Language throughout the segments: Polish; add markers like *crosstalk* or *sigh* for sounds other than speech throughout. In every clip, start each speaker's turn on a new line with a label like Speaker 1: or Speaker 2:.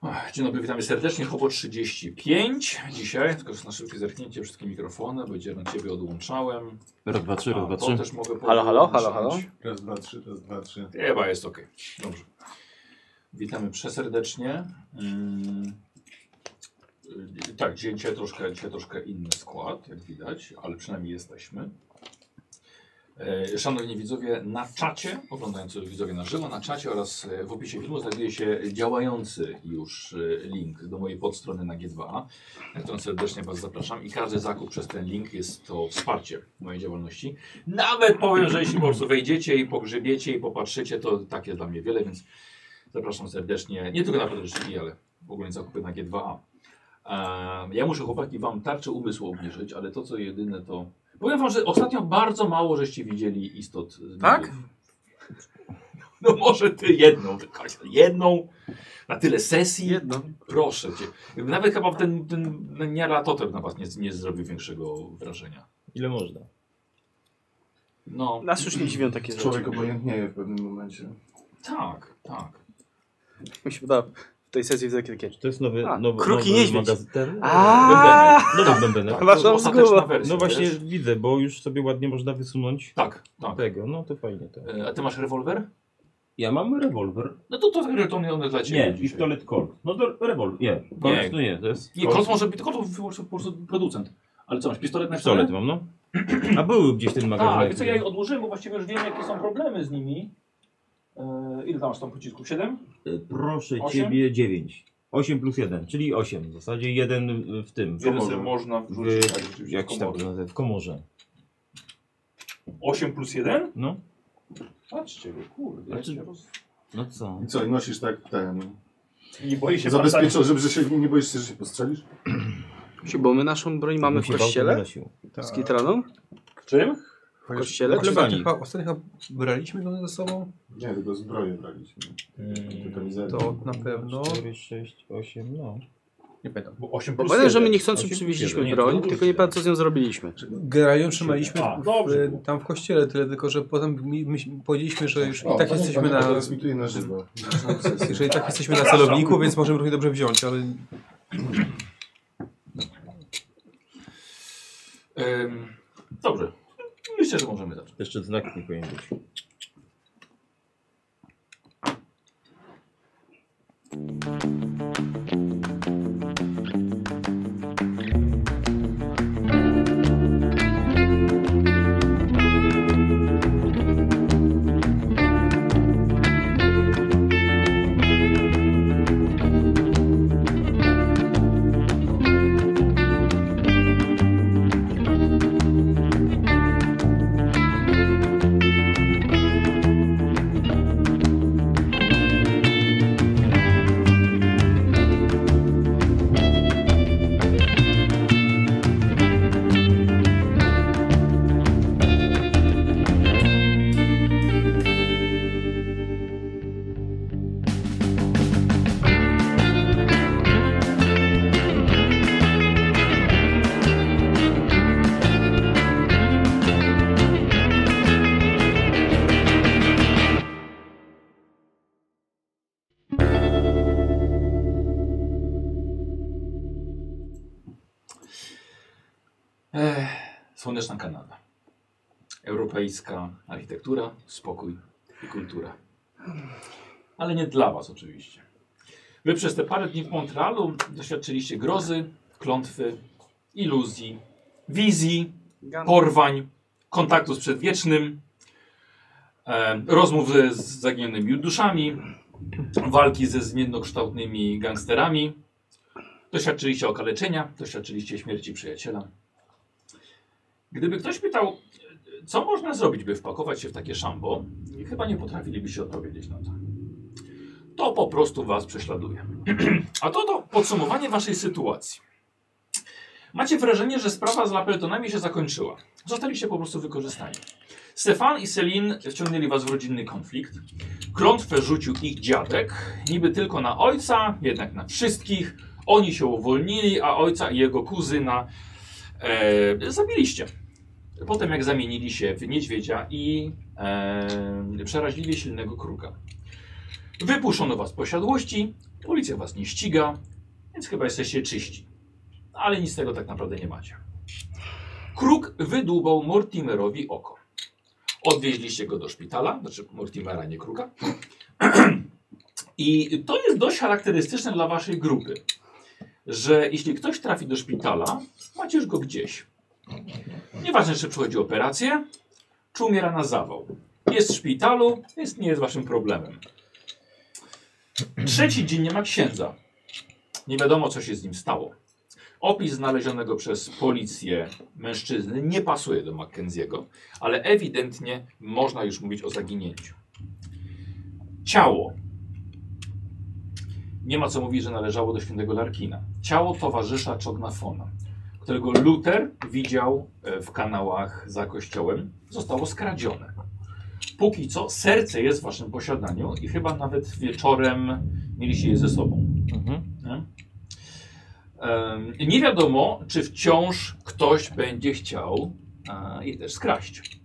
Speaker 1: Ach, Dzień dobry, witamy serdecznie. Chopo 35 dzisiaj. Tylko że na szybkie zerknięcie wszystkie mikrofony, bo gdzie na ciebie odłączałem.
Speaker 2: Raz, dwa, trzy, raz,
Speaker 1: A,
Speaker 2: dwa,
Speaker 1: to
Speaker 2: trzy.
Speaker 1: też mogę
Speaker 3: Halo, halo, halo,
Speaker 1: podłączać.
Speaker 3: halo.
Speaker 4: Raz, dwa, trzy, raz, dwa, trzy.
Speaker 1: Chyba jest ok. Dobrze. Witamy przeserdecznie. Mm. Y, Tak, dzisiaj troszkę, dzisiaj troszkę inny skład, jak widać, ale przynajmniej jesteśmy. E, Szanowni widzowie, na czacie, oglądający widzowie na żywo, na czacie oraz e, w opisie filmu znajduje się działający już e, link do mojej podstrony na G2, na którą serdecznie Was zapraszam i każdy zakup przez ten link jest to wsparcie mojej działalności. Nawet powiem, że jeśli po prostu wejdziecie i pogrzebiecie i popatrzycie, to tak jest dla mnie wiele, więc zapraszam serdecznie, nie tylko na podręczniki, ale w ogóle zakupy na G2A. Ehm, ja muszę chłopaki wam tarczę umysłu obniżyć, ale to co jedyne to... Powiem wam, że ostatnio bardzo mało żeście widzieli istot. z mediów.
Speaker 3: Tak?
Speaker 1: No może ty jedną, tylko jedną, na tyle sesji.
Speaker 3: Jedno.
Speaker 1: Proszę cię. Nawet chyba ten, ten Niara Totem na was nie, nie zrobił większego wrażenia.
Speaker 5: Ile można?
Speaker 1: No,
Speaker 3: Nas już nie dziwią takie rzeczy.
Speaker 4: Człowiek obojętnieje w pewnym momencie.
Speaker 1: tak, tak.
Speaker 3: Mi się podoba. W tej sesji widzę kilka rzeczy.
Speaker 5: Czy to jest nowy,
Speaker 3: A,
Speaker 5: nowy,
Speaker 3: Kruki
Speaker 5: nowy
Speaker 3: Niedźwiedź.
Speaker 5: magazyn? Ten?
Speaker 3: Aaaa!
Speaker 5: Bębenek. Nowy bębenek.
Speaker 1: tak
Speaker 3: Wasza
Speaker 1: to jest ostateczna
Speaker 3: wzgóra.
Speaker 1: wersja,
Speaker 5: No właśnie
Speaker 1: wiesz?
Speaker 5: widzę, bo już sobie ładnie można wysunąć
Speaker 1: Tak, tak.
Speaker 5: tego. No to fajnie to.
Speaker 1: E, A ty masz rewolwer?
Speaker 5: Ja mam rewolwer.
Speaker 1: No to to retony one dla ciebie
Speaker 5: Znaczy, Nie,
Speaker 1: dzisiaj.
Speaker 5: pistolet Colt. No to rewolwer. Nie, Colt to nie, to jest
Speaker 1: Nie, Kolt może być, tylko to wyłącznie po prostu producent. Ale co, masz pistolet na
Speaker 5: pistolet mam, no. A były gdzieś ten magazyn.
Speaker 1: Tak, co ja je odłożyłem, bo właściwie już wiem jakie są problemy z nimi. E, ile tam masz tam pocisków? Siedem?
Speaker 5: Y, Proszę
Speaker 1: Osiem?
Speaker 5: ciebie 9. 8 plus 1, czyli 8 w zasadzie. Jeden y, w tym, w
Speaker 1: Jeden
Speaker 5: komorze.
Speaker 1: sobie można
Speaker 5: W,
Speaker 1: wrzucić. tak, rzeczywiście,
Speaker 5: jak się tam to
Speaker 1: komorze.
Speaker 5: nazywa, w komorze.
Speaker 1: Osiem plus jeden?
Speaker 5: No,
Speaker 1: Patrzcie, wy, kurde.
Speaker 5: Znaczy-
Speaker 1: ja się roz-
Speaker 5: no co?
Speaker 4: I co, i nosisz tak ten...
Speaker 6: Nie boi się pan
Speaker 4: Zabezpieczony, żeby że się nie boisz, się, że się postrzelisz?
Speaker 3: Bo my naszą broń mamy w
Speaker 5: Jakbym się bał, to
Speaker 3: kościele?
Speaker 5: wynosił.
Speaker 3: Z kitraną?
Speaker 6: tak- Czym?
Speaker 3: W kościele?
Speaker 5: Chociaż- plebanii.
Speaker 7: Chyba, Znaczy, ostatnio chyba braliśmy go ze sobą,
Speaker 4: Nie, tylko zbroję braliśmy.
Speaker 1: Mm,
Speaker 4: Tylko mizernie.
Speaker 7: to
Speaker 6: No,
Speaker 7: na pewno.
Speaker 5: 4, 6, 8, no.
Speaker 7: Nie pamiętam.
Speaker 6: Bo 8
Speaker 3: Bo
Speaker 6: plus
Speaker 3: pamiętam, że my
Speaker 6: jeden.
Speaker 3: niechcący przywieźliśmy broń, tylko nie pamiętam co z nią zrobiliśmy.
Speaker 7: Grają trzymaliśmy
Speaker 6: A, dobrze było.
Speaker 7: w, tam w kościele tyle, tylko że potem mi, my powiedzieliśmy, że już i tak
Speaker 6: no,
Speaker 4: panie,
Speaker 7: jesteśmy
Speaker 4: no, panie,
Speaker 7: na.
Speaker 4: Teraz mi tutaj na żywo.
Speaker 7: Że i tak jesteśmy na celowniku, więc możemy równie dobrze wziąć, ale
Speaker 1: Em, dobrze. Myślę, że możemy zacząć.
Speaker 5: Jeszcze znak nie powinien być.
Speaker 1: Ech, słoneczna Kanada. Europejska architektura, spokój i kultura. Ale nie dla Was oczywiście. Wy przez te parę dni w Montrealu doświadczyliście grozy, klątwy, iluzji, wizji, porwań, kontaktu z przedwiecznym, e, rozmów ze z zaginionymi duszami, walki ze zmiennokształtnymi gangsterami. Doświadczyliście okaleczenia, doświadczyliście śmierci przyjaciela. Gdyby ktoś pytał, co można zrobić, by wpakować się w takie szambo, chyba nie potrafilibyście odpowiedzieć na to. To po prostu was prześladuje. *clears throat* A to to podsumowanie waszej sytuacji. Macie wrażenie, że sprawa z Lapeltonami się zakończyła. Zostaliście po prostu wykorzystani. Stefan i Selin wciągnęli was w rodzinny konflikt. Klątwę rzucił ich dziadek, niby tylko na ojca, jednak na wszystkich. Oni się uwolnili, a ojca i jego kuzyna e, zabiliście. Potem jak zamienili się w niedźwiedzia i e, przeraźliwie silnego kruka. Wypuszczono was z posiadłości, policja was nie ściga, więc chyba jesteście czyści. Ale nic z tego tak naprawdę nie macie. Kruk wydłubał Mortimerowi oko. Odwieźliście go do szpitala, znaczy Mortimera, nie Kruka. *clears throat* I to jest dość charakterystyczne dla waszej grupy, że jeśli ktoś trafi do szpitala, macie już go gdzieś. Nieważne, czy przychodzi operację, czy umiera na zawał. Jest w szpitalu, więc nie jest waszym problemem. Trzeci dzień nie ma księdza. Nie wiadomo, co się z nim stało. Opis znalezionego przez policję mężczyzny nie pasuje do Mackenziego, ale ewidentnie można już mówić o zaginięciu. Ciało. Nie ma co mówić, że należało do świętego Larkina. Ciało towarzysza Czognafona, którego Luther widział e, w kanałach za kościołem, zostało skradzione. Póki co serce jest w waszym posiadaniu i chyba nawet wieczorem mieliście je ze sobą.
Speaker 5: Mhm.
Speaker 1: Nie? Em, Nie wiadomo, czy wciąż ktoś będzie chciał e, je też skraść.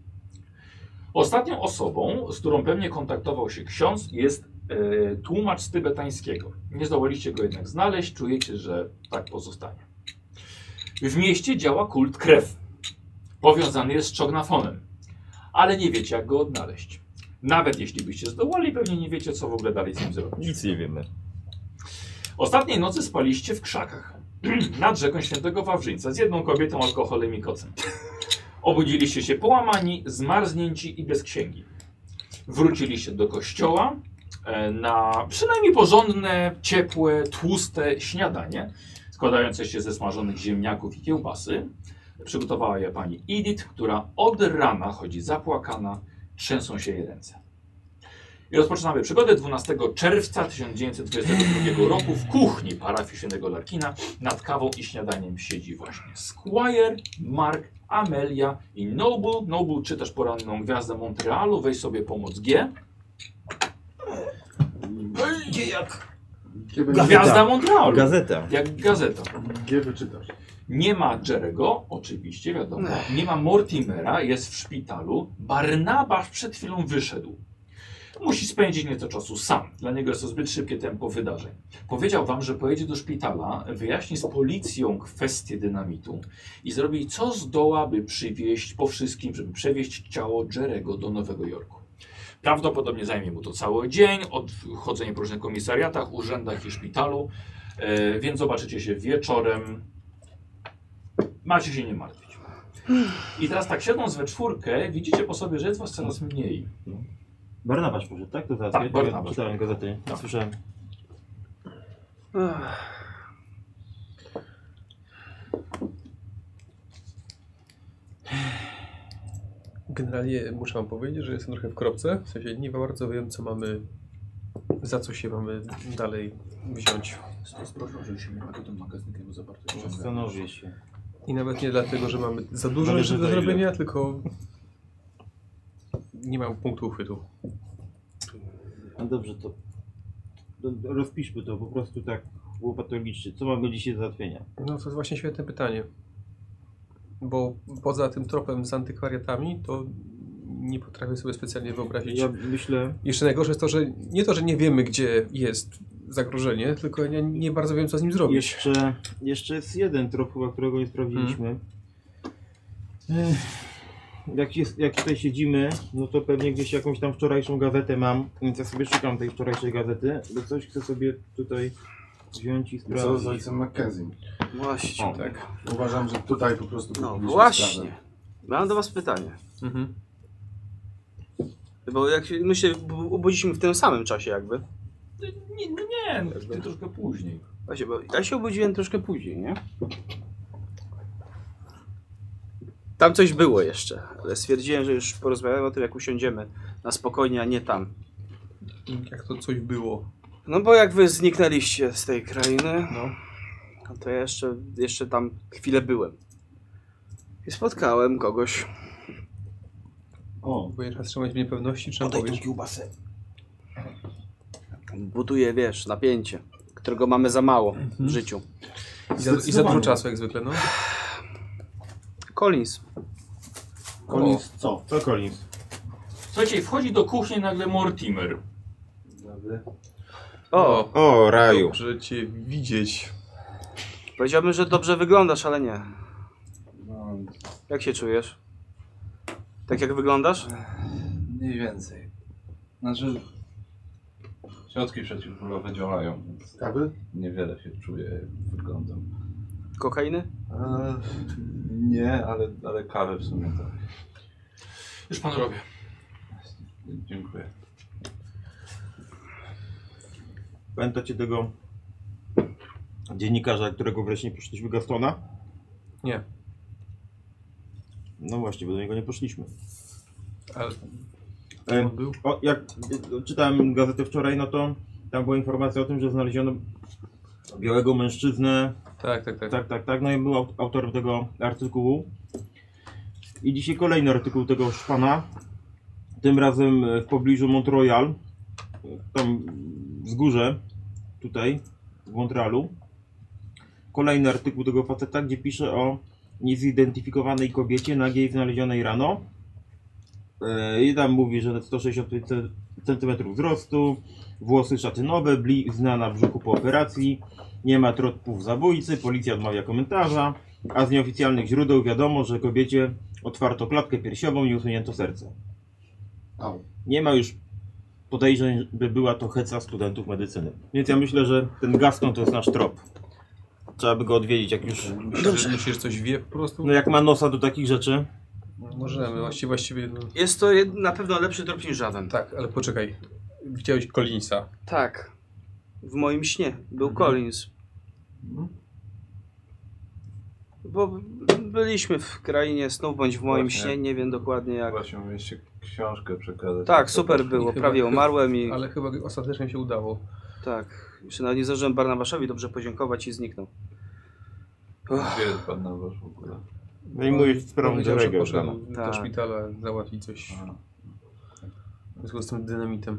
Speaker 1: Ostatnią osobą, z którą pewnie kontaktował się ksiądz, jest e, tłumacz z tybetańskiego. Nie zdołaliście go jednak znaleźć, czujecie, że tak pozostanie. W mieście działa kult krew. Powiązany jest z czognafonem, ale nie wiecie, jak go odnaleźć. Nawet jeśli byście zdołali, pewnie nie wiecie, co w ogóle dalej z nim zrobić.
Speaker 5: Nic nie wiemy.
Speaker 1: Ostatniej nocy spaliście w krzakach *clears throat* nad rzeką Świętego Wawrzyńca z jedną kobietą, alkoholem i kocem. Obudziliście się połamani, zmarznięci i bez księgi. Wróciliście do kościoła e, na przynajmniej porządne, ciepłe, tłuste śniadanie, składające się ze smażonych ziemniaków i kiełbasy. Przygotowała je pani Edith, która od rana chodzi zapłakana, trzęsą się jej ręce. I rozpoczynamy przygodę 12 czerwca 1922 roku w kuchni parafii świętego Larkina. Nad kawą i śniadaniem siedzi właśnie Squire, Mark, Amelia i Noble. Noble czy też poranną gwiazdę Montrealu. Weź sobie pomoc G. Gdzie jak?
Speaker 4: Gdzie, będzie,
Speaker 1: Gwiazda Montrealu.
Speaker 5: Gazeta.
Speaker 1: Jak gazeta.
Speaker 4: gdzie wyczytasz?
Speaker 1: Nie ma Jerego, oczywiście, wiadomo. Nie ma Mortimera, jest w szpitalu. Barnabasz przed chwilą wyszedł. Musi spędzić nieco czasu sam. Dla niego jest to zbyt szybkie tempo wydarzeń. Powiedział wam, że pojedzie do szpitala, wyjaśni z policją kwestię dynamitu i zrobi co zdoła, by przywieźć po wszystkim, żeby przewieźć ciało Jerego do Nowego Jorku. Prawdopodobnie zajmie mu to cały dzień, od chodzenie po różnych komisariatach, urzędach i szpitalu, e, więc zobaczycie się wieczorem Macie się nie martwić. I teraz tak siedząc we czwórkę, widzicie po sobie, że jest was coraz mniej.
Speaker 5: Barnabasz poszedł, tak? To teraz
Speaker 1: Tak,
Speaker 5: ja
Speaker 1: Barnabasz.
Speaker 5: Czytałem gazety,
Speaker 1: Tak.
Speaker 5: słyszałem.
Speaker 3: Ach,
Speaker 7: Generalnie muszę wam powiedzieć, że jestem trochę w kropce. W sensie nie bardzo wiem, co mamy, za co się mamy dalej wziąć.
Speaker 1: Proszę, żeby się nie bawił tym magazynkiem, bo zaparty
Speaker 5: Zastanowię się.
Speaker 7: I nawet nie dlatego, że mamy za dużo
Speaker 5: Zależy
Speaker 7: rzeczy do
Speaker 5: za ile.
Speaker 7: zrobienia, tylko nie mam punktu uchwytu.
Speaker 5: No dobrze, to to rozpiszmy to po prostu tak łopatologicznie. Co mamy dzisiaj do załatwienia?
Speaker 7: No to jest właśnie świetne pytanie. Bo poza tym tropem z antykwariatami, to nie potrafię sobie specjalnie wyobrazić.
Speaker 5: Ja myślę...
Speaker 7: Jeszcze najgorsze jest to, że nie to, że nie wiemy, gdzie jest zagrożenie, tylko ja nie bardzo wiem, co z nim zrobić.
Speaker 5: Jeszcze, jeszcze jest jeden trop chyba, którego nie sprawdziliśmy. Ech, Jak, jest, jak tutaj siedzimy, no to pewnie gdzieś jakąś tam wczorajszą gazetę mam, więc ja sobie szukam tej wczorajszej gazety, bo coś chcę sobie tutaj wziąć i
Speaker 4: Co z
Speaker 5: sprawdzić.
Speaker 4: ojcem Mackenzie?
Speaker 3: właśnie.
Speaker 4: O,
Speaker 7: tak.
Speaker 4: Uważam, że tutaj po prostu
Speaker 3: No
Speaker 4: powinniśmy sprawę.
Speaker 3: właśnie. Mam do was pytanie.
Speaker 7: Mhm.
Speaker 3: Bo jak się, my się bu- obudziliśmy w tym samym czasie jakby.
Speaker 1: Nie, nie, nie, no, ty troszkę później.
Speaker 3: Właśnie, bo ja się obudziłem troszkę później, nie? Tam coś było jeszcze, ale stwierdziłem, że już porozmawiamy o tym, jak usiądziemy na spokojnie, a nie tam.
Speaker 7: Jak to coś było.
Speaker 3: No bo jak wy zniknęliście z tej krainy,
Speaker 7: No.
Speaker 3: no to ja jeszcze, jeszcze tam chwilę byłem. I spotkałem kogoś.
Speaker 4: O,
Speaker 7: Próbujesz nas trzymać w niepewności, czy nam powiesz?
Speaker 3: Buduje, wiesz, napięcie, którego mamy za mało w życiu.
Speaker 7: I za, I za dużo czasu, jak zwykle, no.
Speaker 3: Collins.
Speaker 4: koniec co?
Speaker 5: Co Collins?
Speaker 1: Słuchajcie, wchodzi do kuchni nagle Mortimer.
Speaker 8: naprawdę.
Speaker 3: O,
Speaker 9: O, raju.
Speaker 7: Dobrze cię widzieć.
Speaker 3: powiedziałbym, że dobrze wyglądasz, ale nie.
Speaker 8: No,
Speaker 3: Jak się czujesz? Tak jak wyglądasz?
Speaker 8: mniej więcej. Znaczy, środki przeciwbólowe działają, więc
Speaker 10: Kawy?
Speaker 8: niewiele się czuję wyglądem.
Speaker 3: Kokainy?
Speaker 8: Eee, nie, ale, ale kawę w sumie tak.
Speaker 11: Już pan robię.
Speaker 8: Dziękuję.
Speaker 5: Pamiętacie tego dziennikarza, którego wcześniej poszliśmy, Gastona?
Speaker 7: Nie.
Speaker 5: No właśnie, bo do niego nie poszliśmy.
Speaker 7: Ale
Speaker 5: E,
Speaker 7: on był?
Speaker 5: o, jak e, czytałem gazetę wczoraj, no to tam była informacja o tym, że znaleziono białego mężczyznę
Speaker 7: Tak, tak, tak.
Speaker 5: Tak, tak, tak. No i był aut- autorem tego artykułu. I dzisiaj kolejny artykuł tego szpana. Tym razem e, w pobliżu Montreal. e, Tam wzgórze, tutaj, w Montrealu. Kolejny artykuł tego faceta, gdzie pisze o niezidentyfikowanej kobiecie nagiej znalezionej rano. E, I tam mówi, że 165 cm wzrostu, włosy szatynowe, blizna na brzuchu po operacji. Nie ma tropów zabójcy, policja odmawia komentarza, a z nieoficjalnych źródeł wiadomo, że kobiecie otwarto klatkę piersiową i usunięto serce.
Speaker 10: Au.
Speaker 5: Nie ma już podejrzeń, by była to heca studentów medycyny. Więc ja myślę, że ten Gaston to jest nasz trop. Trzeba by go odwiedzić, jak już.
Speaker 7: Myślisz, że, myślisz, że coś wie po prostu?
Speaker 5: No jak ma nosa do takich rzeczy.
Speaker 7: Możemy, właściwie, właściwie no.
Speaker 3: Jest to jed- na pewno lepszy trop niż żaden.
Speaker 7: Tak, ale poczekaj. Widziałeś Collinsa.
Speaker 3: Tak. W moim śnie był Collins. Bo byliśmy w krainie snów, bądź w moim
Speaker 8: Właśnie.
Speaker 3: śnie, nie wiem dokładnie jak.
Speaker 8: Właśnie mieliście książkę przekazać.
Speaker 3: Tak,
Speaker 8: *laughs*
Speaker 3: super było,
Speaker 7: Chyba-
Speaker 3: prawie umarłem i
Speaker 7: Ale chyba ostatecznie się udało.
Speaker 3: tak. Jeszcze nawet nie zdążyłem Barnabaszowi dobrze podziękować i zniknął. Uff,
Speaker 8: Gdzie jest pan na wasz w ogóle?
Speaker 3: No
Speaker 5: Zajmujesz sprawą
Speaker 7: Powiedział, że
Speaker 5: Jerego
Speaker 7: poszedł
Speaker 5: Jordana.
Speaker 7: Do
Speaker 3: Tak.
Speaker 7: szpitala załatwić coś
Speaker 8: Aha.
Speaker 7: w związku z tym dynamitem.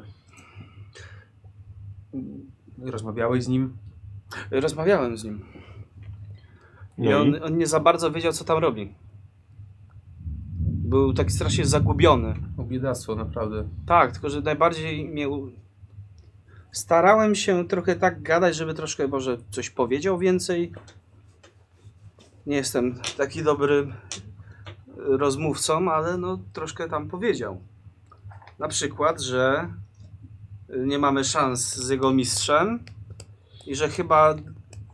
Speaker 7: Rozmawiałeś z nim?
Speaker 3: Rozmawiałem z nim i
Speaker 5: No i
Speaker 3: on, on nie za bardzo wiedział, co tam robi. Był taki strasznie zagubiony.
Speaker 7: O biedactwo, naprawdę.
Speaker 3: Tak, tylko że najbardziej mnie. u- Starałem się trochę tak gadać, żeby troszkę może coś powiedział więcej. Nie jestem taki dobry y, rozmówcą, ale no troszkę tam powiedział. Na przykład, że y, nie mamy szans z jego mistrzem i że chyba,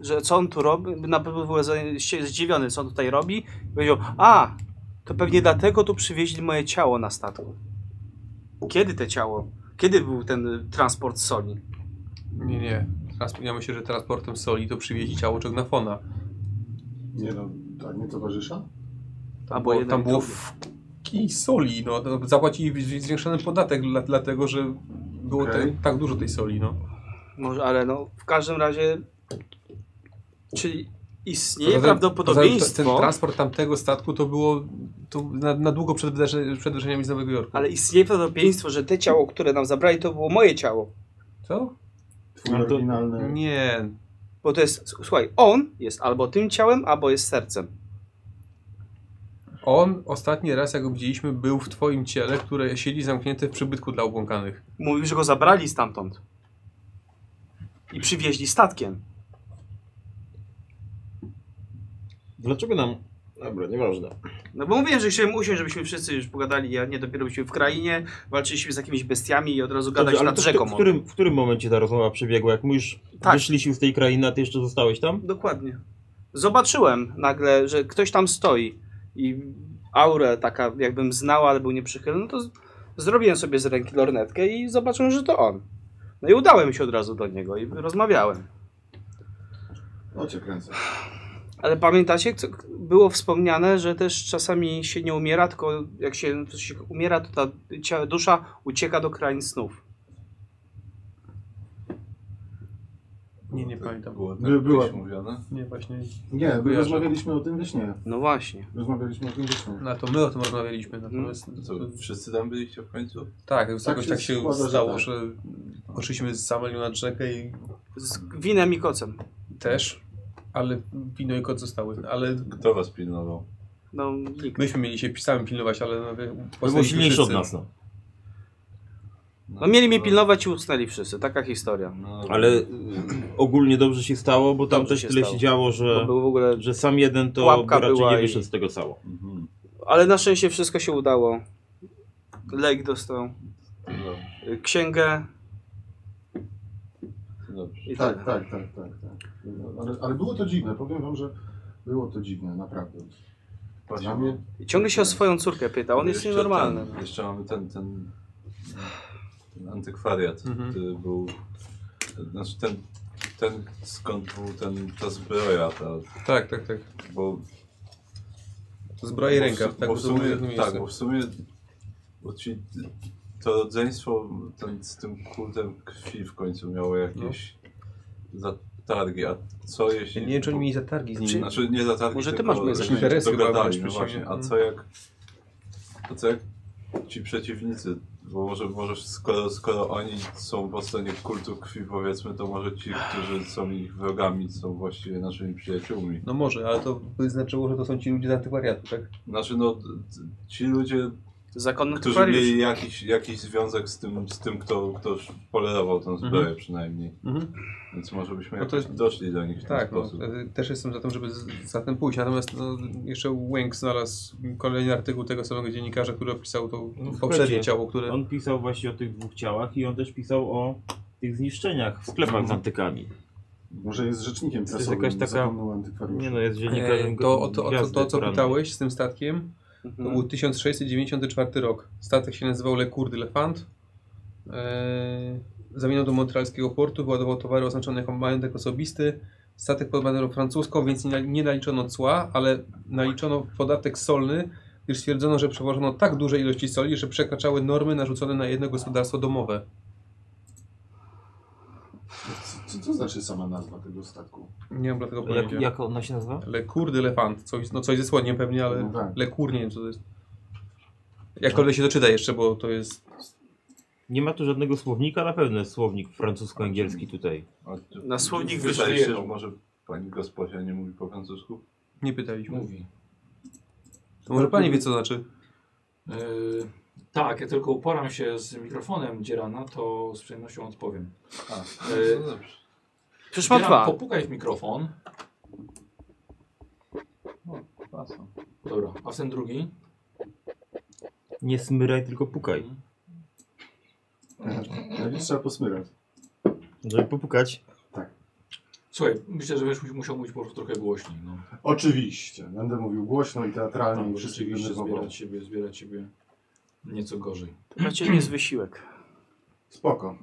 Speaker 3: że co on tu robi, na pewno był za- się zdziwiony, co on tutaj robi. I powiedział, a, to pewnie dlatego tu przywieźli moje ciało na statku. Kiedy te ciało? Kiedy był ten y, transport soli?
Speaker 7: Nie, nie. Trans- Ja myślę, że transportem soli to przywieźli ciało Czognafona.
Speaker 10: Nie no, tak nie towarzysza?
Speaker 3: A
Speaker 7: Tam
Speaker 3: bo
Speaker 7: było,
Speaker 3: jeden
Speaker 7: tam
Speaker 3: i
Speaker 7: było
Speaker 3: drugi.
Speaker 7: w kij soli, no. To Zapłacili wi- zwiększony podatek, dla, dlatego że było
Speaker 10: Okej.
Speaker 7: te, tak dużo tej soli, no.
Speaker 3: Może, ale no, w każdym razie. Czyli istnieje
Speaker 7: Poza tym- poza
Speaker 3: prawdopodobieństwo.
Speaker 7: tym Ten transport tamtego statku to było to na, na długo przed, wydarze- przed wydarzeniami z Nowego Jorku.
Speaker 3: Ale istnieje prawdopodobieństwo, że te ciało, które nam zabrali, to było moje ciało.
Speaker 7: Co?
Speaker 10: Twój
Speaker 5: No to-
Speaker 7: Mm.
Speaker 10: oryginalny...
Speaker 7: Nie.
Speaker 3: Bo to jest. s- Słuchaj, on jest albo tym ciałem, albo jest sercem.
Speaker 7: On ostatni raz, jak go widzieliśmy, był w twoim ciele, które siedzi zamknięte w przybytku dla obłąkanych.
Speaker 3: Mówił, że go zabrali stamtąd. I przywieźli statkiem.
Speaker 5: Dlaczego nam. Dobra, nieważne.
Speaker 3: No bo mówiłem, że chciałem usiąść, żebyśmy wszyscy już pogadali. Ja nie dopiero byliśmy w krainie, walczyliśmy z jakimiś bestiami i od razu gadać
Speaker 5: Dobrze, ale
Speaker 3: nad
Speaker 5: to w-
Speaker 3: rzeką.
Speaker 5: w, którym, w którym momencie ta rozmowa przebiegła? Jak my już
Speaker 3: Tak.
Speaker 5: wyszliśmy z tej krainy, a ty jeszcze zostałeś tam?
Speaker 3: Dokładnie. Zobaczyłem nagle, że ktoś tam stoi i aurę taka jakbym znała, ale był nieprzychylny, no to z- zrobiłem sobie z ręki lornetkę i zobaczyłem, że to on. No i udałem się od razu do niego i rozmawiałem.
Speaker 10: O cię kręcę.
Speaker 3: Ale pamiętacie, co było wspomniane, że też czasami się nie umiera, tylko jak się, się umiera, to ta cia- dusza ucieka do krain snów.
Speaker 7: Nie, nie pamiętam.
Speaker 8: Było tak
Speaker 10: By- była-
Speaker 8: gdzieś mówione?
Speaker 7: Nie, właśnie.
Speaker 10: Nie, my
Speaker 7: Kojarzę.
Speaker 10: rozmawialiśmy o tym we śnie.
Speaker 3: No właśnie.
Speaker 10: Rozmawialiśmy o tym we śnie.
Speaker 7: No to my o tym rozmawialiśmy. Natomiast,
Speaker 8: To Co, wszyscy tam byliście w końcu?
Speaker 7: Mm. tak, jakoś
Speaker 10: Tak
Speaker 7: tak,
Speaker 10: się
Speaker 7: się
Speaker 10: składa, że
Speaker 7: stało,
Speaker 10: tak.
Speaker 7: że poszliśmy z Samelią nad rzekę i
Speaker 3: Z winem i kocem.
Speaker 7: też, ale wino i kot zostały. Ale
Speaker 8: Kto was pilnował?
Speaker 3: No nikt.
Speaker 7: myśmy mieli się sami pilnować, ale no, wie-
Speaker 5: To był
Speaker 7: postawiliśmy
Speaker 5: silniejszy od
Speaker 7: wszyscy.
Speaker 5: nas. No.
Speaker 3: No mieli mnie pilnować i usnęli wszyscy, taka historia.
Speaker 8: No,
Speaker 5: Ale y, ogólnie dobrze się stało, bo tam
Speaker 3: Dobrze
Speaker 5: też
Speaker 3: się
Speaker 5: tyle
Speaker 3: stało.
Speaker 5: się działo,
Speaker 3: To
Speaker 5: że,
Speaker 3: był w ogóle...
Speaker 5: że sam jeden to
Speaker 3: Pułapka
Speaker 5: raczej
Speaker 3: była
Speaker 5: nie
Speaker 3: i-
Speaker 5: wyszedł z tego cało.
Speaker 8: Mhm.
Speaker 3: Ale na szczęście wszystko się udało. Lejk dostał
Speaker 8: Dobrze,
Speaker 3: y, księgę
Speaker 8: dobrze.
Speaker 3: i tak.
Speaker 4: Tak, tak, tak, tak. tak. No, Ale, ale było to dziwne, powiem wam, że było to dziwne, naprawdę. Dla mnie
Speaker 3: Ciągle się o swoją córkę pyta, on jest
Speaker 8: Jeszcze
Speaker 3: nienormalny.
Speaker 8: Ten, jeszcze mamy ten, ten, ten antykwariat,
Speaker 7: Mhm.
Speaker 8: który był, znaczy ten, ten skąd był ten, ta zbroja, ta,
Speaker 7: Tak, tak, tak.
Speaker 8: bo...
Speaker 7: Zbroja i
Speaker 8: bo w
Speaker 7: rękaw,
Speaker 8: su-
Speaker 7: tak,
Speaker 8: bo
Speaker 7: bo
Speaker 8: w
Speaker 7: to było w
Speaker 8: sumie,
Speaker 7: jednym
Speaker 8: tak,
Speaker 7: miejscu.
Speaker 8: bo w sumie, bo ci, to rodzeństwo ten, z tym kultem krwi w końcu miało jakieś zatargi, a co jeśli...
Speaker 7: No. Nie wiem, czy oni mieli zatargi z
Speaker 8: Czy,
Speaker 7: nimi.
Speaker 8: znaczy nie zatargi,
Speaker 3: Może ty
Speaker 8: tylko
Speaker 3: masz moje
Speaker 8: że się
Speaker 7: interesy chyba
Speaker 8: dogadali,
Speaker 7: byłeś
Speaker 8: no
Speaker 7: przeciwnie.
Speaker 8: właśnie. A co jak, a co jak ci przeciwnicy, bo może, może skoro, skoro oni są po stronie kultu krwi powiedzmy, to może ci, którzy są ich wrogami, są właściwie naszymi przyjaciółmi.
Speaker 7: No może, ale to by znaczyło, że to są ci ludzie z antykwariatu, tak?
Speaker 8: Znaczy no, t- ci ludzie,
Speaker 3: Zakonny
Speaker 8: którzy
Speaker 3: kwariusz.
Speaker 8: mieli jakiś, jakiś związek z tym, z tym kto, kto polerował tę zbroję przynajmniej,
Speaker 7: Mhm.
Speaker 8: więc może byśmy
Speaker 7: No to
Speaker 8: jakoś
Speaker 7: jest-
Speaker 8: doszli do nich w ten
Speaker 7: Tak, no,
Speaker 8: sposób.
Speaker 7: y, też jestem za tym, żeby z- za tym pójść. Natomiast no, jeszcze Łęk znalazł kolejny artykuł tego samego dziennikarza, który opisał to
Speaker 5: No, w
Speaker 7: poprzednie
Speaker 5: Herdzie.
Speaker 7: ciało, które...
Speaker 5: On pisał właśnie o tych dwóch ciałach i on też pisał o tych zniszczeniach w sklepach z antykami.
Speaker 4: Może jest rzecznikiem
Speaker 5: To jest
Speaker 4: prasowym,
Speaker 5: jakaś taka-
Speaker 4: zakonną antykwariusz.
Speaker 5: Nie no, jest dziennikarzem
Speaker 7: E, To, o to, o to,
Speaker 5: Gwiazdy
Speaker 7: to co
Speaker 5: Porannej.
Speaker 7: pytałeś z tym statkiem, to
Speaker 4: No.
Speaker 3: Mhm.
Speaker 7: był 1694 rok. Statek się nazywał Le Cour de Lefant. E, Zamieniał do montrealskiego portu, wyładował towary oznaczone jako majątek osobisty. Statek pod banderą francuską, więc nie, nie naliczono cła, ale naliczono podatek solny, gdyż stwierdzono, że przewożono tak duże ilości soli, że przekraczały normy narzucone na jedno gospodarstwo domowe.
Speaker 4: Co- Co, co znaczy sama nazwa tego statku?
Speaker 7: Nie mam dlatego
Speaker 5: Jak,
Speaker 7: pojęcia.
Speaker 5: jak ona się nazywa?
Speaker 7: Le Cour de Lefant, coś, no coś ze słoniem pewnie, ale...
Speaker 4: No tak.
Speaker 7: Lekur, nie wiem co to jest. Jakkolwiek się doczyta jeszcze, bo to jest.
Speaker 5: Nie ma tu żadnego słownika, na pewno jest słownik francusko-angielski tutaj.
Speaker 8: A ty-
Speaker 3: Na słownik
Speaker 8: wydaje się,
Speaker 3: wyszli.
Speaker 8: że może pani gosposia nie mówi po francusku?
Speaker 7: Nie pytaliśmy.
Speaker 1: Mówi.
Speaker 7: To może pani wie co znaczy.
Speaker 1: Yy, tak, ja tylko uporam się z mikrofonem Dzierana, to z przyjemnością odpowiem.
Speaker 8: A,
Speaker 1: Y,
Speaker 8: no dobrze.
Speaker 3: Przecież ma
Speaker 1: Dzieran,
Speaker 3: dwa.
Speaker 1: popukaj w mikrofon.
Speaker 8: A, są.
Speaker 1: Dobra, a ten drugi?
Speaker 5: Nie smyraj, tylko pukaj.
Speaker 4: Najpierw trzeba posmyrać.
Speaker 5: Żeby popukać.
Speaker 1: Słuchaj, myślę, że będziesz mu- musiał mówić po prostu trochę głośniej. No.
Speaker 4: Oczywiście. Będę mówił głośno i teatralnie
Speaker 1: Tam,
Speaker 4: i
Speaker 1: bo
Speaker 4: wszystkich
Speaker 1: rzeczywiście
Speaker 4: denerwował.
Speaker 1: zbierać siebie, zbierać siebie nieco gorzej.
Speaker 3: Macie jest wysiłek.
Speaker 4: Spoko.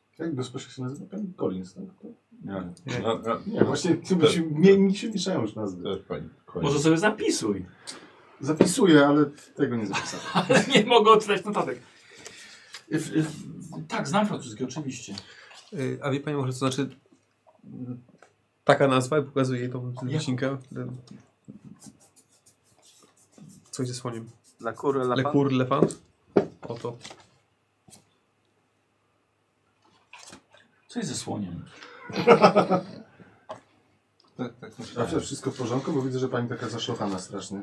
Speaker 4: *clears throat* Jak bezpośrednio się nazywa? Pan Collins, tak?
Speaker 8: Nie, no, no,
Speaker 4: Nie, właśnie
Speaker 5: Tak.
Speaker 4: tym się, mi, mi się mieszają już nazwy.
Speaker 8: Też pani. Kończy.
Speaker 1: Może sobie zapisuj.
Speaker 4: Zapisuję, ale tego nie zapisałem.
Speaker 1: Ale nie mogę odczytać notatek. F- f- Tak, znam francuski, oczywiście.
Speaker 7: Yy, A wie pani może co znaczy. mm, Taka nazwa i pokazuje tą wycinkę. Y, Coś ze słoniem.
Speaker 3: Dla kury, dla
Speaker 7: Le
Speaker 3: pan.
Speaker 7: Cour Lefant. Oto.
Speaker 1: Co jest ze słoniem?
Speaker 8: Tak, tak,
Speaker 4: A
Speaker 8: myślałem.
Speaker 4: to wszystko w porządku, bo widzę, że pani taka zaszlochana strasznie.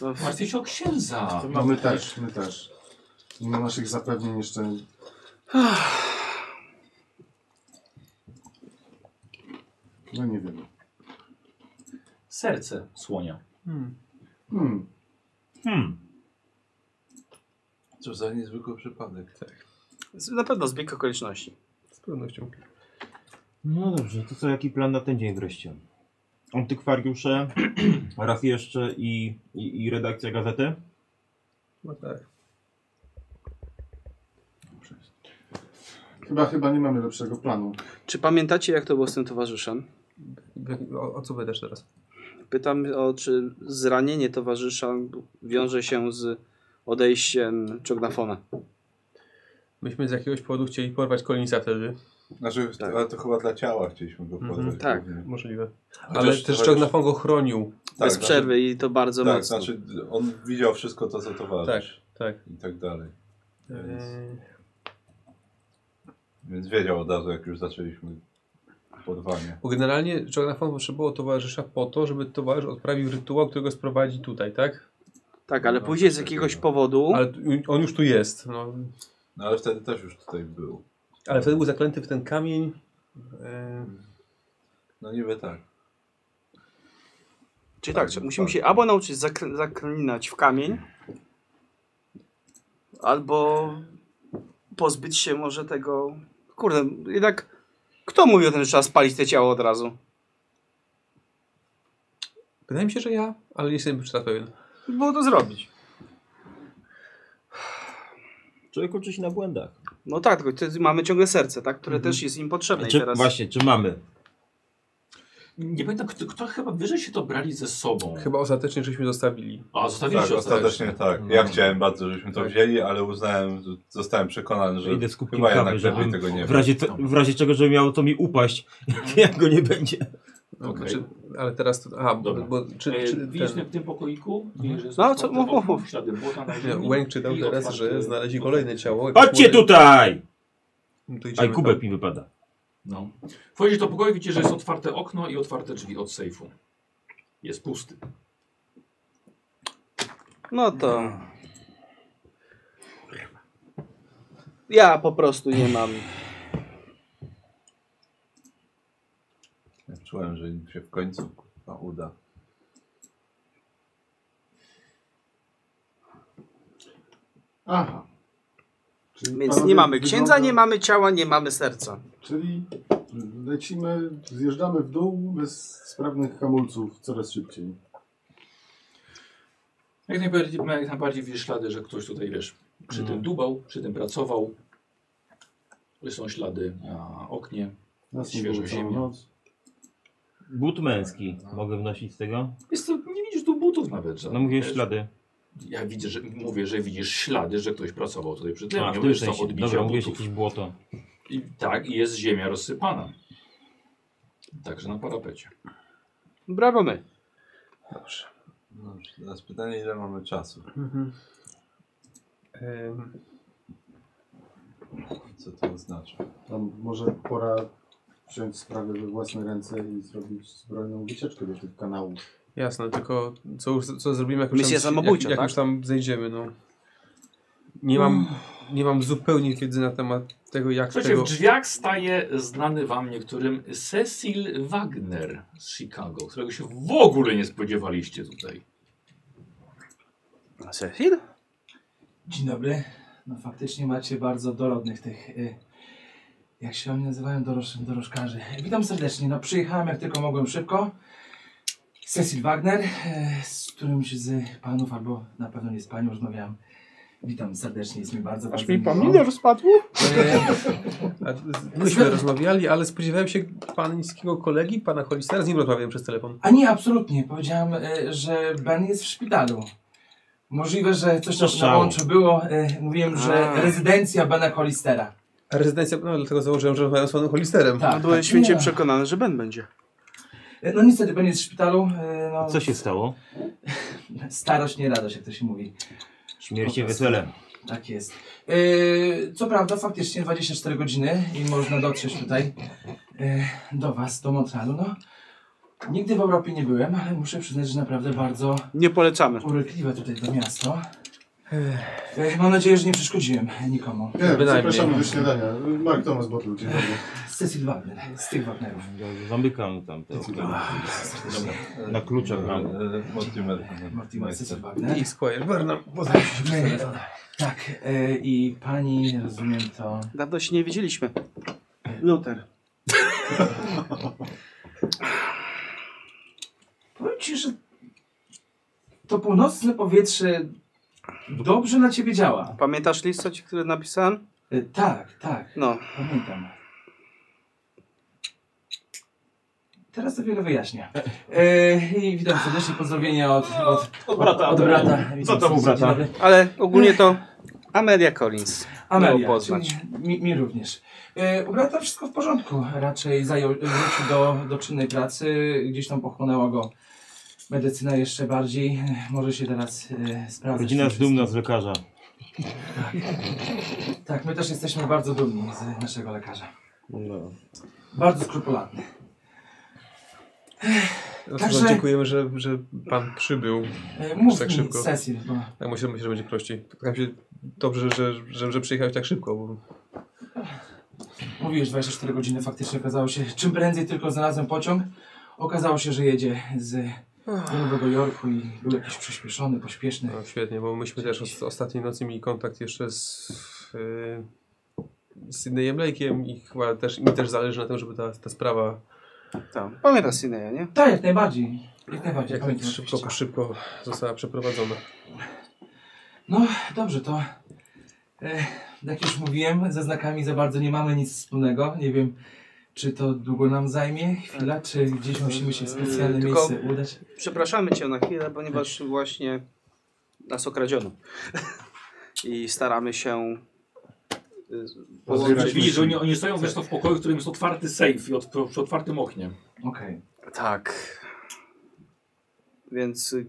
Speaker 3: No, w-
Speaker 1: Martwię się o księdza.
Speaker 4: No my też, my też. Mimo naszych zapewnień jeszcze... No nie wiem.
Speaker 1: Serce słonia.
Speaker 7: Hmm.
Speaker 4: Hmm.
Speaker 5: Hmm.
Speaker 8: Cóż za niezwykły przypadek.
Speaker 3: z- Na pewno zbieg okoliczności.
Speaker 7: Z pewnością.
Speaker 5: No dobrze, to co, jaki plan na ten dzień wreszcie? Antykwariusze, *clears throat* raz jeszcze i, i, i redakcja gazety?
Speaker 7: No tak.
Speaker 4: Chyba, chyba nie mamy lepszego planu.
Speaker 3: Czy pamiętacie jak to było z tym towarzyszem?
Speaker 7: O, o co wydasz teraz?
Speaker 3: Pytam o czy zranienie towarzysza wiąże się z odejściem Czognafona.
Speaker 8: Tak,
Speaker 7: Myśmy z jakiegoś powodu chcieli porwać Collinsa wtedy.
Speaker 8: Znaczy,
Speaker 3: Tak.
Speaker 8: ale to chyba dla ciała chcieliśmy go
Speaker 7: Mhm,
Speaker 8: podać.
Speaker 3: tak.
Speaker 8: głównie.
Speaker 7: Możliwe.
Speaker 8: Chociaż-
Speaker 7: Ale też
Speaker 8: chociaż-
Speaker 7: Czognafon go chronił.
Speaker 8: tak,
Speaker 3: Bez przerwy i to bardzo
Speaker 8: Znaczy, tak,
Speaker 3: mocno.
Speaker 8: znaczy on widział wszystko to, co
Speaker 7: Tak,
Speaker 8: towarzysz
Speaker 7: tak.
Speaker 8: i tak dalej.
Speaker 3: E,
Speaker 8: Więc,
Speaker 7: Yy,
Speaker 8: więc wiedział od razu, jak już zaczęliśmy podwanie.
Speaker 7: Bo generalnie Jonathan potrzebował towarzysza po to, żeby towarzysz odprawił rytuał, którego sprowadzi tutaj, tak?
Speaker 3: Tak, ale
Speaker 8: No,
Speaker 3: później z
Speaker 8: coś
Speaker 3: jakiegoś
Speaker 8: takiego.
Speaker 3: powodu.
Speaker 7: Ale tu- on już tu jest. No.
Speaker 8: No ale wtedy też już tutaj był.
Speaker 7: Ale wtedy był zaklęty w ten kamień. E,
Speaker 8: No niby tak.
Speaker 3: Czyli tak, że musimy się albo nauczyć zakl- zaklinać w kamień, albo pozbyć się może tego. Kurde, jednak kto mówi o tym, że trzeba spalić te ciało od razu?
Speaker 7: Wydaje mi się, że ja, ale nie jestem już na pewien.
Speaker 3: Było to zrobić.
Speaker 5: Człowiek uczy się na błędach.
Speaker 3: No tak, tylko wtedy mamy ciągle serce, tak? Które też jest im potrzebne i
Speaker 5: Czy,
Speaker 3: teraz.
Speaker 5: Znaczy, Właśnie, czy mamy?
Speaker 1: Nie pamiętam, kto, kto chyba wyżej się to brali ze sobą.
Speaker 7: Chyba ostatecznie żeśmy zostawili.
Speaker 1: A, zostawiliście
Speaker 8: Tak, ostatecznie tak. Ja
Speaker 5: No.
Speaker 8: chciałem bardzo, żebyśmy to
Speaker 7: Tak.
Speaker 8: wzięli, ale uznałem, że- zostałem przekonany, że
Speaker 5: Idę z kubkiem
Speaker 8: chyba jednak
Speaker 5: kawy,
Speaker 8: lepiej
Speaker 5: żebym
Speaker 8: tego nie
Speaker 5: w razie, to, w razie czego, że miało to mi upaść, jak go nie będzie.
Speaker 7: No,
Speaker 1: Okej.
Speaker 7: czy, ale teraz to. Aha, bo,
Speaker 1: Dobra. E,
Speaker 7: bo czy, czy
Speaker 1: Widzisz
Speaker 7: ten,
Speaker 1: w tym pokoiku? Widzisz, że jest
Speaker 3: No, co-
Speaker 1: otwarte
Speaker 3: mów, mów,
Speaker 1: okno,
Speaker 3: mów.
Speaker 1: Ślady błota na
Speaker 7: nie,
Speaker 1: ziemi
Speaker 7: Łęk czytał
Speaker 1: i
Speaker 7: teraz, że
Speaker 1: otwarte-
Speaker 7: znaleźli kolejne ciało. jakieś
Speaker 5: Chodźcie
Speaker 7: młode.
Speaker 5: tutaj!
Speaker 7: To idziemy
Speaker 5: Aj,
Speaker 7: tam.
Speaker 5: kubek mi wypada.
Speaker 1: No. Wchodzisz do pokoju, widzisz, że jest otwarte okno i otwarte drzwi od sejfu. Jest pusty.
Speaker 3: No to. Ja po prostu nie mam.
Speaker 8: Ja Czułem, że im się w końcu kurwa, uda.
Speaker 4: Aha. Czyli
Speaker 3: Więc
Speaker 4: panowie,
Speaker 3: nie mamy księdza,
Speaker 4: wygląda-
Speaker 3: nie mamy ciała, nie mamy serca.
Speaker 4: Czyli lecimy, zjeżdżamy w dół bez sprawnych hamulców coraz szybciej.
Speaker 1: Jak najbardziej, jak najbardziej widzisz ślady, że ktoś tutaj wiesz, przy
Speaker 5: Mm.
Speaker 1: tym dubał, przy tym pracował. Są ślady na oknie.
Speaker 4: Nas nie
Speaker 1: Świeżo
Speaker 4: było całą
Speaker 1: ziemia.
Speaker 4: noc.
Speaker 5: But męski. Mogę wnosić z tego?
Speaker 1: Jest to, nie widzisz tu butów nawet.
Speaker 5: No
Speaker 1: żadnych,
Speaker 5: mówię
Speaker 1: wiesz.
Speaker 5: ślady.
Speaker 1: Ja widzę, że, mówię, że widzisz ślady, że ktoś pracował tutaj przy tym.
Speaker 5: A,
Speaker 1: nie
Speaker 5: w tym
Speaker 1: wiesz, są
Speaker 5: sensie.
Speaker 1: odbicia
Speaker 5: Dobra, mówię
Speaker 1: butów.
Speaker 5: jakieś błoto.
Speaker 1: I, tak, i jest ziemia rozsypana. Także na parapecie.
Speaker 3: Brawo my.
Speaker 8: No, teraz pytanie, ile mamy czasu?
Speaker 7: Mhm. Em,
Speaker 8: Co to oznacza?
Speaker 4: Tam No, może pora wziąć sprawę we własne ręce i zrobić zbrojną wycieczkę do tych kanałów.
Speaker 7: Jasne, tylko co, już- co zrobimy, jak,
Speaker 3: Misja
Speaker 7: już tam, jak,
Speaker 3: samobójcza,
Speaker 7: jak
Speaker 3: tak?
Speaker 7: już tam zejdziemy. No. Nie, mam, nie mam zupełnie wiedzy na temat tego, jak
Speaker 1: Słuchajcie,
Speaker 7: Tak, tego...
Speaker 1: w drzwiach staje znany wam niektórym Cecil Wagner z Chicago, którego się w ogóle nie spodziewaliście tutaj.
Speaker 3: Cecil?
Speaker 9: Dzień dobry. No faktycznie macie bardzo dorodnych tych, y, jak się oni nazywają, doroż, dorożkarzy. Witam serdecznie. No przyjechałem jak tylko mogłem szybko. Cecil Wagner, y, z którymś z panów, albo na pewno nie z panią rozmawiałem. Witam serdecznie, jest mi bardzo, bardzo miło.
Speaker 3: spadł?
Speaker 9: Y, *laughs*
Speaker 7: A z- Myśmy rozmawiali, ale spodziewałem się pańskiego kolegi, pana Holistera, z nim rozmawiałem przez telefon.
Speaker 9: A nie, absolutnie. Powiedziałem, y, że Ben jest w szpitalu. Możliwe, że coś
Speaker 5: Co
Speaker 9: na- na
Speaker 5: stało?
Speaker 9: łączu było. Y, Mówiłem, że
Speaker 3: A.
Speaker 9: rezydencja Bena Hollistera.
Speaker 7: A rezydencja, no dlatego założyłem, że rozmawiam z panem Holisterem.
Speaker 9: Tak,
Speaker 3: Byłem święcie
Speaker 9: Nie.
Speaker 3: przekonany, że Ben będzie.
Speaker 9: No niestety Ben jest w szpitalu. y, No,
Speaker 5: Co się stało?
Speaker 9: Starość nie radość, jak to się mówi.
Speaker 5: Śmiercie weselem.
Speaker 9: Tak jest. Yy, co prawda, faktycznie 24 godziny i można dotrzeć tutaj yy, do Was, do Montrealu. No, nigdy w Europie nie byłem, ale muszę przyznać, że naprawdę bardzo
Speaker 3: Nie polecamy.
Speaker 9: urykliwe tutaj to miasto. Yy, mam nadzieję, że nie przeszkodziłem nikomu.
Speaker 4: Nie,
Speaker 7: Bynajmniej.
Speaker 4: zapraszamy do śniadania. Mark Thomas Bottle, dzień dobry.
Speaker 9: Cecil Wagner, z tych Wagnerów.
Speaker 5: Zamykam tam te
Speaker 9: Serdecznie.
Speaker 5: Na kluczach mam.
Speaker 8: E, Mortimer.
Speaker 9: Mortimer, Cecil Wagner.
Speaker 7: I Squire Burnham.
Speaker 9: Yy, Tak, yy, i pani, rozumiem to.
Speaker 3: Dawno się nie widzieliśmy. Luther.
Speaker 9: Powiem ci, że to północne powietrze dobrze na ciebie działa.
Speaker 3: Pamiętasz list, co ci, który napisałem?
Speaker 9: Y, Tak, tak,
Speaker 3: No.
Speaker 9: pamiętam. Teraz to wiele wyjaśnia. E, I witam serdecznie, pozdrowienia od, od, od brata. Od, brata. Witam
Speaker 5: tam u
Speaker 9: serdecznie,
Speaker 5: brata?
Speaker 9: dzień dobry.
Speaker 3: Ale ogólnie to Amelia Collins.
Speaker 9: Amelia,
Speaker 3: Miło poznać.
Speaker 9: czyli Mi, mi również. E, u brata wszystko w porządku. Raczej zajął, wrócił do, do czynnej pracy. Gdzieś tam pochłonęła go medycyna jeszcze bardziej. E, Może się teraz e, sprawdzać.
Speaker 5: Rodzina
Speaker 9: tym
Speaker 5: jest dumna z lekarza.
Speaker 9: Tak, my też jesteśmy bardzo dumni z naszego lekarza. Bardzo skrupulatny. Ech, Także-
Speaker 7: Dziękujemy, że, że pan przybył.
Speaker 9: E, Mów
Speaker 7: Tak
Speaker 9: mi,
Speaker 7: szybko.
Speaker 9: Cecil, bo
Speaker 7: Tak myślę, myślę, że będzie prościej. Tak się dobrze, że, że, że przyjechałeś tak szybko, bo
Speaker 9: mówiłeś 24 godziny, faktycznie okazało się, czym prędzej tylko znalazłem pociąg, okazało się, że jedzie z do Nowego Jorku i był jakiś przyspieszony, pośpieszny.
Speaker 7: no, świetnie, bo myśmy też os- ostatniej nocy mieli kontakt jeszcze z, yy, z Sydneyem Blake'iem i chyba też, mi też zależy na tym, żeby ta, ta sprawa
Speaker 3: Tam. Pamiętasz Sineja, nie?
Speaker 9: Tak, jak najbardziej. Jak najbardziej.
Speaker 7: jak
Speaker 9: pamiętam
Speaker 7: szybko,
Speaker 9: oczywiście.
Speaker 7: szybko została przeprowadzona.
Speaker 9: No dobrze, to e, jak już mówiłem, ze znakami za bardzo nie mamy nic wspólnego. Nie wiem, czy to długo nam zajmie, chwila, czy gdzieś musimy się w specjalne
Speaker 3: Yy, tylko-
Speaker 9: miejsce udać.
Speaker 3: Przepraszamy cię na chwilę, ponieważ właśnie nas okradziono. I staramy się y, połączyć.
Speaker 1: Czyli, że oni, oni stoją wiesz, to w pokoju, w którym jest otwarty sejf i od, przy otwartym oknie.
Speaker 9: Okej,
Speaker 3: Tak. Więc y,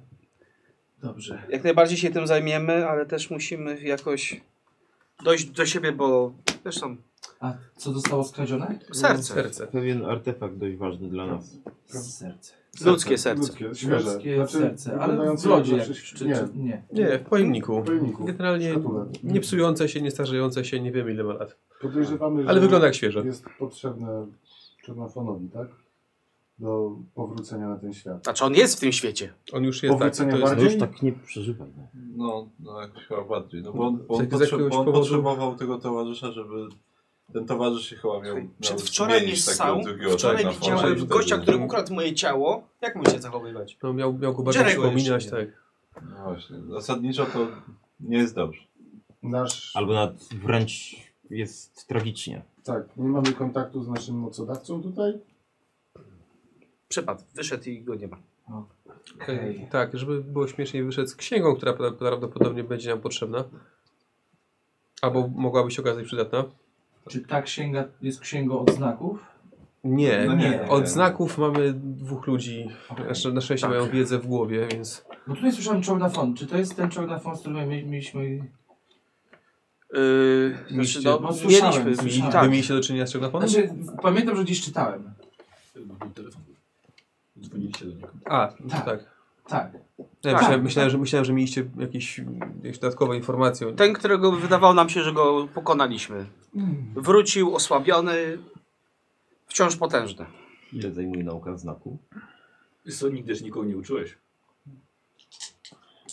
Speaker 9: dobrze.
Speaker 3: jak najbardziej się tym zajmiemy, ale też musimy jakoś dojść do siebie, bo zresztą
Speaker 9: A co zostało skradzione?
Speaker 3: serce,
Speaker 7: Serce.
Speaker 5: Pewien artefakt dość ważny dla nas.
Speaker 9: Serce.
Speaker 3: ludzkie serce.
Speaker 4: Ludzkie, świeże.
Speaker 9: Ludzkie
Speaker 4: Znaczy,
Speaker 9: serce, ale w
Speaker 4: wyglądające
Speaker 9: lodzie
Speaker 4: jak
Speaker 9: jakieś,
Speaker 4: coś-
Speaker 9: czy, czy,
Speaker 4: Nie,
Speaker 9: nie.
Speaker 7: Nie, w pojemniku.
Speaker 4: w pojemniku.
Speaker 7: Generalnie
Speaker 4: Szkatułek.
Speaker 7: nie psujące się, nie starzejące się, nie wiemy ile ma lat.
Speaker 4: Podejrzewamy,
Speaker 7: Ale
Speaker 4: że
Speaker 7: wygląda jak świeże.
Speaker 4: jest potrzebne czernofonowi, tak? Do powrócenia na ten świat.
Speaker 3: Znaczy on jest w tym świecie.
Speaker 7: On już jest tak,
Speaker 4: Powrócenia
Speaker 7: to jest
Speaker 5: No już
Speaker 4: Bardziej?
Speaker 5: tak nie przeżywaj. No.
Speaker 8: No, no jakoś chyba bardziej. No bo on, bo on,
Speaker 7: Z- z
Speaker 8: potrzeb,
Speaker 7: jakiegoś
Speaker 8: on
Speaker 7: powodu-
Speaker 8: potrzebował tego towarzysza, żeby... Ten towarzysz się chyba miał...
Speaker 3: Słuchaj,
Speaker 8: miał
Speaker 3: Przedwczoraj mnie
Speaker 8: zmienić takiego
Speaker 3: ssał,
Speaker 8: drugiego
Speaker 3: wczoraj
Speaker 8: Jack'a Fawcett
Speaker 3: widziałem
Speaker 8: wtedy.
Speaker 3: gościa, który ukradł moje ciało. Jak mu się zachowywać?
Speaker 7: No, miał, miał go bardziej
Speaker 3: Jerego
Speaker 7: przypominać,
Speaker 3: jeszcze
Speaker 7: tak.
Speaker 8: No właśnie, zasadniczo to nie jest dobrze.
Speaker 4: Nasz,
Speaker 5: Albo nawet wręcz jest tragicznie.
Speaker 4: tak, nie mamy kontaktu z naszym mocodawcą tutaj.
Speaker 3: Przepadł, wyszedł i go nie ma.
Speaker 9: Okej.
Speaker 7: Tak, żeby było śmieszniej, wyszedł z księgą, która pra- prawdopodobnie będzie nam potrzebna. Albo mogłaby się okazać przydatna.
Speaker 9: Czy ta księga jest księgą od znaków?
Speaker 7: Nie,
Speaker 8: No
Speaker 9: nie.
Speaker 7: Od znaków mamy dwóch ludzi.
Speaker 9: Okej.
Speaker 7: Znaczy, na szczęście mają wiedzę w głowie, więc
Speaker 9: Bo tutaj słyszałem czołnafon. Czy to jest ten czołnafon, z którym my mieliśmy...
Speaker 3: Yy,
Speaker 7: Mieliście-
Speaker 3: znaczy, no,
Speaker 9: no, słyszałem,
Speaker 3: mieliśmy,
Speaker 9: słyszałem.
Speaker 7: wy
Speaker 3: tak.
Speaker 7: mieliście do czynienia z czernofonem?
Speaker 9: Znaczy, pamiętam, że gdzieś czytałem.
Speaker 1: Był telefon. Dzwoniliście do niego.
Speaker 7: A,
Speaker 9: Tak.
Speaker 7: tak.
Speaker 9: Tak.
Speaker 7: Ja
Speaker 3: Tak.
Speaker 7: myślałem, myślałem, że, myślałem, że mieliście jakieś, jakieś dodatkowe informacje. o-
Speaker 3: Ten, którego wydawało nam się, że go pokonaliśmy. Wrócił osłabiony, wciąż potężny.
Speaker 5: Ile zajmuje nauka znaku?
Speaker 1: Co, nigdy się nikogo nie uczyłeś?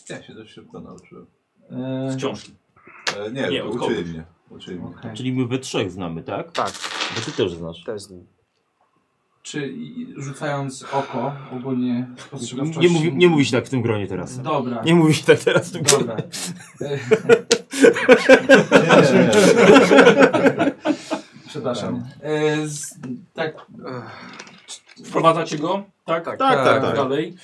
Speaker 8: Ja się dość szybko nauczyłem.
Speaker 9: E,
Speaker 1: Wciąż.
Speaker 8: E, nie,
Speaker 1: Nie,
Speaker 8: nie
Speaker 1: od
Speaker 8: uczyli
Speaker 1: kogoś.
Speaker 8: mnie. Uczyli mnie.
Speaker 9: okej.
Speaker 5: Czyli my we trzech znamy, tak?
Speaker 3: Tak,
Speaker 5: Bo ty też znasz.
Speaker 3: też z nim.
Speaker 9: Czy i- rzucając oko ogólnie spostrzegawczości...
Speaker 5: Nie, mówi, nie mówi się tak w tym gronie teraz.
Speaker 9: Dobra.
Speaker 5: Nie mówi się tak teraz w tym gronie. *laughs*
Speaker 9: Dobra. E,
Speaker 8: Nie, nie, nie.
Speaker 9: Przepraszam. E, z, tak,
Speaker 1: Wprowadzacie go? Tak,
Speaker 7: Tak, tak, tak.
Speaker 1: Dalej.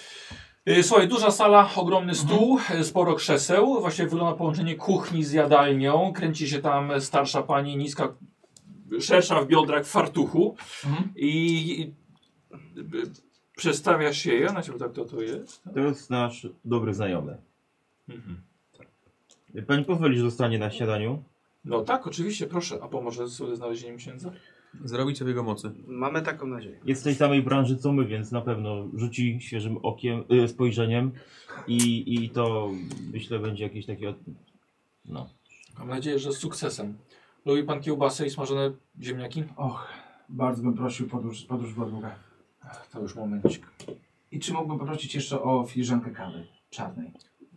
Speaker 1: Y, Słuchaj, duża sala, ogromny stół, y, sporo krzeseł. Właśnie wygląda połączenie kuchni z jadalnią. Kręci się tam starsza pani, niska, szersza w biodrach, w fartuchu.
Speaker 9: Mhm.
Speaker 1: I, i y, przedstawia się je. Na ciebie tak to, to jest.
Speaker 5: To jest nasz dobry znajomy.
Speaker 1: Mhm.
Speaker 5: Pani pozwoli, że zostanie na śniadaniu?
Speaker 1: No tak, oczywiście, proszę. A pomoże sobie znalezieniem księdza?
Speaker 7: Zrobić sobie jego mocy.
Speaker 3: Mamy taką nadzieję.
Speaker 5: Jest w tej samej branży co my, więc na pewno rzuci świeżym okiem, y, spojrzeniem i, i to myślę będzie jakieś takie... od- No.
Speaker 1: Mam nadzieję, że z sukcesem. Lubi pan kiełbasę i smażone ziemniaki?
Speaker 9: och, bardzo bym prosił podróż, podróż była długa.
Speaker 1: To już momencik.
Speaker 9: I czy mógłbym poprosić jeszcze o filiżankę kawy czarnej?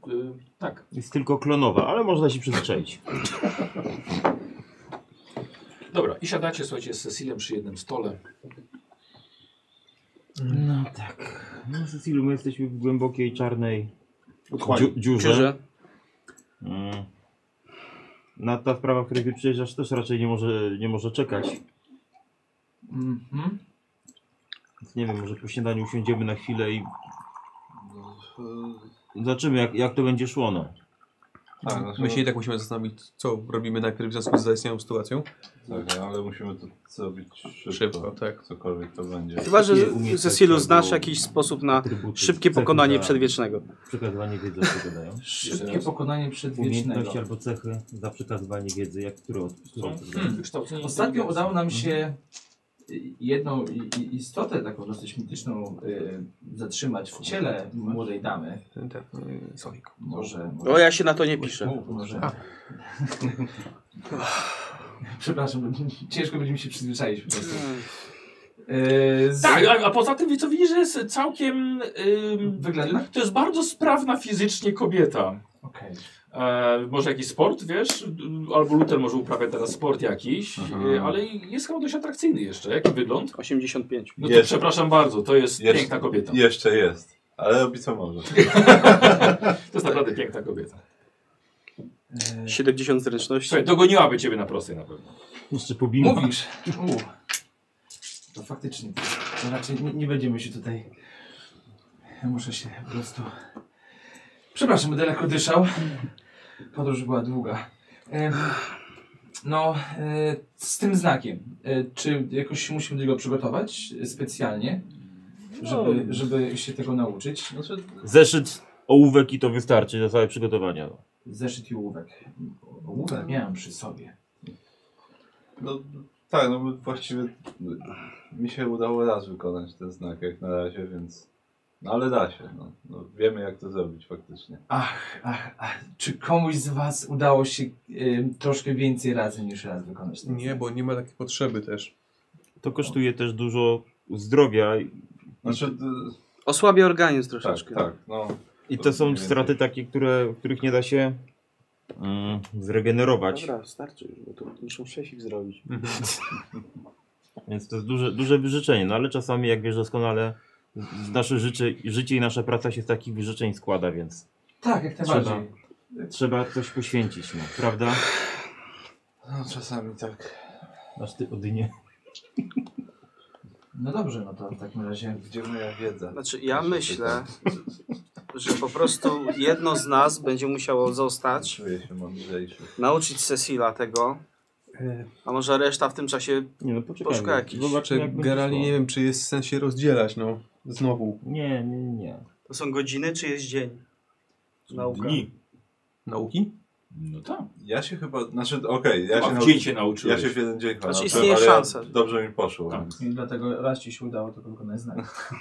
Speaker 1: Y, tak.
Speaker 5: Jest tylko klonowa, ale można się przyzwyczaić.
Speaker 1: Dobra, i siadacie, słuchajcie, z Cecilem przy jednym stole.
Speaker 5: No tak. No Cecilu, my jesteśmy w głębokiej, czarnej
Speaker 4: Otchłani.
Speaker 5: dziu- dziurze. Mm. Na ta sprawa, w której ty przyjeżdżasz, też raczej nie może, nie może czekać.
Speaker 9: Mhm.
Speaker 5: Więc nie wiem, może po śniadaniu usiądziemy na chwilę i
Speaker 8: No,
Speaker 5: zobaczymy, jak, jak to będzie szło. No.
Speaker 8: e, tak, znaczy,
Speaker 7: My się i tak musimy zastanowić, co robimy najpierw w związku z zaistniałą sytuacją.
Speaker 8: *laughs* tak, ale musimy to zrobić szybko.
Speaker 7: Szybko, tak.
Speaker 8: Cokolwiek to będzie.
Speaker 3: Chyba, że
Speaker 5: Takie umiejętności
Speaker 3: Cecilu
Speaker 5: albo
Speaker 3: znasz jakiś sposób na
Speaker 5: Atrybuty,
Speaker 3: szybkie
Speaker 5: cechy
Speaker 3: pokonanie
Speaker 8: tak.
Speaker 5: za
Speaker 3: przedwiecznego.
Speaker 5: Przekazywanie wiedzy, jak to dają.
Speaker 9: Szybkie pokonanie przedwiecznego.
Speaker 5: Umiejętności albo cechy za przekazywanie wiedzy, jak które od...
Speaker 1: Są
Speaker 5: które od-
Speaker 1: hmm, wykształceni
Speaker 9: Ostatnio
Speaker 3: Mhm.
Speaker 1: inteligenci.
Speaker 9: udało nam się i- jedną i- i- istotę taką dosyć mityczną y, zatrzymać w ciele młodej damy.
Speaker 7: Ten, ten, y, Sowik.
Speaker 9: Może. może
Speaker 3: O, No, ja się na to nie
Speaker 8: Mm.
Speaker 3: piszę.
Speaker 9: Może. *laughs* Przepraszam, bo ciężko będzie mi się przyzwyczaić po prostu.
Speaker 3: Hmm,
Speaker 9: E, z...
Speaker 11: Tak, a, a poza tym, wie- co widzisz, że jest całkiem... ym,
Speaker 9: Wyględna?
Speaker 11: To jest bardzo sprawna fizycznie kobieta.
Speaker 9: Okej.
Speaker 11: E, może jakiś sport, wiesz? D- Albo Luther może uprawia teraz sport jakiś, e, ale jest chyba dość atrakcyjny jeszcze. Jaki wygląd?
Speaker 3: 85.
Speaker 11: No to
Speaker 8: Jest.
Speaker 11: przepraszam bardzo, to jest
Speaker 8: Jest.
Speaker 11: piękna kobieta.
Speaker 8: Jeszcze jest, ale robi co może.
Speaker 11: To jest naprawdę piękna kobieta.
Speaker 9: E,
Speaker 3: 70 zręczności.
Speaker 11: Słuchaj, dogoniłaby ciebie na prostej na pewno.
Speaker 5: Jeszcze pobimy.
Speaker 9: Mówisz. U. To faktycznie. To raczej nie, nie będziemy się tutaj. Ja muszę się po prostu. Przepraszam, będę lekko dyszał. Podróż była długa. Em, No, e, z tym znakiem. E, Czy jakoś musimy do niego przygotować e, specjalnie, żeby, żeby się tego nauczyć? Znaczy,
Speaker 5: Zeszyt, ołówek i to wystarczy na całe przygotowania.
Speaker 9: zeszyt i ołówek. Ołówek miałem przy sobie.
Speaker 8: No tak, no bo właściwie mi się udało raz wykonać ten znak jak na razie, więc... No ale da się, no. no wiemy jak to zrobić faktycznie.
Speaker 9: Ach, ach, ach. Czy komuś z Was udało się em, troszkę więcej razy niż raz wykonać ten
Speaker 7: Nie, bo nie ma takiej potrzeby też.
Speaker 5: To kosztuje też dużo zdrowia i-
Speaker 8: Znaczy, d-
Speaker 3: Osłabia organizm
Speaker 8: tak,
Speaker 3: troszeczkę.
Speaker 8: tak, no.
Speaker 5: i to są straty takie, które, których nie da się mm, zregenerować.
Speaker 3: Dobra, starczy już, bo tu muszą 6 ich zrobić.
Speaker 5: Więc to jest duże, duże wyrzeczenie, no ale czasami, jak wiesz doskonale, z- nasze życie, życie i nasza praca się z takich wyrzeczeń składa, więc
Speaker 9: Tak, jak
Speaker 5: Trzeba.
Speaker 9: najbardziej.
Speaker 5: trzeba coś poświęcić, no, prawda?
Speaker 8: No czasami tak.
Speaker 5: Aż ty odynie.
Speaker 9: No dobrze, no to w takim razie.
Speaker 8: Gdzie moja wiedza?
Speaker 3: Znaczy, ja myślę,
Speaker 8: tak.
Speaker 3: że po prostu jedno z nas będzie musiało zostać,
Speaker 8: Czuję się mądrzejszy.
Speaker 3: nauczyć Cecila tego, a może reszta w tym czasie
Speaker 5: Nie no, poczekajmy.
Speaker 3: Poszukaj jakiś.
Speaker 5: Zobaczmy,
Speaker 7: Czy
Speaker 5: jak będzie
Speaker 7: Gerali,
Speaker 5: szło.
Speaker 7: nie wiem, czy jest sens się rozdzielać, no. Znowu.
Speaker 5: Nie, nie, nie.
Speaker 3: To są godziny, czy jest dzień? Nauka.
Speaker 8: Dni.
Speaker 7: Nauki?
Speaker 11: No tak.
Speaker 8: Ja się chyba, znaczy okej, ja
Speaker 11: Chyba
Speaker 8: się
Speaker 11: w
Speaker 8: nauczy-
Speaker 11: dzień się
Speaker 8: Ja
Speaker 11: nauczyłeś.
Speaker 8: się w jeden dzień
Speaker 3: Znaczy,
Speaker 8: nauczyłem,
Speaker 3: istnieje
Speaker 8: ale
Speaker 3: szansa.
Speaker 8: Dobrze mi poszło.
Speaker 11: Tak.
Speaker 8: więc-
Speaker 9: I dlatego raz ci się udało to wykonać
Speaker 8: *laughs* Tak,
Speaker 9: znak.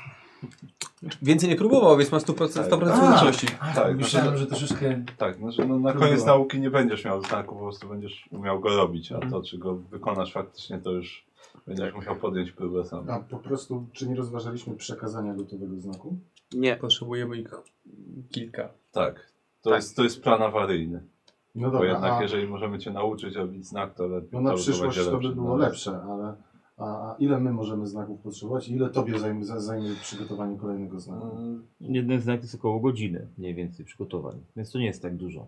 Speaker 7: Więcej nie próbował, więc ma 100%, 100
Speaker 9: Tak.
Speaker 7: skuteczności.
Speaker 9: Ach,
Speaker 8: Tak,
Speaker 9: myślałem,
Speaker 8: znaczy-
Speaker 9: że troszeczkę.
Speaker 8: Tak, znaczy no, na
Speaker 9: Trudno.
Speaker 8: koniec nauki nie będziesz miał znaku, po prostu będziesz umiał go robić, a
Speaker 10: Mhm.
Speaker 8: to czy go wykonasz faktycznie to już będziesz musiał podjąć próbę sam.
Speaker 10: A po prostu, czy nie rozważaliśmy przekazania gotowego znaku?
Speaker 3: Nie.
Speaker 7: Potrzebujemy ich kilka.
Speaker 8: Tak. To,
Speaker 3: Tak.
Speaker 8: Jest, to jest plan awaryjny,
Speaker 10: No
Speaker 8: bo jednak
Speaker 10: a
Speaker 8: jeżeli możemy cię nauczyć robić znak, to lepiej.
Speaker 10: no na
Speaker 8: to
Speaker 10: przyszłość
Speaker 8: będzie
Speaker 10: to by było
Speaker 8: no.
Speaker 10: lepsze, ale a, a ile my możemy znaków potrzebować? Ile tobie zajmie, za- zajmie przygotowanie kolejnego znaku?
Speaker 8: Mm,
Speaker 5: Jeden znak to jest około godziny mniej więcej przygotowań, więc to nie jest tak dużo.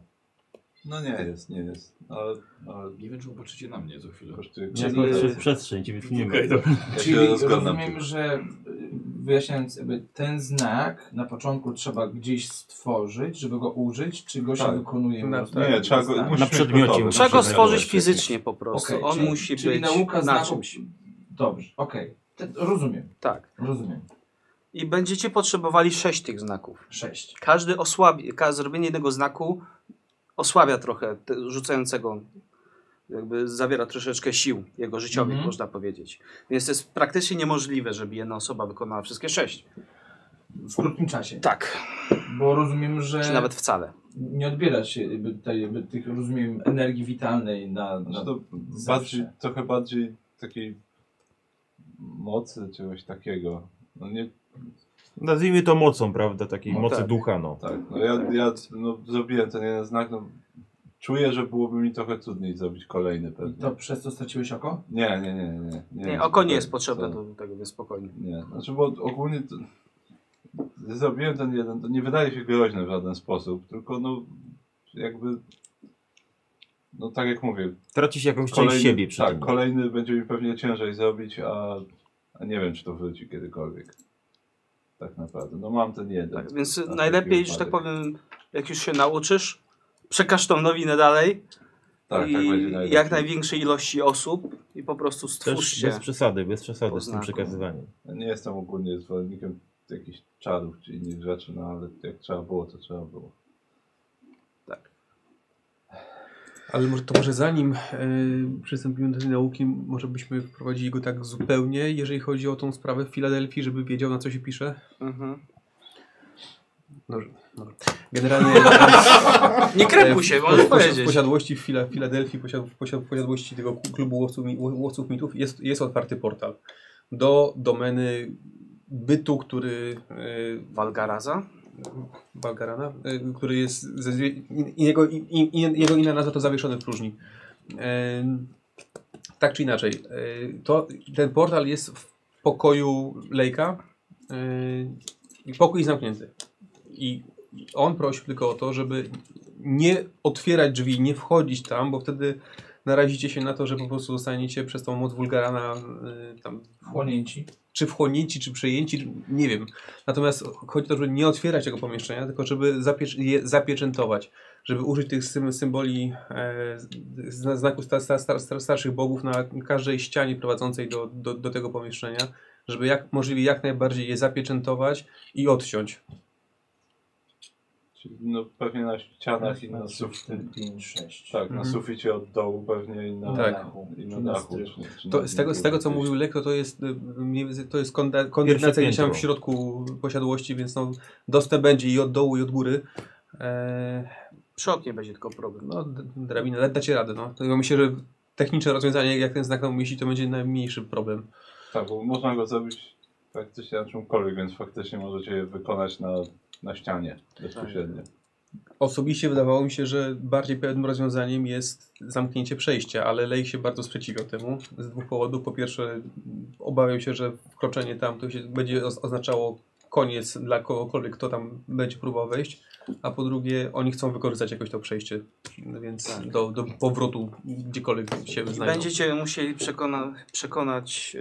Speaker 8: No nie jest, nie jest. no, Ale, ale
Speaker 11: Nie wiem, czy popatrzycie na mnie za chwilę.
Speaker 8: kosztuje
Speaker 5: Nie
Speaker 9: Czyli-
Speaker 5: jest przez przestrzeń, więc nie ma.
Speaker 11: Okej, dobra.
Speaker 8: Ja
Speaker 9: Czyli
Speaker 8: się rozglądam.
Speaker 9: rozumiem, że y, wyjaśniając, jakby ten znak na początku trzeba gdzieś stworzyć, żeby go użyć, czy go się
Speaker 8: Tak.
Speaker 9: wykonuje? po
Speaker 7: Na-
Speaker 9: prostu?
Speaker 8: Nie, trzeba go,
Speaker 9: Znak.
Speaker 8: musimy
Speaker 5: Na przedmiocie
Speaker 8: gotowy,
Speaker 5: musi
Speaker 3: Trzeba go
Speaker 8: musimy
Speaker 3: stworzyć
Speaker 8: gotowy.
Speaker 3: fizycznie po prostu.
Speaker 9: Okej,
Speaker 3: On
Speaker 9: czyli-
Speaker 3: musi
Speaker 9: czyli
Speaker 3: być
Speaker 9: nauka
Speaker 3: na
Speaker 9: znaków.
Speaker 3: czymś.
Speaker 9: Dobrze, okej. Te- Rozumiem,
Speaker 3: Tak.
Speaker 9: rozumiem.
Speaker 3: I będziecie potrzebowali sześć tych znaków.
Speaker 9: Sześć.
Speaker 3: Każdy osłabi, ka zrobienie jednego znaku osłabia trochę te, rzucającego, jakby zawiera troszeczkę sił jego życiowych,
Speaker 9: Mhm.
Speaker 3: można powiedzieć. Więc to jest praktycznie niemożliwe, żeby jedna osoba wykonała wszystkie sześć.
Speaker 9: W krótkim czasie.
Speaker 3: Tak,
Speaker 9: Bo rozumiem, że.
Speaker 3: czy nawet wcale.
Speaker 9: nie odbiera się jakby tej, jakby tych, rozumiem, energii witalnej na... na...
Speaker 8: Znaczy to bardziej, trochę bardziej takiej mocy, czegoś takiego. No nie,
Speaker 5: Nazwijmy to mocą, prawda? Takiej
Speaker 8: No
Speaker 5: mocy
Speaker 8: tak.
Speaker 5: ducha, no.
Speaker 8: tak. No ja, ja no, zrobiłem ten jeden znak, no czuję, że byłoby mi trochę trudniej zrobić kolejny
Speaker 9: I
Speaker 8: pewnie.
Speaker 9: to przez to straciłeś oko?
Speaker 8: Nie, nie, nie, nie. Nie,
Speaker 3: Nie, oko nie jest
Speaker 8: to-
Speaker 3: potrzebne
Speaker 8: to-
Speaker 3: do tego, więc spokojnie.
Speaker 8: Nie, znaczy bo ogólnie to, zrobiłem ten jeden, to nie wydaje się groźny w żaden sposób, tylko no jakby, no tak jak mówię,
Speaker 5: Tracisz jakąś część siebie przy
Speaker 8: tak,
Speaker 5: tym.
Speaker 8: kolejny będzie mi pewnie ciężej zrobić, a, a nie wiem, czy to wróci kiedykolwiek. Tak naprawdę. No mam ten jeden.
Speaker 3: Tak, więc
Speaker 8: taki
Speaker 3: najlepiej, że tak
Speaker 8: wypadek.
Speaker 3: powiem, jak już się nauczysz, przekaż tą nowinę dalej
Speaker 8: Tak,
Speaker 3: i
Speaker 8: tak będzie najlepiej.
Speaker 3: jak największej ilości osób i po prostu
Speaker 5: Też
Speaker 3: stwórzcie.
Speaker 5: bez przesady, bez przesady
Speaker 3: po
Speaker 5: z tym
Speaker 3: znaku.
Speaker 5: przekazywaniem.
Speaker 8: Ja No nie jestem ogólnie zwolennikiem jakichś czarów czy innych rzeczy, no ale jak trzeba było, to trzeba było.
Speaker 7: Ale może, to może zanim e, przystąpimy do tej nauki, może byśmy wprowadzili go tak zupełnie, jeżeli chodzi o tą sprawę w Filadelfii, żeby wiedział na co się pisze.
Speaker 3: Mhm.
Speaker 7: Dobrze, dobra. Generalnie e,
Speaker 8: Tak,
Speaker 3: Nie krępuj się,
Speaker 7: w,
Speaker 3: możesz
Speaker 7: posi- w
Speaker 3: powiedzieć.
Speaker 7: posiadłości w Fila, Filadelfii, posiad, w posiad, w posiadłości tego ku- klubu łowców, mi- łowców mitów jest, jest otwarty portal do domeny bytu, który e,
Speaker 3: Walgaraza?
Speaker 7: Balgarana, y, który jest ze zwie- i- i jego, i- i- i- jego inna nazwa to zawieszony w próżni. Ym, Tak czy inaczej, y, to, ten portal jest w pokoju Lejka y, i pokój jest zamknięty. I on prosił tylko o to, żeby nie otwierać drzwi, nie wchodzić tam, bo wtedy narazicie się na to, że po prostu zostaniecie przez tą moc Wulgarana y, tam
Speaker 9: Wchłonięci.
Speaker 7: czy wchłonięci, czy przejęci, nie wiem. Natomiast chodzi o to, żeby nie otwierać tego pomieszczenia, tylko żeby zapiecz je zapieczętować, żeby użyć tych sym symboli, e, zna- znaku sta sta sta sta starszych bogów na każdej ścianie prowadzącej do, do, do tego pomieszczenia, żeby jak możliwie jak najbardziej je zapieczętować i odciąć.
Speaker 8: Czyli No, pewnie na
Speaker 9: Tak,
Speaker 8: ścianach i na suficie.
Speaker 9: 5, 6.
Speaker 8: Tak, na
Speaker 7: Mhm.
Speaker 8: suficie od dołu pewnie i na,
Speaker 7: Tak.
Speaker 8: i
Speaker 9: Czy
Speaker 8: na
Speaker 9: na
Speaker 8: dachu.
Speaker 9: strychu.
Speaker 8: czy- czy na
Speaker 7: To, z, tego, z tego, co
Speaker 8: gdzieś.
Speaker 7: mówił Lek, to, to jest, y, mniej więcej- to jest konde- kondensacja gdzieś tam w
Speaker 4: piętro.
Speaker 7: środku posiadłości, więc no, dostęp będzie i od dołu, i od góry. E,
Speaker 3: Przod nie będzie tylko problem.
Speaker 7: No, d- drabina, ale dacie radę. No. Tylko myślę, że techniczne rozwiązanie, jak ten znak tam umieści, to będzie najmniejszy problem.
Speaker 8: Tak, bo można go zrobić praktycznie na czymkolwiek, więc faktycznie możecie je wykonać na, na ścianie bezpośrednio.
Speaker 7: Osobiście wydawało mi się, że bardziej pewnym rozwiązaniem jest zamknięcie przejścia, ale Lej się bardzo sprzeciwiał temu z dwóch powodów. Po pierwsze, m, obawiał się, że wkroczenie tam to się będzie oz- oznaczało koniec dla kogokolwiek, kto tam będzie próbował wejść, a po drugie, oni chcą wykorzystać jakoś to przejście, więc do, do powrotu gdziekolwiek się
Speaker 3: I
Speaker 7: znajdą.
Speaker 3: będziecie musieli przekona przekonać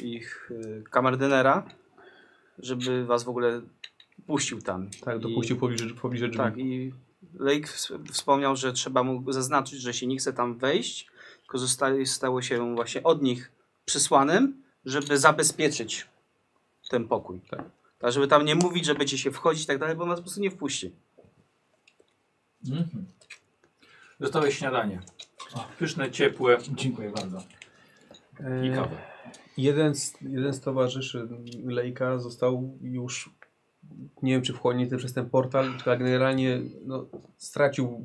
Speaker 3: y, ich y, kamerdynera, żeby was w ogóle puścił tam.
Speaker 7: Tak,
Speaker 3: I-
Speaker 7: dopuścił pobliżej, pobliżej drzwi.
Speaker 3: Tak, i Lake ws- wspomniał, że trzeba mu zaznaczyć, że się nie chce tam wejść, tylko zostaje, stało się właśnie od nich przysłanym, żeby zabezpieczyć ten pokój.
Speaker 7: Tak.
Speaker 3: Tak, żeby tam nie mówić, że będzie się wchodzić i tak dalej, bo nas po prostu nie wpuści.
Speaker 9: Mhm.
Speaker 11: Dostałeś śniadanie. Pyszne, ciepłe
Speaker 9: Dziękuję bardzo.
Speaker 11: i
Speaker 7: E,
Speaker 11: kawę.
Speaker 7: Jeden z, jeden z towarzyszy Lejka został już, nie wiem czy wchłonięty przez ten portal, ale generalnie no, stracił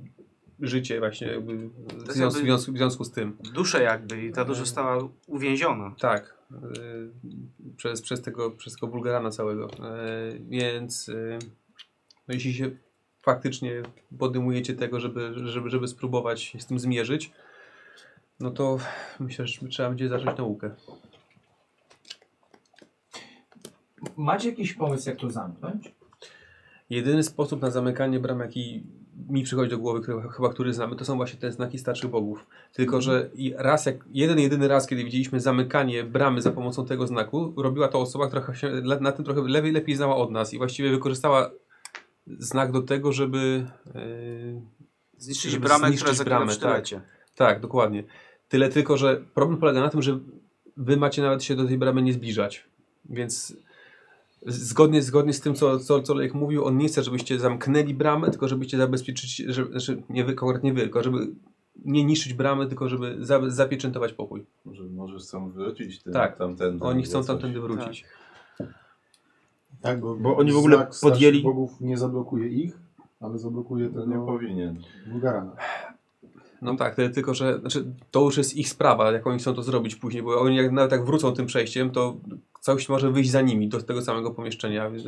Speaker 7: życie właśnie jakby w,
Speaker 3: jest
Speaker 7: związku, w,
Speaker 3: jakby-
Speaker 7: związku, w związku z tym.
Speaker 3: Duszę jakby i ta
Speaker 7: E.
Speaker 3: dusza została uwięziona.
Speaker 7: Tak, y, przez, przez, tego, przez tego Bulgarana całego. Y, więc y, no, jeśli się faktycznie podejmujecie tego, żeby, żeby, żeby spróbować się z tym zmierzyć, no to myślę, że trzeba będzie zacząć naukę.
Speaker 9: Macie jakiś pomysł, jak to zamknąć?
Speaker 7: Jedyny sposób na zamykanie bram, jaki mi przychodzi do głowy, który, chyba który znamy, to są właśnie te znaki starszych bogów.
Speaker 3: Mhm.
Speaker 7: Tylko, że i raz, jak, jeden jedyny raz, kiedy widzieliśmy zamykanie bramy za pomocą tego znaku, robiła to osoba, która się le- na tym trochę lepiej, lepiej znała od nas i właściwie wykorzystała znak do tego, żeby... Yy,
Speaker 3: Zniszczyć
Speaker 7: Żeby
Speaker 3: bramę,
Speaker 7: zniszczyć
Speaker 3: która zakrywa
Speaker 7: bramę,
Speaker 3: w
Speaker 7: tak.
Speaker 3: sztylecie.
Speaker 7: tak, dokładnie. Tyle tylko, że problem polega na tym, że wy macie nawet się do tej bramy nie zbliżać. Więc z- zgodnie, zgodnie z tym, co, co, co Lejek mówił, on nie chce, żebyście zamknęli bramę, tylko żebyście zabezpieczyć, że, znaczy nie wy, konkretnie wy, tylko żeby nie niszczyć bramy, tylko żeby za, zapieczętować pokój.
Speaker 8: Może, może chcą wrócić ten,
Speaker 7: Tak.
Speaker 8: tamtędy.
Speaker 7: Oni
Speaker 8: albo
Speaker 7: chcą
Speaker 8: coś.
Speaker 7: tamtędy wrócić.
Speaker 10: Tak, bo,
Speaker 5: Bo oni w ogóle
Speaker 10: znak starszych
Speaker 5: podjęli-
Speaker 10: bogów nie zablokuje ich, ale zablokuje
Speaker 8: To No nie
Speaker 10: tego
Speaker 8: powinien.
Speaker 10: Bulgarana.
Speaker 7: No tak, tyle tylko, że znaczy, to już jest ich sprawa, jak oni chcą to zrobić później, bo oni jak, nawet jak wrócą tym przejściem, to coś może wyjść za nimi do tego samego pomieszczenia. Więc,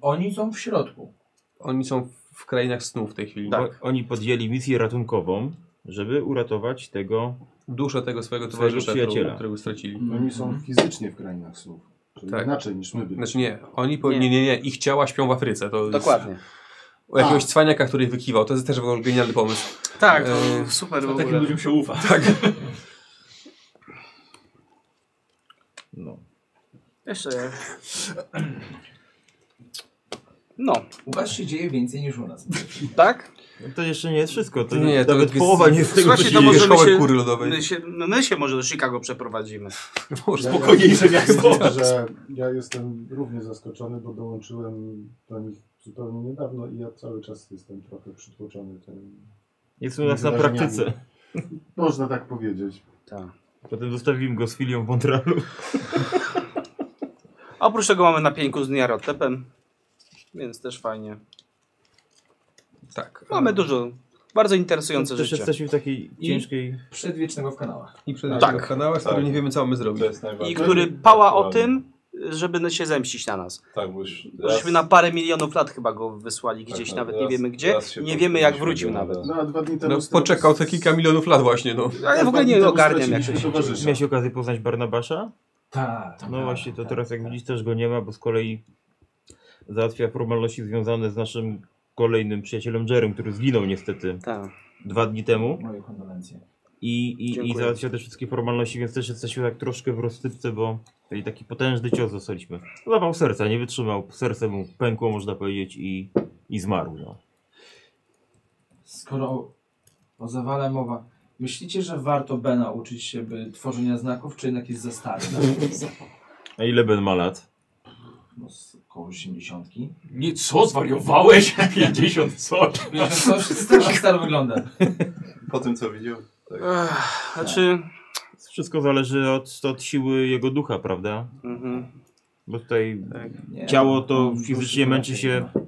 Speaker 9: Oni są w środku.
Speaker 7: Oni są w krainach snu w tej chwili. bo-
Speaker 5: Tak. Oni podjęli misję ratunkową, żeby uratować tego
Speaker 7: duszę tego swojego
Speaker 5: Swojego
Speaker 7: towarzysza, którego,
Speaker 5: przyjaciela.
Speaker 7: którego stracili.
Speaker 10: Oni są fizycznie w krainach snów. Czyli
Speaker 7: Tak.
Speaker 10: inaczej niż my byli.
Speaker 7: Znaczy nie, oni po... nie. nie, nie, ich ciała śpią w Afryce. To
Speaker 3: Dokładnie.
Speaker 7: Jest... O jakiegoś cwaniaka, który wykiwał, to jest też w ogóle genialny pomysł.
Speaker 3: Tak,
Speaker 7: Tak.
Speaker 3: to
Speaker 7: Eee,
Speaker 3: super w
Speaker 11: To
Speaker 3: ogóle.
Speaker 11: takim ludziom się
Speaker 7: *laughs*
Speaker 11: ufa.
Speaker 5: No.
Speaker 3: Jeszcze ja. No,
Speaker 9: U was się dzieje więcej niż u nas.
Speaker 3: tak?
Speaker 5: No To jeszcze nie jest wszystko. To
Speaker 7: Nie,
Speaker 5: nie,
Speaker 7: to
Speaker 5: nawet
Speaker 7: jest-
Speaker 5: połowa
Speaker 7: *laughs*
Speaker 5: nie jest tego,
Speaker 3: Słuchajcie,
Speaker 5: co się
Speaker 3: to
Speaker 5: dzieje.
Speaker 3: może-
Speaker 7: szkołę
Speaker 3: my się-
Speaker 7: kury lodowej. *laughs*
Speaker 3: My się, no my się może do Chicago przeprowadzimy.
Speaker 7: Boże,
Speaker 10: Ja-
Speaker 11: Spokojniejsze
Speaker 10: ja,
Speaker 11: miasto.
Speaker 10: powiem, że ja jestem równie zaskoczony, bo dołączyłem do nich zupełnie niedawno i ja cały czas jestem trochę przytłoczony tym
Speaker 5: Nie są nas na
Speaker 10: Wydarzeniami.
Speaker 5: praktyce.
Speaker 10: Można tak powiedzieć.
Speaker 3: Tak.
Speaker 5: Potem zostawiłem go z filią w Montrealu.
Speaker 3: A oprócz tego mamy na pieńku z Niarotepem, więc też fajnie.
Speaker 7: Tak.
Speaker 3: Mamy dużo, bardzo interesujące
Speaker 5: Też
Speaker 3: życie.
Speaker 5: jesteśmy w takiej
Speaker 9: I-
Speaker 5: ciężkiej...
Speaker 9: Przedwiecznego w kanałach.
Speaker 7: I przed
Speaker 8: Tak.
Speaker 7: tak. kanałach, z którym
Speaker 8: Tak.
Speaker 7: nie wiemy, co mamy zrobić.
Speaker 8: To jest najważniejsze.
Speaker 3: I który pała o tym, żeby no się zemścić na nas.
Speaker 8: Tak, bo już raz-
Speaker 3: Żeśmy na parę milionów lat chyba go wysłali gdzieś,
Speaker 8: tak,
Speaker 3: nawet
Speaker 8: raz-
Speaker 3: nie wiemy gdzie.
Speaker 8: raz się
Speaker 3: Nie wiemy jak
Speaker 8: pogubiliśmy,
Speaker 3: wrócił
Speaker 8: no,
Speaker 3: nawet.
Speaker 8: tak.
Speaker 10: No, a dwa dni temu
Speaker 7: No,
Speaker 10: stra-
Speaker 7: poczekał te kilka milionów lat właśnie, no.
Speaker 10: a
Speaker 3: Ja
Speaker 10: dwa
Speaker 3: w ogóle
Speaker 10: dni
Speaker 3: nie
Speaker 10: temu
Speaker 3: ogarniam, jak
Speaker 10: straciliśmy
Speaker 3: to się dzieje.
Speaker 10: towarzysza.
Speaker 5: Miałeś okazję poznać Barnabasza?
Speaker 9: Tak.
Speaker 5: No właśnie, to teraz jak widzisz też go nie ma, bo z kolei załatwia formalności związane z naszym kolejnym przyjacielem Jerem, który zginął niestety
Speaker 3: Tak.
Speaker 5: dwa dni temu.
Speaker 9: Moje kondolencje.
Speaker 5: I, i, i
Speaker 3: Dziękuję.
Speaker 5: załatwia te wszystkie formalności, więc też jesteśmy tak troszkę w rozsypce, bo tutaj taki potężny cios dostaliśmy. Złapał serca, nie wytrzymał, serce mu pękło można powiedzieć i, i zmarł. No.
Speaker 9: Skoro o, o zawale mowa, myślicie, że warto B nauczyć się by tworzenia znaków, czy jednak jest za stary?
Speaker 5: A ile Ben ma lat?
Speaker 9: No, z około 80.
Speaker 11: Nie, co, *laughs* zwariowałeś? 50 coś.
Speaker 9: Coś staro, staro wygląda.
Speaker 8: Po tym, co widziałem.
Speaker 3: Ech, Znaczy...
Speaker 5: Wszystko zależy od, od siły jego ducha, prawda?
Speaker 3: Mhm.
Speaker 5: Bo tutaj
Speaker 9: Nie,
Speaker 5: Ciało to
Speaker 9: on
Speaker 5: fizycznie
Speaker 9: duszy
Speaker 5: męczy
Speaker 9: raczej
Speaker 5: się-
Speaker 9: nie ma.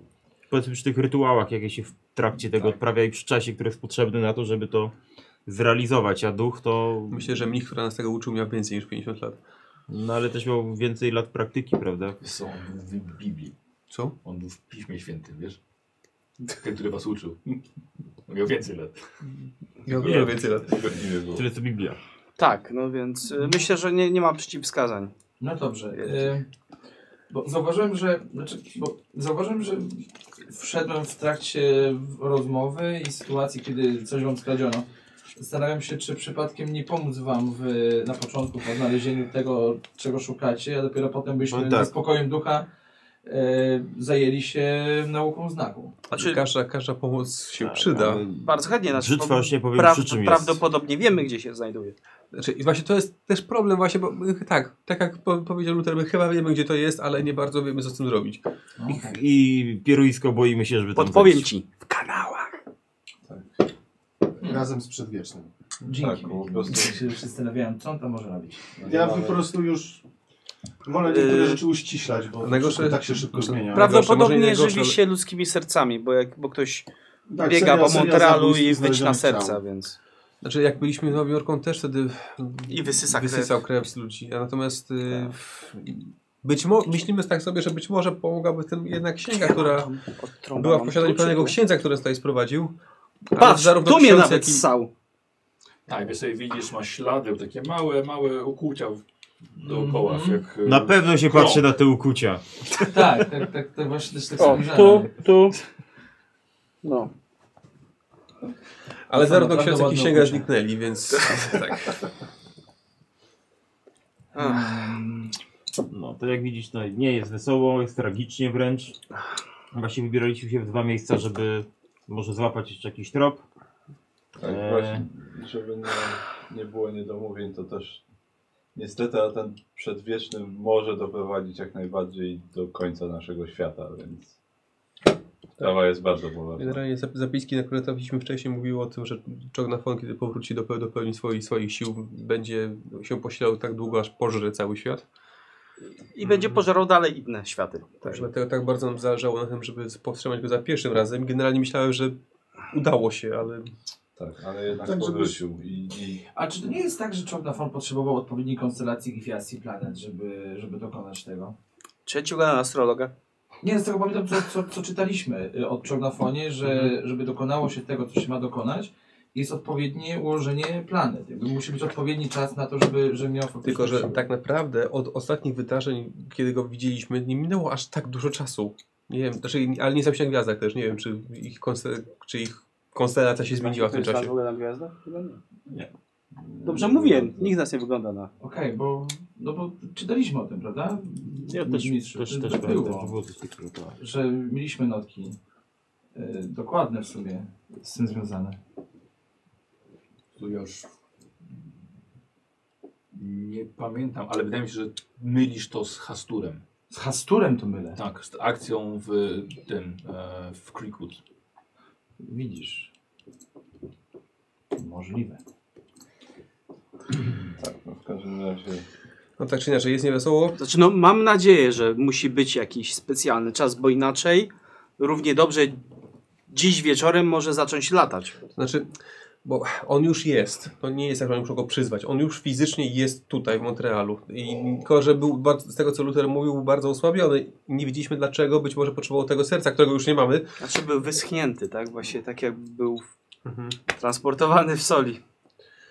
Speaker 5: powiedzmy przy tych rytuałach, jakie się w trakcie tego odprawia i przy czasie, który jest potrzebny na to, żeby to zrealizować, a duch to...
Speaker 7: Myślę, że mnich, który nas tego uczył, miał więcej niż 50 lat.
Speaker 5: No ale też miał więcej lat praktyki, prawda?
Speaker 11: Są, on był w Biblii.
Speaker 7: Co?
Speaker 11: On był w Piśmie Świętym, wiesz? Ten, który was uczył. On miał więcej lat.
Speaker 7: Miał
Speaker 5: Nie.
Speaker 7: dużo więcej lat.
Speaker 8: Tego nie było.
Speaker 5: Tyle co Biblia.
Speaker 3: Tak, no więc y, myślę, że nie, nie ma przeciwwskazań.
Speaker 9: No dobrze. Y, bo zauważyłem, że. Znaczy, bo zauważyłem, że wszedłem w trakcie rozmowy i sytuacji, kiedy coś wam skradziono. Zastanawiam się, czy przypadkiem nie pomóc wam w, na początku w odnalezieniu tego, czego szukacie, a dopiero potem byśmy
Speaker 5: No tak.
Speaker 9: ze spokojem ducha y, zajęli się nauką znaku.
Speaker 3: Znaczy,
Speaker 7: Każda, każda pomoc się
Speaker 5: Tak,
Speaker 7: przyda.
Speaker 5: ale
Speaker 3: bardzo chętnie. Znaczy,
Speaker 5: Brzytwa już nie powiem, przy czym jest.
Speaker 3: Prawdopodobnie wiemy, gdzie się znajduje.
Speaker 7: Znaczy, i właśnie to jest też problem właśnie, bo y, tak, tak jak po, powiedział Luther, my chyba wiemy, gdzie to jest, ale nie bardzo wiemy, co z tym zrobić.
Speaker 9: No, tak.
Speaker 5: I pieruisko boimy się, żeby tam
Speaker 3: Podpowiem
Speaker 5: zejść.
Speaker 3: ci. W kanałach.
Speaker 10: Razem z przedwiecznym.
Speaker 9: Dzięki.
Speaker 8: Tak, po prostu.
Speaker 9: się zastanawiałem, co on tam może robić. No.
Speaker 10: Ja po prostu już wolę
Speaker 3: Yy,
Speaker 10: niektóre rzeczy uściślać, bo
Speaker 7: najgorsze-
Speaker 10: wszystko tak się szybko zmienia.
Speaker 7: Prawda, może nie
Speaker 3: Prawdopodobnie
Speaker 7: najgorsze,
Speaker 3: żyliście ludzkimi sercami, bo, jak, bo ktoś
Speaker 10: Tak,
Speaker 3: biega
Speaker 10: seria-
Speaker 3: po
Speaker 10: seria
Speaker 3: Montrealu
Speaker 10: zabójstw
Speaker 3: i wycina
Speaker 10: znalezionych
Speaker 3: serca,
Speaker 10: ciał.
Speaker 3: więc...
Speaker 7: Znaczy, jak byliśmy z Nowym Jorką, też wtedy
Speaker 3: I wysysa krew. Tak.
Speaker 7: wysysał krew. z ludzi. A natomiast y, być mo- myślimy tak sobie, że być może pomogłaby tym jednak księga, która
Speaker 3: Od trąba
Speaker 7: była w
Speaker 3: mam
Speaker 7: posiadaniu
Speaker 3: kluczyku.
Speaker 7: pewnego księdza, który tutaj sprowadził.
Speaker 3: no,
Speaker 7: Ale
Speaker 3: Patrz, tu mnie
Speaker 7: ksiądz,
Speaker 3: nawet
Speaker 7: jak i-
Speaker 3: ssał.
Speaker 11: Tak, wiesz sobie widzisz, ma ślady, takie małe, małe ukłucia w- dookoła.
Speaker 9: Mhm.
Speaker 11: Jak, e,
Speaker 5: Na pewno się
Speaker 11: Krąg.
Speaker 5: patrzy na te ukucia.
Speaker 9: Tak, tak, tak, tak właśnie też tak
Speaker 3: O,
Speaker 9: spojrzałem.
Speaker 3: tu, tu. No.
Speaker 7: Ale
Speaker 9: To są
Speaker 7: zarówno
Speaker 9: naprawdę
Speaker 7: ksiądz, jak i
Speaker 9: ładne
Speaker 7: księga
Speaker 9: oblicze.
Speaker 7: zniknęli,
Speaker 3: *laughs*
Speaker 7: więc tak.
Speaker 3: Ach,
Speaker 9: Mm.
Speaker 5: No to jak widzisz, no, nie jest wesoło, jest tragicznie wręcz. Właśnie wybieraliśmy się w dwa miejsca, żeby może złapać jeszcze jakiś trop.
Speaker 8: Tak,
Speaker 5: Eee.
Speaker 8: właśnie. Żeby nie, nie było niedomówień, to też niestety a ten przedwieczny może doprowadzić jak najbardziej do końca naszego świata, więc sprawa jest bardzo bolesna.
Speaker 7: Generalnie zap- zapiski, na które trafiliśmy wcześniej, mówiły o tym, że Czognafon, kiedy powróci do, pe- do pełni swoich, swoich sił, będzie się posilał tak długo, aż pożre cały świat.
Speaker 3: I będzie pożerał dalej inne światy.
Speaker 7: Tak, dlatego tak bardzo nam zależało na tym, żeby powstrzymać go za pierwszym razem. Generalnie myślałem, że udało się, ale
Speaker 8: Tak, ale jednak
Speaker 10: Tak, żeby-
Speaker 8: powrócił i, i
Speaker 9: A czy to nie jest tak, że Czornafon potrzebował odpowiedniej konstelacji gwiazd i planet, żeby, żeby dokonać tego?
Speaker 3: Trzeciego na astrologa.
Speaker 9: Nie, z tego pamiętam, co, co, co czytaliśmy y, od Czornafonie, że
Speaker 5: Mhm.
Speaker 9: żeby dokonało się tego, co się ma dokonać, jest odpowiednie ułożenie planet. Jakby musi być odpowiedni czas na to, żeby, żeby miał faktycznie
Speaker 7: tylko, że
Speaker 9: siłę.
Speaker 7: tak naprawdę od ostatnich wydarzeń, kiedy go widzieliśmy, nie minęło aż tak dużo czasu. Nie wiem, znaczy, ale nie znam się na gwiazdach też, nie wiem, czy ich, konste- czy ich konstelacja się zmieniła w tym czasie.
Speaker 3: ogóle na gwiazdach? Chyba nie. Dobrze mówię, nikt nas nie wygląda na...
Speaker 9: Okej, bo, no bo czytaliśmy o tym, prawda?
Speaker 5: Ja też,
Speaker 9: Mistrzu,
Speaker 5: też,
Speaker 9: to-
Speaker 5: też
Speaker 9: to tak było.
Speaker 5: pamiętam, że było coś takiego.
Speaker 9: Że mieliśmy notki y, dokładne w sumie z tym związane.
Speaker 11: Tu ja już nie pamiętam, ale wydaje mi się, że mylisz to z Hasturem.
Speaker 9: Z Hasturem to mylę.
Speaker 11: Tak, z akcją w tym, e, w Creekwood.
Speaker 9: Widzisz.
Speaker 12: możliwe.
Speaker 8: Tak, no w każdym razie.
Speaker 7: No tak czy inaczej, jest niewesoło.
Speaker 3: Znaczy, no, mam nadzieję, że musi być jakiś specjalny czas, bo inaczej równie dobrze dziś wieczorem może zacząć latać.
Speaker 7: Znaczy, bo on już jest. To nie jest tak, że oni muszą go przyzwać. On już fizycznie jest tutaj w Montrealu. I tylko, że był bardzo, z tego co Luther mówił, był bardzo osłabiony. Nie widzieliśmy dlaczego. Być może potrzebował tego serca, którego już nie mamy.
Speaker 3: Znaczy był wyschnięty, tak? Właśnie tak jak był transportowany w soli.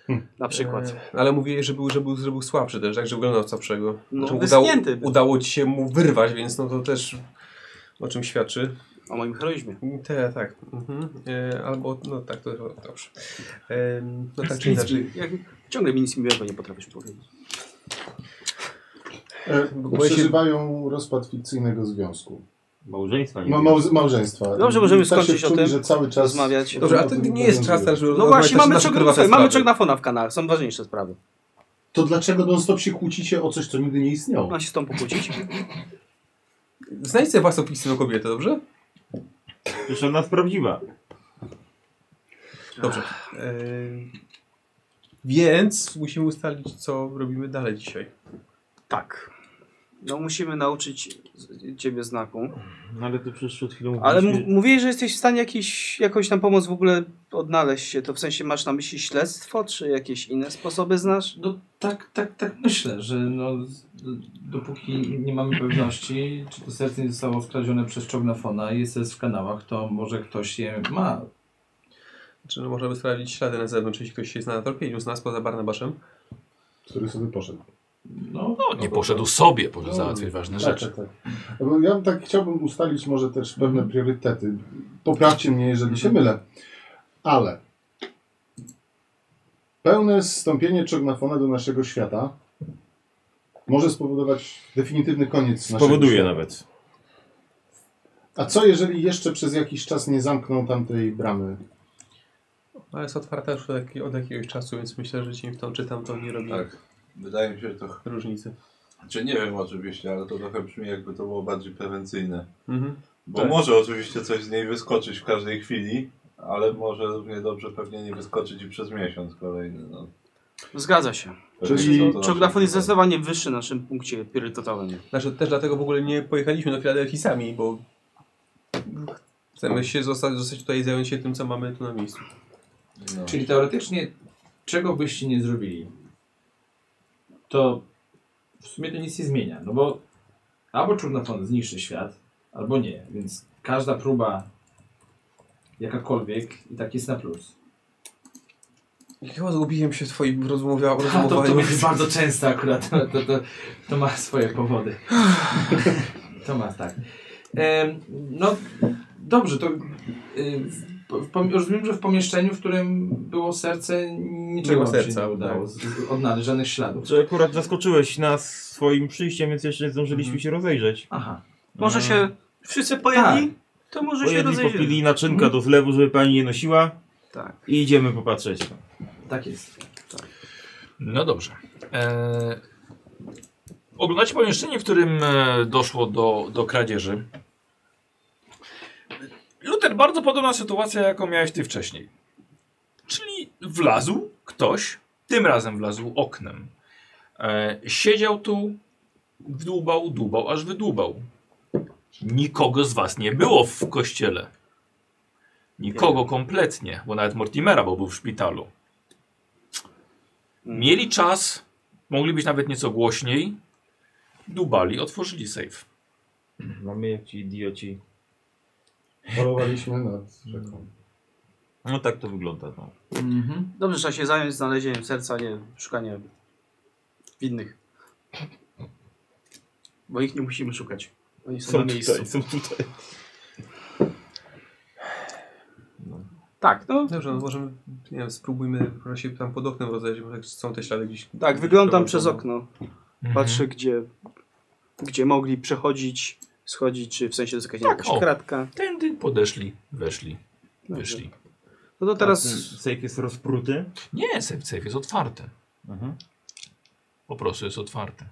Speaker 3: Mhm. Na przykład.
Speaker 7: E, ale mówiłeś, że był, że, był, że był słabszy też, tak, że wyglądał słabszego.
Speaker 3: No,
Speaker 7: Znaczy,
Speaker 3: wyschnięty był.
Speaker 7: udało ci się mu wyrwać, więc no to też o czym świadczy.
Speaker 3: O moim heroizmie.
Speaker 7: Te, tak. Mhm. E, albo, no tak, to dobrze. E, no tak czy inaczej.
Speaker 3: Jak, ciągle mi nic miłego nie potrafisz powiedzieć.
Speaker 4: E,
Speaker 7: Bo ja się-
Speaker 4: przeżywają rozpad fikcyjnego związku.
Speaker 12: Małżeństwa nie
Speaker 4: Ma,
Speaker 12: było.
Speaker 4: No, małże, małżeństwa.
Speaker 3: Dobrze,
Speaker 4: I
Speaker 3: możemy
Speaker 4: tak się
Speaker 3: skończyć o
Speaker 4: czuli,
Speaker 3: tym,
Speaker 4: że cały czas
Speaker 3: rozmawiać.
Speaker 4: o
Speaker 7: Dobrze,
Speaker 4: tym-
Speaker 7: ale to
Speaker 4: o tym
Speaker 7: nie jest czas
Speaker 4: rozmawiamy.
Speaker 7: teraz, żeby
Speaker 3: No
Speaker 7: rozmawiać
Speaker 3: właśnie,
Speaker 7: też
Speaker 3: mamy
Speaker 7: znaczy nasze
Speaker 3: czek,
Speaker 7: prywatne
Speaker 3: słuchaj, mamy
Speaker 7: sprawy.
Speaker 3: czegnafona w kanale, są ważniejsze sprawy.
Speaker 12: To dlaczego non-stop się kłócicie o coś, co nigdy nie istniało?
Speaker 3: Mam się z tą pokłócić?
Speaker 7: Znajdź sobie własną fikcyjną kobietę, dobrze?
Speaker 5: Przecież ona jest prawdziwa.
Speaker 7: Dobrze. Em, Więc musimy ustalić, co robimy dalej dzisiaj.
Speaker 3: Tak. No musimy nauczyć z- ciebie znaku.
Speaker 5: No ale ty przecież przed chwilą
Speaker 3: Ale m-
Speaker 5: mówiliśmy-
Speaker 3: mówiłeś, że jesteś w stanie jakiś, jakąś nam pomoc w ogóle odnaleźć się. To w sensie masz na myśli śledztwo, czy jakieś inne sposoby znasz?
Speaker 9: No tak, tak, tak myślę, że no, z- dopóki nie mamy pewności, czy to serce nie zostało skradzione przez czognafona i jest w kanałach, to może ktoś je ma.
Speaker 7: Czy no, możemy sprawdzić ślady na zewnątrz, jeśli ktoś się zna na torpieniu, z nas poza Barnabaszem.
Speaker 4: Który sobie poszedł.
Speaker 9: No,
Speaker 1: No, nie poszedł sobie, poszedł
Speaker 4: No,
Speaker 1: załatwić ważne
Speaker 4: Tak,
Speaker 1: rzeczy.
Speaker 4: tak, tak. Bo Ja bym tak chciałbym ustalić może też pewne priorytety. Poprawcie mnie, jeżeli się mylę. Ale pełne zstąpienie czognafona do naszego świata może spowodować definitywny koniec naszego
Speaker 5: Powoduje
Speaker 4: świata.
Speaker 5: nawet.
Speaker 4: A co jeżeli jeszcze przez jakiś czas nie zamkną tamtej bramy?
Speaker 7: No, Ale jest otwarta już od, jak- od jakiegoś czasu, więc myślę, że ci w tą czy tamto nie robi
Speaker 8: Tak. Wydaje mi się, że to. ch-
Speaker 7: różnicy.
Speaker 8: Czy nie wiem oczywiście, ale to trochę brzmi, jakby to było bardziej prewencyjne.
Speaker 7: Mhm.
Speaker 8: Bo
Speaker 7: Tak.
Speaker 8: może oczywiście coś z niej wyskoczyć w każdej chwili, ale może równie dobrze pewnie nie wyskoczyć i przez miesiąc kolejny. No.
Speaker 3: Zgadza się.
Speaker 8: Pewnie
Speaker 4: Czyli
Speaker 8: są to nasze
Speaker 3: Czognafon jest
Speaker 8: problemy.
Speaker 3: zdecydowanie wyższy na naszym punkcie priorytetowym.
Speaker 7: Znaczy też dlatego w ogóle nie pojechaliśmy do Filadelfii sami, bo chcemy się zostać, zostać tutaj i zająć się tym, co mamy tu na miejscu.
Speaker 8: No.
Speaker 9: Czyli teoretycznie, czego byście nie zrobili, to w sumie to nic nie zmienia, no bo albo czurnafon zniszczy świat, albo nie, więc każda próba jakakolwiek i tak jest na plus.
Speaker 7: Chyba zgubiłem się w twoim rozmowia-
Speaker 9: A, to, to
Speaker 7: rozmowaniu.
Speaker 9: jest bardzo często akurat, to, to, to, to ma swoje powody. To ma tak. Em, no dobrze, to y, w, pom- rozumiem, że w pomieszczeniu, w którym było serce, niczego
Speaker 7: Było
Speaker 9: wam
Speaker 7: serca,
Speaker 9: się nie udało
Speaker 7: tak.
Speaker 9: z- odnaleźć, żadnych śladów.
Speaker 5: Że akurat zaskoczyłeś nas swoim przyjściem, więc jeszcze nie zdążyliśmy się rozejrzeć.
Speaker 9: Aha.
Speaker 3: Może się wszyscy pojedli? To może się
Speaker 5: Pojedli,
Speaker 3: rozejrzymy.
Speaker 5: popili naczynka do zlewu, żeby pani je nosiła
Speaker 3: Tak.
Speaker 5: i idziemy popatrzeć.
Speaker 9: Tak jest.
Speaker 1: No dobrze. E... Oglądacie pomieszczenie, w którym e, doszło do, do kradzieży. Luther, bardzo podobna sytuacja, jaką miałeś ty wcześniej. Czyli wlazł ktoś, tym razem wlazł oknem. E, siedział tu, wdłubał, dłubał, aż wydłubał. Nikogo z was nie było w kościele. Nikogo kompletnie, bo nawet Mortimera, bo był w szpitalu. Mieli czas, mogli być nawet nieco głośniej. Dubali, otworzyli safe.
Speaker 5: Mamy jak ci idioci.
Speaker 4: Polowaliśmy nad rzeką.
Speaker 5: No tak to wygląda. No.
Speaker 3: Tak. Dobrze, trzeba się zająć znalezieniem serca, nie szukaniem winnych. Bo ich nie musimy szukać. Oni No są, na miejscu.
Speaker 5: są tutaj.
Speaker 3: Tak, no.
Speaker 7: Dobrze, no możemy, nie wiem, spróbujmy może się tam pod oknem rozejrzeć, może są te ślady gdzieś.
Speaker 3: Tak, wyglądam
Speaker 7: prowadzą.
Speaker 3: przez okno. Mhm. Patrzę, gdzie, gdzie mogli przechodzić, schodzić, czy w sensie to jest jakaś, nie,
Speaker 1: Tak,
Speaker 3: jakaś
Speaker 1: o.
Speaker 3: kratka.
Speaker 1: Tędy podeszli, weszli,
Speaker 3: Dobrze.
Speaker 1: wyszli.
Speaker 3: No to
Speaker 5: Teraz
Speaker 3: teraz
Speaker 5: sejf jest rozpruty.
Speaker 1: Nie, safe, safe jest otwarty.
Speaker 5: Mhm.
Speaker 1: Po prostu jest otwarty.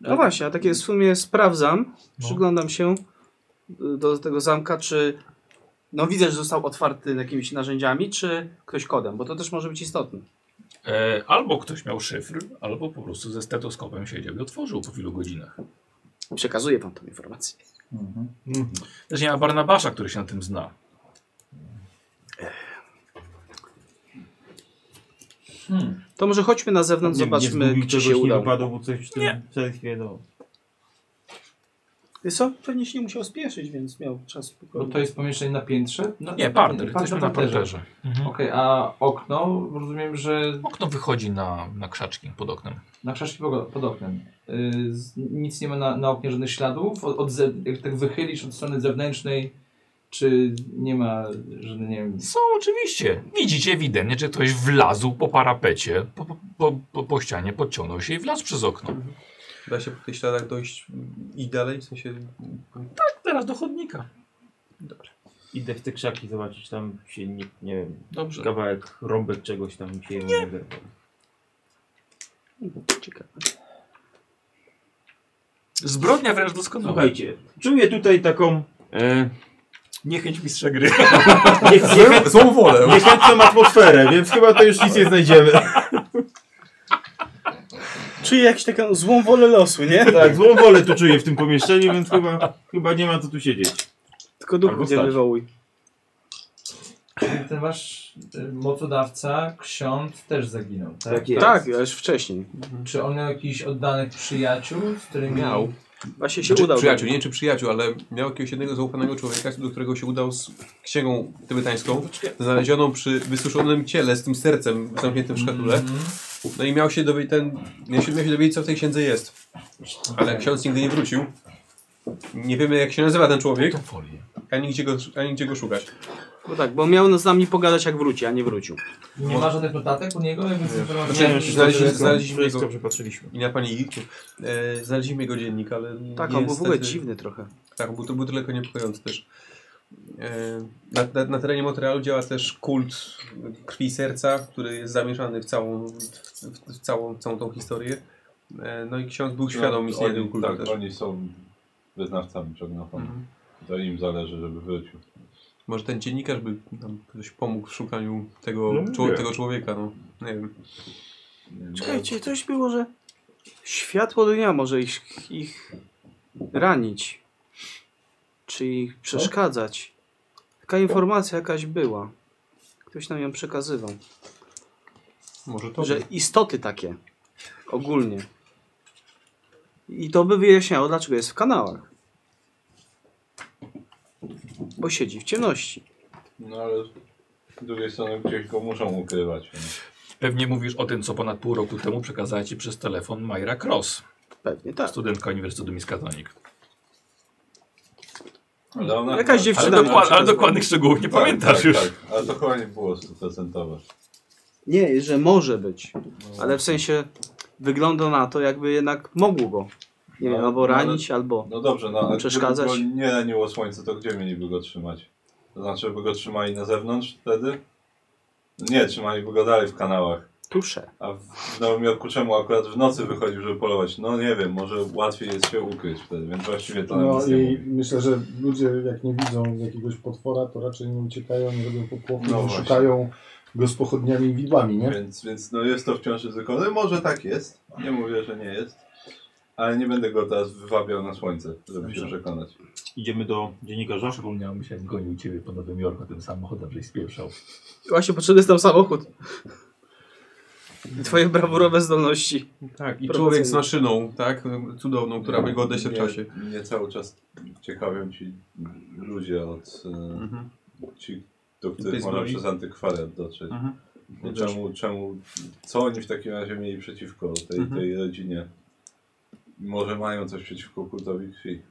Speaker 3: No właśnie, a takie w sumie sprawdzam,
Speaker 1: No.
Speaker 3: przyglądam się y, do tego zamka, czy No widzę, że został otwarty jakimiś narzędziami, czy ktoś kodem, bo to też może być istotne.
Speaker 1: E, albo ktoś miał szyfr, albo po prostu ze stetoskopem siedział i otworzył po wielu godzinach.
Speaker 3: Przekazuję wam tą informację.
Speaker 1: Też nie ma Barnabasza, który się na tym zna.
Speaker 3: To może chodźmy na zewnątrz, zobaczmy, czy się uda.
Speaker 5: Nie wypadło coś w tym selfie, no.
Speaker 3: Wiesz Co? Pewnie się nie musiał spieszyć, więc miał czas
Speaker 9: Bo
Speaker 5: No
Speaker 3: spokojnie.
Speaker 9: to jest pomieszczenie na piętrze? No,
Speaker 1: Nie,
Speaker 9: nie,
Speaker 1: parter. Jesteśmy na
Speaker 9: parterze.
Speaker 1: parterze. Mhm.
Speaker 9: Okej, a okno, rozumiem, że
Speaker 1: Okno wychodzi na, na krzaczki pod oknem.
Speaker 9: na krzaczki pogo- pod oknem. Y, z, nic nie ma na, na oknie żadnych śladów? Od, od ze, jak tak wychylisz od strony zewnętrznej, czy nie ma żadnych, nie wiem...
Speaker 1: Są oczywiście. Widzicie ewidentnie, że ktoś wlazł po parapecie, po, po- po, po, po ścianie, podciągnął się i wlazł przez okno.
Speaker 7: Da się po tych śladach dojść i dalej, w sensie...
Speaker 1: Teraz do chodnika.
Speaker 5: Idę w te krzaki zobaczyć, tam się nie, nie wiem,
Speaker 1: Dobrze.
Speaker 5: kawałek, rąbek czegoś tam się nie wyrwał.
Speaker 3: Ciekawe.
Speaker 1: Zbrodnia wręcz doskonała.
Speaker 5: Słuchajcie, czuję tutaj taką e,
Speaker 13: Niechęć mistrza gry.
Speaker 5: niech, niechę,
Speaker 13: Złą wolę.
Speaker 5: niechętną atmosferę, więc chyba to już nic nie znajdziemy.
Speaker 3: Czyli jakąś taką złą wolę losu, nie?
Speaker 5: Tak, złą wolę tu czuję w tym pomieszczeniu, więc chyba, chyba nie ma co tu siedzieć.
Speaker 3: Tylko duch
Speaker 5: Albo
Speaker 3: nie
Speaker 5: stać.
Speaker 3: wywołuj.
Speaker 9: Ten wasz y, mocodawca, ksiądz, też zaginął, tak?
Speaker 5: Tak jest.
Speaker 3: Tak, już wcześniej.
Speaker 9: Czy on miał jakichś oddanych przyjaciół, z którymi...
Speaker 7: Tak. Miał.
Speaker 3: Właśnie się
Speaker 5: Znaczy,
Speaker 7: Czy,
Speaker 3: udało.
Speaker 7: Znaczy,
Speaker 3: tak.
Speaker 7: przyjaciół, nie wiem, czy przyjaciół, ale miał jakiegoś jednego zaufanego człowieka, do którego się udał z księgą tybetańską,
Speaker 3: Znaczy,
Speaker 7: znalezioną przy wysuszonym ciele z tym sercem zamkniętym w szkatule.
Speaker 3: Mm.
Speaker 9: Mhm.
Speaker 7: No i miał się dowiedzieć, ten, miał się, miał się dowiedzieć co w tej księdze jest. Ale ksiądz nigdy nie wrócił. Nie wiemy jak się nazywa ten człowiek,
Speaker 1: *laughs* Tą folię.
Speaker 7: ani gdzie go, ani gdzie go szukać.
Speaker 3: Bo tak, bo miał z nami pogadać jak wróci, a nie wrócił.
Speaker 9: Nie ma żadnych notatek u niego? Jakby
Speaker 7: Znaczy,
Speaker 9: informacji?
Speaker 7: znaleźliśmy, znaleźliśmy
Speaker 5: Wszystko
Speaker 7: jego,
Speaker 5: przepatrzyliśmy.
Speaker 7: i na pani Iku, e, znaleźliśmy jego dziennik, ale
Speaker 3: Tak, on był w ogóle
Speaker 7: niestety-
Speaker 3: dziwny trochę.
Speaker 7: Tak, był to był tylko niepokojący też. E, Na, na, na terenie Montrealu działa też kult krwi i serca, który jest zamieszany w całą, w, w, w całą, całą tą historię. E, No i ksiądz był świadom istnienia tego
Speaker 8: oni,
Speaker 7: kultu
Speaker 8: tak,
Speaker 7: też.
Speaker 8: oni są wyznawcami prognofa.
Speaker 7: Mhm.
Speaker 8: To im zależy, żeby wrócił.
Speaker 7: Może ten dziennikarz by nam ktoś pomógł w szukaniu tego,
Speaker 5: No,
Speaker 7: czło,
Speaker 5: nie.
Speaker 7: tego człowieka, no. Nie wiem.
Speaker 8: Nie,
Speaker 3: Czekajcie, coś było, że światło dnia może ich, ich ranić. Czy ich przeszkadzać. Taka informacja jakaś była. Ktoś nam ją przekazywał.
Speaker 7: Może to.
Speaker 3: Że istoty takie. Ogólnie. I to by wyjaśniało, dlaczego jest w kanałach. Bo siedzi w ciemności.
Speaker 8: No ale z drugiej strony gdzieś go muszą ukrywać. więc-
Speaker 1: Pewnie mówisz o tym, co ponad pół roku temu przekazała ci przez telefon Majra Cross,
Speaker 3: Pewnie tak.
Speaker 1: studentka Uniwersytetu Miskatonik.
Speaker 8: No, Ale ona-
Speaker 3: Jakaś dziewczyna
Speaker 1: Ale,
Speaker 3: nam
Speaker 1: dokła- ale
Speaker 3: przekazała.
Speaker 1: dokładnych szczegółów nie
Speaker 8: Tak,
Speaker 1: pamiętasz
Speaker 8: tak,
Speaker 1: już.
Speaker 8: Tak, ale to chyba nie było stuprocentowe.
Speaker 3: Nie, że może być. Ale w sensie wygląda na to, jakby jednak mogło. Nie wiem,
Speaker 8: No,
Speaker 3: albo
Speaker 8: no,
Speaker 3: ranić, albo.
Speaker 8: No dobrze, no ale
Speaker 3: Przeszkadzać?
Speaker 8: gdyby go nie raniło słońce, to gdzie mieliby go trzymać? To znaczy, by go trzymali na zewnątrz wtedy? Nie, trzymaliby go dalej w kanałach.
Speaker 3: Tusze.
Speaker 8: A w Nowym Jorku czemu akurat w nocy wychodził, żeby polować? No nie wiem, może łatwiej jest się ukryć wtedy, więc właściwie to nam
Speaker 4: No
Speaker 8: nic nie
Speaker 4: i
Speaker 8: mówi.
Speaker 4: myślę, że ludzie jak nie widzą jakiegoś potwora, to raczej nie uciekają, nie robią popłochu,
Speaker 8: No
Speaker 4: no
Speaker 8: właśnie.
Speaker 4: szukają go z pochodniami i widłami, nie?
Speaker 8: Więc, więc no jest to wciąż ryzykowne. Może tak jest, nie mówię, że nie jest. Ale nie będę go teraz wywabiał na słońce, żeby się przekonać.
Speaker 5: Idziemy do dziennikarza.
Speaker 1: Przypomniałem się, jak gonił ciebie po Nowym Jorku tym samochodem, żeś spieszał.
Speaker 3: Właśnie potrzebny jest tam samochód. I *laughs* Twoje brawurowe zdolności.
Speaker 7: Tak, i
Speaker 3: Prowadzenie.
Speaker 7: człowiek z maszyną, tak? Cudowną, która
Speaker 8: No,
Speaker 7: by go odejść w
Speaker 8: Mnie-
Speaker 7: czasie.
Speaker 8: Mnie cały czas ciekawią ci ludzie od... e,
Speaker 7: Mhm.
Speaker 8: ci, do
Speaker 7: Tej
Speaker 8: których można
Speaker 7: zbroi?
Speaker 8: przez antykwariat dotrzeć.
Speaker 7: Mhm.
Speaker 8: No Czemu, czemu, co oni w takim razie mieli przeciwko tej,
Speaker 7: Mhm.
Speaker 8: tej rodzinie? Może mają coś przeciwko kultowi krwi.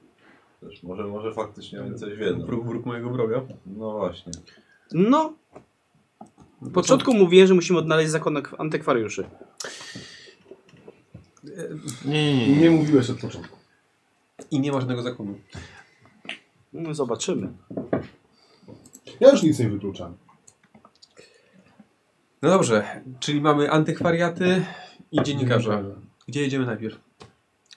Speaker 8: Też może, może faktycznie oni coś wiedzą.
Speaker 7: Bruk, bruk mojego wroga.
Speaker 8: No właśnie.
Speaker 3: No. Na początku mówiłem, że musimy odnaleźć zakon ak- antykwariuszy.
Speaker 5: Nie, nie, nie.
Speaker 4: Nie mówiłeś od początku.
Speaker 7: I nie ma żadnego zakonu.
Speaker 3: No, zobaczymy.
Speaker 4: Ja już nic nie wykluczam.
Speaker 7: No dobrze, czyli mamy antykwariaty i dziennikarza. Gdzie jedziemy najpierw?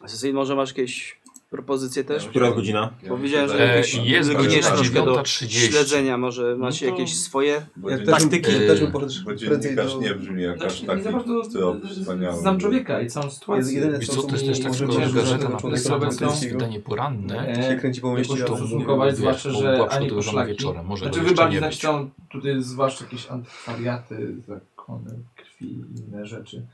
Speaker 3: Asesyjny, może masz jakieś propozycję też?
Speaker 5: Która jest godzina?
Speaker 8: Ja
Speaker 3: Powiedziałem,
Speaker 8: myślę,
Speaker 3: że
Speaker 11: E,
Speaker 3: jakieś-
Speaker 11: jest
Speaker 3: jakieś
Speaker 11: godzina
Speaker 3: troszkę do
Speaker 11: 9.30.
Speaker 3: Śledzenia może macie
Speaker 11: No to-
Speaker 3: jakieś swoje?
Speaker 8: bo
Speaker 7: Ja
Speaker 8: dzien-
Speaker 7: też bym,
Speaker 11: Yy,
Speaker 7: też bym poszedł
Speaker 8: Bo
Speaker 7: prędzej
Speaker 8: dziennikarz
Speaker 7: do...
Speaker 8: nie brzmi jak
Speaker 9: znaczy,
Speaker 8: aż taki, który wspaniały.
Speaker 9: znam człowieka i całą sytuację.
Speaker 7: jedyne,
Speaker 11: Wiesz
Speaker 7: co
Speaker 11: co, to jest
Speaker 7: mi
Speaker 11: też tak,
Speaker 7: może
Speaker 11: szkoda,
Speaker 7: ciężko
Speaker 11: że gazeta ma
Speaker 7: zacząć
Speaker 11: polecać
Speaker 9: obecną-
Speaker 11: obecne wydanie poranne.
Speaker 9: E,
Speaker 7: się kręci po
Speaker 9: jakoś
Speaker 7: mieście.
Speaker 9: to
Speaker 11: to
Speaker 9: ustosunkować,
Speaker 11: wiesz,
Speaker 9: zwłaszcza,
Speaker 11: bo
Speaker 9: że
Speaker 11: była
Speaker 9: ani
Speaker 11: przygotowana
Speaker 9: poszlaki.
Speaker 11: wieczorem, może
Speaker 9: Znaczy
Speaker 11: go jeszcze
Speaker 9: wybawić
Speaker 11: nie
Speaker 9: znaczy
Speaker 11: być.
Speaker 9: są tutaj zwłaszcza jakieś antykwariaty, zakony krwi i inne rzeczy.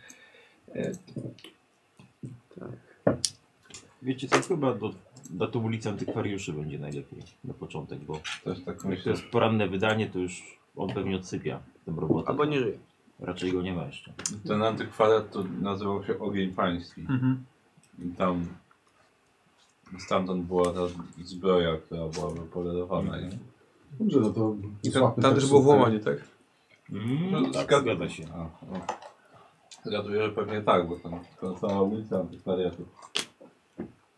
Speaker 5: Wiecie co, chyba do, do tej ulicy antykwariuszy będzie najlepiej na początek, bo
Speaker 8: Też tak
Speaker 5: jak to
Speaker 8: myślę.
Speaker 5: jest poranne wydanie, to już on pewnie odsypia tę robotę.
Speaker 3: Albo nie żyje.
Speaker 5: Raczej go nie ma jeszcze.
Speaker 8: Ten antykwariat to nazywał się Ogień Pański.
Speaker 1: Mhm.
Speaker 8: I tam stamtąd była ta zbroja, która była wypolerowana. Nie?
Speaker 10: Dobrze, no to...
Speaker 7: I tam,
Speaker 10: złapmy
Speaker 7: tam
Speaker 10: też
Speaker 7: też było
Speaker 10: tutaj.
Speaker 7: włamanie, tak?
Speaker 5: Mm,
Speaker 8: tak.
Speaker 5: zgadza się.
Speaker 8: A, o. Zgaduję, że pewnie tak, bo tam ta cała ulica antykwariatu.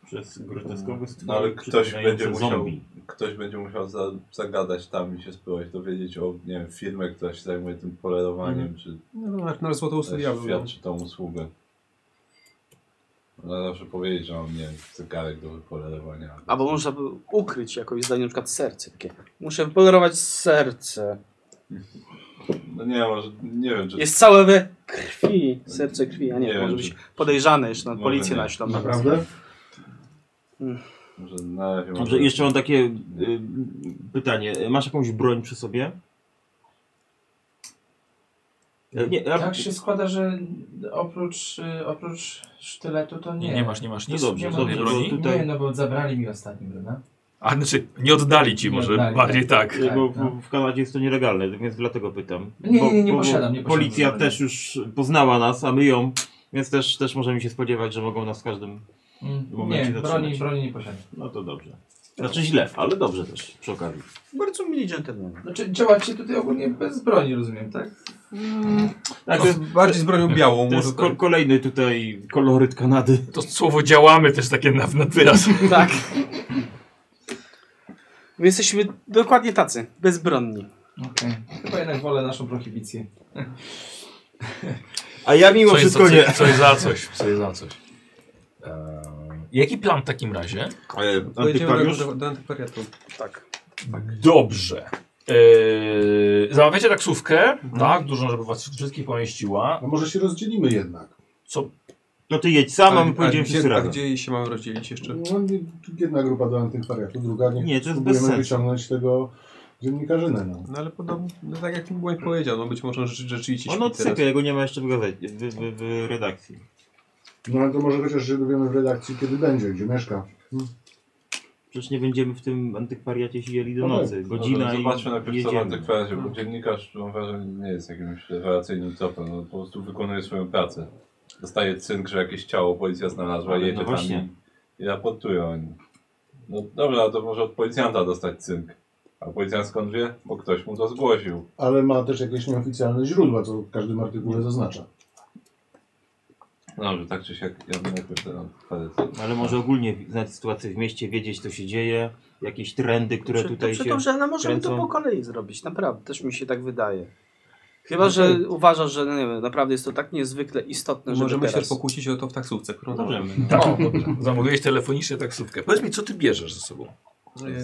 Speaker 5: Przez groteskowy
Speaker 8: No ale ktoś
Speaker 5: przypominający
Speaker 8: będzie musiał,
Speaker 5: zombie.
Speaker 8: ktoś będzie musiał za, zagadać tam i się spróbować dowiedzieć o, nie wiem, firmie, która się zajmuje tym polerowaniem, czy
Speaker 7: No, no, na- na złotą
Speaker 8: też
Speaker 7: studiową. No.
Speaker 8: świadczy tą usługę. Ale zawsze powiedzieć, że mam, nie wiem, zegarek do wypolerowania.
Speaker 3: Albo można by ukryć jakoś zdanie, na przykład serce. Takie. Muszę wypolerować serce.
Speaker 8: No nie, może, nie wiem, czy...
Speaker 3: Jest całe we krwi. Serce krwi, a nie,
Speaker 8: Nie wiem,
Speaker 3: może
Speaker 8: czy-
Speaker 3: być podejrzane jeszcze, na
Speaker 8: Może
Speaker 3: policję
Speaker 8: nie.
Speaker 3: naślą.
Speaker 10: Naprawdę?
Speaker 8: Może na razie
Speaker 5: Dobrze,
Speaker 8: może...
Speaker 5: jeszcze mam takie y, pytanie. Masz jakąś broń przy sobie? E, Nie, ja,
Speaker 9: Tak się składa, że oprócz, y, oprócz sztyletu to nie.
Speaker 11: Nie, nie masz, nie masz
Speaker 5: No
Speaker 11: nic.
Speaker 5: dobrze,
Speaker 11: nie ma
Speaker 5: dobrze,
Speaker 11: żadnej
Speaker 5: bo
Speaker 11: broni.
Speaker 5: tu-
Speaker 9: Nie, no bo zabrali mi ostatnim, prawda?
Speaker 1: A znaczy, nie oddali ci
Speaker 9: Nie
Speaker 1: może,
Speaker 9: oddali,
Speaker 1: bardziej tak.
Speaker 5: e, bo
Speaker 9: tak, no.
Speaker 5: w- w Kanadzie jest to nielegalne, więc dlatego pytam.
Speaker 9: Nie, nie,
Speaker 5: Bo-
Speaker 9: nie, nie
Speaker 5: bo- bo
Speaker 9: posiadam, nie posiadam
Speaker 5: Policja
Speaker 9: broni.
Speaker 5: też już poznała nas, a my ją, więc też, też możemy się spodziewać, że mogą nas w każdym...
Speaker 9: Mm,
Speaker 5: Momencie
Speaker 9: Nie,
Speaker 5: zatrzymać.
Speaker 9: broni, broni nie posiadam.
Speaker 5: No to dobrze. Znaczy źle, ale dobrze też przy okazji.
Speaker 3: Bardzo mili dżentelmeni.
Speaker 9: Znaczy działacie tutaj ogólnie bez broni, rozumiem, tak?
Speaker 5: Tak, to
Speaker 7: To jest
Speaker 5: jest,
Speaker 7: bardziej z bronią białą.
Speaker 5: to
Speaker 7: Może
Speaker 5: jest
Speaker 7: tak.
Speaker 5: ko kolejny tutaj koloryt Kanady.
Speaker 1: tak. To słowo działamy też takie na, na wyraz.
Speaker 3: Tak. My jesteśmy dokładnie tacy, bezbronni.
Speaker 9: Okej. Chyba jednak wolę naszą prohibicję.
Speaker 5: A ja mimo
Speaker 1: Co jest,
Speaker 5: wszystko
Speaker 1: za,
Speaker 5: nie.
Speaker 1: co jest za
Speaker 5: *laughs*
Speaker 1: coś, co jest za coś. Eee, jaki plan w takim razie?
Speaker 8: E,
Speaker 7: Pojedziemy
Speaker 5: Antykwariusz?
Speaker 7: do, do, do antykwariatu.
Speaker 1: Dobrze. Eee, zamawiacie taksówkę, tak, dużą, żeby was wszystkich pomieściła.
Speaker 10: A może się rozdzielimy jednak?
Speaker 1: *laughs* Co?
Speaker 5: No ty jedź sam, a my
Speaker 7: A-
Speaker 5: pojedziemy
Speaker 7: a
Speaker 5: wszyscy
Speaker 7: gdzie, a
Speaker 5: razem.
Speaker 7: gdzie się mamy rozdzielić jeszcze?
Speaker 10: No, nie- jedna grupa do antykwariatu, druga niech
Speaker 5: Nie, to jest bez
Speaker 10: próbujemy
Speaker 5: sensu.
Speaker 10: wyciągnąć tego dziennikarzynę. No.
Speaker 7: No ale podobno, no, tak jak mi Błań powiedział, no być może rzeczy- rzeczywiście
Speaker 5: On
Speaker 7: śpi
Speaker 5: odsypia, jego nie ma jeszcze w, gazecie, w, w, w redakcji.
Speaker 10: no ale to może chociaż się dowiemy w redakcji, kiedy będzie, gdzie mieszka.
Speaker 5: Przecież nie będziemy w tym antykwariacie siedzieli do
Speaker 10: No tak.
Speaker 5: nocy. Godzina
Speaker 8: Dobra,
Speaker 5: i
Speaker 8: Zobaczmy najpierw co w
Speaker 5: jedziemy.
Speaker 8: antykwariacie, bo dziennikarz, mam wrażenie, nie jest jakimś rewelacyjnym topem. No, po prostu wykonuje swoją pracę. Dostaje cynk, że jakieś ciało policja znalazła,
Speaker 5: Ale no
Speaker 8: jedzie tam
Speaker 5: właśnie.
Speaker 8: i- i raportuje o nim. No dobra, to może od policjanta dostać cynk. A policjant skąd wie? Bo ktoś mu to zgłosił.
Speaker 10: Ale ma też jakieś nieoficjalne źródła, co w każdym artykule zaznacza.
Speaker 8: No, że tak czy siak, ja bym najpierw ten antykwariat.
Speaker 5: Ale może ogólnie znać sytuację w mieście, wiedzieć co się dzieje, jakieś trendy, które
Speaker 3: Przy-
Speaker 5: tutaj
Speaker 3: przy
Speaker 5: się...
Speaker 3: tym, że no, możemy to
Speaker 5: kręcą. No
Speaker 3: po kolei zrobić, naprawdę, też mi się tak wydaje. Chyba, że uważasz, że no, nie wiem, naprawdę jest to tak niezwykle istotne, że
Speaker 7: Możemy się
Speaker 3: teraz...
Speaker 7: pokłócić o to w taksówce, którą
Speaker 5: Możemy.
Speaker 1: O, dobrze. Tak. Zamówiłeś telefonicznie taksówkę. Powiedz mi, co ty bierzesz ze sobą?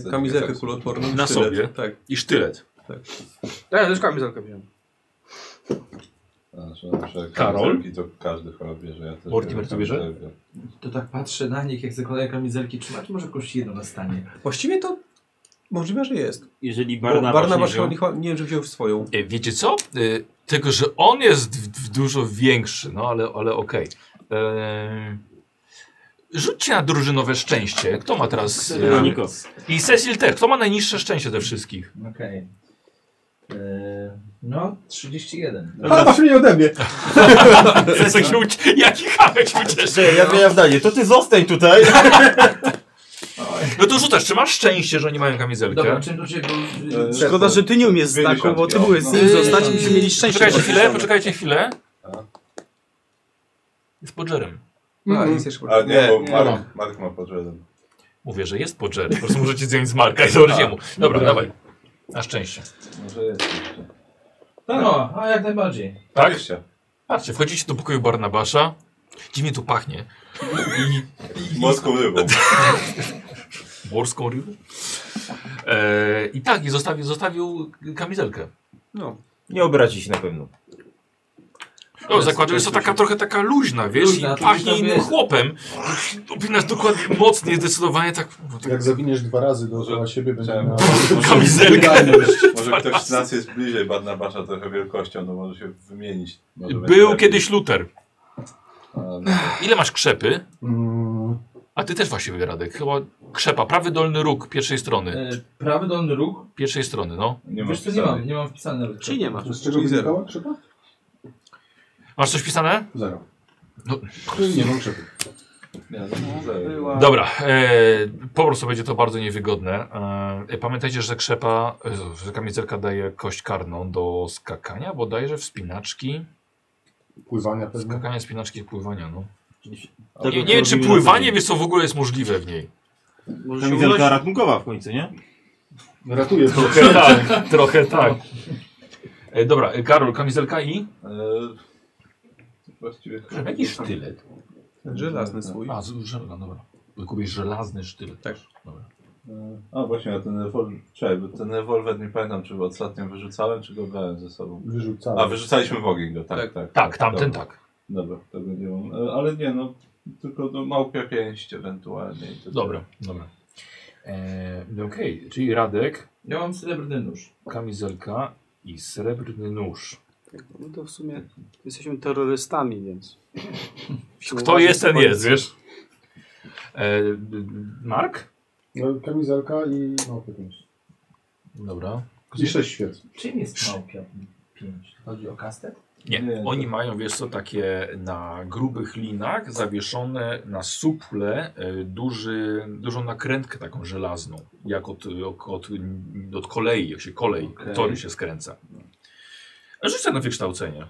Speaker 7: E, Kamizelkę kuloodporną. i
Speaker 1: Na
Speaker 7: sztylet.
Speaker 1: sobie?
Speaker 7: Tak.
Speaker 1: I sztylet.
Speaker 3: Ja też kamizelkę wziąłem.
Speaker 8: Znaczy, no, że
Speaker 1: Karol?
Speaker 8: kamizelki To każdy chyba bierze. Ja też
Speaker 1: Mortimer,
Speaker 8: biorę
Speaker 1: ty bierzesz?
Speaker 8: kamizelkę.
Speaker 9: To tak patrzę na nich, jak zakładają kamizelki, czy macie może jakąś jedną na stanie?
Speaker 7: Właściwie to możliwe, że jest.
Speaker 5: Jeżeli
Speaker 7: Bo
Speaker 5: Barnabasz,
Speaker 7: Barnabasz
Speaker 5: nie wziął,
Speaker 7: nie, nie wiem, czy wziął swoją.
Speaker 1: E, Wiecie co? E, Tylko, że on jest w, w dużo większy, no ale, ale okej. E, Rzućcie na drużynowe szczęście. Kto ma teraz...
Speaker 5: to
Speaker 1: e,
Speaker 5: Nikos.
Speaker 1: I Cecil też. Kto ma najniższe szczęście ze wszystkich?
Speaker 9: Okej. E, No, 31.
Speaker 10: *laughs*
Speaker 8: No
Speaker 4: Barnabasz mnie ode mnie.
Speaker 1: Cecil się ucie... *laughs* Jaki Hamek się ucieszy?
Speaker 5: Cześć, ja zmieniam zdanie, to ty zostań *laughs* tutaj!
Speaker 1: No to rzucasz. Czy masz szczęście, że oni mają
Speaker 9: Dobra,
Speaker 1: kamizelkę?
Speaker 9: czym to się...
Speaker 8: E,
Speaker 3: Szkoda, że ty nie umiesz znaku, bo ty byłeś z nim zostać i byśmy mieli szczęście.
Speaker 1: Poczekajcie Eee. chwilę, poczekajcie chwilę.
Speaker 8: A?
Speaker 1: Jest podżerem.
Speaker 7: A,
Speaker 3: Mhm.
Speaker 7: jest jeszcze
Speaker 8: A nie, bo
Speaker 7: nie.
Speaker 8: Mark, Mark ma podrzędem.
Speaker 1: Mówię, że jest podżerem. Po prostu możecie zdjąć z marka i założyć
Speaker 8: A,
Speaker 1: jemu. Dobra, dawaj. Na szczęście.
Speaker 8: Może jest jeszcze.
Speaker 9: No, a jak najbardziej.
Speaker 1: Tak?
Speaker 8: Oczywiście.
Speaker 1: Patrzcie, wchodzicie do pokoju Barnabasza. Dziwnie tu pachnie. I,
Speaker 8: Morską *laughs* rybą.
Speaker 1: Morską rybę? E, I tak, i zostawił, zostawił kamizelkę.
Speaker 7: No.
Speaker 5: Nie obrazi się na pewno.
Speaker 1: No, zakładam, jest to taka trochę taka luźna, wiesz,
Speaker 9: Luźna,
Speaker 1: i
Speaker 9: to
Speaker 1: pachnie
Speaker 9: luźna
Speaker 1: innym
Speaker 9: wiesz.
Speaker 1: chłopem. Opinasz dokładnie mocniej, zdecydowanie tak. no, tak
Speaker 10: Jak zawiniesz dwa razy dookoła siebie, będzie
Speaker 8: Czemu?
Speaker 9: No.
Speaker 10: miał
Speaker 1: kamizelkę.
Speaker 8: Może ktoś z nas jest bliżej Barnabasza trochę wielkością, to może się wymienić. Może będzie
Speaker 1: Był
Speaker 8: lepiej.
Speaker 1: kiedyś Luter.
Speaker 8: A, no.
Speaker 1: Ile masz krzepy?
Speaker 10: Mm,
Speaker 1: A ty też właściwie Radek. Chyba krzepa, prawy dolny róg pierwszej strony.
Speaker 9: E, prawy dolny róg?
Speaker 1: Pierwszej strony, no.
Speaker 8: Nie
Speaker 9: Wiesz co, nie mam, nie mam wpisane nawet.
Speaker 3: Czy nie ma?
Speaker 10: z czego
Speaker 8: Czyli zero.
Speaker 10: wynikało krzypa?
Speaker 1: Masz coś pisane?
Speaker 10: Zero.
Speaker 1: No.
Speaker 10: Nie mam krzypy.
Speaker 8: Nie, no, zero.
Speaker 3: Była...
Speaker 1: Dobra, e, po prostu będzie to bardzo niewygodne. E, pamiętajcie, że krzepa, e, że kamizelka daje kość karną do skakania, bodajże wspinaczki.
Speaker 10: Pływania
Speaker 9: Mhm.
Speaker 10: pewnie.
Speaker 1: Skakania, wspinaczki i pływania, no.
Speaker 5: Tak jak
Speaker 1: Nie, nie wiem, czy
Speaker 5: robimy
Speaker 1: pływanie,
Speaker 5: na
Speaker 1: wiesz co, w ogóle jest możliwe w niej.
Speaker 3: Może się
Speaker 5: Kamizelka
Speaker 3: urodzić.
Speaker 5: ratunkowa w końcu, nie?
Speaker 1: *laughs*
Speaker 10: Ratuje to.
Speaker 1: tak, trochę tak. E, dobra, e, Karol, kamizelka i?
Speaker 8: Eee, Właściwie e,
Speaker 1: Jaki sztylet?
Speaker 7: Żelazny swój.
Speaker 1: A, z żelazna, dobra. Kupisz żelazny sztylet.
Speaker 7: Tak.
Speaker 1: Dobra.
Speaker 8: A właśnie, a ten rewolwer, czekaj, bo ten rewolwer nie pamiętam, czy go ostatnio wyrzucałem, czy go brałem ze sobą.
Speaker 10: Wyrzucałem.
Speaker 8: A, wyrzucaliśmy w ogień go, tak,
Speaker 7: Tak.
Speaker 8: tak.
Speaker 1: Tak,
Speaker 8: Tak,
Speaker 1: tamten
Speaker 8: Dobra,
Speaker 1: tak.
Speaker 8: Dobra, tego nie mam. E, Ale nie no, tylko no, małpia pięść ewentualnie. i to tyle.
Speaker 1: Dobra, dobra. E, no Okej, czyli Radek,
Speaker 9: Ja mam srebrny nóż.
Speaker 1: kamizelka i srebrny nóż.
Speaker 3: No to w sumie jesteśmy terrorystami, więc...
Speaker 1: Kto jest, ten jest, wiesz? E, Mark?
Speaker 10: No, kamizelka i no, małpy pięć.
Speaker 1: Dobra.
Speaker 10: I sześć świec.
Speaker 9: Czym jest małpia 5? Chodzi o kastet? *laughs*
Speaker 1: Nie,
Speaker 8: Nie,
Speaker 1: oni mają, wiesz co, takie na grubych linach zawieszone na suple e, duży, dużą nakrętkę taką żelazną, jak od, od, od, od kolei, jak się kolej,
Speaker 8: Okej.
Speaker 1: tory się skręca. Rzuć sobie na wykształcenie.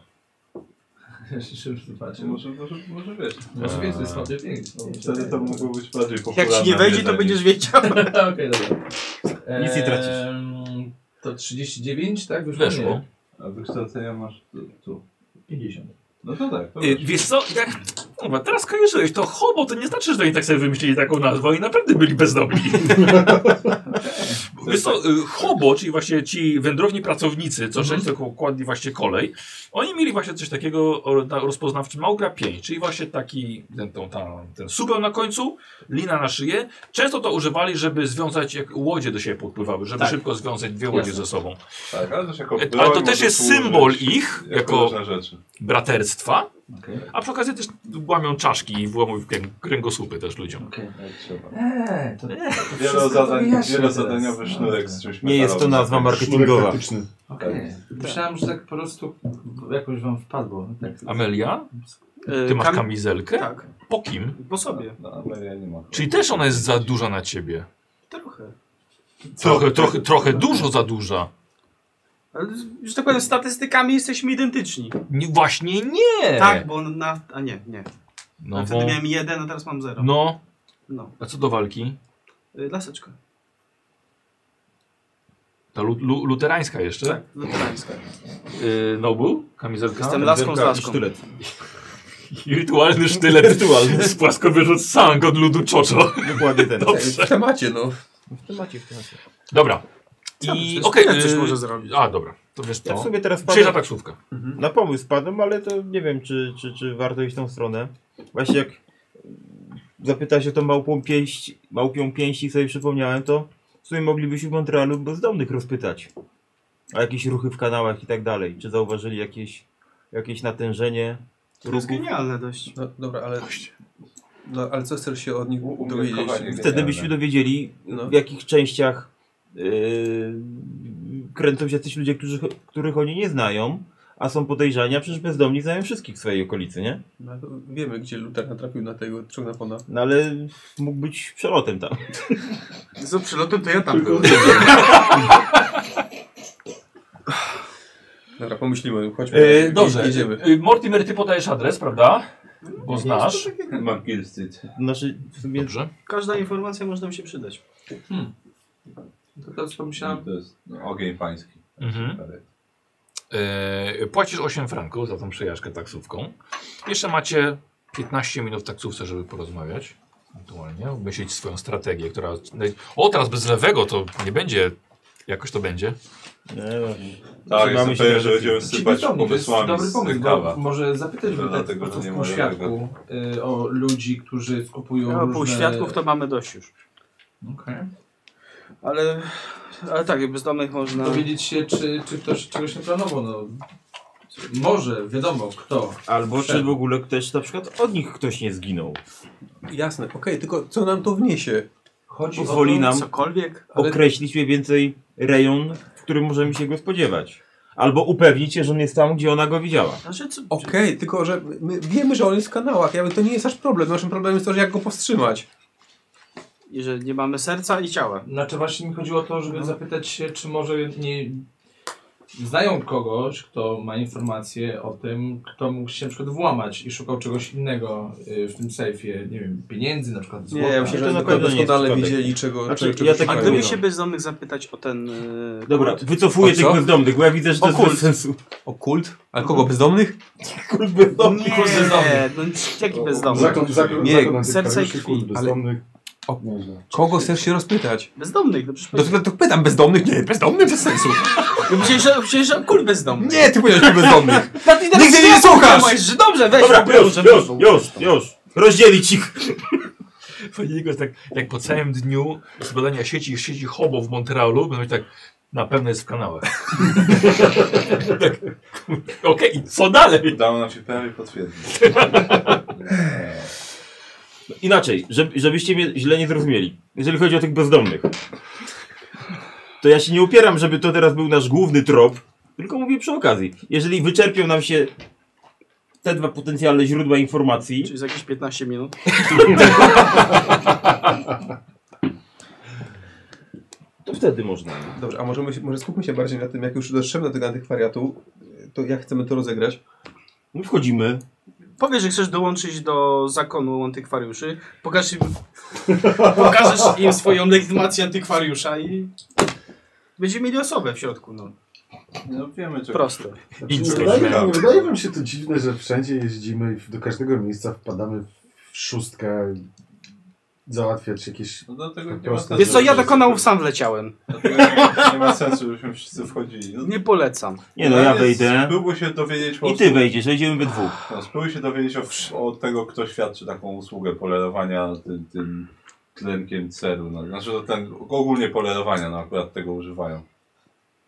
Speaker 9: Jeszcze szybko
Speaker 8: Czy
Speaker 9: zobaczymy.
Speaker 8: Znaczy, Może, może, może wiesz,
Speaker 9: Może wiesz, to jest
Speaker 1: Eee.
Speaker 9: małpia
Speaker 8: no, wtedy to mogło być bardziej popularne.
Speaker 3: Jak ci nie wejdzie, to
Speaker 8: jedzenie.
Speaker 3: będziesz wiedział.
Speaker 9: *laughs* Okej, dobra.
Speaker 5: Nic nie tracisz.
Speaker 9: Ehm, To 39, tak? Wyszło?
Speaker 1: Weszło.
Speaker 9: Nie.
Speaker 8: A wykształcenia masz tu. tu.
Speaker 9: 50.
Speaker 8: No to tak, to
Speaker 1: Y,
Speaker 8: masz.
Speaker 1: Wiesz co, jak, kurwa, teraz kojarzyłeś to hobo, to nie znaczy, że oni tak sobie wymyślili taką nazwę i naprawdę byli bezdomni. Wiesz co, y, hobo, czyli właśnie ci wędrowni pracownicy, co często ko- kładli właśnie kolej, oni mieli właśnie coś takiego o- na- rozpoznawczy małgra 5, czyli właśnie taki ten, tą, ta, ten subeł na końcu, lina na szyję. Często to używali, żeby związać, jak łodzie do siebie podpływały, żeby szybko związać dwie łodzie
Speaker 9: Jasne.
Speaker 1: ze sobą.
Speaker 8: tak, ale, też jako
Speaker 1: E,
Speaker 8: broń
Speaker 1: Ale to też
Speaker 8: możesz
Speaker 1: jest
Speaker 8: użyć
Speaker 1: symbol ich,
Speaker 8: Jako
Speaker 1: jako
Speaker 8: różne rzeczy.
Speaker 1: braterstwa.
Speaker 9: Okej.
Speaker 1: A przy okazji też łamią czaszki i włamują krę- kręgosłupy też ludziom.
Speaker 8: Jak trzeba.
Speaker 9: Eee, to, to wszystko
Speaker 8: Wielo zadań,
Speaker 9: wyjaśnia
Speaker 8: wielozadaniowy
Speaker 9: teraz.
Speaker 8: sznurek z czymś
Speaker 5: Nie jest to
Speaker 8: metalowym.
Speaker 5: nazwa
Speaker 10: Sznurek
Speaker 5: marketingowa.
Speaker 10: taktyczny.
Speaker 9: Okej. Myślałem, że tak po prostu jakoś wam wpadło. Tak.
Speaker 1: Amelia,
Speaker 3: E,
Speaker 1: ty masz
Speaker 3: kam-
Speaker 1: kamizelkę?
Speaker 3: Tak,
Speaker 1: Po kim?
Speaker 3: po sobie.
Speaker 8: No, ale ja nie mam.
Speaker 1: Czyli też ona jest za duża na ciebie.
Speaker 3: Trochę.
Speaker 1: Trochę, trochę, trochę dużo za duża.
Speaker 3: Ale, że tak powiem, statystykami jesteśmy identyczni.
Speaker 1: Nie, właśnie nie!
Speaker 3: Tak, bo na... A nie, nie.
Speaker 1: No,
Speaker 3: a wtedy
Speaker 1: bo,
Speaker 3: miałem jeden, a teraz mam zero. No.
Speaker 1: no, a co do walki?
Speaker 3: Y, Laseczka.
Speaker 1: Ta lu, lu, luterańska jeszcze?
Speaker 3: Weterańska.
Speaker 1: Yy, Nobu? Kamizelka?
Speaker 3: Tak. Jestem laską z
Speaker 5: Kamizelka i
Speaker 3: laską.
Speaker 5: Sztylet.
Speaker 1: I Rytualny sztylet. Rytualny. Z płaskowyrzut sang od ludu czoczo.
Speaker 5: Dokładnie ten.
Speaker 1: Dobrze.
Speaker 7: W temacie, no.
Speaker 5: W temacie, w temacie.
Speaker 1: Dobra.
Speaker 3: I
Speaker 1: I
Speaker 3: okej,
Speaker 1: okej.
Speaker 3: okay, coś
Speaker 1: y,
Speaker 3: może zrobić.
Speaker 1: A, dobra. To wiesz
Speaker 5: Ja w
Speaker 1: co?
Speaker 5: sobie teraz wpadłem-
Speaker 1: Przyjeżdża taksówka.
Speaker 5: Na pomysł padłem, ale to nie wiem, czy, czy, czy warto iść w tą stronę. Właśnie jak zapytałeś o tą małpą pięść, małpią pięść i sobie przypomniałem, to w sumie moglibyśmy w Montrealu bezdomnych rozpytać. O jakieś ruchy w kanałach i tak dalej. Czy zauważyli jakieś, jakieś natężenie
Speaker 3: To jest
Speaker 5: ruchów?
Speaker 3: genialne dość.
Speaker 7: no. Dobra, ale... No, ale co chcesz się od nich
Speaker 8: U-
Speaker 7: dowiedzieć?
Speaker 8: umiarkowanie.
Speaker 5: Wtedy byśmy dowiedzieli,
Speaker 7: No.
Speaker 5: w jakich częściach yy, kręcą się jacyś ludzie, którzy, których oni nie znają, a są podejrzani, a przecież bezdomni znają wszystkich w swojej okolicy, nie?
Speaker 7: No, to wiemy, gdzie Luther natrafił na tego trzonapona.
Speaker 5: No ale mógł być przelotem tam.
Speaker 3: Z przelotem to ja tam
Speaker 10: Tylko-
Speaker 3: byłem.
Speaker 7: *laughs* Dobra, pomyślimy, chodźmy.
Speaker 5: E,
Speaker 7: I-
Speaker 1: Dobrze.
Speaker 7: Idziemy.
Speaker 1: Y, Mortimer, ty podajesz adres, prawda? Bo znasz.
Speaker 8: Mam Kill Street.
Speaker 5: Znaczy, w sumie
Speaker 1: Dobrze.
Speaker 3: Każda informacja może nam się przydać.
Speaker 9: To teraz pomyślałem,
Speaker 8: To jest no, ogień pański.
Speaker 1: Mhm. E, płacisz 8 franków za tą przejażdżkę taksówką. Jeszcze macie 15 minut w taksówce, żeby porozmawiać. Ewentualnie myśleć swoją strategię, która... O, teraz bez lewego to nie będzie... Jakoś to będzie.
Speaker 5: Nie, no.
Speaker 8: Tak,
Speaker 5: Trzymamy
Speaker 8: jestem
Speaker 5: się
Speaker 8: pewien, że
Speaker 5: racji.
Speaker 8: będziemy sypać
Speaker 9: Czyli Znaczy, to jest
Speaker 8: pomysłami
Speaker 9: dobry
Speaker 8: z
Speaker 9: pomysł,
Speaker 8: rękawa.
Speaker 9: bo może zapytać
Speaker 8: Tylko
Speaker 9: by tak
Speaker 8: dlatego,
Speaker 9: po
Speaker 8: że
Speaker 9: prostu
Speaker 8: nie
Speaker 9: w
Speaker 8: ma
Speaker 9: półświadku y, o ludzi, którzy skupują
Speaker 3: No,
Speaker 9: różne...
Speaker 3: pół świadków to mamy dość już.
Speaker 9: Okej.
Speaker 3: Ale, ale tak, jakby bezdomnych można...
Speaker 9: Dowiedzieć się, czy, czy ktoś czegoś nie planował, no. Może, wiadomo, kto.
Speaker 5: Albo czy w ogóle ktoś, na przykład od nich ktoś nie zginął.
Speaker 7: Jasne, okej, tylko co nam to wniesie?
Speaker 9: Chodzi o
Speaker 5: Pozwoli nam
Speaker 3: Cokolwiek.
Speaker 7: Ale-
Speaker 5: określić mniej więcej rejon, w którym możemy się go spodziewać. Albo upewnić się, że on jest tam, gdzie ona go widziała.
Speaker 7: Tak,
Speaker 3: Znaczy, co,
Speaker 7: Okej, tylko że my wiemy, że on jest w kanałach, jakby to nie jest nasz problem. Naszym problemem jest to, że jak go powstrzymać.
Speaker 3: Jeżeli nie mamy serca i ciała.
Speaker 9: Znaczy właśnie mi chodziło o to, żeby zapytać się, czy może nie znają kogoś, kto ma informacje o tym, kto mógł się na przykład włamać i szukał czegoś innego y, w tym sejfie, nie wiem, pieniędzy na przykład złota.
Speaker 7: Nie, myślę,
Speaker 5: to
Speaker 7: że
Speaker 5: na
Speaker 7: tylko
Speaker 5: pewno nie
Speaker 7: doskonale
Speaker 5: jest przypadek.
Speaker 7: wiedzieli, czego,
Speaker 5: Znaczy,
Speaker 7: czego, czego
Speaker 5: ja tak
Speaker 3: A
Speaker 7: szukają.
Speaker 3: gdyby
Speaker 5: no.
Speaker 3: się bezdomnych zapytać o ten... Yy,
Speaker 5: Dobra,
Speaker 3: kult?
Speaker 5: wycofuję
Speaker 7: no O co?
Speaker 5: tych bezdomnych, bo ja widzę, że to jest
Speaker 3: Okult.
Speaker 5: bez
Speaker 7: *laughs*
Speaker 5: sensu.
Speaker 7: O kult? Ale kogo? Bezdomnych?
Speaker 5: Kult *laughs* bezdomnych.
Speaker 3: Nie,
Speaker 9: kult bezdomnych.
Speaker 3: no jaki bezdomny?
Speaker 10: Zakon, zakon,
Speaker 7: Nie,
Speaker 10: zakon
Speaker 3: serce i
Speaker 10: serce
Speaker 3: krwi.
Speaker 10: kult bezdomnych.
Speaker 7: O-
Speaker 10: Nieźle.
Speaker 7: Kogo chcesz się rozpytać?
Speaker 3: Bezdomnych, no
Speaker 7: No
Speaker 3: przecież...
Speaker 7: to, to pytam bezdomnych? Nie, bezdomnych bez sensu.
Speaker 3: No przecież, przecież kul bezdomny.
Speaker 7: Nie, ty powiedziałeś mi bezdomnych.
Speaker 3: No ty teraz
Speaker 7: Nigdy mnie nie
Speaker 3: świadków
Speaker 7: słuchasz!
Speaker 3: kłamałeś, że dobrze, weź
Speaker 5: Dobra,
Speaker 3: po
Speaker 5: już,
Speaker 3: prostu,
Speaker 5: już, już, już. Rozdzielić ich.
Speaker 1: Fajnie, jest tak, jak po całym dniu z badania sieci, sieci hobo w Montrealu, będą mieć tak, na pewno jest w kanałach. *laughs* tak, Okej, i co dalej?
Speaker 8: Udało nam się prawie potwierdzić.
Speaker 5: Inaczej, żeby, żebyście mnie źle nie zrozumieli. Jeżeli chodzi o tych bezdomnych. To ja się nie upieram, żeby to teraz był nasz główny trop. Tylko mówię przy okazji. Jeżeli wyczerpią nam się te dwa potencjalne źródła informacji,
Speaker 3: Czyli za jakieś 15 minut.
Speaker 5: to wtedy można.
Speaker 7: Dobrze, a możemy, się- może skupmy się bardziej na tym, jak już doszedłem do tego antykwariatu, to jak chcemy to rozegrać?
Speaker 5: No wchodzimy.
Speaker 3: Powiesz, że chcesz dołączyć do zakonu antykwariuszy, pokaż im, pokażesz im swoją legitymację antykwariusza i będziemy mieli osobę w środku, no.
Speaker 8: No wiemy, czego
Speaker 3: Proste.
Speaker 10: Nie
Speaker 1: Nic nie
Speaker 10: Znaczy, wydaje,
Speaker 1: zmieniamy.
Speaker 10: nie wydaje wam się to dziwne, że wszędzie jeździmy i do każdego miejsca wpadamy w szóstkę załatwiać jakieś...
Speaker 8: No dlatego nie ma
Speaker 10: Proste.
Speaker 8: sensu.
Speaker 3: Wiesz co, ja do
Speaker 8: żebyśmy-
Speaker 3: kanałów sam wleciałem.
Speaker 8: dlatego Nie, nie ma sensu, żebyśmy wszyscy wchodzili. No,
Speaker 3: Nie polecam.
Speaker 5: Nie no, ja
Speaker 8: fajnie
Speaker 5: wejdę.
Speaker 8: Spróbuj się dowiedzieć po
Speaker 5: I ty
Speaker 8: prostu-
Speaker 5: wejdziesz, wejdziemy we dwóch.
Speaker 8: No, spróbuj się dowiedzieć o, o tego, kto świadczy taką usługę polerowania tym, tym tlenkiem ceru. No, znaczy, to ten, ogólnie polerowania, no akurat tego używają.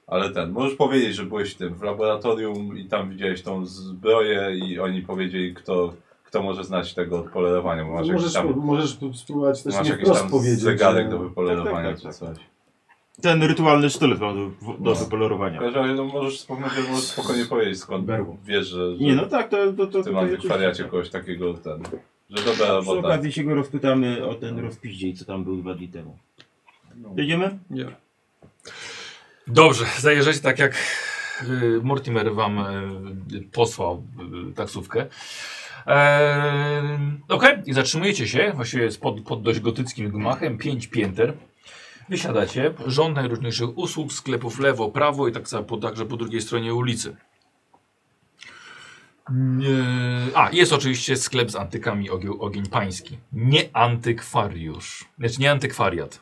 Speaker 8: Ale ten, możesz powiedzieć, że byłeś tym w laboratorium i tam widziałeś tą zbroję i oni powiedzieli, kto, kto może znać tego od polerowania, bo masz
Speaker 10: Możesz,
Speaker 8: jakiś tam,
Speaker 10: możesz spróbować też
Speaker 8: masz
Speaker 10: nie
Speaker 8: jakiś
Speaker 10: wprost
Speaker 8: tam
Speaker 10: powiedzieć.
Speaker 8: zegarek
Speaker 10: że-
Speaker 8: do wypolerowania
Speaker 5: Tak, tak, tak,
Speaker 8: czy coś.
Speaker 5: Ten rytualny sztylet mam do, do
Speaker 8: No.
Speaker 5: wypolerowania.
Speaker 8: W każdym razie no, możesz wspomnieć, że możesz spokojnie powiedzieć, skąd
Speaker 10: Berło.
Speaker 8: wiesz, że, że
Speaker 5: Nie no tak, to... to, to,
Speaker 8: w tym
Speaker 5: to
Speaker 8: antykwariacie kogoś takiego, ten, że dobra
Speaker 5: Przy
Speaker 8: robota.
Speaker 5: okazji się go rozpytamy o ten rozpiździej, co tam był dwa dni temu.
Speaker 8: No.
Speaker 5: Jedziemy?
Speaker 7: Nie.
Speaker 1: Dobrze, zajeżdżacie tak jak y, Mortimer wam y, posłał y, taksówkę. Ehm, Okej, i zatrzymujecie się, właściwie jest pod, pod dość gotyckim gmachem, pięć pięter. Wysiadacie, rząd najróżniejszych usług, sklepów lewo, prawo i tak samo po, także po drugiej stronie ulicy. Nie. A, jest oczywiście sklep z antykami ogień, ogień pański. Nie antykwariusz. Znaczy nie antykwariat.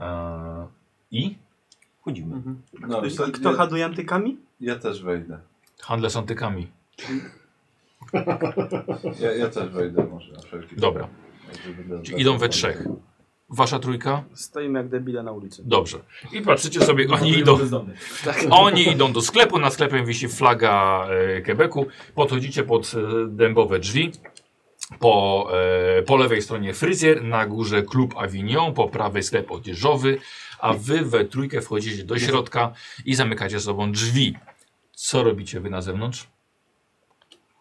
Speaker 1: Eee, I?
Speaker 5: Chodzimy.
Speaker 8: No, wiesz co,
Speaker 3: I kto
Speaker 8: ja-
Speaker 3: handluje antykami?
Speaker 8: Ja też wejdę.
Speaker 1: Handle z antykami.
Speaker 8: Ja, ja też wejdę może na wszelki
Speaker 1: Dobra.
Speaker 8: Jakby będę-
Speaker 1: Czyli idą
Speaker 8: tak.
Speaker 1: we trzech. Wasza trójka?
Speaker 3: Stoimy jak debile na ulicy.
Speaker 1: Dobrze. I patrzycie sobie, oni idą, oni idą do sklepu, na sklepem wisi flaga e, Quebecu. Podchodzicie pod e, dębowe drzwi. Po, e, po lewej stronie fryzjer, na górze klub Avignon, po prawej sklep odzieżowy, a wy we trójkę wchodzicie do środka i zamykacie sobą drzwi. Co robicie wy na zewnątrz?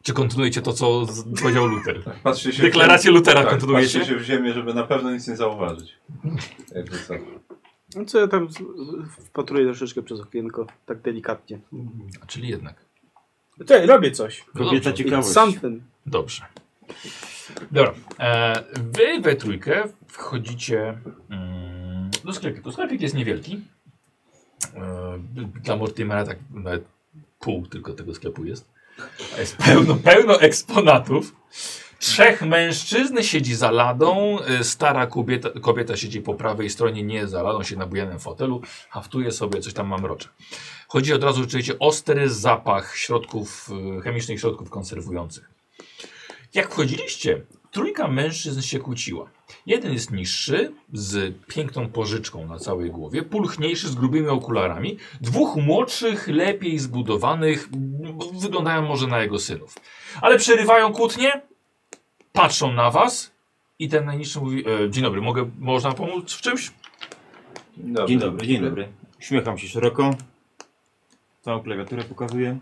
Speaker 1: Czy kontynuujecie to, co z- powiedział Luther?
Speaker 8: *laughs* Tak, Patrzcie się
Speaker 1: Deklarację Lutera
Speaker 8: tak,
Speaker 1: kontynuujecie?
Speaker 8: Patrzcie się w ziemię, żeby na pewno nic nie zauważyć. Jakby co.
Speaker 3: No co ja tam z- wpatruję troszeczkę przez okienko, tak delikatnie.
Speaker 1: A, czyli jednak.
Speaker 3: Ty, robię coś.
Speaker 1: No
Speaker 5: Kobieta
Speaker 1: dobrze.
Speaker 5: ciekawość.
Speaker 3: Sam ten.
Speaker 1: Dobrze. Dobra. E, wy we trójkę wchodzicie mm, do sklepiku. Sklepik jest niewielki. E, dla Mortimera tak nawet pół tylko tego sklepu jest. A Jest pełno, pełno eksponatów. Trzech mężczyzn siedzi za ladą, y, stara kobieta, kobieta siedzi po prawej stronie, nie za ladą, się na bujanym fotelu, haftuje sobie, coś tam mamrocze. Chodzi od razu oczywiście ostry zapach środków, y, chemicznych środków konserwujących. Jak wchodziliście, trójka mężczyzn się kłóciła. Jeden jest niższy, z piękną pożyczką na całej głowie, pulchniejszy, z grubymi okularami, dwóch młodszych, lepiej zbudowanych, m, wyglądają może na jego synów. Ale przerywają kłótnie, patrzą na was i ten najniższy mówi, e, dzień dobry, mogę, można pomóc w czymś?
Speaker 8: Dobry.
Speaker 5: Dzień dobry, dzień dobry. Uśmiecham się szeroko. Całą klawiaturę pokazuję.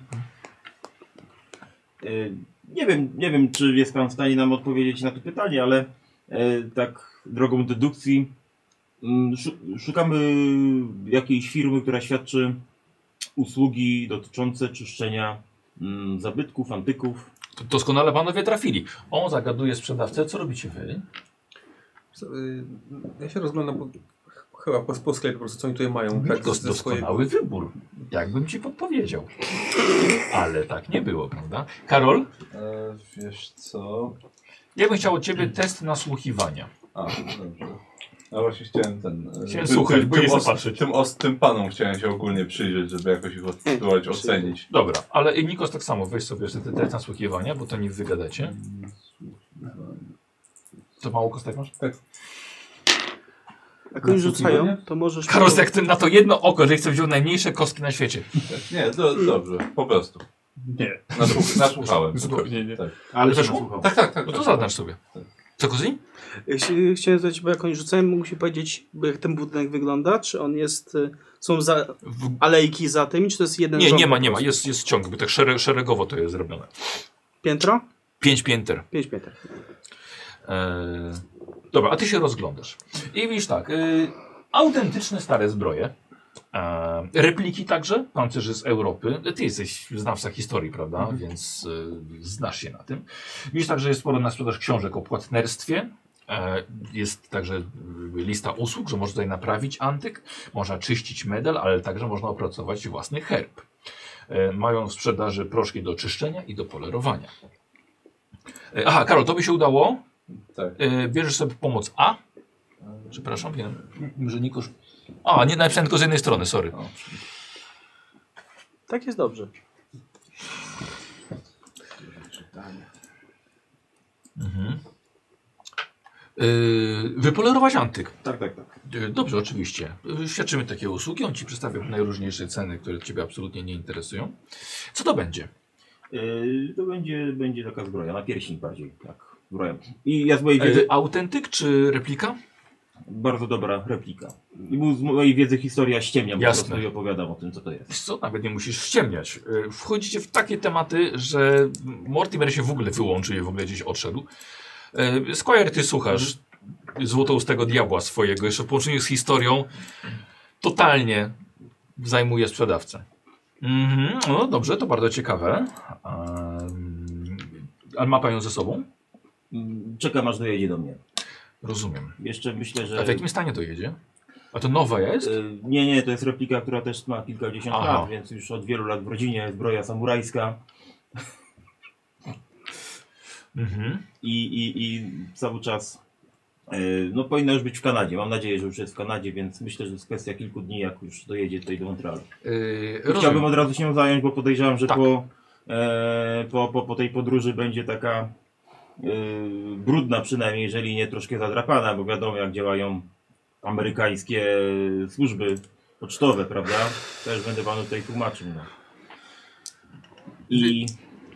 Speaker 5: E, Nie wiem, nie wiem, czy jest Pan w stanie nam odpowiedzieć na to pytanie, ale e, tak drogą dedukcji mm, szu- szukamy jakiejś firmy, która świadczy usługi dotyczące czyszczenia mm, zabytków, antyków.
Speaker 1: To doskonale panowie trafili. On zagaduje sprzedawcę, co robicie wy?
Speaker 7: Co, y, Ja się rozglądam po, chyba po, po sklepie po prostu, co oni tutaj mają.
Speaker 1: Tak,
Speaker 7: ze swojego-
Speaker 1: doskonały wybór, jakbym ci podpowiedział. Ale tak nie było, prawda? Karol,
Speaker 8: E, wiesz co?
Speaker 1: ja bym chciał od ciebie test nasłuchiwania.
Speaker 8: A, dobrze. No właśnie chciałem ten... e,
Speaker 1: Chciałem
Speaker 8: tym-
Speaker 1: słuchać, bo nie
Speaker 8: tym, os-
Speaker 1: zobaczyć.
Speaker 8: tym, os- tym panom chciałem się ogólnie przyjrzeć, żeby jakoś ich odczuwać, ocenić.
Speaker 1: Dobra, ale i Nikos tak samo, weź sobie jeszcze ten test nasłuchiwania, bo to nie wygadacie. To mało kostek masz? Tak.
Speaker 3: Jak oni rzucają, to możesz...
Speaker 1: Karol, jak ty na to jedno oko, że chcę wziął najmniejsze kostki na świecie.
Speaker 8: Nie, do, dobrze, po prostu.
Speaker 4: Nie.
Speaker 8: Nasłuch- Nasłuchałem.
Speaker 1: Zupełnie nie.
Speaker 5: Ale
Speaker 1: Weszło?
Speaker 5: słucham.
Speaker 1: Tak, tak, tak. No to zaznasz sobie. Co kuzyni?
Speaker 3: Ja chci- Chciałem zapytać, bo jak oni rzucają, mógł się powiedzieć, bo jak ten budynek wygląda, czy on jest... y, Są za
Speaker 1: W...
Speaker 3: alejki za tymi, czy to jest jeden
Speaker 1: Nie,
Speaker 3: rząd?
Speaker 1: nie ma, nie ma. Jest, jest ciąg, bo tak szere, szeregowo to jest zrobione.
Speaker 3: Piętro?
Speaker 1: Pięć pięter.
Speaker 3: Pięć pięter.
Speaker 1: Eee, dobra, a ty się rozglądasz. I widzisz tak, y, autentyczne stare zbroje, eee, repliki także, pancerzy z Europy. Ty jesteś znawca historii, prawda, więc y, znasz się na tym. Widzisz także jest sporo na sprzedaż książek o płatnerstwie. Eee, Jest także y, lista usług, że można tutaj naprawić antyk, można czyścić medal, ale także można opracować własny herb. Eee, Mają w sprzedaży proszki do czyszczenia i do polerowania. Eee, Aha, Karol, to by się udało?
Speaker 8: Tak.
Speaker 1: E, bierzesz sobie pomoc A. Przepraszam, nie, że Nikosz. A, nie napisałem tylko z jednej strony, sorry.
Speaker 8: O,
Speaker 3: Tak jest dobrze.
Speaker 1: Mhm. E, wypolerować antyk.
Speaker 5: Tak, tak, tak.
Speaker 1: E, Dobrze, oczywiście. E, Świadczymy takie usługi. On ci przedstawia najróżniejsze ceny, które ciebie absolutnie nie interesują. Co to będzie?
Speaker 5: Yy, to będzie, będzie taka zbroja, na pierścień bardziej, tak, zbroja. I ja z mojej wiedzy,
Speaker 1: E, autentyk czy replika?
Speaker 5: bardzo dobra replika. I mu z mojej wiedzy historia ściemnia po
Speaker 1: Jasne.
Speaker 5: prostu i opowiadam o tym, co to jest.
Speaker 1: Wiesz co, nawet nie musisz ściemniać. E, Wchodzicie w takie tematy, że Mortimer się w ogóle wyłączył i w ogóle gdzieś odszedł. E, Squire, ty słuchasz
Speaker 5: Mhm.
Speaker 1: złotoustego diabła swojego, jeszcze w połączeniu z historią, totalnie zajmuje sprzedawcę. Mhm, no dobrze, to bardzo ciekawe. Ehm, Ale ma pan ją ze sobą?
Speaker 5: Mm, Czekam aż dojedzie do mnie.
Speaker 1: Rozumiem.
Speaker 5: Jeszcze myślę, że...
Speaker 1: A w jakim stanie to jedzie? A to nowa jest?
Speaker 5: Yy, Nie, nie, to jest replika, która też ma kilkadziesiąt
Speaker 1: Aha.
Speaker 5: lat, więc już od wielu lat w rodzinie, zbroja samurajska
Speaker 1: *laughs* Mhm.
Speaker 5: i, i, i cały czas... yy, No powinna już być w Kanadzie, mam nadzieję, że już jest w Kanadzie, więc myślę, że to jest kwestia kilku dni, jak już dojedzie tutaj do Montrealu.
Speaker 1: Yy,
Speaker 5: Chciałbym
Speaker 1: rozumiem.
Speaker 5: od razu się zająć, bo podejrzewam, że
Speaker 1: Tak.
Speaker 5: po, e, po, po, po tej podróży będzie taka e, brudna przynajmniej, jeżeli nie troszkę zadrapana, bo wiadomo jak działają amerykańskie służby pocztowe, prawda? Też będę panu tutaj tłumaczył. No. I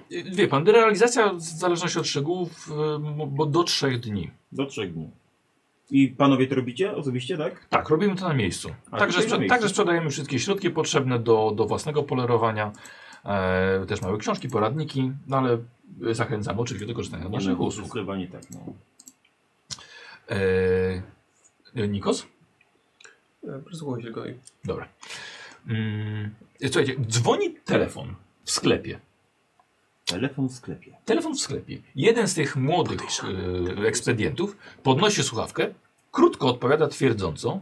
Speaker 1: Yy, Wie pan, realizacja w zależności od szczegółów, yy, bo do trzech dni.
Speaker 5: do trzech dni. I panowie to robicie osobiście, tak?
Speaker 1: Tak, robimy to na miejscu.
Speaker 5: A,
Speaker 1: Także,
Speaker 5: tutaj na
Speaker 1: sprze-
Speaker 5: miejscu.
Speaker 1: także sprzedajemy wszystkie środki potrzebne do, do własnego polerowania. E, też małe książki, poradniki, no ale e, zachęcamy oczywiście do korzystania z naszych
Speaker 5: no,
Speaker 1: usług.
Speaker 5: Zdecydowanie tak. No.
Speaker 1: E, e, Nikos?
Speaker 7: E, Przysłuchaj się go i
Speaker 1: Dobra. Mm, e, słuchajcie, dzwoni telefon w sklepie.
Speaker 5: Telefon w sklepie.
Speaker 1: Telefon w sklepie. Jeden z tych młodych e, ekspedientów podnosi słuchawkę, krótko odpowiada twierdząco,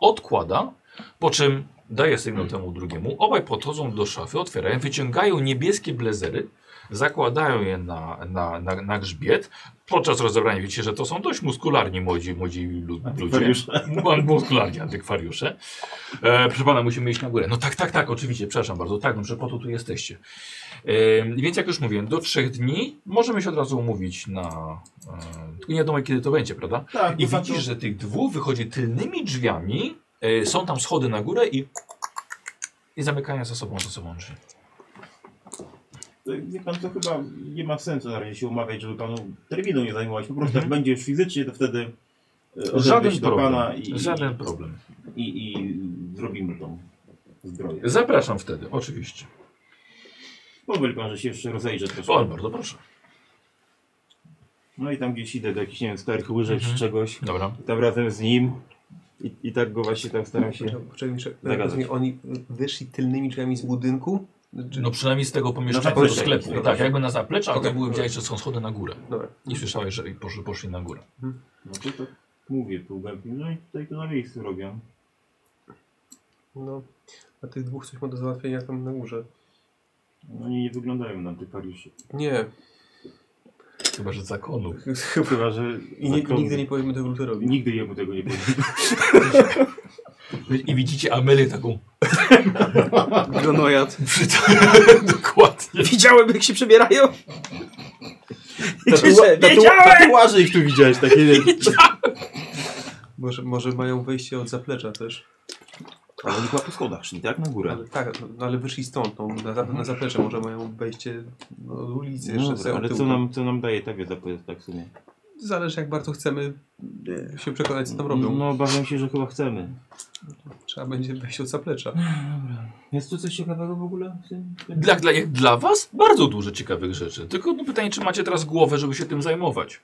Speaker 1: odkłada, po czym daje sygnał temu drugiemu. Obaj podchodzą do szafy, otwierają, wyciągają niebieskie blezery, zakładają je na, na, na, na grzbiet. Podczas rozebrania widzicie, że to są dość muskularni młodzi, młodzi lu- ludzie. Mu- Muskularni antykwariusze. E, proszę pana, musimy iść na górę. No tak, tak, tak, oczywiście, przepraszam bardzo. Tak, no przecież po to tu jesteście. E, więc jak już mówiłem, do trzech dni możemy się od razu umówić na... E, tylko nie wiadomo, kiedy to będzie, prawda?
Speaker 5: Tak,
Speaker 1: I
Speaker 5: de facto-
Speaker 1: widzisz, że tych dwóch wychodzi tylnymi drzwiami, e, są tam schody na górę i, i zamykają za sobą, za sobą drzwi.
Speaker 5: To, Wie pan, to chyba nie ma sensu na razie się umawiać, żeby panu terminu nie zajmować. Po prostu jak będzie już fizycznie, to wtedy e, odezwę się
Speaker 1: Żaden
Speaker 5: do pana
Speaker 1: problem.
Speaker 5: i,
Speaker 1: Żaden problem.
Speaker 5: i, i zrobimy tą zbroję.
Speaker 1: Zapraszam wtedy, oczywiście.
Speaker 5: Pozwól pan, że się jeszcze rozejrzę troszkę.
Speaker 1: O, bardzo proszę.
Speaker 5: No i tam gdzieś idę do jakichś, nie wiem, starych łyżek
Speaker 1: Mhm.
Speaker 5: czy czegoś.
Speaker 1: Dobra.
Speaker 5: I tam razem z nim. I, I tak go właśnie tam staram się...
Speaker 7: no, Poczekaj, jeszcze-
Speaker 5: Zagadać.
Speaker 7: rozumiem, Oni wyszli tylnymi drzwiami z budynku? Znaczy, Czy-
Speaker 1: No przynajmniej z tego
Speaker 5: Na
Speaker 1: pomieszczenia,
Speaker 5: zaplecze.
Speaker 1: z sklepu. No tak, jakby na zapleczach, to
Speaker 7: Okej.
Speaker 1: były widziałeś, że są schody na górę.
Speaker 7: Dobra.
Speaker 1: I słyszałeś, że poszli, poszli na górę.
Speaker 5: No to, to mówię tu głębiej. No i tutaj to na miejscu robię.
Speaker 7: No. A tych dwóch coś ma do załatwienia tam na górze.
Speaker 5: No oni nie wyglądają na tych pariuszy.
Speaker 7: Nie.
Speaker 1: Chyba, że z zakonu.
Speaker 5: Chyba, że...
Speaker 7: I nie, nigdy nie powiemy tego Luterowi.
Speaker 5: Nigdy jemu tego nie powiem.
Speaker 1: I widzicie Amelię taką
Speaker 3: Gronojad.
Speaker 1: przyt- *laughs* Dokładnie.
Speaker 3: *laughs* Widziałem, jak się przebierają.
Speaker 1: *laughs*
Speaker 3: I krzyczę,
Speaker 5: Tatua- tatua-
Speaker 3: wiedziałem!
Speaker 5: Tatuaże ich tu widziałeś, takie nie
Speaker 7: Może, może mają wejście od zaplecza też.
Speaker 5: Ale oni chyba po schodach szli, tak? Na górę.
Speaker 7: Ale, tak, no, ale wyszli stąd. No, na, za- na zaplecze może mają wejście no, od ulicy jeszcze
Speaker 5: Dobra,
Speaker 7: z tego
Speaker 5: ale
Speaker 7: tyłu.
Speaker 5: co nam, co nam daje ta wiedza, powiedz tak w sumie?
Speaker 7: Zależy jak bardzo chcemy e, się przekonać co tam robią.
Speaker 5: No obawiam się, że chyba chcemy.
Speaker 7: Trzeba będzie wejść od zaplecza.
Speaker 5: Jest tu coś ciekawego w ogóle? w tym- w tym?
Speaker 1: Dla, dla, jak dla was bardzo dużo ciekawych rzeczy. Tylko no, pytanie, czy macie teraz głowę, żeby się tym zajmować.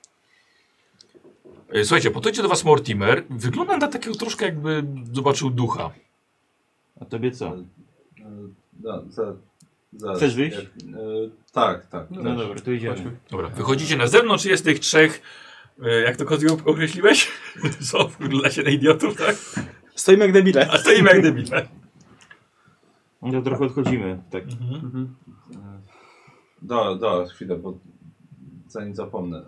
Speaker 1: E, Słuchajcie, podejdzie do was Mortimer. Wygląda na takiego troszkę jakby zobaczył ducha.
Speaker 5: A tobie co?
Speaker 8: E, Da, za, zaraz.
Speaker 5: Chcesz wyjść?
Speaker 8: Jak, e, tak, tak.
Speaker 5: No,
Speaker 8: też.
Speaker 5: dobra, to idziemy.
Speaker 7: Chodźmy.
Speaker 1: Dobra, wychodzicie na zewnątrz, jest tych trzech, e, jak to Kozio określiłeś? *laughs* Są w lesie na idiotów, tak?
Speaker 3: Stoimy jak debile.
Speaker 1: A stoimy jak tak? debile.
Speaker 5: No to trochę odchodzimy. Tak.
Speaker 8: Da, da, chwilę, bo zanim zapomnę. y,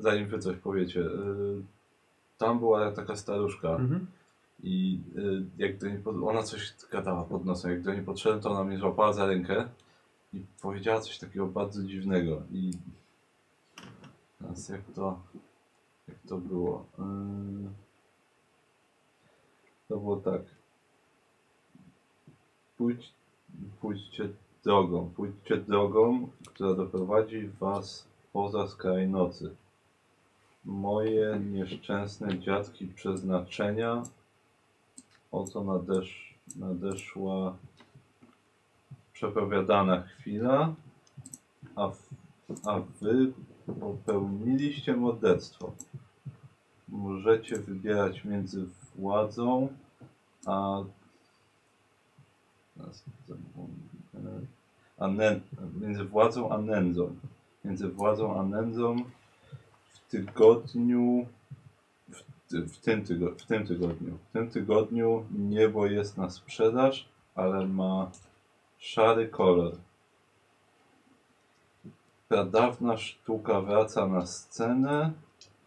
Speaker 8: zanim wy coś powiecie. y, tam była taka staruszka
Speaker 7: Mhm.
Speaker 8: i y, jak do niej pod, ona coś gadała pod nosem. Jak do niej podszedłem, to ona mnie złapała za rękę i powiedziała coś takiego bardzo dziwnego. I teraz jak to, jak to było? Y, to było tak. Pójdź, pójdźcie drogą. Pójdźcie drogą, która doprowadzi was poza skraj nocy. Moje nieszczęsne dziadki przeznaczenia. Oto nadesz, nadeszła przepowiadana chwila, a, w- a wy popełniliście morderstwo. Możecie wybierać między władzą a Teraz zapomnę. a nę, między władzą a nędzą. Między władzą a nędzą w tygodniu w, ty, w, tym, tygo, w tym tygodniu. W tym tygodniu niebo jest na sprzedaż, ale ma szary kolor. Pradawna sztuka wraca na scenę.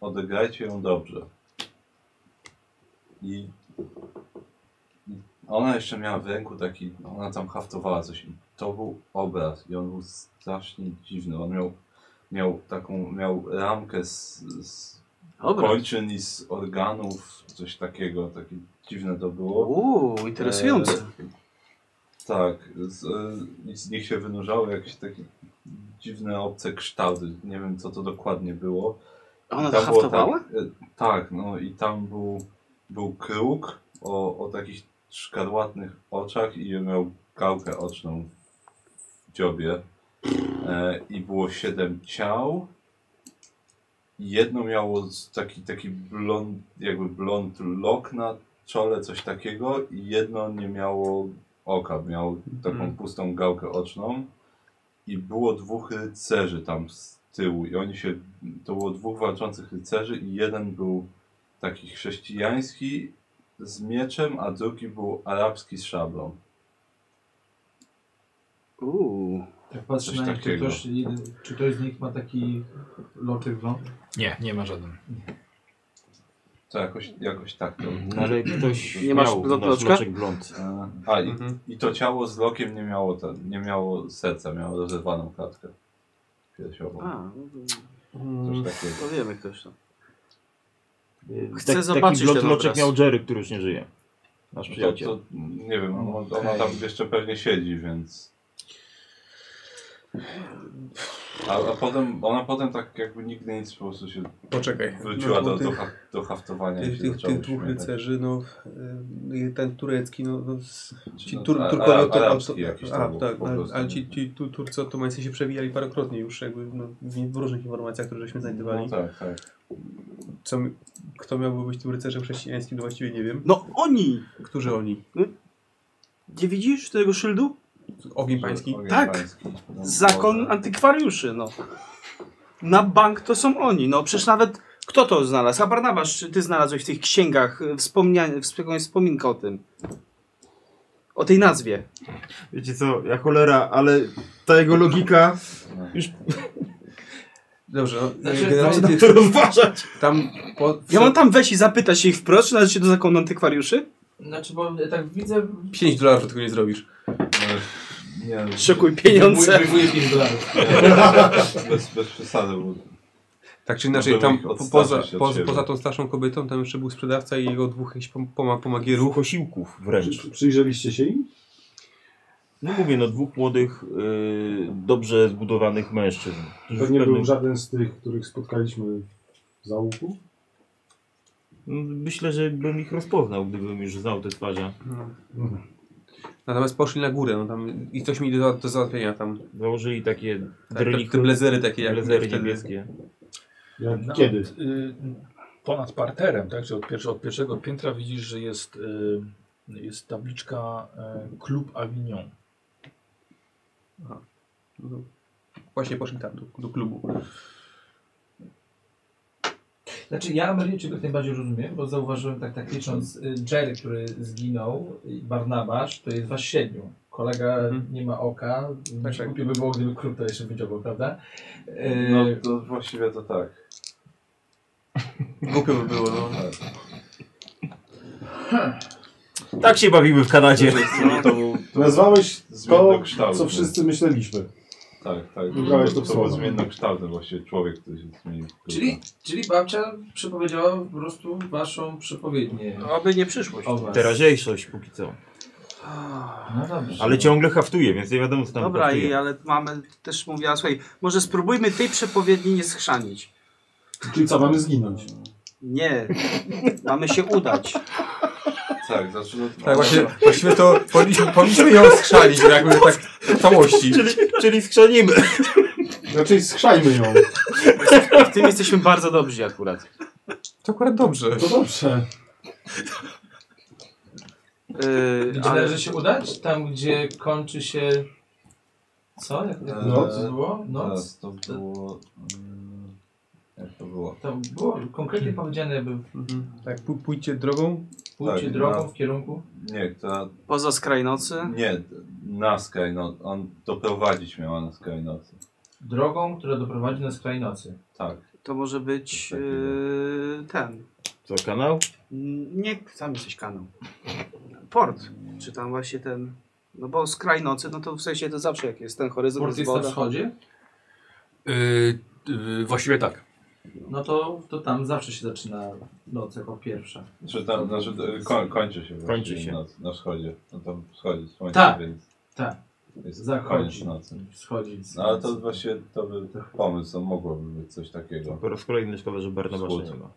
Speaker 8: Odegrajcie ją dobrze. I ona jeszcze miała w ręku taki, ona tam haftowała coś i to był obraz i on był strasznie dziwny. On miał, miał taką, miał ramkę z, z kończyn i z organów, coś takiego, takie dziwne to było.
Speaker 3: Uuu, interesujące.
Speaker 1: Eee,
Speaker 8: E, tak, z, e, i z nich się wynurzały jakieś takie dziwne obce kształty. Nie wiem co to dokładnie było.
Speaker 3: Ona
Speaker 8: Tam było
Speaker 3: zahaftowała?
Speaker 8: Tak, e, tak, no i tam był, był kruk o, o takich szkarłatnych oczach i miał gałkę oczną w dziobie. E, I było siedem ciał. I Jedno miało z- taki, taki blond, jakby blond lok na czole, coś takiego i jedno nie miało oka, miało taką
Speaker 3: Mhm.
Speaker 8: pustą gałkę oczną i było dwóch rycerzy tam z tyłu i oni się, to było dwóch walczących rycerzy i jeden był taki chrześcijański z mieczem, a drugi był arabski z szablą.
Speaker 3: Uuu.
Speaker 9: Tak patrzę
Speaker 8: Coś
Speaker 9: na nich, czy
Speaker 8: takiego.
Speaker 9: ktoś, czy ktoś z nich ma taki loty wgląd?
Speaker 1: Nie, nie ma żaden.
Speaker 8: To jakoś, jakoś tak to.
Speaker 5: Ale ktoś
Speaker 3: Nie masz
Speaker 5: miał
Speaker 3: do-
Speaker 5: nasz
Speaker 3: loczka?
Speaker 5: loczek blond.
Speaker 8: A i,
Speaker 7: Mhm.
Speaker 8: i to ciało z lokiem nie miało ten, nie miało serca, miało rozerwaną klatkę piersiową.
Speaker 3: A, no
Speaker 7: Mm,
Speaker 8: Coś takiego.
Speaker 3: to wiemy ktoś tam.
Speaker 5: Y,
Speaker 3: Chcę zobaczyć
Speaker 5: taki blond
Speaker 3: ten
Speaker 5: loczek
Speaker 3: obraz.
Speaker 5: miał Jerry, który już nie żyje. Nasz
Speaker 8: No to,
Speaker 5: przyjaciel.
Speaker 8: to, nie wiem, ona, ona tam jeszcze pewnie siedzi, więc. A, a potem, ona potem tak jakby nigdy nic po prostu się
Speaker 7: Poczekaj.
Speaker 8: wróciła
Speaker 7: No,
Speaker 8: do, do, tak.
Speaker 7: tych-
Speaker 8: ha- do haftowania i
Speaker 7: Tych,
Speaker 8: się
Speaker 7: tych,
Speaker 8: zaczęła
Speaker 7: tych dwóch
Speaker 8: uśmiechać.
Speaker 7: rycerzy, no, y, ten turecki, no, no z-
Speaker 8: Czy
Speaker 7: ci
Speaker 8: no,
Speaker 7: tur,
Speaker 8: a-
Speaker 7: Turkowie, to,
Speaker 8: arabski
Speaker 7: to-
Speaker 8: jakiś
Speaker 7: a,
Speaker 8: tam był
Speaker 7: tak,
Speaker 8: po
Speaker 7: ale,
Speaker 8: prostu.
Speaker 7: ale ci, ci tu, Turcy otomańscy się przewijali parokrotnie już jakby no, w, w różnych informacjach, które żeśmy znajdowali.
Speaker 8: No tak, tak.
Speaker 7: Co, mi- kto miałby być tym rycerzem chrześcijańskim, to właściwie nie wiem.
Speaker 3: No oni!
Speaker 7: Którzy oni?
Speaker 3: Nie widzisz tego szyldu?
Speaker 7: Ogień pański?
Speaker 8: Znaczy, Ogień
Speaker 3: Tak.
Speaker 8: pański. No,
Speaker 3: Zakon
Speaker 8: Boże.
Speaker 3: antykwariuszy, no. Na bank to są oni, no przecież nawet kto to znalazł? A Barnabasz, czy ty znalazłeś w tych księgach y, wspomnianie, w- jakąś wspominkę o tym? O tej nazwie.
Speaker 5: Wiecie co, ja cholera, ale ta jego logika...
Speaker 7: Dobrze, no,
Speaker 9: Znaczy,
Speaker 7: generalnie
Speaker 9: no,
Speaker 7: ty,
Speaker 5: To rozważać!
Speaker 7: tam po,
Speaker 3: Ja mam tam wejść i zapytać się ich wprost, czy należycie do zakonu antykwariuszy?
Speaker 9: Znaczy, bo tak widzę...
Speaker 7: 5 dolarów tego nie zrobisz.
Speaker 8: Nie, no.
Speaker 3: Szykuj pieniądze.
Speaker 9: Wyjmuję 5 dolarów.
Speaker 8: *laughs* bez, bez przesady, bo
Speaker 7: Tak czy inaczej,
Speaker 8: Możemy
Speaker 7: tam
Speaker 8: ich
Speaker 7: po,
Speaker 8: odstraszyć
Speaker 7: poza,
Speaker 8: od
Speaker 7: poza,
Speaker 8: siebie.
Speaker 7: poza tą starszą kobietą, tam jeszcze był sprzedawca i jego dwóch jakichś pom- poma- pomagierów.
Speaker 5: Posiłków wręcz.
Speaker 10: Przy- Przyjrzeliście się im?
Speaker 5: No mówię, no dwóch młodych, y, dobrze zbudowanych mężczyzn. którzy w
Speaker 10: Pewnie
Speaker 5: pewnym-
Speaker 10: był żaden z tych, których spotkaliśmy w załuku.
Speaker 5: No, Myślę, że bym ich rozpoznał, gdybym już znał te twarze.
Speaker 7: No.
Speaker 10: Mhm.
Speaker 7: Natomiast poszli na górę, no tam i coś mieli do, do załatwienia tam.
Speaker 5: Założyli takie
Speaker 7: Tak, te,
Speaker 5: drelikty,
Speaker 7: te blezery takie jak
Speaker 5: blezery
Speaker 7: wtedy.
Speaker 5: niebieskie.
Speaker 10: Jak
Speaker 1: Nawet,
Speaker 10: kiedy?
Speaker 1: y, ponad parterem, tak? Czyli od, pierwsze, od pierwszego piętra widzisz, że jest, y, jest tabliczka y, Klub Avignon.
Speaker 7: No, Właśnie poszli tam do, do klubu.
Speaker 9: Znaczy, ja Ameryjczyków najbardziej rozumiem, bo zauważyłem tak, tak licząc y, Jerry, który zginął, i Barnabasz, to jest was siedmiu. Kolega
Speaker 7: Mhm.
Speaker 9: nie ma oka,
Speaker 7: Tak,
Speaker 9: tak,
Speaker 7: tak.
Speaker 9: by było, gdyby krótko jeszcze wyciągnął, prawda? Y,
Speaker 8: no to właściwie to tak.
Speaker 7: Głupio by było, no.
Speaker 8: tak.
Speaker 5: Tak się bawimy w
Speaker 3: *laughs*
Speaker 5: Kanadzie.
Speaker 8: To, to, był- to,
Speaker 10: Nazwałeś to,
Speaker 8: Zmiennokształtny.
Speaker 10: co wszyscy myśleliśmy.
Speaker 8: Tak, tak.
Speaker 10: Wybrałeś
Speaker 8: To,
Speaker 10: to
Speaker 8: to był
Speaker 10: słowo.
Speaker 8: zmiennokształtny właściwie człowiek, który się zmienił.
Speaker 9: czyli, czyli babcia przepowiedziała po prostu waszą przepowiednię.
Speaker 3: Oby nie przyszłość.
Speaker 9: O was.
Speaker 5: Teraźniejszość póki co.
Speaker 9: No dobrze.
Speaker 5: Ale ciągle haftuje, więc nie wiadomo co tam
Speaker 3: Dobra,
Speaker 5: haftuje.
Speaker 3: i, ale mamy też mówiła, słuchaj, może spróbujmy tej przepowiedni nie schrzanić.
Speaker 10: Czyli co, mamy zginąć?
Speaker 3: Nie, mamy się udać.
Speaker 8: Tak, znaczy, no,
Speaker 7: Tak, właśnie, właściwie to powinniśmy, powinniśmy ją skrzalić, jakby tak w całości.
Speaker 5: Czyli, czyli skrzanimy.
Speaker 4: Znaczy,
Speaker 10: Raczej schrzajmy ją.
Speaker 3: W tym jesteśmy bardzo dobrzy akurat.
Speaker 7: To akurat dobrze.
Speaker 10: To dobrze.
Speaker 3: Yy,
Speaker 9: Gdzie
Speaker 3: ale
Speaker 9: należy się udać? Tam, gdzie kończy się... Co? Jak, jak
Speaker 8: Noc.
Speaker 9: to było? Noc?
Speaker 8: Teraz to było... mm, Jak to było?
Speaker 9: Tam było konkretnie powiedziane, by
Speaker 7: Mhm. Tak, pój- pójdźcie drogą.
Speaker 9: pójść
Speaker 8: Tak,
Speaker 9: drogą
Speaker 8: no.
Speaker 9: w kierunku...
Speaker 8: Nie, to...
Speaker 3: poza skraj nocy.
Speaker 8: Nie, na Skynoc. On doprowadzić miała na Skynoc.
Speaker 9: Drogą, która doprowadzi na skraj nocy.
Speaker 8: Tak.
Speaker 3: To może być yy, ten.
Speaker 5: Co, kanał?
Speaker 3: N- Nie, tam jesteś kanał. Port. Czy tam właśnie ten. No bo skraj nocy, no to w sensie to zawsze jak jest ten horyzont jest
Speaker 9: Port jest na
Speaker 3: woda.
Speaker 9: wschodzie,
Speaker 1: Y, y, właściwie tak.
Speaker 9: no to, to tam zawsze się zaczyna noc jako pierwsza.
Speaker 8: Znaczy, tam, znaczy e, koń, kończy się właściwie
Speaker 5: Kończy się.
Speaker 8: Noc, na wschodzie. No tam wschodzi słońce,
Speaker 9: Tak.
Speaker 8: więc...
Speaker 9: Tak.
Speaker 8: Jest
Speaker 9: Zachodzi.
Speaker 8: koniec nocy.
Speaker 9: Wschodzi. z
Speaker 8: No ale to
Speaker 9: nocy.
Speaker 8: właśnie to by pomysł, to mogłoby być coś takiego.
Speaker 5: Po raz kolejny szkoda, że Barnabasza
Speaker 8: Wschód.
Speaker 5: nie ma.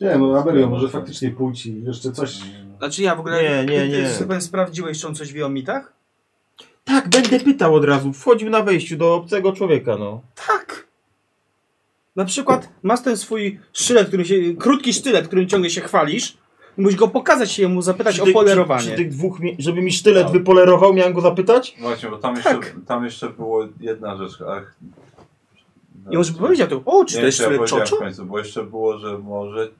Speaker 10: Nie no, Aberio, może faktycznie pójdź i jeszcze coś.
Speaker 3: Znaczy ja w ogóle.
Speaker 5: Nie, nie,
Speaker 3: ty-
Speaker 5: nie.
Speaker 3: Ty chyba sprawdziłeś, czy on coś wie o mitach?
Speaker 5: Tak, będę pytał od razu. Wchodził na wejściu do obcego człowieka, no.
Speaker 3: Tak. Na przykład masz ten swój sztylet, który się, krótki sztylet, którym ciągle się chwalisz. i Musisz go pokazać i jemu zapytać o
Speaker 5: tych-
Speaker 3: polerowanie.
Speaker 5: Przy, przy tych dwóch, mi- żeby mi sztylet
Speaker 8: Tak.
Speaker 5: wypolerował, miałem go zapytać?
Speaker 8: Właśnie, bo tam,
Speaker 3: Tak.
Speaker 8: jeszcze, tam jeszcze było jedna rzecz. Ach,
Speaker 3: I on by powiedział to, o, czy
Speaker 8: Nie
Speaker 3: to
Speaker 8: wiem,
Speaker 3: jest
Speaker 8: czy ja
Speaker 3: sztylet
Speaker 8: powiedziałem w
Speaker 3: czoczu?
Speaker 8: końcu, bo jeszcze było, że może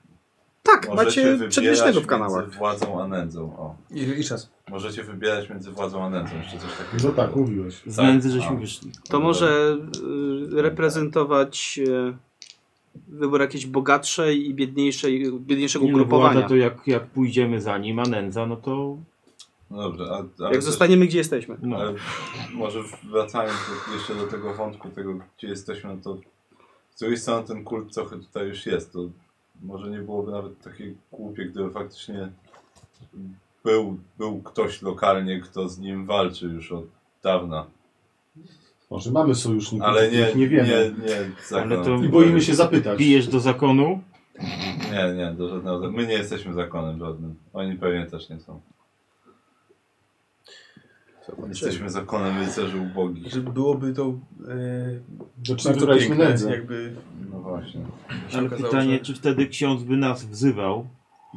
Speaker 3: Tak,
Speaker 8: Możecie
Speaker 3: macie
Speaker 8: wybierać
Speaker 3: przedwiecznego w kanałach.
Speaker 8: Między władzą a nędzą. O.
Speaker 7: I, i czas.
Speaker 8: Możecie wybierać między władzą a nędzą. Jeszcze coś takiego.
Speaker 4: No tak, mówiłeś.
Speaker 5: Z
Speaker 8: Tak.
Speaker 5: nędzy żeśmy
Speaker 8: A.
Speaker 5: wyszli.
Speaker 3: To może y, reprezentować y, wybór jakiejś bogatszej i biedniejszej, biedniejszego
Speaker 5: Nie, no, władza
Speaker 3: ugrupowania.
Speaker 5: to jak, jak pójdziemy za nim, a nędza, no to...
Speaker 8: No dobrze, a, ale
Speaker 3: Jak
Speaker 8: też-
Speaker 3: zostaniemy gdzie jesteśmy.
Speaker 5: No.
Speaker 8: Ale może wracając do, jeszcze do tego wątku, tego gdzie jesteśmy, no to z drugiej strony ten kult trochę tutaj już jest. To może nie byłoby nawet takie głupie, gdyby faktycznie był, był ktoś lokalnie, kto z nim walczy już od dawna.
Speaker 4: Może mamy sojuszników,
Speaker 8: Ale nie,
Speaker 4: których No nie wiemy.
Speaker 8: nie, nie, zakon.
Speaker 5: Ale to-
Speaker 4: I boimy się zapytać.
Speaker 5: Bijesz do zakonu?
Speaker 8: Nie, nie, do żadnego. My nie jesteśmy zakonem żadnym. Oni pewnie też nie są. Jesteśmy zakonem rycerzy ubogich.
Speaker 7: Że byłoby to e,
Speaker 4: Do czego
Speaker 7: bardzo
Speaker 4: braliśmy
Speaker 7: piękne,
Speaker 4: nędzę.
Speaker 7: jakby
Speaker 8: No właśnie.
Speaker 7: się
Speaker 5: Ale
Speaker 7: okazało,
Speaker 5: pytanie,
Speaker 7: że-
Speaker 5: czy wtedy ksiądz by nas wzywał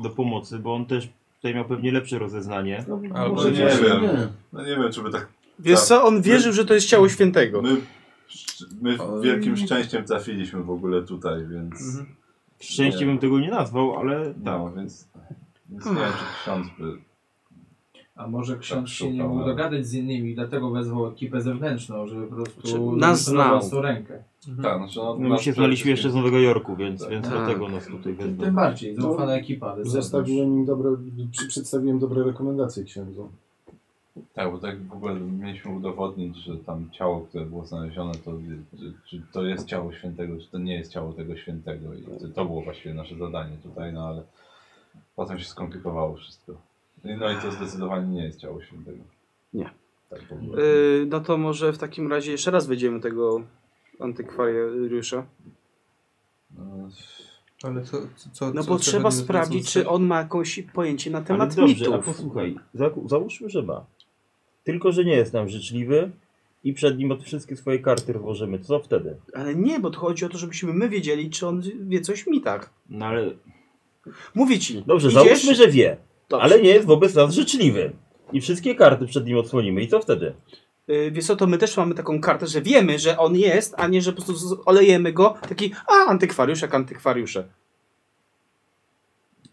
Speaker 5: do pomocy, bo on też tutaj miał pewnie lepsze rozeznanie.
Speaker 4: No,
Speaker 7: Albo
Speaker 4: może
Speaker 8: nie
Speaker 4: nie,
Speaker 8: wiem.
Speaker 4: nie.
Speaker 8: No nie wiem, czy by tak
Speaker 3: Wiesz
Speaker 8: Tak.
Speaker 3: co, on wierzył, że to jest ciało świętego.
Speaker 8: My, my wielkim szczęściem trafiliśmy w ogóle tutaj, więc.
Speaker 3: Mhm.
Speaker 5: Szczęście
Speaker 8: Nie.
Speaker 5: bym tego nie nazwał, ale tak.
Speaker 8: No, więc. Więc nie wiem, czy ksiądz by.
Speaker 9: A może
Speaker 8: Tak,
Speaker 9: ksiądz się nie
Speaker 8: szukam,
Speaker 9: mógł
Speaker 8: ale-
Speaker 9: dogadać z innymi, dlatego wezwał ekipę zewnętrzną, żeby po
Speaker 3: Znaczy,
Speaker 9: prostu
Speaker 3: nas
Speaker 9: wycelował
Speaker 3: znał.
Speaker 9: tą rękę.
Speaker 8: Tak, znaczy, no,
Speaker 5: No, my
Speaker 8: nas
Speaker 5: się znaliśmy jeszcze z Nowego Jorku, więc,
Speaker 8: Tak.
Speaker 5: więc
Speaker 3: Tak.
Speaker 5: dlatego nas tutaj
Speaker 9: Tym,
Speaker 5: wezwał.
Speaker 9: tym bardziej, zaufana ekipa. ale
Speaker 4: no, Zostawiłem im dobre, przy- przedstawiłem dobre rekomendacje księdzu.
Speaker 8: Tak, bo tak w ogóle mieliśmy udowodnić, że tam ciało, które było znalezione, to czy, czy to jest ciało świętego, czy to nie jest ciało tego świętego. I to- to było właściwie nasze zadanie tutaj, no ale potem się skomplikowało wszystko. I- No i to zdecydowanie nie jest ciało świętego.
Speaker 3: Nie.
Speaker 8: Tak w ogóle.
Speaker 3: Y, no to może w takim razie jeszcze raz wejdziemy tego antykwariusza.
Speaker 8: No,
Speaker 7: Ale co, co,
Speaker 3: No
Speaker 7: co
Speaker 3: bo
Speaker 7: co
Speaker 3: trzeba
Speaker 7: chodzi o
Speaker 3: sprawdzić, czy
Speaker 7: Francuzce?
Speaker 3: on ma jakieś pojęcie na
Speaker 5: Ale
Speaker 3: temat
Speaker 5: dobrze, a
Speaker 3: mitów.
Speaker 5: posłuchaj, zaku- załóżmy, że ma. Tylko, że nie jest nam życzliwy i przed nim od wszystkie swoje karty włożymy. Co wtedy?
Speaker 3: Ale nie, bo to chodzi o to, żebyśmy my wiedzieli, czy on wie coś o mitach.
Speaker 5: No ale...
Speaker 3: Mówię ci.
Speaker 5: Dobrze,
Speaker 3: idziesz?
Speaker 5: załóżmy, że wie,
Speaker 3: Dobrze.
Speaker 5: ale nie jest wobec nas życzliwy. I wszystkie karty przed nim odsłonimy. I co wtedy?
Speaker 3: Yy, Wiesz co, to my też mamy taką kartę, że wiemy, że on jest, a nie, że po prostu z- olejemy go taki, a antykwariusz jak antykwariusze.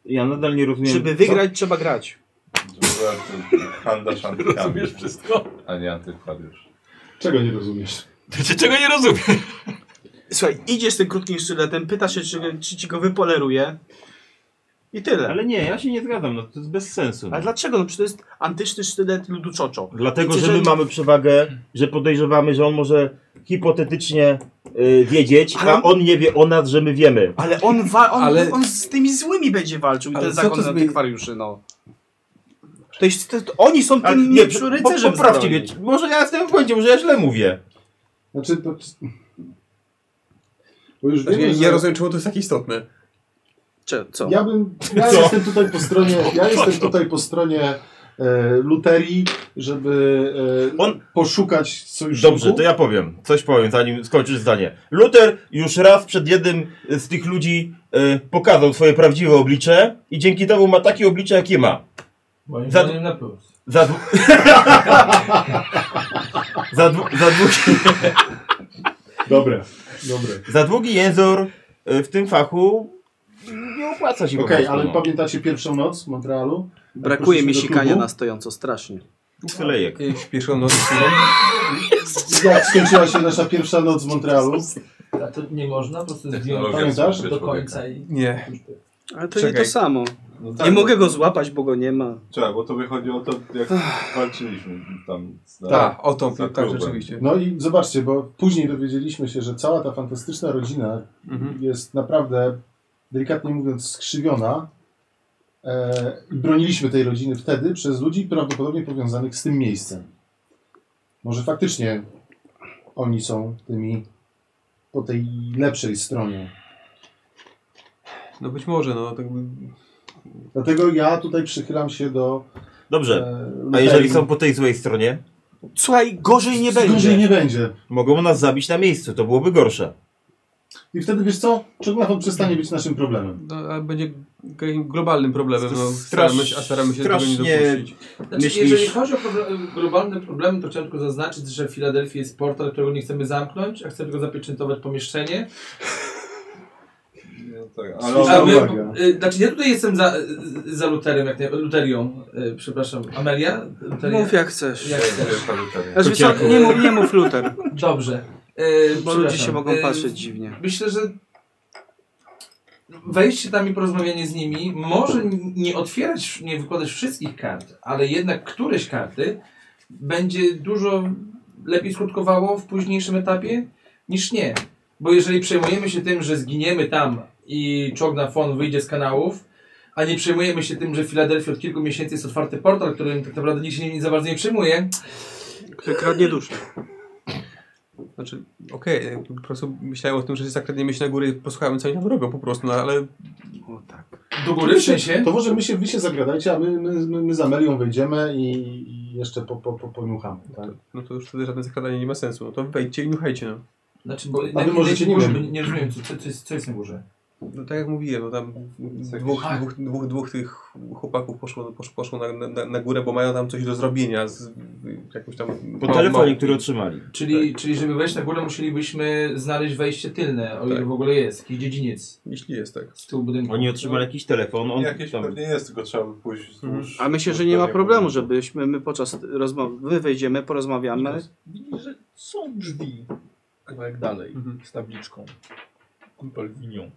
Speaker 5: Ja nadal nie rozumiem...
Speaker 3: Żeby wygrać, trzeba grać.
Speaker 1: *laughs*
Speaker 8: Handlarz antykami,
Speaker 1: Rozumiesz wszystko?
Speaker 8: a nie antykwariusz.
Speaker 4: Czego nie rozumiesz?
Speaker 1: Ty Znaczy, czego nie rozumiem?
Speaker 3: Słuchaj, idziesz z tym krótkim sztyletem, pytasz się, czy, czy ci go wypoleruje i tyle. Ale,
Speaker 5: Ale nie, ja się nie zgadzam, no to jest bez sensu. no.
Speaker 3: dlaczego? No przecież to jest antyczny sztylet ludu czoczo.
Speaker 5: Dlatego,
Speaker 3: Wiecie,
Speaker 5: że my
Speaker 3: że-
Speaker 5: mamy przewagę, że podejrzewamy, że on może hipotetycznie y, wiedzieć,
Speaker 3: Ale-
Speaker 5: a on nie wie o nas, że my wiemy.
Speaker 3: Ale *laughs* on, wa- on,
Speaker 7: Ale-
Speaker 3: on z tymi złymi będzie walczył, i
Speaker 7: Ale
Speaker 3: ten
Speaker 7: co
Speaker 3: zakon
Speaker 7: to zmieni-
Speaker 3: antykwariuszy, no. To jest, to, to oni są
Speaker 5: Ale
Speaker 3: tym nie, przy
Speaker 5: po-
Speaker 3: rycerzem
Speaker 5: poprawcie mnie,
Speaker 3: zbrojeni.
Speaker 5: czy- może ja jestem w błędzie, może ja źle mówię.
Speaker 4: Znaczy, to... Bo już
Speaker 7: Znaczy,
Speaker 4: wiemy,
Speaker 7: nie,
Speaker 4: że...
Speaker 7: nie rozumiem, czemu to jest takie istotne.
Speaker 3: Czy, co?
Speaker 4: Ja bym. Ja
Speaker 5: Co?
Speaker 4: jestem tutaj po stronie. Ja jestem tutaj po stronie e, Luterii, żeby e,
Speaker 5: On-
Speaker 4: poszukać sojuszników.
Speaker 5: Dobrze, to ja powiem, coś powiem, zanim skończysz zdanie. Luther już raz przed jednym z tych ludzi y, pokazał swoje prawdziwe oblicze i dzięki temu ma takie oblicze, jakie ma.
Speaker 9: Moim
Speaker 5: Za-
Speaker 9: zdaniem na plus.
Speaker 5: Za, dwu... *laughs* za, dwu... za długi...
Speaker 4: Dobre, dobre.
Speaker 5: Za długi język y, w tym fachu nie opłaca się po
Speaker 4: Okej,
Speaker 5: prostu,
Speaker 4: ale
Speaker 5: no.
Speaker 4: pamiętacie pierwszą noc w Montrealu?
Speaker 3: Brakuje mi
Speaker 4: Poszliśmy do
Speaker 3: sikania
Speaker 4: klubu.
Speaker 3: na stojąco, strasznie.
Speaker 5: Uselejek.
Speaker 7: Jakieś pierwszą noc.
Speaker 4: Jak skończyła się nasza pierwsza noc w Montrealu?
Speaker 9: A to nie można po prostu zdjąć
Speaker 8: Technologia
Speaker 4: Pamiętasz?
Speaker 8: współczuje
Speaker 9: do
Speaker 8: człowieka.
Speaker 9: końca i...
Speaker 7: Nie.
Speaker 3: Ale to nie
Speaker 7: Czekaj.
Speaker 3: to samo.
Speaker 8: No
Speaker 3: nie
Speaker 8: tak,
Speaker 3: mogę go złapać, bo go nie ma.
Speaker 8: Czekaj, bo tobie chodzi o to, jak walczyliśmy tam. Z,
Speaker 7: Tak, o to,
Speaker 8: Za
Speaker 7: tak
Speaker 8: klubem.
Speaker 7: rzeczywiście.
Speaker 4: No i zobaczcie, bo później dowiedzieliśmy się, że cała ta fantastyczna rodzina
Speaker 7: Mhm.
Speaker 4: jest naprawdę, delikatnie mówiąc, skrzywiona. E, I broniliśmy tej rodziny wtedy przez ludzi prawdopodobnie powiązanych z tym miejscem. Może faktycznie oni są tymi po tej lepszej stronie.
Speaker 7: No być może, no tak by...
Speaker 4: Dlatego ja tutaj przychylam się do.
Speaker 5: Dobrze.
Speaker 4: E,
Speaker 5: A
Speaker 4: Luterii.
Speaker 5: jeżeli są po tej złej stronie,
Speaker 3: Słuchaj, gorzej nie
Speaker 4: Gorzej
Speaker 3: będzie.
Speaker 4: nie będzie.
Speaker 5: mogą nas zabić na miejscu, to byłoby gorsze.
Speaker 4: I wtedy wiesz co? Czognafon przestanie być naszym problemem.
Speaker 7: No, ale będzie g- globalnym problemem,
Speaker 5: To
Speaker 7: no,
Speaker 5: strasz-
Speaker 7: staramy się, a staramy się tego nie
Speaker 5: strasznie-
Speaker 7: dopuścić.
Speaker 9: Znaczy,
Speaker 5: Myślisz-
Speaker 9: Jeżeli chodzi o problem, globalne problemy, to chciałem tylko zaznaczyć, że w Filadelfii jest portal, którego nie chcemy zamknąć, a chcemy tylko zapieczętować pomieszczenie.
Speaker 8: Tak,
Speaker 4: Słuszna
Speaker 9: A
Speaker 8: ale
Speaker 9: my,
Speaker 4: uwaga.
Speaker 9: y, znaczy ja tutaj jestem za, y, za Luterem, jak nie, Luterią, y, przepraszam, Amelia? Luteria?
Speaker 3: Mów jak chcesz.
Speaker 9: Jak chcesz.
Speaker 8: *laughs*
Speaker 3: Znaczy, wiesz co, nie mów, nie mów Luther,
Speaker 9: Dobrze. Y,
Speaker 3: bo ludzie się
Speaker 9: przepraszam.
Speaker 3: mogą
Speaker 7: E,
Speaker 9: Y,
Speaker 3: patrzeć dziwnie.
Speaker 9: Myślę, że wejście tam i porozmawianie z nimi może nie otwierać, nie wykładać wszystkich kart, ale jednak któreś karty będzie dużo lepiej skutkowało w późniejszym etapie niż nie. Bo jeżeli przejmujemy się tym, że zginiemy tam i Czogna Fon wyjdzie z kanałów, a nie przejmujemy się tym, że w Filadelfii od kilku miesięcy jest otwarty portal, którym tak naprawdę nikt się nie za bardzo nie przejmuje,
Speaker 3: Który kradnie duszę.
Speaker 7: Znaczy, okej, jakby po prostu myślałem o tym, że się zakradniemy się na górę i posłuchałem, co oni tam robią po prostu, no ale
Speaker 3: O tak.
Speaker 9: do góry w sensie,
Speaker 4: To może my się, wy się zagradajcie, a my, my, my, my z Amelią wejdziemy i, i jeszcze po, po, po, poniuchamy. Tak?
Speaker 7: no to już wtedy żadne zakradanie nie ma sensu. No to wejdźcie i niuchajcie, no.
Speaker 9: znaczy, bo
Speaker 4: wy możecie, nie
Speaker 9: górze,
Speaker 4: wiem.
Speaker 9: bo nie rozumiem, co, co, co, jest, co jest na górze.
Speaker 7: No tak jak mówiłem, no tam dwóch, dwóch, dwóch, dwóch tych chłopaków poszło, poszło, poszło na, na, na górę, bo mają tam coś do zrobienia z jakąś tam...
Speaker 5: Po
Speaker 3: No,
Speaker 7: ma-
Speaker 5: telefonie,
Speaker 7: ma-
Speaker 5: który otrzymali.
Speaker 9: Czyli,
Speaker 5: Tak.
Speaker 9: czyli żeby wejść na górę, musielibyśmy znaleźć wejście tylne, o ile
Speaker 7: Tak.
Speaker 9: w ogóle jest, jakiś dziedziniec
Speaker 7: Jeśli jest, tak.
Speaker 9: z tyłu budynku.
Speaker 5: Oni otrzymali jakiś telefon, on
Speaker 8: jakieś
Speaker 5: tam...
Speaker 8: pewnie jest, tylko trzeba by pójść wzdłuż.
Speaker 3: A myślę, że nie ma problemu, żebyśmy my podczas rozmowy, my wejdziemy, porozmawiamy.
Speaker 1: Widzisz, że są drzwi kawałek dalej
Speaker 7: Mhm.
Speaker 1: z tabliczką. Kumpelwinią.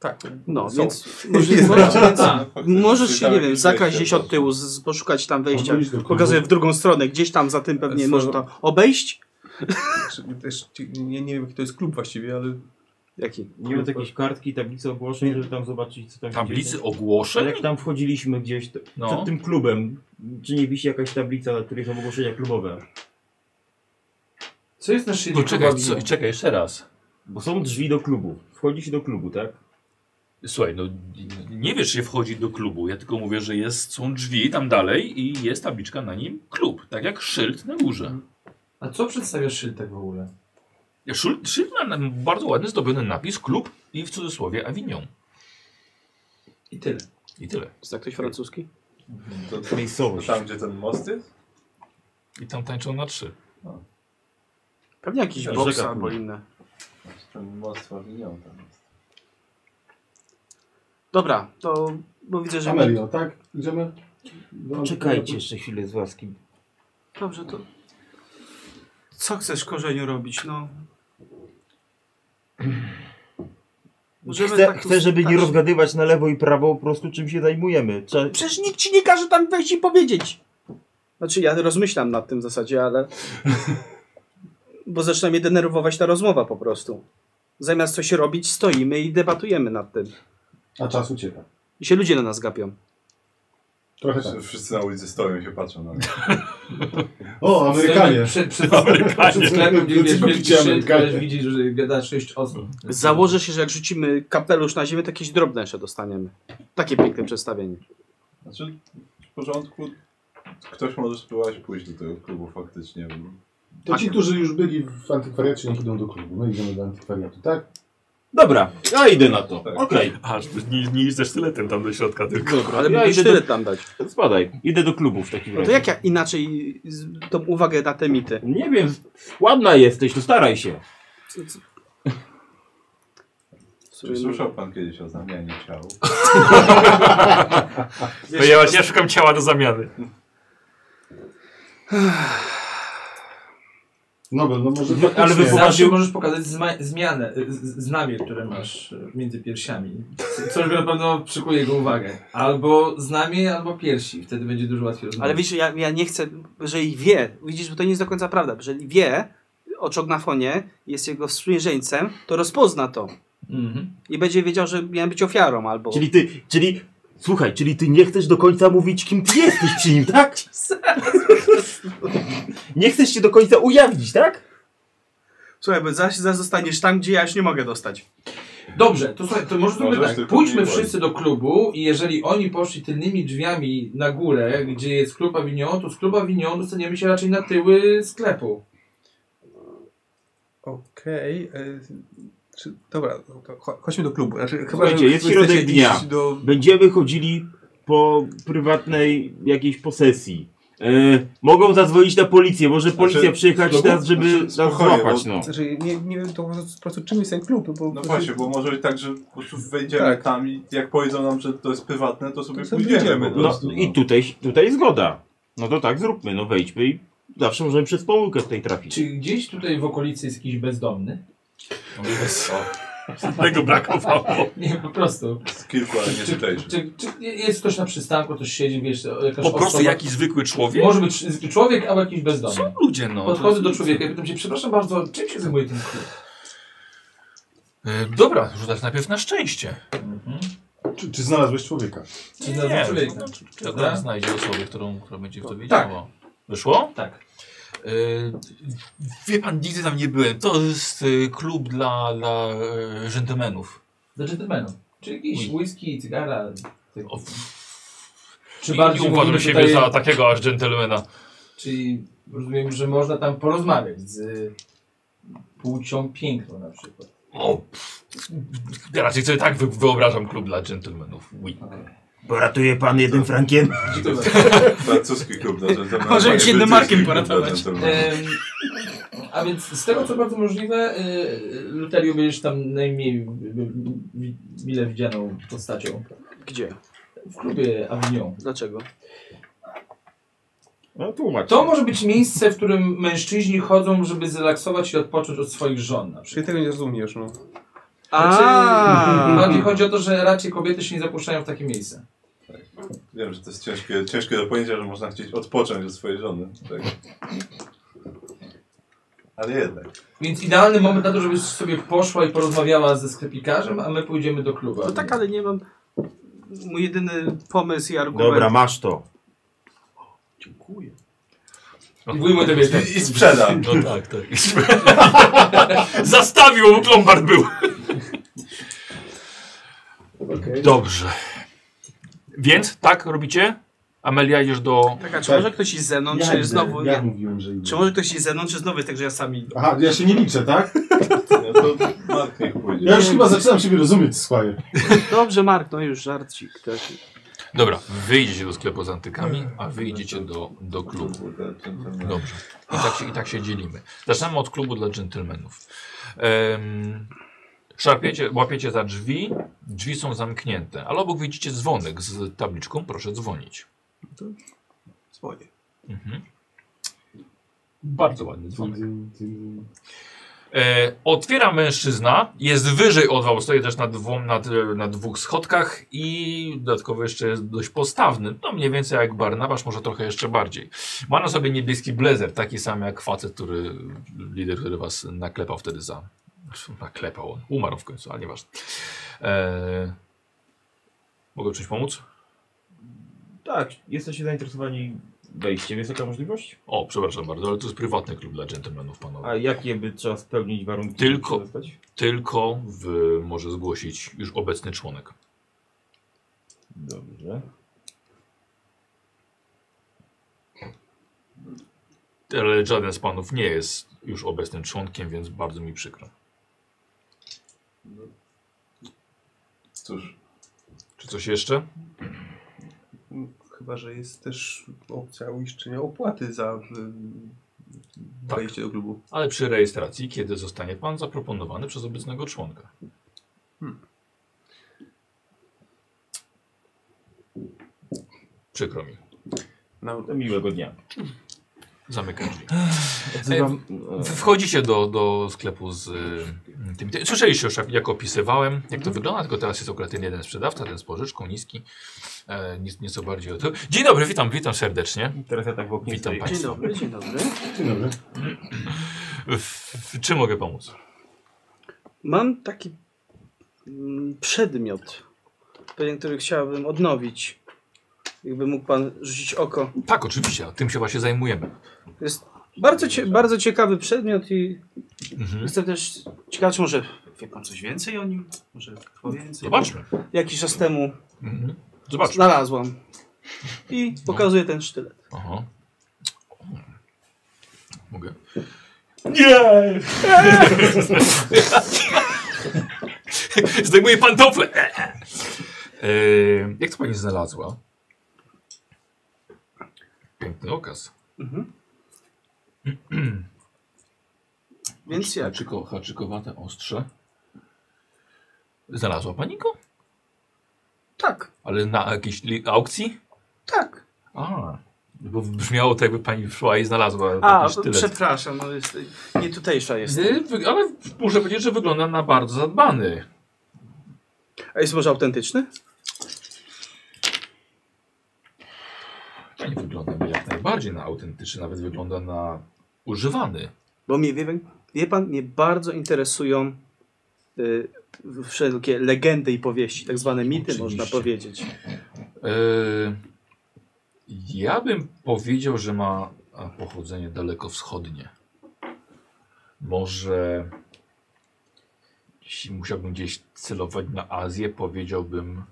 Speaker 7: Tak.
Speaker 3: No,
Speaker 7: Są.
Speaker 3: więc
Speaker 7: *laughs*
Speaker 3: możliwość, więc
Speaker 8: tak.
Speaker 9: A,
Speaker 3: Możesz się, nie wiem, zakraść
Speaker 8: zakraść
Speaker 3: gdzieś od tyłu, z, z, poszukać tam wejścia.
Speaker 4: Albo iść do klubu.
Speaker 3: Pokazuję w drugą stronę, gdzieś tam za tym pewnie
Speaker 7: Co?
Speaker 3: może to obejść.
Speaker 7: Czy- Też, ci- nie, nie wiem, jaki to jest klub właściwie, ale...
Speaker 3: Jaki?
Speaker 5: Nie wiem, jakieś kartki, tablice ogłoszeń, żeby tam zobaczyć, co tam
Speaker 1: Tablicy
Speaker 5: Ale
Speaker 1: ogłoszeń?
Speaker 5: jak tam wchodziliśmy gdzieś, to,
Speaker 1: No.
Speaker 5: przed tym klubem, czy nie wisi jakaś tablica, na której są ogłoszenia klubowe?
Speaker 9: co jest na szyi?
Speaker 5: No
Speaker 1: Poczekaj,
Speaker 9: Kubawinie?
Speaker 1: co, czekaj, jeszcze raz.
Speaker 5: Bo są drzwi do klubu. Wchodzi się do klubu, tak?
Speaker 1: Słuchaj, no nie wiesz, czy się wchodzi do klubu. Ja tylko mówię, że jest, są drzwi tam dalej i jest tabliczka na nim klub. Tak jak szyld na górze.
Speaker 5: Mhm.
Speaker 9: A co przedstawia szyld tak w ogóle?
Speaker 1: Szyld, szyld ma na- bardzo ładny zdobiony napis klub i w cudzysłowie Avignon.
Speaker 9: I tyle.
Speaker 1: I tyle.
Speaker 3: Jest tak ktoś francuski?
Speaker 8: To, to,
Speaker 5: Miejscowość.
Speaker 8: No tam, gdzie ten most jest?
Speaker 1: I tam tańczą na trzy.
Speaker 3: Pewnie jakiś
Speaker 5: Ja
Speaker 3: boks
Speaker 5: rzekam.
Speaker 3: albo inne.
Speaker 8: Ten most Fawinion tam jest.
Speaker 3: Dobra, to bo widzę, że... Mi...
Speaker 4: Amelio, tak? Idziemy? No, Do-
Speaker 5: Czekajcie jeszcze chwilę z łaski.
Speaker 3: Dobrze, to... Co chcesz korzeniu robić, no? Możemy
Speaker 5: Chcę,
Speaker 3: tak
Speaker 5: chcę, żeby nie
Speaker 3: ustać.
Speaker 5: rozgadywać na lewo i prawo po prostu czym się zajmujemy. Trze-
Speaker 3: Przecież nikt ci nie każe tam wejść i powiedzieć. Znaczy, ja rozmyślam nad tym w zasadzie, ale. Bo zaczyna mnie denerwować ta rozmowa po prostu. Zamiast coś robić, stoimy i debatujemy nad tym.
Speaker 4: A czas ucieka.
Speaker 3: I się ludzie na nas gapią.
Speaker 4: Trochę tak.
Speaker 8: Wszyscy na ulicy stoją i się patrzą na mnie.
Speaker 4: O, Amerykanie!
Speaker 9: Przed, przed, przed
Speaker 1: Amerykanie.
Speaker 9: sklepem, gdzie wiesz,
Speaker 4: Tylko
Speaker 9: wielki
Speaker 4: widziałem
Speaker 9: szyld,
Speaker 4: Amerykanie.
Speaker 9: ale widzisz, że gada sześć osób.
Speaker 3: Założę się, że jak rzucimy kapelusz na ziemię, to jakieś drobne jeszcze dostaniemy. Takie piękne przedstawienie.
Speaker 8: Znaczy, w porządku, ktoś może spróbować pójść do tego klubu faktycznie.
Speaker 4: To ci, którzy już byli w antykwariacie, niech idą do klubu. My idziemy do antykwariatu, tak?
Speaker 5: Dobra, ja idę na to.
Speaker 8: Tak.
Speaker 5: Okej,
Speaker 1: Aż nie, nie idź ze sztyletem tam do środka tylko.
Speaker 5: dobra.
Speaker 3: Ale
Speaker 5: ja
Speaker 3: mógłbyś
Speaker 5: idę
Speaker 3: tyle
Speaker 5: do,
Speaker 3: tam dać.
Speaker 5: spadaj, idę do klubu w takim
Speaker 3: No to
Speaker 5: razie.
Speaker 3: jak ja inaczej z- tą uwagę na te mity?
Speaker 5: Nie wiem, ładna jesteś, to staraj się.
Speaker 3: Co- co- W
Speaker 8: Czy
Speaker 3: sumie, no,
Speaker 8: słyszał pan kiedyś o zamianie ciał?
Speaker 1: Ponieważ ja szukam ciała do zamiany.
Speaker 4: Nobel, no może
Speaker 5: No, ale
Speaker 4: faktycznie.
Speaker 5: wy-
Speaker 9: Zawsze
Speaker 5: Zobaczył-
Speaker 9: możesz pokazać zma- zmianę, y, z- znamie, które masz y, między piersiami. Coś na pewno przykuje jego uwagę. Albo znamie, albo piersi. Wtedy będzie dużo łatwiej rozmawiać.
Speaker 3: Ale widzisz, ja, ja nie chcę, jeżeli wie, widzisz, bo to nie jest do końca prawda, jeżeli wie o Czognafonie, jest jego sprzymierzeńcem, to rozpozna to
Speaker 9: Mhm.
Speaker 3: i będzie wiedział, że miałem być ofiarą albo...
Speaker 5: Czyli ty, czyli, słuchaj, czyli ty nie chcesz do końca mówić, kim ty jesteś przy nim, tak? Nie chcesz się do końca ujawnić, tak?
Speaker 3: Słuchaj, bo zaś, zaś zostaniesz tam, gdzie ja już nie mogę dostać.
Speaker 9: Dobrze, to, słuchaj, to może
Speaker 8: Możesz
Speaker 9: zróbmy tak.
Speaker 8: tylko
Speaker 9: Pójdźmy
Speaker 8: nie
Speaker 9: wszyscy do klubu i jeżeli oni poszli tylnymi drzwiami na górę, gdzie jest klub Avignon, to z klubu Avignon dostaniemy się raczej na tyły sklepu.
Speaker 7: Okej. e, czy- Dobra, no to cho- chodźmy do klubu. Znaczy, chyba,
Speaker 5: Słuchajcie,
Speaker 7: że
Speaker 5: jest
Speaker 7: wy chcecie
Speaker 5: środek dnia.
Speaker 7: iść Do...
Speaker 5: Będziemy chodzili po prywatnej jakiejś posesji.
Speaker 14: E, mogą zadzwonić na policję, może
Speaker 8: Znaczy,
Speaker 14: policja przyjechać
Speaker 8: znowu?
Speaker 14: teraz, żeby
Speaker 8: Znaczy,
Speaker 14: nas
Speaker 8: spokojnie,
Speaker 14: złapać,
Speaker 8: bo-
Speaker 14: no.
Speaker 7: Znaczy, nie, nie wiem to po prostu, po prostu czym jest ten klub, bo...
Speaker 8: No właśnie, bo może być tak, że po prostu wejdziemy
Speaker 7: Tak.
Speaker 8: tam i jak powiedzą nam, że to jest prywatne, to sobie
Speaker 7: To sobie
Speaker 8: pójdziemy
Speaker 7: pójdziemy,
Speaker 8: po
Speaker 14: No
Speaker 8: prostu.
Speaker 14: i tutaj, tutaj zgoda. No to tak zróbmy, no wejdźmy i zawsze możemy przez pomyłkę tutaj trafić.
Speaker 9: Czy gdzieś tutaj w okolicy jest jakiś bezdomny?
Speaker 1: Tego
Speaker 14: *laughs*
Speaker 1: brakowało.
Speaker 9: Nie, po prostu.
Speaker 8: Z kilku, ale nie
Speaker 9: Czy,
Speaker 8: tutaj.
Speaker 9: czy, czy jest ktoś na przystanku, ktoś siedzi, wiesz, e, jakaś
Speaker 1: Po prostu
Speaker 9: osoba.
Speaker 1: jakiś zwykły człowiek?
Speaker 9: Może być człowiek albo jakiś bezdomny.
Speaker 1: Są ludzie, no.
Speaker 9: Podchodzę do człowieka i pytam się, przepraszam bardzo, czym się zajmuje ten klub?
Speaker 1: E, Dobra, rzucać najpierw na szczęście.
Speaker 4: Czy, czy znalazłeś człowieka?
Speaker 9: Czy znalazł człowieka? Tak.
Speaker 1: no, czy- czy
Speaker 9: Dobra.
Speaker 1: akurat znajdzie osobę, którą, która będzie w to wiedziała. Wyszło?
Speaker 9: Tak.
Speaker 1: E, Wie pan, nigdy tam nie byłem. To jest e, klub dla, dla e, gentlemanów.
Speaker 9: Do dżentelmenów. Czy jakiś whisky, cygara.
Speaker 1: O,
Speaker 9: Czy
Speaker 1: I- I
Speaker 9: bardziej
Speaker 1: uważam
Speaker 9: mówimy
Speaker 1: siebie
Speaker 9: tutaj-
Speaker 1: za takiego aż dżentelmena.
Speaker 9: Czyli rozumiem, że można tam porozmawiać z y, płcią piękną na przykład.
Speaker 1: O, pff, ja raczej sobie tak wy- wyobrażam klub dla dżentelmenów. Oui.
Speaker 14: Poratuje pan jednym frankiem?
Speaker 8: Francuski klub na dżentelmenów.
Speaker 14: Może
Speaker 8: a nie
Speaker 14: się jednym
Speaker 8: brytyjski
Speaker 14: markiem
Speaker 8: klub na
Speaker 14: poratować.
Speaker 8: dżentelmenów.
Speaker 9: Em, a więc z tego co bardzo możliwe, y, Luteriu będziesz tam najmniej y, y, mile widzianą postacią.
Speaker 3: Gdzie?
Speaker 9: W klubie Avignon.
Speaker 3: Dlaczego?
Speaker 14: No tłumacz.
Speaker 9: To może być miejsce, w którym mężczyźni chodzą, żeby zrelaksować i odpocząć od swoich żon na przykład.
Speaker 7: Czyli tego nie rozumiesz, no.
Speaker 3: *laughs*
Speaker 9: Znaczy,
Speaker 3: A,
Speaker 9: bardziej chodzi o to, że raczej kobiety się nie zapuszczają w takie miejsce.
Speaker 8: Wiem, że to jest ciężkie, ciężkie do pojęcia, że można chcieć odpocząć od swojej żony. Tak. Ale jednak.
Speaker 9: Więc idealny moment na to, żebyś sobie poszła i porozmawiała ze sklepikarzem, a my pójdziemy do klubu.
Speaker 3: no tak, ale nie mam... Mój jedyny pomysł i argument...
Speaker 14: Dobra, masz to.
Speaker 9: I wujmy tobie tak.
Speaker 8: I, i sprzedam.
Speaker 1: No tak, tak. *laughs* Zastawił, bo Lombard był. Dobrze. Więc tak robicie? Amelia idziesz do...
Speaker 3: Tak, a czy
Speaker 4: Tak.
Speaker 3: może ktoś iść ze
Speaker 5: No,
Speaker 3: mną,
Speaker 4: Ja
Speaker 3: czy
Speaker 4: idę,
Speaker 3: znowu...
Speaker 4: Ja mówiłem, że idę.
Speaker 3: Czy może ktoś iść ze mną, czy znowu jest tak, że ja sam idę?
Speaker 4: Aha, ja się nie liczę, tak?
Speaker 8: No to Mark niech pójdzie.
Speaker 4: Ja już chyba zaczynam siebie rozumieć, Squire.
Speaker 3: Dobrze, Mark, no już żarcik. Taki.
Speaker 1: Dobra, wyjdziecie do sklepu z antykami, a wyjdziecie do, do klubu.
Speaker 8: Kurde, dżentelmen.
Speaker 1: Dobrze. I tak, się, I tak się dzielimy. Zaczynamy od klubu dla dżentelmenów. Em, szarpiecie, łapiecie za drzwi, drzwi są zamknięte, ale obok widzicie dzwonek z tabliczką, proszę dzwonić.
Speaker 3: Dzwonię.
Speaker 1: Mhm. Bardzo ładny dzwonek. E, otwiera mężczyzna, jest wyżej od was, stoi też na, dwu, na, d- na dwóch schodkach i dodatkowo jeszcze jest dość postawny, no mniej więcej jak Barnabasz, może trochę jeszcze bardziej. Ma na sobie niebieski blazer, taki sam jak facet, który, lider, który was naklepał wtedy za, naklepał on, umarł w końcu, ale nieważne. E, mogę czymś pomóc?
Speaker 5: Tak, jesteście zainteresowani wejściem, jest taka możliwość?
Speaker 1: O, przepraszam bardzo, ale to jest prywatny klub dla dżentelmenów, panowie.
Speaker 5: A jakie by trzeba spełnić warunki?
Speaker 1: Tylko-
Speaker 5: żeby się dostać?
Speaker 1: Tylko w, może zgłosić już obecny członek.
Speaker 5: Dobrze.
Speaker 1: Ale żaden z panów nie jest już obecnym członkiem, więc bardzo mi przykro.
Speaker 8: Cóż,
Speaker 1: Czy coś jeszcze?
Speaker 15: Chyba, że jest też opcja uiszczenia opłaty za
Speaker 7: y,
Speaker 15: ym,
Speaker 1: Tak.
Speaker 15: wejście do klubu.
Speaker 1: Ale przy rejestracji, kiedy zostanie pan zaproponowany przez obecnego członka. Przykro mi.
Speaker 15: No,
Speaker 5: Do miłego dnia.
Speaker 1: Zamykam drzwi.
Speaker 5: Odzywam...
Speaker 1: E, W- Wchodzicie do, do sklepu z y, tymi. ty- Słyszeliście już, jak- jak opisywałem, jak to wygląda, tylko teraz jest akurat ten jeden sprzedawca, ten z pożyczką, niski, e, nic- nieco bardziej. o to- Dzień dobry, witam, witam serdecznie.
Speaker 5: Teraz ja tak w oknie
Speaker 1: Witam
Speaker 5: stoję.
Speaker 1: państwa.
Speaker 3: Dzień dobry, dzień dobry.
Speaker 4: Dzień dobry.
Speaker 1: W, w, czy mogę pomóc?
Speaker 3: Mam taki mm, przedmiot, pewien, który chciałabym odnowić. Jakby mógł pan rzucić oko.
Speaker 1: Tak, oczywiście, tym się właśnie zajmujemy.
Speaker 3: Jest bardzo, cie, bardzo ciekawy przedmiot i
Speaker 1: Mhm.
Speaker 3: jestem też ciekawy, czy może wie pan coś więcej o nim? Może powie więcej?
Speaker 1: Zobaczmy.
Speaker 3: Jakiś czas temu
Speaker 1: Mhm. Zobaczmy.
Speaker 3: znalazłam. I pokazuję ten sztylet.
Speaker 1: Aha. Mogę? Nie! *laughs* Zdejmuję pantofle! E, Eee, jak to pani znalazła? Piękny okaz.
Speaker 3: Mhm.
Speaker 1: *clears throat*
Speaker 3: Więc jak?
Speaker 1: Haczyko, haczykowate ostrze. Znalazła pani go?
Speaker 3: Tak,
Speaker 1: Ale na jakiejś li- aukcji?
Speaker 3: tak.
Speaker 1: A, bo brzmiało to jakby pani szła i znalazła
Speaker 3: A,
Speaker 1: jakiś tyle.
Speaker 3: przepraszam, no jest, nie tutejsza jest.
Speaker 1: Ale muszę powiedzieć, że wygląda na bardzo zadbany.
Speaker 3: A jest może autentyczny?
Speaker 1: Ja nie wygląda mi jak najbardziej na autentyczny, nawet wygląda na używany.
Speaker 3: Bo mnie, wie, wie pan, mnie bardzo interesują y, wszelkie legendy i powieści, tak zwane mity, można powiedzieć.
Speaker 1: Yy, ja bym powiedział, że ma a, pochodzenie dalekowschodnie. Może jeśli musiałbym gdzieś celować na Azję, powiedziałbym,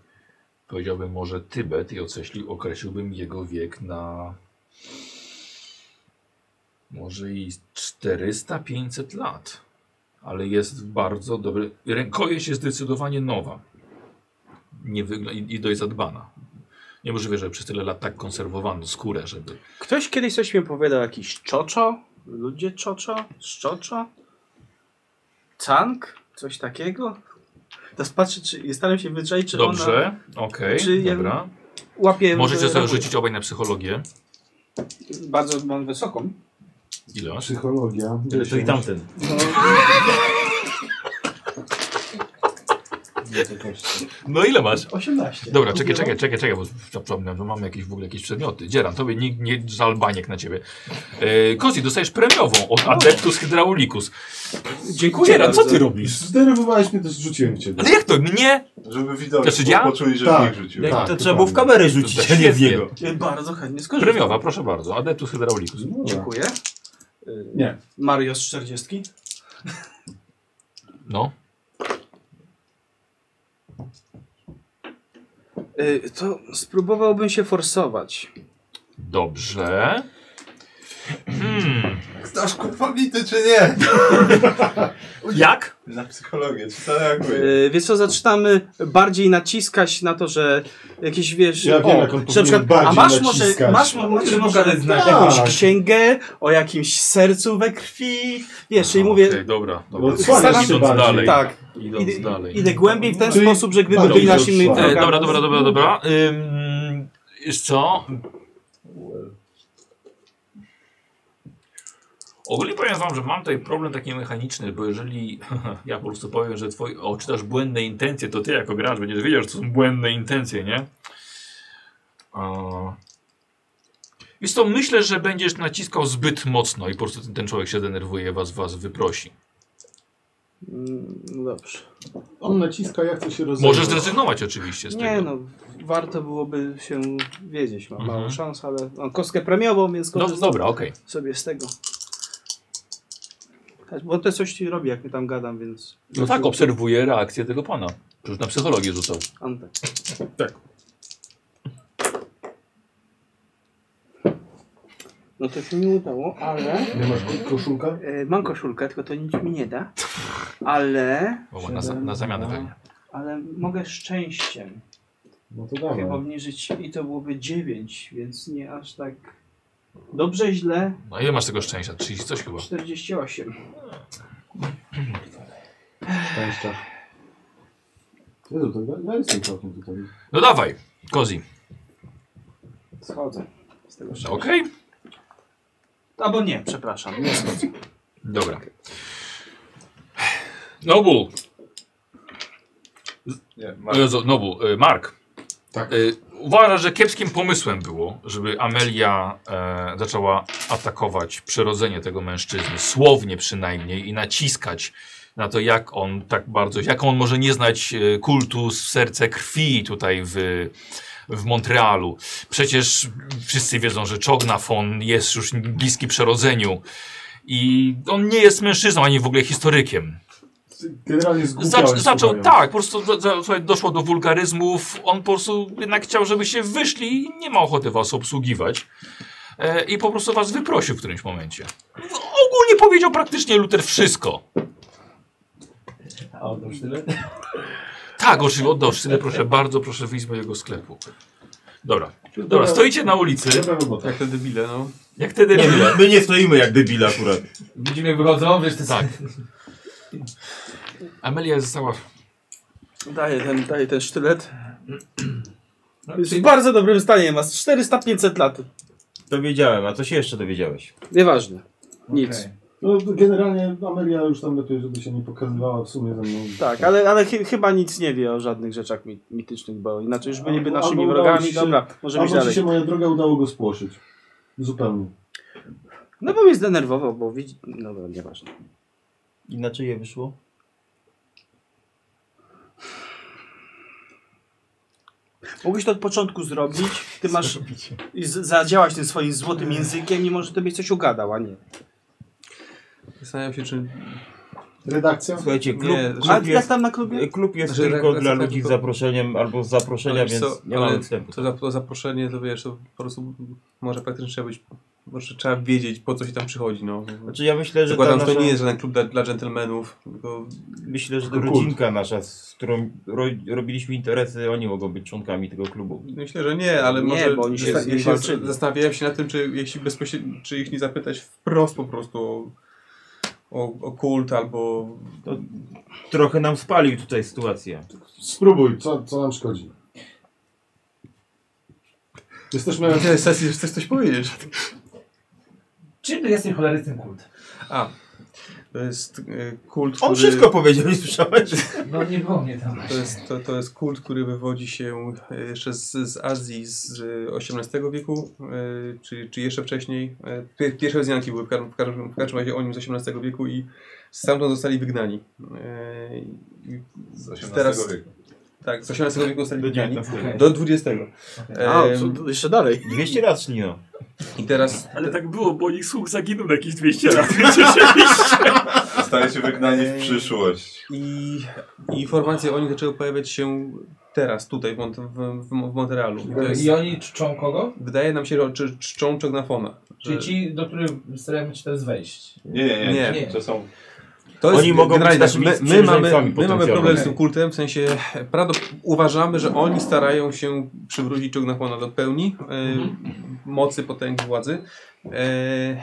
Speaker 1: powiedziałbym może Tybet i określi, określiłbym jego wiek na może i 400-500 lat. Ale jest bardzo dobry. Rękojeść jest zdecydowanie nowa. Nie wygl- i, I dość zadbana. Niemożliwe, że przez tyle lat tak konserwowano skórę, żeby.
Speaker 3: Ktoś kiedyś coś mi opowiadał, jakiś czoczo, ludzie czoczo, szczoczo, cank, coś takiego. Teraz patrzę, czy, i staram się wyczaić, czy
Speaker 1: Dobrze,
Speaker 3: ona
Speaker 1: okej,
Speaker 3: czy ja-
Speaker 1: dobra.
Speaker 3: łapie...
Speaker 1: Możecie sobie
Speaker 3: robót.
Speaker 1: rzucić obaj na psychologię.
Speaker 3: Bardzo mam wysoką.
Speaker 1: Ile masz?
Speaker 4: Psychologia.
Speaker 16: Tyle, co i tamten.
Speaker 1: No ile masz?
Speaker 17: 18.
Speaker 1: Dobra, czekaj,
Speaker 3: no.
Speaker 1: czekaj, czekaj, czekaj, bo zapomniałem, że mamy jakieś w ogóle jakieś przedmioty. Dzieran, tobie nikt nie żalbaniek na ciebie. E, Kozi, dostajesz premiową od Adeptus Hydraulicus.
Speaker 3: Dziękuję
Speaker 1: Dzieran, co
Speaker 3: bardzo.
Speaker 1: ty robisz?
Speaker 4: Zdenerwowałeś mnie, też rzuciłem w ciebie.
Speaker 1: Ale jak to? Mnie?
Speaker 8: Żeby widać,
Speaker 1: Znaczy ja?
Speaker 8: poczuli, że
Speaker 4: Tak.
Speaker 8: tak. ich rzucił.
Speaker 4: Tak,
Speaker 5: to trzeba
Speaker 4: dokładnie.
Speaker 5: było w kamerę rzucić, a nie w
Speaker 1: świetnie.
Speaker 5: niego.
Speaker 3: Ja Bardzo chętnie skorzystam.
Speaker 1: Premiowa, proszę bardzo. Adeptus Hydraulicus.
Speaker 4: Dobra.
Speaker 3: Dziękuję. Y,
Speaker 4: Nie.
Speaker 3: Mario z 40.
Speaker 1: No.
Speaker 3: Y, to spróbowałbym się forsować.
Speaker 1: Dobrze. Hmm.
Speaker 8: Znasz kurwa mity, czy nie?
Speaker 1: Jak?
Speaker 8: Na psychologię, czy to jak mówię?
Speaker 3: Yy, wiesz co, zaczynamy bardziej naciskać na to, że jakieś wiesz.
Speaker 4: Ja wiem, jak on
Speaker 3: że na
Speaker 4: powinien
Speaker 3: a
Speaker 4: bardziej
Speaker 3: masz może,
Speaker 4: naciskać.
Speaker 3: masz mo- masz może
Speaker 18: Mogę znać
Speaker 3: jakąś
Speaker 4: Tak.
Speaker 3: księgę o jakimś sercu we krwi. Wiesz, i
Speaker 1: Okej,
Speaker 3: mówię.
Speaker 1: dobra,
Speaker 4: No,
Speaker 1: dobra.
Speaker 4: odsłaniasz się
Speaker 1: Idąc
Speaker 4: bardziej.
Speaker 1: dalej.
Speaker 3: Tak.
Speaker 1: Idąc
Speaker 3: Idę,
Speaker 1: dalej.
Speaker 3: idę głębiej w ten
Speaker 4: Czyli-
Speaker 3: sposób, że gdyby
Speaker 4: Tak,
Speaker 3: byli
Speaker 4: dobrze,
Speaker 3: naszymi.
Speaker 4: odsłania.
Speaker 3: wrogami.
Speaker 1: E, dobra, dobra, dobra, dobra. Ym, wiesz co? Ogólnie powiem wam, że mam tutaj problem taki mechaniczny, bo jeżeli *laughs* ja po prostu powiem, że twoi odczytasz błędne intencje, to ty jako gracz będziesz wiedział, że to są błędne intencje, nie? A... Jest to myślę, że będziesz naciskał zbyt mocno i po prostu ten, ten człowiek się denerwuje, was, was wyprosi.
Speaker 3: Mm, no Dobrze.
Speaker 4: On naciska, ja chcę się rozejrzeć.
Speaker 1: Możesz zrezygnować oczywiście z
Speaker 3: Nie
Speaker 1: tego.
Speaker 3: no, warto byłoby się wiedzieć. Mam
Speaker 1: Mhm.
Speaker 3: małą szansę, ale mam kostkę premiową, więc
Speaker 1: no
Speaker 3: korzystam
Speaker 1: dobra, okej.
Speaker 3: sobie z tego. Tak, Bo to coś ci robi, jak mi tam gadam, więc
Speaker 1: No tak, obserwuję reakcję tego pana. Przecież na psychologię rzucał.
Speaker 3: Antek.
Speaker 16: Tak.
Speaker 3: No to się nie udało, ale
Speaker 4: Nie masz koszulka?
Speaker 3: e, mam koszulkę, tylko to nic mi nie da. Ale,
Speaker 1: O, na, za- na zamianę
Speaker 4: Siedem,
Speaker 1: pewnie.
Speaker 3: ale mogę szczęściem
Speaker 4: No to
Speaker 3: chyba
Speaker 4: dawaj.
Speaker 3: obniżyć i to byłoby 9, więc nie aż tak dobrze źle.
Speaker 1: No ile masz tego szczęścia? 30 coś chyba.
Speaker 3: 48.
Speaker 4: Szczęścia. Jezu, to ja, ja jestem całkiem tutaj.
Speaker 1: No dawaj, Kozi.
Speaker 3: Schodzę z tego
Speaker 1: No,
Speaker 3: szczęścia.
Speaker 1: Okej,
Speaker 3: Albo nie, przepraszam. Nie schodzę.
Speaker 1: dobra. Nobu,
Speaker 8: Nie,
Speaker 1: o
Speaker 8: Marek,
Speaker 1: Jezu, Nobu, y, Mark.
Speaker 4: Tak.
Speaker 1: Y, Uważa, że kiepskim pomysłem było, żeby Amelia e, zaczęła atakować przyrodzenie tego mężczyzny, słownie przynajmniej, i naciskać na to, jak on tak bardzo, jak on może nie znać e, kultu z serce krwi tutaj w, w Montrealu. Przecież wszyscy wiedzą, że Czognafon jest już bliski przerodzeniu. I on nie jest mężczyzną, ani w ogóle historykiem.
Speaker 4: Generalnie
Speaker 1: Zac,
Speaker 4: zgłupiałeś.
Speaker 1: zaczął,
Speaker 4: słuchając.
Speaker 1: tak, po prostu za, za, słuchaj, doszło do wulgaryzmów. On po prostu jednak chciał, żeby się wyszli i nie ma ochoty was obsługiwać. E, I po prostu was wyprosił w którymś momencie. Ogólnie powiedział praktycznie Luther wszystko.
Speaker 17: A otóż tyle.
Speaker 1: Tak, oczywiście, oddał tyle, proszę bardzo, proszę wyjść z mojego sklepu. Dobra. Dobra, stoicie na ulicy.
Speaker 7: Jak te debile, no.
Speaker 1: Jak te
Speaker 14: Nie,
Speaker 1: debile.
Speaker 14: my nie stoimy jak debile akurat.
Speaker 9: Widzimy jak wychodzą, wiesz, ty
Speaker 1: Tak. Amelia została.
Speaker 3: Daję ten, daję ten sztylet. Jest w bardzo dobrym stanie, ma 400-500 lat.
Speaker 14: Dowiedziałem, a co się jeszcze dowiedziałeś?
Speaker 3: Nieważne. Nic.
Speaker 4: No, generalnie Amelia już tam lepiej, żeby się nie pokazywała w sumie ze mną.
Speaker 3: Tak, ale, ale chy- chyba nic nie wie o żadnych rzeczach mi- mitycznych, bo inaczej już byliby
Speaker 4: Albo-
Speaker 3: naszymi
Speaker 4: albo udało
Speaker 3: wrogami.
Speaker 4: ci się-
Speaker 3: Dobra, możemy iść
Speaker 4: Albo ci
Speaker 3: dalej.
Speaker 4: się moja droga udało go spłoszyć. Zupełnie.
Speaker 3: No bo mnie zdenerwował, bo widzi... No dobra, nieważne.
Speaker 5: Inaczej je wyszło.
Speaker 3: Mógłbyś to od początku zrobić, ty masz... I z- zadziałać tym swoim złotym językiem, mimo że tobie coś ugadał, a nie.
Speaker 7: Zastanawiam się, czy...
Speaker 4: Redakcja?
Speaker 14: Słuchajcie, klub,
Speaker 7: Nie,
Speaker 14: klub,
Speaker 3: A jak
Speaker 7: Klub
Speaker 14: jest,
Speaker 3: tam na klubie?
Speaker 14: klub jest
Speaker 7: Znaczy,
Speaker 14: tylko
Speaker 7: tak,
Speaker 14: dla
Speaker 7: tak,
Speaker 14: ludzi z
Speaker 7: tylko-
Speaker 14: zaproszenia albo z zaproszenia,
Speaker 7: ale wiesz
Speaker 14: więc
Speaker 7: co,
Speaker 14: nie
Speaker 7: ale
Speaker 14: mamy wstępu. tak.
Speaker 7: To, za- to zaproszenie, to wiesz, to po prostu może faktycznie trzeba być... Może trzeba wiedzieć, po co się tam przychodzi, no.
Speaker 14: Znaczy ja myślę, że ta
Speaker 7: Zakładam, że to
Speaker 14: nasza,
Speaker 7: nie jest żaden klub dla, dla dżentelmenów, tylko...
Speaker 14: myślę, że ta
Speaker 4: Kult.
Speaker 14: rodzinka nasza, z którą ro, robiliśmy interesy, oni mogą być członkami tego klubu.
Speaker 7: Myślę, że nie, ale
Speaker 3: Nie,
Speaker 7: może
Speaker 3: bo oni się
Speaker 7: zasta-
Speaker 3: z nimi
Speaker 7: się
Speaker 3: walczyli.
Speaker 7: zastanawiałem się nad tym, czy jeśli bezpośrednio, czy ich nie zapytać wprost po prostu o, o, o kult albo
Speaker 14: To trochę nam spalił tutaj sytuację.
Speaker 4: Spróbuj, co, co nam szkodzi. Jesteśmy...
Speaker 15: Nie, sesji, chcesz coś powiedzieć?
Speaker 9: Czym ty jesteś cholery ten kult?
Speaker 7: a to jest y, kult,
Speaker 14: On
Speaker 7: który,
Speaker 14: wszystko powiedział, nie słyszałeś?
Speaker 5: *laughs*
Speaker 9: No nie było mnie tam.
Speaker 7: to jest, to, to jest kult, który wywodzi się y, jeszcze z, z Azji z y, XVIII wieku, y, czy, czy jeszcze wcześniej. Y, pie- Pierwsze wzmianki były w każdym, w każdym, w każdym razie o nim z XVIII wieku i stamtąd zostali wygnani. Y, i
Speaker 8: Z XVIII
Speaker 7: Teraz-
Speaker 8: wieku.
Speaker 7: Tak, z XVIII wieku zostali
Speaker 14: Do
Speaker 7: wygnani.
Speaker 14: 19.
Speaker 9: Okej.
Speaker 7: Do 20.
Speaker 3: A,
Speaker 7: Em,
Speaker 3: co, jeszcze dalej.
Speaker 14: 200 lat szlino.
Speaker 7: I teraz
Speaker 1: Ale tak było, bo ich słuch zaginął na jakieś 200 *laughs* lat. Więc
Speaker 8: Zostajecie wygnani w przyszłość.
Speaker 7: i, i informacje o nich zaczęły pojawiać się teraz, tutaj, w, Mont w, w, w Montrealu. I to jest,
Speaker 9: I oni czczą kogo?
Speaker 7: wydaje nam się, że czy- czczą Czognafona.
Speaker 9: Czyli ci, do których staramy się teraz wejść.
Speaker 8: Nie, nie, nie.
Speaker 9: Nie.
Speaker 8: To są
Speaker 7: To
Speaker 14: Oni mogą być
Speaker 7: generalnie tak,
Speaker 14: naszymi
Speaker 7: my, my,
Speaker 14: sprzymierzeńcami
Speaker 7: mamy, my mamy
Speaker 14: potencjalnymi.
Speaker 7: problem z tym kultem, w sensie prawdopodobnie uważamy, że oni starają się przywrócić Czognafona do pełni e, mocy, potęgi, władzy. E,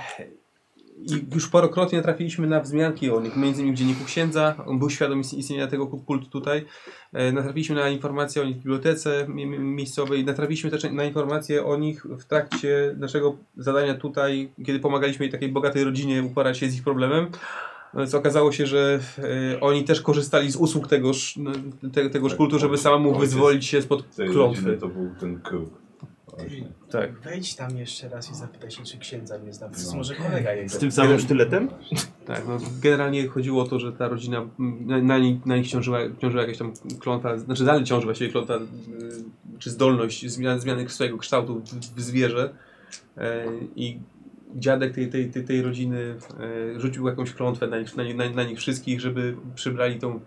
Speaker 7: I już parokrotnie natrafiliśmy na wzmianki o nich, między innymi w Dzienniku Księdza, on był świadom istnie- istnienia tego kultu tutaj. E, natrafiliśmy na informacje o nich w bibliotece mi- mi- miejscowej, natrafiliśmy też na informacje o nich w trakcie naszego zadania tutaj, kiedy pomagaliśmy takiej bogatej rodzinie uporać się z ich problemem. No Więc okazało się, że e, oni też korzystali z usług tegoż, n- te, tegoż
Speaker 8: Tak,
Speaker 7: kultu, żeby
Speaker 8: ojciec-
Speaker 7: samemu
Speaker 8: ojciec
Speaker 7: wyzwolić się spod
Speaker 8: z tej rodziny,
Speaker 7: klątwy.
Speaker 8: to był ten kruk. Właśnie.
Speaker 7: Tak.
Speaker 19: Wejdź tam jeszcze raz i zapytaj się, czy księdza mnie zna.
Speaker 8: No.
Speaker 19: No. Może kolega jego.
Speaker 14: Z tym samym sztyletem?
Speaker 7: Tak, no, generalnie chodziło o to, że ta rodzina, m, na, na, nich, na nich ciążyła, ciążyła jakaś tam klątwa, znaczy dalej ciąży właściwie klątwa, y, czy zdolność zmian, zmiany swojego kształtu w, w zwierzę. E, I dziadek tej, tej, tej, tej rodziny e, rzucił jakąś klątwę na nich, na, nich- na, na nich wszystkich, żeby przybrali tą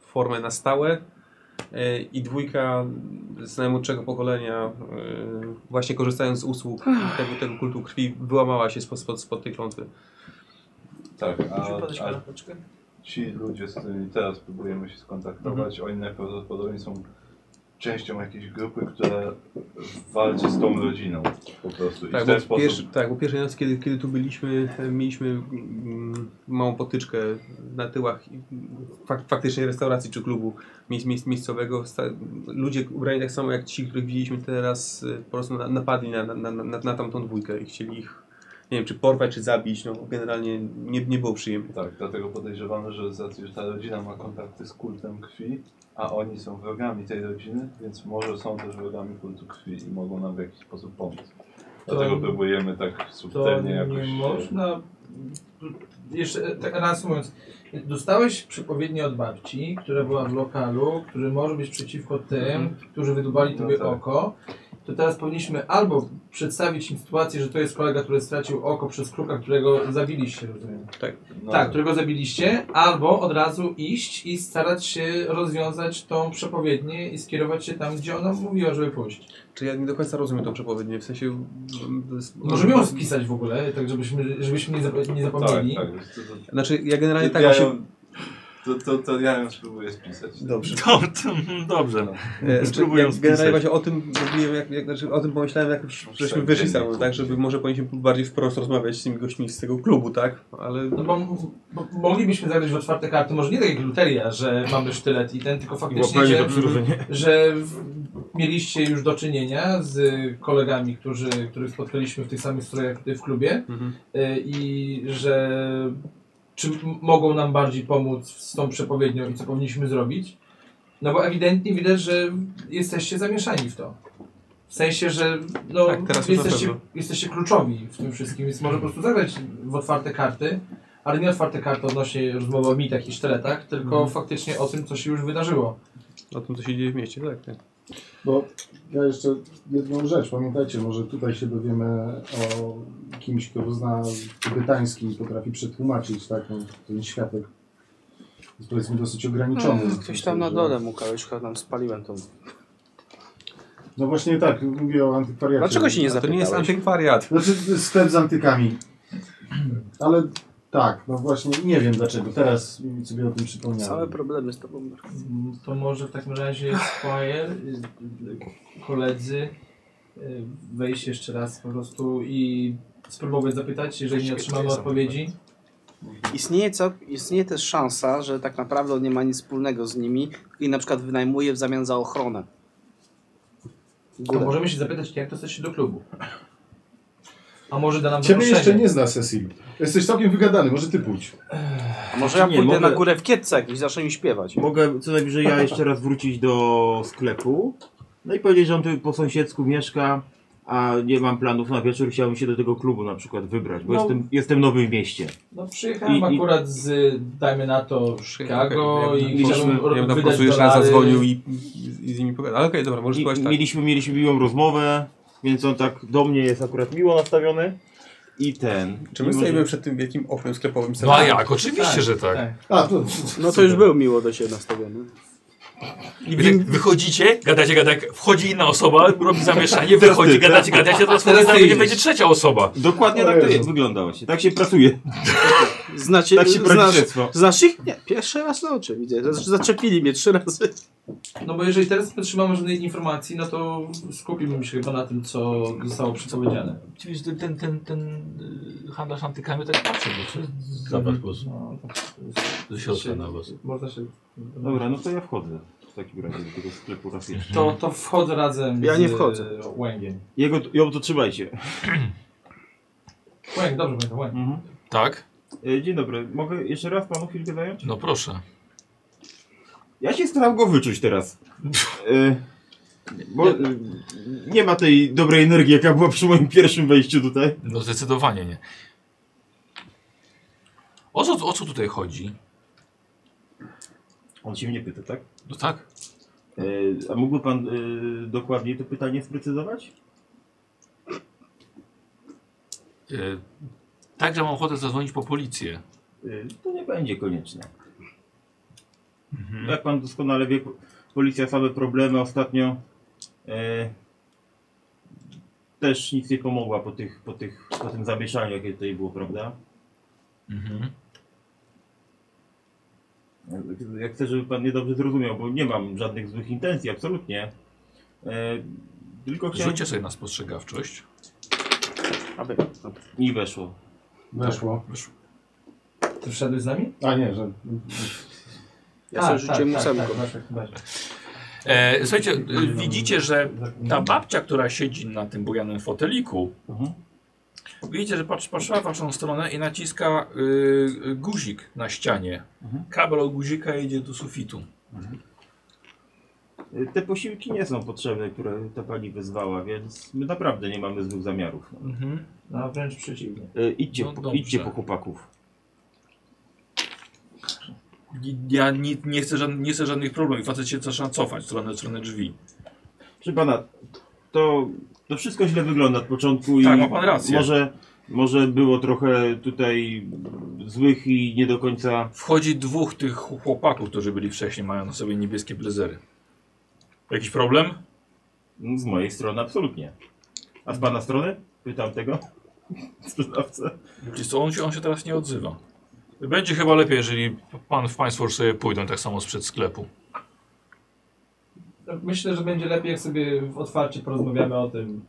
Speaker 7: formę na stałe. E, I dwójka z najmłodszego pokolenia, e, właśnie korzystając z usług tego, tego kultu krwi, wyłamała się spod, spod, spod tej klątwy.
Speaker 8: Tak, a,
Speaker 19: Musimy podać
Speaker 8: a
Speaker 19: kanapeczkę?
Speaker 8: ci ludzie, z którymi teraz próbujemy się skontaktować,
Speaker 9: Mhm.
Speaker 8: oni najprawdopodobniej są częścią jakiejś grupy, która walczy z tą rodziną po prostu. I
Speaker 7: Tak,
Speaker 8: w
Speaker 7: bo
Speaker 8: ten sposób
Speaker 7: pierwszy, tak, bo pierwszej nocy, kiedy, kiedy tu byliśmy, e, mieliśmy mm, małą potyczkę na tyłach i, mm, fak, faktycznej restauracji czy klubu miejsc, miejsc, miejscowego. Sta, ludzie ubrani tak samo jak ci, których widzieliśmy teraz, e, po prostu na, napadli na, na, na, na, na tamtą dwójkę i chcieli ich, nie wiem, czy porwać, czy zabić. No, generalnie nie, nie było przyjemnie.
Speaker 8: Tak, dlatego podejrzewamy, że z racji, że ta rodzina ma kontakty z kultem krwi, a oni są wrogami tej rodziny, więc może są też wrogami kultu krwi i mogą nam w jakiś sposób pomóc. Dlatego próbujemy tak
Speaker 9: To
Speaker 8: subtelnie
Speaker 9: nie
Speaker 8: jakoś... się-
Speaker 9: można... Jeszcze tak reasumując, dostałeś przypowiednię od babci, która była w lokalu, który może być przeciwko tym, którzy wydubali
Speaker 8: No
Speaker 9: tobie
Speaker 8: tak.
Speaker 9: oko. To teraz powinniśmy albo przedstawić im sytuację, że to jest kolega, który stracił oko przez kruka, którego zabiliście, rozumiem.
Speaker 8: No,
Speaker 9: tak, którego zabiliście, albo od razu iść i starać się rozwiązać tą przepowiednię i skierować się tam, gdzie ona mówiła, żeby pójść.
Speaker 7: Czy ja nie do końca rozumiem tą przepowiednię, w sensie... mm, to jest-
Speaker 9: Możemy ją spisać w ogóle, tak żebyśmy, żebyśmy nie, zap nie
Speaker 8: tak,
Speaker 9: zapomnieli.
Speaker 8: tak. To, to,
Speaker 7: Znaczy, ja generalnie
Speaker 8: to,
Speaker 7: tak się...
Speaker 8: To, to, to ja ją spróbuję spisać.
Speaker 15: Dobrze.
Speaker 1: No, mm,
Speaker 11: No,
Speaker 1: dobrze.
Speaker 7: E,
Speaker 1: Spróbuję
Speaker 7: jak-
Speaker 1: spisać.
Speaker 7: Generalnie właśnie o tym, mówiłem, jak, jak, znaczy, o tym pomyślałem, jak już żeśmy wyszli stamtąd, tak? Żeby może powinniśmy bardziej wprost rozmawiać z tymi gośćmi z tego klubu, tak? Ale...
Speaker 9: No bo, bo moglibyśmy zagrać w otwarte karty, może nie tak jak luteria, że mamy sztylet i ten, tylko faktycznie,
Speaker 5: Łapanie
Speaker 9: że,
Speaker 5: do przyróżnienia.
Speaker 9: że w- mieliście już do czynienia z kolegami, którzy, których spotkaliśmy w tych samych strojach tutaj w klubie y, i że czy m- mogą nam bardziej pomóc z tą przepowiednią i co powinniśmy zrobić. No bo ewidentnie widać, że jesteście zamieszani w to. W sensie, że no,
Speaker 7: Tak, teraz już na
Speaker 9: jesteście,
Speaker 7: pewno.
Speaker 9: jesteście kluczowi w tym wszystkim, więc może po prostu zagrać w otwarte karty, ale nie otwarte karty odnośnie rozmowy o mitach i sztyletach, tylko
Speaker 7: Mhm.
Speaker 9: faktycznie o tym, co się już wydarzyło.
Speaker 7: O tym, co się dzieje w mieście, tak? tak.
Speaker 4: Bo ja jeszcze jedną rzecz, pamiętajcie, może tutaj się dowiemy o kimś, kto zna brytański i potrafi przetłumaczyć tak, no, ten światek. Jest powiedzmy dosyć ograniczony.
Speaker 3: No, Ktoś tam na dole mu kałuszka, tam spaliłem tą.
Speaker 4: No właśnie tak, mówię o antykwariacie.
Speaker 3: Dlaczego się nie zapytałeś?
Speaker 7: antykwariat.
Speaker 4: Znaczy sklep z antykami. Ale tak, no właśnie nie wiem dlaczego, teraz mi sobie o tym przypomniałem.
Speaker 3: Same problemy z tobą. Mark.
Speaker 9: Mm, To może w takim razie Squire, y, y, koledzy, y, wejść jeszcze raz po prostu i spróbować zapytać, jeżeli nie otrzymamy odpowiedzi.
Speaker 3: Istnieje, co, istnieje też szansa, że tak naprawdę on nie ma nic wspólnego z nimi i na przykład wynajmuje w zamian za ochronę.
Speaker 9: To możemy się zapytać, jak dostać się do klubu. A może da nam
Speaker 4: Ciebie
Speaker 9: zaproszenie?
Speaker 4: jeszcze nie zna Cecil. Jesteś całkiem wygadany, może ty pójdź.
Speaker 3: A może ja
Speaker 5: Nie,
Speaker 3: pójdę
Speaker 5: mogę-
Speaker 3: na górę w kietce jakiś, zacznę im śpiewać.
Speaker 5: Mogę co najwyżej ja jeszcze raz wrócić do sklepu. No i powiedzieć, że on tu po sąsiedzku mieszka, a nie mam planów na wieczór. Chciałbym się do tego klubu na przykład wybrać, bo
Speaker 9: No.
Speaker 5: jestem, jestem nowy w mieście.
Speaker 9: No przyjechałem
Speaker 5: I- i-
Speaker 9: akurat z, dajmy na to, Chicago tak, no i
Speaker 7: Mieliśmy,
Speaker 9: chciałbym
Speaker 7: ja bym tam po
Speaker 9: wydać
Speaker 7: prostu jeszcze raz
Speaker 9: dolary.
Speaker 7: zadzwonił i, i, i z nimi pogadał. Ale okej, dobra, może
Speaker 5: I,
Speaker 7: spróbować tak.
Speaker 5: mieliśmy, mieliśmy miłą rozmowę, więc on tak do mnie jest akurat miło nastawiony. I ten.
Speaker 7: Czy my
Speaker 5: I może-
Speaker 7: stoimy przed tym wielkim oknem sklepowym?
Speaker 5: No a jak? Oczywiście,
Speaker 7: Tak,
Speaker 5: że tak.
Speaker 4: A, to,
Speaker 3: No to już był miło do siebie nastawiony.
Speaker 1: I wy, wychodzicie, gadacie, gadacie, wchodzi inna osoba, robi zamieszanie, wychodzi, gadacie, gadacie, teraz wchodzi,
Speaker 5: Teraz ty
Speaker 1: będzie,
Speaker 5: idziesz.
Speaker 1: będzie trzecia osoba.
Speaker 5: Dokładnie tak to jest, wygląda właśnie. Tak się pracuje. *laughs*
Speaker 3: Znacie,
Speaker 5: Tak się
Speaker 3: znasz,
Speaker 5: rodzicielstwo.
Speaker 3: znasz ich? Nie, pierwszy raz na oczy widzę. Znaczy, Zaczepili mnie trzy razy.
Speaker 9: No bo jeżeli teraz nie otrzymamy żadnej informacji, no to skupimy się chyba na tym, co zostało przepowiedziane.
Speaker 11: Wiesz, ten, ten, ten, ten y, handlarz antykami tak patrzy, bo Mhm. to zabrać głos ze środka na was.
Speaker 9: Można No, się...
Speaker 5: Dobra, no to ja wchodzę w takim razie do tego sklepu raz jeszcze.
Speaker 9: To, to wchodzę razem
Speaker 5: Ja
Speaker 9: z
Speaker 5: nie wchodzę.
Speaker 9: Łęgiem.
Speaker 5: Jego, ją to trzymajcie.
Speaker 9: Łęk, dobrze będę, Łęk.
Speaker 1: Tak?
Speaker 5: E, Dzień dobry, mogę jeszcze raz panu chwilkę zająć?
Speaker 1: No proszę.
Speaker 5: Ja się staram go wyczuć teraz. E, Bo e, nie ma tej dobrej energii, jaka była przy moim pierwszym wejściu tutaj.
Speaker 1: No zdecydowanie nie. O co, o co tutaj chodzi?
Speaker 5: On się mnie pyta, tak?
Speaker 1: No tak.
Speaker 5: E, A mógłby pan e, dokładniej to pytanie sprecyzować?
Speaker 1: Y, Także mam ochotę zadzwonić po policję.
Speaker 5: Y, To nie będzie konieczne. Mhm. Jak pan doskonale wie, policja same problemy ostatnio e, też nic nie pomogła po, tych, po, tych, po tym zamieszaniu, jakie tutaj było, prawda?
Speaker 1: Mhm.
Speaker 5: Ja chcę, żeby pan mnie dobrze zrozumiał, bo nie mam żadnych złych intencji, absolutnie. E, tylko chciałem...
Speaker 1: Rzućcie sobie na spostrzegawczość.
Speaker 3: Aby.
Speaker 5: I weszło.
Speaker 4: Weszło.
Speaker 1: Weszło.
Speaker 9: Ty wszedłeś z nami?
Speaker 4: A nie, że...
Speaker 3: Ja
Speaker 9: A,
Speaker 3: sobie rzuciłem
Speaker 9: tak,
Speaker 3: ósemką.
Speaker 9: tak, tak, tak, tak.
Speaker 1: E, słuchajcie, e, widzicie, że ta babcia, która siedzi na tym bujanym foteliku,
Speaker 5: Mhm.
Speaker 1: widzicie, że patrzy, patrzyła w waszą stronę i naciska y, y, guzik na ścianie. Kabel od guzika jedzie do sufitu.
Speaker 5: E, Te posiłki nie są potrzebne, które ta pani wezwała, więc my naprawdę nie mamy złych zamiarów.
Speaker 1: Mhm.
Speaker 9: No wręcz przeciwnie.
Speaker 5: E, idźcie,
Speaker 1: No
Speaker 5: po,
Speaker 1: dobrze.
Speaker 5: idźcie po chłopaków.
Speaker 1: Ja nie, nie, chcę, żadnych, nie chcę żadnych problemów. Facet się zaczyna cofać w stronę, w stronę drzwi.
Speaker 5: Proszę pana, to, to wszystko źle wygląda od początku i
Speaker 1: Tak, ma pan rację.
Speaker 5: Może, może było trochę tutaj złych i nie do końca.
Speaker 1: Wchodzi dwóch tych chłopaków, którzy byli wcześniej, mają na sobie niebieskie blezery. Jakiś problem?
Speaker 5: Z mojej strony absolutnie. A z pana strony? Pytam tego. *laughs* Sprzedawcę.
Speaker 1: Wiesz co, on się, on się teraz nie odzywa. Będzie chyba lepiej, jeżeli pan w państwo już sobie pójdą tak samo sprzed sklepu.
Speaker 9: Myślę, że będzie lepiej, jak sobie w otwarcie porozmawiamy o tym.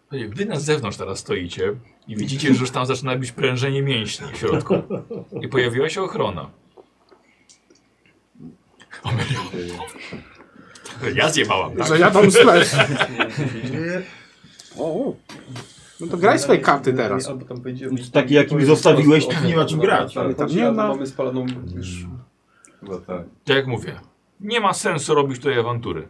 Speaker 1: Słuchajcie, Gdy na zewnątrz teraz stoicie i widzicie, że już tam zaczyna być prężenie mięśni w środku i pojawiła się ochrona. Ja zjebałam, tak?
Speaker 20: Że ja tam
Speaker 3: *laughs*
Speaker 20: splash.
Speaker 3: No to graj swoje karty teraz.
Speaker 14: Taki, jaki mi zostawiłeś, nie ma czym grać.
Speaker 15: Nie ma. Mamy spaloną już
Speaker 8: Chyba tak.
Speaker 1: Tak jak mówię, nie ma sensu robić tej awantury.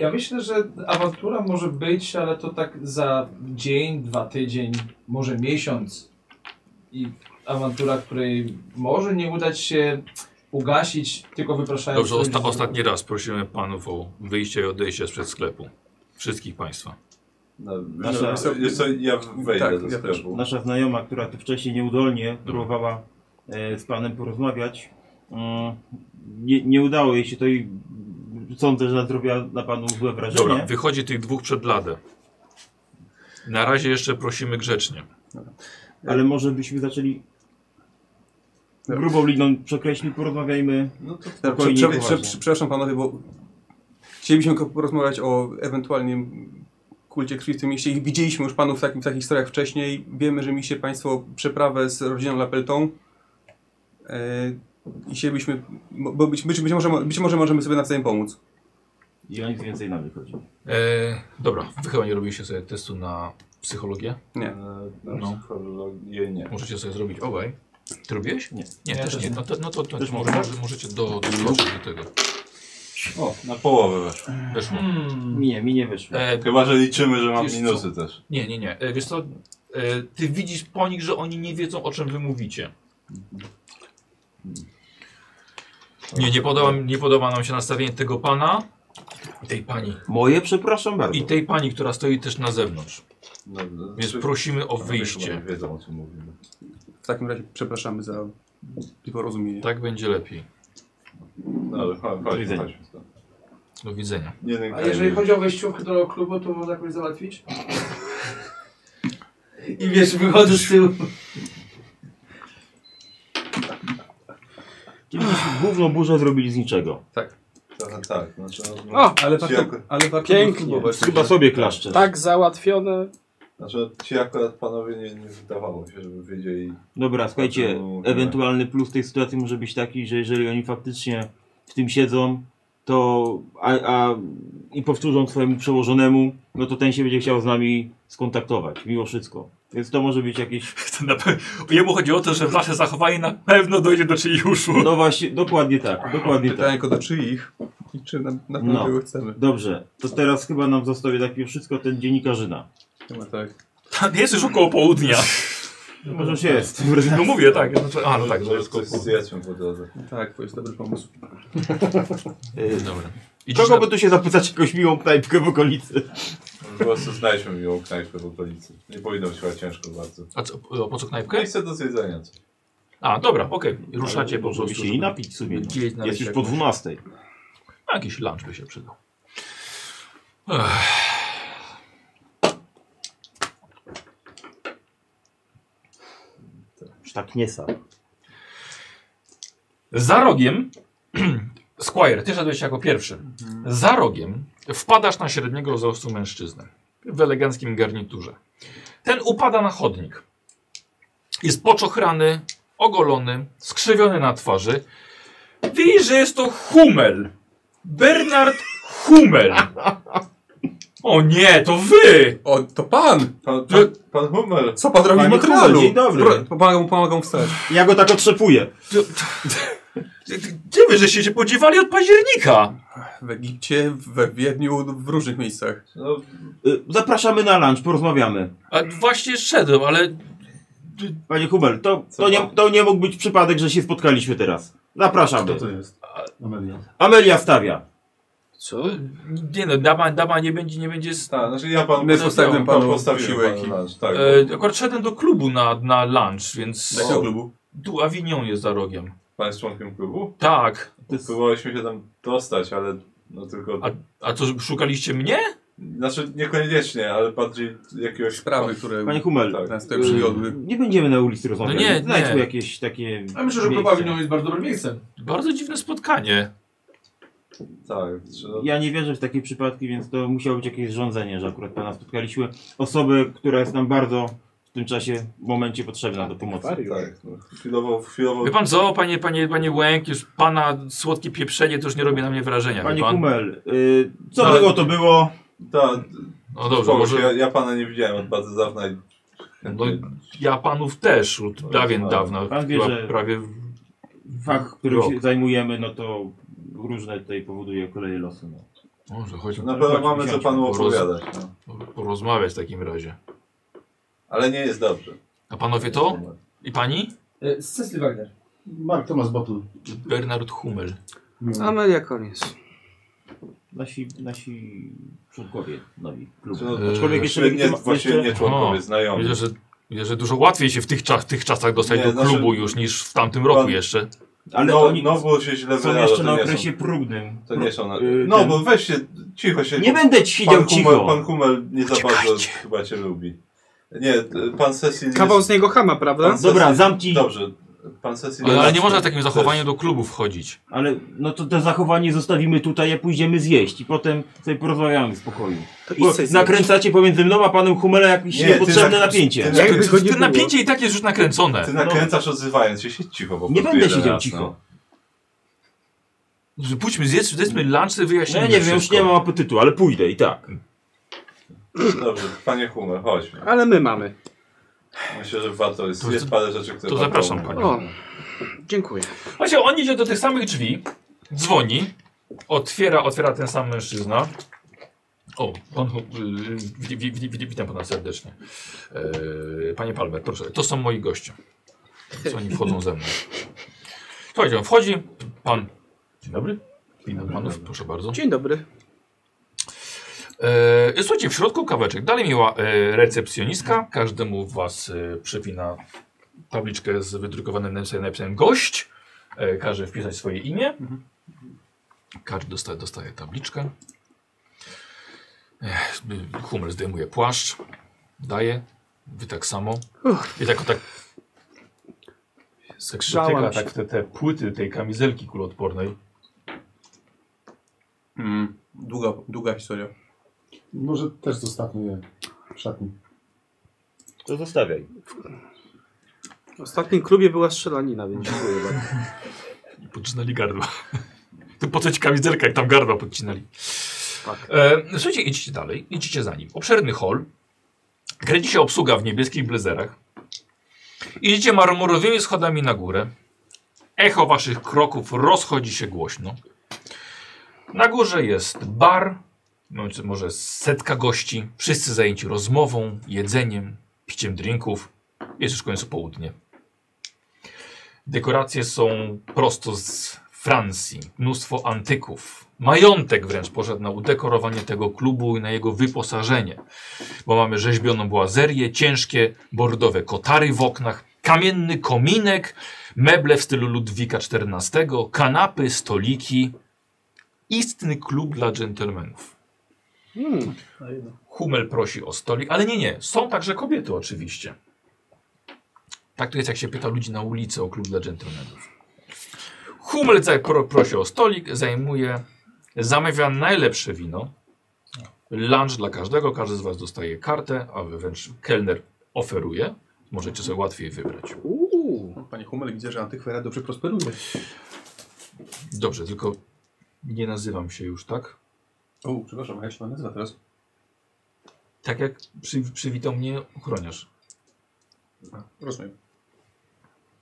Speaker 9: Ja myślę, że awantura może być, ale to tak za dzień, dwa tydzień, może miesiąc. I awantura, której może nie udać się ugasić, tylko wypraszając...
Speaker 1: Dobrze,
Speaker 9: ludzi
Speaker 1: osta
Speaker 9: za-
Speaker 1: ostatni raz prosimy panów o wyjście i odejście sprzed sklepu. Wszystkich państwa.
Speaker 8: No, Nasza, ja, ja wejdę do sklepu.
Speaker 5: Nasza znajoma, która tu wcześniej nieudolnie próbowała e, z panem porozmawiać, mm, nie, nie udało jej się to i sądzę, że zrobiła na panu złe wrażenie.
Speaker 1: Dobra, wychodzi tych dwóch przed ladę. Na razie jeszcze prosimy grzecznie.
Speaker 5: Ale może byśmy zaczęli grubą linią przekreślić, porozmawiajmy no to
Speaker 15: Prze-
Speaker 5: spokojnie.
Speaker 15: prze-
Speaker 5: i
Speaker 15: prze-
Speaker 5: poważnie.
Speaker 15: prze- Przepraszam panowie, bo chcielibyśmy tylko porozmawiać o ewentualnym kulcie krwi w tym mieście. I Widzieliśmy już panów w, takim, w takich historiach wcześniej. Wiemy, że mieliście państwo przeprawę z rodziną Lapeltą. E, I chcielibyśmy, bo być, być, być, może, być może możemy sobie nawzajem pomóc.
Speaker 5: I o nic więcej nam nie chodzi.
Speaker 1: E, dobra, wy chyba nie robiliście sobie testu na psychologię?
Speaker 15: Nie.
Speaker 8: Na psychologię nie.
Speaker 1: Możecie sobie zrobić obaj. Ty robiłeś? Nie. Nie,
Speaker 8: Ja
Speaker 1: też
Speaker 8: też
Speaker 1: nie.
Speaker 8: nie.
Speaker 1: No to, no to, to
Speaker 8: Też
Speaker 1: może,
Speaker 8: mogę?
Speaker 1: może, możecie do, dołączyć do tego.
Speaker 8: O, na połowę weszło.
Speaker 1: Weszło. Hmm.
Speaker 5: Nie, mi nie wyszło.
Speaker 1: E,
Speaker 8: Chyba, że liczymy, że mam
Speaker 1: wiesz co?
Speaker 8: minusy też.
Speaker 1: Nie, nie, nie. E, wiesz co, e, ty widzisz po nich, że oni nie wiedzą o czym wy mówicie. Nie, nie podoba, nie podoba nam się nastawienie tego pana i tej pani.
Speaker 14: Moje, przepraszam bardzo.
Speaker 1: I
Speaker 5: tak.
Speaker 1: tej pani, która stoi też na zewnątrz.
Speaker 8: no,
Speaker 1: Więc prosimy o
Speaker 8: Oni chyba
Speaker 1: wyjście.
Speaker 8: Nie wiedzą o czym mówimy.
Speaker 15: W takim razie przepraszamy za nieporozumienie.
Speaker 1: Tak będzie lepiej.
Speaker 8: Dobra, chodź,
Speaker 1: Do
Speaker 8: chodź,
Speaker 1: widzenia.
Speaker 8: chodź.
Speaker 1: Do *laughs* widzenia.
Speaker 8: Jeden
Speaker 9: A
Speaker 8: kraj
Speaker 9: jeżeli
Speaker 8: nie-
Speaker 9: chodzi o wejściówkę do klubu, to można jakoś załatwić? I wiesz, wychodzę z tyłu.
Speaker 5: Czyli żeśmy główną burzę zrobili z niczego.
Speaker 15: Tak.
Speaker 8: Tak, tak. Znaczy, no,
Speaker 5: O,
Speaker 8: ci
Speaker 5: ale warto-
Speaker 8: jako-
Speaker 15: ale warto
Speaker 3: Pięknie.
Speaker 8: próbować.
Speaker 5: Chyba sobie klaszczę.
Speaker 3: Tak załatwione.
Speaker 8: Znaczy, ci akurat panowie nie, nie wydawało się, żeby wiedzieli.
Speaker 5: Dobra, słuchajcie, ewentualny plus tej sytuacji może być taki, że jeżeli oni faktycznie w tym siedzą, to a, a, i powtórzą swojemu przełożonemu, no to ten się będzie chciał z nami skontaktować, mimo wszystko. Więc to może być jakieś...
Speaker 1: Na pe... Jemu chodzi o to, że nasze zachowanie na pewno dojdzie do czyjuszu.
Speaker 5: No właśnie, dokładnie tak, dokładnie
Speaker 15: Pytanie
Speaker 5: tak.
Speaker 15: tylko do czyich i czy na, na pewno
Speaker 5: No,
Speaker 15: tego chcemy.
Speaker 5: dobrze. To teraz chyba nam zostawi tak mimo wszystko ten dziennikarzyna.
Speaker 15: Chyba tak.
Speaker 1: Tam jest już około
Speaker 8: *laughs*
Speaker 1: południa.
Speaker 5: No, może już jest.
Speaker 1: No mówię, tak. Znaczy, a, no tak,
Speaker 8: że coś zjedzmy po drodze.
Speaker 15: Tak, to jest dobry pomysł.
Speaker 1: Dobra.
Speaker 14: Kogo by tu się zapytać jakąś miłą knajpkę w okolicy?
Speaker 8: Po prostu znajdźmy miłą knajpkę w okolicy. Nie powinno być chyba ciężko bardzo.
Speaker 1: A co, o, po co knajpkę?
Speaker 8: Knajpce do zjedzenia. co?
Speaker 1: A, dobra, okej. Ruszacie po prostu.
Speaker 8: By się i
Speaker 1: żeby-
Speaker 8: napić w sumie, no.
Speaker 1: gdzieś
Speaker 8: Jest
Speaker 1: znaleźć
Speaker 8: już
Speaker 1: jakąś-
Speaker 8: po 12:00.
Speaker 1: A, Jakiś lunch by się przydał. Ech.
Speaker 14: Już tak nie sam.
Speaker 1: Za rogiem, *clears throat* Squire, ty szedłeś jako pierwszy. Za rogiem wpadasz na średniego wzrostu mężczyznę w eleganckim garniturze. Ten upada na chodnik. Jest poczochrany, ogolony, skrzywiony na twarzy. Widzisz, że jest to Hummel. Bernard Hummel. O nie, to wy!
Speaker 15: O, to pan!
Speaker 8: Pan, pan, pan Hummel.
Speaker 15: Co pan robi w
Speaker 8: Panie
Speaker 15: Montrealu?
Speaker 8: Hummel, dzień dobry.
Speaker 15: Pro- Pomagam mu, pomagam mu wstać.
Speaker 5: Ja go tak otrzepuję.
Speaker 1: Gdzie wy żeście się podziewali od października?
Speaker 15: W Egipcie, we Wiedniu, w różnych miejscach.
Speaker 8: No,
Speaker 5: Y, Zapraszamy na lunch, porozmawiamy.
Speaker 1: A właśnie szedłem, ale
Speaker 5: Panie Hubel, to, to, nie, to nie mógł być przypadek, że się spotkaliśmy teraz. Zapraszamy.
Speaker 10: Kto to jest? Amelia.
Speaker 5: Amelia stawia.
Speaker 1: Co? Nie no, dama, dama nie będzie, nie będzie... Z...
Speaker 8: Tak, znaczy ja pan...
Speaker 15: My postawiłem
Speaker 8: pan
Speaker 15: panu
Speaker 8: postawiłem
Speaker 15: posiłek
Speaker 8: panu
Speaker 15: i-
Speaker 8: lunch, tak.
Speaker 1: E, akurat szedłem do klubu na, na lunch, więc...
Speaker 8: Do jakiego klubu?
Speaker 1: Tu Avignon jest za rogiem.
Speaker 8: Pan jest członkiem klubu?
Speaker 1: Tak.
Speaker 8: Próbowaliśmy się tam dostać, ale no tylko...
Speaker 1: A co, szukaliście mnie?
Speaker 8: Znaczy niekoniecznie, ale bardziej jakiegoś... Tak,
Speaker 15: Sprawy, które
Speaker 8: Panie
Speaker 5: Panie
Speaker 8: Humel,
Speaker 5: Hummel,
Speaker 15: nas tutaj przywiodły.
Speaker 5: Nie będziemy na ulicy rozmawiać.
Speaker 1: Tak. No nie,
Speaker 5: Znajdźmy
Speaker 1: nie.
Speaker 5: jakieś takie.
Speaker 9: A myślę, że
Speaker 5: miejsce.
Speaker 9: Probawino jest bardzo dobrym miejscem.
Speaker 1: Bardzo dziwne spotkanie.
Speaker 8: Tak.
Speaker 5: Ja nie wierzę w takie przypadki, więc to musiało być jakieś zrządzenie, że akurat pana spotkaliśmy. Osobę, która jest nam bardzo w tym czasie, momencie potrzebna do pomocy.
Speaker 8: Tak, no. chwilowo, chwilowo...
Speaker 1: Wie pan co, panie, panie, panie Łęk, już pana słodkie pieprzenie to już nie robi na mnie wrażenia. wie
Speaker 5: Panie
Speaker 1: pan?
Speaker 5: Hummel, y, co
Speaker 8: Ale-
Speaker 5: było to było?
Speaker 8: Ta,
Speaker 1: No dobrze,
Speaker 8: Spoko,
Speaker 1: może-
Speaker 8: ja, ja pana nie widziałem od bardzo dawna i...
Speaker 1: No, ja panów też od dawien
Speaker 5: Tak.
Speaker 1: dawna.
Speaker 5: Pan wie,
Speaker 1: chyba
Speaker 5: że-
Speaker 1: prawie
Speaker 5: Fakt, którym
Speaker 1: Rok.
Speaker 5: się zajmujemy, no to różne tutaj powoduje koleje losu. No.
Speaker 1: Może chodźmy.
Speaker 8: Na pewno mamy co
Speaker 5: siądźmy,
Speaker 8: panu
Speaker 1: poroz-
Speaker 8: opowiadać. No.
Speaker 1: porozmawiać w takim razie.
Speaker 8: Ale nie jest dobrze. No,
Speaker 1: A panowie to? I pani?
Speaker 9: E, Cecil Wagner.
Speaker 4: Mark Thomas Bottle.
Speaker 1: Bernard Hummel.
Speaker 3: Amelia koniec.
Speaker 5: Nasi, nasi członkowie nowi
Speaker 8: Czy
Speaker 5: klubu.
Speaker 8: no,
Speaker 1: Eee,
Speaker 8: aczkolwiek jeszcze nie,
Speaker 5: jeszcze- No.
Speaker 8: właściwie nie członkowie,
Speaker 1: O,
Speaker 8: znajomi.
Speaker 1: Widzę, że, widzę, że dużo łatwiej się w tych, czas, tych czasach dostać
Speaker 8: Nie,
Speaker 1: do
Speaker 8: znaczy-
Speaker 1: klubu już niż w tamtym roku
Speaker 8: Pan-
Speaker 1: jeszcze.
Speaker 5: Ale
Speaker 8: no,
Speaker 5: oni
Speaker 8: no było się źle
Speaker 5: są
Speaker 8: wyjada,
Speaker 5: jeszcze
Speaker 8: to
Speaker 5: na
Speaker 8: nie
Speaker 5: okresie
Speaker 8: są,
Speaker 5: próbnym.
Speaker 8: To nie są... Na,
Speaker 5: Yy,
Speaker 8: no
Speaker 5: ten-
Speaker 8: bo weź się, cicho się...
Speaker 5: Nie będę ci siedział
Speaker 8: pan Hummel-
Speaker 5: cicho.
Speaker 8: Pan Hummel nie za bardzo chyba cię lubi. Nie, y, pan Cecil jest...
Speaker 3: Kawał z niego chama, prawda?
Speaker 8: pan
Speaker 5: Dobra,
Speaker 8: Cecil-
Speaker 5: zamknij.
Speaker 8: Dobrze, pan Cecil...
Speaker 1: Ale, ale
Speaker 8: jest-
Speaker 1: nie można takim
Speaker 8: też-
Speaker 1: zachowaniem do klubu wchodzić.
Speaker 5: Ale no to to zachowanie zostawimy tutaj, a pójdziemy zjeść i potem sobie porozmawiamy w spokoju.
Speaker 3: To
Speaker 5: Bo
Speaker 3: idź sobie
Speaker 5: nakręcacie pomiędzy mną a panem Humelem jakieś
Speaker 8: Nie, ty
Speaker 5: niepotrzebne
Speaker 8: nak-
Speaker 5: napięcie.
Speaker 8: ty
Speaker 3: Jakby go nie
Speaker 1: Te
Speaker 3: było.
Speaker 1: napięcie i tak jest już nakręcone.
Speaker 8: Ty nakręcasz odzywając się, siedź cicho po
Speaker 5: Nie
Speaker 8: prostu
Speaker 5: będę
Speaker 8: jeden
Speaker 5: siedział
Speaker 8: raz,
Speaker 5: cicho.
Speaker 8: no.
Speaker 1: Że Pójdźmy zjedz, zjedzmy lunch, sobie
Speaker 5: No
Speaker 1: wyjaśnimy
Speaker 5: ja nie wiem, już
Speaker 1: wszystko.
Speaker 5: nie mam apetytu, ale pójdę i tak.
Speaker 8: no. Dobrze, panie Hummel, chodźmy.
Speaker 3: Ale my mamy.
Speaker 8: Myślę, że warto jest,
Speaker 1: To-
Speaker 8: jest parę rzeczy, które
Speaker 1: to
Speaker 8: warto
Speaker 1: zapraszam
Speaker 8: omówić.
Speaker 1: panią.
Speaker 3: O, dziękuję.
Speaker 1: Właśnie on idzie do tych samych drzwi, dzwoni, otwiera, otwiera ten sam mężczyzna. O, pan, yy, wit, wit, wit, witam pana serdecznie. Yy, panie Palmer, proszę, to są moi goście. Co oni wchodzą ze mną. Słuchajcie, on wchodzi, pan. Dzień dobry. Witam panów, proszę bardzo.
Speaker 3: Dzień dobry.
Speaker 1: E, słuchajcie, w środku kaweczek. Dalej miła e, recepcjonistka. Każdemu z was e, przypina tabliczkę z wydrukowanym napisem, napisem gość. E, każe wpisać swoje imię. Każdy dostaje, dostaje tabliczkę. Ech, Hummel zdejmuje płaszcz. Daje. Wy tak samo. I tak o tak. Tak
Speaker 3: Zgrzałam
Speaker 1: dotyka
Speaker 3: się.
Speaker 1: tak te, te płyty tej kamizelki kuloodpornej.
Speaker 15: Mm, długa, długa historia.
Speaker 4: Może też zostawmy je w szatni.
Speaker 5: To zostawiaj.
Speaker 3: W ostatnim klubie była strzelanina, więc dziękuję bardzo.
Speaker 1: Podcinali gardła. *laughs* Tu po co ci kamizelka, jak tam gardła podcinali.
Speaker 3: Tak.
Speaker 1: E, słuchajcie, idźcie dalej, idźcie za nim. Obszerny hol. Kręci się obsługa w niebieskich blezerach. Idziecie marmurowymi schodami na górę. Echo waszych kroków rozchodzi się głośno. Na górze jest bar, no, czy może setka gości. Wszyscy zajęci rozmową, jedzeniem, piciem drinków. Jest już w końcu południe. Dekoracje są prosto z Francji. Mnóstwo antyków. Majątek wręcz poszedł na udekorowanie tego klubu i na jego wyposażenie. Bo mamy rzeźbioną błazerię, ciężkie bordowe kotary w oknach, kamienny kominek, meble w stylu Ludwika XIV, kanapy, stoliki. Istny klub dla dżentelmenów.
Speaker 3: Hmm.
Speaker 1: Hummel prosi o stolik, ale nie, nie. Są także kobiety oczywiście. Tak to jest, jak się pyta ludzi na ulicy o klub dla dżentelmenów. Hummel za- pro, prosi o stolik, zajmuje, zamawia najlepsze wino. Lunch dla każdego, każdy z Was dostaje kartę, a wy wręcz kelner oferuje. Możecie sobie łatwiej wybrać.
Speaker 3: Uuu.
Speaker 8: No,
Speaker 15: Panie Hummel, widzę, że antykwariat dobrze prosperuje.
Speaker 1: Dobrze, tylko nie nazywam się już, tak?
Speaker 15: O, przepraszam, jak się pan nazywa teraz?
Speaker 1: Tak jak przy, przywitał mnie ochroniarz.
Speaker 15: Rozumiem.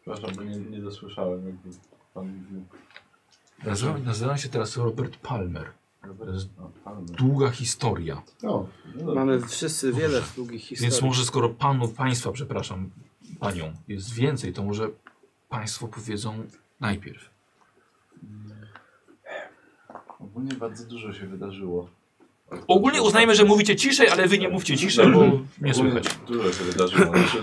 Speaker 8: Przepraszam, bo nie, nie dosłyszałem, jakby pan mówił.
Speaker 1: Nazywam, nazywam się teraz Robert Palmer. To jest
Speaker 8: No, pan-
Speaker 1: długa historia.
Speaker 4: O,
Speaker 8: no,
Speaker 3: Mamy wszyscy wiele długich historii.
Speaker 1: Więc może skoro panów, państwa, przepraszam, panią jest więcej, to może państwo powiedzą najpierw.
Speaker 8: Ogólnie bardzo dużo się wydarzyło.
Speaker 1: Ogólnie uznajmy, że mówicie ciszej, ale wy nie mówcie ciszej, bo nie
Speaker 8: Ogólnie
Speaker 1: słychać.
Speaker 8: Dużo się wydarzyło. Znaczy,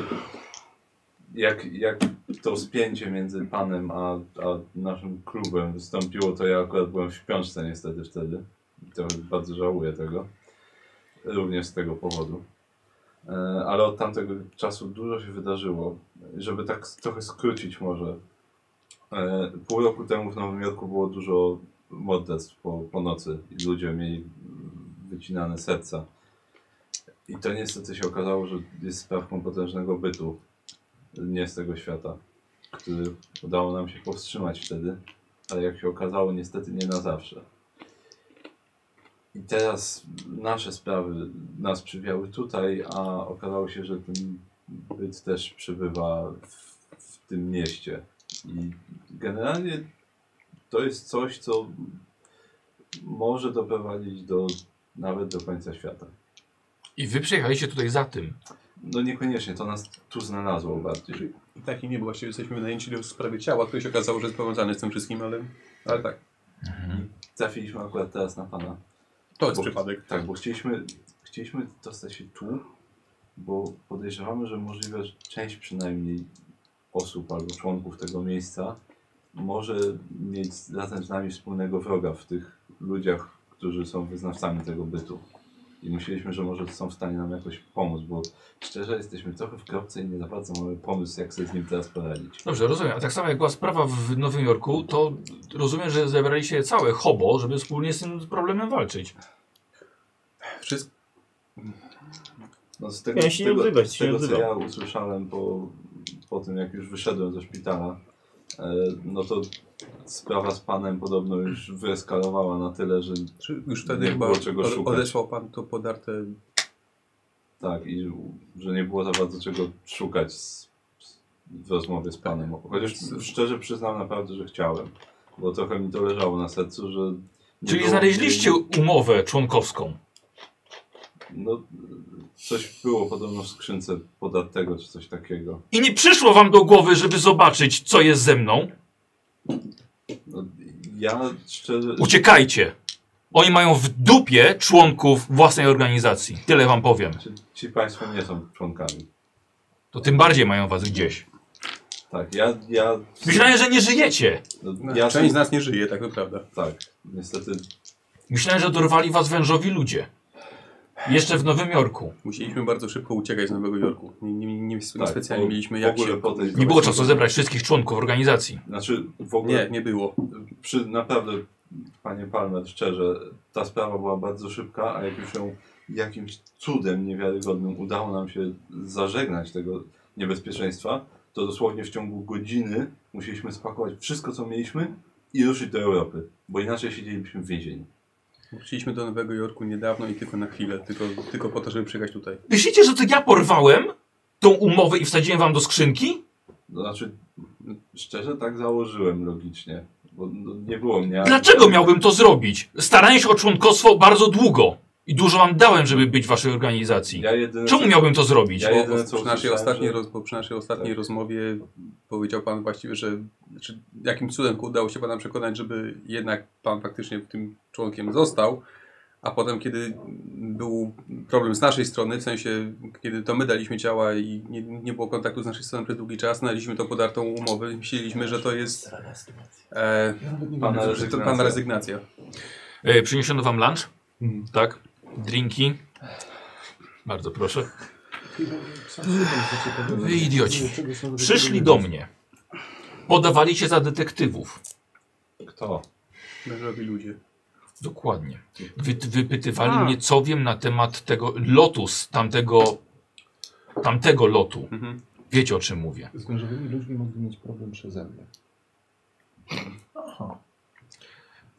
Speaker 8: jak, jak to spięcie między panem a, a naszym klubem wystąpiło, to ja akurat byłem w śpiączce niestety wtedy. I To bardzo żałuję tego. również z tego powodu. E, Ale od tamtego czasu dużo się wydarzyło. Żeby tak s- trochę skrócić może. e, Pół roku temu w Nowym Jorku było dużo morderstw po, po nocy i ludzie mieli mm, wycinane serca. I to niestety się okazało, że jest sprawką potężnego bytu nie z tego świata, który udało nam się powstrzymać wtedy, ale jak się okazało niestety nie na zawsze. I teraz nasze sprawy nas przywiały tutaj, a okazało się, że ten byt też przebywa w, w tym mieście. I generalnie to jest coś, co może doprowadzić do nawet do końca świata.
Speaker 1: I wy przyjechaliście tutaj za tym.
Speaker 8: No niekoniecznie, to nas tu znalazło bardziej.
Speaker 15: Tak i nie, bo właściwie jesteśmy wynajęci do sprawy ciała, które się okazało, że jest powiązane z tym wszystkim, ale, ale tak.
Speaker 8: Trafiliśmy akurat teraz na pana.
Speaker 15: To jest
Speaker 8: Bo-
Speaker 15: przypadek.
Speaker 8: Tak, bo chcieliśmy, chcieliśmy dostać się tu, bo podejrzewamy, że możliwe, że część przynajmniej osób albo członków tego miejsca może mieć razem z nami wspólnego wroga w tych ludziach, którzy są wyznawcami tego bytu. I myśleliśmy, że może są w stanie nam jakoś pomóc, bo szczerze jesteśmy trochę w kropce i nie za bardzo mamy pomysł, jak sobie z nim teraz poradzić.
Speaker 1: Dobrze, rozumiem. A tak samo jak była sprawa w Nowym Jorku, to rozumiem, że zebraliście całe hobo, żeby wspólnie z tym problemem walczyć.
Speaker 15: Wszystko.
Speaker 8: No z tego,
Speaker 1: Ja
Speaker 8: z
Speaker 1: się nie
Speaker 8: tego,
Speaker 1: odzywam,
Speaker 8: z
Speaker 1: się nie
Speaker 8: tego co
Speaker 1: odzywam.
Speaker 8: ja usłyszałem po, po tym, jak już wyszedłem ze szpitala, e, no to sprawa z panem podobno już wyeskalowała na tyle, że
Speaker 15: Już wtedy
Speaker 8: nie
Speaker 15: chyba
Speaker 8: było czego
Speaker 15: o-
Speaker 8: szukać.
Speaker 15: odesłał pan to podarte.
Speaker 8: Tak, i u- że nie było za bardzo czego szukać z, z, w rozmowie z panem. Chociaż szczerze przyznam naprawdę, że chciałem, bo trochę mi to leżało na sercu, że... nie
Speaker 1: Czyli
Speaker 8: było-
Speaker 1: znaleźliście umowę członkowską.
Speaker 8: No, coś było podobno w skrzynce podatnego czy coś takiego.
Speaker 1: I nie przyszło wam do głowy, żeby zobaczyć, co jest ze mną?
Speaker 8: No, ja szczerze...
Speaker 1: Uciekajcie! Oni mają w dupie członków własnej organizacji. Tyle wam powiem.
Speaker 8: Ci państwo nie są członkami.
Speaker 1: To tym bardziej mają was gdzieś.
Speaker 8: Tak, ja... ja...
Speaker 1: Myślałem, że nie żyjecie.
Speaker 8: No,
Speaker 15: Część z nas nie żyje, tak to prawda.
Speaker 8: Tak, niestety.
Speaker 1: Myślałem, że dorwali was wężowi ludzie. Jeszcze w Nowym Jorku.
Speaker 15: Musieliśmy bardzo szybko uciekać z Nowego Jorku. Nie, nie, nie, nie
Speaker 8: Tak,
Speaker 15: specjalnie
Speaker 8: bo
Speaker 15: mieliśmy
Speaker 8: w
Speaker 15: jak
Speaker 8: ogóle
Speaker 15: się...
Speaker 8: podejść do
Speaker 1: Nie było
Speaker 8: właśnie-
Speaker 1: czasu zebrać wszystkich członków organizacji.
Speaker 8: Znaczy, w ogóle...
Speaker 15: Nie, nie było.
Speaker 8: Przy, naprawdę, panie Palmer, szczerze, ta sprawa była bardzo szybka, a jak już ją jakimś cudem niewiarygodnym udało nam się zażegnać tego niebezpieczeństwa, to dosłownie w ciągu godziny musieliśmy spakować wszystko, co mieliśmy i ruszyć do Europy, bo inaczej siedzielibyśmy w więzieniu.
Speaker 15: Wróciliśmy do Nowego Jorku niedawno i tylko na chwilę, tylko, tylko po to, żeby przyjechać tutaj.
Speaker 1: Myślicie, że to ja porwałem tą umowę i wsadziłem wam do skrzynki?
Speaker 8: To Znaczy, szczerze tak założyłem logicznie, bo no, nie było mnie...
Speaker 1: Dlaczego miałbym to zrobić? Starałem się o członkostwo bardzo długo. I dużo wam dałem, żeby być w waszej organizacji.
Speaker 8: Ja jedyne,
Speaker 1: Czemu
Speaker 8: co-
Speaker 1: miałbym to zrobić?
Speaker 8: Ja
Speaker 15: Bo-
Speaker 8: jedyne,
Speaker 15: bo
Speaker 8: co
Speaker 15: przy, naszej
Speaker 8: usłyszałem,
Speaker 15: ostatniej
Speaker 8: że- Tak.
Speaker 15: roz, bo przy naszej ostatniej rozmowie powiedział Pan właściwie, że znaczy, jakim cudem udało się Pana przekonać, żeby jednak Pan faktycznie tym członkiem został, a potem kiedy był problem z naszej strony, w sensie kiedy to my daliśmy ciała i nie, nie było kontaktu z naszej strony przez długi czas, znaleźliśmy tą podartą umowę i myśleliśmy, że to jest e,
Speaker 8: Pana
Speaker 15: że to Pana
Speaker 8: rezygnacja.
Speaker 15: rezygnacja.
Speaker 1: E, przyniesiono wam lunch? Tak. Drinki. Bardzo proszę. Wy idioci. Przyszli do mnie. Podawali się za detektywów.
Speaker 8: Kto?
Speaker 15: Mężowi ludzie.
Speaker 1: Dokładnie. Wy, wypytywali
Speaker 15: A.
Speaker 1: mnie, co wiem na temat tego lotu z tamtego, tamtego lotu. Wiecie o czym mówię.
Speaker 4: Z mężowymi ludźmi mogli mieć problem przeze mnie.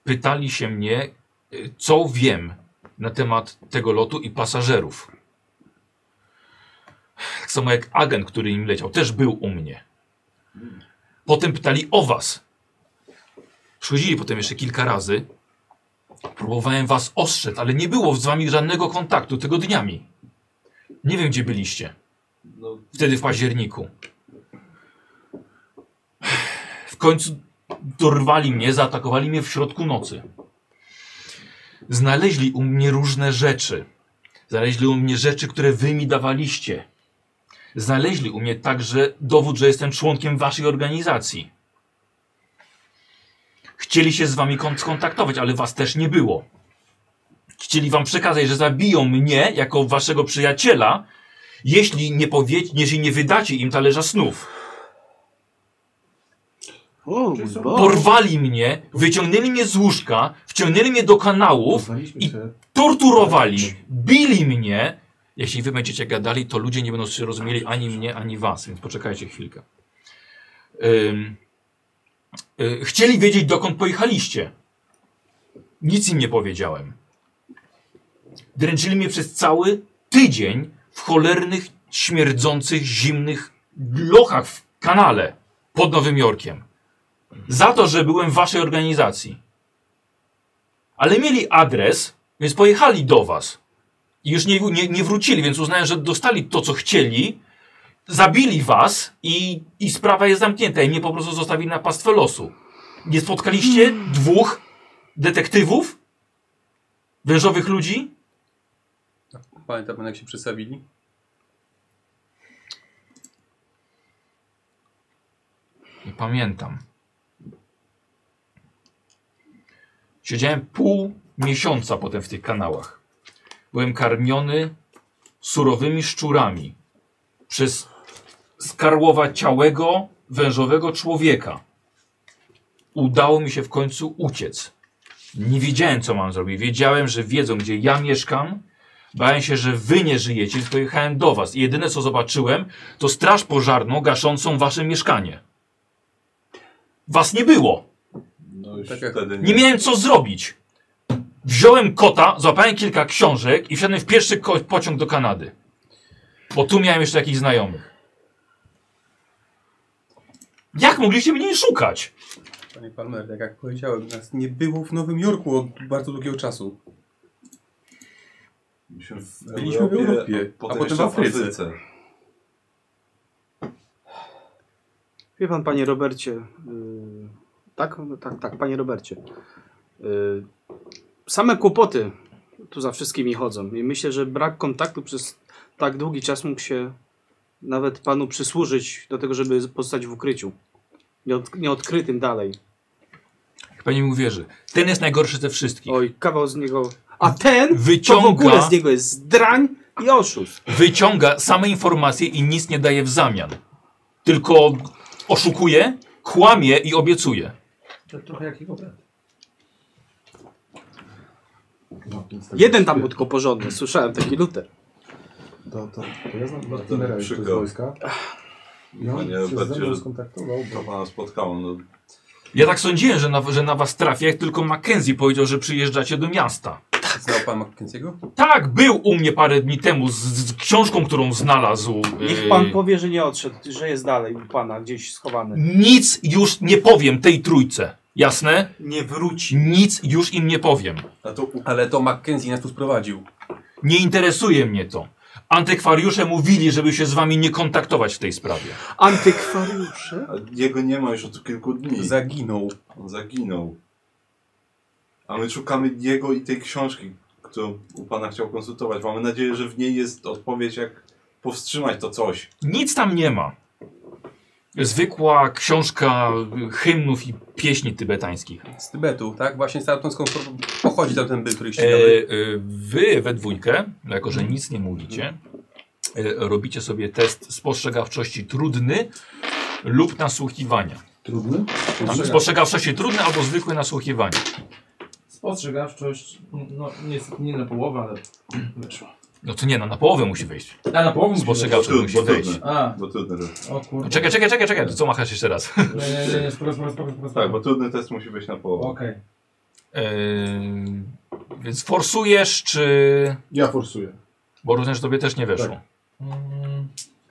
Speaker 1: pytali się mnie, y, co wiem na temat tego lotu i pasażerów. Tak samo jak agent, który im leciał, też był u mnie. Potem pytali o was. Przychodzili potem jeszcze kilka razy. Próbowałem was ostrzec, ale nie było z wami żadnego kontaktu tygodniami. Nie wiem, gdzie byliście.
Speaker 8: No,
Speaker 1: Wtedy w październiku. W końcu dorwali mnie, zaatakowali mnie w środku nocy. Znaleźli u mnie różne rzeczy. Znaleźli u mnie rzeczy, które wy mi dawaliście. Znaleźli u mnie także dowód, że jestem członkiem waszej organizacji. Chcieli się z wami kon- skontaktować, ale was też nie było. Chcieli wam przekazać, że zabiją mnie jako waszego przyjaciela, jeśli nie powiecie, jeśli nie wydacie im talerza snów.
Speaker 20: O,
Speaker 1: Porwali mnie, wyciągnęli mnie z łóżka, wciągnęli mnie do kanałów i torturowali, bili mnie. Jeśli wy będziecie gadali, to ludzie nie będą się rozumieli ani mnie, ani was, więc poczekajcie chwilkę. Ym, y, chcieli wiedzieć, dokąd pojechaliście. Nic im nie powiedziałem. Dręczyli mnie przez cały tydzień w cholernych, śmierdzących, zimnych lochach w kanale pod Nowym Jorkiem. Za to, że byłem w waszej organizacji. Ale mieli adres, więc pojechali do was. I już nie, nie, nie wrócili, więc uznałem, że dostali to, co chcieli. Zabili was i, i sprawa jest zamknięta. I mnie po prostu zostawili na pastwę losu. Nie spotkaliście dwóch detektywów? Wężowych ludzi?
Speaker 15: Pamięta pan, jak się przedstawili?
Speaker 1: Nie pamiętam. Siedziałem pół miesiąca potem w tych kanałach. Byłem karmiony surowymi szczurami przez skarłowaciałego, wężowego człowieka. Udało mi się w końcu uciec. Nie wiedziałem, co mam zrobić. Wiedziałem, że wiedzą, gdzie ja mieszkam. Bałem się, że wy nie żyjecie, więc pojechałem do was. I jedyne, co zobaczyłem, to straż pożarną gaszącą wasze mieszkanie. Was nie było.
Speaker 8: No już wtedy
Speaker 1: Nie miałem co zrobić. Wziąłem kota, złapałem kilka książek i wsiadłem w pierwszy ko- pociąg do Kanady. Bo tu miałem jeszcze jakichś znajomych. Jak mogliście mnie szukać?
Speaker 15: Panie Palmer, tak jak powiedziałem, nas nie było w Nowym Jorku od bardzo długiego czasu. Byliśmy w Europie, a potem w Afryce.
Speaker 3: Wie pan, panie Robercie, yy, tak, No tak, tak, panie Robercie. Yy, same kłopoty tu za wszystkimi chodzą i myślę, że brak kontaktu przez tak długi czas mógł się nawet panu przysłużyć do tego, żeby pozostać w ukryciu. Nieod, nieodkrytym dalej.
Speaker 1: Pani mi uwierzy. Ten jest najgorszy ze wszystkich.
Speaker 3: Oj, kawał z niego. A ten
Speaker 1: Wyciąga-
Speaker 3: to w ogóle z niego jest drań i oszust.
Speaker 1: Wyciąga same informacje i nic nie daje w zamian. Tylko oszukuje, kłamie i obiecuje.
Speaker 19: To trochę jak jego brat.
Speaker 4: No, tak-
Speaker 3: Jeden tam był tylko porządny, słyszałem taki Luter.
Speaker 4: To, to, to ja znam Martinera jeszcze z
Speaker 8: przykro.
Speaker 4: wojska. No I on się
Speaker 8: Panie
Speaker 4: ze
Speaker 8: Robercie,
Speaker 4: mną
Speaker 8: że
Speaker 4: skontaktował.
Speaker 8: to pana spotkało. No,
Speaker 1: Ja tak sądziłem, że na, że na was trafię, jak tylko Mackenzie powiedział, że przyjeżdżacie do miasta.
Speaker 15: Znał pan Mackenzie'ego?
Speaker 1: Tak, był u mnie parę dni temu z, z książką, którą znalazł.
Speaker 3: Niech
Speaker 1: e,
Speaker 3: pan powie, że nie odszedł, że jest dalej u pana gdzieś schowany.
Speaker 1: Nic już nie powiem tej trójce. Jasne?
Speaker 3: Nie wróci.
Speaker 1: Nic już im nie powiem.
Speaker 15: Ale to Mackenzie nas tu sprowadził.
Speaker 1: Nie interesuje mnie to. Antykwariusze mówili, żeby się z wami nie kontaktować w tej sprawie.
Speaker 3: Antykwariusze?
Speaker 8: a jego nie ma już od kilku dni.
Speaker 15: Zaginął.
Speaker 8: On zaginął. A my szukamy jego i tej książki, którą u pana chciał konsultować. Mamy nadzieję, że w niej jest odpowiedź, jak powstrzymać to coś.
Speaker 1: Nic tam nie ma. Zwykła książka hymnów i pieśni tybetańskich.
Speaker 15: Z Tybetu, tak? Właśnie stamtąd skąd po- pochodzi tamten byt, który
Speaker 1: E,
Speaker 15: ścigamy.
Speaker 1: e, wy we dwójkę, jako
Speaker 4: Mhm.
Speaker 1: że nic nie mówicie, e, robicie sobie test spostrzegawczości trudny lub nasłuchiwania.
Speaker 4: Trudny?
Speaker 1: Tam spostrzegawczości trudny albo zwykłe nasłuchiwanie.
Speaker 9: Spostrzegawczość, no niestety nie na połowę, ale wyszło.
Speaker 1: No to nie, no na połowę musi wejść.
Speaker 9: A, na połowę musi
Speaker 1: Spostrzegawczość
Speaker 9: wejść.
Speaker 1: musi
Speaker 9: Bo trudne,
Speaker 1: wejść. No
Speaker 9: bo trudne. A.
Speaker 8: Bo trudny
Speaker 9: O kurde.
Speaker 1: Czekaj, czekaj, czekaj, czekaj, to co machasz jeszcze raz? *laughs*
Speaker 9: Nie, nie, nie, nie, spoko, spoko, spoko, spoko.
Speaker 8: Tak, bo trudny test musi być na połowę.
Speaker 9: Okej.
Speaker 1: Ehm, więc forsujesz, czy...
Speaker 4: Ja forsuję.
Speaker 1: Bo rozumiem, że tobie też nie weszło.
Speaker 4: Tak.
Speaker 9: Mm,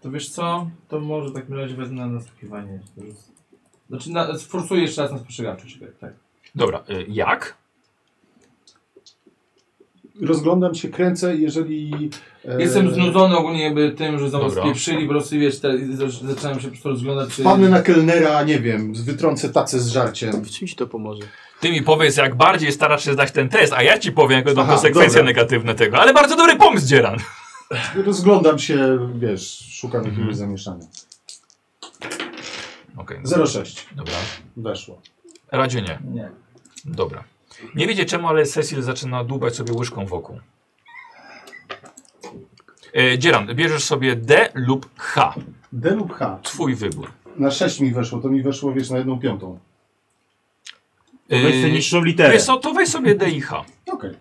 Speaker 9: To wiesz co? To może w takim razie wezmę na nasłuchiwanie. To jest- Znaczy, na, sforsuję jeszcze raz na spostrzegawczość, czekaj, tak.
Speaker 1: Dobra, y, jak?
Speaker 4: Rozglądam się, kręcę, jeżeli... e,
Speaker 9: Jestem znudzony ogólnie jakby tym, że znowu
Speaker 4: Dobra.
Speaker 9: spieprzyli, po prostu wiesz, te, z- zacząłem się po prostu rozglądać, czy...
Speaker 4: Wpadnę na kelnera, nie wiem, wytrącę tacę z żarciem.
Speaker 3: W czym ci to pomoże?
Speaker 1: Ty mi powiedz, jak bardziej starasz się zdać ten test, a ja ci powiem, jakie będą
Speaker 4: Aha,
Speaker 1: konsekwencje
Speaker 4: dobra.
Speaker 1: negatywne tego. Ale bardzo dobry pomysł, Dzieran.
Speaker 4: Rozglądam się, wiesz, szukam jakiegoś zamieszania.
Speaker 1: Okay,
Speaker 4: 06.
Speaker 1: Dobra.
Speaker 4: Weszło.
Speaker 1: Radzie nie.
Speaker 9: Nie.
Speaker 1: Dobra. Nie wiecie czemu, ale Cecil zaczyna dłubać sobie łyżką wokół. E, Dzieran, bierzesz sobie D lub H.
Speaker 4: D lub H.
Speaker 1: Twój wybór.
Speaker 4: Na 6 mi weszło, to mi weszło wiesz na jedną piątą.
Speaker 1: Weź
Speaker 3: Yy,
Speaker 4: sobie niższą literę.
Speaker 1: E, Wiesz co, to weź sobie D i H.
Speaker 4: Okej.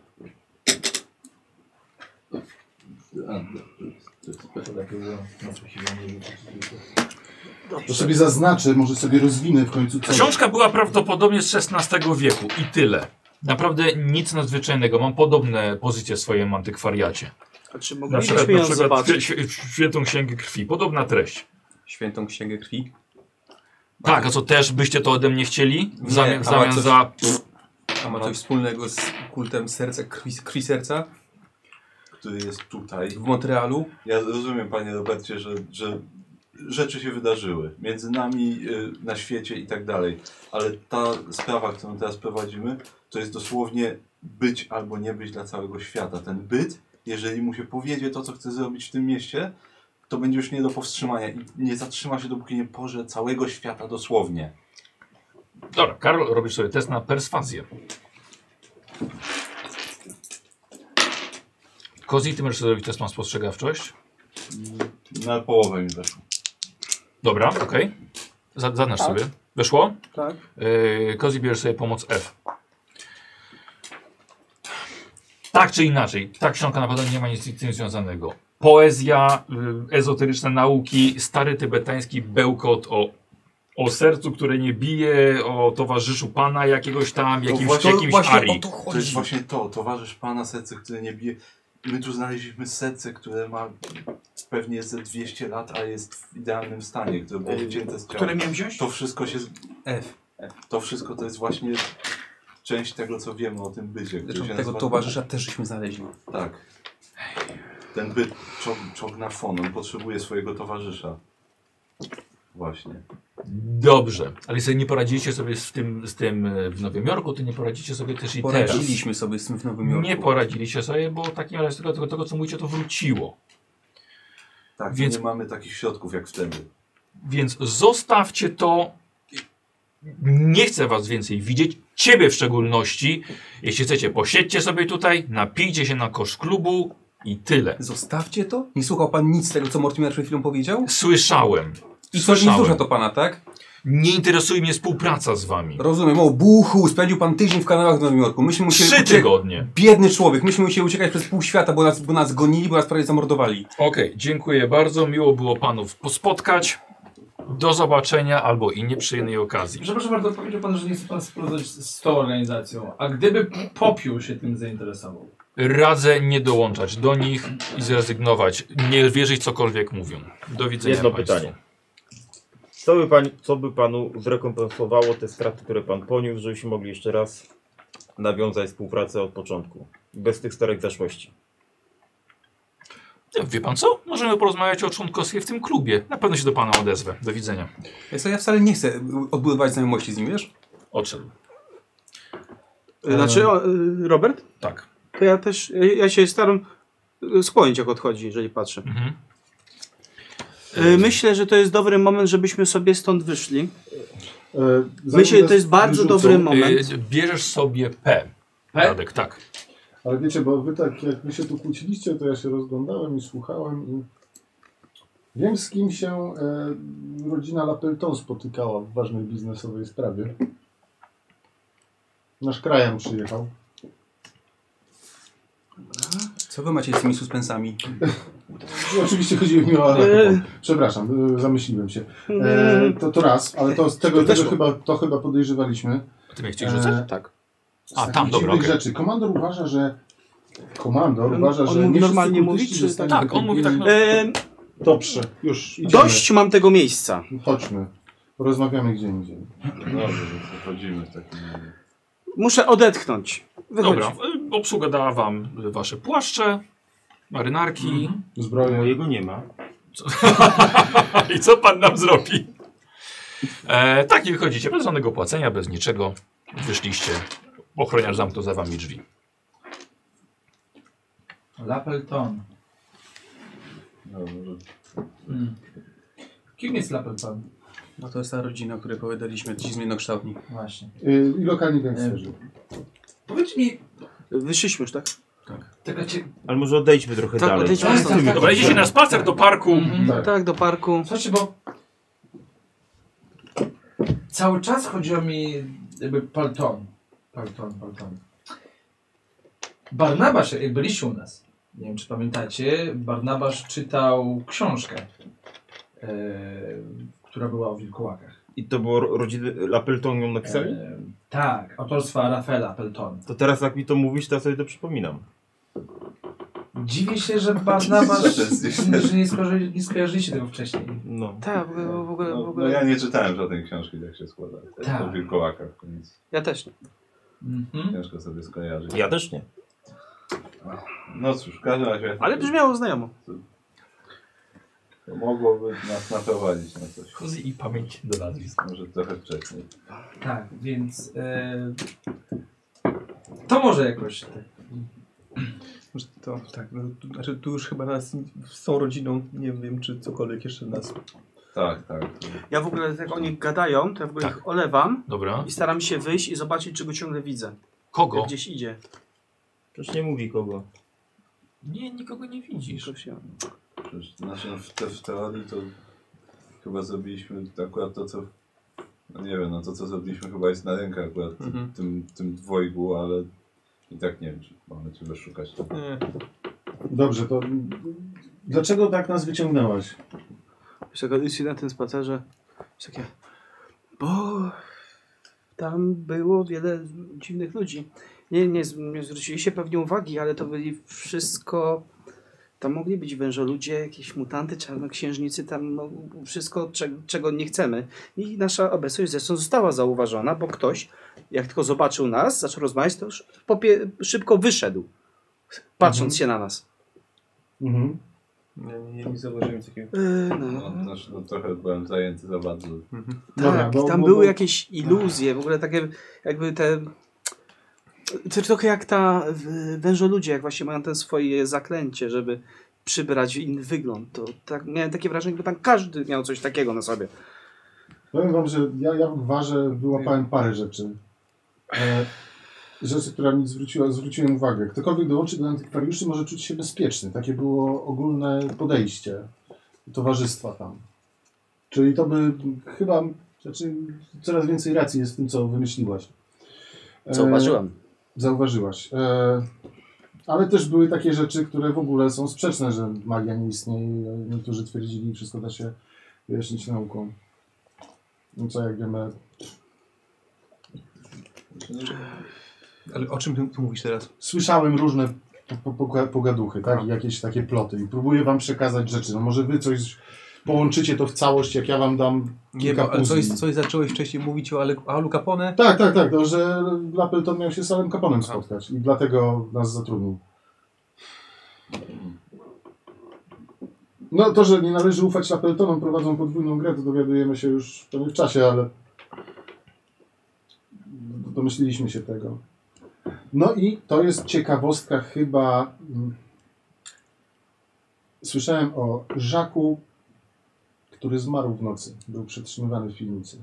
Speaker 4: To sobie zaznaczę, może sobie rozwinę w końcu coś.
Speaker 1: Książka była prawdopodobnie z XVI wieku i tyle. Naprawdę nic nadzwyczajnego. Mam podobne pozycje w swoim antykwariacie.
Speaker 3: A czy
Speaker 1: Na
Speaker 3: moglibyśmy
Speaker 1: przykład,
Speaker 3: ją
Speaker 1: na przykład
Speaker 3: zobaczyć?
Speaker 1: św- św- Świętą Księgę Krwi. Podobna treść.
Speaker 7: Świętą Księgę Krwi?
Speaker 1: Tak, a co też byście to ode mnie chcieli? W zamian,
Speaker 7: Nie,
Speaker 1: w
Speaker 7: a ma
Speaker 1: zamian
Speaker 7: coś-
Speaker 1: za...
Speaker 7: A
Speaker 15: No.
Speaker 7: ma coś wspólnego z kultem serca, krwi, krwi serca?
Speaker 8: Który jest tutaj.
Speaker 7: W Montrealu?
Speaker 8: Ja rozumiem, panie Robercie, że, że rzeczy się wydarzyły między nami, y, na świecie i tak dalej, ale ta sprawa, którą teraz prowadzimy, to jest dosłownie być albo nie być dla całego świata. Ten byt, jeżeli mu się powiedzie to, co chce zrobić w tym mieście, to będzie już nie do powstrzymania i nie zatrzyma się, dopóki nie porze całego świata dosłownie.
Speaker 1: Dobra, Karol, robisz sobie test na perswazję. Kozi, ty możesz sobie zrobić test na spostrzegawczość.
Speaker 8: Na połowę mi weszło.
Speaker 1: Dobra, okej. Za- Zaznacz
Speaker 8: Tak.
Speaker 1: sobie. Weszło?
Speaker 8: Tak.
Speaker 1: Yy, Kozi, bierzesz sobie pomoc F. Tak czy inaczej, ta książka na pewno nie ma nic z tym związanego. Poezja, y, ezoteryczne nauki, stary tybetański bełkot o, o sercu, które nie bije, o towarzyszu pana jakiegoś tam,
Speaker 8: To
Speaker 1: jakimś,
Speaker 8: właśnie-
Speaker 1: jakimś arii.
Speaker 8: To jest właśnie to, towarzysz pana serce, które nie bije. My tu znaleźliśmy serce, które ma pewnie jest ze 200 lat, a jest w idealnym stanie, Y, które było
Speaker 7: Ej,
Speaker 8: wycięte z ciała.
Speaker 7: które miałem wziąć?
Speaker 8: To wszystko się... z-
Speaker 7: F.
Speaker 8: To wszystko to jest właśnie część tego, co wiemy o tym bycie. który
Speaker 7: Zresztą
Speaker 8: się
Speaker 7: tego
Speaker 8: nazywa-
Speaker 7: towarzysza też żeśmy znaleźli.
Speaker 8: Tak. Ten byt ciąg- ciągnafon, on potrzebuje swojego towarzysza. Właśnie.
Speaker 1: Dobrze, ale sobie nie poradziliście sobie z tym, z tym y, w Nowym Jorku, to nie poradzicie sobie też i teraz.
Speaker 7: Poradziliśmy sobie z tym w Nowym Jorku.
Speaker 1: Nie poradziliście sobie, bo w takim razie tego, tego, tego co mówicie, to wróciło.
Speaker 8: Tak,
Speaker 1: Więc-
Speaker 8: Więc... nie mamy takich środków jak wtedy.
Speaker 1: Więc zostawcie to. Nie chcę was więcej widzieć. Ciebie w szczególności. Jeśli chcecie, posiedźcie sobie tutaj, napijcie się na kosz klubu i tyle.
Speaker 7: Zostawcie to? Nie słuchał pan nic z tego, co Mortimer przed chwilą powiedział?
Speaker 1: Słyszałem.
Speaker 7: I coś nie wzrusza to pana, tak?
Speaker 1: Nie interesuje mnie współpraca z wami.
Speaker 7: Rozumiem, o buchu, spędził pan tydzień w kanałach w Nowym Jorku. Myśmy musieli
Speaker 1: Trzy
Speaker 7: uciek-
Speaker 1: tygodnie.
Speaker 7: Biedny człowiek, myśmy musieli uciekać przez pół świata, bo nas, bo nas gonili, bo nas prawie zamordowali.
Speaker 1: Okej, dziękuję bardzo. Miło było panów pospotkać. Do zobaczenia albo i nieprzyjemnej okazji.
Speaker 9: Przepraszam bardzo, powiedział pan, że nie chce pan spróbować z z tą organizacją. A gdyby popiół się tym zainteresował?
Speaker 1: Radzę nie dołączać do nich i zrezygnować. Nie wierzyć cokolwiek mówią. Do widzenia
Speaker 5: Jedno
Speaker 1: państwu.
Speaker 5: pytanie. Co by, pan, co by panu zrekompensowało te straty, które pan poniósł, żebyśmy mogli jeszcze raz nawiązać współpracę od początku? Bez tych starek zaszłości.
Speaker 1: No, Wie pan co? Możemy porozmawiać o członkostwie w tym klubie. Na pewno się do pana odezwę. Do widzenia.
Speaker 7: Więc ja wcale nie chcę odbudować znajomości z nim, wiesz?
Speaker 1: Odszedł.
Speaker 3: Znaczy, o, y, Robert?
Speaker 1: Tak.
Speaker 3: To ja też, ja- ja się staram y, skłonić jak odchodzi, jeżeli patrzę.
Speaker 1: Mhm.
Speaker 3: Y, Myślę, że to jest dobry moment, żebyśmy sobie stąd wyszli.
Speaker 4: E,
Speaker 3: Myślę, że to jest bardzo dobry moment.
Speaker 1: Y, Bierzesz sobie P. Radek, tak.
Speaker 4: Ale wiecie, bo wy tak, jak wy się tu kłóciliście, to ja się rozglądałem i słuchałem i wiem z kim się e, rodzina Lapelton spotykała w ważnej biznesowej sprawie. Nasz krajem przyjechał.
Speaker 7: Co wy macie z tymi suspensami?
Speaker 4: No, Oczywiście chodziło mi o alkohol. Przepraszam, e, zamyśliłem się. E, to, to raz, ale to z tego,
Speaker 7: To
Speaker 4: tego
Speaker 7: weszło.
Speaker 4: chyba, to chyba podejrzewaliśmy.
Speaker 1: A ty mnie chciałeś rzucać?
Speaker 7: Tak.
Speaker 4: Z
Speaker 1: A,
Speaker 4: takich
Speaker 1: tam, dobra,
Speaker 4: dziwnych
Speaker 1: okej.
Speaker 4: rzeczy. Komandor uważa, że Komandor uważa,
Speaker 3: on
Speaker 4: że
Speaker 3: mówi
Speaker 4: nie wszyscy
Speaker 3: normalnie
Speaker 4: kultyści
Speaker 3: mówić, czy
Speaker 4: zostali
Speaker 3: tak?
Speaker 4: wykupieni.
Speaker 3: Em,
Speaker 4: Dobrze, już idziemy.
Speaker 3: Dość mam tego miejsca.
Speaker 4: Chodźmy. Porozmawiamy gdzie indziej.
Speaker 8: Dobrze, więc wychodzimy w takim razie.
Speaker 3: Muszę odetchnąć. Wychodź.
Speaker 1: Dobra. y, Obsługa dała wam wasze płaszcze, marynarki.
Speaker 5: Mhm.
Speaker 4: Zbroję.
Speaker 5: Mojego nie ma.
Speaker 1: I co pan nam zrobi? E, tak, i wychodzicie. Bez żadnego płacenia, bez niczego. Wyszliście. Ochroniarz zamknął za wami drzwi.
Speaker 9: Lapelton. Mm. Kim jest Lapelton?
Speaker 7: No
Speaker 4: y,
Speaker 7: to jest ta rodzina, o której opowiadaliśmy, ci zmienokształtni.
Speaker 9: Właśnie.
Speaker 4: Yy, I lokalni gangsterzy.
Speaker 9: Powiedz mi...
Speaker 3: Wyszliśmy już, tak?
Speaker 9: Taka cie...
Speaker 14: Ale może odejdźmy trochę
Speaker 3: Tak,
Speaker 14: dalej.
Speaker 3: odejdźmy stąd.
Speaker 14: Tymi-
Speaker 3: Dobra, idziecie na spacer do parku.
Speaker 14: Mhm.
Speaker 3: Tak. do parku.
Speaker 9: No Słuchajcie, bo cały czas chodziło mi jakby palton. Palton, palton. Barnabasz, jak byliście u nas, nie wiem czy pamiętacie, Barnabasz czytał książkę, e, która była o wilkołakach.
Speaker 14: I to było ro- rodziny Lapelton ją napisali?
Speaker 5: Yy.
Speaker 9: Em, tak, autorstwa Rafaela Peltona.
Speaker 14: To teraz
Speaker 5: tak
Speaker 14: jak mi to mówisz, to ja sobie to przypominam.
Speaker 9: Dziwię się, że Barnabasz,
Speaker 8: Jezus.
Speaker 9: że nie, skojarzy, nie skojarzyliście tego wcześniej.
Speaker 14: No.
Speaker 3: Tak, bo w ogóle... W
Speaker 8: No,
Speaker 3: ogóle...
Speaker 8: no ja nie czytałem żadnej książki, tak się składa.
Speaker 9: Tak.
Speaker 8: Tak. O wilkołakach, więc
Speaker 3: Ja też nie.
Speaker 9: Mhm.
Speaker 8: ciężko sobie skojarzyć.
Speaker 14: Ja też nie.
Speaker 8: No cóż, w każdym razie...
Speaker 3: Ale brzmiało znajomo.
Speaker 8: To mogłoby nas naprowadzić na coś.
Speaker 11: Kozy i pamięć do nazwisk.
Speaker 8: Może trochę wcześniej.
Speaker 9: Tak, więc e, to może jakoś tak.
Speaker 15: Może To, tak, no, tu, znaczy tu już chyba nas z tą rodziną, nie wiem czy cokolwiek jeszcze nas.
Speaker 8: Tak, tak.
Speaker 3: Ja w ogóle, jak oni gadają, to ja w ogóle ich olewam
Speaker 11: Dobra.
Speaker 3: i staram się wyjść i zobaczyć, czego ciągle widzę.
Speaker 11: Kogo?
Speaker 3: Jak gdzieś idzie.
Speaker 14: Przecież nie mówi kogo.
Speaker 11: Nie, nikogo nie widzisz.
Speaker 3: Jakoś ja-
Speaker 8: Przecież, znaczy w, te, w teorii to chyba zrobiliśmy akurat to, co... No nie wiem, no to co zrobiliśmy chyba jest na rękę akurat ty-
Speaker 15: Mhm.
Speaker 8: tym, tym dwojgu, ale i tak nie wiem, czy mamy cię wyszukać.
Speaker 3: Mhm.
Speaker 15: Nie.
Speaker 4: Dobrze, to mm, dlaczego tak nas wyciągnęłaś?
Speaker 3: Wiesz, jak idzie na tym spacerze, jest takie, bo tam było wiele dziwnych ludzi. Nie, nie, z- nie zwrócili się pewnie uwagi, ale to byli wszystko, tam mogli być wężoludzie, jakieś mutanty, czarnoksiężnicy, tam no, wszystko, cze, czego nie chcemy. I nasza obecność zresztą została zauważona, bo ktoś, jak tylko zobaczył nas, zaczął rozmawiać, to już popie, szybko wyszedł, patrząc się na nas.
Speaker 4: Mhm.
Speaker 15: Nie, nie, nie zauważyłem takiego.
Speaker 3: Yy,
Speaker 8: No, znaczy, no trochę byłem zajęty za bardzo.
Speaker 4: Dobra,
Speaker 3: Tak,
Speaker 4: bo-
Speaker 3: tam
Speaker 4: bo-
Speaker 3: były
Speaker 4: bo-
Speaker 3: jakieś iluzje, w ogóle takie jakby te... To trochę jak ta y, wężoludzie, jak właśnie mają ten swoje zaklęcie, żeby przybrać inny wygląd. To tak, miałem takie wrażenie, jakby tam każdy miał coś takiego na sobie.
Speaker 4: Powiem wam, że ja, ja w gwarze wyłapałem parę rzeczy. E, rzeczy, która mi zwróciła, zwróciłem uwagę. Ktokolwiek dołączy do antykwariuszy może czuć się bezpieczny. Takie było ogólne podejście towarzystwa tam. Czyli to by chyba, znaczy coraz więcej racji jest w tym, co wymyśliłaś. E,
Speaker 3: Zauważyłam.
Speaker 4: Zauważyłaś. E, ale też były takie rzeczy, które w ogóle są sprzeczne, że magia nie istnieje. e, Niektórzy twierdzili, wszystko da się wyjaśnić nauką. No co, jak wiemy,
Speaker 15: Ale o czym ty, ty mówisz teraz?
Speaker 4: słyszałem różne po- po- pogaduchy, tak? I jakieś takie ploty. I próbuję wam przekazać rzeczy. No może wy coś połączycie to w całość, jak ja wam dam
Speaker 15: Nie,
Speaker 4: kilka
Speaker 15: bo ale coś,
Speaker 4: puzli.
Speaker 15: coś zacząłeś wcześniej mówić o Ale- Alu Capone?
Speaker 4: Tak, tak, tak. To, że Lapelton miał się z samym kaponem spotkać i dlatego nas zatrudnił. No to, że nie należy ufać Lapeltonom, prowadzą podwójną grę, to dowiadujemy się już pewnie w czasie, ale domyśliliśmy się tego. No i to jest ciekawostka chyba... mm, Słyszałem o Żaku, który zmarł w nocy. Był przetrzymywany w piwnicy.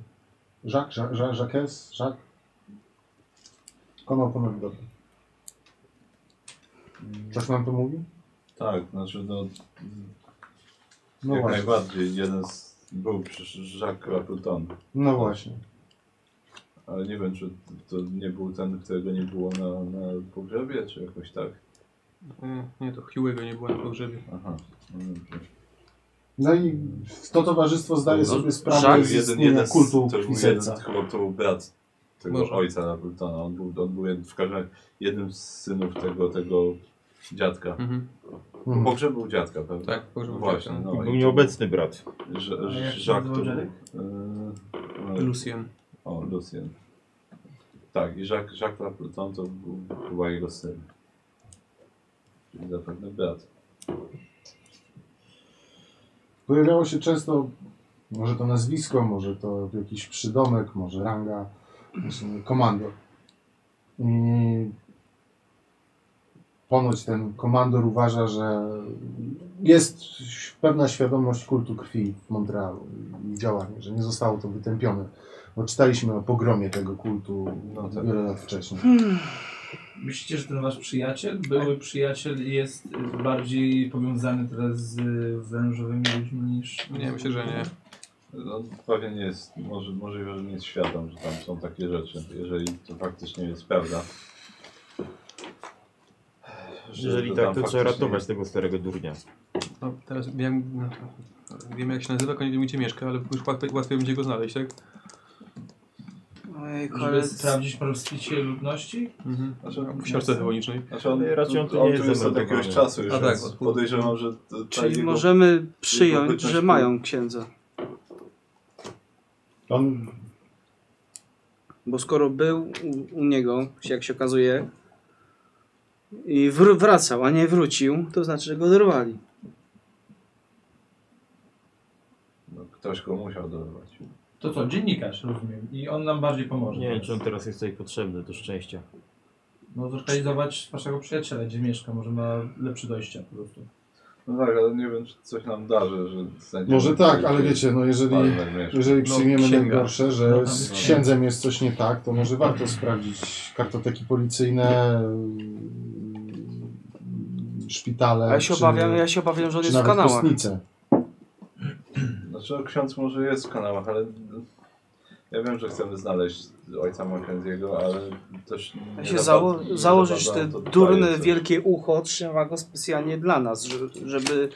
Speaker 4: Jacques, Jacques, Jacques, Jacques, Jacques. Konał ponad dobry. Coś Mm. nam to mówi?
Speaker 8: Tak, znaczy no,
Speaker 4: No
Speaker 8: jak
Speaker 4: właśnie.
Speaker 8: najbardziej jeden z, był przecież Jacques Laputon,
Speaker 4: No właśnie.
Speaker 8: ale nie wiem czy to nie był ten, którego nie było na, na pogrzebie, czy jakoś tak.
Speaker 15: Nie, E, nie to Hughego nie było na pogrzebie.
Speaker 8: Aha. no dobrze.
Speaker 4: No i to towarzystwo zdaje
Speaker 8: No,
Speaker 4: sobie Tak, sprawę
Speaker 8: Jacques,
Speaker 4: z
Speaker 8: jeden,
Speaker 4: istnienia
Speaker 8: jeden z,
Speaker 4: kultu
Speaker 8: to był
Speaker 4: i
Speaker 8: jeden,
Speaker 4: serca.
Speaker 8: chyba to był brat tego
Speaker 15: Może.
Speaker 8: ojca Laputona, on był, on był jed- w każdym razie jednym z synów tego, tego dziadka.
Speaker 15: Mhm.
Speaker 4: Mhm.
Speaker 8: Pogrzeb był dziadka, prawda?
Speaker 15: Tak, pogrzebał
Speaker 8: Właśnie,
Speaker 15: dziadka.
Speaker 8: no.
Speaker 14: Był nieobecny brat.
Speaker 8: Ż-
Speaker 19: A jak się
Speaker 8: Jacques to
Speaker 19: nazywał
Speaker 8: był...
Speaker 19: dziadek?
Speaker 8: Yy, yy,
Speaker 15: Lucien.
Speaker 8: O, Lucien. Tak, i Jacques, Jacques Laputon to był chyba jego syn. Czyli zapewne brat.
Speaker 4: Pojawiało się często, może to nazwisko, może to jakiś przydomek, może ranga, właśnie komandor. I ponoć ten komandor uważa, że jest pewna świadomość kultu krwi w Montrealu i działanie, że nie zostało to wytępione. Bo czytaliśmy o pogromie tego kultu
Speaker 8: No tak.
Speaker 4: wiele lat wcześniej.
Speaker 9: Myślicie, że ten wasz przyjaciel, były przyjaciel jest y, bardziej powiązany teraz z y, wężowymi ludźmi niż...
Speaker 7: Nie, myślę, że nie.
Speaker 8: No, pewnie nie jest, może, możliwe, że nie jest świadom, że tam są takie rzeczy, jeżeli to faktycznie jest prawda. Że
Speaker 5: Jeżeli tak,
Speaker 8: tam
Speaker 5: to trzeba
Speaker 8: faktycznie
Speaker 5: ratować tego starego durnia.
Speaker 7: No, teraz wiem, no, wiem jak się nazywa, tylko nie wiem gdzie mieszka, ale już łatwiej, łatwiej będzie go znaleźć, tak?
Speaker 3: Ojej,
Speaker 9: Żeby sprawdzić rozbicie ludności?
Speaker 7: Mhm.
Speaker 8: Znaczy,
Speaker 7: W książce teologicznej.
Speaker 8: Znaczy on,
Speaker 5: Raczej on
Speaker 8: on
Speaker 5: tu
Speaker 8: tu
Speaker 5: nie
Speaker 8: jest,
Speaker 5: jest
Speaker 8: od jakiegoś
Speaker 5: zameldowany.
Speaker 8: czasu już,
Speaker 7: A tak,
Speaker 8: więc
Speaker 7: od-
Speaker 8: podejrzewam, że... To, ta
Speaker 3: Czyli
Speaker 8: jego-
Speaker 3: możemy
Speaker 8: jego
Speaker 3: przyjąć, że
Speaker 8: bytność-
Speaker 3: mają księdza.
Speaker 4: On
Speaker 3: Bo skoro był u, u niego, jak się okazuje, i wr- wracał, a nie wrócił, to znaczy, że go dorwali.
Speaker 8: No, ktoś go musiał dorwać.
Speaker 9: To co, dziennikarz, rozumiem. I on nam bardziej pomoże.
Speaker 5: Nie wiem,
Speaker 9: teraz.
Speaker 5: czy on teraz jest tutaj potrzebny do szczęścia.
Speaker 9: No zorganizować waszego przyjaciela, gdzie mieszka, może ma lepsze dojście po prostu.
Speaker 8: No tak, ale nie wiem, czy coś nam da, że... że znajdziemy
Speaker 4: Może tak,
Speaker 8: gdzieś
Speaker 4: ale wiecie, no jeżeli,
Speaker 8: palmer mieszka.
Speaker 4: jeżeli
Speaker 7: No,
Speaker 4: przyjmiemy
Speaker 7: księga.
Speaker 4: najgorsze,
Speaker 9: No,
Speaker 4: że
Speaker 9: tam
Speaker 4: z
Speaker 9: jest-
Speaker 4: księdzem jest coś nie tak, to może warto sprawdzić kartoteki policyjne, mm, szpitale,
Speaker 3: A ja się
Speaker 4: czy,
Speaker 3: obawiam, ja się obawiam, że on
Speaker 4: czy
Speaker 3: jest w
Speaker 4: nawet
Speaker 3: kanałach.
Speaker 4: kostnice.
Speaker 8: Znaczy, no, ksiądz może jest w kanałach, ale... Ja wiem, że chcemy znaleźć ojca Mackenzie'ego, ale też... nie
Speaker 3: Ja się
Speaker 8: za
Speaker 3: zało
Speaker 8: bardzo-
Speaker 3: założyć
Speaker 8: za
Speaker 3: te
Speaker 8: bardzo
Speaker 3: durne,
Speaker 8: daje coś.
Speaker 3: wielkie ucho, trzyma go specjalnie dla nas, że- żeby,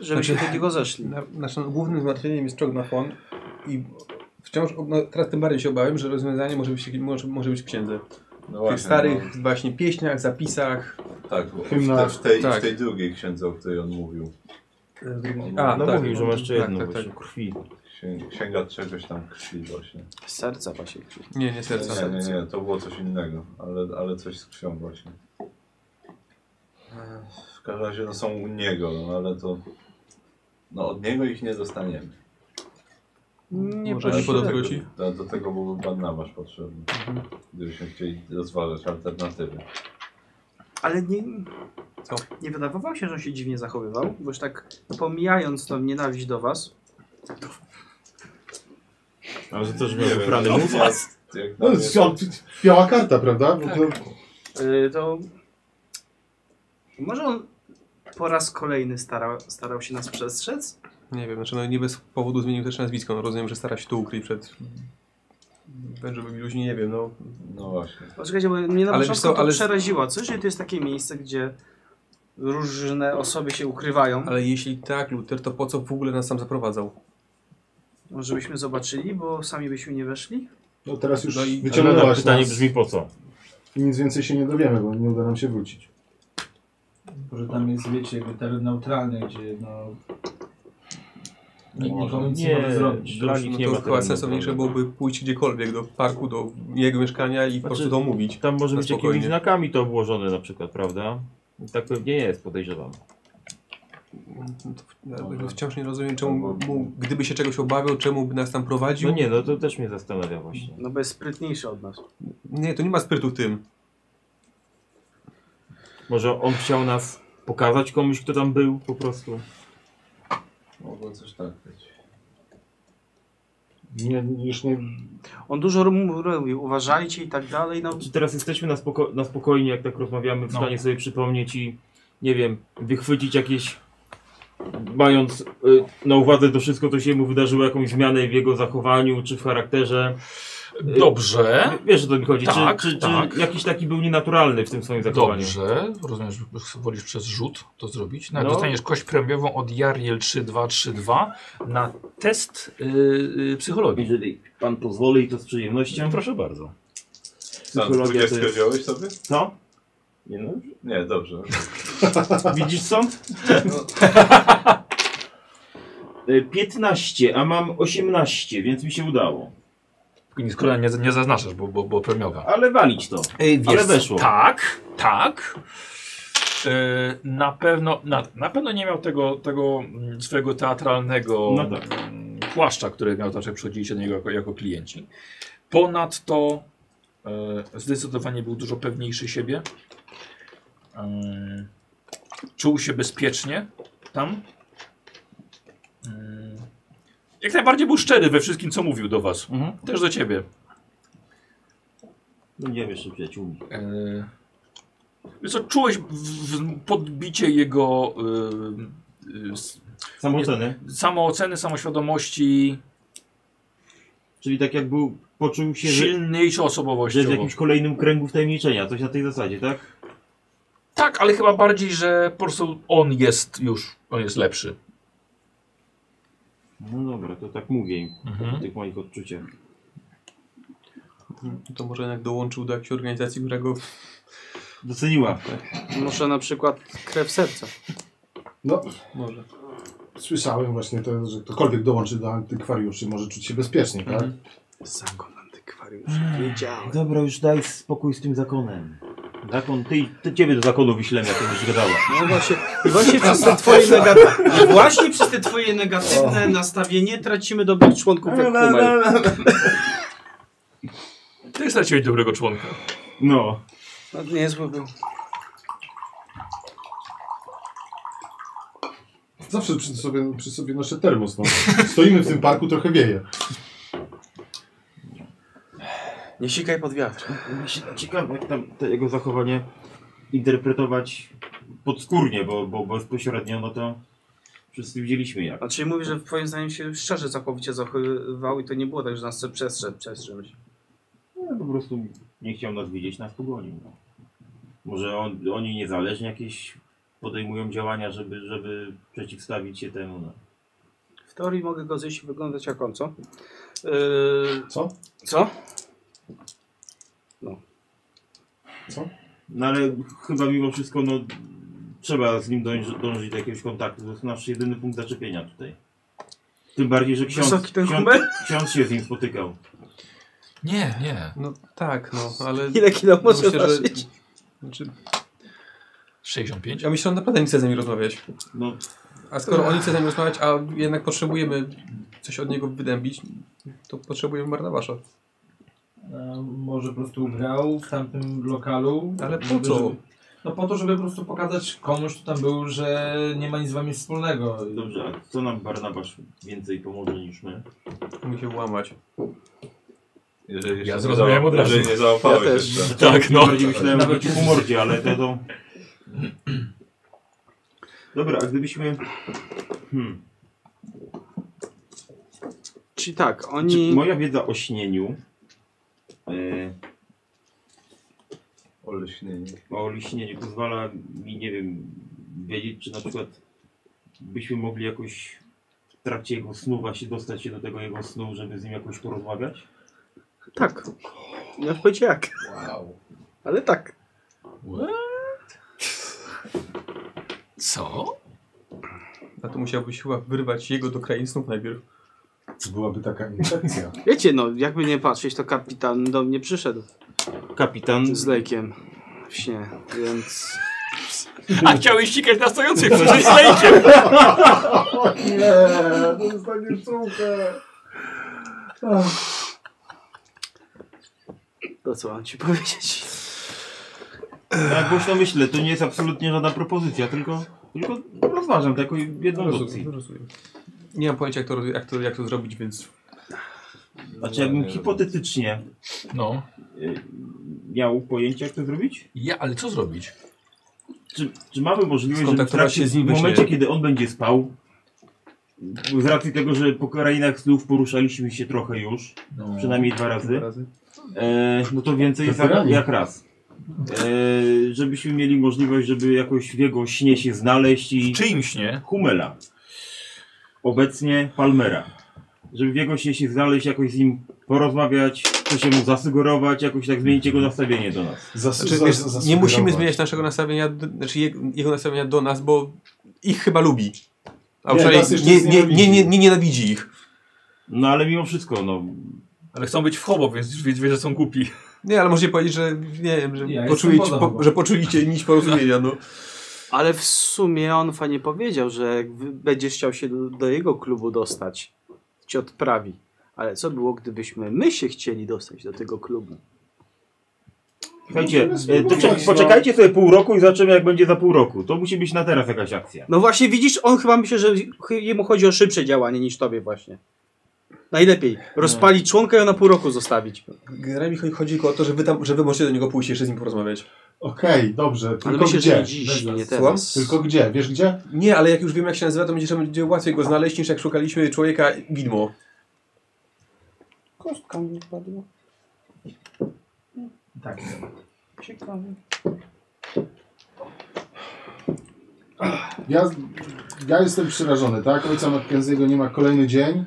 Speaker 3: żeby się
Speaker 7: Znaczy-
Speaker 3: takiego zeszli.
Speaker 7: Na, naszym głównym zmartwieniem jest czognafon i wciąż, no, teraz tym bardziej się obawiam, że rozwiązanie może być, może, może być w księdze.
Speaker 8: No
Speaker 7: W
Speaker 8: właśnie,
Speaker 7: tych starych właśnie pieśniach, zapisach.
Speaker 8: no, tak, bo w,
Speaker 4: hymnach.
Speaker 8: te, w, tej,
Speaker 7: Tak.
Speaker 8: w tej drugiej księdze, o której on mówił.
Speaker 7: A,
Speaker 5: No
Speaker 7: tak.
Speaker 5: mówił, że masz jeszcze
Speaker 7: Tak,
Speaker 5: jedno
Speaker 7: tak,
Speaker 5: tak,
Speaker 7: tak.
Speaker 5: krwi.
Speaker 8: Księ- Księga czegoś tam krwi właśnie.
Speaker 3: Serca właśnie.
Speaker 7: Nie, nie
Speaker 3: Tak,
Speaker 7: serca.
Speaker 8: Nie, nie, nie, to było coś innego, ale, ale coś z krwią właśnie.
Speaker 3: Eee.
Speaker 8: Ech, W każdym razie no, są u niego, no ale to... No od niego ich nie dostaniemy.
Speaker 3: Nie
Speaker 7: Może nie
Speaker 3: prosi-
Speaker 7: podobnego ci?
Speaker 8: Do, do tego byłby badnawarz potrzebny, gdybyśmy chcieli rozważać alternatywy.
Speaker 3: Ale nie,
Speaker 7: Co?
Speaker 3: nie wydawało się, że on się dziwnie zachowywał, bo już tak pomijając tą nienawiść do was,
Speaker 5: Ale że to, że
Speaker 8: Nie
Speaker 5: miał
Speaker 8: wiem,
Speaker 5: wyprany
Speaker 8: jak-
Speaker 5: mózg?
Speaker 8: jak
Speaker 4: No,
Speaker 8: na mnie to-
Speaker 4: biała karta, prawda? Bo
Speaker 3: Tak.
Speaker 4: to,
Speaker 3: y, to może on po raz kolejny starał, starał się nas przestrzec?
Speaker 7: Nie wiem, znaczy no nie bez powodu zmienił też nazwisko. No, rozumiem, że stara się to ukryć przed wężowymi ludźmi, nie wiem, no.
Speaker 8: No właśnie.
Speaker 3: Poczekajcie, bo mnie na
Speaker 7: Ale wiesz
Speaker 3: początku
Speaker 7: co,
Speaker 3: to
Speaker 7: ale-
Speaker 3: przeraziło. Co jeżeli to jest takie miejsce, gdzie różne osoby się ukrywają?
Speaker 7: Ale jeśli tak, Luther, to po co w ogóle nas tam zaprowadzał?
Speaker 3: Może byśmy zobaczyli, bo sami byśmy nie weszli?
Speaker 4: no teraz już
Speaker 7: No i-
Speaker 5: Ale
Speaker 4: wyciągnęłaś
Speaker 5: pytanie
Speaker 4: nas
Speaker 5: brzmi po co?
Speaker 4: i nic więcej się nie dowiemy, bo nie uda nam się wrócić.
Speaker 9: Może tam jest, wiecie, jakby teren neutralny, gdzie no... Nikt nikomu nic nie,
Speaker 5: Nie,
Speaker 9: może zrobić.
Speaker 5: dla
Speaker 7: Już,
Speaker 5: nich
Speaker 7: no
Speaker 5: nie
Speaker 7: to
Speaker 5: ma
Speaker 7: chyba
Speaker 5: terenu,
Speaker 7: sensowniejsze
Speaker 5: prawda?
Speaker 7: byłoby pójść gdziekolwiek, do parku, do jego mieszkania i po prostu to omówić.
Speaker 5: Tam może
Speaker 7: Na
Speaker 5: być jakimiś
Speaker 7: spokojnie.
Speaker 5: znakami to obłożone na przykład, prawda? I tak pewnie jest, podejrzewam.
Speaker 7: No to w- ja
Speaker 8: Dobra.
Speaker 7: Wciąż nie rozumiem, czemu mu, gdyby się czegoś obawiał, czemu by nas tam prowadził.
Speaker 5: No nie, no to też mnie zastanawia właśnie.
Speaker 3: No bo jest sprytniejszy od nas.
Speaker 7: nie, to nie ma sprytu w tym.
Speaker 5: Może on chciał nas pokazać komuś, kto tam był po prostu.
Speaker 8: Mogło coś tak być.
Speaker 4: Nie, już nie,
Speaker 3: On dużo rum- robił, uważajcie i tak dalej. No,
Speaker 5: Czy teraz jesteśmy na, spoko na spokojnie, jak tak rozmawiamy, w
Speaker 1: No.
Speaker 5: stanie sobie przypomnieć i, nie wiem, wychwycić jakieś, mając y, na uwadze to wszystko, co się mu wydarzyło, jakąś zmianę w jego zachowaniu czy w charakterze. Y,
Speaker 1: Dobrze.
Speaker 5: w- Wiesz, o co mi chodzi.
Speaker 1: Tak,
Speaker 5: czy, czy,
Speaker 1: tak.
Speaker 5: czy jakiś taki był nienaturalny w tym swoim zachowaniu?
Speaker 1: Dobrze. Rozumiem, że wolisz przez rzut to zrobić. No.
Speaker 5: No.
Speaker 1: Dostaniesz kość premiową od Jariel 3232 na test yy, yy, psychologii.
Speaker 5: Jeżeli pan pozwoli, to z przyjemnością. Proszę bardzo.
Speaker 8: Sam
Speaker 5: Psychologia to
Speaker 8: 20
Speaker 5: jest-
Speaker 8: wziąłeś sobie?
Speaker 5: Co? Nie no.
Speaker 8: Nie, dobrze.
Speaker 5: Widzisz sąd?
Speaker 1: No.
Speaker 5: *laughs* 15, Y, a mam 18, więc mi się udało.
Speaker 1: Tylko Nic skoro nie, nie zaznaczasz, bo, bo, bo premiowa.
Speaker 5: Ale walić to.
Speaker 1: Ej, Y, wiesz,
Speaker 5: Ale weszło.
Speaker 1: Tak, tak. E, Na pewno, na, na pewno nie miał tego, tego mm, swojego teatralnego
Speaker 5: No tak.
Speaker 1: mm, płaszcza, który miał zawsze przychodziliście do niego jako, jako klienci. Ponadto e, zdecydowanie był dużo pewniejszy siebie. Mm, Czuł się bezpiecznie tam. Mm, Jak najbardziej był szczery we wszystkim, co mówił do was.
Speaker 5: Mhm.
Speaker 1: Też do ciebie.
Speaker 5: No Będziemy jeszcze przyjaciółmi.
Speaker 1: E, Wiesz co, czułeś w, w, podbicie jego... Yy, yy, s-
Speaker 5: Samooceny.
Speaker 1: nie- Samooceny, samoświadomości,
Speaker 5: Czyli tak jakby poczuł się, że,
Speaker 1: silniejszą
Speaker 5: że jest w
Speaker 1: osobowościowo.
Speaker 5: jakimś kolejnym kręgu wtajemniczenia, coś na tej zasadzie, tak?
Speaker 1: Tak, ale chyba bardziej, że po prostu on jest już, on jest lepszy.
Speaker 5: No dobra, to tak mówię im,
Speaker 1: Mhm.
Speaker 5: o tych moich odczuciach.
Speaker 15: To może jednak dołączył do jakiejś organizacji, która go...
Speaker 5: Doceniła.
Speaker 3: Może na przykład krew serca.
Speaker 4: No,
Speaker 15: Może.
Speaker 4: słyszałem właśnie to, że ktokolwiek dołączy do antykwariuszy może czuć się bezpiecznie, tak?
Speaker 15: Zakon antykwariusz.
Speaker 5: Wiedziałem. Dobra, już daj spokój z tym zakonem. Zakon, Tak, ty, ty ciebie do zakonu wyślemy, jak będziesz gadała.
Speaker 3: No właśnie, i właśnie przez te *laughs* twoje negatywne, właśnie przez te twoje negatywne nastawienie tracimy dobrych członków jak Hummel.
Speaker 1: Ty straciłeś dobrego członka.
Speaker 5: No.
Speaker 3: No, niezły był.
Speaker 4: Zawsze przy sobie, przy sobie noszę termos, no. Stoimy w tym parku, trochę wieje.
Speaker 3: Nie sikaj pod wiatr.
Speaker 5: Ciekawe, jak tam to jego zachowanie interpretować podskórnie, bo, bo bezpośrednio, no to wszyscy widzieliśmy jak.
Speaker 3: A czyli mówisz, Znaczy, że twoim zdaniem się szczerze całkowicie zachowywał i to nie było tak, że nas chce przestrzec przez czymś.
Speaker 5: No, po prostu nie chciał nas widzieć, nas pogonił. No. Może on, oni niezależnie jakieś podejmują działania, żeby, żeby przeciwstawić się temu. No.
Speaker 3: W teorii mogę go zjeść i wyglądać jak on, co? Yy,
Speaker 4: Co?
Speaker 3: co?
Speaker 5: no ale chyba mimo wszystko no, trzeba z nim dążyć, dążyć do jakiegoś kontaktu. To jest nasz jedyny punkt zaczepienia tutaj. Tym bardziej, że ksiądz,
Speaker 3: Wysoki ten
Speaker 5: ksiądz,
Speaker 3: Hummel?
Speaker 5: ksiądz się z nim spotykał.
Speaker 1: Nie, nie.
Speaker 7: No tak, no, ale...
Speaker 3: Ile kilo
Speaker 7: no,
Speaker 3: może ważyć?
Speaker 7: Znaczy,
Speaker 1: 65?
Speaker 7: ja myślę, że on naprawdę nie chce z nimi rozmawiać.
Speaker 5: No,
Speaker 7: A skoro oni chce z nami rozmawiać, a jednak potrzebujemy coś od niego wydębić, to potrzebujemy Barnabasza.
Speaker 9: E, Może po prostu grał w tamtym lokalu.
Speaker 7: Ale po
Speaker 9: żeby-
Speaker 7: co?
Speaker 9: żeby- No po to, żeby po prostu pokazać komuś, kto tam był, że nie ma nic z wami wspólnego.
Speaker 5: Dobrze, a co nam Barnabasz więcej pomoże niż my?
Speaker 7: Musi się łamać.
Speaker 8: Jeżeli jeszcze
Speaker 1: Ja
Speaker 8: nie
Speaker 1: zrozumiałem
Speaker 8: zała-
Speaker 1: od razu.
Speaker 8: Jeżeli nie zaufałeś
Speaker 3: Ja też.
Speaker 8: jeszcze.
Speaker 1: Tak, no.
Speaker 5: Bardziej myślałem o jakiejś humordzie, ale to, to... Dobra, a gdybyśmy... Hmm.
Speaker 3: Czyli tak,
Speaker 5: Czy
Speaker 3: oni...
Speaker 5: Znaczy, moja wiedza o śnieniu, e,
Speaker 8: Oleśnienie.
Speaker 5: o liśnieniu pozwala mi, nie wiem, wiedzieć, czy na przykład byśmy mogli jakoś w trakcie jego snu właśnie dostać się do tego jego snu, żeby z nim jakoś porozmawiać?
Speaker 3: Tak. Nie mam pojęcia jak,
Speaker 11: Wow.
Speaker 3: ale tak.
Speaker 1: Co?
Speaker 7: A to musiałbyś chyba wyrwać jego do krain snów najpierw.
Speaker 4: To byłaby taka infekcja.
Speaker 3: Wiecie, no, jakby nie patrzeć, to kapitan do mnie przyszedł
Speaker 5: Kapitan...
Speaker 3: z lejkiem w śnie, więc...
Speaker 1: A chciałeś sikać na stojących przecież z lejkiem.
Speaker 4: Nie, dostaniesz czułkę.
Speaker 3: To co mam ci *laughs* powiedzieć?
Speaker 5: Ja głośno myślę, to nie jest absolutnie żadna propozycja, tylko, tylko rozważam to jako jedną z opcji.
Speaker 7: Rozumiem, rozumiem. Nie mam pojęcia, jak to, jak to, jak to zrobić, więc
Speaker 5: Znaczy, jakbym hipotetycznie
Speaker 1: No.
Speaker 5: y, miał pojęcie, jak to zrobić?
Speaker 1: Ja, ale co zrobić?
Speaker 5: Czy, czy mamy możliwość, że w,
Speaker 7: Skontaktować
Speaker 5: trakcie,
Speaker 7: się z nim
Speaker 5: w
Speaker 7: we
Speaker 5: momencie,
Speaker 7: śnie.
Speaker 5: kiedy on będzie spał, z racji tego, że po krainach snów poruszaliśmy się trochę już,
Speaker 1: No.
Speaker 5: przynajmniej dwa razy,
Speaker 7: dwa razy.
Speaker 5: e, no to więcej jest jak,
Speaker 4: Weterani.
Speaker 5: jak raz. E, żebyśmy mieli możliwość, żeby jakoś w jego śnie się znaleźć i...
Speaker 1: Czyimś nie?
Speaker 5: Humela. Obecnie Palmera. Żeby w jego się, się znaleźć, jakoś z nim porozmawiać, coś mu zasugerować, jakoś tak zmienić jego nastawienie do nas.
Speaker 4: Zas,
Speaker 7: Znaczy,
Speaker 4: zas,
Speaker 7: wiesz,
Speaker 4: zas,
Speaker 7: nie musimy zmieniać naszego nastawienia, d- znaczy je- jego nastawienia do nas, bo ich chyba lubi. A
Speaker 4: Nie,
Speaker 7: przynajmniej
Speaker 4: nas jeszcze
Speaker 7: nie, nie, nie,
Speaker 4: znienawidzi.
Speaker 7: nie, nie nienawidzi ich.
Speaker 5: No ale mimo wszystko, no.
Speaker 1: Ale chcą być w hobo, więc już wie, że są głupi.
Speaker 7: Nie, ale możecie powiedzieć, że nie wiem, że,
Speaker 9: Ja jestem
Speaker 7: poczuli,
Speaker 9: wodą
Speaker 7: po,
Speaker 9: chyba.
Speaker 7: że poczuliście nić porozumienia. No.
Speaker 3: Ale w sumie on fajnie powiedział, że jak wy- będziesz chciał się do, do jego klubu dostać, ci odprawi. Ale co było, gdybyśmy my się chcieli dostać do tego klubu?
Speaker 5: Słuchajcie,
Speaker 4: Możemy
Speaker 5: e, to
Speaker 4: spróbować,
Speaker 5: czek- poczekajcie sobie pół roku i zobaczymy jak będzie za pół roku. To musi być na teraz jakaś akcja.
Speaker 3: No właśnie, widzisz, on chyba myśli, że chy- jemu chodzi o szybsze działanie niż tobie właśnie. Najlepiej rozpalić członka i go na pół roku zostawić.
Speaker 7: Generalnie chodzi tylko o to, że wy, tam, że wy możecie do niego pójść i jeszcze z nim porozmawiać.
Speaker 4: Okej, dobrze. Tylko
Speaker 7: myślę, że
Speaker 4: gdzie?
Speaker 7: nie dziś, nie
Speaker 4: Słucham?
Speaker 7: teraz.
Speaker 4: Tylko gdzie? Wiesz gdzie?
Speaker 7: Nie, ale jak już wiem jak się nazywa, to będzie, będzie łatwiej go znaleźć niż jak szukaliśmy człowieka widmo.
Speaker 3: Kostka mi wypadła.
Speaker 21: Tak.
Speaker 3: Ciekawe.
Speaker 4: Ja, ja jestem przerażony, tak? Ojca Mackenzie'ego nie ma kolejny dzień.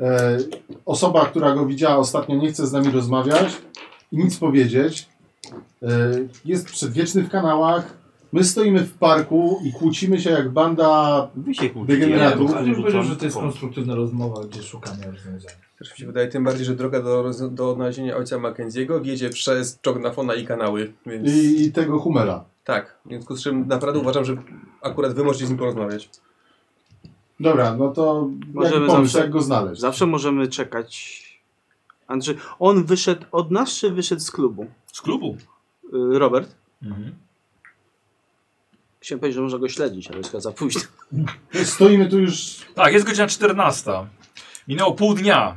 Speaker 4: E, osoba, która go widziała ostatnio, nie chce z nami rozmawiać i nic powiedzieć. E, jest przedwieczny w kanałach. My stoimy w parku i kłócimy się jak banda degeneratów.
Speaker 9: Nie, bo powiedział, że to jest konstruktywna rozmowa, gdzie szukamy rozwiązania.
Speaker 7: Też mi się wydaje, tym bardziej, że droga do, roz- do odnalezienia ojca Mackenziego wiedzie przez Czognafona i kanały. Więc...
Speaker 4: I, I tego Humera.
Speaker 7: Tak, w związku z czym naprawdę uważam, że akurat wy możecie z nim porozmawiać.
Speaker 4: Dobra, no to
Speaker 3: Możemy
Speaker 4: jak pomysł,
Speaker 3: zawsze-
Speaker 4: jak go znaleźć?
Speaker 3: Zawsze możemy czekać. Andrzej, on wyszedł od nas, czy wyszedł z klubu? Y,
Speaker 1: Z klubu?
Speaker 3: Robert?
Speaker 1: Mhm.
Speaker 3: Chciałem powiedzieć, że można go śledzić, ale jest chyba za późno.
Speaker 4: Stoimy tu już.
Speaker 1: Tak, jest godzina 14. Minęło pół dnia,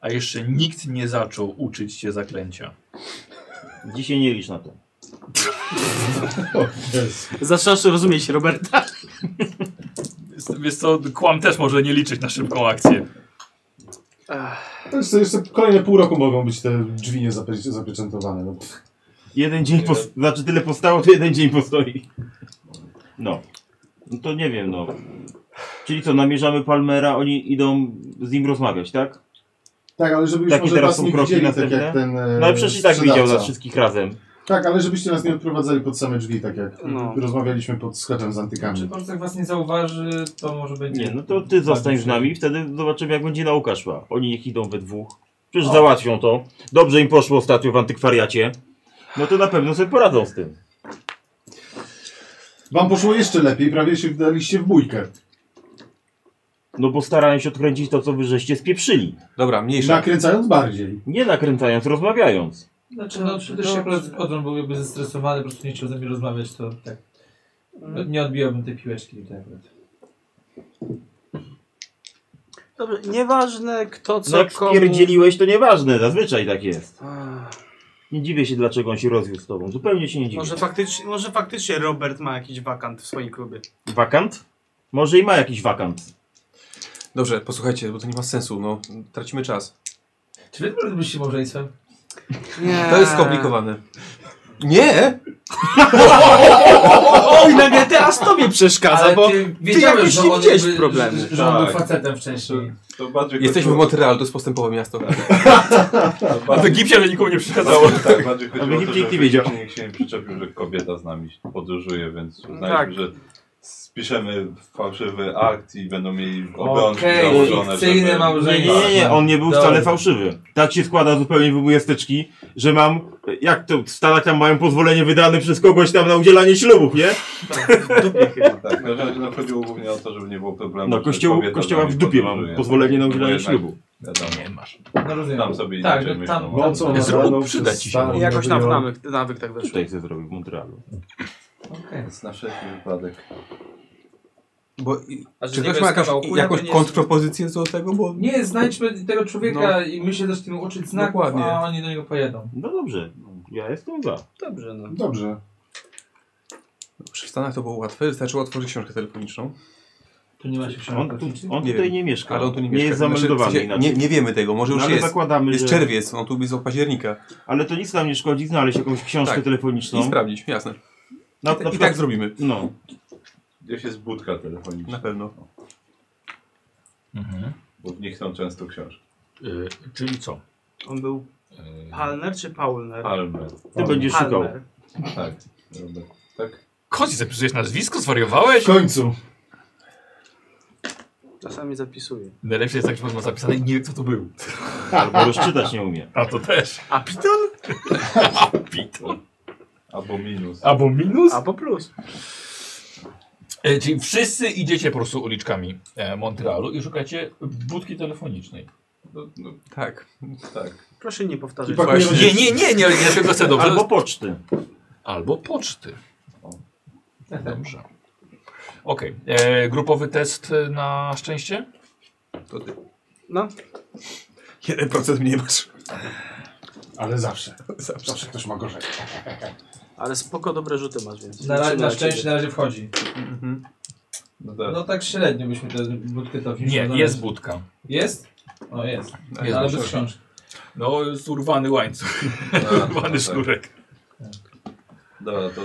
Speaker 1: a jeszcze nikt nie zaczął uczyć się zaklęcia.
Speaker 5: Dzisiaj nie licz na to.
Speaker 3: Zaczynasz rozumieć Roberta.
Speaker 1: Wiesz co, kłam też może nie liczyć na szybką akcję.
Speaker 4: To jeszcze, jeszcze kolejne pół roku mogą być te drzwi niezapie- zapieczętowane. No. pff.
Speaker 5: Jeden dzień, pos- znaczy tyle powstało, to jeden dzień postoi. No. No to nie wiem, no. Czyli co, namierzamy Palmera, oni idą z nim rozmawiać, tak?
Speaker 4: Tak, ale żeby już
Speaker 5: Takie
Speaker 4: może
Speaker 5: teraz
Speaker 4: was
Speaker 5: są
Speaker 4: nie
Speaker 5: kroki
Speaker 4: widzieli, tak
Speaker 5: następne?
Speaker 4: jak ten.
Speaker 9: Eee,
Speaker 4: e,
Speaker 5: No ale przecież i tak
Speaker 4: sprzedawca.
Speaker 5: widział nas wszystkich razem.
Speaker 4: Tak, ale żebyście nas nie odprowadzali pod same drzwi, tak jak
Speaker 21: No.
Speaker 4: rozmawialiśmy pod sklepem z antykami.
Speaker 21: Czy pan tak was nie zauważy, to może będzie...
Speaker 5: Hmm. Nie, no to ty zostań z nami i wtedy zobaczymy, jak będzie nauka szła. Oni niech idą we dwóch. Przecież
Speaker 21: O.
Speaker 5: załatwią to. Dobrze im poszło ostatnio w antykwariacie. No to na pewno sobie poradzą z tym.
Speaker 4: Wam poszło jeszcze lepiej, prawie się wdaliście w bójkę.
Speaker 5: No bo starałem się odkręcić to, co wy żeście spieprzyli.
Speaker 7: Dobra, mniejsza.
Speaker 4: Nakręcając bardziej.
Speaker 5: Nie nakręcając, rozmawiając.
Speaker 9: Znaczy, no, też się akurat zgodzę, bo byłby zestresowany, po prostu nie chciał ze mnie rozmawiać, to tak. No, nie odbijałbym tej piłeczki, tak akurat.
Speaker 3: Dobrze, nieważne kto co
Speaker 5: No jak
Speaker 3: komu...
Speaker 5: spierdzieliłeś, to nieważne, zazwyczaj tak jest.
Speaker 3: A,
Speaker 5: Nie dziwię się, dlaczego on się rozwiódł z tobą. Zupełnie się nie dziwię.
Speaker 3: Może faktycznie, może faktycznie Robert ma jakiś wakant w swoim klubie.
Speaker 5: Wakant? Może i ma jakiś wakant.
Speaker 7: Dobrze, posłuchajcie, bo to nie ma sensu, no tracimy czas.
Speaker 9: Czy wy może byście małżeństwem?
Speaker 3: Nie.
Speaker 7: To jest skomplikowane. Nie! Oj, nagle teraz tobie przeszkadza,
Speaker 9: Ale
Speaker 7: bo
Speaker 9: ty
Speaker 7: ty,
Speaker 9: wiedziałeś,
Speaker 7: jakoś
Speaker 9: że
Speaker 7: nie
Speaker 9: on
Speaker 7: widziałeś
Speaker 9: jakby-
Speaker 7: problemu.
Speaker 9: że- że on
Speaker 5: Tak.
Speaker 9: był facetem wcześniej.
Speaker 8: To bardziej
Speaker 7: Jesteśmy w
Speaker 8: chodziło-
Speaker 7: Montreal, to jest postępowe miasto.
Speaker 8: A to Egipcie,
Speaker 1: ale nikomu nie
Speaker 7: przeszkadzało.
Speaker 8: Tak, bardziej
Speaker 7: A w
Speaker 8: chodziło o to,
Speaker 7: Egipcie
Speaker 8: że
Speaker 7: nikt nie wiedział.
Speaker 8: Nikt się nie przyczepił, że kobieta z nami podróżuje, więc uznaliśmy,
Speaker 3: Tak.
Speaker 8: że spiszemy fałszywy akt i będą mieli obrączki
Speaker 9: Okej,
Speaker 8: założone,
Speaker 9: fikcyjne
Speaker 8: żeby...
Speaker 5: Nie,
Speaker 9: małżeństwo.
Speaker 5: nie, nie, nie, on nie był
Speaker 9: Dobra.
Speaker 5: wcale fałszywy. Tak się składa zupełnie wybój jasteczki, że mam, jak to w Stanach tam mają pozwolenie wydane przez kogoś tam na udzielanie ślubów, nie?
Speaker 8: Tak, no, że- no chodziło głównie o to, żeby nie było problemu.
Speaker 5: No,
Speaker 8: że
Speaker 5: kościołu-
Speaker 8: kobieta
Speaker 5: kościoła
Speaker 8: z nami
Speaker 5: w dupie mam
Speaker 8: podróżuje.
Speaker 5: pozwolenie na
Speaker 8: Bo
Speaker 5: udzielanie
Speaker 8: jednak,
Speaker 5: ślubu.
Speaker 8: Wiadomo,
Speaker 1: nie masz.
Speaker 21: No rozumiem.
Speaker 8: Tam sobie
Speaker 21: Tak,
Speaker 8: inaczej
Speaker 21: no tam-
Speaker 8: myślą.
Speaker 4: Bo co
Speaker 1: Zrób,
Speaker 4: rano
Speaker 1: przyda
Speaker 4: przez
Speaker 1: ci się.
Speaker 4: starą
Speaker 3: Jakoś nam
Speaker 4: wyjął-
Speaker 3: nawyk, nawyk tak wyszło.
Speaker 5: Tutaj się zrobił w Montrealu.
Speaker 21: Okej.
Speaker 8: Więc na wszelki wypadek.
Speaker 7: Bo i-
Speaker 9: A że
Speaker 7: czy
Speaker 9: nie
Speaker 7: ktoś
Speaker 9: bez
Speaker 7: ma jakąś,
Speaker 9: kawałku, ja
Speaker 7: jakąś
Speaker 9: bym nie-
Speaker 7: kontrpropozycję co do tego? Bo
Speaker 9: Nie, znajdźmy tego człowieka
Speaker 7: No.
Speaker 9: i my się zaczniemy uczyć znaków,
Speaker 7: Dokładnie.
Speaker 9: a oni do niego pojedą.
Speaker 5: No dobrze, ja jestem za.
Speaker 3: Dobrze, no.
Speaker 4: Dobrze.
Speaker 7: w Stanach to było łatwe, wystarczyło otworzyć książkę telefoniczną.
Speaker 9: Tu nie ma się książek.
Speaker 5: On, tu, on tutaj
Speaker 7: wiem.
Speaker 5: nie mieszka.
Speaker 7: Ale on tu nie,
Speaker 5: nie
Speaker 7: mieszka.
Speaker 5: jest
Speaker 7: Znaczy, w
Speaker 5: zameldowany
Speaker 7: sensie
Speaker 5: inaczej.
Speaker 7: nie, nie wiemy tego, może
Speaker 5: No,
Speaker 7: już
Speaker 5: ale
Speaker 7: jest,
Speaker 5: zakładamy,
Speaker 7: jest
Speaker 5: że-
Speaker 7: czerwiec, on tu jest od października.
Speaker 5: Ale to nic nam nie szkodzi znaleźć jakąś książkę
Speaker 7: Tak. I
Speaker 5: telefoniczną.
Speaker 7: sprawdzić, jasne.
Speaker 5: Na- No.
Speaker 7: I,
Speaker 5: na
Speaker 7: I
Speaker 5: przykład-
Speaker 7: tak zrobimy,
Speaker 5: No,
Speaker 8: Gdzieś jest budka telefoniczna,
Speaker 7: na pewno.
Speaker 8: bo w nich są często książki.
Speaker 1: Y, czyli co?
Speaker 3: On był Palner czy Paulner?
Speaker 8: Palmer.
Speaker 5: ty będziesz szukał.
Speaker 3: Palmer.
Speaker 8: Tak. Robert. Tak?
Speaker 1: Kozi, zapisujesz nazwisko?
Speaker 4: W
Speaker 1: Zwariowałeś?
Speaker 4: końcu.
Speaker 3: Czasami zapisuję.
Speaker 1: Najlepsze jest tak, że ma zapisane i nie wie kto to był.
Speaker 5: Albo rozczytać nie
Speaker 7: *laughs*
Speaker 5: umie.
Speaker 1: A to też.
Speaker 3: A Piton?
Speaker 8: Albo minus.
Speaker 1: Albo minus?
Speaker 3: Albo plus.
Speaker 1: E, czyli wszyscy idziecie po prostu uliczkami e, Montrealu i szukacie budki telefonicznej.
Speaker 8: No, no,
Speaker 7: Tak.
Speaker 8: tak.
Speaker 3: Proszę nie powtarzać.
Speaker 4: I pakujemy-
Speaker 1: Nie, nie, nie, nie, nie tego chcę dobrze.
Speaker 5: Albo
Speaker 1: *laughs* Albo,
Speaker 5: poczty.
Speaker 1: poczty. Dobrze. Okej. e, Grupowy test e, na szczęście?
Speaker 7: To ty.
Speaker 3: No,
Speaker 7: 1% mniej masz.
Speaker 4: Ale zawsze.
Speaker 7: Zawsze.
Speaker 4: Zawsze ktoś ma gorzej.
Speaker 3: Ale spoko, dobre rzuty masz, więc...
Speaker 19: Na, razie,
Speaker 3: liczymy
Speaker 19: na szczęście
Speaker 3: ciebie.
Speaker 19: na razie wchodzi.
Speaker 8: No tak.
Speaker 19: No tak średnio byśmy tę budkę to
Speaker 1: Nie, jest budka.
Speaker 19: Jest? O, jest.
Speaker 1: A jest
Speaker 19: Ale
Speaker 1: książka.
Speaker 19: bez książki.
Speaker 1: No, jest urwany łańcuch. urwany
Speaker 8: tak.
Speaker 1: sznurek.
Speaker 8: Dobra, to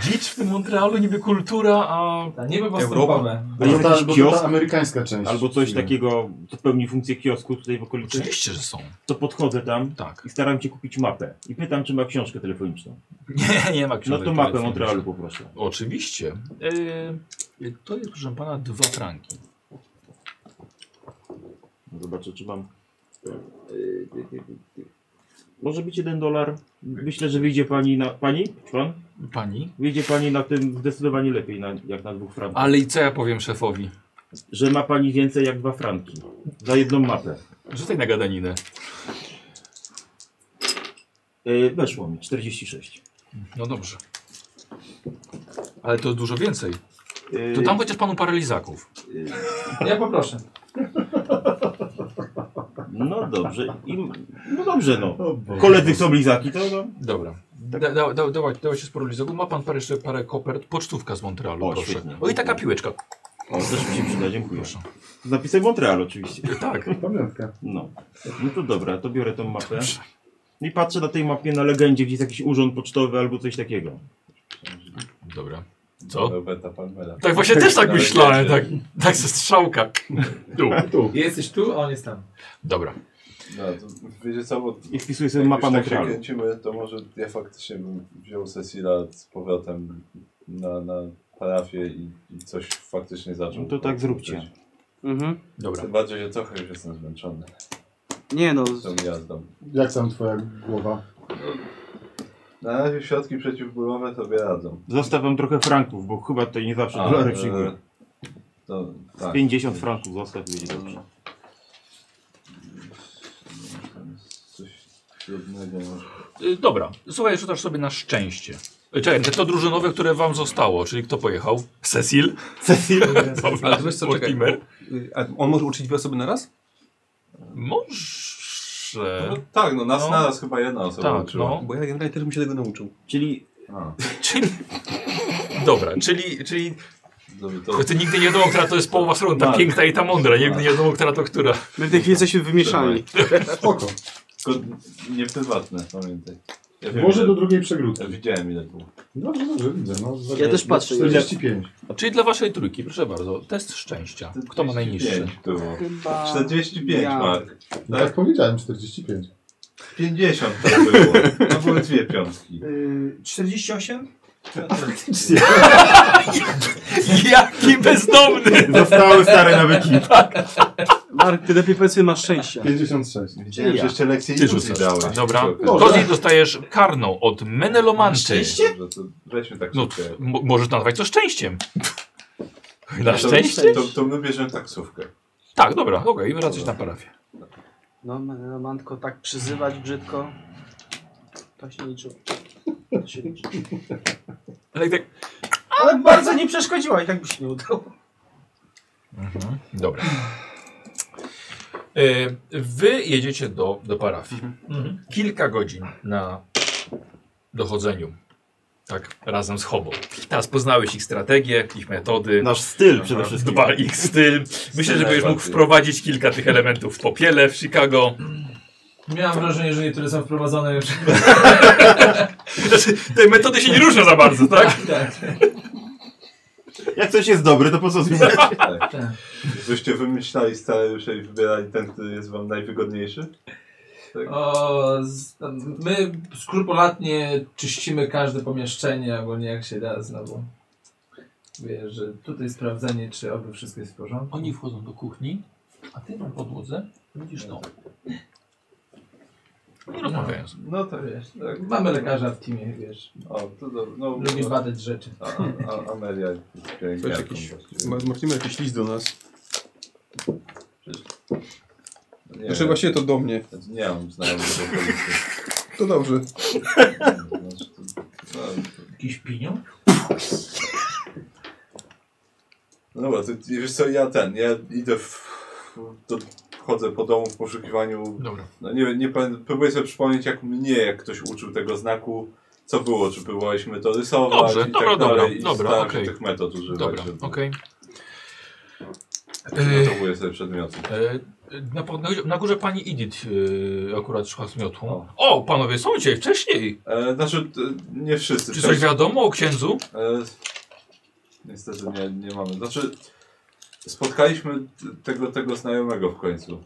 Speaker 1: Dzicz w tym Montrealu, niby kultura, a...
Speaker 19: Ta niby
Speaker 5: Europa.
Speaker 1: postępowe.
Speaker 5: A jest
Speaker 4: ta- bo
Speaker 5: jakiś
Speaker 4: to
Speaker 5: kiosk?
Speaker 4: ta amerykańska część.
Speaker 5: Albo coś
Speaker 4: Chwilę.
Speaker 5: takiego, co pełni funkcję kiosku tutaj w okolicy.
Speaker 1: Oczywiście, że są.
Speaker 5: To podchodzę tam
Speaker 1: Tak.
Speaker 5: i staram się kupić mapę. I pytam, czy ma książkę telefoniczną.
Speaker 1: Nie, nie ma
Speaker 5: No
Speaker 1: książek
Speaker 5: to mapę
Speaker 1: telefonicznych.
Speaker 5: Montrealu poproszę.
Speaker 1: Oczywiście. Yy, to jest, proszę pana, dwa franki.
Speaker 5: No Zobaczę, czy mam. e, Może być jeden dolar. Myślę, że wyjdzie pani na. Pani? Czy Pan?
Speaker 1: Pani?
Speaker 5: Wyjdzie pani na tym zdecydowanie lepiej na, jak na dwóch frankach.
Speaker 1: Ale i co ja powiem szefowi?
Speaker 5: Że ma pani więcej jak dwa franki. Za jedną mapę.
Speaker 1: Rzucaj na gadaninę.
Speaker 5: Yy, weszło mi 46.
Speaker 1: No dobrze. Ale to dużo więcej.
Speaker 5: Yy,
Speaker 1: To tam chociaż panu parę lizaków.
Speaker 5: yy,
Speaker 19: Ja poproszę.
Speaker 5: No dobrze. I, no dobrze no.
Speaker 10: O Boże.
Speaker 5: Koledzy są blizaki, to no.
Speaker 1: Dobra. Da, da, da, dawaj, dawaj się sporo lizaków. Ma pan parę, jeszcze parę kopert. Pocztówka z Montrealu,
Speaker 5: O,
Speaker 1: proszę.
Speaker 5: świetnie.
Speaker 1: O i taka piłeczka.
Speaker 5: O, też mi się przyda, dziękuję.
Speaker 1: Proszę.
Speaker 5: Z napisem Montreal oczywiście.
Speaker 1: Tak.
Speaker 4: Pamiątka.
Speaker 5: No. No to dobra, to biorę tą mapę. I patrzę na tej mapie na legendzie, gdzie jest jakiś urząd pocztowy albo coś takiego.
Speaker 1: Dobra. Co?
Speaker 8: Roberta Palmera.
Speaker 1: Tak właśnie też tak
Speaker 8: Ale
Speaker 1: myślałem. Tak,
Speaker 8: wiecie,
Speaker 1: tak ze strzałka. Tu.
Speaker 4: Tu.
Speaker 19: Jesteś tu, a on jest tam.
Speaker 1: Dobra.
Speaker 8: No, to wiecie co, bo
Speaker 5: I wpisuję sobie mapa
Speaker 8: jak już tak się
Speaker 5: Montrealu.
Speaker 8: kręcimy, to może ja faktycznie bym wziął Cecila z powrotem na, na parafię i, i coś faktycznie zaczął.
Speaker 5: No to tak zróbcie.
Speaker 3: Mhm.
Speaker 1: Dobra.
Speaker 8: Tym bardziej, że trochę już jestem zmęczony
Speaker 3: Nie no,
Speaker 8: tą jazdą.
Speaker 4: Jak tam twoja głowa?
Speaker 8: Na razie środki przeciwbólowe sobie radzą.
Speaker 5: Zostaw wam trochę franków, bo chyba tutaj nie zawsze dolary przyjmują.
Speaker 8: e, to, tak.
Speaker 5: 50 franków zostaw i będzie dobrze.
Speaker 8: Coś trudnego może.
Speaker 1: Y, Dobra, słuchaj, rzucasz sobie na szczęście. Y, Czekaj, to drużynowe, które wam zostało, czyli kto pojechał? Cecil?
Speaker 5: Cecil.
Speaker 1: *laughs* Dobra,
Speaker 15: Ale wiesz co, czekaj.
Speaker 1: Mortimer.
Speaker 15: Y, A on może uczyć dwie osoby na raz?
Speaker 1: Może...
Speaker 8: No, tak, no nas
Speaker 1: No.
Speaker 8: na raz chyba jedna osoba
Speaker 1: Tak,
Speaker 8: uczyła.
Speaker 1: no.
Speaker 15: Bo ja generalnie też bym się tego nauczył.
Speaker 5: Czyli
Speaker 8: A,
Speaker 1: Czyli... Dobra, czyli, czyli
Speaker 8: żeby to...
Speaker 1: Choć nigdy nie wiadomo, która to jest połowa strony, ta
Speaker 8: Tak.
Speaker 1: piękna i ta mądra, nigdy nie wiadomo, która to która.
Speaker 3: my w tej chwili jesteśmy wymieszani. *laughs*
Speaker 4: Spoko.
Speaker 8: Tylko nie prywatne, pamiętaj. Ja wiem,
Speaker 4: Może
Speaker 8: ile-
Speaker 4: do drugiej przegródki.
Speaker 8: Ja widziałem ile było.
Speaker 4: Dobrze, dobrze, widzę. No, za-
Speaker 3: Ja też patrzę, ile-
Speaker 4: 45.
Speaker 1: Czyli dla waszej trójki, proszę bardzo, test szczęścia. Kto ma najniższy?
Speaker 8: 45 było.
Speaker 3: Chyba...
Speaker 8: 45
Speaker 3: Ja.
Speaker 8: Mark.
Speaker 4: No, tak powiedziałem, 45.
Speaker 8: 50 to było. To były dwie piątki.
Speaker 15: Yy, 48?
Speaker 1: Jaki bezdomny!
Speaker 8: No.
Speaker 5: zostały stare nawyki.
Speaker 3: Mark, ty lepiej powiedz, ile masz szczęścia.
Speaker 4: 56.
Speaker 8: Widziałem, że jeszcze lekcje
Speaker 1: Ty
Speaker 8: instrukcji
Speaker 1: rzucasz.
Speaker 8: dałeś.
Speaker 1: Dobra.
Speaker 8: Dobrze,
Speaker 1: Kozji dostajesz karną od Menelomanty.
Speaker 8: to weźmy tak
Speaker 1: No,
Speaker 8: szybko.
Speaker 1: mo- możesz nazwać to szczęściem. Na
Speaker 8: To-
Speaker 1: szczęście?
Speaker 8: To, to my bierzemy taksówkę.
Speaker 1: Tak, dobra, okej, wracasz na parafię.
Speaker 3: No, Mantko, tak przyzywać brzydko. To się liczy. To się liczy.
Speaker 1: Ale tak...
Speaker 3: Ale bardzo nie przeszkodziła i tak by się nie udało.
Speaker 1: Mhm, dobra. E, Wy jedziecie do, do parafii. Mhm. Kilka godzin na dochodzeniu. Tak, razem z Hobą. Teraz poznałeś ich strategię, ich metody.
Speaker 5: Nasz styl przede wszystkim.
Speaker 1: Dba ich styl. Myślę, że będziesz mógł
Speaker 8: najbardziej.
Speaker 1: wprowadzić kilka tych elementów w popiele w Chicago.
Speaker 19: Miałem wrażenie, że niektóre są wprowadzone już.
Speaker 1: Znaczy, te metody się nie różnią za bardzo, tak?
Speaker 19: tak.
Speaker 5: Jak coś jest dobre, to po co zmieniać?
Speaker 8: Tak. Żeście wymyślali scenariusze i wybierali ten, który jest wam najwygodniejszy?
Speaker 19: O, z, my skrupulatnie czyścimy każde pomieszczenie, albo nie jak się da znowu. Wiesz, że tutaj sprawdzenie, czy oby wszystko jest w porządku.
Speaker 1: Oni wchodzą do kuchni, a ty na podłodze widzisz to. Nie rozmawiają sobie.
Speaker 8: No to wiesz. Tak.
Speaker 19: Mamy lekarza w teamie, wiesz.
Speaker 8: O, to dobra. No,
Speaker 19: Lubi badać rzeczy.
Speaker 8: a, a, Amelia jest
Speaker 15: Weź
Speaker 8: pielęgniarką.
Speaker 15: jakiś,
Speaker 8: właściwie.
Speaker 15: ma- Mortimer jakiś list do nas.
Speaker 8: Nie
Speaker 15: Znaczy
Speaker 8: wiem.
Speaker 15: właściwie to do mnie.
Speaker 8: Znaczy, Nie mam znajomych w okolicy.
Speaker 15: To dobrze.
Speaker 8: Znaczy, to- no,
Speaker 19: Jakiś pieniądz?
Speaker 8: No dobra, to wiesz co, ja ten, ja idę w, do, chodzę po domu w poszukiwaniu,
Speaker 1: Dobra.
Speaker 8: no nie wiem, nie pamię- próbuję sobie przypomnieć jak mnie, jak ktoś uczył tego znaku co było, czy próbowaliśmy to rysować
Speaker 1: Dobrze,
Speaker 8: i
Speaker 1: dobra,
Speaker 8: tak
Speaker 1: dobra,
Speaker 8: dalej. I
Speaker 1: dobra,
Speaker 8: staramy
Speaker 1: okej.
Speaker 8: tych metod używać.
Speaker 1: Dobra, Znaczy, no
Speaker 8: żeby-
Speaker 1: okej.
Speaker 8: Przygotowuję sobie przedmioty.
Speaker 1: E, Na, po- na, na górze pani Edith e, akurat szła z miotłą. O. panowie są dzisiaj wcześniej.
Speaker 8: E, znaczy, t- nie wszyscy.
Speaker 1: Czy coś wiadomo o księdzu?
Speaker 8: E, niestety nie, nie mamy. Znaczy, spotkaliśmy t- tego, tego znajomego w końcu.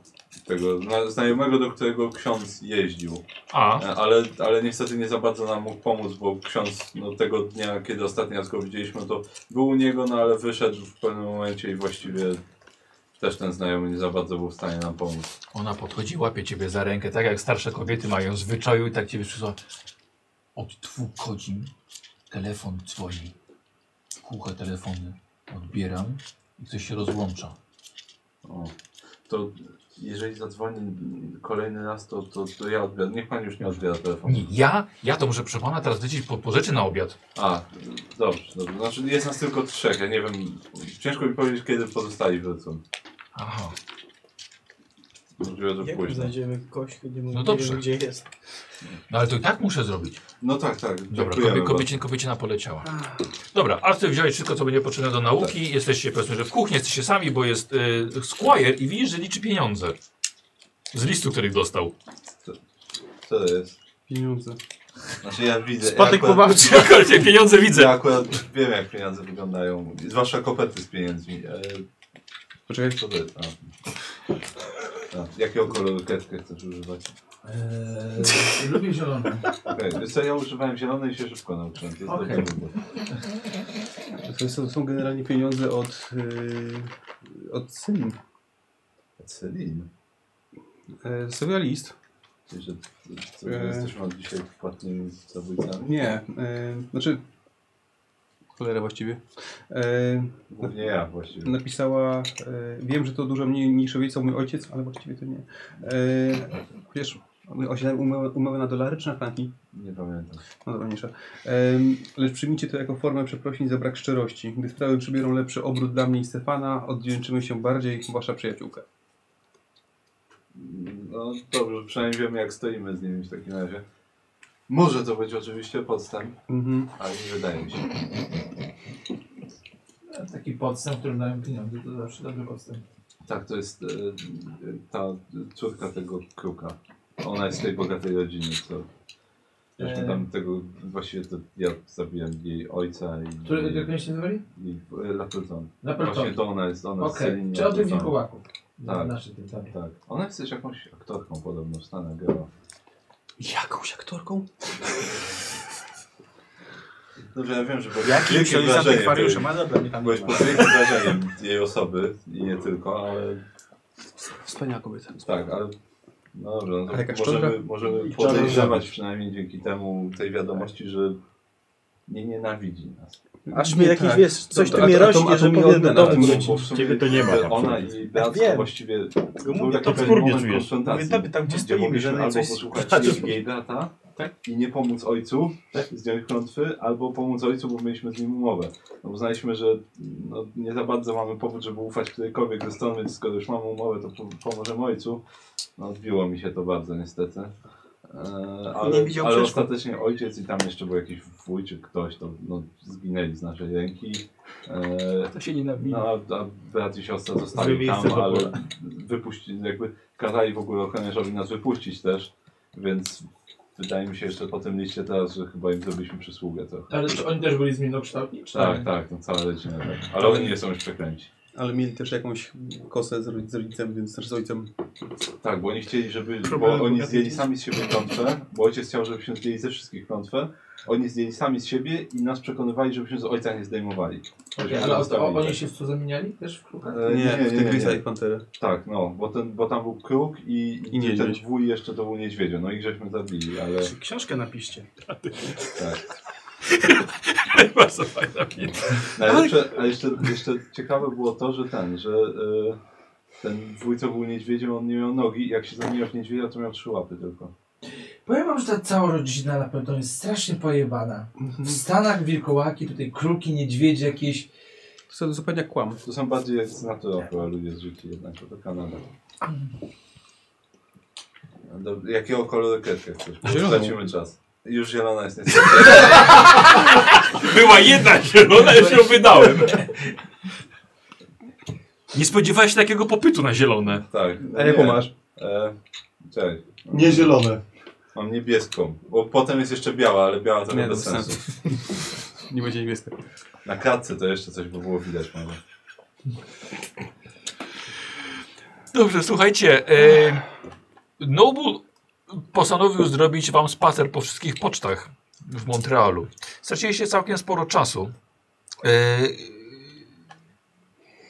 Speaker 8: Tego na, znajomego, do którego ksiądz jeździł.
Speaker 1: A.
Speaker 8: E, ale, ale niestety nie za bardzo nam mógł pomóc, bo ksiądz no, tego dnia, kiedy ostatni raz go widzieliśmy, to był u niego, no ale wyszedł w pewnym momencie i właściwie też ten znajomy nie za bardzo był w stanie nam pomóc.
Speaker 1: Ona podchodzi, łapie ciebie za rękę, tak jak starsze kobiety mają w zwyczaju i tak ciebie przyszła. Od dwóch godzin telefon dzwoni. Kłuche telefony odbieram i ktoś się rozłącza.
Speaker 8: O. To jeżeli zadzwoni kolejny raz, to, to, to ja odbieram. Niech pan już nie odbiera telefonu.
Speaker 1: Nie, ja, ja to muszę proszę pana teraz lecieć po, po rzeczy na obiad.
Speaker 8: A, dobrze, dobrze. Znaczy jest nas tylko trzech, ja nie wiem. Ciężko mi powiedzieć, kiedy pozostali wrócą.
Speaker 1: Aha.
Speaker 8: Możliwe, że
Speaker 22: Jak
Speaker 8: późno.
Speaker 22: znajdziemy kogoś, kto nie mówi,
Speaker 1: No dobrze.
Speaker 22: gdzie jest.
Speaker 1: No ale to i tak muszę zrobić.
Speaker 8: No tak, tak.
Speaker 1: Dobra,
Speaker 8: Dziękujemy
Speaker 1: kobie,
Speaker 8: bardzo.
Speaker 1: kobiecie, kobieciena poleciała. Dobra, Arthur wziąłeś wszystko, co będzie potrzebne do nauki. Jesteście, powiedzmy, że w kuchni jesteście sami, bo jest y, Squire i widzisz, że liczy pieniądze. Z listu, których dostał.
Speaker 8: Co to jest?
Speaker 7: Pieniądze.
Speaker 8: Znaczy ja widzę.
Speaker 7: Spadek
Speaker 8: ja akurat-
Speaker 7: pobawczy.
Speaker 1: *laughs* Akurat te pieniądze widzę.
Speaker 8: Ja akurat wiem, jak pieniądze wyglądają. Zwłaszcza kopety z pieniędzmi. E,
Speaker 7: Poczekaj.
Speaker 8: Co to jest? A. A, jakiego koloru kredkę chcesz używać?
Speaker 9: Eee, lubię zielony.
Speaker 8: Okej, wiesz co, ja używałem zielonej i się szybko nauczyłem. To jest
Speaker 9: Okej.
Speaker 8: dobry wybór.
Speaker 7: To są, to są generalnie pieniądze od, yy, od Syn.
Speaker 8: Celine.
Speaker 15: E,
Speaker 7: Yy, sobie list.
Speaker 8: Czyli, że co,
Speaker 7: Eee.
Speaker 8: jesteśmy od dzisiaj płatnymi zabójcami?
Speaker 7: Nie, yy, znaczy... Cholera właściwie. Yy,
Speaker 8: Głównie ja właściwie.
Speaker 7: napisała, e, wiem, że to dużo mniej niż obiecał mój ojciec, ale właściwie to nie. E, chociaż on- on się umowę, umowę na dolary czy na franki?
Speaker 8: Nie pamiętam.
Speaker 7: No dobra, mniejsza. Em, Lecz przyjmijcie to jako formę przeprosin za brak szczerości. Gdy sprawy przybiorą lepszy obrót dla mnie i Stefana, oddzięczymy się bardziej, wasza przyjaciółka.
Speaker 8: No dobrze, przynajmniej wiemy jak stoimy z nimi w takim razie. Może to być oczywiście podstęp,
Speaker 7: Mhm.
Speaker 8: ale nie wydaje mi się.
Speaker 9: Taki podstęp, którym dają pieniądze, to zawsze dobry podstęp.
Speaker 8: Tak, to jest e, ta córka tego kruka. Ona jest z tej bogatej rodziny, co... Zresztą
Speaker 9: E.
Speaker 8: tam tego, właściwie to ja zabiłem jej ojca i...
Speaker 9: Który, jak oni się nazywali?
Speaker 8: i e, Lapleton.
Speaker 9: Lapleton.
Speaker 8: Właśnie to ona jest, ona
Speaker 9: Okej,
Speaker 8: jest Celine
Speaker 9: czy o tym
Speaker 8: Lapleton.
Speaker 9: wilkołaku?
Speaker 8: Tak.
Speaker 9: Naszym tym, tak.
Speaker 8: Tak. Ona jest też jakąś aktorką podobno w Stanach grała.
Speaker 7: Jakąś aktorką?
Speaker 8: Dobrze, ja wiem, że pod
Speaker 5: Jakim
Speaker 8: wielkim
Speaker 5: księdzem
Speaker 8: wrażeniem
Speaker 5: akwariuszem,
Speaker 8: byłeś-
Speaker 5: ale dobra, nie tam
Speaker 8: Byłeś
Speaker 5: nie
Speaker 8: pod
Speaker 5: ma.
Speaker 8: wielkim wrażeniem jej osoby i nie tylko, ale
Speaker 7: Wspaniała kobieta.
Speaker 8: tak, ale no dobrze, no
Speaker 7: A jaka
Speaker 8: to możemy,
Speaker 7: szczodra? I
Speaker 8: możemy podejrzewać
Speaker 7: czarnoksiężnik.
Speaker 8: przynajmniej dzięki temu tej wiadomości, że nie nienawidzi nas.
Speaker 3: Aż mi jakiś, wiesz, coś
Speaker 7: tak. Dobra,
Speaker 3: tu mnie
Speaker 7: a to- a to-
Speaker 3: rośnie,
Speaker 7: a to
Speaker 3: że mi
Speaker 7: powiem
Speaker 3: do
Speaker 7: na
Speaker 3: domu
Speaker 7: tym.
Speaker 3: wrócić.
Speaker 8: Bo w sumie
Speaker 5: Ciebie to nie ma tam
Speaker 8: Ona
Speaker 5: przecież.
Speaker 8: i
Speaker 5: Ja
Speaker 8: Beatka
Speaker 5: wiem.
Speaker 8: właściwie
Speaker 5: Tylko
Speaker 8: był
Speaker 5: mówię,
Speaker 8: taki
Speaker 5: to
Speaker 8: pewien
Speaker 5: wtórnie
Speaker 8: moment
Speaker 5: czujesz.
Speaker 8: konfrontacji.
Speaker 5: Mówię, tobie tam gdzie
Speaker 8: gdzie
Speaker 5: stoimy, że
Speaker 8: mogliśmy
Speaker 5: na Tak.
Speaker 8: albo
Speaker 5: coś
Speaker 8: posłuchać
Speaker 5: skaczesz.
Speaker 8: jej brata i nie pomóc ojcu tak, zdjąć klątwy, albo pomóc ojcu, bo mieliśmy z nim umowę. No uznaliśmy, że no, nie za bardzo mamy powód, żeby ufać którejkolwiek ze stron, więc skoro już mamy umowę, to po- pomożemy ojcu. No odbiło mi się to bardzo niestety. Eee, ale,
Speaker 3: Nie widział
Speaker 8: ale
Speaker 3: przeszkód.
Speaker 8: ostatecznie ojciec i tam jeszcze był jakiś wuj czy ktoś, to no, zginęli z naszej ręki. Eee,
Speaker 5: To się nienawidzi.
Speaker 8: no, a- a brat i siostra
Speaker 5: Złe
Speaker 8: zostali
Speaker 5: miejsce
Speaker 8: tam,
Speaker 5: do
Speaker 8: ale
Speaker 5: pola.
Speaker 8: wypuścili, jakby kazali w ogóle ochroniarzowi nas wypuścić też, więc wydaje mi się jeszcze po tym liście teraz, że chyba im zrobiliśmy przysługę trochę.
Speaker 9: Ale czy oni też byli zmiennokształtni? Czy...
Speaker 8: Tak, tak, no cała rodzina, tak. Ale oni nie są już przekręci.
Speaker 7: Ale mieli też jakąś kosę z rodzic- z rodzicem, więc też z ojcem.
Speaker 8: Tak, bo oni chcieli, żeby,
Speaker 5: Problemy
Speaker 8: bo oni
Speaker 5: bogatych
Speaker 8: zdjęli
Speaker 5: ludzi.
Speaker 8: sami z siebie klątwę, bo ojciec chciał, żebyśmy zdjęli ze wszystkich klątwę, oni zdjęli sami z siebie i nas przekonywali, żebyśmy z ojca nie zdejmowali.
Speaker 9: Okej,
Speaker 8: Żebyśmy
Speaker 9: ale o,
Speaker 8: zostawili
Speaker 9: o, oni
Speaker 8: tak.
Speaker 9: się w co zamieniali? Też w krukach?
Speaker 8: E,
Speaker 7: Nie, w tygrysa i panterę.
Speaker 8: Tak, no, bo, ten, bo tam był kruk i,
Speaker 7: I niedźwiedź.
Speaker 8: ten wuj jeszcze to był niedźwiedzio, no i żeśmy zabili, ale
Speaker 5: Książkę napiszcie.
Speaker 8: tak.
Speaker 1: Bardzo fajna pizza.
Speaker 8: Najlepsze, a no, jeszcze, jeszcze ciekawe było to, że ten, że e, ten wuj co był niedźwiedziem, on nie miał nogi i jak się zamieniał w niedźwiedzia, to miał trzy łapy tylko.
Speaker 23: Powiem wam, że ta cała rodzina na pewno jest strasznie pojebana. W Stanach wilkołaki, tutaj kruki, niedźwiedzie jakieś.
Speaker 7: To są zupełnie jak kłam.
Speaker 8: To są bardziej jak z natury chyba ludzie z życia jednak, bo to Kanada. Do, jakiego koloru kredkę chcesz?
Speaker 7: Zieloną.
Speaker 8: Tracimy czas. Już zielona jest niestety. *laughs*
Speaker 1: Była jedna *laughs* zielona, już ją wydałem. Nie spodziewałeś się takiego popytu na zielone.
Speaker 8: Tak.
Speaker 1: A jaką
Speaker 8: Nie.
Speaker 1: masz?
Speaker 8: E, czekaj.
Speaker 4: Nie zielone.
Speaker 8: Mam niebieską, bo potem jest jeszcze biała, ale biała to nie bez sensu.
Speaker 15: Nie będzie niebieska.
Speaker 8: Na kratce to jeszcze coś by było widać może.
Speaker 1: Dobrze, słuchajcie. E, Noble postanowił zrobić wam spacer po wszystkich pocztach w Montrealu. Straciliście całkiem sporo czasu. E,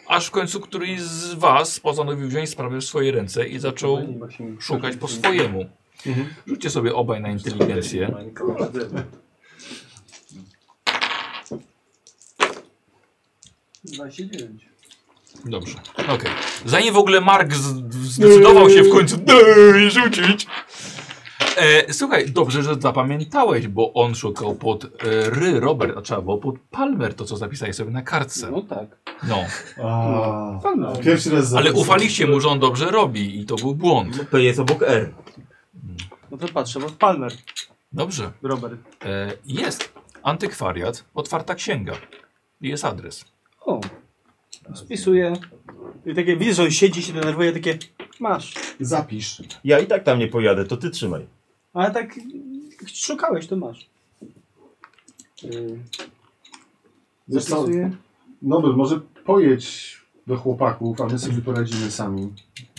Speaker 1: aż w końcu któryś z was postanowił wziąć sprawę w swoje ręce i zaczął szukać po swojemu. Rzućcie sobie obaj na inteligencję. Dobrze, okej. Zanim w ogóle Mark z- zdecydował się w końcu "Dej, rzucić. E, słuchaj, dobrze, że zapamiętałeś, bo on szukał pod e, Ry Robert, a trzeba było pod Palmer, to co zapisałeś sobie na kartce. No tak. No.
Speaker 4: A, Pierwszy raz
Speaker 1: Ale
Speaker 4: zapisał.
Speaker 1: ufaliście mu, że on dobrze robi i to był błąd.
Speaker 14: P jest obok R.
Speaker 3: No to patrzę, bo Palmer.
Speaker 1: Dobrze.
Speaker 3: Robert.
Speaker 1: E, jest antykwariat, otwarta księga. I jest adres.
Speaker 3: O. Spisuję. I takie, widzę, że on siedzi, się denerwuje, takie, masz.
Speaker 4: Zapisz.
Speaker 14: Ja i tak tam nie pojadę, to ty trzymaj.
Speaker 3: Ale tak mm, szukałeś, to masz.
Speaker 4: Wiesz co,
Speaker 3: Zapisuję.
Speaker 4: Nobel, może pojedź do chłopaków, a my sobie poradzimy sami.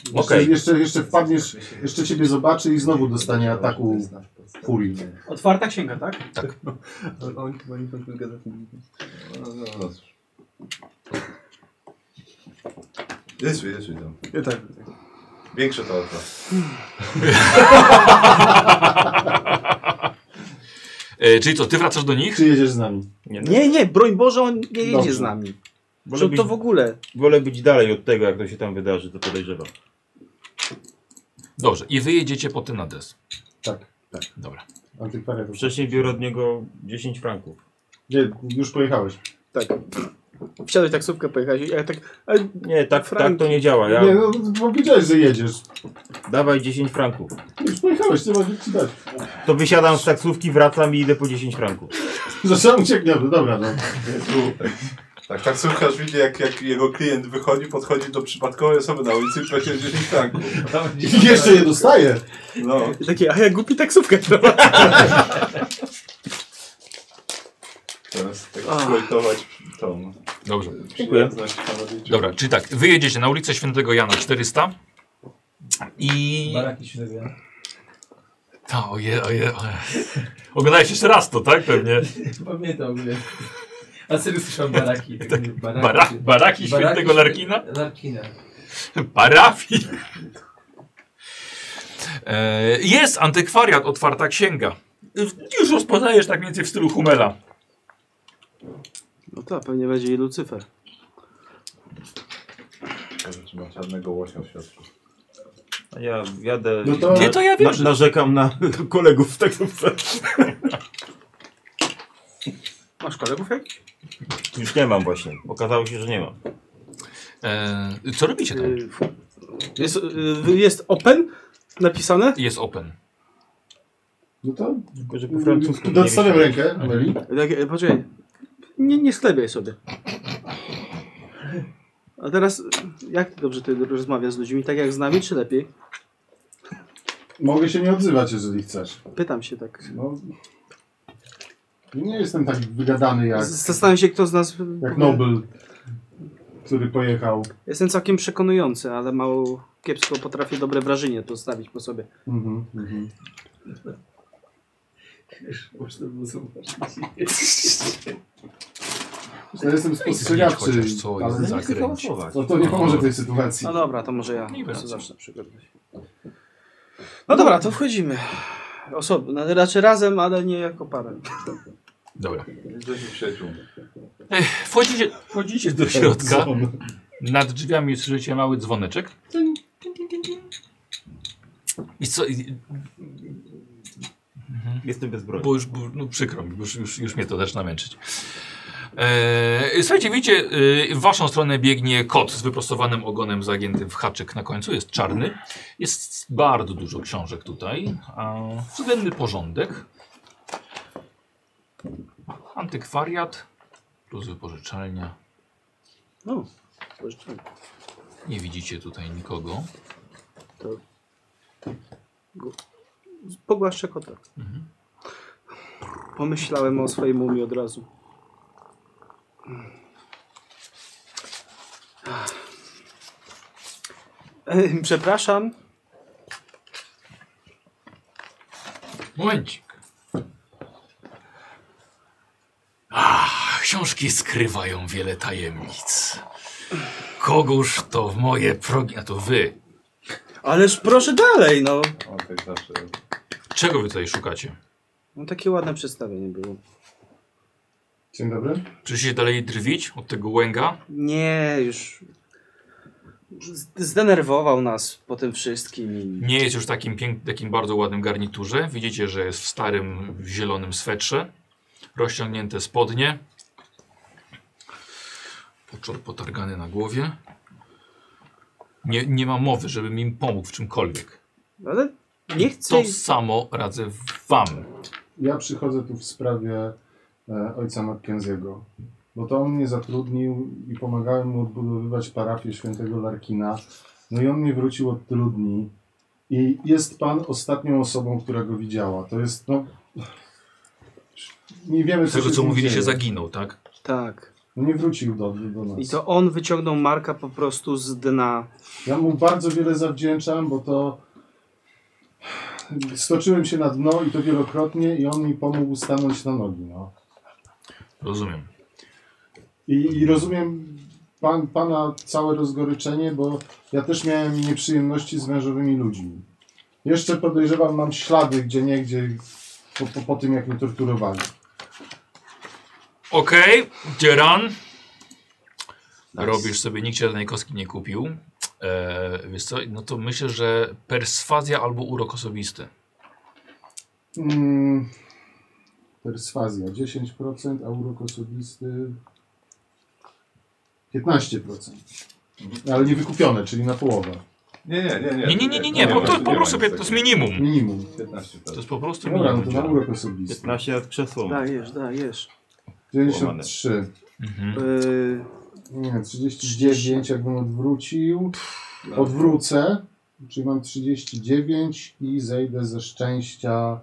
Speaker 4: Jeszcze,
Speaker 14: Okej.
Speaker 4: jeszcze, jeszcze wpadniesz, jeszcze ciebie zobaczy i znowu dostanie ataku furii.
Speaker 3: Otwarta księga, tak?
Speaker 1: Tak.
Speaker 15: Oni chyba nie kończą gadać.
Speaker 8: No, no, no. Jezu, jezu, tam.
Speaker 15: Ja tak.
Speaker 8: Większe to auto.
Speaker 1: E, czyli co, ty wracasz do nich?
Speaker 4: Czy jedziesz z nami?
Speaker 5: no.
Speaker 3: Nie, nie, broń Boże, on nie jedzie
Speaker 4: Dobrze.
Speaker 3: z nami.
Speaker 14: Wolę
Speaker 3: Że
Speaker 14: być,
Speaker 3: to w ogóle.
Speaker 14: wolę być dalej od tego, jak to się tam wydarzy, to podejrzewam.
Speaker 1: Dobrze, i wyjedziecie po ten adres.
Speaker 4: Tak,
Speaker 1: tak. Dobra.
Speaker 4: Antykwariat.
Speaker 14: Wcześniej biorę od niego 10 franków.
Speaker 4: Nie, już pojechałeś.
Speaker 3: Tak. Wsiadłeś taksówkę, pojechałeś. i Ja tak, ale
Speaker 14: Nie, tak,
Speaker 3: Franki.
Speaker 14: tak to nie działa. Ja...
Speaker 4: Nie, no powiedziałeś, że jedziesz.
Speaker 14: Dawaj 10 franków.
Speaker 4: Już pojechałeś, nie ma nic ci dać.
Speaker 14: To wysiadam z taksówki, wracam i idę po 10 franków.
Speaker 4: Zresztą No, uciekniemy, dobra no.
Speaker 8: Tu. Tak, taksówkarz widzi, jak, jak jego klient wychodzi, podchodzi do przypadkowej osoby na ulicy i płaci 10 franków.
Speaker 4: I *laughs* jeszcze je dostaję.
Speaker 8: No.
Speaker 3: I takie, a ja głupi taksówkę trochę.
Speaker 8: *laughs* Teraz tak eksploitować tą
Speaker 1: Dobrze.
Speaker 8: przyjazność kanadyjczyków.
Speaker 1: Dobra, czyli tak, wyjedziecie na ulicę Świętego Jana 400 i...
Speaker 19: Baraki się dowiedzą.
Speaker 1: Ta, oje, oje, oje. Oglądałeś jeszcze raz to, tak? Pewnie.
Speaker 19: Pamiętam, nie. A serio słyszałem
Speaker 9: *laughs*
Speaker 19: baraki. Tak, mówię, baraki,
Speaker 1: Bara-
Speaker 19: czy-
Speaker 1: baraki świętego
Speaker 19: świe-
Speaker 1: Larkina?
Speaker 19: Larkina.
Speaker 1: Parafii. E, jest antykwariat, otwarta księga. W- Już rozpoznajesz tak mniej więcej w stylu Humela.
Speaker 3: No to pewnie będzie i Lucyfer.
Speaker 8: Może Czy ma czarnego łosia w środku.
Speaker 14: A ja jadę.
Speaker 4: No to-
Speaker 1: Nie, to ja wiem, że-
Speaker 14: Na, narzekam
Speaker 5: *laughs*
Speaker 14: na kolegów w taksówce.
Speaker 3: Masz kolegów jakichś?
Speaker 14: Już nie mam właśnie. Okazało się, że nie mam.
Speaker 1: E, co robicie tam?
Speaker 3: Y, Jest, y, jest open napisane?
Speaker 1: Jest open.
Speaker 4: No to
Speaker 14: Tylko, że po francusku. nie Mhm.
Speaker 4: Nadstawiam
Speaker 14: wiem.
Speaker 4: rękę, Meli.
Speaker 3: I Takie, Tak, e, poczekaj. Nie, nie sklebiaj sobie. A teraz, y, jak ty dobrze ty rozmawiasz z ludźmi? Tak jak z nami, czy lepiej?
Speaker 4: Mogę się nie odzywać, jeżeli chcesz.
Speaker 3: Pytam się tak.
Speaker 4: No, nie jestem tak wygadany jak,
Speaker 3: Z- Zastanawiam się, kto z nas...
Speaker 4: jak Nobel, który pojechał.
Speaker 3: Jestem całkiem przekonujący, ale mało kiepsko potrafię dobre wrażenie postawić po sobie.
Speaker 4: Mhm, mhm.
Speaker 19: Można było zobaczyć.
Speaker 4: Ja jestem spostrzegawczy,
Speaker 1: chociaż, co
Speaker 4: ale
Speaker 1: jest
Speaker 14: Nie chcę
Speaker 1: zakręć.
Speaker 14: hałasować.
Speaker 4: no to nie pomoże w tej sytuacji.
Speaker 3: No dobra, to może ja
Speaker 1: Nie
Speaker 3: to
Speaker 1: wracam.
Speaker 3: zacznę przygotować. No dobra, to wchodzimy. Osobno, raczej razem, ale nie jako parę.
Speaker 1: Dobra.
Speaker 8: Jesteśmy przyjaciół.
Speaker 1: Wchodzicie, wchodzicie do środka. Nad drzwiami słyszycie mały dzwoneczek. I co? i-
Speaker 14: Jestem bezbrojny.
Speaker 1: Bo już, bo, no przykro mi, już, już, już mnie to zaczyna męczyć. Eee, słuchajcie, widzicie, yy, w waszą stronę biegnie kot z wyprostowanym ogonem zagiętym w haczyk na końcu, jest czarny. Jest bardzo dużo książek tutaj, a względny porządek. Antykwariat plus wypożyczalnia.
Speaker 3: No, pożyczam.
Speaker 1: Nie widzicie tutaj nikogo.
Speaker 3: Pogłaszczę kota. Pomyślałem o swojej mumii od razu. Ech, Przepraszam.
Speaker 1: Momencik. Ah, książki skrywają wiele tajemnic. Kogóż to w moje progi... A to wy.
Speaker 3: Ależ proszę dalej, no.
Speaker 8: O, tak zawsze.
Speaker 1: Czego wy tutaj szukacie?
Speaker 3: No takie ładne przedstawienie było.
Speaker 4: Dzień dobry.
Speaker 1: Czy się dalej drwić od tego łęga?
Speaker 3: Nie, już. Z- Zdenerwował nas po tym wszystkim. i-
Speaker 1: Nie jest już takim, pięk- takim bardzo ładnym garniturze. Widzicie, że jest w starym zielonym swetrze. Rozciągnięte spodnie. Poczor potargany na głowie. Nie, nie ma mowy, żebym im pomógł w czymkolwiek.
Speaker 3: Ale nie chcę.
Speaker 1: To samo radzę wam.
Speaker 4: Ja przychodzę tu w sprawie e, ojca Mackenzie'ego, bo to on mnie zatrudnił i pomagałem mu odbudowywać parafię świętego Larkina. No i on nie wrócił od tylu dni. I jest pan ostatnią osobą, która go widziała. To jest, no... Nie wiemy,
Speaker 1: Z tego
Speaker 4: się z
Speaker 1: co
Speaker 4: nim
Speaker 1: mówiliście
Speaker 4: dzieje.
Speaker 1: zaginął, tak?
Speaker 3: Tak.
Speaker 4: No nie wrócił do, do nas.
Speaker 3: I to on wyciągnął Marka po prostu z dna.
Speaker 4: Ja mu bardzo wiele zawdzięczam, bo to stoczyłem się na dno i to wielokrotnie i on mi pomógł stanąć na nogi. No.
Speaker 1: Rozumiem.
Speaker 4: I, I rozumiem pan, pana całe rozgoryczenie, bo ja też miałem nieprzyjemności z wężowymi ludźmi. Jeszcze podejrzewam, mam ślady gdzie niegdzie po, po, po tym, jak mnie torturowali.
Speaker 1: Okej, Dzieran. Robisz sobie, nikt cię żadnej kostki nie kupił. Eee, wiesz co, no to myślę, że perswazja albo urok osobisty.
Speaker 4: Mm, perswazja 10%, a urok osobisty 15%. Ale nie wykupione, czyli na połowę.
Speaker 8: Nie, nie, nie,
Speaker 1: Nie,
Speaker 8: nie.
Speaker 1: nie, nie, nie, nie, po, to, po prostu to jest minimum.
Speaker 4: Minimum.
Speaker 8: 15
Speaker 1: To jest po prostu
Speaker 4: Dobra, no
Speaker 1: minimum.
Speaker 4: to na urok osobisty.
Speaker 5: 15 lat krzesło.
Speaker 3: Dajesz, dajesz.
Speaker 4: 93.
Speaker 1: Mhm.
Speaker 3: Yy,
Speaker 4: Nie, 39 jakbym odwrócił. Odwrócę, czyli mam 39 i zejdę ze szczęścia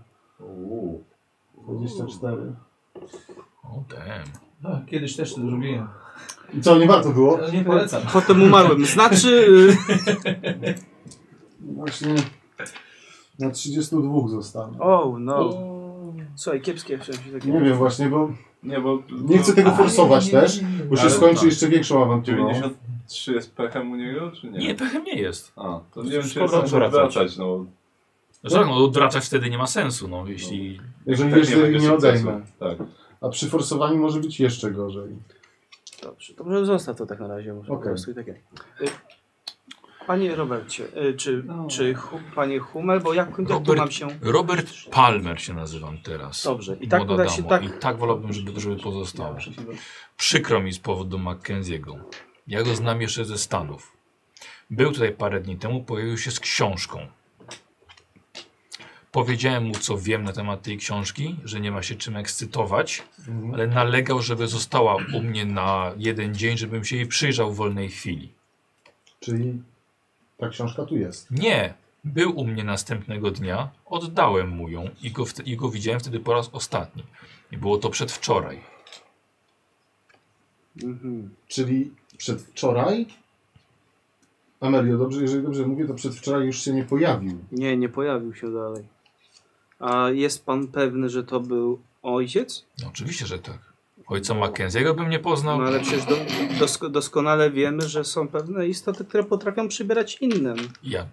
Speaker 4: 24.
Speaker 1: O, damn.
Speaker 7: No, kiedyś też to zrobiłem.
Speaker 4: I co, nie warto było?
Speaker 7: No, nie polecam.
Speaker 3: potem umarłem. Znaczy. Yy,
Speaker 4: Właśnie na 32 zostanę.
Speaker 3: oh no. Słuchaj, kiepskie w sensie takie.
Speaker 4: Nie wiem właśnie, bo
Speaker 8: Nie, bo...
Speaker 4: nie chcę tego forsować też, bo się
Speaker 8: Ale
Speaker 4: skończy
Speaker 8: tak.
Speaker 4: jeszcze większą awanturą.
Speaker 8: 93 jest pechem u niego, czy nie?
Speaker 1: Nie, pechem nie jest.
Speaker 8: A, to
Speaker 1: Szkoda
Speaker 8: nie wiem, czy jest sensu
Speaker 1: odwracać.
Speaker 8: wracać, no.
Speaker 1: Znaczy, tak, no odwracać wtedy nie ma sensu, no jeśli...
Speaker 4: Jeżeli
Speaker 8: tak
Speaker 4: jeszcze
Speaker 8: ma tego
Speaker 4: nie
Speaker 8: sukcesu.
Speaker 4: odejmę.
Speaker 8: Tak.
Speaker 4: A przy forsowaniu może być jeszcze gorzej.
Speaker 3: Dobrze, to może zostaw to tak na razie. Może po
Speaker 4: Okej.
Speaker 3: prostu i takie. Y, Panie Robercie, y, czy, czy hu, panie Hummel, bo jak kontaktu
Speaker 1: Robert-
Speaker 3: mam się.
Speaker 1: Robert Palmer się nazywam teraz.
Speaker 3: Dobrze, i tak
Speaker 1: Młoda
Speaker 3: uda się
Speaker 1: damo.
Speaker 3: tak.
Speaker 1: I tak wolałbym, żeby, żeby pozostało. Przykro mi z powodu Mackenziego. Ja go znam jeszcze ze Stanów. Był tutaj parę dni temu, pojawił się z książką. Powiedziałem mu, co wiem na temat tej książki, że nie ma się czym ekscytować,
Speaker 4: Mhm.
Speaker 1: ale nalegał, żeby została u mnie na jeden dzień, żebym się jej przyjrzał w wolnej chwili.
Speaker 4: Czyli ta książka tu jest.
Speaker 1: Nie, był u mnie następnego dnia, oddałem mu ją i go, wte- i go widziałem wtedy po raz ostatni. I było to przedwczoraj.
Speaker 3: Mhm.
Speaker 4: Czyli przedwczoraj. Amelio, dobrze, jeżeli dobrze mówię, to przedwczoraj już się nie pojawił.
Speaker 3: Nie, nie pojawił się dalej. A jest pan pewny, że to był ojciec?
Speaker 1: No, oczywiście, że tak. Ojca Mackenziego bym nie
Speaker 3: No
Speaker 1: poznał.
Speaker 3: ale przecież do, dosko, doskonale wiemy, że są pewne istoty, które potrafią przybierać innym.
Speaker 1: Ja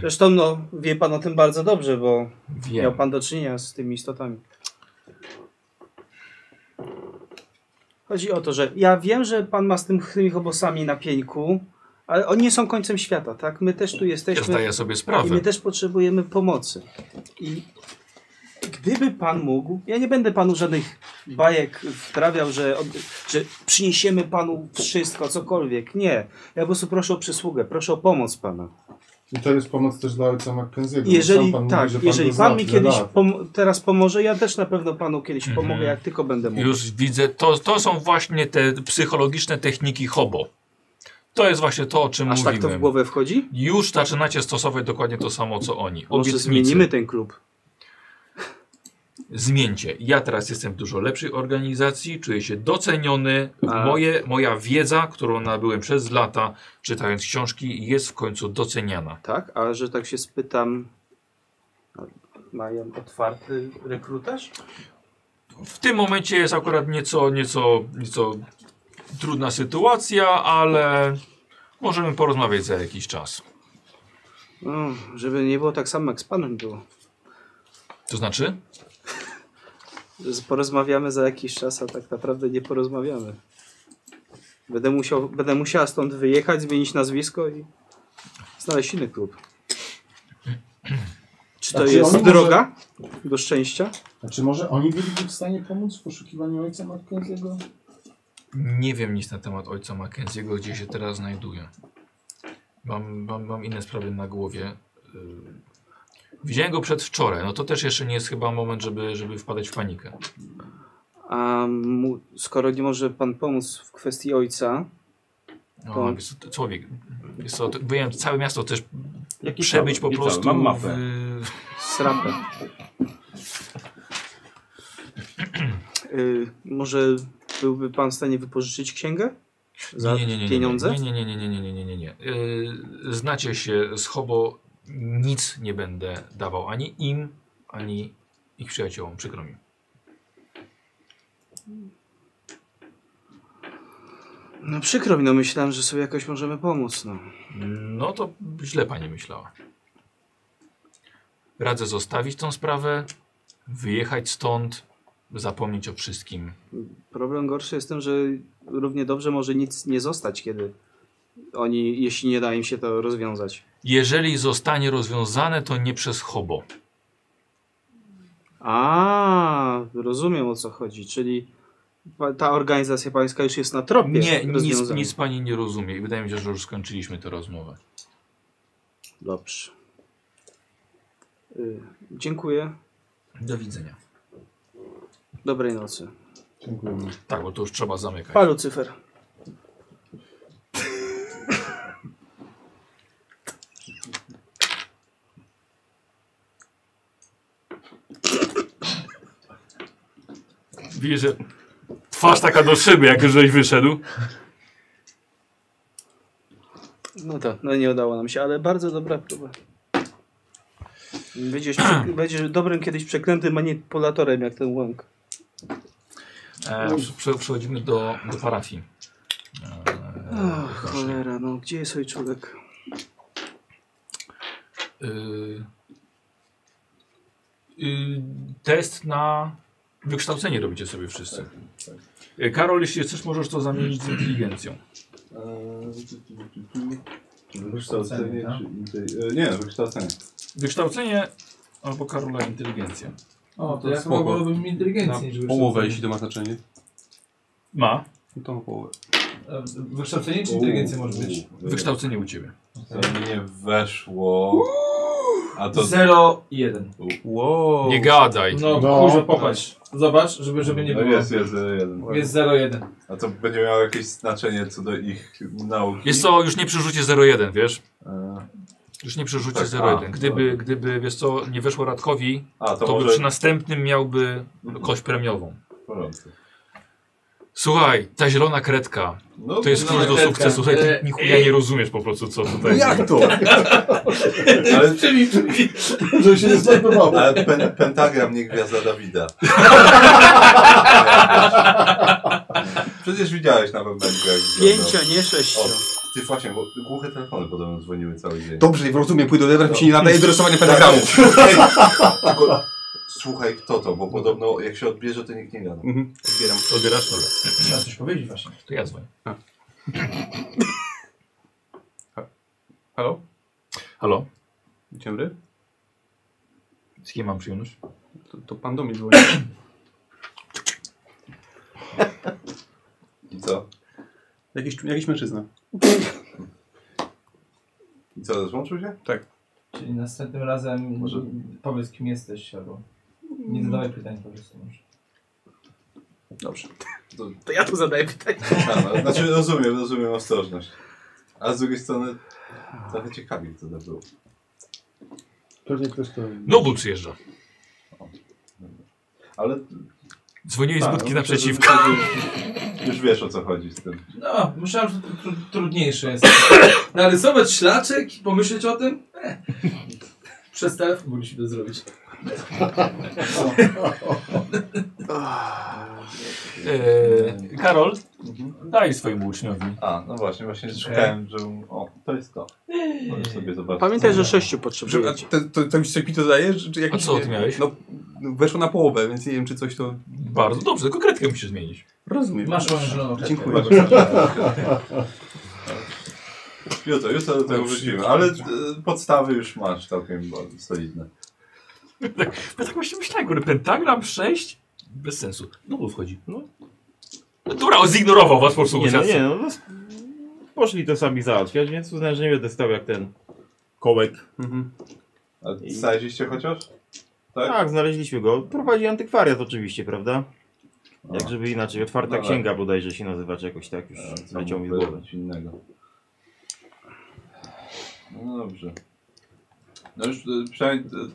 Speaker 3: Zresztą no, wie pan o tym bardzo dobrze, bo
Speaker 1: wiem.
Speaker 3: miał pan do czynienia z tymi istotami. Chodzi o to, że ja wiem, że pan ma z tym, tymi hobosami na pieńku, ale oni nie są końcem świata, tak? My też tu
Speaker 1: Ja
Speaker 3: jesteśmy.
Speaker 1: zdaję sobie
Speaker 3: I
Speaker 1: sprawę.
Speaker 3: my też potrzebujemy pomocy. I gdyby pan mógł, ja nie będę panu żadnych bajek wprawiał, że, od- że przyniesiemy panu wszystko, cokolwiek. Nie. Ja po prostu proszę o przysługę, proszę o pomoc pana.
Speaker 4: I to jest pomoc też dla ojca Mackenzie'ego. bo
Speaker 3: Jeżeli,
Speaker 4: sam pan mówi,
Speaker 3: tak,
Speaker 4: że pan
Speaker 3: jeżeli
Speaker 4: go
Speaker 3: pan
Speaker 4: zna
Speaker 3: mi
Speaker 4: tyle
Speaker 3: kiedyś
Speaker 4: lat.
Speaker 3: pom- teraz pomoże, ja też na pewno panu kiedyś
Speaker 1: Mhm.
Speaker 3: pomogę, jak tylko będę mógł.
Speaker 1: Już widzę, to, to są właśnie te psychologiczne techniki hobo. To jest właśnie to, o czym
Speaker 3: Aż tak
Speaker 1: mówiłem.
Speaker 3: to w głowę wchodzi?
Speaker 1: Już zaczynacie stosować dokładnie to samo, co oni.
Speaker 3: Może
Speaker 1: Obietnicy.
Speaker 3: zmienimy ten klub.
Speaker 1: Zmieńcie. Ja teraz jestem w dużo lepszej organizacji, czuję się doceniony.
Speaker 3: A.
Speaker 1: Moje, moja wiedza, którą nabyłem przez lata, czytając książki, jest w końcu doceniana.
Speaker 3: Tak, a że tak się spytam, no, mają otwarty rekrutaż?
Speaker 1: W tym momencie jest akurat nieco, nieco, nieco trudna sytuacja, ale możemy porozmawiać za jakiś czas.
Speaker 3: No, żeby nie było tak samo jak z panem było.
Speaker 1: To znaczy?
Speaker 3: Z- Porozmawiamy za jakiś czas, a tak naprawdę nie porozmawiamy. Będę, musiał, będę musiała stąd wyjechać, zmienić nazwisko i znaleźć inny klub. Czy to
Speaker 4: A czy
Speaker 3: jest
Speaker 4: Znaczy, oni może-
Speaker 3: droga do szczęścia?
Speaker 4: A czy Znaczy, może oni byliby w stanie pomóc w poszukiwaniu ojca Mackenzie'ego?
Speaker 1: Nie wiem nic na temat ojca Mackenzie'ego, gdzie się teraz znajduje. Mam, mam, mam inne sprawy na głowie. Yy, Widziałem go przedwczoraj, no to też jeszcze nie jest chyba moment, żeby, żeby wpadać w panikę.
Speaker 3: A mu, skoro nie może pan pomóc w kwestii ojca,
Speaker 14: Tak.
Speaker 1: No,
Speaker 3: To-
Speaker 1: wiesz, co, to człowiek, wiesz co, to, byłem całe miasto też
Speaker 14: Jakie
Speaker 1: przebyć
Speaker 14: całe?
Speaker 1: po
Speaker 14: Nie
Speaker 1: prostu.
Speaker 14: całe, mam mapę.
Speaker 1: w-
Speaker 3: srapę. y, może byłby pan w stanie wypożyczyć księgę? Za
Speaker 1: nie, nie, nie, nie,
Speaker 3: pieniądze?
Speaker 1: Nie, nie, nie, nie, nie, nie, nie, nie, nie. Yy, znacie się z Hobo, nic nie będę dawał ani im, ani ich przyjaciołom, przykro mi.
Speaker 3: No przykro mi, no myślałem, że sobie jakoś możemy pomóc, no.
Speaker 1: No to źle pani myślała. Radzę zostawić tą sprawę, wyjechać stąd, zapomnieć o wszystkim.
Speaker 3: Problem gorszy jest ten, że równie dobrze może nic nie zostać, kiedy oni, jeśli nie da im się to rozwiązać.
Speaker 1: Jeżeli zostanie rozwiązane, to nie przez hobo.
Speaker 3: A, rozumiem o co chodzi, czyli pa- ta organizacja pańska już jest na tropie
Speaker 1: Nie, nic,
Speaker 3: rozwiązania.
Speaker 1: nic pani nie rozumie. I Wydaje mi się, że już skończyliśmy tę rozmowę.
Speaker 3: Dobrze. Y, dziękuję.
Speaker 1: Do widzenia.
Speaker 3: Dobrej nocy.
Speaker 4: Dziękujemy.
Speaker 1: Tak, bo to już trzeba zamykać.
Speaker 3: Pa, Lucyfer.
Speaker 1: Widzisz, że twarz taka do szyby, jak już żeś wyszedł.
Speaker 3: No to, no nie udało nam się, ale bardzo dobra próba.
Speaker 1: *clears throat*
Speaker 3: Będziesz, prze- będziesz dobrym kiedyś przeklętym manipulatorem, jak ten łąk.
Speaker 1: E, przy- przy- przechodzimy do, do parafii. E,
Speaker 3: Ach, cholera, no gdzie jest ojczulek?
Speaker 1: y, y, test na wykształcenie robicie sobie wszyscy. Y, Karol, jeśli chcesz, możesz to zamienić z inteligencją.
Speaker 8: Wykształcenie czy inte- e, Nie, wykształcenie.
Speaker 1: Wykształcenie albo Karola inteligencja.
Speaker 19: O, to
Speaker 15: To
Speaker 19: ja chyba
Speaker 15: spoko.
Speaker 19: wolałbym inteligencji niż
Speaker 15: Na
Speaker 19: wykształcenie.
Speaker 15: połowę, jeśli to ma znaczenie.
Speaker 1: Ma.
Speaker 15: No to ma połowę.
Speaker 19: E, Wykształcenie czy inteligencja może być?
Speaker 1: Wykształcenie u ciebie.
Speaker 8: To mnie weszło. A to.
Speaker 19: 0,1.
Speaker 15: Wow.
Speaker 1: Nie gadaj.
Speaker 19: No,
Speaker 4: No.
Speaker 19: kurze, popatrz. Zobacz, żeby, żeby nie
Speaker 8: No
Speaker 19: było.
Speaker 8: jest, jest, jest, jeden.
Speaker 19: Jest 0,1.
Speaker 8: A to będzie miało jakieś znaczenie co do ich nauki.
Speaker 1: Jest co, już nie przerzucie 0,1, wiesz?
Speaker 8: E,
Speaker 1: Już nie przerzucie
Speaker 8: Tak,
Speaker 1: 0,1.
Speaker 8: a,
Speaker 1: Gdyby,
Speaker 8: dobra.
Speaker 1: gdyby, wiesz co, nie weszło Radkowi,
Speaker 8: A, to,
Speaker 1: to by
Speaker 8: może...
Speaker 1: przy następnym miałby kość premiową.
Speaker 8: W porządku.
Speaker 1: Słuchaj, ta zielona kretka,
Speaker 8: No,
Speaker 1: to jest
Speaker 8: no,
Speaker 1: klucz do
Speaker 19: kretka.
Speaker 1: sukcesu. Słuchaj, ty
Speaker 19: E,
Speaker 1: nichuja nie rozumiesz po prostu, co tutaj...
Speaker 4: Jak to?
Speaker 8: Ale,
Speaker 4: *laughs* Żeby się nie znajdowało.
Speaker 8: ale pen, pentagram nie gwiazda Dawida. Przecież widziałeś na bębenku jak
Speaker 3: Pięcio,
Speaker 8: wyglądał.
Speaker 3: nie sześcio.
Speaker 8: O, ty właśnie, bo głuche telefony podobno dzwoniły cały dzień.
Speaker 15: Dobrze, rozumiem, pójdę do lewa, mi się nie nadaje do rysowania
Speaker 8: *laughs*
Speaker 15: pentagramów.
Speaker 8: Ej, tylko Słuchaj, kto to, bo podobno jak się odbierze, to nikt nie gada.
Speaker 15: Mhm. Zbieram.
Speaker 1: Odbierasz? Dobra,
Speaker 19: Trzeba coś powiedzieć właśnie.
Speaker 1: to ja dzwonię.
Speaker 15: Halo?
Speaker 1: Halo,
Speaker 15: Dzień dobry.
Speaker 1: z kim mam przyjemność?
Speaker 15: To, to pan do mnie dzwoni.
Speaker 8: I co?
Speaker 15: Jakiś, jakiś mężczyzna.
Speaker 8: co, złączył się?
Speaker 7: Tak.
Speaker 9: Czyli następnym razem Może... powiedz kim jesteś albo nie zadawaj pytań po prostu może.
Speaker 7: Dobrze.
Speaker 8: To,
Speaker 3: to ja tu zadaję pytanie.
Speaker 8: A, no, znaczy rozumiem, rozumiem ostrożność. A z drugiej strony trochę ciekawie wtedy było.
Speaker 4: Pewnie ktoś to...
Speaker 1: Nobu No przyjeżdża.
Speaker 8: Ale...
Speaker 1: Dzwoniłeś z
Speaker 8: Tak,
Speaker 1: budki
Speaker 8: no,
Speaker 1: naprzeciwko.
Speaker 8: Już, już wiesz o co chodzi z tym.
Speaker 9: No, myślałem, że to tru trudniejsze jest. *coughs* Narysować szlaczek i pomyśleć o tym? Eh. *laughs* Przez telefon mogliśmy to zrobić.
Speaker 1: Eee, Karol,
Speaker 5: Mhm.
Speaker 1: daj swojemu uczniowi.
Speaker 8: A, no właśnie, właśnie szukałem, że... O, to jest to. Możesz sobie zobaczyć.
Speaker 3: Pamiętaj, że sześciu potrzebujesz.
Speaker 7: Że- a To, to, to mi się to daje? Czy, czy jakiś,
Speaker 1: A co ty miałeś?
Speaker 7: No, no, weszło na połowę, więc nie wiem, czy coś to...
Speaker 1: Bardzo dobrze, tylko kredkę musisz zmienić.
Speaker 7: Rozumiem.
Speaker 9: Masz no, oranżową
Speaker 7: Dziękuję.
Speaker 8: Jutro, jutro do tego wrócimy, ale e, podstawy już masz całkiem bardzo solidne.
Speaker 1: Tak, ja tak właśnie myślałem, kurde, pentagram 6? Bez sensu. Nobu wchodzi. No. Dobra, on zignorował was po prostu.
Speaker 5: Nie, no,
Speaker 1: kurczę.
Speaker 5: nie, no, no, poszli to sami załatwiać, więc uznałem, że nie będę stał jak ten kołek.
Speaker 8: A znaleźliście chociaż?
Speaker 5: Tak? znaleźliśmy go. Prowadzi antykwariat oczywiście, prawda? Jak
Speaker 8: A.
Speaker 5: żeby inaczej, otwarta
Speaker 8: No tak.
Speaker 5: księga bodajże się nazywa, czy jakoś tak już leciał mi z głowy.
Speaker 8: Coś innego. No dobrze. No już e, przynajmniej e, e,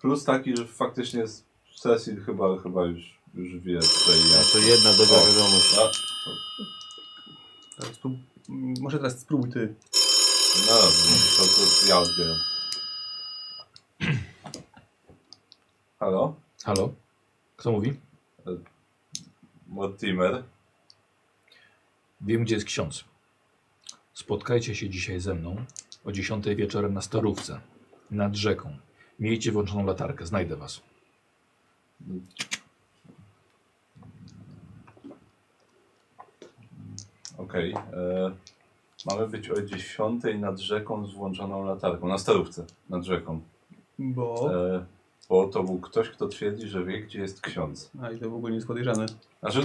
Speaker 8: plus taki, że faktycznie z sesji chyba, chyba już, już wie tutaj jak.
Speaker 5: to jedna dobra
Speaker 8: O,
Speaker 5: wiadomość.
Speaker 8: a,
Speaker 7: Tak, sprób- m, Może teraz spróbuj ty.
Speaker 8: No dobrze, to, to ja odbieram. Halo?
Speaker 1: Halo? Kto mówi?
Speaker 8: Mortimer?
Speaker 1: Wiem, gdzie jest ksiądz. Spotkajcie się dzisiaj ze mną o 10 wieczorem na Starówce, nad rzeką. Miejcie włączoną latarkę, znajdę was.
Speaker 8: Okej. e, Mamy być o 10 nad rzeką z włączoną latarką. Na starówce nad rzeką.
Speaker 7: Bo...
Speaker 8: E, bo to był ktoś, kto twierdzi, że wie, gdzie jest ksiądz.
Speaker 7: A i to w ogóle nie jest podejrzane.
Speaker 8: Znaczy,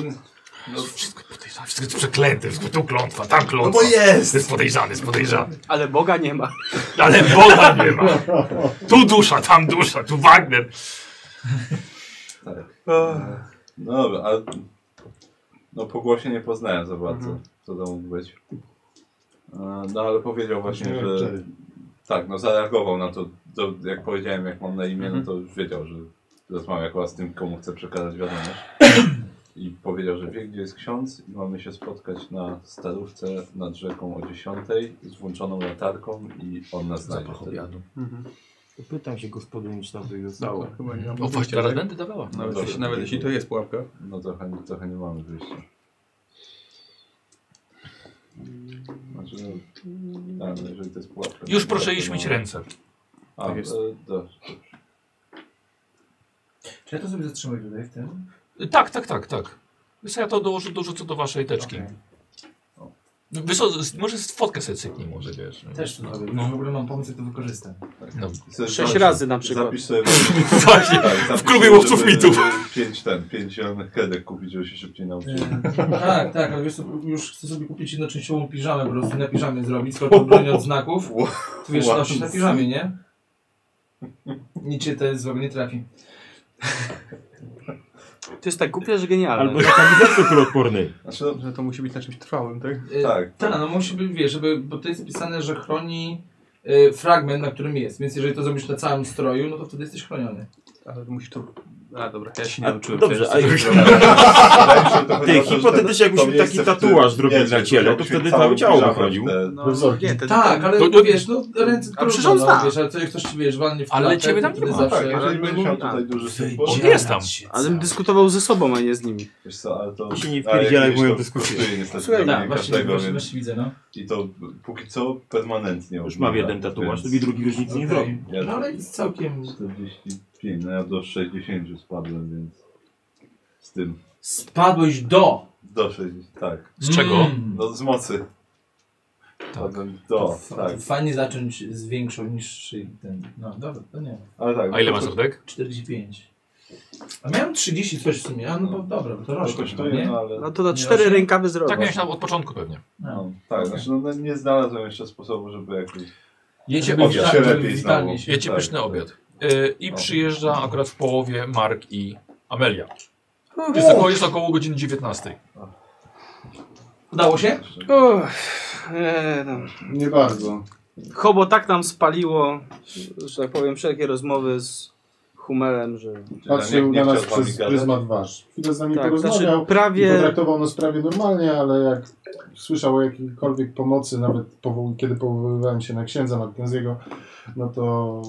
Speaker 8: no,
Speaker 1: Wszystko podejrzane, wszystko jest przeklęte, wszystko tu klątwa, tam klątwa.
Speaker 7: No bo jest!
Speaker 1: Jest podejrzany, jest podejrzany.
Speaker 3: Ale Boga nie ma.
Speaker 1: Ale Boga nie ma. Tu dusza, tam dusza, tu Wagner.
Speaker 8: tak. E, No dobra, ale no, po głosie nie poznałem za bardzo,
Speaker 7: Mhm.
Speaker 8: co to mógł być. E, No ale powiedział właśnie,
Speaker 24: Brzmiałem
Speaker 8: że...
Speaker 24: Jerry.
Speaker 8: Tak, no zareagował na to, to, jak powiedziałem, jak mam na imię,
Speaker 7: Mhm.
Speaker 8: no to już wiedział, że rozmawiał akurat z tym, komu chce przekazać
Speaker 7: *coughs*
Speaker 8: wiadomość. I powiedział, że wie, gdzie jest ksiądz i mamy się spotkać na starówce nad rzeką o 10 z włączoną latarką i on nas znajdzie.
Speaker 1: Zapach
Speaker 8: wtedy.
Speaker 1: obiadu.
Speaker 5: Pytam się gospodyni, czy tam coś zostało.
Speaker 7: Chyba nie mam
Speaker 1: O No właśnie, teraz
Speaker 7: tak?
Speaker 1: będę dawała.
Speaker 7: Nawet,
Speaker 8: Dobra.
Speaker 7: jeśli, nawet jeśli to jest pułapka.
Speaker 8: No trochę, trochę nie mamy wyjścia. Znaczy, no, tak, no, jeżeli to jest pułapka.
Speaker 1: Już
Speaker 8: to
Speaker 1: proszę
Speaker 8: tak,
Speaker 1: iść
Speaker 8: to
Speaker 1: myć
Speaker 8: no.
Speaker 1: ręce.
Speaker 8: A,
Speaker 7: Tak jest.
Speaker 8: e, dobrze.
Speaker 9: Czy ja to sobie zatrzymuję tutaj w tym?
Speaker 1: Tak, tak, tak, tak. Wiesz, co, ja to dołożę, dorzucę do waszej teczki.
Speaker 9: Okej.
Speaker 1: No, Wiesz, co, z- może z- fotkę sobie cyknij, może wiesz.
Speaker 9: Też to
Speaker 1: no.
Speaker 9: zrobię. No.
Speaker 1: no.
Speaker 9: W ogóle mam pomysł, jak to wykorzystam.
Speaker 1: no. *laughs*
Speaker 8: Sobie
Speaker 3: Sześć
Speaker 8: zapisz-
Speaker 3: razy na przykład.
Speaker 8: Zapisz
Speaker 5: *laughs*
Speaker 8: sobie tak,
Speaker 1: Właśnie, w klubie łowców
Speaker 8: żeby
Speaker 1: mitów.
Speaker 8: Pięć ten, pięć zielonych kredek kupić, żeby się szybciej nauczyć.
Speaker 9: Eee, tak, tak, ale wiesz, co, już chcę sobie kupić jednoczęściową piżamę, po prostu na piżamie zrobić, skoro to broni od znaków. Tu wiesz,
Speaker 8: Wow.
Speaker 9: nosisz na piżamie, nie? Nic cię to jest złego nie trafi.
Speaker 3: To jest tak głupie, że genialne.
Speaker 5: Albo na kamizelce kuloodpornej.
Speaker 8: Znaczy, no,
Speaker 7: Że to musi być na czymś trwałym, tak?
Speaker 1: Y,
Speaker 9: E,
Speaker 8: Tak.
Speaker 9: Ta, no musi być, wiesz, żeby, bo to jest napisane, że chroni e, fragment, na którym jest, więc jeżeli to zrobisz na całym stroju, no to wtedy jesteś chroniony.
Speaker 7: Ale musisz to... A dobra, ja się nie
Speaker 5: A,
Speaker 7: nauczyłem.
Speaker 5: dobrze,
Speaker 7: też.
Speaker 5: a już-
Speaker 8: Ty,
Speaker 5: Ty, hipotetycznie jakbyśmy taki tatuaż zrobili na ciele, to wtedy całe ciało wychodził.
Speaker 7: No,
Speaker 4: wzorki.
Speaker 7: nie, te-
Speaker 9: Tak, ale
Speaker 1: To-
Speaker 9: to,
Speaker 1: to-
Speaker 9: wiesz, no ręce
Speaker 3: A przecież
Speaker 9: trudno,
Speaker 3: on
Speaker 9: no,
Speaker 3: zna.
Speaker 9: wiesz, ale coś ktoś ci, wiesz, walnie w
Speaker 1: Ale
Speaker 9: klatę,
Speaker 1: ciebie
Speaker 9: to
Speaker 1: tam nie
Speaker 9: wtedy
Speaker 1: ma.
Speaker 9: Zawsze,
Speaker 8: Tak, jeżeli będziesz miał tutaj duży symbol,
Speaker 1: On jest tam.
Speaker 3: Ale bym dyskutował ze sobą, a nie z nimi.
Speaker 8: wiesz co, ale to...
Speaker 5: Się nie
Speaker 8: ale
Speaker 5: wpierdzielaj
Speaker 8: jakieś
Speaker 5: w moją
Speaker 8: to
Speaker 5: dyskusję.
Speaker 8: kosztuje Niestety,
Speaker 9: Słuchaj,
Speaker 1: no,
Speaker 8: robienie
Speaker 9: tak, właśnie,
Speaker 8: każdego,
Speaker 9: właśnie,
Speaker 8: więc-
Speaker 9: właśnie widzę, no.
Speaker 8: I to b- póki co permanentnie.
Speaker 5: Już mam
Speaker 8: obniża,
Speaker 5: jeden tatuaż, to
Speaker 8: więc
Speaker 5: mi drugi różnicy nie
Speaker 9: Okej.
Speaker 5: zrobi.
Speaker 8: Ja
Speaker 9: No ale jest całkiem...
Speaker 8: 45, no ja do 60 spadłem, więc... Z tym.
Speaker 9: Spadłeś do!
Speaker 8: Do 60, tak.
Speaker 1: Z czego?
Speaker 9: Mm.
Speaker 8: No z mocy. Spadłem Do, tak.
Speaker 9: Fajnie zacząć z większą niż ten. No dobra, to nie.
Speaker 8: Ale tak.
Speaker 1: A ile masz serdek?
Speaker 9: 45. A miałem 30 coś w sumie, a no bo dobra, bo to rośnie. nie?
Speaker 3: No to na cztery rękawy zrobię.
Speaker 8: Tak miałeś
Speaker 1: tam od początku pewnie.
Speaker 8: No, tak, znaczy no, no, nie znalazłem jeszcze sposobu, żeby jakoś...
Speaker 1: Jecie
Speaker 8: żeby
Speaker 1: obiad.
Speaker 8: się lepiej znało.
Speaker 1: Jecie
Speaker 8: Tak,
Speaker 1: pyszny
Speaker 8: tak.
Speaker 1: obiad. Y, I
Speaker 8: No.
Speaker 1: przyjeżdża akurat w połowie Mark i Amelia.
Speaker 8: Mhm.
Speaker 1: Jest około, jest około godziny 19.
Speaker 9: Udało się?
Speaker 3: Uff, e, no.
Speaker 4: Nie bardzo.
Speaker 3: Hobo tak nam spaliło, że tak powiem, wszelkie rozmowy z Humelem, że...
Speaker 4: Patrzył na nas przez pryzmat wasz. Chwilę z nami
Speaker 3: Tak,
Speaker 4: porozmawiał
Speaker 3: znaczy prawie-
Speaker 4: i potraktował nas prawie normalnie, ale jak słyszał o jakiejkolwiek pomocy, nawet powoł... kiedy powoływałem się na księdza Markenziego, no to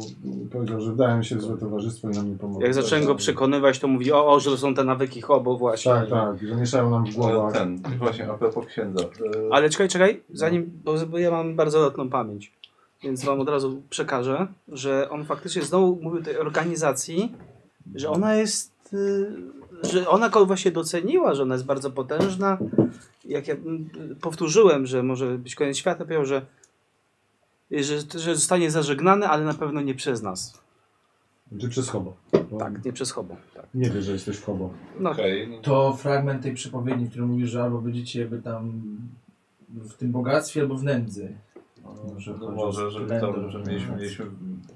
Speaker 4: powiedział, że wdałem się w złe towarzystwo i nam nie pomogło.
Speaker 3: Jak zacząłem go przekonywać, to mówi, o, o, że to są te nawyki Hobo właśnie.
Speaker 4: Tak, tak, że mieszają nam w głowach.
Speaker 8: Ten, właśnie, a propos księdza. e,
Speaker 3: Ale czekaj, czekaj, zanim, bo- bo ja mam bardzo lotną pamięć, więc wam od razu przekażę, że on faktycznie znowu mówił o tej organizacji, że ona jest, y, że ona go właśnie doceniła, że ona jest bardzo potężna. Jak ja mm, powtórzyłem, że może być koniec świata, powiedział, że, że, że zostanie zażegnany, ale na pewno nie przez nas.
Speaker 4: Czy przez hobo?
Speaker 3: Tak, nie przez hobo. Tak.
Speaker 4: Nie wie, że jesteś hobo.
Speaker 3: No.
Speaker 9: To fragment tej przypowiedni, w którym mówisz, że albo będziecie jakby tam w tym bogactwie, albo w nędzy. Może,
Speaker 8: No może, że tam, że mieliśmy, mieliśmy,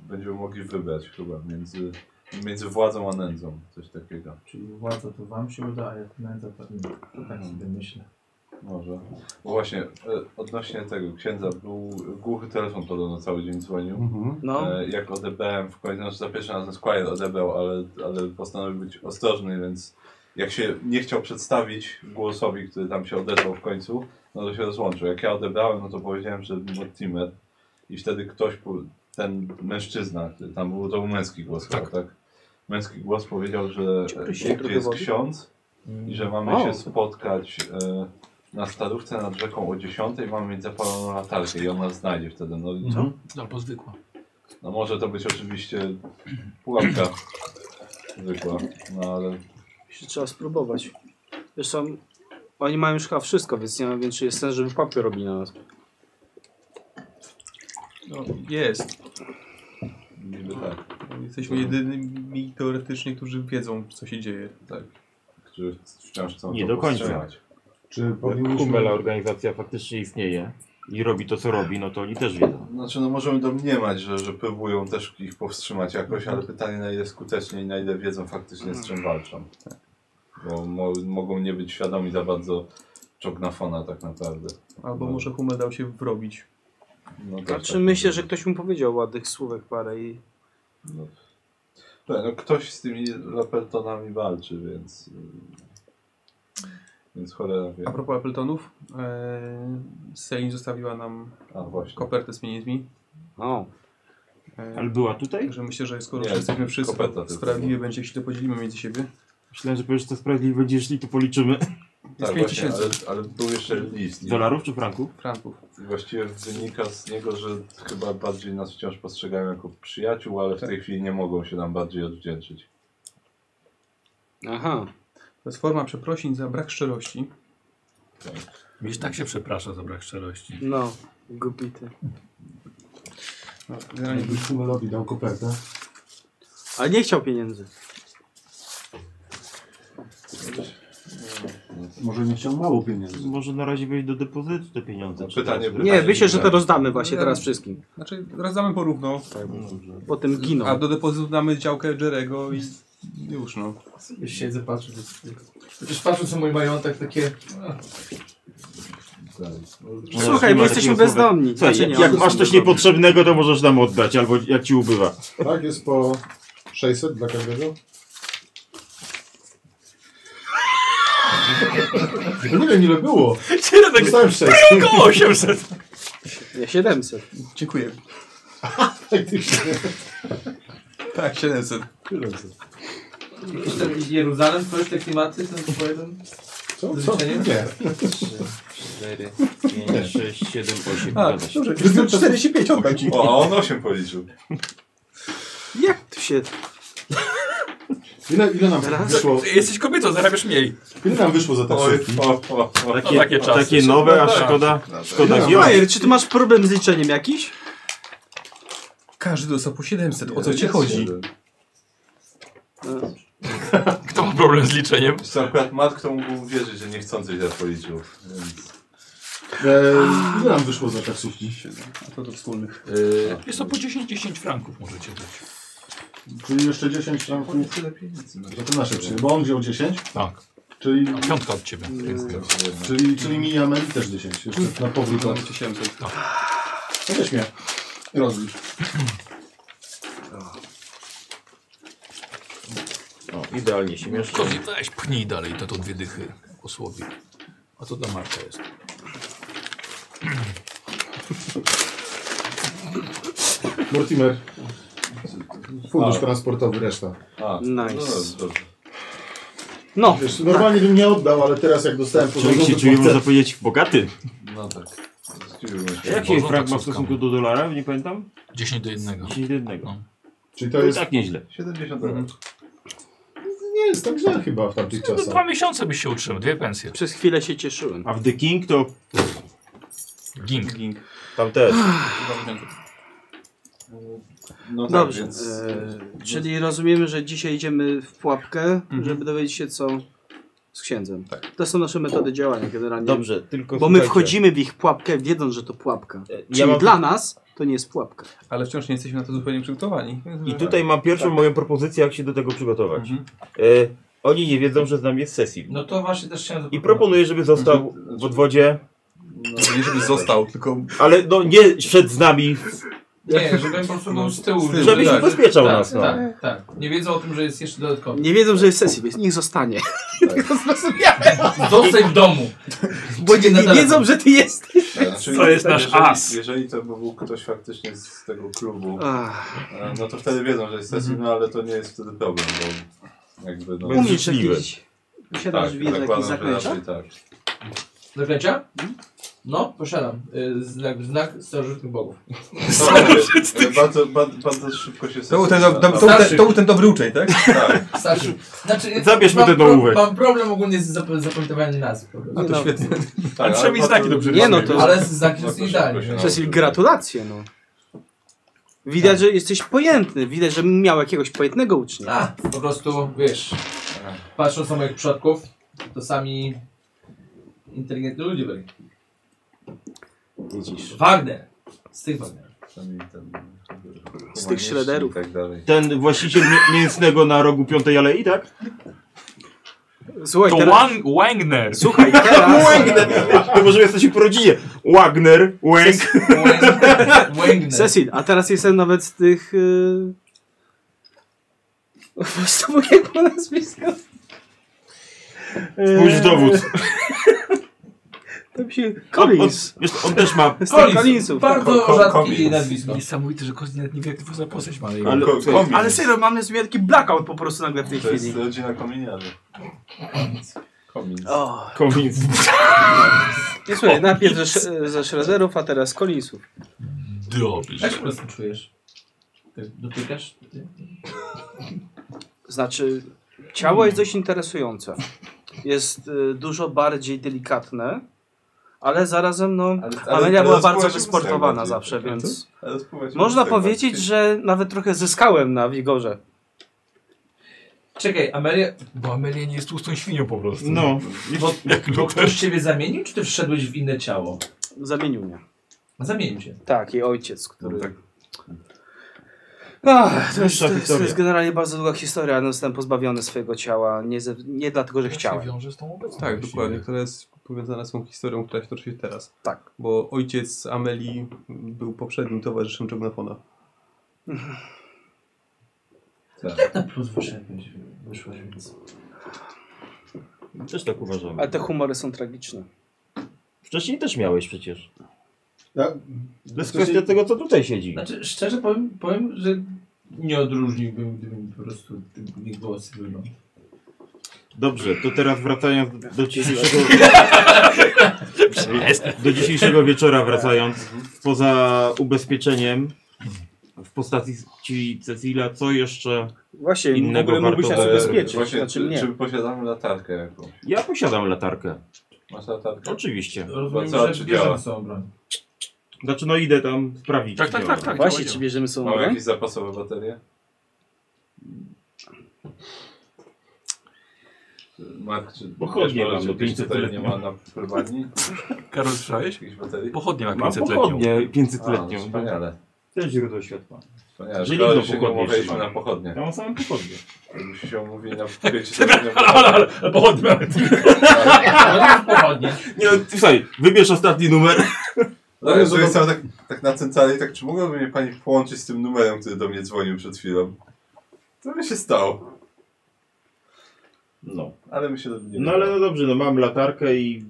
Speaker 8: będziemy mogli wybrać chyba między, między władzą a nędzą, coś takiego.
Speaker 9: Czyli władza to wam się uda, a jak nędza to im. Tak sobie myślę.
Speaker 8: Może. Bo właśnie, e, odnośnie tego księdza, był głuchy telefon podobno cały dzień dzwonił.
Speaker 4: Mhm.
Speaker 3: No.
Speaker 8: E, jak odebrałem w końcu, znaczy za pierwszym razem Squire odebrał, ale, ale postanowił być ostrożny, więc jak się nie chciał przedstawić głosowi, który tam się odezwał w końcu, no to się rozłączył. Jak ja odebrałem, no to powiedziałem, że Mortimer i wtedy ktoś, po- ten mężczyzna, który tam był, to był męski głos chyba, tak? Męski głos powiedział, że e,
Speaker 3: się
Speaker 8: gdzie
Speaker 3: trochę
Speaker 8: jest
Speaker 3: wodzi?
Speaker 8: ksiądz i że mamy
Speaker 3: Mm. O.
Speaker 8: się spotkać e, na starówce nad rzeką o 10, mamy mieć zapaloną latarkę i on nas znajdzie wtedy. No, i co?
Speaker 1: Mhm. Albo zwykła.
Speaker 8: No może to być oczywiście pułapka zwykła, no ale
Speaker 3: Jeszcze trzeba spróbować. Zresztą oni mają już chyba wszystko, więc nie mam więcej jest sens, żeby papkę robili na nas.
Speaker 7: No, jest.
Speaker 8: niby tak.
Speaker 7: Jesteśmy jedynymi teoretycznie, którzy wiedzą, co się dzieje.
Speaker 8: Tak. Którzy wciąż chcą
Speaker 5: Nie
Speaker 8: to
Speaker 5: do końca.
Speaker 8: powstrzymać.
Speaker 4: Czy
Speaker 5: Jak
Speaker 4: powinniśmy...
Speaker 5: Kumbela organizacja faktycznie istnieje i robi to, co robi, no to oni też wiedzą.
Speaker 8: Znaczy no możemy domniemać, że, że próbują też ich powstrzymać jakoś, ale pytanie na ile skutecznie i na ile wiedzą faktycznie z czym walczą. Bo mo mogą nie być świadomi za bardzo czognafona tak naprawdę.
Speaker 7: Albo może Humel dał się wrobić.
Speaker 8: No, też
Speaker 3: Znaczy
Speaker 8: tak.
Speaker 3: myślę, że ktoś mu powiedział ładnych słówek parę i...
Speaker 8: No. Tak, no ktoś z tymi Lapertonami walczy, więc... y, Więc cholera wie.
Speaker 7: A propos Appletonów, yy, Selin zostawiła nam
Speaker 8: A właśnie.
Speaker 7: kopertę z pieniędzmi.
Speaker 3: No.
Speaker 7: E,
Speaker 5: Ale była tutaj?
Speaker 7: Także myślę, że skoro
Speaker 8: Nie,
Speaker 7: już jesteśmy wszyscy,
Speaker 8: koperta tylko
Speaker 7: sprawiedliwie
Speaker 8: była.
Speaker 7: będzie, jeśli to podzielimy między siebie.
Speaker 5: Myślałem, że powiesz, to sprawiedliwie będzie, jeśli to policzymy.
Speaker 7: Jest
Speaker 8: Tak,
Speaker 7: 5
Speaker 8: właśnie, ale,
Speaker 7: tysięcy
Speaker 8: ale był jeszcze list. nie?
Speaker 5: Dolarów czy franków?
Speaker 7: franków.
Speaker 8: I Właściwie wynika z niego, że chyba bardziej nas wciąż postrzegają jako przyjaciół, ale w tej chwili nie mogą się nam bardziej odwdzięczyć.
Speaker 3: Aha.
Speaker 7: To jest forma przeprosin za brak szczerości.
Speaker 1: Wiesz, tak się przeprasza za brak szczerości.
Speaker 3: No. Głupity.
Speaker 7: No, generalnie
Speaker 8: Mhm.
Speaker 7: był-
Speaker 4: Jakbyś Kumelowi dał kopertę.
Speaker 3: Ale nie chciał pieniędzy.
Speaker 4: Może nie chciał mało pieniędzy.
Speaker 5: Może na razie wejść do depozytu te pieniądze.
Speaker 8: Pytanie, pytanie.
Speaker 3: Nie, myślę, że to
Speaker 8: tak.
Speaker 3: rozdamy właśnie
Speaker 7: Ja-
Speaker 3: teraz wszystkim.
Speaker 7: Znaczy, rozdamy porówno,
Speaker 3: Po tym giną.
Speaker 7: a do depozytu damy działkę Jerego i już no.
Speaker 9: Już siedzę, patrzę. że- Przecież patrzę co mój majątek, takie...
Speaker 3: Słuchaj, my jesteśmy bezdomni.
Speaker 5: Słuchaj,
Speaker 3: Znaczy
Speaker 5: jak,
Speaker 3: nie,
Speaker 5: jak
Speaker 3: oni
Speaker 5: masz
Speaker 3: są
Speaker 5: coś
Speaker 3: bezdomni.
Speaker 5: niepotrzebnego, to możesz nam oddać, albo jak ci ubywa.
Speaker 4: Tak, jest po 600 dla każdego. No nie wiem ile było. Dostałem 6.
Speaker 1: Około 800!
Speaker 3: Nie, 700.
Speaker 8: *laughs*
Speaker 7: Dziękuję. Tak, 700.
Speaker 9: Jeszcze Jeruzalem, to już te klimaty, ten powiedzmy.
Speaker 4: Co? Co? Nie.
Speaker 5: 4, 5, 6, 7, 8,
Speaker 7: A,
Speaker 5: 9.
Speaker 7: dobrze, jestem 45 oddać.
Speaker 8: O, a on 8 policzył.
Speaker 3: Jak tu się...
Speaker 4: Ile, ile nam wyszło?
Speaker 1: Ty jesteś kobietą, zarabiasz mniej.
Speaker 4: Ile nam wyszło za
Speaker 8: Oj,
Speaker 4: taksówki?
Speaker 8: o, o, o.
Speaker 1: No,
Speaker 5: Takie,
Speaker 1: takie czasy.
Speaker 5: takie nowe, a
Speaker 1: No tak.
Speaker 5: szkoda, szkoda giełd.
Speaker 3: Majer, czy ty masz problem z liczeniem jakiś?
Speaker 7: Każdy dostał po 700, o co ci chodzi?
Speaker 3: No.
Speaker 1: Kto ma problem z liczeniem?
Speaker 8: Wiesz co, akurat matką mógł uwierzyć, że niechcący źle policzył. Więc...
Speaker 4: Eee, ile nam wyszło za taksówki?
Speaker 7: A to do wspólnych.
Speaker 1: Yy, jest to po 10-10 franków możecie dać.
Speaker 4: Czyli jeszcze 10 franków. Za to nasze przyjęły, bo on wziął 10.
Speaker 1: Tak.
Speaker 4: Czyli...
Speaker 1: Piątka od ciebie.
Speaker 4: Czyli, czyli mijamy i też 10. Jeszcze na powrót.
Speaker 7: Mamy 800.
Speaker 4: No weź mnie. Rozlicz.
Speaker 5: O, idealnie się mieszczą.
Speaker 1: Dobrze, weź pchnij dalej, to to dwie dychy osłowi. A to dla Marka jest.
Speaker 4: Mortimer. Fundusz transportowy, reszta.
Speaker 8: A,
Speaker 3: Nice.
Speaker 8: no dobrze, dobrze.
Speaker 3: No,
Speaker 4: Wiesz, normalnie bym nie oddał, ale teraz jak dostałem
Speaker 5: Człowiek się
Speaker 4: to
Speaker 5: czuje,
Speaker 4: chcę.
Speaker 5: można powiedzieć, bogaty.
Speaker 8: No tak. Zdziwiłem się.
Speaker 5: Jaki jest
Speaker 1: Można
Speaker 5: frank
Speaker 1: tak
Speaker 5: ma
Speaker 1: spotkamy.
Speaker 5: w stosunku do dolara? Nie pamiętam.
Speaker 1: 10 do 1.
Speaker 5: 10 do 1.
Speaker 1: No.
Speaker 4: Czyli
Speaker 5: To
Speaker 4: to jest,
Speaker 5: i tak nieźle.
Speaker 8: 70 euro.
Speaker 1: Mhm.
Speaker 4: nie jest tak źle chyba w tamtych
Speaker 1: No,
Speaker 4: czasach.
Speaker 1: dwa miesiące byś się utrzymał, dwie pensje.
Speaker 3: przez chwilę się cieszyłem.
Speaker 5: A w The King to
Speaker 1: Ging.
Speaker 5: tam *gasps* też.
Speaker 8: No tak,
Speaker 3: Dobrze,
Speaker 8: więc...
Speaker 3: e, czyli rozumiemy, że dzisiaj idziemy w pułapkę, żeby dowiedzieć się co z księdzem. To są nasze metody działania generalnie.
Speaker 25: Dobrze, tylko
Speaker 3: Bo my
Speaker 25: słuchajcie.
Speaker 3: wchodzimy w ich pułapkę wiedząc, że to pułapka. Czyli
Speaker 25: mam-
Speaker 3: dla nas to nie jest pułapka.
Speaker 7: Ale wciąż nie jesteśmy na to zupełnie przygotowani.
Speaker 3: No.
Speaker 5: I tutaj mam pierwszą moją propozycję, jak się do tego przygotować. E, oni nie wiedzą, że z nami jest Cecil.
Speaker 9: No to właśnie też chciałem
Speaker 5: I
Speaker 9: zaproponować.
Speaker 5: proponuję, żeby został w odwodzie,
Speaker 8: No,
Speaker 26: Nie, żeby został, tylko
Speaker 5: ale no nie szedł z nami,
Speaker 9: Nie, żebym po
Speaker 8: No,
Speaker 9: prostu był z tyłu.
Speaker 26: Żeby
Speaker 5: żeby się ubezpieczał
Speaker 9: tak,
Speaker 5: nas. No.
Speaker 9: tak, tak. Nie wiedzą o tym, że jest jeszcze dodatkowy.
Speaker 3: Nie wiedzą, że jest sesji, więc niech zostanie.
Speaker 9: Zostań w
Speaker 5: *laughs*
Speaker 9: domu.
Speaker 3: Bo *laughs* nie, nie wiedzą, że ty jesteś.
Speaker 8: Znaczy,
Speaker 1: To jest nasz
Speaker 8: jeżeli,
Speaker 1: as.
Speaker 8: Jeżeli to był ktoś faktycznie z tego klubu,
Speaker 3: Ach,
Speaker 8: e, no to wtedy wiedzą, że jest sesji, no ale to nie jest wtedy problem, bo Tak, jakby no...
Speaker 5: Będzie
Speaker 3: umiesz
Speaker 5: życzliwy.
Speaker 3: jakieś... Posiadasz wiedzę, jakieś
Speaker 8: zakładam, że
Speaker 3: zaklęcia?
Speaker 8: raczej tak.
Speaker 9: Zaklęcia? No, posiadam. Y, Znak, znak starożytnych bogów.
Speaker 8: No, ale bardzo, bardzo, bardzo szybko się
Speaker 7: To był, ten, do,
Speaker 8: sesja
Speaker 7: to, był
Speaker 8: na-
Speaker 7: ten, to był ten dobry uczeń, tak?
Speaker 8: Tak.
Speaker 9: Starszy. Znaczy,
Speaker 5: Zabierzmy
Speaker 9: mam
Speaker 5: ten
Speaker 9: pro-
Speaker 5: ołówek.
Speaker 9: Mam problem ogólnie z zap- zapamiętywaniem nazw. po prostu.
Speaker 7: A to świetnie.
Speaker 8: Tak,
Speaker 1: przynajmniej znaki
Speaker 8: ale potem-
Speaker 1: dobrze
Speaker 3: No. Nie no, to-
Speaker 9: Ale z znakiem jest
Speaker 8: No to
Speaker 9: idealnie.
Speaker 8: szybko się
Speaker 3: Cecil, gratulacje no. Widać, że jesteś pojętny. Widać, że miał jakiegoś pojętnego ucznia.
Speaker 9: A, po prostu, wiesz, patrząc na moich przodków, to sami inteligentni ludzie byli.
Speaker 8: Widzisz.
Speaker 9: Wagner. Z tych Wagner.
Speaker 8: Przynajmniej ten-
Speaker 3: Z tych shredderów.
Speaker 8: I tak dalej.
Speaker 5: Ten właściciel mi- mięsnego na rogu piątej alei, tak?
Speaker 3: Słuchaj,
Speaker 1: To
Speaker 3: teraz...
Speaker 1: Wang- Wagner.
Speaker 3: Słuchaj, teraz...
Speaker 5: To może jesteśmy po rodzinie. Wagner, Łęk.
Speaker 9: Wagner.
Speaker 8: *laughs*
Speaker 9: Wagner.
Speaker 3: Cecil, a teraz jestem nawet z tych... *laughs* Yy... Po prostu mojego nazwiska.
Speaker 5: Spójrz w dowód.
Speaker 3: Tam się...
Speaker 5: On, on,
Speaker 3: Collins.
Speaker 5: wiesz, on też ma...
Speaker 3: Z tych
Speaker 9: Collins.
Speaker 3: Collinsów.
Speaker 8: Ko- ko-
Speaker 9: Bardzo rzadkie
Speaker 8: Collins.
Speaker 9: nazwisko.
Speaker 1: Niesamowite, że Kozin nawet nie wie, jak to za postać ma.
Speaker 5: Ale,
Speaker 8: Ko- komin.
Speaker 3: Ale serio, mam jest wielki blackout po prostu nagle w tej
Speaker 8: To jest
Speaker 3: chwili.
Speaker 8: rodzina kominiarzy. Komin.
Speaker 3: O,
Speaker 5: Komin.
Speaker 3: nie słuchaj, najpierw ze, sz- ze Shredderów, a teraz Collinsów.
Speaker 1: Dobrze.
Speaker 9: Jak się po prostu czujesz? Tak Dotykasz? Ty?
Speaker 3: Znaczy, ciało jest dość interesujące. Jest y, dużo bardziej delikatne, ale zarazem, no,
Speaker 8: Ale- ale-
Speaker 3: Amelia
Speaker 8: ale
Speaker 3: była
Speaker 8: spływać
Speaker 3: bardzo
Speaker 8: mózg
Speaker 3: wysportowana
Speaker 8: najbardziej.
Speaker 3: zawsze, więc
Speaker 8: Ale spływać
Speaker 3: można
Speaker 8: mózg
Speaker 3: powiedzieć,
Speaker 8: najbardziej.
Speaker 3: że nawet trochę zyskałem na wigorze.
Speaker 9: Czekaj, Amelia,
Speaker 1: Bo Amelia nie jest tłustą świnią po prostu.
Speaker 5: No.
Speaker 9: bo,
Speaker 1: Jak
Speaker 9: bo
Speaker 1: Luker.
Speaker 9: ktoś ciebie zamienił, czy ty wszedłeś w inne ciało?
Speaker 3: Zamienił mnie.
Speaker 9: Zamienił cię.
Speaker 3: Tak, jej ojciec, który...
Speaker 8: No tak.
Speaker 3: Ach, to, jest,
Speaker 5: Dłuższa
Speaker 3: to, jest, to
Speaker 5: historia.
Speaker 3: jest generalnie bardzo długa historia, no jestem pozbawiony swojego ciała, nie, ze, nie dlatego, że
Speaker 1: Jak się
Speaker 3: chciałem.
Speaker 1: wiąże z tą obecną.
Speaker 7: Tak, dokładnie.
Speaker 1: właściwie.
Speaker 7: Która jest powiązana z tą historią, która się toczy teraz.
Speaker 3: Tak.
Speaker 7: Bo ojciec Amelii był poprzednim towarzyszem Czognafona.
Speaker 9: Tak na plus wyszedłeś, wyszłaś, więc...
Speaker 5: Też tak uważam.
Speaker 3: Ale te humory są tragiczne.
Speaker 5: Wcześniej też miałeś przecież.
Speaker 4: Ja,
Speaker 5: To jest kwestia tego, co tutaj siedzi.
Speaker 9: Znaczy, szczerze powiem, powiem że nie odróżniłbym, gdybym po prostu gdyby nie było cywilną.
Speaker 5: Dobrze, to teraz wracając do, do dzisiejszego... Do dzisiejszego wieczora wracając, poza ubezpieczeniem w postaci Cecila, co jeszcze...
Speaker 3: Właśnie, w
Speaker 5: Innego
Speaker 3: ogóle mógłbyś
Speaker 5: warto
Speaker 3: nas
Speaker 8: Ale
Speaker 3: ubezpieczyć,
Speaker 8: Właśnie,
Speaker 3: znaczy
Speaker 8: czy,
Speaker 3: mnie.
Speaker 8: czy posiadamy latarkę jakąś?
Speaker 5: Ja posiadam latarkę.
Speaker 8: Masz latarkę?
Speaker 5: Oczywiście.
Speaker 9: Rozumiem,
Speaker 8: co,
Speaker 9: że
Speaker 8: czy
Speaker 9: bierzemy
Speaker 8: działa?
Speaker 9: sobą broń.
Speaker 5: Znaczy, no idę tam sprawdzić.
Speaker 1: Tak, tak,
Speaker 5: działa.
Speaker 1: tak, tak.
Speaker 3: Właśnie,
Speaker 1: działa,
Speaker 3: czy
Speaker 1: działa.
Speaker 3: bierzemy sobą
Speaker 8: Mamy
Speaker 3: broń?
Speaker 8: jakieś zapasowe baterie? Mark, czy
Speaker 5: Pochodnie
Speaker 8: wiesz,
Speaker 5: mam,
Speaker 8: może
Speaker 5: no,
Speaker 8: jakieś
Speaker 5: 500
Speaker 8: tutaj nie
Speaker 5: letnią.
Speaker 8: ma na prywatni?
Speaker 1: Karol, słyszałeś?
Speaker 8: Jakiejś baterii?
Speaker 1: Pochodnie ma
Speaker 5: Mam
Speaker 1: 500
Speaker 5: pochodnie 500-letnią.
Speaker 8: 500-letnią. Wspaniale.
Speaker 5: Też źródło światła.
Speaker 8: Wspaniale.
Speaker 5: Że
Speaker 8: Szkoda,
Speaker 5: nigdy
Speaker 8: że się nie
Speaker 5: pochodnie
Speaker 8: umawialiśmy
Speaker 5: trzymamy.
Speaker 8: na pochodnie.
Speaker 5: Ja mam same pochodnie.
Speaker 8: Jakbyś się umówili na
Speaker 5: *laughs*
Speaker 8: wiecie, to nie było.
Speaker 1: Ale E, pochodnie mamy.
Speaker 8: Pochodnie.
Speaker 5: Nie no, ty, słuchaj, wybierz ostatni numer.
Speaker 8: No, ale to jest tam tak, tak nacęcany, tak czy mogłaby mnie pani połączyć z tym numerem, który do mnie dzwonił przed chwilą? To by się stało.
Speaker 5: No.
Speaker 8: Ale my się do mnie
Speaker 5: No ale no dobrze, no mam latarkę i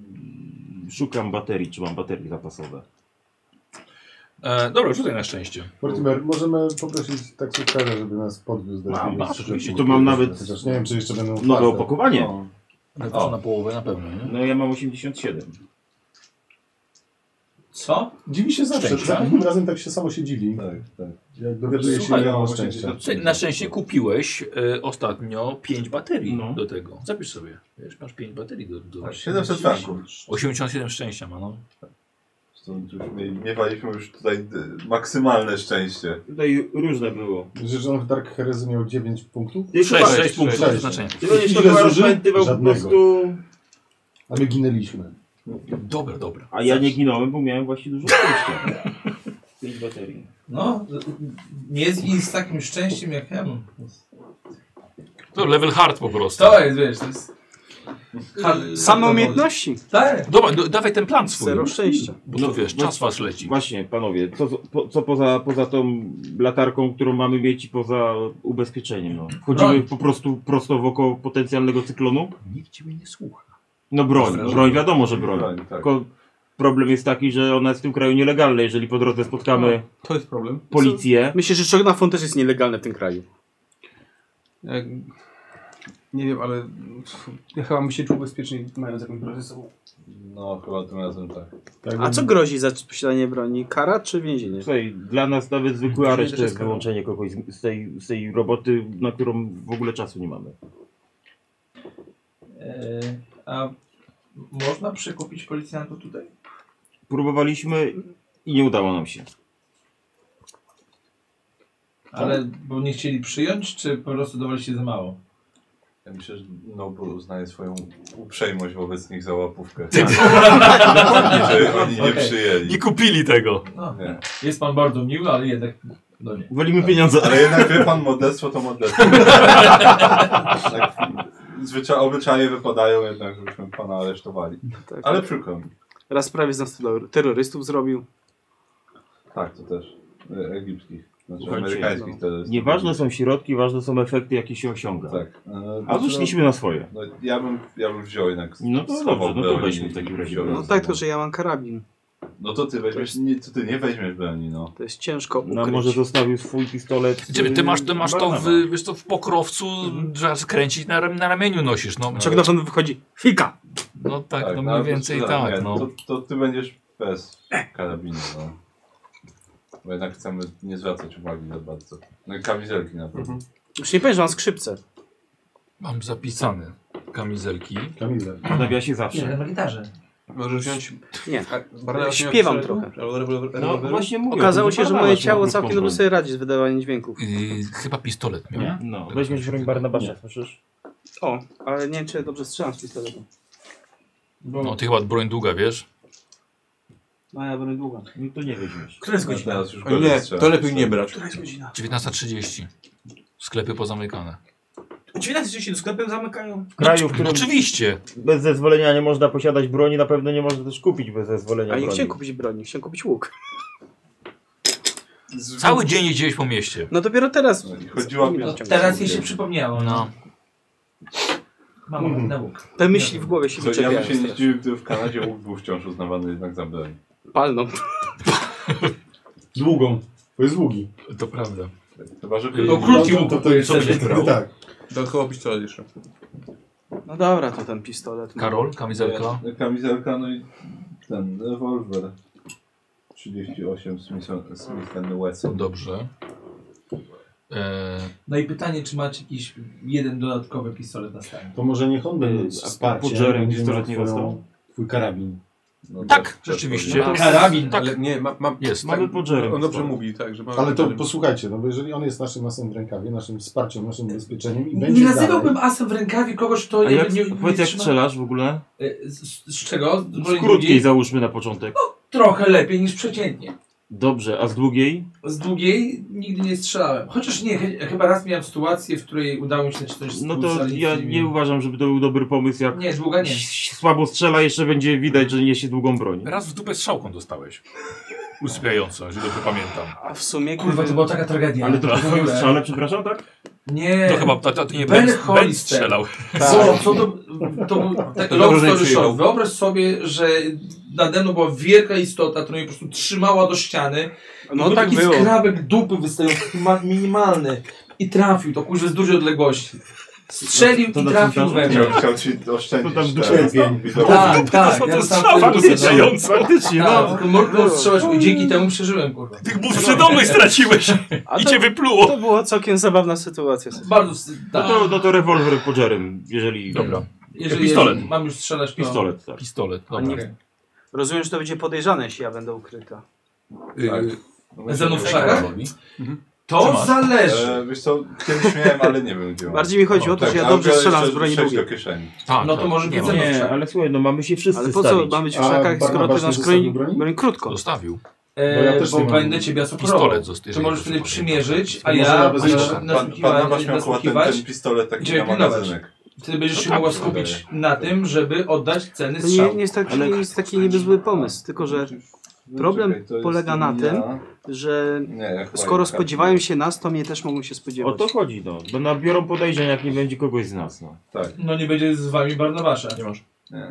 Speaker 5: szukam baterii, czy mam baterie zapasowe.
Speaker 1: E, dobra, rzucaj na szczęście.
Speaker 4: Mortimer, możemy poprosić taksówkarza, żeby nas podwiózł do
Speaker 1: Mam,
Speaker 4: jakiegoś
Speaker 1: mam,
Speaker 4: sklepu.
Speaker 1: oczywiście.
Speaker 5: Tu mam nawet
Speaker 4: Chociaż nie wiem, czy jeszcze będą
Speaker 5: nowe
Speaker 4: otwarte.
Speaker 5: opakowanie.
Speaker 4: No.
Speaker 1: Ale
Speaker 5: O.
Speaker 1: to na połowę na pewno, nie?
Speaker 5: No ja mam 87.
Speaker 9: Co?
Speaker 4: Dziwi się zawsze,
Speaker 1: Szczęścia.
Speaker 4: za każdym razem tak się samo się dziwi.
Speaker 8: Tak, tak.
Speaker 4: Jak dowiaduje się,
Speaker 1: Słuchaj,
Speaker 4: ile mam
Speaker 8: właśnie
Speaker 4: szczęścia.
Speaker 8: gdzieś
Speaker 1: Słuchaj, Na szczęście kupiłeś e, ostatnio 5 baterii
Speaker 5: No.
Speaker 1: do tego. Zapisz sobie. Wiesz, masz 5 baterii do... do...
Speaker 8: 700 franków.
Speaker 1: 87 szczęścia ma, no.
Speaker 8: Stąd już mie- Miewaliśmy już tutaj d- maksymalne szczęście.
Speaker 5: Tutaj różne było.
Speaker 4: Myślisz, że on w Dark Heresy miał 9 punktów?
Speaker 1: 6,
Speaker 5: Sześć,
Speaker 1: 6
Speaker 5: sześć,
Speaker 1: punktów
Speaker 4: sześć.
Speaker 1: przeznaczenia.
Speaker 5: Ty będziesz to
Speaker 4: Ile
Speaker 5: chyba
Speaker 4: zużył?
Speaker 5: rozpętywał po
Speaker 4: Żadnego.
Speaker 5: prostu...
Speaker 4: A my ginęliśmy.
Speaker 1: Dobra, dobra.
Speaker 5: A ja nie ginąłem, bo miałem właśnie dużo szczęścia. 5 baterii.
Speaker 9: No, nie zgin z takim szczęściem jak ja mam.
Speaker 1: To level hard po prostu.
Speaker 9: To jest, wiesz, to jest... Hard,
Speaker 3: Same umiejętności.
Speaker 9: Tak.
Speaker 1: Dobra, no, dawaj ten plan swój.
Speaker 3: Zero szczęścia.
Speaker 1: Bo to wiesz, czas was leci.
Speaker 5: Właśnie, panowie, co, po, co poza, poza tą latarką, którą mamy mieć i poza ubezpieczeniem? No. Wchodzimy po prostu prosto w oko potencjalnego cyklonu?
Speaker 1: Nikt ciebie nie słucha.
Speaker 5: No broń, broń wiadomo, że broń.
Speaker 8: Broń, tak.
Speaker 5: Tylko problem jest taki, że ona jest w tym kraju nielegalna, jeżeli po drodze spotkamy
Speaker 7: To jest problem.
Speaker 5: policję.
Speaker 3: Myślę, że Czarnafon też jest nielegalny w tym kraju.
Speaker 7: Jak, nie wiem, ale pff, ja chyba bym się czuł bezpieczniej mając jakąś broń ze sobą.
Speaker 8: No, chyba tym razem tak.
Speaker 3: A co grozi za posiadanie broni? Kara czy więzienie?
Speaker 5: Słuchaj, dla nas nawet zwykły no. areszt to
Speaker 7: też
Speaker 5: jest
Speaker 7: karą.
Speaker 5: wyłączenie kogoś z, z, tej, z tej roboty, na którą w ogóle czasu nie mamy.
Speaker 9: E, a można przekupić policjantów tutaj?
Speaker 5: Próbowaliśmy i nie udało nam się.
Speaker 9: Ale bo nie chcieli przyjąć, czy po prostu dawali się za mało?
Speaker 8: Ja myślę, że Nobu uznaje swoją uprzejmość wobec nich za
Speaker 5: *laughs*
Speaker 8: łapówkę. Tak. No, Że oni nie
Speaker 9: Okej.
Speaker 1: Nie
Speaker 8: przyjęli.
Speaker 1: kupili tego.
Speaker 9: No,
Speaker 8: Nie.
Speaker 9: jest pan bardzo miły, ale jednak... No nie.
Speaker 5: Wolimy pieniądze.
Speaker 8: Ale jednak wie pan, modlestwo to modlestwo. tak, zwycza- obyczaje wypadają jednak, żebyśmy pana aresztowali.
Speaker 3: Tak.
Speaker 8: Ale przykro mi.
Speaker 3: Raz prawie z nas terror- terrorystów zrobił.
Speaker 8: Tak, to też. E- egipskich. Znaczy
Speaker 5: Słuchajcie,
Speaker 8: amerykańskich
Speaker 3: no.
Speaker 8: terrorystów.
Speaker 5: Nieważne są środki, ważne są efekty, jakie się osiąga.
Speaker 8: Tak. E,
Speaker 5: A tu szliśmy na swoje.
Speaker 8: No, ja, bym, ja bym wziął jednak.
Speaker 5: No to
Speaker 8: schował
Speaker 5: dobrze, no to
Speaker 8: broń
Speaker 5: weźmy
Speaker 8: i
Speaker 5: w takim razie.
Speaker 8: wziąłem
Speaker 3: No tak,
Speaker 8: ze sobą.
Speaker 3: tylko że ja mam karabin.
Speaker 8: No to ty weźmiesz, nie, to ty nie weźmiesz broni, no.
Speaker 3: To jest ciężko
Speaker 5: No
Speaker 3: ukryć.
Speaker 5: może zostawił swój pistolet.
Speaker 1: Ciebie, ty masz, ty
Speaker 5: y,
Speaker 1: masz to
Speaker 5: Barnaba.
Speaker 1: w, wiesz, to w pokrowcu, trzeba skręcić na, ram- na ramieniu nosisz. No,
Speaker 3: Czarnafon wychodzi. Fika!
Speaker 1: no tak, no
Speaker 8: ale
Speaker 1: mniej
Speaker 8: to
Speaker 1: więcej
Speaker 8: sprzedam, nie,
Speaker 1: tak.
Speaker 8: To,
Speaker 1: No.
Speaker 8: to ty będziesz bez karabinu, no. Bo jednak chcemy nie zwracać uwagi za bardzo. No i kamizelki na pewno.
Speaker 3: Już nie powiem, że mam skrzypce.
Speaker 1: Mam zapisane kamizelki.
Speaker 4: Kamilę.
Speaker 5: Odnawia się
Speaker 9: Nie,
Speaker 5: zawsze.
Speaker 9: na gitarze.
Speaker 7: Możesz wziąć...
Speaker 3: Nie.
Speaker 7: a, Barnabas miał
Speaker 3: Śpiewam
Speaker 7: przy-
Speaker 3: trochę.
Speaker 7: albo rewolwer-
Speaker 5: No
Speaker 7: rewolweru?
Speaker 5: właśnie mówię.
Speaker 3: Okazało
Speaker 5: to
Speaker 3: się, że
Speaker 5: Barnabas
Speaker 3: moje
Speaker 5: miał
Speaker 3: ciało
Speaker 5: krótką
Speaker 3: całkiem dobrze
Speaker 5: broń.
Speaker 3: sobie radzi z wydawaniem dźwięków.
Speaker 1: Yy, chyba pistolet miał.
Speaker 5: Nie? No, weźmiesz broń Barnabasza, słyszysz?
Speaker 3: O, ale nie wiem, czy ja dobrze strzelam z pistoletu.
Speaker 1: No ty chyba broń długa, wiesz?
Speaker 3: No ja będę długo.
Speaker 5: No to nie weźmiesz.
Speaker 7: Która jest
Speaker 8: No,
Speaker 7: godzina?
Speaker 8: Teraz już
Speaker 7: O,
Speaker 8: gorzej
Speaker 7: nie,
Speaker 8: strzela.
Speaker 7: to lepiej nie brać.
Speaker 1: 19.30. Sklepy pozamykane.
Speaker 7: 19.30 do sklepem zamykają.
Speaker 5: W kraju, w
Speaker 1: No,
Speaker 5: którym
Speaker 1: oczywiście.
Speaker 5: bez zezwolenia nie można posiadać broni, na pewno nie można też kupić bez zezwolenia
Speaker 3: Ale nie
Speaker 5: broni.
Speaker 3: chciałem kupić broni, chciałem kupić łuk.
Speaker 8: Z-
Speaker 1: Cały dzień jeździłeś po mieście.
Speaker 3: No dopiero teraz.
Speaker 8: No i chodziła mi-
Speaker 9: No,
Speaker 3: Ciągle.
Speaker 9: teraz jej się przypomniało.
Speaker 1: No.
Speaker 9: Mam mm. na łuk.
Speaker 3: Te myśli w głowie się
Speaker 8: Co, ja
Speaker 3: wyczepiają.
Speaker 8: bym się nie zdziwił, gdyby w Kanadzie łuk był wciąż uznawany jednak za broń.
Speaker 3: Palną.
Speaker 4: Długą. To jest długi.
Speaker 1: To prawda.
Speaker 8: Chyba, że...
Speaker 1: No, krótki
Speaker 4: No,
Speaker 1: łuk,
Speaker 4: to, to jest
Speaker 1: sobie
Speaker 4: wtedy
Speaker 1: wybrał.
Speaker 4: tak.
Speaker 7: Dodatkowo pistolet jeszcze.
Speaker 3: No dobra, to ten pistolet. No.
Speaker 1: Karol, kamizelka.
Speaker 8: Wiesz, Kamizelka, no i ten rewolwer. 38 Smith- Smith Wesson.
Speaker 1: Dobrze. E,
Speaker 9: No i pytanie, czy macie jakiś jeden dodatkowy pistolet na stanie?
Speaker 4: To może niech on będzie
Speaker 5: A po
Speaker 4: wsparciem.
Speaker 5: Jerem
Speaker 4: będzie
Speaker 5: pistolet
Speaker 4: miał twoją-
Speaker 5: nie dostał?
Speaker 4: Twój karabin.
Speaker 8: No
Speaker 1: tak, rzeczywiście.
Speaker 7: No to-
Speaker 1: Karabin,
Speaker 7: tak.
Speaker 1: ale-
Speaker 7: nie, ma, ma,
Speaker 1: Jest.
Speaker 7: tak,
Speaker 1: Mamy podżerem.
Speaker 7: On dobrze mówi, tak, że mamy
Speaker 4: Ale to
Speaker 7: podżerem.
Speaker 4: posłuchajcie, no bo jeżeli on jest naszym masem w rękawie, naszym wsparciem, naszym ubezpieczeniem i będzie
Speaker 9: Nie nazywałbym
Speaker 4: dalej,
Speaker 9: asem w rękawie kogoś, kto
Speaker 4: A
Speaker 9: nie,
Speaker 4: jak-
Speaker 9: nie,
Speaker 4: powiedz,
Speaker 9: nie
Speaker 4: jak
Speaker 9: trzyma-
Speaker 4: strzelasz
Speaker 5: w ogóle?
Speaker 9: Y, Z, z czego? Z
Speaker 5: Z
Speaker 9: broni
Speaker 5: krótkiej
Speaker 9: długiej?
Speaker 5: załóżmy na początek.
Speaker 9: Trochę lepiej niż przeciętnie.
Speaker 5: Dobrze, a z długiej?
Speaker 9: Z długiej nigdy nie strzelałem. Chociaż nie, ch chyba raz miałem sytuację, w której udało mi się coś
Speaker 5: No
Speaker 9: stłuc,
Speaker 5: to
Speaker 9: ale nic
Speaker 5: ja
Speaker 9: nie
Speaker 5: nie
Speaker 9: miałem.
Speaker 5: uważam, żeby to był dobry pomysł, jak
Speaker 9: Nie, długa nie.
Speaker 5: słabo strzela, jeszcze będzie widać, że niesie długą broń.
Speaker 1: Raz w dupę strzałką dostałeś. Usypiająco, jeżeli dobrze pamiętam.
Speaker 3: A w sumie...
Speaker 9: Kurwa, to była taka tragedia.
Speaker 5: Ale to
Speaker 9: W
Speaker 5: *laughs*
Speaker 9: ogóle.
Speaker 5: był strzale, przepraszam, tak?
Speaker 9: Nie.
Speaker 1: To chyba- to- to nie
Speaker 9: Ben
Speaker 1: Ben- Ben
Speaker 9: Hollister.
Speaker 1: strzelał.
Speaker 9: Co, co to, to był tak,
Speaker 1: To
Speaker 9: long
Speaker 1: dobrze
Speaker 9: story
Speaker 1: przyjął.
Speaker 9: short. Wyobraź sobie, że nade mną była wielka istota, która mnie po prostu trzymała do ściany.
Speaker 3: No
Speaker 9: był
Speaker 3: tak
Speaker 9: taki
Speaker 3: było.
Speaker 9: skrabek dupy wystający, ma- minimalny. I trafił, to kurze z dużej odległości. Strzelił i trafił we mnie.
Speaker 8: Chciał, chciał ci oszczędzić
Speaker 9: To tam
Speaker 8: teraz,
Speaker 9: cierpień.
Speaker 8: widoku.
Speaker 9: Tak, tak. ja dostałem wtedy
Speaker 1: wystająca,
Speaker 9: no.
Speaker 1: faktycznie,
Speaker 9: Tak,
Speaker 1: no.
Speaker 9: Tylko mruknął strzelasz i dzięki temu przeżyłem, kurwa.
Speaker 1: Tych bus przydomnych straciłeś
Speaker 3: A
Speaker 1: i
Speaker 3: to-
Speaker 1: cię wypluło.
Speaker 3: To była całkiem zabawna sytuacja.
Speaker 9: Bardzo... tak.
Speaker 5: No to, no to rewolwer podżerem, jeżeli... Dobra.
Speaker 9: Jeżeli jeżeli mam już strzelać, to...
Speaker 5: Pistolet, tak.
Speaker 1: *laughs* Pistolet,
Speaker 3: A
Speaker 1: dobra.
Speaker 3: nie- Rozumiem, że to będzie podejrzane, jeśli ja będę ukryta.
Speaker 8: Yy,
Speaker 9: Ze mną w szakach? Mhm.
Speaker 8: Co
Speaker 9: To
Speaker 8: masz?
Speaker 9: zależy.
Speaker 8: E, wiesz co, kiedyś miałem, ale nie wiem gdzie mam.
Speaker 3: Bardziej mi chodzi o to, że ja
Speaker 8: tak, a
Speaker 3: dobrze
Speaker 8: biorę
Speaker 3: strzelam
Speaker 8: jeszcze
Speaker 3: z broni
Speaker 8: sześć
Speaker 3: długiej.
Speaker 8: do kieszeni.
Speaker 1: Tak,
Speaker 9: No to może
Speaker 5: Nie,
Speaker 9: widzę no,
Speaker 5: nie ale słuchaj, no mamy się wszyscy
Speaker 3: Ale po co
Speaker 5: stawić.
Speaker 3: ma być w
Speaker 4: A
Speaker 3: szakach, skoro
Speaker 4: Barnabasz
Speaker 3: ty
Speaker 4: nie
Speaker 3: masz
Speaker 4: zostawił
Speaker 3: broń,
Speaker 4: broni?
Speaker 3: broń krótko?
Speaker 1: Zostawił.
Speaker 9: E,
Speaker 4: Bo
Speaker 9: bo
Speaker 4: ja też nie mam.
Speaker 9: będę ciebie asekurował.
Speaker 1: Pistolet zostawił,
Speaker 9: Czy możesz wtedy
Speaker 1: proszę
Speaker 9: przymierzyć, a
Speaker 4: Może
Speaker 9: ja
Speaker 4: nawet
Speaker 9: będę
Speaker 4: jeszcze.
Speaker 8: Pan- Pan Nabasz miał akurat ten-
Speaker 9: nasłuchiwać
Speaker 8: ten pistolet taki
Speaker 9: Ciebie
Speaker 8: na
Speaker 9: pilnować.
Speaker 8: magazynek.
Speaker 9: Wtedy będziesz
Speaker 8: No
Speaker 9: się
Speaker 8: tak,
Speaker 9: mogła
Speaker 8: to
Speaker 9: skupić
Speaker 8: daje.
Speaker 9: na tym, żeby oddać ceny
Speaker 3: To nie,
Speaker 9: strzału.
Speaker 3: nie jest taki, nie jest taki niby zły pomysł, tylko że problem
Speaker 8: Znaczy, no czekaj, to jest
Speaker 3: polega na
Speaker 8: ja.
Speaker 3: tym, że
Speaker 8: Nie, ja chyba
Speaker 3: skoro
Speaker 8: nie
Speaker 3: spodziewają się nas, to mnie też mogą się
Speaker 5: O
Speaker 3: spodziewać.
Speaker 5: to chodzi, no. Bo nabiorą podejrzeń, jak nie będzie kogoś z nas, no.
Speaker 8: Tak.
Speaker 9: No nie będzie z wami Barnabasza. Nie
Speaker 1: masz.
Speaker 8: Nie, nie.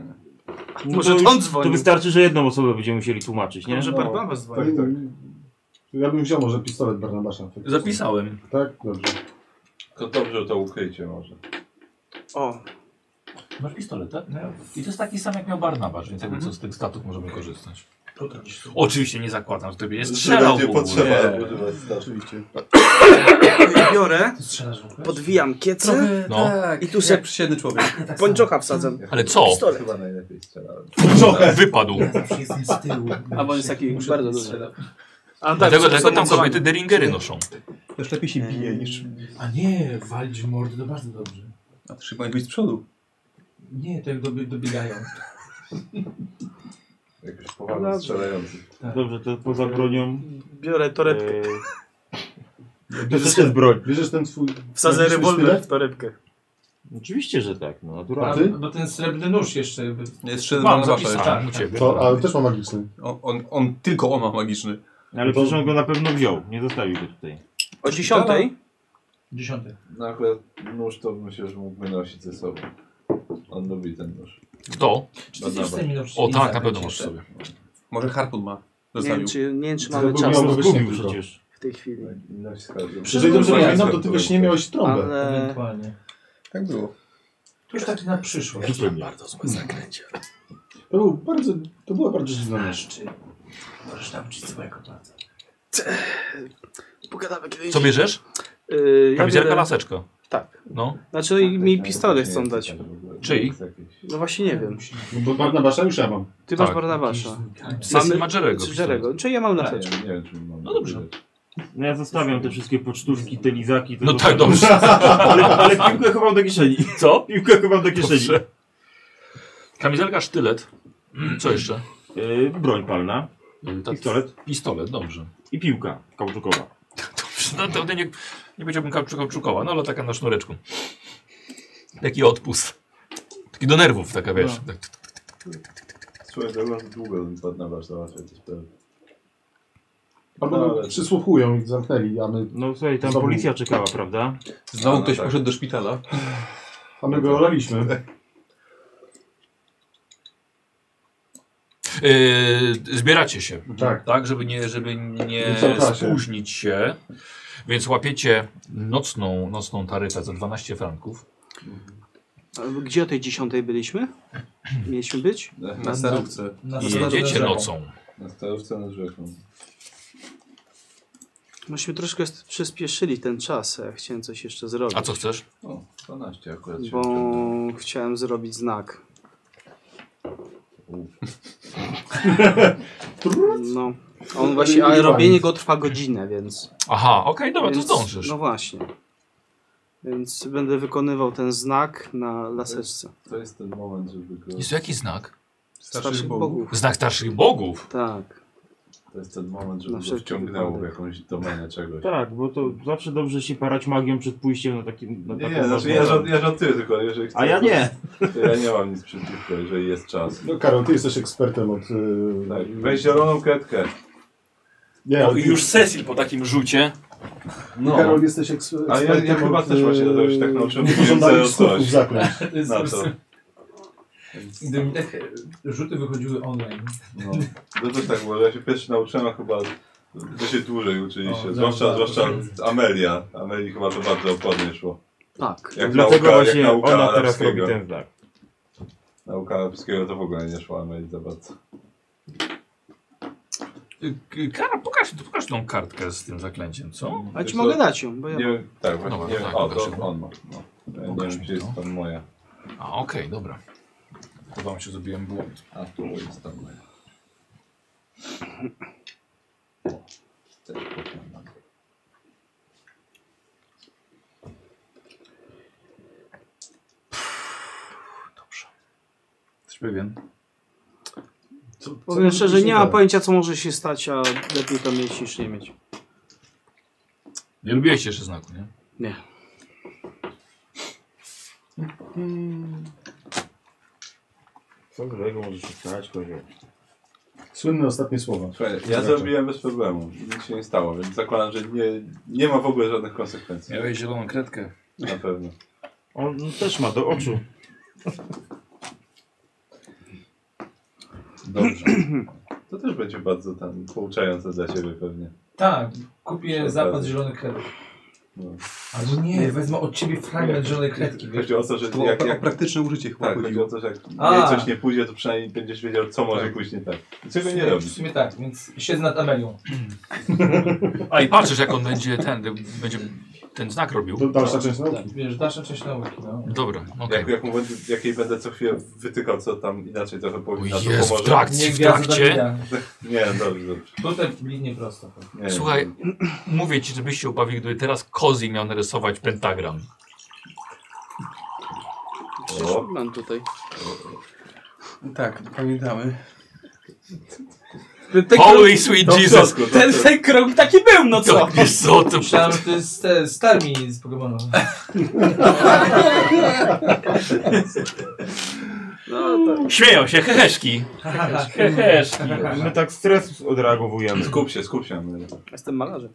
Speaker 5: no
Speaker 3: Może
Speaker 5: to
Speaker 3: to on
Speaker 5: już-
Speaker 3: dzwonił.
Speaker 5: To wystarczy, że jedną osobę będziemy musieli tłumaczyć, nie?
Speaker 3: Może
Speaker 4: No,
Speaker 3: Barnabas dzwoni.
Speaker 4: tak, Ja bym wziął może pistolet Barnabasza.
Speaker 1: Zapisałem.
Speaker 4: Tak? Dobrze.
Speaker 8: To dobrze to ukryjcie może.
Speaker 3: O,
Speaker 1: Masz pistolet, tak? I to jest taki sam jak miał Barnabasz, więc jakby co z tych statów możemy korzystać. Mhm.
Speaker 9: tak
Speaker 1: Oczywiście nie zakładam, że tobie nie strzelał.
Speaker 8: nie
Speaker 1: w ogóle.
Speaker 8: potrzeba
Speaker 1: Nie.
Speaker 8: używać starszych.
Speaker 3: i biorę,
Speaker 9: Strzelasz w ogóle?
Speaker 3: podwijam kiecę
Speaker 7: Trochę
Speaker 1: No.
Speaker 7: tak,
Speaker 3: i tu
Speaker 7: jak
Speaker 3: se
Speaker 7: przysiedny człowiek.
Speaker 3: pończocha wsadzam.
Speaker 1: Ale co?
Speaker 3: Pistolet.
Speaker 8: Chyba najlepiej strzelałem.
Speaker 1: Wypadł.
Speaker 9: Zawsze jestem z tyłu.
Speaker 3: A bo on jest taki
Speaker 9: Muszę
Speaker 3: bardzo duży.
Speaker 9: strzelać.
Speaker 3: A tak,
Speaker 1: Dlatego,
Speaker 3: są-
Speaker 1: dlatego
Speaker 3: są
Speaker 1: tam
Speaker 3: mocowani.
Speaker 1: kobiety deringery noszą.
Speaker 7: Też lepiej się bije niż...
Speaker 9: A nie, walić w mordy to bardzo dobrze.
Speaker 7: A to trzeba być z przodu.
Speaker 9: Nie, to jak dobie, dobiegają.
Speaker 3: No
Speaker 8: Jakoś poważnie strzelający.
Speaker 5: Dobrze, to poza bronią...
Speaker 3: Biorę torebkę,
Speaker 5: Eee, To też jest broń.
Speaker 4: Bierzesz ten twój...
Speaker 3: wsadzę
Speaker 4: magiczny
Speaker 3: rewolwer w
Speaker 4: sztylet?
Speaker 3: torebkę.
Speaker 5: Oczywiście, że tak, no
Speaker 9: A,
Speaker 5: naturalnie.
Speaker 4: ty?
Speaker 9: bo ten srebrny nóż jeszcze... jakby-
Speaker 7: Jeszcze
Speaker 1: Mam
Speaker 7: Barnabasza jeszcze.
Speaker 1: zapisane Tak. u ciebie.
Speaker 4: To, ale też ma magiczny.
Speaker 7: On, on, on tylko on ma magiczny.
Speaker 5: Ale przecież on go na pewno wziął, nie zostawił go tutaj.
Speaker 3: O dziesiątej?
Speaker 9: Dziesiąty.
Speaker 8: No akurat nóż to myślę, że mógłby nosić ze sobą. On lubi ten nóż.
Speaker 1: Kto?
Speaker 9: Czy ty jesteś w stanie mi nauczyć
Speaker 1: No O tak,
Speaker 9: języka
Speaker 1: na pewno masz
Speaker 9: jeszcze?
Speaker 1: sobie.
Speaker 7: Może Harpun ma.
Speaker 3: Nie wiem,
Speaker 7: Zostawił.
Speaker 3: czy, nie wiem, czy
Speaker 4: To
Speaker 5: No,
Speaker 3: mamy
Speaker 4: był
Speaker 3: czas
Speaker 4: miał-
Speaker 5: On
Speaker 4: Zgubił
Speaker 5: zgubił
Speaker 4: tylko.
Speaker 5: przecież.
Speaker 3: w tej chwili.
Speaker 8: Inność skarży.
Speaker 4: Jeżeli dobrze
Speaker 1: no
Speaker 4: pamiętam, to ty właśnie nie miałeś trąbę.
Speaker 3: Ale...
Speaker 9: Ewentualnie.
Speaker 7: Tak było.
Speaker 9: To już tak na przyszłość.
Speaker 5: Zupełnie.
Speaker 4: To, był bardzo, to była bardzo dziwna rzecz.
Speaker 9: Mężczyzn. Możesz nauczyć swojego bardzo.
Speaker 3: Pogadamy kiedyś.
Speaker 1: Co bierzesz?
Speaker 3: Yy, ja
Speaker 1: Kamizelka,
Speaker 3: biorę...
Speaker 1: laseczka.
Speaker 3: Tak.
Speaker 1: No,
Speaker 3: Znaczy i mi pistolet chcą dać.
Speaker 1: Czyj?
Speaker 3: No właśnie nie wiem.
Speaker 4: Bo Barnabasza już ja mam.
Speaker 3: Ty
Speaker 1: Tak.
Speaker 3: masz Barnabasza.
Speaker 1: Sesji ma Jerego.
Speaker 3: Czy Jerego? Czy ja mam
Speaker 8: Nie,
Speaker 3: na rzecz?
Speaker 8: nie wiem, czy mam.
Speaker 1: No dobrze.
Speaker 5: No ja zostawiam te wszystkie pocztówki, te lizaki. to
Speaker 1: No tak,
Speaker 5: zostawiam.
Speaker 1: dobrze.
Speaker 5: Ale, ale piłkę chowam do kieszeni.
Speaker 1: *laughs* Co?
Speaker 5: Piłkę chowam do kieszeni.
Speaker 1: Dobrze. Kamizelka, sztylet. Mm, Co jeszcze?
Speaker 5: Yy, broń palna
Speaker 1: Yy, tak,
Speaker 5: Pistolet.
Speaker 1: Pistolet, dobrze.
Speaker 5: i piłka kauczukowa.
Speaker 1: Dobrze, no to nie, nie powiedziałbym kauczu- kauczukowa, no ale taka na sznureczku. Taki odpust. Taki do nerwów, taka wiesz. Tak, tak, tak.
Speaker 8: Słuchaj, to już długo ten pan na was załatwia te sprawy.
Speaker 4: Albo
Speaker 8: No,
Speaker 4: no,
Speaker 8: ale-
Speaker 4: przysłuchują i zamknęli, a my,
Speaker 5: No słuchaj, tam
Speaker 4: Znowu.
Speaker 5: policja czekała, prawda?
Speaker 7: Znowu
Speaker 8: A, no
Speaker 7: ktoś
Speaker 8: tak.
Speaker 7: poszedł do szpitala.
Speaker 4: a
Speaker 8: No
Speaker 4: my go olaliśmy.
Speaker 1: Yy, zbieracie się,
Speaker 4: Tak.
Speaker 1: tak, żeby nie, żeby nie
Speaker 4: Wycofać się.
Speaker 1: spóźnić się. Więc łapiecie nocną, nocną taryfę za 12 franków.
Speaker 3: A Gdzie o tej dziesiątej byliśmy? Mieliśmy być?
Speaker 7: Na starówce.
Speaker 9: Na
Speaker 1: I
Speaker 9: stronę
Speaker 1: jedziecie
Speaker 9: rzeką.
Speaker 1: nocą.
Speaker 8: Na stołówce nad rzeką.
Speaker 3: Myśmy troszkę s- przyspieszyli ten czas, a ja chciałem coś jeszcze zrobić.
Speaker 1: A co chcesz?
Speaker 8: O, 12 akurat się
Speaker 3: Bo
Speaker 8: uciągnęło.
Speaker 3: chciałem zrobić znak. No. A On właśnie, ale robienie go trwa godzinę, więc.
Speaker 1: Aha, okej, dobra, to
Speaker 3: Więc-
Speaker 1: zdążysz.
Speaker 3: No właśnie. Więc będę wykonywał ten znak na laseczce.
Speaker 8: To jest ten moment, żeby go...
Speaker 1: Jest to jaki znak?
Speaker 3: Starszych Starszych bogów. bogów.
Speaker 1: Znak starszych bogów?
Speaker 3: Tak.
Speaker 8: To jest ten moment,
Speaker 3: Na
Speaker 8: żeby go
Speaker 3: wszelki
Speaker 8: wciągnęło w
Speaker 3: wypadek.
Speaker 8: jakąś domenę czegoś.
Speaker 5: Tak, bo to zawsze dobrze się parać magią przed pójściem na takim... Na
Speaker 8: Nie,
Speaker 5: taką
Speaker 8: nie, znaczy
Speaker 5: ważną
Speaker 8: ja, żart,
Speaker 5: radę.
Speaker 8: ja żartuję tylko, jeżeli chcesz.
Speaker 5: A ja nie.
Speaker 8: To ja nie mam nic przeciwko, jeżeli jest czas.
Speaker 4: No Karol, ty jesteś ekspertem od... e,
Speaker 8: Tak, weź zieloną kredkę.
Speaker 4: Nie,
Speaker 1: No I już Cecil po takim rzucie.
Speaker 4: No. Karol, jesteś eks- ekspertem
Speaker 8: Ale ja, ja chyba
Speaker 4: od,
Speaker 8: też właśnie
Speaker 4: e,
Speaker 8: tego się tak nauczyłem.
Speaker 4: niepożądanych
Speaker 8: Wiem, co coś.
Speaker 4: skutków zaklęć.
Speaker 19: No, To jest
Speaker 8: Na
Speaker 19: po
Speaker 8: to.
Speaker 19: prostu- Gdyby mi takie rzuty wychodziły online.
Speaker 8: No. To też tak było, że ja się pierwszy nauczyłem, a chyba to się dłużej uczyliście.
Speaker 19: O,
Speaker 8: zwłaszcza
Speaker 19: dobra.
Speaker 8: zwłaszcza Amelia. Ameli chyba to bardzo opornie szło.
Speaker 3: Tak.
Speaker 8: Jak
Speaker 5: Dlatego
Speaker 8: nauka,
Speaker 5: właśnie
Speaker 8: jak nauka
Speaker 5: ona teraz
Speaker 8: arabskiego.
Speaker 5: robi ten znak.
Speaker 8: Nauka arabskiego to w ogóle nie szła Ameli za bardzo.
Speaker 1: Y, Kara, pokaż, pokaż tą kartkę z tym zaklęciem, co?
Speaker 3: A ci
Speaker 8: Wiesz
Speaker 3: mogę
Speaker 8: co?
Speaker 3: dać ją, bo ja.
Speaker 8: Nie wiem, tak, właśnie.
Speaker 1: Dobra,
Speaker 8: nie wiem,
Speaker 1: tak,
Speaker 8: o,
Speaker 1: pokaż mi.
Speaker 8: to on ma. No. Ja nie
Speaker 1: Pokaż
Speaker 8: wiem,
Speaker 1: mi
Speaker 8: czy jest
Speaker 1: to.
Speaker 8: tam moja.
Speaker 1: A, okej, dobra. Chyba mi się zrobiłem błąd.
Speaker 8: A tu jest tam moja. O, też pokonam.
Speaker 11: Jesteś pewien?
Speaker 3: Powiem szczerze, nie mam pojęcia, co może się stać, a lepiej to mieć niż nie mieć.
Speaker 1: Nie lubiłeś jeszcze znaku, nie?
Speaker 3: Nie.
Speaker 5: Co złego może się stać, kozioł?
Speaker 4: Słynne ostatnie słowa.
Speaker 8: Słuchaj, ja zrobiłem bez problemu. Nic się nie stało, więc zakładam, że nie, nie ma w ogóle żadnych konsekwencji.
Speaker 1: Miałeś zieloną kredkę.
Speaker 8: Na pewno.
Speaker 5: On też ma do oczu.
Speaker 8: Dobrze. *clears throat* To też będzie bardzo tam pouczające dla ciebie pewnie.
Speaker 19: Tak, kupię
Speaker 8: Przy
Speaker 19: zapas
Speaker 8: okazji.
Speaker 19: zielonych kredek.
Speaker 8: No.
Speaker 19: Albo nie, wezmę od ciebie fragment zielonej kredki. Wiesz?
Speaker 8: Chodzi o to, że
Speaker 15: To
Speaker 8: jak,
Speaker 15: o pra-
Speaker 7: *laughs*
Speaker 8: jak,
Speaker 15: praktyczne użycie chyba
Speaker 8: tak, chodzi o
Speaker 15: chodziło.
Speaker 8: to, że jak
Speaker 19: A.
Speaker 8: jej coś nie pójdzie, to przynajmniej będziesz wiedział, co może później tak. I
Speaker 19: W
Speaker 8: Czego nie
Speaker 19: sumie- W
Speaker 8: robić.
Speaker 19: sumie tak, więc siedzę nad Amelią.
Speaker 1: A i patrzysz, jak on będzie ten, będzie ten znak robił.
Speaker 4: To
Speaker 3: Tak,
Speaker 4: dalsza część no? nauki.
Speaker 19: Wiesz, dalsza część nauki, no.
Speaker 1: Dobra, okej.
Speaker 8: Jak, jak, mu będę, jak jej będę co chwilę wytykał, co tam inaczej trochę powinna,
Speaker 1: O
Speaker 8: to
Speaker 1: Jezu,
Speaker 8: pomoże.
Speaker 1: w trakcie.
Speaker 19: Nie gwiazda
Speaker 1: trakcie?
Speaker 19: Dawida.
Speaker 8: Nie, dobrze, dobrze.
Speaker 19: Tutaj linie prosto.
Speaker 8: Nie,
Speaker 1: Słuchaj, mówię ci, żebyś się ubawił, gdyby teraz Kozi miał narysować pentagram.
Speaker 3: Przecież
Speaker 8: O.
Speaker 3: mam tutaj.
Speaker 15: Tak, pamiętamy.
Speaker 3: Ten, ten, krąg,
Speaker 1: Holy sweet
Speaker 8: To w
Speaker 1: Jesus!
Speaker 8: środku, to-
Speaker 3: ten,
Speaker 8: to-
Speaker 3: ten krąg taki był, no co?
Speaker 1: To, wiesz co, to
Speaker 19: Myślałem, że to jest te, Starmi z Pokémonu.
Speaker 1: *laughs*
Speaker 3: No tak.
Speaker 1: Śmieją się, heheszki. Heheszki.
Speaker 5: My tak stres odreagowujemy.
Speaker 8: Skup się, skup się. Amelia.
Speaker 3: Jestem malarzem.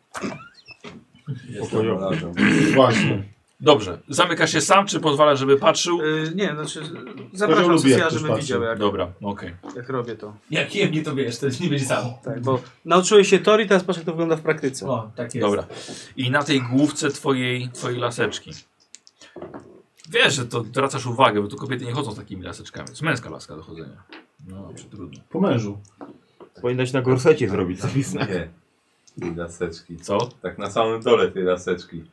Speaker 8: Jestem malarzem.
Speaker 4: Właśnie.
Speaker 1: Dobrze, zamykasz się sam, czy pozwalasz, żeby patrzył?
Speaker 3: Yy, nie, znaczy
Speaker 4: lubi,
Speaker 3: zapraszam
Speaker 4: jak
Speaker 3: Cecila,
Speaker 4: ktoś
Speaker 3: żeby
Speaker 4: patrzy.
Speaker 3: widział jak,
Speaker 1: Dobra, okej.
Speaker 3: jak robię to.
Speaker 19: Jak kiemnie to wiesz, to nie będzie samo.
Speaker 3: Tak, bo nauczyłeś się teorii, teraz patrz jak to wygląda w praktyce.
Speaker 9: No.
Speaker 19: O, tak jest.
Speaker 1: Dobra. I na tej główce twojej, twojej laseczki. Wiesz, że to zwracasz uwagę, bo tu kobiety nie chodzą z takimi laseczkami. To jest męska laska do chodzenia. No, dobrze, trudno.
Speaker 4: Po mężu.
Speaker 5: Powinnaś na gorsecie zrobić sobie znak.
Speaker 8: Nie. Tej laseczki.
Speaker 1: Co?
Speaker 8: Tak na samym dole tej laseczki.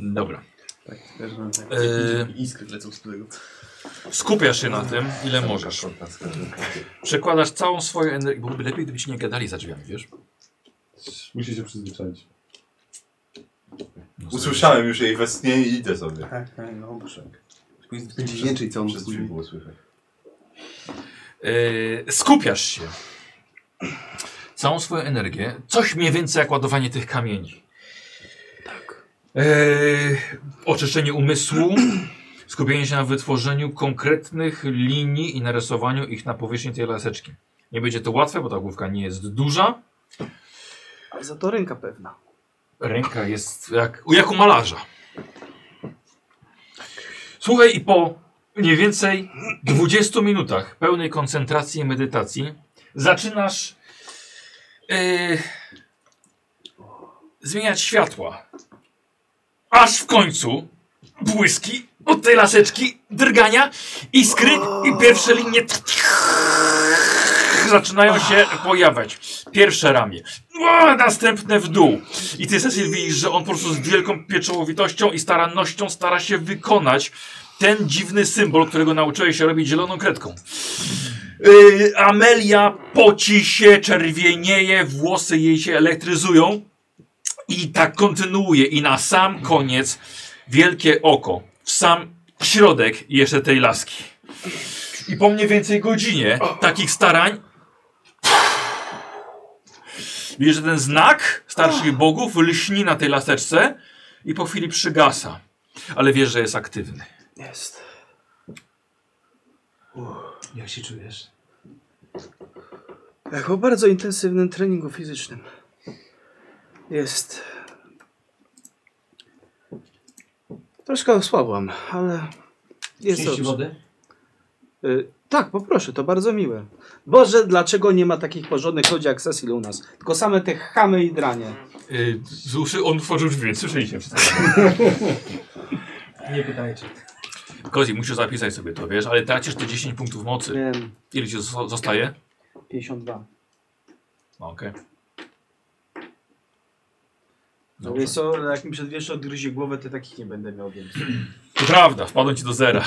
Speaker 1: Dobra.
Speaker 15: Tak, też mam tak.
Speaker 1: Yy.
Speaker 15: Iskry lecą z tego.
Speaker 1: Skupiasz się na tym, ile możesz. Przekładasz całą swoją energię. Byłoby lepiej, gdybyście nie gadali za drzwiami, wiesz?
Speaker 4: Musi się przyzwyczaić.
Speaker 1: No,
Speaker 8: Usłyszałem już jej we śnie i idę sobie.
Speaker 15: Tak, tak, no dobrze. Będzie więcej co on
Speaker 8: Przez drzwi
Speaker 15: później.
Speaker 8: było słychać.
Speaker 1: Yy, skupiasz się. Całą swoją energię. Coś mniej więcej jak ładowanie tych kamieni. Tak. oczyszczenie umysłu. *clears throat* Skupienie się na wytworzeniu konkretnych linii i narysowaniu ich na powierzchni tej laseczki. Nie będzie to łatwe, bo ta główka nie jest duża.
Speaker 3: A za to ręka pewna.
Speaker 1: Ręka jest jak, jak u malarza. Słuchaj, i po mniej więcej 20 minutach pełnej koncentracji i medytacji zaczynasz yy, zmieniać światła. Aż w końcu błyski od tej laseczki, drgania, iskry i pierwsze linie zaczynają się pojawiać. Pierwsze ramię, o, następne w dół. I ty Cecil widzisz, że on po prostu z wielką pieczołowitością i starannością stara się wykonać ten dziwny symbol, którego nauczyłeś się robić zieloną kredką. Yy, Amelia poci się, czerwienieje, włosy jej się elektryzują. I tak kontynuuje. I na sam koniec wielkie oko, w sam środek jeszcze tej laski. I po mniej więcej godzinie takich starań Widzisz, że ten znak starszych bogów lśni na tej laseczce i po chwili przygasa. Ale wiesz, że jest aktywny.
Speaker 3: Jest.
Speaker 27: Jak się czujesz?
Speaker 3: Jak po bardzo intensywnym treningu fizycznym. Jest. Troszkę osłabłam, ale. Jest
Speaker 27: Przynieść ci
Speaker 3: dobrze.
Speaker 27: wody?
Speaker 3: Y, tak, poproszę, to bardzo miłe. Boże, dlaczego nie ma takich porządnych ludzi jak Cecil u nas? Tylko same te chamy i dranie.
Speaker 1: Yy, z uszy on otworzył drzwi, więc słyszeliście wszyscy.
Speaker 27: Nie pytajcie.
Speaker 1: Kozi, musisz zapisać sobie to, wiesz, ale tracisz te 10 punktów mocy.
Speaker 3: Wiem.
Speaker 1: Ile ci zo- zostaje?
Speaker 3: 52.
Speaker 1: No, okej.
Speaker 3: No więc co, jak mi przedwiesz odgryzie głowę, to takich nie będę miał więcej.
Speaker 1: To prawda, wpadłem ci do zera.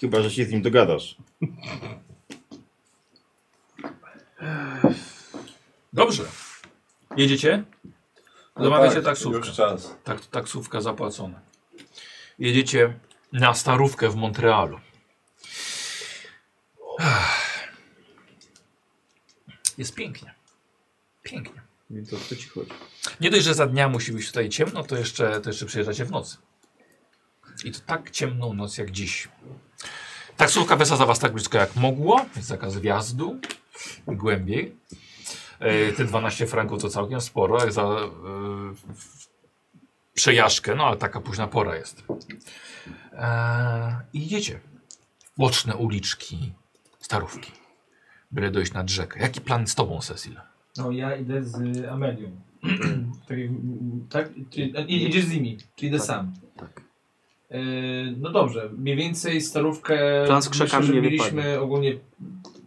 Speaker 5: Chyba, że się z nim dogadasz.
Speaker 1: Dobrze. Jedziecie?
Speaker 8: No
Speaker 1: Zamawiacie
Speaker 8: tak,
Speaker 1: taksówkę.
Speaker 8: już czas.
Speaker 1: Tak, taksówka zapłacona. Jedziecie na starówkę w Montrealu. Ach. Jest pięknie. Pięknie.
Speaker 5: Więc o co ci chodzi?
Speaker 1: Nie dość, że za dnia musi być tutaj ciemno, to jeszcze, to jeszcze przyjeżdżacie w nocy. I to tak ciemną noc jak dziś. Taksówka wysadza was tak blisko jak mogło, jest zakaz wjazdu głębiej. E, te 12 franków to całkiem sporo, jak za e, w- przejażdżkę, no ale taka późna pora jest. E, I idziecie. Boczne uliczki, starówki. Byle dojść nad rzekę. Jaki plan z tobą, Cecil?
Speaker 9: No ja idę z y,
Speaker 1: *clears throat*
Speaker 9: Amelią. tak? jak- mm, tak? Czyli, e, i- idziesz z nimi, czyli
Speaker 1: Tak,
Speaker 9: idę sam. E, no dobrze, mniej więcej starówkę
Speaker 3: Plan z krzakami
Speaker 9: myślę, że
Speaker 3: nie
Speaker 9: mieliśmy ogólnie,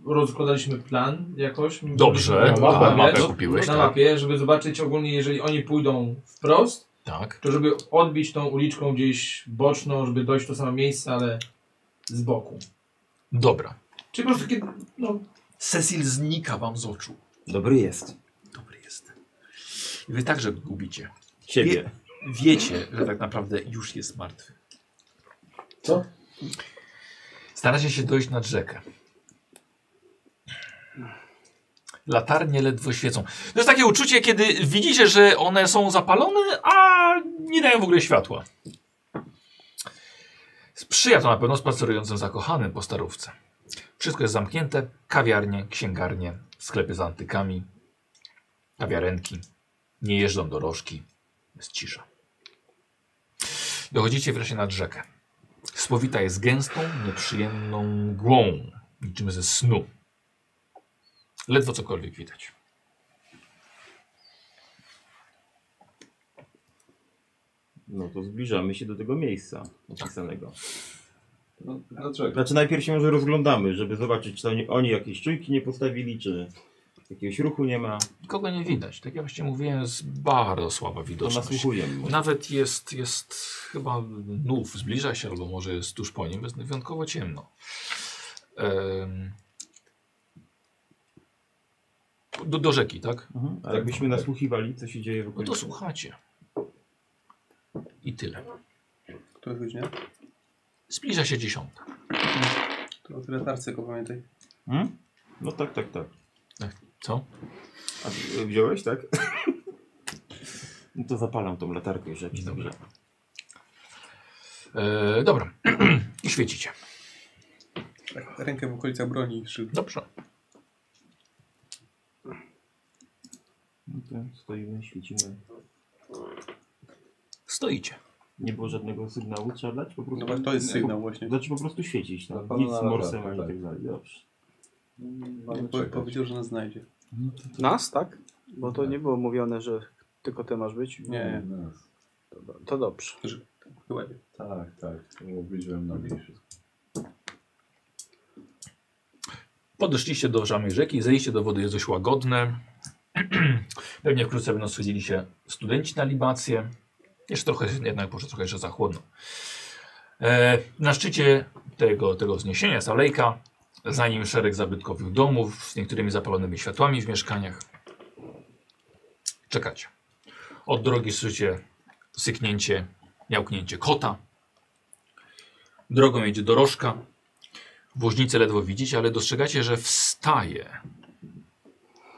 Speaker 9: rozkładaliśmy plan jakoś.
Speaker 1: Dobrze,
Speaker 9: Mieliśmy
Speaker 1: tak,
Speaker 9: mapę,
Speaker 1: mapę
Speaker 9: no,
Speaker 1: kupiłeś,
Speaker 9: Na
Speaker 1: tak.
Speaker 9: mapie, żeby zobaczyć ogólnie, jeżeli oni pójdą wprost,
Speaker 1: Tak.
Speaker 9: to żeby odbić tą uliczką gdzieś boczną, żeby dojść w to samo miejsce, ale z boku.
Speaker 1: Dobra.
Speaker 9: Czyli po prostu kiedy, no,
Speaker 1: Cecil znika wam z oczu.
Speaker 5: Dobry jest.
Speaker 1: Dobry jest. I wy także gubicie.
Speaker 5: Ciebie.
Speaker 1: Wie, wiecie, że tak naprawdę już jest martwy.
Speaker 28: Co?
Speaker 1: Staracie się dojść nad rzekę. Latarnie ledwo świecą. To jest takie uczucie, kiedy widzicie, że one są zapalone, a nie dają w ogóle światła. Sprzyja to na pewno spacerującym zakochanym po starówce. Wszystko jest zamknięte. Kawiarnie, księgarnie, sklepy z antykami, kawiarenki. Nie jeżdżą dorożki. Jest cisza. Dochodzicie wreszcie nad rzekę. Spowita jest gęstą, nieprzyjemną mgłą, niczym ze snu. Ledwo cokolwiek widać.
Speaker 5: No to zbliżamy się do tego miejsca opisanego.
Speaker 8: No, dlaczego?
Speaker 5: Znaczy najpierw się może rozglądamy, żeby zobaczyć, czy tam nie- oni jakieś czujki nie postawili, czy jakiegoś ruchu nie ma.
Speaker 1: Nikogo nie widać. Tak jak właśnie mówiłem, jest bardzo słaba widoczność.
Speaker 5: nasłuchujemy może.
Speaker 1: Nawet jest, jest chyba nów, zbliża się albo może jest tuż po nim, jest wyjątkowo ciemno. Em, Do, do rzeki, tak?
Speaker 5: Mhm. A
Speaker 1: Tak, tak.
Speaker 5: jakbyśmy nasłuchiwali, co się dzieje w
Speaker 1: No to
Speaker 5: okolicy.
Speaker 1: słuchacie. I tyle.
Speaker 7: To jest godzina?
Speaker 1: Zbliża się dziesiąta.
Speaker 7: To o teletarce, tylko pamiętaj.
Speaker 5: Hmm? No tak, tak, tak.
Speaker 1: Co?
Speaker 5: A ty, y, wziąłeś, tak? *laughs* no to zapalam tą latarkę już jakiś dobrze.
Speaker 1: E, dobra. *clears throat* I świecicie.
Speaker 7: Tak, rękę w okolicach broni i szyb.
Speaker 1: Dobrze.
Speaker 5: No to stoimy, świecimy.
Speaker 1: Stoicie.
Speaker 5: Nie było żadnego sygnału, trzeba dać po prostu.
Speaker 7: No właśnie, to jest
Speaker 5: Nie,
Speaker 7: sygnał właśnie.
Speaker 5: Znaczy po prostu świecić,
Speaker 8: Na
Speaker 5: tam.
Speaker 8: pana
Speaker 5: nic z
Speaker 8: na
Speaker 5: morsem
Speaker 8: latarkę,
Speaker 5: ani
Speaker 8: tak.
Speaker 5: tak dalej. Dobrze.
Speaker 8: Mamy
Speaker 7: Po,
Speaker 8: czekać.
Speaker 7: powiedział, że nas znajdzie.
Speaker 3: Nas, tak? Bo to nie było mówione, że tylko ty masz być.
Speaker 7: Nie,
Speaker 8: No,
Speaker 3: To, to dobrze.
Speaker 7: chyba nie.
Speaker 8: Tak, tak. Mówiłem na mnie wszystko.
Speaker 1: Podeszliście do żamej rzeki, zejście do wody jest dość łagodne. *clears throat* Pewnie wkrótce będą schodzili się studenci na libację. Jeszcze trochę, jednak może trochę jeszcze zachłodną. E, na szczycie tego, tego wzniesienia jest alejka. Za nim szereg zabytkowych domów z niektórymi zapalonymi światłami w mieszkaniach. Czekacie. Od drogi słyszycie syknięcie, miałknięcie kota. Drogą jedzie dorożka. Woźnicę ledwo widzicie, ale dostrzegacie, że wstaje.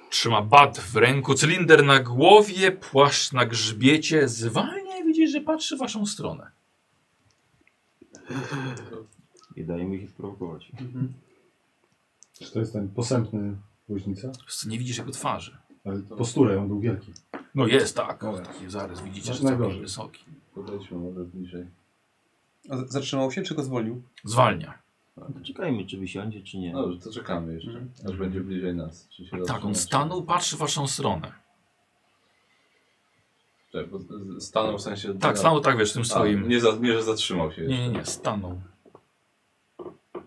Speaker 1: Trzyma bat w ręku, cylinder na głowie, płaszcz na grzbiecie. Zwalnia i widzisz, że patrzy w waszą stronę.
Speaker 5: I daje mi się sprowokować.
Speaker 4: Czy to jest ten posępny woźnica?
Speaker 1: Nie widzisz jego twarzy.
Speaker 4: Ale posturę ją był wielki.
Speaker 1: No jest, tak. Taki zarys widzicie,
Speaker 4: Masz
Speaker 1: że całkiem
Speaker 4: najgorzej.
Speaker 1: wysoki.
Speaker 8: Podejdźmy może bliżej.
Speaker 7: A z- Zatrzymał się, czy go zwolnił?
Speaker 8: Tak.
Speaker 1: Zwalnia.
Speaker 5: Czekajmy, czy wysiądzie, czy nie.
Speaker 8: Dobrze, No, to czekamy jeszcze, aż będzie bliżej nas. Czy się
Speaker 1: Mhm. Tak, on
Speaker 8: zatrzyma.
Speaker 1: stanął, patrzy w waszą stronę.
Speaker 8: Tak, bo z- Stanął w sensie.
Speaker 1: Tak, stanął tak, wiesz, tym
Speaker 8: A,
Speaker 1: swoim.
Speaker 8: Nie, za, nie, że zatrzymał się.
Speaker 1: Nie, nie, nie, stanął.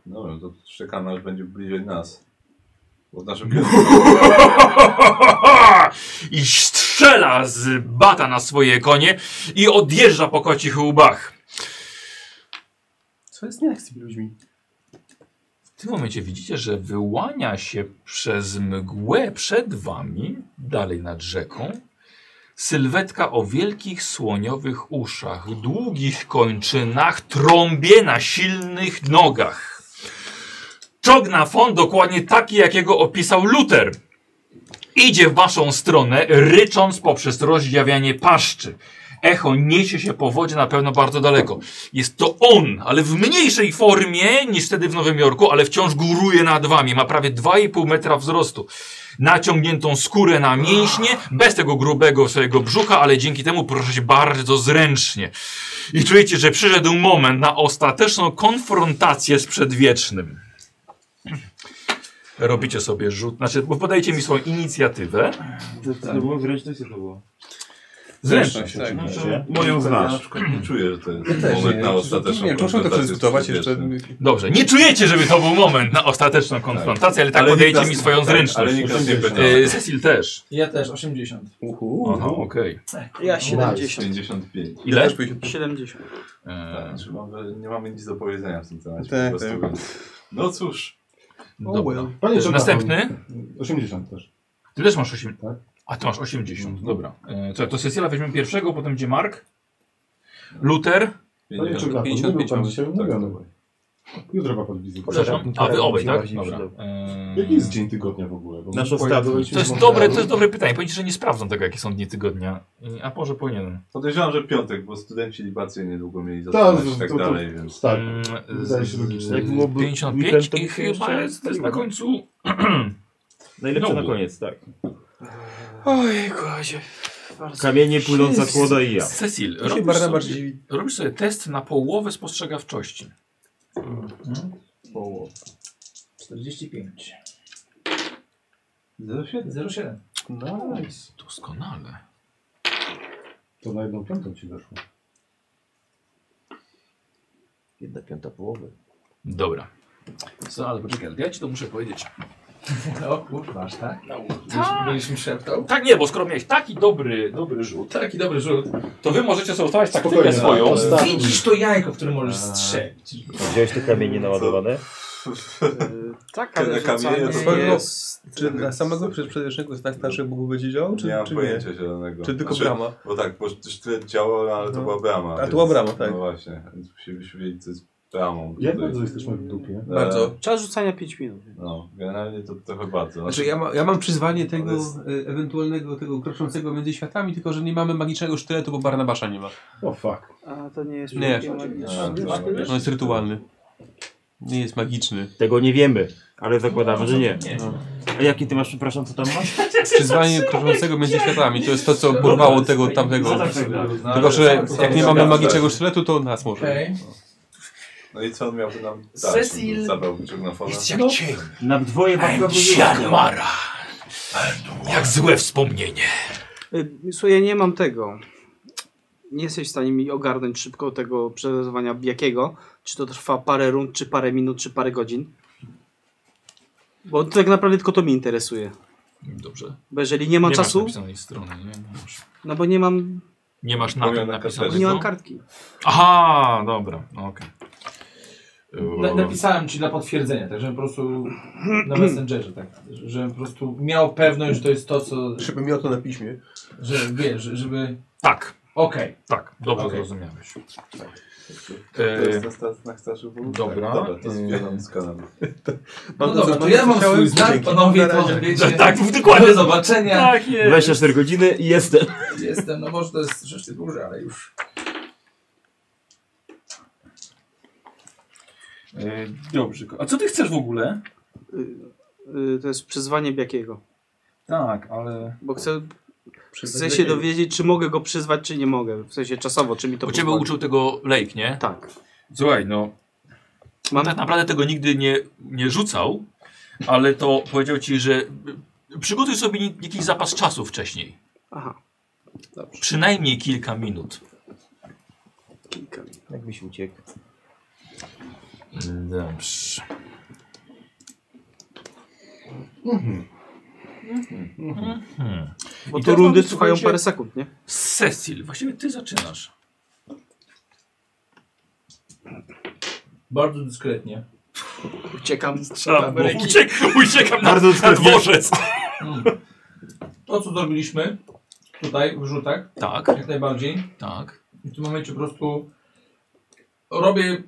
Speaker 8: Dobra, no to czekamy, aż będzie bliżej nas. Bo w
Speaker 7: No.
Speaker 8: naszym
Speaker 1: *laughs* I strzela z bata na swoje konie i odjeżdża po kocich łbach.
Speaker 7: Co jest nie tak z tymi ludźmi?
Speaker 1: W tym momencie widzicie, że wyłania się przez mgłę przed wami, dalej nad rzeką, sylwetka o wielkich słoniowych uszach, długich kończynach, trąbie na silnych nogach. Czogna fon dokładnie taki, jakiego opisał Luter. Idzie w waszą stronę, rycząc poprzez rozdziawianie paszczy. Echo niesie się po wodzie na pewno bardzo daleko. Jest to on, ale w mniejszej formie niż wtedy w Nowym Jorku, ale wciąż góruje nad wami. Ma prawie 2,5 metra wzrostu. Naciągniętą skórę na mięśnie, bez tego grubego swojego brzucha, ale dzięki temu porusza się bardzo zręcznie. I czujecie, że przyszedł moment na ostateczną konfrontację z przedwiecznym. Robicie sobie rzut, znaczy podajcie mi swoją inicjatywę.
Speaker 5: Zdecydowanie zręczność No, to było.
Speaker 1: Zręczność,
Speaker 7: tak.
Speaker 1: oczywiście.
Speaker 5: Moją
Speaker 8: Ja na
Speaker 5: znasz.
Speaker 8: przykład nie czuję, że to jest
Speaker 7: też
Speaker 8: moment
Speaker 7: nie,
Speaker 8: na
Speaker 7: nie,
Speaker 8: ostateczną
Speaker 7: nie, możemy to
Speaker 8: konfrontację z
Speaker 7: przedyskutować jeszcze.
Speaker 8: przedwiecznym.
Speaker 1: Dobrze, nie czujecie, żeby to był moment na ostateczną konfrontację, ale tak
Speaker 8: Ale
Speaker 1: podajecie
Speaker 8: Niklas-
Speaker 1: mi swoją
Speaker 8: tak,
Speaker 1: zręczność.
Speaker 8: ale Niklas nie pyta.
Speaker 1: Y, Cecil też.
Speaker 9: Ja też, 80.
Speaker 1: Aha, okej.
Speaker 3: Ja 70.
Speaker 8: 55.
Speaker 1: Ile?
Speaker 3: *laughs* 70.
Speaker 1: E,
Speaker 8: Znaczy, mamy, nie mamy nic do powiedzenia w tym temacie.
Speaker 7: Tak,
Speaker 8: po
Speaker 7: tak.
Speaker 8: prostu, więc- No cóż,
Speaker 1: Dobra.
Speaker 4: Panie
Speaker 1: Też
Speaker 4: Czarnachu,
Speaker 1: Następny.
Speaker 4: 80 też.
Speaker 1: Ty też masz 80.
Speaker 4: Tak.
Speaker 1: A ty masz 80. Dobra. E, co, to Cecilia weźmiemy pierwszego, potem gdzie Mark? Luther.
Speaker 4: Panie Czarnachu, nie
Speaker 7: 55
Speaker 4: był pan
Speaker 7: mamy.
Speaker 4: dzisiaj umówiony. Jutro ma pan wizytę.
Speaker 1: Przepraszam. A wy obaj, tak? Dobra.
Speaker 4: Jaki jest dzień tygodnia w ogóle? Bo
Speaker 5: Nasz
Speaker 4: my
Speaker 5: ostatni.
Speaker 4: pojechaliśmy
Speaker 1: To jest
Speaker 4: z
Speaker 1: dobre,
Speaker 4: Montrealu.
Speaker 1: to jest dobre pytanie. Powiem ci, że nie sprawdzam tego, jakie są dni tygodnia. I- A może powinienem.
Speaker 8: podejrzewam, że piątek, bo studenci libację niedługo mieli
Speaker 4: Tak,
Speaker 8: zaczynać i tak
Speaker 4: to- to-
Speaker 8: dalej, więc...
Speaker 4: Tak.
Speaker 1: Mm,
Speaker 4: Wydaje się logiczne. Jak
Speaker 1: z,
Speaker 29: byłoby weekend,
Speaker 1: 55
Speaker 29: to by
Speaker 1: i
Speaker 29: się jeszcze
Speaker 1: chyba jest, to jest na
Speaker 29: spaliło.
Speaker 1: końcu.
Speaker 5: Najlepsze
Speaker 1: No.
Speaker 5: na koniec, tak.
Speaker 3: Oj, kładzie. Bardzo.
Speaker 5: Kamienie płyną za kłoda i ja.
Speaker 1: Cecil,
Speaker 7: To się
Speaker 1: robisz
Speaker 7: Barnabasz
Speaker 1: sobie,
Speaker 7: dziwi.
Speaker 1: robisz sobie test na połowę spostrzegawczości.
Speaker 9: 45.
Speaker 8: 07.
Speaker 9: 07.
Speaker 1: Nice. Doskonale.
Speaker 4: To na jedną piątą ci weszło.
Speaker 5: Jedna piąta połowy.
Speaker 1: Dobra. Co, ale poczekaj, ale ja ci to muszę powiedzieć. No,
Speaker 9: O kurwa, aż tak? Byliśmy szeptał.
Speaker 1: Tak nie, bo skoro miałeś taki dobry, dobry rzut,
Speaker 9: Taki dobry rzut.
Speaker 1: to wy możecie sobie ustawiać taktykę
Speaker 4: Spokojnie,
Speaker 1: swoją.
Speaker 4: ale- Tak.
Speaker 9: Widzisz to jajko, w którym możesz
Speaker 1: Tak.
Speaker 9: strzelić.
Speaker 5: Widziałeś te kamienie naładowane?
Speaker 3: Yy, Tak, ale
Speaker 8: Ten kamień
Speaker 3: rzucanie
Speaker 8: jest-
Speaker 3: jest...
Speaker 7: Czy dla samego przed- przedwiecznego znak naszych Bóg będzie działał, czy,
Speaker 8: nie mam
Speaker 7: czy nie?
Speaker 8: pojęcia zielonego.
Speaker 7: Czy tylko
Speaker 8: Znaczy,
Speaker 7: brama?
Speaker 8: Bo tak, bo też tyle działo, ale to
Speaker 7: No.
Speaker 8: była brama.
Speaker 7: A to
Speaker 8: więc-
Speaker 7: była brama, tak.
Speaker 8: No właśnie, więc musielibyśmy wiedzieć, co jest bramą.
Speaker 4: Jak
Speaker 8: tutaj.
Speaker 4: bardzo jesteśmy w dupie?
Speaker 8: E,
Speaker 7: Bardzo.
Speaker 3: Czas rzucania 5 minut.
Speaker 8: No, generalnie to trochę bardzo.
Speaker 7: Znaczy ja, ma, ja mam przyzwanie tego
Speaker 8: To jest-
Speaker 7: e, ewentualnego, tego kroczącego między światami, tylko że nie mamy magicznego sztyletu, bo Barnabasza nie ma.
Speaker 4: O fuck.
Speaker 3: A to nie jest...
Speaker 7: Nie.
Speaker 3: wielkie magiczne.
Speaker 8: A, no, wiesz,
Speaker 7: On jest rytualny. Nie jest magiczny.
Speaker 5: Tego nie wiemy, ale zakładamy, że No, nie. A jakie ty masz, przepraszam, co tam masz?
Speaker 7: Przyzwanie kroczącego między światami, to jest to, co porwało tego tamtego.
Speaker 8: no,
Speaker 7: Tylko,
Speaker 8: ale
Speaker 7: że
Speaker 8: co- co-
Speaker 7: jak nie
Speaker 8: co-
Speaker 7: mamy
Speaker 8: co-
Speaker 7: magicznego sztyletu, to nas może.
Speaker 9: Okej.
Speaker 8: No i co on miał nam dać?
Speaker 9: Cecil-
Speaker 8: Zabrał gramofona.
Speaker 3: No.
Speaker 1: jak cień.
Speaker 5: Na dwoje babka
Speaker 1: Mara. Jak złe wspomnienie.
Speaker 3: Yy, Słuchaj, ja nie mam tego. Nie jesteś w stanie mi ogarnąć szybko tego przerywania jakiego. Czy to trwa parę rund, czy parę minut, czy parę godzin. Bo tak naprawdę tylko to mnie interesuje.
Speaker 1: Dobrze.
Speaker 3: Bo jeżeli nie ma
Speaker 1: nie
Speaker 3: czasu,
Speaker 1: Masz napisanej strony, nie? No dobrze.
Speaker 3: no bo nie mam,
Speaker 1: nie masz na
Speaker 8: Powiem
Speaker 1: tym
Speaker 8: na
Speaker 1: napisanego.
Speaker 8: karteczce.
Speaker 3: nie mam kartki.
Speaker 1: Aha, dobra, no okej.
Speaker 9: Na, napisałem ci dla potwierdzenia, tak, żebym po prostu na Messengerze, tak, żebym po prostu miał pewność, że to jest to, co...
Speaker 15: Żeby miał to na piśmie.
Speaker 9: Że, wiesz, żeby...
Speaker 1: Tak.
Speaker 9: Okej.
Speaker 1: Tak, dobrze
Speaker 9: Okej.
Speaker 1: zrozumiałeś.
Speaker 8: To jest następna chcesz wywołać?
Speaker 1: dobra,
Speaker 8: Dobra, to zbieram z kanału.
Speaker 9: No dobra, to ja mam swój znak, panowie, to wiecie. Do zobaczenia.
Speaker 5: 24 godziny i jestem.
Speaker 9: Jestem, no może to jest rzeczywiście duże, ale już.
Speaker 1: E, Dobrze. ko- A co ty chcesz w ogóle?
Speaker 3: Y, To jest przyzwanie Biakiego.
Speaker 1: Tak, ale...
Speaker 3: Bo chcę, chcę
Speaker 1: Przyzwać
Speaker 3: się
Speaker 1: Biakiego.
Speaker 3: dowiedzieć, czy mogę go przyzwać, czy nie mogę. W sensie czasowo, czy mi to
Speaker 1: Bo ciebie
Speaker 3: pozwoli.
Speaker 1: uczył tego Lake, nie?
Speaker 3: Tak.
Speaker 1: Słuchaj, no... Mam... Tak naprawdę tego nigdy nie, nie rzucał, ale to powiedział ci, że y, przygotuj sobie ni- jakiś zapas czasu wcześniej.
Speaker 3: Aha.
Speaker 1: Przynajmniej kilka minut.
Speaker 3: Kilka minut.
Speaker 5: Jakbyś uciekł.
Speaker 1: Dobrze. Hmm.
Speaker 3: Bo
Speaker 1: I
Speaker 3: to
Speaker 1: teraz
Speaker 3: rundy
Speaker 1: mamy,
Speaker 3: trwają
Speaker 1: słuchajcie,
Speaker 3: parę sekund, nie?
Speaker 1: Cecil, właściwie ty zaczynasz.
Speaker 9: Bardzo dyskretnie.
Speaker 3: Uciekam
Speaker 9: z
Speaker 1: Tak, Bo Uciek, uciekam na, na dworzec.
Speaker 9: To, co zrobiliśmy tutaj, wrzutek.
Speaker 1: Tak.
Speaker 9: Jak najbardziej.
Speaker 1: Tak.
Speaker 9: I w tym momencie po prostu robię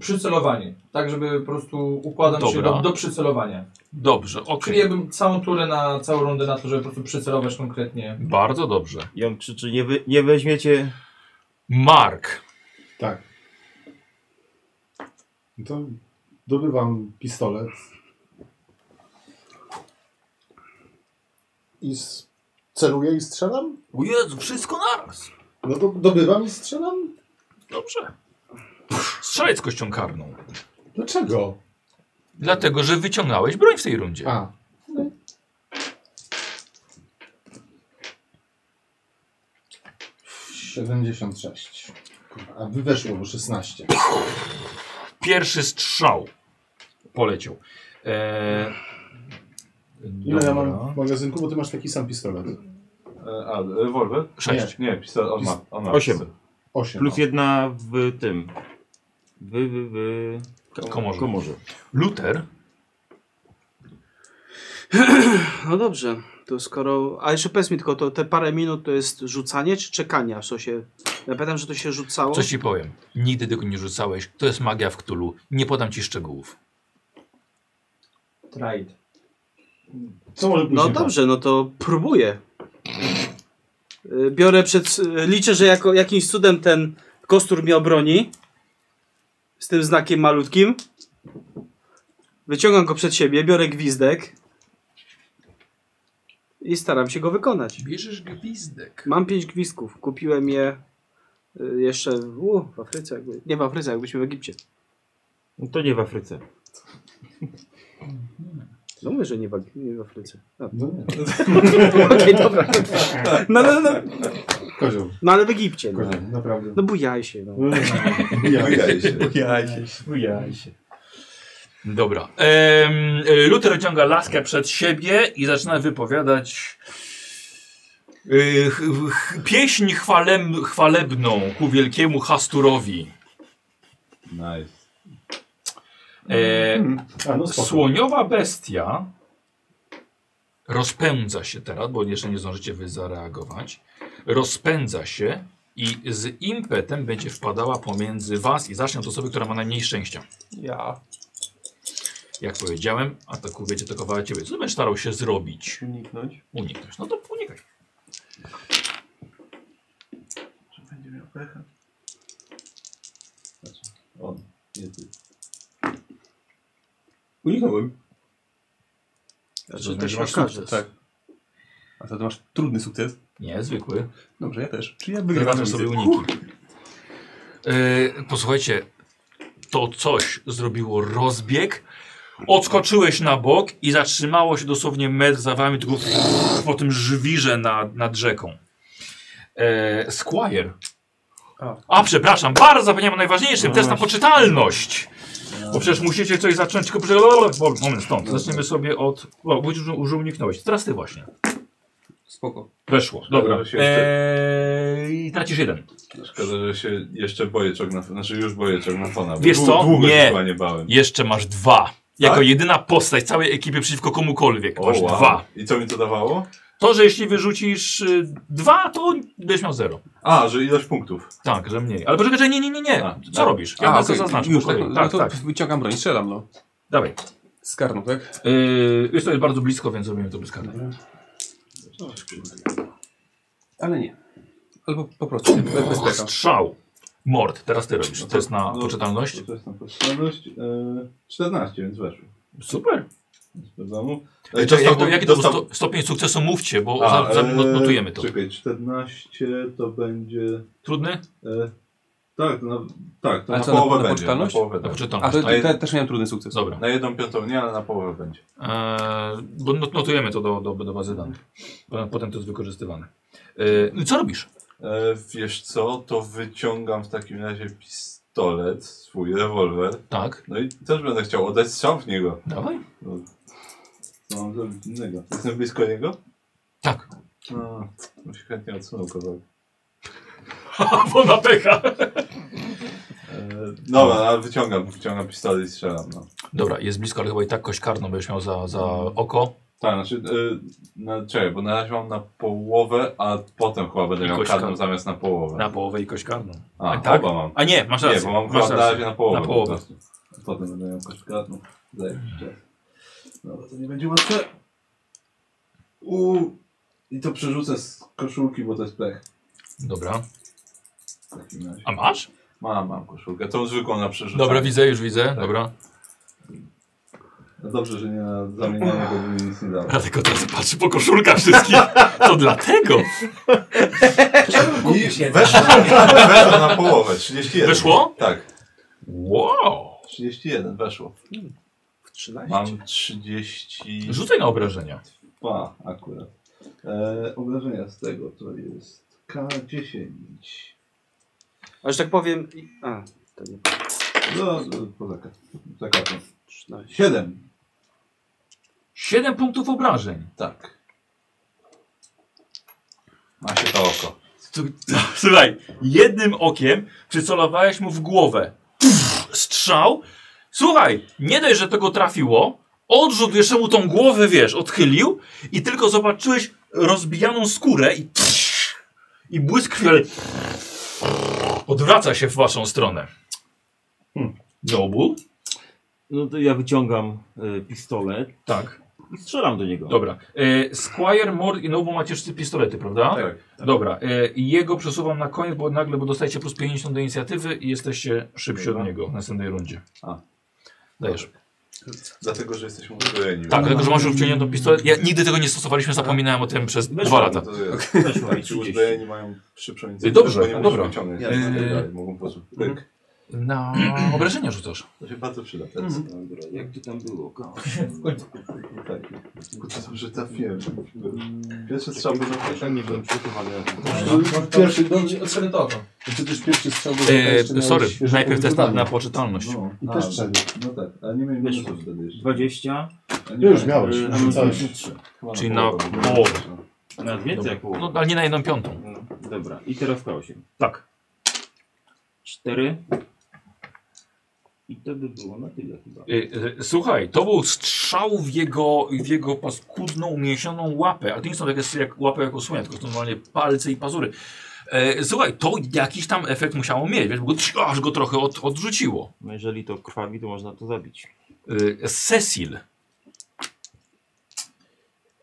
Speaker 9: przycelowanie. Tak, żeby po prostu układam się
Speaker 1: Dobra.
Speaker 9: do, do przycelowania.
Speaker 1: Dobrze,
Speaker 9: Czyli
Speaker 1: okej.
Speaker 9: ja bym całą turę na całą rundę na to, żeby po prostu przycelować konkretnie.
Speaker 1: Bardzo dobrze.
Speaker 5: I on krzyczy, nie, wy, nie weźmiecie...
Speaker 1: Mark.
Speaker 4: Tak. No to dobywam pistolet. I s- celuję i strzelam?
Speaker 1: O Jezu, wszystko naraz.
Speaker 4: No to dobywam i strzelam?
Speaker 1: Dobrze. Strzelaj z kością karną.
Speaker 4: Dlaczego?
Speaker 1: Dlatego, że wyciągnąłeś broń w tej rundzie.
Speaker 4: A. Siedemdziesiąt 76. Kurwa, A weszło, bo 16.
Speaker 1: Pierwszy strzał poleciał. Eee,
Speaker 4: Ile ja
Speaker 1: dobra.
Speaker 4: mam w magazynku? Bo ty masz taki sam pistolet.
Speaker 8: E, A, rewolwer?
Speaker 1: Sześć.
Speaker 8: Nie, pistolet, on ma. On ma
Speaker 5: Osiem.
Speaker 8: pistolet.
Speaker 4: Osiem.
Speaker 5: Plus jedna w tym. W, w, w...
Speaker 1: Komorze.
Speaker 5: Komorze.
Speaker 1: Luther.
Speaker 3: No dobrze, to skoro... A jeszcze powiedz mi tylko, to te parę minut to jest rzucanie czy czekanie, aż to się... Ja pamiętam, że to się rzucało.
Speaker 1: Coś ci powiem. Nigdy tego nie rzucałeś. To jest magia w Cthulhu. Nie podam ci szczegółów.
Speaker 9: Trade.
Speaker 4: Co może
Speaker 3: No dobrze, no to próbuję. Y, Biorę przed... y, Liczę, że jako, jakimś cudem ten kostur mnie obroni. Z tym znakiem malutkim. Wyciągam go przed siebie, biorę gwizdek. I staram się go wykonać.
Speaker 1: Bierzesz gwizdek.
Speaker 3: Mam pięć gwizdków. Kupiłem je y, jeszcze w, u, w Afryce. Jakby, nie w Afryce, jakbyśmy w Egipcie.
Speaker 5: No to nie w Afryce.
Speaker 3: No mówię, że nie w, Ag- nie w Afryce. A.
Speaker 4: No nie.
Speaker 3: Okej, dobra. No, no, no.
Speaker 4: Kozioł.
Speaker 3: no ale w Egipcie. No,
Speaker 4: Kozioł, naprawdę.
Speaker 3: no bujaj się. No.
Speaker 4: Bujaj się.
Speaker 15: Bujaj się.
Speaker 4: Bujaj się.
Speaker 1: Dobra. Em, y, Luther odciąga laskę przed siebie i zaczyna wypowiadać y, ch, ch, pieśń chwalem, chwalebną ku wielkiemu Hasturowi.
Speaker 8: Nice.
Speaker 1: E,
Speaker 4: A, no spoko.
Speaker 1: Słoniowa bestia rozpędza się teraz, bo jeszcze nie zdążycie wy zareagować. Rozpędza się i z impetem będzie wpadała pomiędzy was i zacznie od osoby, która ma najmniej szczęścia.
Speaker 15: Ja.
Speaker 1: Jak powiedziałem, ataku będzie atakowała ciebie. Co będziesz starał się zrobić?
Speaker 15: Uniknąć.
Speaker 1: Uniknąć. No to unikaj.
Speaker 8: Będzie miał pecha. Znaczy, on, nie ty.
Speaker 15: Uniknąłem.
Speaker 3: Znaczy, to
Speaker 7: no,
Speaker 1: Rozumiem,
Speaker 3: się
Speaker 1: że masz
Speaker 3: okaże.
Speaker 1: sukces.
Speaker 15: Tak. A to ty masz trudny sukces.
Speaker 1: Niezwykły.
Speaker 15: Dobrze, ja też. Czyli ja
Speaker 1: Wygrasz
Speaker 15: wygrałem
Speaker 1: sobie
Speaker 15: widzę.
Speaker 1: uniki. E, posłuchajcie, to coś zrobiło rozbieg. Odskoczyłeś na bok i zatrzymało się dosłownie metr za wami, tylko po tym żwirze nad, nad rzeką. E, Squire.
Speaker 15: A. No
Speaker 1: A, przepraszam, bardzo zapomniałem o najważniejszym. Test na poczytalność. Bo przecież musicie coś zacząć, tylko prze... Moment, stąd. Zaczniemy sobie od... O, bo już, już uniknąłeś. Teraz ty właśnie.
Speaker 15: Spoko.
Speaker 1: Weszło, dobra.
Speaker 8: Teraz jeszcze-
Speaker 1: Eee, tracisz jeden.
Speaker 8: Szkoda, że się jeszcze boję czognafona, znaczy już boję czognafona. bo
Speaker 1: Wiesz
Speaker 8: dłu-
Speaker 1: co?
Speaker 8: Długo się
Speaker 1: Nie.
Speaker 8: chyba nie bałem.
Speaker 1: Jeszcze masz dwa. Jako
Speaker 8: Tak?
Speaker 1: jedyna postać całej ekipy przeciwko komukolwiek.
Speaker 8: O,
Speaker 1: Masz
Speaker 8: wow.
Speaker 1: dwa.
Speaker 8: I co mi to dawało?
Speaker 1: To, że jeśli wyrzucisz y, dwa, to będziesz miał zero.
Speaker 8: A, że ilość punktów.
Speaker 1: Tak, że mniej. Ale poczekaj, że nie, nie, nie, nie.
Speaker 8: A,
Speaker 1: Co
Speaker 8: a.
Speaker 1: robisz? Ja
Speaker 15: A,
Speaker 1: was
Speaker 15: okej,
Speaker 1: zaznaczę.
Speaker 15: Już,
Speaker 1: po
Speaker 15: tak,
Speaker 1: kolei.
Speaker 15: no,
Speaker 1: tak,
Speaker 15: to
Speaker 1: tak.
Speaker 15: wyciągam broń, strzelam, no.
Speaker 1: Dawaj.
Speaker 15: Z karną, tak?
Speaker 1: Yy, wiesz, to jest bardzo blisko, więc zrobimy to bez karty.
Speaker 15: Ale nie. Albo po prostu, bez bez pecha.
Speaker 1: Strzał. Mord, teraz ty robisz.
Speaker 8: No
Speaker 1: To jest na
Speaker 8: no,
Speaker 1: poczytalność.
Speaker 8: To jest na poczytalność. E, 14, więc weszło.
Speaker 1: Super.
Speaker 8: Bez problemu.
Speaker 1: Czekaj,
Speaker 8: E, Dostał-
Speaker 1: E, jak Y, to, jaki to był
Speaker 8: dostał-
Speaker 1: sto, stopień sukcesu? Mówcie, bo
Speaker 8: A,
Speaker 1: za, za,
Speaker 8: e,
Speaker 1: notujemy to.
Speaker 8: Czekaj, 14 to będzie...
Speaker 1: Trudny?
Speaker 8: E, tak, no, tak, to
Speaker 15: Ale
Speaker 8: na
Speaker 15: co, na,
Speaker 8: połowę
Speaker 15: na
Speaker 8: będzie. Na
Speaker 15: poczytalność?
Speaker 8: połowę
Speaker 1: Na
Speaker 8: będzie.
Speaker 15: A,
Speaker 1: poczytalność.
Speaker 15: to,
Speaker 1: tak.
Speaker 15: to,
Speaker 8: A jed-
Speaker 15: też miałem trudny sukces.
Speaker 1: Dobra.
Speaker 8: Na jedną piątą nie, ale na połowę będzie.
Speaker 1: Eee, bo not- notujemy to do, do, do bazy danych. Potem- Potem to jest wykorzystywane. Eee, no i co robisz?
Speaker 8: E, wiesz co, to wyciągam w takim razie pistolet, swój rewolwer.
Speaker 1: Tak.
Speaker 8: No i też będę chciał oddać strzał w niego.
Speaker 1: Dawaj.
Speaker 8: No, co
Speaker 4: No,
Speaker 8: mam zrobić innego? Jestem blisko niego?
Speaker 1: Tak.
Speaker 8: No, bym się chętnie odsunął E, kawałek.
Speaker 1: *laughs* Bo na pecha.
Speaker 8: E, dobra, ale wyciągam, wyciągam pistolet i strzelam. No.
Speaker 1: Dobra, jest blisko, ale chyba i tak kość karną będziesz miał za, za oko.
Speaker 8: Tak, znaczy, e, na, czekaj, bo na razie mam na połowę, a potem chyba będę
Speaker 1: I
Speaker 8: miał
Speaker 1: kość
Speaker 8: karną
Speaker 1: karną.
Speaker 8: zamiast na połowę.
Speaker 1: Na połowę i kość karną.
Speaker 8: A,
Speaker 1: A, tak?
Speaker 8: oba mam.
Speaker 1: A nie, masz rację.
Speaker 8: Nie, bo mam
Speaker 1: masz
Speaker 8: chyba na razie
Speaker 1: rację.
Speaker 8: na połowę.
Speaker 1: Na połowę.
Speaker 8: po prostu. Potem będę miał kość karną. Za jakiś czas. Dobra, to nie będzie łatwe. U I to przerzucę z koszulki, bo to jest pech.
Speaker 1: Dobra.
Speaker 8: W takim razie.
Speaker 1: A masz?
Speaker 8: Mam, mam koszulkę. Tą zwykłą na przerzucenie.
Speaker 1: Dobra, widzę, już widzę. Dobra.
Speaker 8: No dobrze, że nie na zamienianie, bo by mi nic nie dało.
Speaker 1: Dlatego teraz patrzy po koszulkach wszystkich. *laughs* To dlatego.
Speaker 8: I weszło, weszło
Speaker 1: *laughs*
Speaker 8: na połowę. 31.
Speaker 1: Weszło?
Speaker 8: Tak.
Speaker 1: Wow.
Speaker 8: 31 weszło.
Speaker 5: Hmm.
Speaker 3: W 13.
Speaker 8: Mam 30...
Speaker 1: Rzucaj na obrażenia.
Speaker 8: Pa, akurat. E, obrażenia z tego to jest K10.
Speaker 3: A że tak powiem... i- A, to nie.
Speaker 8: No, e, poza zakatą.
Speaker 3: 13.
Speaker 8: 7.
Speaker 1: 7 punktów obrażeń.
Speaker 8: Tak. Ma się to oko.
Speaker 1: Tu- Słuchaj, jednym okiem przycelowałeś mu w głowę. Pff, Strzał. Słuchaj, nie dość, że tego trafiło. Odrzut jeszcze mu tą głowę, wiesz, odchylił i tylko zobaczyłeś rozbijaną skórę i pff, i błysk chwilę odwraca się w waszą stronę. Nobu?
Speaker 5: No to ja wyciągam y, pistolet
Speaker 1: Tak,
Speaker 5: i strzelam do niego.
Speaker 1: dobra. E, Squire, Mord i Nobu macie wszyscy pistolety,
Speaker 8: Tak.
Speaker 1: prawda? Dobra, e, i jego przesuwam na koniec, bo nagle, bo dostajecie plus 50 do inicjatywy i jesteście szybsi od
Speaker 8: Dobra.
Speaker 1: niego w następnej rundzie.
Speaker 8: A.
Speaker 1: Dajesz.
Speaker 8: Dlatego, że jesteśmy uzbrojeni.
Speaker 1: Tak, dlatego, że masz już wciągniętą pistolet. Ja nigdy tego nie stosowaliśmy,
Speaker 8: Tak.
Speaker 1: zapomniałem o tym przez
Speaker 5: Bez
Speaker 1: dwa
Speaker 5: problemu.
Speaker 1: lata.
Speaker 8: To jest.
Speaker 5: Weszło
Speaker 8: Tak,
Speaker 5: i
Speaker 8: ci
Speaker 5: 30.
Speaker 8: uzbrojeni mają szybszą inicjatywę,
Speaker 1: Dobrze,
Speaker 8: bo nie muszą
Speaker 1: dobra.
Speaker 8: wyciągnąć.
Speaker 1: Ja-
Speaker 8: tak dalej, Mogą po prostu pyk.
Speaker 1: Na *clears throat* obrażenia rzucasz.
Speaker 8: To się bardzo przyda teraz.
Speaker 5: Mhm. Jak to tam było?
Speaker 8: *laughs*
Speaker 5: Ko-
Speaker 8: Tak. Mm. Kurczę, dobrze trafiłem. Pierwszy strzał był na
Speaker 5: Ja nie byłem przygotowany.
Speaker 4: No,
Speaker 19: Pierwszy dobrze odszedł to oko.
Speaker 4: Czy też pierwszy strzał był
Speaker 1: E, sorry,
Speaker 4: świeżo
Speaker 1: najpierw test na,
Speaker 4: odgrywany.
Speaker 1: na poczytalność.
Speaker 8: No,
Speaker 4: I
Speaker 8: a,
Speaker 4: też strzelił.
Speaker 8: No tak, ale nie miałem
Speaker 5: Wiesz,
Speaker 8: minusów wtedy jeszcze.
Speaker 5: 20.
Speaker 8: A
Speaker 4: Ty już
Speaker 8: pamiętam.
Speaker 4: miałeś,
Speaker 5: y,
Speaker 4: rzucałeś.
Speaker 5: 23.
Speaker 8: Chyba
Speaker 1: Czyli na
Speaker 8: połowę.
Speaker 1: połowę.
Speaker 5: Nawet więcej jak połowa.
Speaker 1: No, ale nie na jedną piątą.
Speaker 5: No, Dobra, i teraz K8.
Speaker 1: Tak.
Speaker 5: 4. I to by było na tyle chyba.
Speaker 1: Y, y, Słuchaj, to był strzał w jego, w jego paskudną, umięsioną łapę. Ale to nie są takie s- jak łapy jako słonia, tylko są normalnie palce i pazury. E, słuchaj, to jakiś tam efekt musiało mieć, więc go, aż go trochę od, odrzuciło.
Speaker 5: No jeżeli to krwawi, to można to zabić.
Speaker 1: Y, Cecil.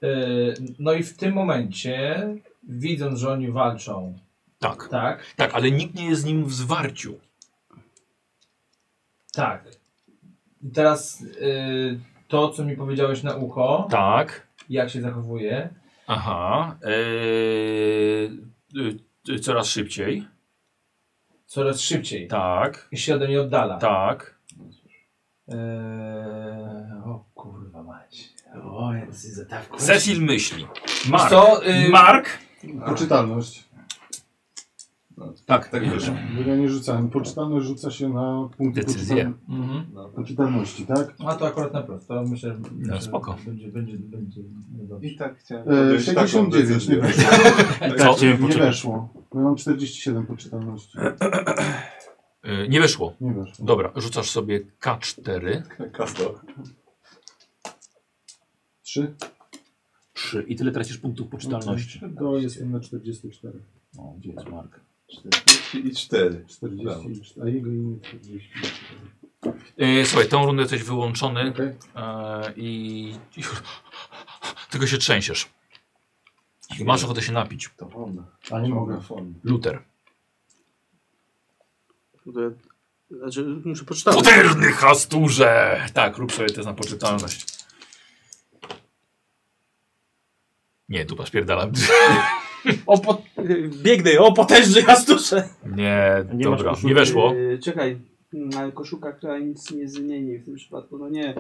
Speaker 9: Y,
Speaker 19: Yy, No i w tym momencie, widząc, że oni walczą,
Speaker 1: Tak.
Speaker 19: tak,
Speaker 1: Tak, ale nikt nie jest z nim w zwarciu.
Speaker 19: tak. I teraz yy,
Speaker 9: y,
Speaker 19: to, co mi powiedziałeś na ucho,
Speaker 1: Tak.
Speaker 19: jak się zachowuje,
Speaker 1: Aha. Eee, y, y, coraz szybciej.
Speaker 19: coraz szybciej
Speaker 1: Tak.
Speaker 19: i się ode mnie oddala.
Speaker 1: Tak.
Speaker 19: Yy, Eee, o kurwa mać. O, ja dosyć zatawku.
Speaker 1: Cecil myśli.
Speaker 19: Wiesz
Speaker 1: Mark.
Speaker 19: Co? Yy,
Speaker 1: Mark.
Speaker 4: Poczytalność.
Speaker 8: No,
Speaker 1: Tak.
Speaker 8: tak wyszło.
Speaker 4: Ja nie rzucałem. Poczytalność rzuca się na punkty
Speaker 1: Decyzję.
Speaker 4: poczytal-
Speaker 9: Mhm.
Speaker 1: No,
Speaker 4: poczytalności, tak?
Speaker 9: A to akurat na plus, to myślę, że myślę, że
Speaker 1: spoko.
Speaker 9: będzie, będzie, będzie dobrze.
Speaker 8: I tak chciałem
Speaker 4: E,
Speaker 8: podjąć taką
Speaker 4: 69 nie
Speaker 8: decyzję.
Speaker 4: weszło.
Speaker 8: *laughs* Tak
Speaker 1: Co?
Speaker 8: chciałem
Speaker 4: Nie
Speaker 8: poczytać.
Speaker 4: weszło. Bo ja mam 47 poczytalności.
Speaker 1: Y, nie weszło.
Speaker 4: Nie weszło.
Speaker 1: Dobra, rzucasz sobie K4.
Speaker 8: Kasto.
Speaker 4: 3.
Speaker 30: 3. I tyle tracisz punktów poczytalności.
Speaker 4: To jestem na 44.
Speaker 1: O, gdzie jest Mark?
Speaker 8: 40 i 4.
Speaker 4: 40, a jego imię 40.
Speaker 1: E, słuchaj, tą rundę jesteś wyłączony
Speaker 4: Okej.
Speaker 1: e, i, i tylko się trzęsiesz. I masz ochotę się napić.
Speaker 8: To wolne.
Speaker 4: A nie mogę.
Speaker 1: Luter.
Speaker 3: To ja, znaczy, muszę poczytać.
Speaker 30: Potężny
Speaker 1: hasturze! Tak, rób sobie test na poczytalność. Nie, dupa spierdalam. *laughs*
Speaker 3: O, po... Biegnę, o potężny jastusze!
Speaker 1: Nie,
Speaker 5: Nie masz
Speaker 1: dobra,
Speaker 5: koszulki.
Speaker 1: nie weszło.
Speaker 3: Yy, czekaj, ale koszulka, która nic nie zmieni w tym przypadku, no nie.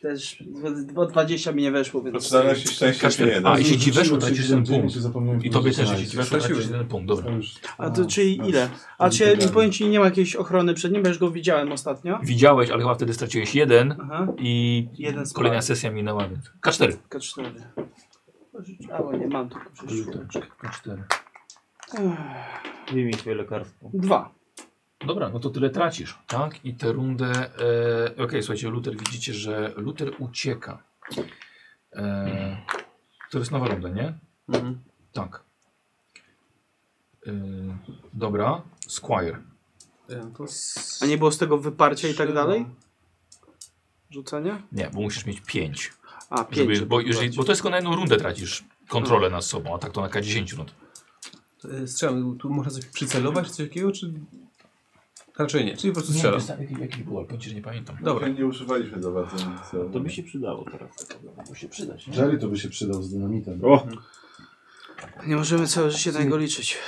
Speaker 3: Też dwa- 20 mi nie weszło, więc...
Speaker 8: Poczytałem się szczęście
Speaker 1: K4.
Speaker 8: się nie no, da.
Speaker 1: A, i się
Speaker 4: no,
Speaker 1: ci weszło, tracisz ten
Speaker 4: 39,
Speaker 1: punkt.
Speaker 4: to zapomniałem
Speaker 1: I tobie też,
Speaker 4: powiedzieć.
Speaker 1: jeśli ci weszło, tracisz jeden punkt, dobra.
Speaker 4: To już-
Speaker 3: A to czyli
Speaker 4: no,
Speaker 3: ile? A
Speaker 4: już
Speaker 3: czy
Speaker 4: wygrałem.
Speaker 3: powiem ci, nie ma jakiejś ochrony przed nim, bo już go widziałem ostatnio.
Speaker 1: Widziałeś, ale chyba wtedy straciłeś jeden
Speaker 3: Aha,
Speaker 1: i
Speaker 3: Jeden spadł.
Speaker 1: kolejna sesja minęła, więc... K4.
Speaker 3: K4. A, bo nie mam tu przecież.
Speaker 1: K4.
Speaker 3: Ech,
Speaker 5: Wyjmij swoje lekarstwo.
Speaker 3: Dwa.
Speaker 1: Dobra, no to tyle tracisz. Tak, i tę rundę. E, Okej, słuchajcie, Luther, widzicie, że Luther ucieka. E, to jest nowa runda, nie?
Speaker 7: Mhm.
Speaker 1: Tak. E, dobra, Squire.
Speaker 7: E, To s-
Speaker 3: A nie było z tego wyparcia i tak dalej? Rzucenia?
Speaker 1: Nie, bo musisz mieć 5.
Speaker 3: A, pięć.
Speaker 1: Żeby, bo, jeżeli, bo to jest tylko na jedną rundę tracisz kontrolę nad sobą, a tak to na K10 rund.
Speaker 7: e, Strzelam, tu można coś przycelować, czy coś takiego, czy... Raczej nie, czyli po prostu strzelam.
Speaker 1: jaki, jaki był, ale powiem ci, że nie pamiętam.
Speaker 7: Dobra.
Speaker 8: Nie używaliśmy za bardzo nic.
Speaker 5: To by się przydało teraz.
Speaker 1: Musi przydać. nie?
Speaker 4: Jerry to by się przydał z dynamitem.
Speaker 5: O!
Speaker 3: Nie możemy całe życie na niego liczyć.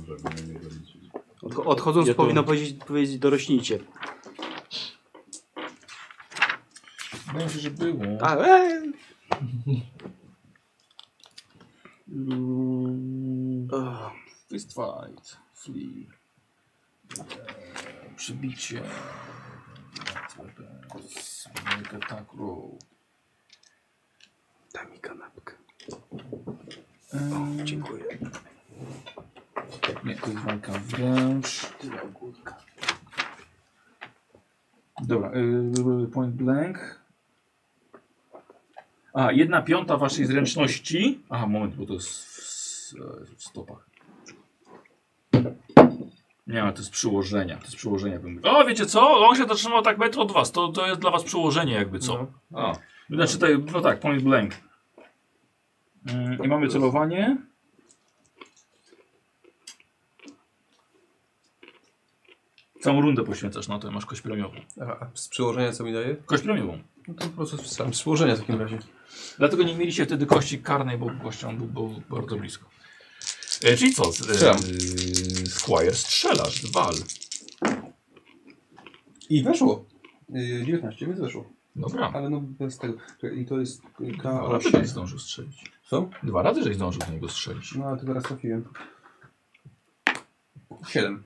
Speaker 8: Możemy na niego liczyć.
Speaker 3: Odcho- odchodząc
Speaker 5: Ja to-
Speaker 3: powinno powiedzieć, powiedzieć dorośnijcie.
Speaker 1: Wydaje mi się, że było.
Speaker 3: A, e. Mm, o,
Speaker 1: Fist fight, flee, eee, przybicie, weapons, make attack roll.
Speaker 3: Daj mi kanapkę. O, dziękuję.
Speaker 1: Tak, Nie, to jest walka wręcz. Tyle ogólka. Dobra, yy, point blank. A, jedna piąta waszej zręczności. Aha, moment, bo to jest w, s- w stopach. Nie, ale to jest przyłożenia. To jest przyłożenia. bym- O, wiecie co? On się dotrzymał tak metr od was. To, to jest dla was przyłożenie jakby, co?
Speaker 8: A,
Speaker 30: Znaczy tutaj, no tak, point blank.
Speaker 1: Mm,
Speaker 30: Yy, I mamy celowanie.
Speaker 1: Całą rundę poświęcasz na to, masz kość premiową.
Speaker 7: A a z przyłożenia co mi daje?
Speaker 1: Kość premiową.
Speaker 7: No to po prostu strzelam z przyłożenia w takim razie.
Speaker 1: Dlatego nie mieliście wtedy kości karnej, bo kością był, był bardzo blisko. E, czyli co? z- E,
Speaker 7: Strzelam.
Speaker 1: Squire, strzelasz, wal.
Speaker 7: I weszło. Y, 19, więc weszło.
Speaker 1: Dobra.
Speaker 7: Ale no bez tego. Czekaj, I to jest
Speaker 9: No,
Speaker 1: Dwa razy żeś
Speaker 7: K8.
Speaker 1: zdążył strzelić.
Speaker 7: Co?
Speaker 1: Dwa razy żeś zdążył do niego strzelić.
Speaker 7: No ale to teraz trafiłem. 7.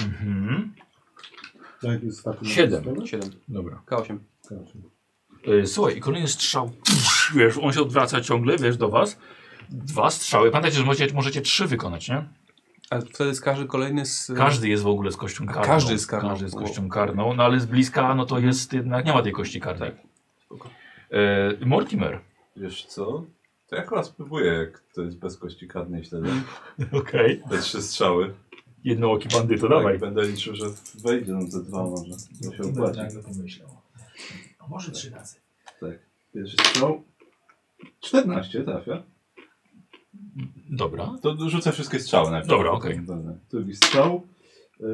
Speaker 1: Mhm.
Speaker 4: Tak, jest taki
Speaker 1: Siedem.
Speaker 7: 7.
Speaker 1: Dobra.
Speaker 7: K8.
Speaker 1: E, słuchaj, i kolejny strzał. Wiesz, on się odwraca ciągle, wiesz, do was. Dwa strzały. Pamiętajcie, że możecie, możecie trzy wykonać, nie?
Speaker 7: A wtedy z każdy kolejny z...
Speaker 1: Każdy jest w ogóle z kością
Speaker 7: A
Speaker 1: karną.
Speaker 7: każdy jest karną.
Speaker 1: Każdy jest kością karną, no ale z bliska, no to jest jednak, nie ma tej kości karnej.
Speaker 7: Tak.
Speaker 1: E, Mortimer.
Speaker 8: wiesz co? To ja chyba spróbuję, jak to jest bez kości karnej wtedy.
Speaker 1: *laughs* Mm. Okej.
Speaker 8: Te trzy strzały.
Speaker 1: Jednooki bandyto,
Speaker 8: Jak Będę liczył, że wejdzie nam ze dwa może. To
Speaker 1: No
Speaker 8: się opłaci.
Speaker 9: Tak, pomyślał. A może trzy razy.
Speaker 8: Pierwszy strzał. 14 trafia.
Speaker 1: Dobra.
Speaker 8: To rzucę wszystkie strzały najpierw.
Speaker 1: Dobra, okej.
Speaker 8: Dobra. Drugi strzał. Y,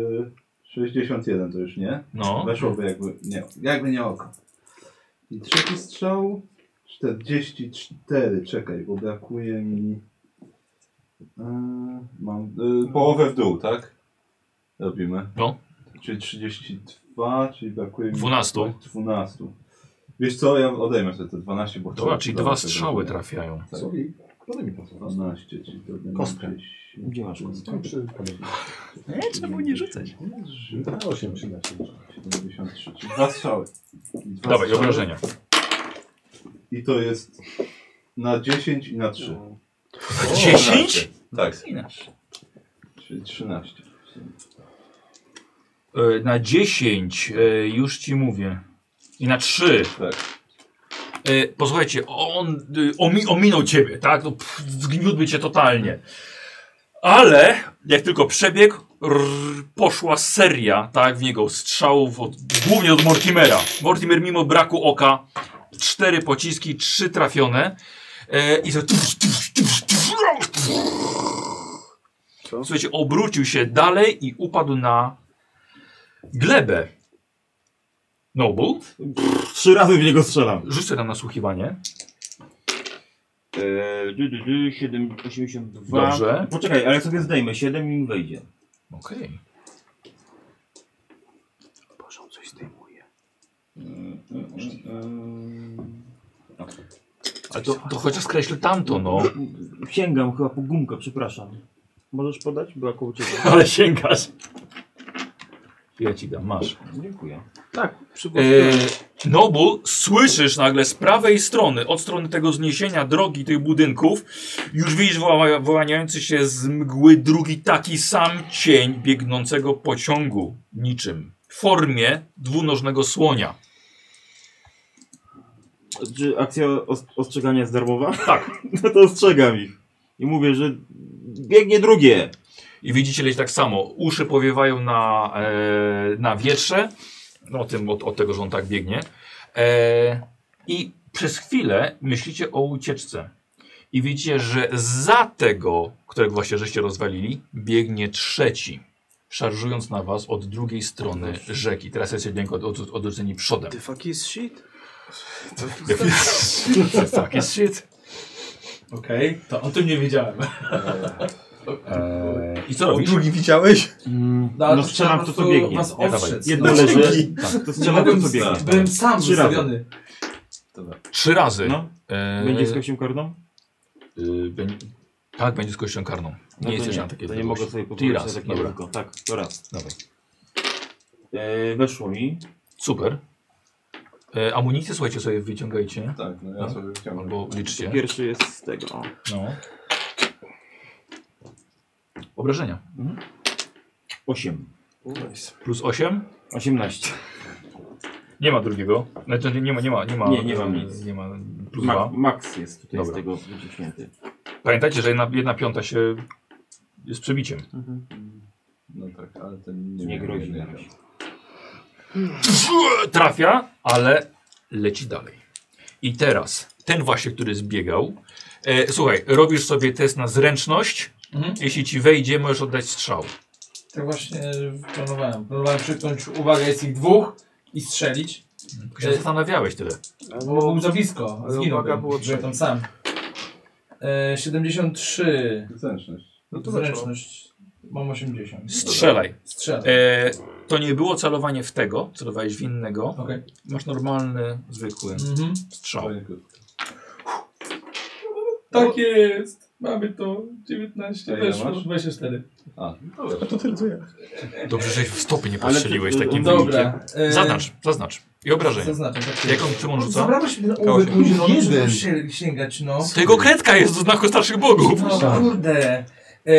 Speaker 8: 61 to już nie.
Speaker 1: No.
Speaker 8: Weszłoby jakby nie, jakby nie oko. I trzeci strzał. 44. Czekaj, bo brakuje mi... y, mam y, połowę w dół, tak? Robimy.
Speaker 1: No.
Speaker 8: Czyli 32, czyli brakuje mi...
Speaker 1: 12.
Speaker 8: 12. Wiesz co, ja odejmę sobie te 12, bo...
Speaker 1: Dobra, czyli
Speaker 8: Dobra,
Speaker 1: dwa
Speaker 8: tego
Speaker 1: strzały
Speaker 8: brakuje.
Speaker 1: trafiają.
Speaker 8: Tak.
Speaker 4: Co? Podaj mi No, kostkę.
Speaker 8: 12 ci to będzie
Speaker 4: Kostkę.
Speaker 8: gdzieś-
Speaker 5: Gdzie masz
Speaker 4: kostkę? Przy
Speaker 1: Nie, trzeba nie rzucać.
Speaker 4: Na 8 przyda się.
Speaker 8: 73. Czyli Dwa strzały. Dwa
Speaker 1: Dawaj,
Speaker 8: strzały.
Speaker 1: obrażenia.
Speaker 8: I to jest na 10 i na 3.
Speaker 1: 10?
Speaker 8: Tak.
Speaker 1: Inaczej.
Speaker 8: Czyli 13.
Speaker 1: E, Na 10 e, już ci mówię. I na 3.
Speaker 8: Tak.
Speaker 1: E, Posłuchajcie, on y, omi, ominął ciebę, tak? No, pff, zgniótłby cię totalnie. Ale jak tylko przebiegł, rrr, poszła seria, tak, w niego strzałów, od, głównie od Mortimera. Mortimer mimo braku oka, cztery pociski, trzy trafione. E, I to... Słuchajcie, obrócił się dalej i upadł na glebę. Noble?
Speaker 5: Trzy razy w niego strzelam.
Speaker 1: Rzuć sobie tam nasłuchiwanie.
Speaker 5: Eee, du, du, du, 7, 82.
Speaker 1: Dobrze.
Speaker 5: Poczekaj, ale sobie zdejmę 7 i mi wejdzie.
Speaker 1: Okej.
Speaker 3: Boże, on coś zdejmuje.
Speaker 1: Ale to, to chociaż skreśl tamto, no.
Speaker 5: Sięgam chyba po gumkę, przepraszam. Możesz podać? Była koło ciebie.
Speaker 1: *laughs* Ale sięgasz. Ja ci dam, masz.
Speaker 5: Dziękuję.
Speaker 3: Tak,
Speaker 1: E, Nobu, słyszysz nagle z prawej strony, od strony tego zniesienia drogi tych budynków, już widzisz woła, wołaniający się z mgły drugi taki sam cień biegnącego pociągu niczym. W formie dwunożnego słonia.
Speaker 5: Czy akcja os- ostrzegania jest darmowa?
Speaker 1: Tak.
Speaker 5: no to ostrzegam ich. I mówię, że biegnie drugie.
Speaker 1: I widzicie leci tak samo. Uszy powiewają na, e, na wietrze. No, o tym, od, od tego, że on tak biegnie. E, I przez chwilę myślicie o ucieczce. I widzicie, że za tego, którego właśnie żeście rozwalili, biegnie trzeci. Szarżując na was od drugiej strony rzeki. Teraz jest jednego od, od, odrzuceni przodem.
Speaker 3: *laughs* The fuck is shit?
Speaker 1: tak, jest shit.
Speaker 9: Okej, to o tym
Speaker 19: *laughs*
Speaker 9: nie wiedziałem.
Speaker 1: E, I co
Speaker 15: O
Speaker 1: robisz?
Speaker 15: drugi widziałeś?
Speaker 9: No, ale
Speaker 5: No
Speaker 9: to
Speaker 5: strzelam
Speaker 9: trzeba
Speaker 5: to,
Speaker 9: po
Speaker 5: co
Speaker 9: prostu
Speaker 5: biegnie.
Speaker 9: was
Speaker 1: Ja
Speaker 9: ostrzec.
Speaker 1: dawaj.
Speaker 5: Jedno
Speaker 9: No,
Speaker 5: leży,
Speaker 9: dzięki.
Speaker 5: tak, to strzelam to,
Speaker 9: Byłem,
Speaker 5: co biegnie.
Speaker 9: byłem sam
Speaker 5: Trzy razy.
Speaker 9: zostawiony.
Speaker 1: Trzy razy.
Speaker 5: No,
Speaker 1: E,
Speaker 5: będzie z kością karną? No
Speaker 1: Y, beń- tak, będzie z kością karną.
Speaker 5: No
Speaker 1: Nie
Speaker 5: to
Speaker 1: jesteś
Speaker 5: nie,
Speaker 1: na takiej
Speaker 5: To nie
Speaker 1: odległości.
Speaker 5: mogę sobie
Speaker 1: Ty
Speaker 5: pozwolić na
Speaker 1: raz,
Speaker 5: takie
Speaker 1: dobra.
Speaker 5: ryzyko. Tak, to raz.
Speaker 1: Dawaj.
Speaker 5: E, weszło mi.
Speaker 1: Super. E, amunicję, słuchajcie, sobie wyciągajcie.
Speaker 8: Tak, no ja
Speaker 1: No.
Speaker 8: sobie chciałem.
Speaker 1: Albo liczcie.
Speaker 5: Pierwszy jest z tego. O.
Speaker 1: No. Obrażenia.
Speaker 5: 8.
Speaker 1: Plus 8.
Speaker 5: 18.
Speaker 1: Nie ma drugiego. Znaczy, nie- nie ma, nie ma, nie ma.
Speaker 5: Nie, nie mam nic.
Speaker 1: Nie ma plus
Speaker 5: Ma,
Speaker 1: dwa.
Speaker 5: max jest tutaj
Speaker 1: Dobra.
Speaker 5: z tego wyciśnięty.
Speaker 1: Pamiętajcie, że jedna, jedna piąta się jest przebiciem.
Speaker 8: No tak, ale ten nie,
Speaker 5: Nie
Speaker 8: miał
Speaker 5: grozi
Speaker 8: jednej
Speaker 5: na razie.
Speaker 8: razy.
Speaker 1: Trafia, ale leci dalej. I teraz ten właśnie, który zbiegał. E, słuchaj, robisz sobie test na zręczność.
Speaker 19: Mhm.
Speaker 1: Jeśli ci wejdzie, możesz oddać strzał.
Speaker 19: Tak właśnie planowałem. Planowałem przytknąć uwagę, jest ich dwóch i strzelić.
Speaker 1: Tylko
Speaker 19: E,
Speaker 1: się zastanawiałeś tyle.
Speaker 19: Bo był za blisko,
Speaker 3: Ale uwaga
Speaker 19: zginąłbym,
Speaker 3: było
Speaker 19: było
Speaker 3: trzech.
Speaker 19: tam sam. E, 73.
Speaker 8: Zręczność.
Speaker 19: No to zręczność. Mam 80.
Speaker 1: Strzelaj.
Speaker 19: Strzelam.
Speaker 1: E, to nie było celowanie w tego, celowałeś w innego.
Speaker 19: Okej.
Speaker 1: Masz normalny, zwykły
Speaker 19: Mhm.
Speaker 1: strzał.
Speaker 8: Fajnie krótko.
Speaker 19: Tak jest. Mamy to. 19
Speaker 8: A ile
Speaker 19: weszło.
Speaker 8: masz?
Speaker 19: 24.
Speaker 8: A, no dobra.
Speaker 1: Dobrze, że w stopy nie
Speaker 5: Ale
Speaker 1: postrzeliłeś
Speaker 5: ty-
Speaker 1: takim wynikiem.
Speaker 19: Dobra. E,
Speaker 1: Zaznacz, zaznacz. I obrażenia.
Speaker 19: Zaznaczam. Tak
Speaker 1: Jaką czym on rzuca?
Speaker 19: Zabrałeś mi ten ołówek,
Speaker 15: Osiem.
Speaker 19: mój zielony, żeby
Speaker 4: Jeden.
Speaker 19: się- sięgać, no.
Speaker 1: Tego kredka jest do znaku starszych bogów.
Speaker 19: No kurde. E,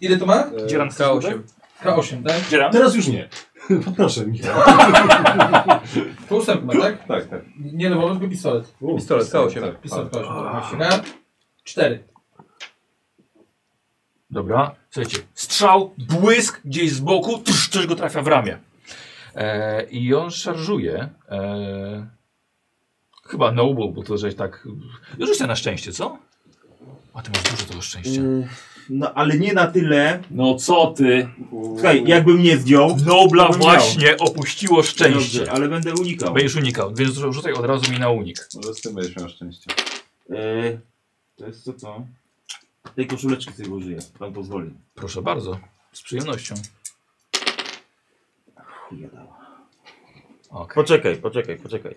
Speaker 19: ile to ma?
Speaker 1: Dzieran
Speaker 15: K8.
Speaker 19: K8, tak?
Speaker 1: Dzieran?
Speaker 4: Teraz już nie. *laughs* Poproszę, Michał.
Speaker 19: To ósemka, tak?
Speaker 8: Tak, tak.
Speaker 19: Nie rewolwer, tylko pistolet.
Speaker 15: Pistolet K8.
Speaker 8: tak,
Speaker 19: Pistolet
Speaker 8: tak.
Speaker 19: K8. Sięga. 4.
Speaker 1: Dobra, słuchajcie, strzał, błysk gdzieś z boku, tuż, coś go trafia w ramię. E, I on szarżuje. E, chyba Noble, bo to żeś tak... Rzuć na szczęście, co? A ty masz dużo tego szczęścia.
Speaker 5: No ale nie na tyle.
Speaker 1: No co ty?
Speaker 5: Słuchaj, jakbym nie zdjął.
Speaker 1: Nobla
Speaker 5: Miał.
Speaker 1: właśnie opuściło szczęście.
Speaker 5: Dobrze, ale będę unikał.
Speaker 1: Będziesz unikał, więc rzu- rzucaj od razu mi na unik.
Speaker 8: Może z tym będziesz miał szczęście.
Speaker 5: E, to jest co to? Tej koszuleczki sobie użyję. Pan pozwoli.
Speaker 1: Proszę bardzo, z przyjemnością.
Speaker 5: Chuja dała.
Speaker 1: Okay.
Speaker 5: Poczekaj, poczekaj, poczekaj.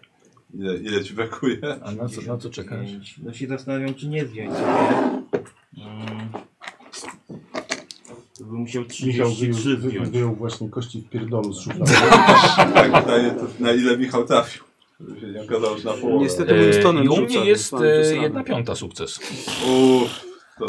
Speaker 8: Ile, ile ci brakuje? *laughs*
Speaker 1: A na co, na co czekasz?
Speaker 5: E, No się zastanawiam, czy nie zdjąć sobie. musiał
Speaker 4: Michał wyjął,
Speaker 5: 33
Speaker 4: wy-
Speaker 5: zdjąć.
Speaker 4: wyjął właśnie kości w pierdolu z szuflady.
Speaker 8: Tak, pytanie to na ile Michał trafił. Żeby się nie okazało, że na połowę.
Speaker 11: Niestety
Speaker 1: E,
Speaker 11: Winstonem E, I u mnie rzuca, jest, więc mam e, przesrane. jedna piąta sukces.
Speaker 8: Uff, to...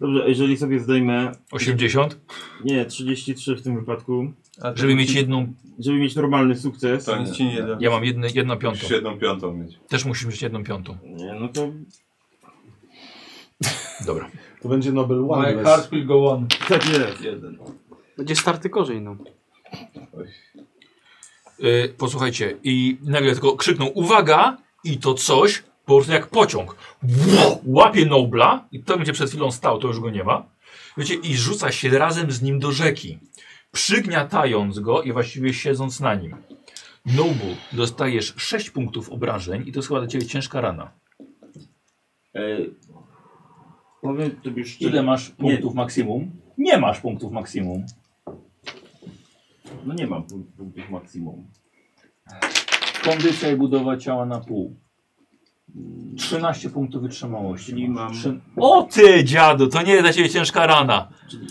Speaker 5: Dobrze, a jeżeli sobie zdejmę...
Speaker 1: 80?
Speaker 5: Nie, 33 w tym wypadku.
Speaker 1: A żeby mieć jedną-
Speaker 5: Żeby mieć normalny sukces.
Speaker 1: To nic ci nie da. Ja mam jedne- jedną piątą. Musisz jedną
Speaker 8: piątą mieć.
Speaker 1: Też musisz mieć jedną piątą.
Speaker 5: Nie, no to...
Speaker 1: Dobra.
Speaker 4: To będzie Nobel One.
Speaker 19: My heart will go on.
Speaker 5: Tak jest.
Speaker 8: Jeden.
Speaker 3: Będzie starty gorzej,
Speaker 11: *laughs*
Speaker 3: no.
Speaker 1: Y, posłuchajcie, i nagle tylko krzyknął uwaga i to coś, po prostu jak pociąg, Bło! łapie Nobla i to, gdzie przed chwilą stał, to już go nie ma, wiecie, i rzuca się razem z nim do rzeki, przygniatając go i właściwie siedząc na nim. Noble, dostajesz 6 punktów obrażeń i to jest chyba dla Ciebie ciężka rana.
Speaker 5: E, Powiem tobie szczerze...
Speaker 11: Ile masz
Speaker 5: Nie,
Speaker 11: punktów maksimum? Nie masz punktów maksimum.
Speaker 5: No nie mam punk- punktów maksimum.
Speaker 11: Kondycja i budowa ciała na pół. 13 punktów wytrzymałości.
Speaker 5: Czyli mam...
Speaker 11: Trzy- O ty dziadu, to nie jest dla ciebie ciężka rana.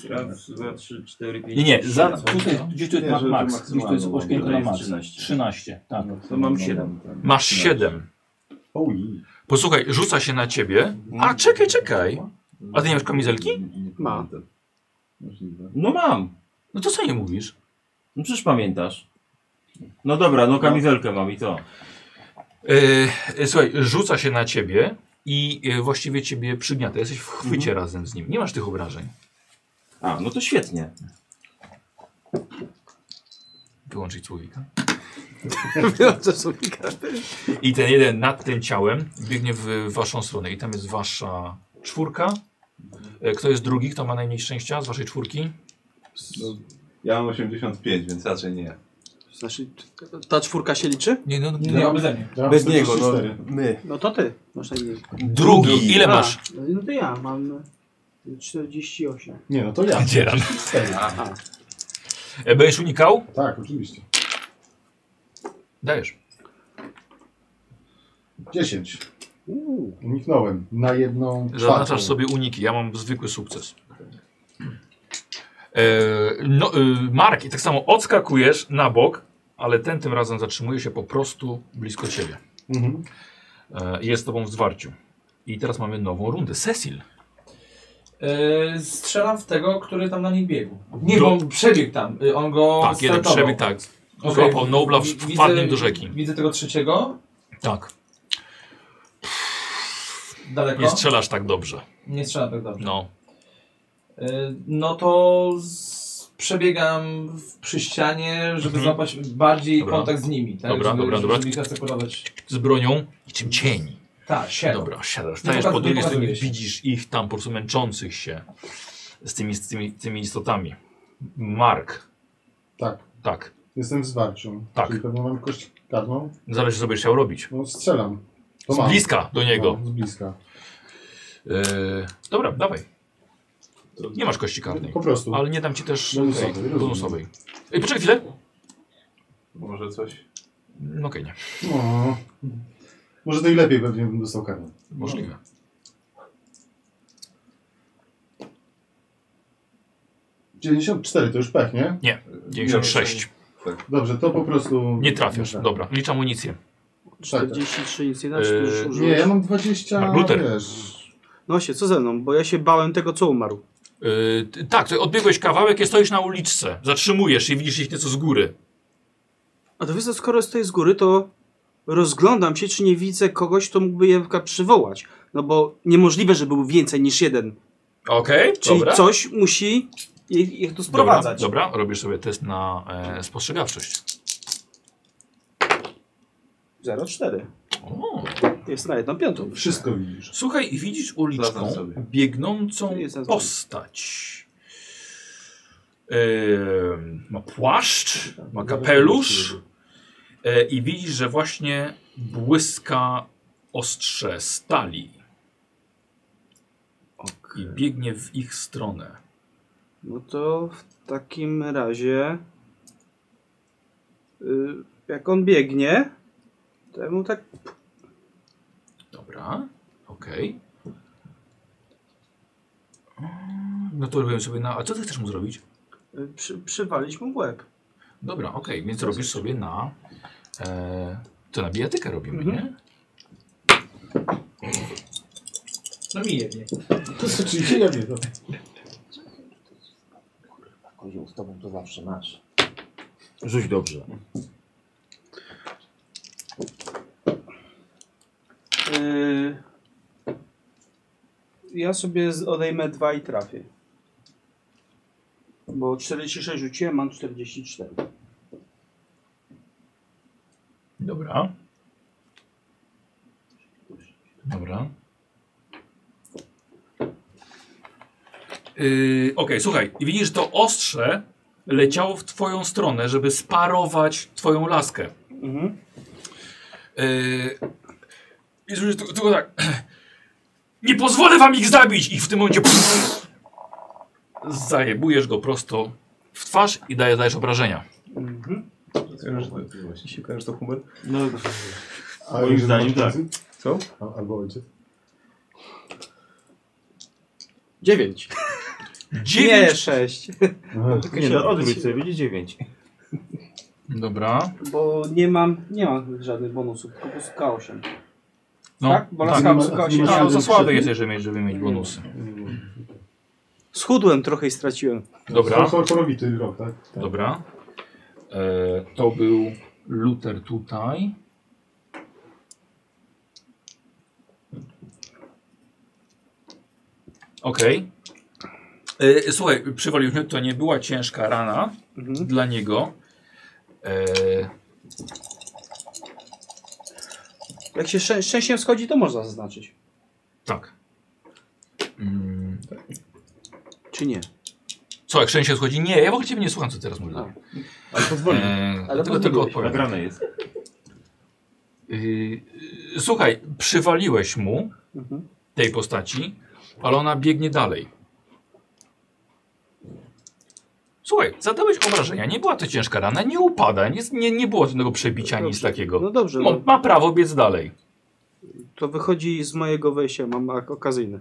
Speaker 5: Raz, dwa, trzy, cztery, pięć,
Speaker 11: Nie, nie,
Speaker 5: sześć,
Speaker 11: za,
Speaker 5: siedem,
Speaker 11: tutaj,
Speaker 5: osiem.
Speaker 11: gdzieś tu jest
Speaker 5: Nie,
Speaker 11: max,
Speaker 5: że to
Speaker 11: max gdzieś tu jest
Speaker 5: maksymalną
Speaker 11: okienko
Speaker 5: mam,
Speaker 11: na
Speaker 5: to
Speaker 11: max.
Speaker 5: jest
Speaker 11: 13,
Speaker 5: 13.
Speaker 11: tak.
Speaker 5: No, to mam siedem.
Speaker 1: Masz 7. Posłuchaj, rzuca się na Ciebie. A czekaj, czekaj. A ty nie masz kamizelki?
Speaker 3: Ma.
Speaker 5: No mam.
Speaker 1: No to co nie mówisz?
Speaker 5: No przecież pamiętasz. No dobra, no kamizelkę mam i co?
Speaker 1: Yy, yy, słuchaj, rzuca się na Ciebie i yy, właściwie Ciebie przygniata. Jesteś w chwycie
Speaker 11: Mhm.
Speaker 1: razem z nim. Nie masz tych obrażeń.
Speaker 5: A, no to świetnie.
Speaker 1: Wyłączyć słowika.
Speaker 3: Wyłączę słowika.
Speaker 1: I ten jeden nad tym ciałem biegnie w waszą stronę. I tam jest wasza czwórka. E, Kto jest drugi? Kto ma najmniej szczęścia z waszej czwórki?
Speaker 8: No, ja mam 85, więc raczej nie.
Speaker 3: Znaczy, ta czwórka się liczy?
Speaker 1: Nie, no,
Speaker 3: nie,
Speaker 8: no, bez mnie. Ja
Speaker 3: bez
Speaker 8: mam
Speaker 3: niego, no.
Speaker 8: 44.
Speaker 3: My. No to ty. Masz najmniej.
Speaker 1: Drugi. Ile
Speaker 3: A,
Speaker 1: masz?
Speaker 3: No to ja mam 48.
Speaker 4: Nie, no to ja.
Speaker 1: Dzieran. E, Będziesz unikał?
Speaker 4: Tak, oczywiście.
Speaker 1: Dajesz.
Speaker 4: 10. Uniknąłem na jedną czwartą.
Speaker 1: Zaznaczasz sobie uniki. Ja mam zwykły sukces. E, no, e, Mark, i tak samo odskakujesz na bok, ale ten tym razem zatrzymuje się po prostu blisko ciebie.
Speaker 4: Mhm.
Speaker 1: E, jest z tobą w zwarciu. I teraz mamy nową rundę. Cecil.
Speaker 19: Yy, strzelam w tego, który tam na nich biegł. Nie,
Speaker 1: Dru-
Speaker 19: bo on przebiegł tam. Yy, on go
Speaker 1: Tak, jeden
Speaker 19: startował.
Speaker 1: przebieg, tak.
Speaker 19: Okej.
Speaker 1: Złapał Nobla, w-
Speaker 19: Widzę-
Speaker 1: wpadł nim do rzeki.
Speaker 19: Widzę tego trzeciego.
Speaker 1: Tak.
Speaker 19: Daleko?
Speaker 1: Nie strzelasz tak dobrze.
Speaker 19: Nie strzela tak dobrze.
Speaker 1: No.
Speaker 19: Yy, no to z... przebiegam w, przy ścianie, żeby
Speaker 1: Mhm.
Speaker 19: złapać bardziej
Speaker 1: Dobra.
Speaker 19: kontakt z nimi. Tak?
Speaker 1: Dobra,
Speaker 19: żeby,
Speaker 1: dobra,
Speaker 19: żeby
Speaker 1: dobra.
Speaker 19: ich asekurować.
Speaker 1: Z bronią i czym cień.
Speaker 19: Tak, siadam.
Speaker 1: Dobra, siadasz.
Speaker 19: Nie
Speaker 1: Stajesz
Speaker 19: pokazuję,
Speaker 1: po drugiej
Speaker 19: pokazuję
Speaker 1: stronie,
Speaker 19: się.
Speaker 1: widzisz ich tam po prostu męczących się z tymi, z tymi, tymi istotami. Mark.
Speaker 4: Tak.
Speaker 1: Tak.
Speaker 4: Jestem w zwarciu.
Speaker 1: Tak.
Speaker 4: Czyli pewnie mam kość karną.
Speaker 1: Zależy co będziesz chciał robić.
Speaker 4: No strzelam. To
Speaker 1: Z
Speaker 4: mam.
Speaker 1: bliska do niego.
Speaker 4: No, z bliska.
Speaker 1: Yy, dobra, dawaj. Nie masz kości karnej.
Speaker 4: Po prostu.
Speaker 1: Ale nie dam ci też
Speaker 4: Bonusowej,
Speaker 1: tej,
Speaker 4: rozumiem.
Speaker 1: bonusowej. Ej, poczekaj chwilę.
Speaker 8: Może coś?
Speaker 1: No okej, nie.
Speaker 4: No. Może to i lepiej pewnie bym dostał karę.
Speaker 1: Możliwe.
Speaker 4: No. 94 to już pech, nie?
Speaker 1: Nie, 96.
Speaker 4: Dobrze, to po prostu... Tak,
Speaker 1: Nie trafiasz, dobra. Liczę amunicję.
Speaker 3: 43 nic nie da, czy to już
Speaker 1: Eee,
Speaker 3: użyłeś?
Speaker 4: Nie, ja mam 20...
Speaker 1: Mark Tak, Luther.
Speaker 3: No się, co ze mną? Bo ja się bałem tego, co umarł.
Speaker 1: Yy, ty- tak, ty odbiegłeś kawałek i stoisz na uliczce. Zatrzymujesz się i widzisz ich nieco z góry.
Speaker 3: A to wiesz, co, skoro stoję z góry, to rozglądam się, czy nie widzę kogoś, kto mógłby je chyba przywołać. No bo niemożliwe, żeby był więcej niż jeden.
Speaker 1: Okej,
Speaker 3: Czyli
Speaker 1: dobra.
Speaker 3: coś musi ich, ich tu sprowadzać.
Speaker 1: Dobra, dobra, robisz sobie test na e, spostrzegawczość.
Speaker 3: 0,4. Jest na jedną piątą.
Speaker 4: Wszystko widzisz.
Speaker 1: Słuchaj, i widzisz uliczką
Speaker 3: Zaznacz sobie.
Speaker 1: biegnącą postać. Em, ma płaszcz, ma kapelusz e, i widzisz, że właśnie błyska ostrze stali. I biegnie w ich stronę.
Speaker 3: No to w takim razie. y, Jak on biegnie, to ja mu tak.
Speaker 1: Dobra, okej. notoruję no sobie na... A co ty chcesz mu zrobić?
Speaker 3: Y, Przy, przywalić mu w łeb.
Speaker 1: Dobra, okej, więc robisz sobie na... E, to na bijatykę robimy,
Speaker 3: Mhm.
Speaker 1: nie?
Speaker 19: No mi jednie.
Speaker 4: To jest oczywiście ja wiem. no.
Speaker 20: Kozioł, z tobą to zawsze masz.
Speaker 14: Rzuć dobrze.
Speaker 3: Y, Ja sobie z- odejmę 2 i trafię. Bo 46 rzuciłem, mam 44.
Speaker 1: Dobra. Dobra. Yy, Okej, słuchaj, i widzisz, to ostrze leciało w twoją stronę, żeby sparować twoją laskę.
Speaker 3: Mhm.
Speaker 1: Yy, I słyszysz tylko, tylko tak. Nie pozwolę wam ich zabić! I w tym momencie pff, zajebujesz go prosto w twarz i daje, dajesz obrażenia.
Speaker 3: Mhm.
Speaker 15: Się kojarzy to Huber?
Speaker 14: No,
Speaker 4: A
Speaker 14: moim
Speaker 4: ojciec
Speaker 14: zdaniem
Speaker 4: masz
Speaker 14: tak.
Speaker 4: więcej?
Speaker 15: Co?
Speaker 4: A, albo ojciec.
Speaker 3: Dziewięć.
Speaker 1: Dziewięć?
Speaker 3: Nie, sześć.
Speaker 14: Nie, no, odwróć sobie, będzie 9.
Speaker 1: Dobra.
Speaker 3: Bo nie mam, nie mam żadnych bonusów, tylko plus K8.
Speaker 1: No,
Speaker 3: tak? Bo laska
Speaker 1: nie ma-
Speaker 3: plus K8.
Speaker 1: nie ma
Speaker 3: nie
Speaker 1: żadnych
Speaker 3: mam.
Speaker 1: No, za słaby jest, żeby mieć, żeby mieć
Speaker 3: Nie
Speaker 1: bonusy.
Speaker 3: Schudłem trochę i straciłem.
Speaker 1: Dobra.
Speaker 4: To chorowity rok, tak? tak?
Speaker 1: Dobra. E, to był Luther tutaj. Okej. E, Słuchaj, przywalił to nie była ciężka rana
Speaker 3: Mhm.
Speaker 1: dla niego. E,
Speaker 3: Jak się szczę szczęściem schodzi, to można zaznaczyć.
Speaker 1: tak. Mm,
Speaker 3: Czy nie?
Speaker 1: co, jak szczęście schodzi? Nie, ja w ogóle ciebie nie słucham, co teraz mówię.
Speaker 3: A.
Speaker 14: Ale pozwoli.
Speaker 1: Ale tylko, tylko odpowiem.
Speaker 14: Nagrane jest.
Speaker 1: Y, y, Słuchaj, przywaliłeś mu
Speaker 3: Mhm.
Speaker 1: tej postaci, ale ona biegnie dalej. Słuchaj, zadałeś obrażenia, nie była to ciężka rana, nie upada, nie, nie, nie było żadnego przebicia, nic takiego.
Speaker 3: No dobrze,
Speaker 1: Ma,
Speaker 3: no,
Speaker 1: ma prawo biec dalej.
Speaker 3: to wychodzi z mojego wejścia, mam ak- okazyjne.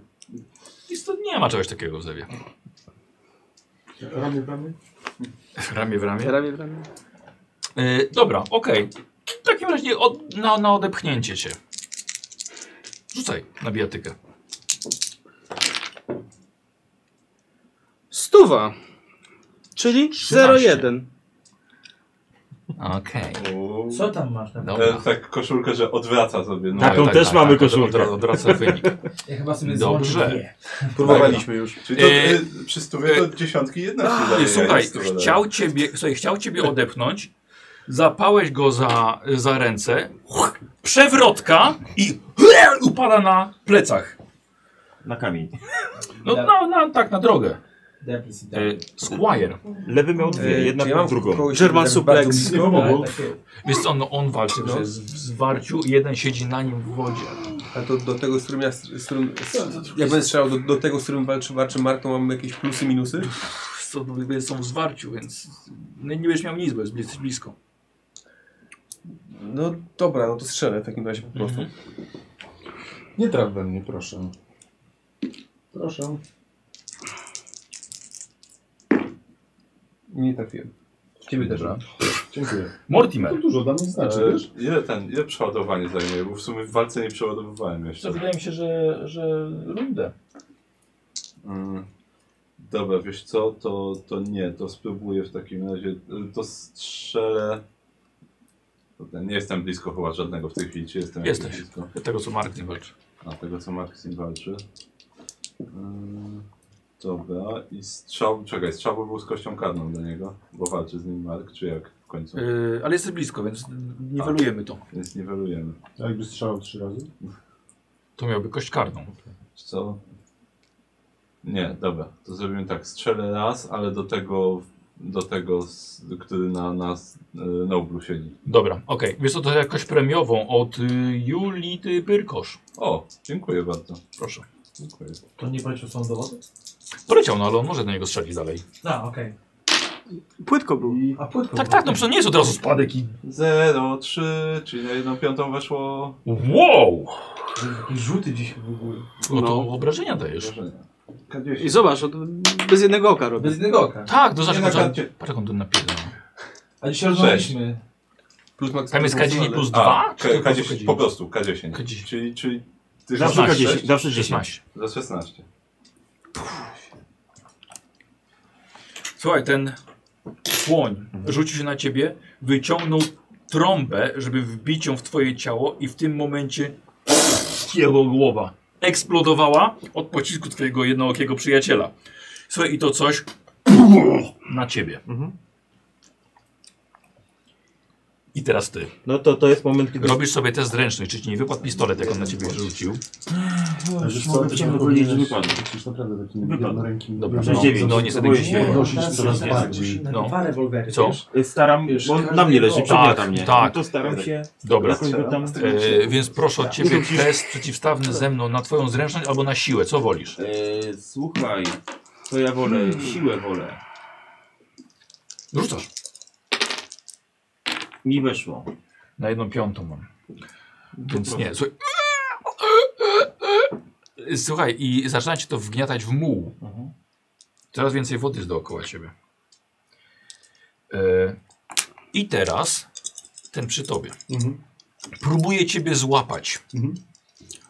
Speaker 1: Jest to, nie ma czegoś takiego w zewie.
Speaker 4: Ramię, ramię?
Speaker 1: Ramię w ramię.
Speaker 3: Ramię w ramię.
Speaker 1: Y, dobra, okej. W takim razie od, na, na odepchnięcie cię. Rzucaj na bijatykę.
Speaker 3: Stuwa! Czyli 0,1.
Speaker 1: Okej.
Speaker 19: Co tam masz tam?
Speaker 1: Dobra.
Speaker 8: E, tak koszulkę, że odwraca sobie.
Speaker 1: Tak,
Speaker 8: No.
Speaker 14: Taką też mamy
Speaker 1: Od,
Speaker 14: koszulkę.
Speaker 1: od, odwraca
Speaker 14: *laughs*
Speaker 1: wynik.
Speaker 19: Ja chyba sobie
Speaker 1: Dobrze.
Speaker 19: złączę
Speaker 7: Tak,
Speaker 14: Próbowaliśmy już.
Speaker 8: Czyli to
Speaker 1: E,
Speaker 8: e, przy stówie to dziesiątki jedności
Speaker 1: A,
Speaker 8: daje,
Speaker 1: słuchaj,
Speaker 8: jak stówa daje.
Speaker 1: chciał ciebie, słuchaj, chciał ciebie odepchnąć, zapałeś go za, za ręce, przewrotka i *laughs* upada na plecach.
Speaker 14: Na kamień.
Speaker 1: No na, na, tak, na drogę.
Speaker 19: dwie. Depis i tak.
Speaker 1: E, Squire.
Speaker 14: Lewy miał
Speaker 15: E,
Speaker 7: E,
Speaker 14: dwie, jedna
Speaker 15: czy ja mam
Speaker 14: miał drugą.
Speaker 15: kogoś-
Speaker 3: German
Speaker 15: tak
Speaker 3: suplex.
Speaker 15: bardzo blisko?
Speaker 19: Ale
Speaker 4: pomogło.
Speaker 19: takie-
Speaker 1: Więc on, no on walczy że jest w zwarciu, jeden siedzi na nim w wodzie.
Speaker 15: A to do tego, z którym ja, z którym, z, ja będę strzelał do, do tego, z którym walczy, walczy Marką, mamy jakieś plusy, minusy?
Speaker 1: Są, są w zwarciu, więc no nie, nie będziesz miał nic, bo jest blis- blisko.
Speaker 15: No dobra, no to strzelę w takim razie po prostu.
Speaker 4: Nie traf we mnie, proszę. Proszę.
Speaker 15: Nie trafiłem.
Speaker 1: Ciebie też.
Speaker 4: Dziękuję.
Speaker 1: Mortimer.
Speaker 4: To dużo dla mnie znaczy,
Speaker 8: E,
Speaker 4: wiesz?
Speaker 8: Ile ten, ile przeładowanie zajmuje? Bo w sumie w walce nie przeładowywałem jeszcze.
Speaker 1: wydaje mi się, że, że rundę.
Speaker 8: Mm. Dobra, wiesz co, to, to nie, to spróbuję w takim razie, y, to strzelę. Kurde, Nie jestem blisko chyba żadnego w tej chwili, czy jestem jakoś
Speaker 1: Jesteś.
Speaker 8: blisko?
Speaker 1: Tego co Mark nie walczy.
Speaker 8: A tego co Maxim walczy. Mm, Dobra, i strzał, czekaj, strzał był z kością karną dla niego, bo walczy z nim Mark, czy jak w końcu,
Speaker 1: Yy, ale jesteś blisko, więc niwelujemy to.
Speaker 8: więc niwelujemy.
Speaker 4: A jakby strzelał trzy razy?
Speaker 1: To miałby kość karną.
Speaker 8: Wiesz Co? Nie, dobra. To zrobimy tak. Strzelę raz, ale do tego, do tego, s- który na nas y, Noblu siedzi.
Speaker 1: Dobra, okej. Wiesz co, to jakoś premiową od y, Julii y, Pyrkosz.
Speaker 8: O, dziękuję bardzo.
Speaker 1: Proszę.
Speaker 8: Dziękuję.
Speaker 19: To nie polecił są dowody?
Speaker 1: Poleciał, no ale on może do niego strzelić dalej.
Speaker 19: A, okej.
Speaker 3: Płytko był.
Speaker 19: A płytko
Speaker 1: Tak,
Speaker 19: było.
Speaker 1: tak, no przecież nie jest od razu spadek i...
Speaker 8: 0, 3, czyli na jedną piątą weszło
Speaker 1: Wow!
Speaker 19: Jakiś żółty dziś w ogóle.
Speaker 1: No to obrażenia dajesz.
Speaker 8: wrażenie.
Speaker 10: K10.
Speaker 3: I zobacz, od, bez jednego oka robi.
Speaker 19: Bez jednego oka.
Speaker 1: Tak, to zawsze
Speaker 19: Nie na
Speaker 1: za-
Speaker 19: karcie.
Speaker 1: Patrz jak on tu napierdala.
Speaker 19: A dzisiaj rozmawialiśmy.
Speaker 15: Plus max-
Speaker 1: Tam jest
Speaker 15: plus
Speaker 1: K10
Speaker 15: ale-
Speaker 1: plus
Speaker 15: A,
Speaker 1: 2?
Speaker 8: K- K10, po prostu K10. Czyli, czyli ty
Speaker 1: Zawsze
Speaker 8: masz
Speaker 1: K10,
Speaker 8: sześć?
Speaker 1: zawsze 10.
Speaker 8: Za 16.
Speaker 1: Słuchaj, ten słoń rzucił się na ciebie, wyciągnął trąbę, żeby wbić ją w twoje ciało i w tym momencie jego głowa eksplodowała od pocisku twojego jednookiego przyjaciela. Słuchaj, i to coś na ciebie. I teraz ty.
Speaker 5: No to to jest moment, kiedy...
Speaker 1: Robisz sobie test ręczny, czy ci nie wypadł pistolet, jak on na ciebie rzucił.
Speaker 4: Ale wiesz co, to się powiedzieć, że wypadł. Przecież naprawdę takim
Speaker 5: Wypadł.
Speaker 4: jednorękim...
Speaker 1: Dobra,
Speaker 4: jednorękim-
Speaker 1: no, no niestety gdzieś
Speaker 4: Próbuję
Speaker 1: nie.
Speaker 4: podnosić coraz bardziej.
Speaker 1: No.
Speaker 9: rewolwery,
Speaker 1: Co?
Speaker 5: Staram się, bo na mnie leży, przegniata mnie.
Speaker 1: Tak,
Speaker 5: No to staram się...
Speaker 1: Dobra,
Speaker 5: jakoś go tam...
Speaker 1: e, więc proszę od ciebie test przeciwstawny ze mną na twoją zręczność albo na siłę, co wolisz?
Speaker 5: E, słuchaj, to ja wolę, siłę wolę.
Speaker 1: Rzucasz.
Speaker 5: Mi weszło.
Speaker 1: Na jedną piątą mam. Więc nie, słuchaj. Słuchaj, i zaczyna cię to wgniatać w muł. Coraz więcej wody jest dookoła ciebie. E, I teraz ten przy tobie. Próbuje ciebie złapać.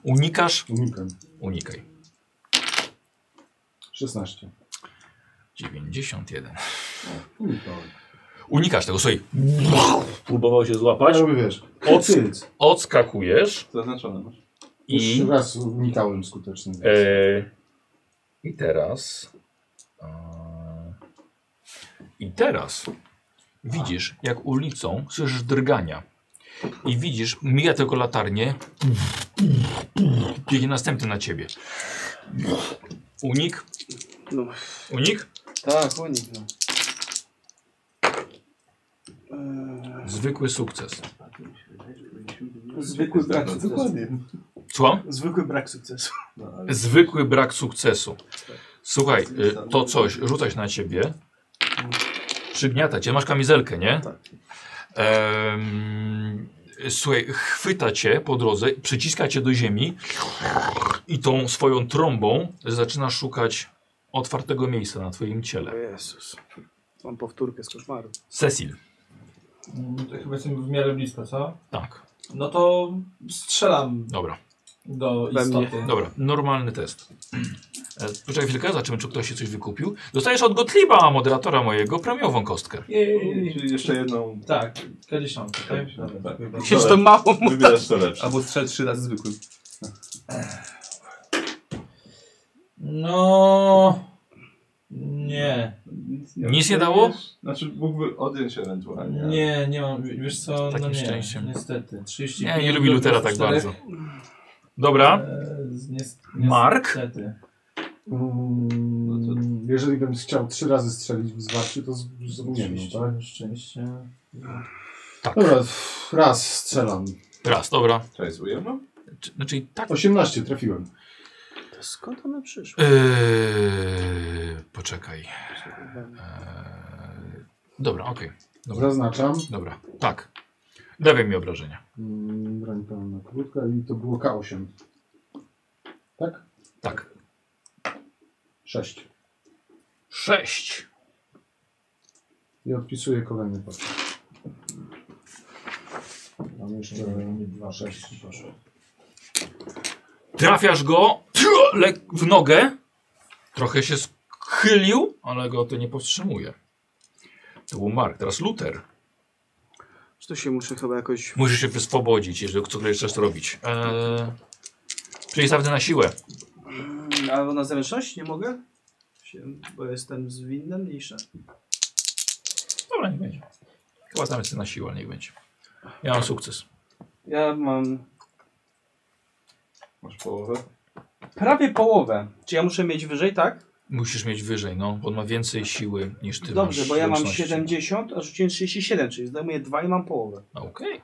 Speaker 1: Unikasz?
Speaker 4: Unikam.
Speaker 1: Unikaj.
Speaker 4: 16.
Speaker 1: 91.
Speaker 4: Unikam.
Speaker 1: Unikasz tego, słuchaj. Próbował się złapać.
Speaker 4: Ja mówię, wiesz,
Speaker 1: Ock
Speaker 4: cyc.
Speaker 1: odskakujesz.
Speaker 8: Zaznaczone masz.
Speaker 1: I-
Speaker 4: I... e, Jeszcze raz unikałem skutecznie.
Speaker 1: E, I teraz. e, I teraz widzisz, jak ulicą słyszysz drgania. I widzisz, mija tylko latarnię. Biegnie następny na ciebie. Unik.
Speaker 3: No.
Speaker 1: Unik?
Speaker 3: Tak, unik. No.
Speaker 1: Zwykły sukces.
Speaker 31: Zwykły brak sukcesu.
Speaker 1: Dokładnie. Słucham?
Speaker 31: Zwykły brak sukcesu.
Speaker 1: Zwykły brak sukcesu. Słuchaj, y, to coś rzucać na ciebie. Przygniata cię. Masz kamizelkę, nie? Em, słuchaj, chwyta cię po drodze, przyciska cię do ziemi i tą swoją trąbą zaczyna szukać otwartego miejsca na twoim
Speaker 3: no.
Speaker 1: ciele.
Speaker 3: Jezus. Mam powtórkę z koszmaru.
Speaker 1: Cecil.
Speaker 19: Mm, To chyba jestem w miarę blisko, co?
Speaker 1: Tak.
Speaker 19: No to strzelam
Speaker 1: Dobra.
Speaker 19: do
Speaker 1: We mnie. No.
Speaker 19: istoty.
Speaker 1: Dobra, normalny test. E, Poczekaj chwilkę, zobaczymy, czy ktoś się coś wykupił. Dostajesz od Gottlieba, moderatora mojego, premiową kostkę.
Speaker 19: Jej.
Speaker 8: Czyli jeszcze jedną.
Speaker 19: Tak, K10. Tak? Dobra, dziękuję bardzo.
Speaker 8: Lepsze. Wybierasz to lepsze.
Speaker 15: Albo strzel trzy razy zwykły.
Speaker 19: No. Nie.
Speaker 1: Nic nie dało?
Speaker 8: Znaczy mógłby odjąć ewentualnie. ale-
Speaker 19: Nie, nie mam. Wiesz co?
Speaker 1: Takim
Speaker 19: no nie,
Speaker 1: szczęściem.
Speaker 19: Niestety. 30
Speaker 1: Nie, nie lubi Lutera tak bardzo. Dobra. Mark?
Speaker 4: Mm, Jeżeli bym chciał trzy razy strzelić w zwarciu, to z- z- zrobimy, tak?
Speaker 19: Szczęście.
Speaker 4: Dobra, f- raz strzelam.
Speaker 1: Raz, dobra.
Speaker 8: To jest ujemno?
Speaker 1: Czy- Znaczy i tak.
Speaker 4: 18 trafiłem.
Speaker 3: To skąd one przyszły?
Speaker 1: Eee, poczekaj. Eee, dobra, okej. Dobra.
Speaker 4: Zaznaczam.
Speaker 1: Dobra, tak. Dawaj mi obrażenia.
Speaker 4: Mm, Broń pełna krótka i to było K8. Tak?
Speaker 1: Tak.
Speaker 4: 6.
Speaker 1: Sześć.
Speaker 4: I odpisuję kolejny pakiet. Mam jeszcze 2, 6.
Speaker 1: Trafiasz go tru- lek w nogę. Trochę się schylił, ale go to nie powstrzymuje. To był Mark, teraz Luther.
Speaker 3: Czy to się muszę chyba jakoś...
Speaker 1: Musisz się wyswobodzić, jeżeli chcesz coś robić. Eee, czyli stawny na siłę.
Speaker 3: Mm, A na zręczność nie mogę? Się, bo jestem zwinny mniejsza.
Speaker 1: Dobra, niech będzie. Chyba tam jest na siłę, niech będzie. Ja mam sukces.
Speaker 3: Ja mam
Speaker 8: Masz połowę?
Speaker 3: prawie połowę. Czy ja muszę mieć wyżej, tak?
Speaker 1: Musisz mieć wyżej, no. On ma więcej siły niż ty
Speaker 3: Dobrze,
Speaker 1: masz
Speaker 3: bo ja mam
Speaker 1: łączności.
Speaker 3: 70, a rzuciłem 37, czyli zdejmuję 2 i mam połowę.
Speaker 1: No, Okej.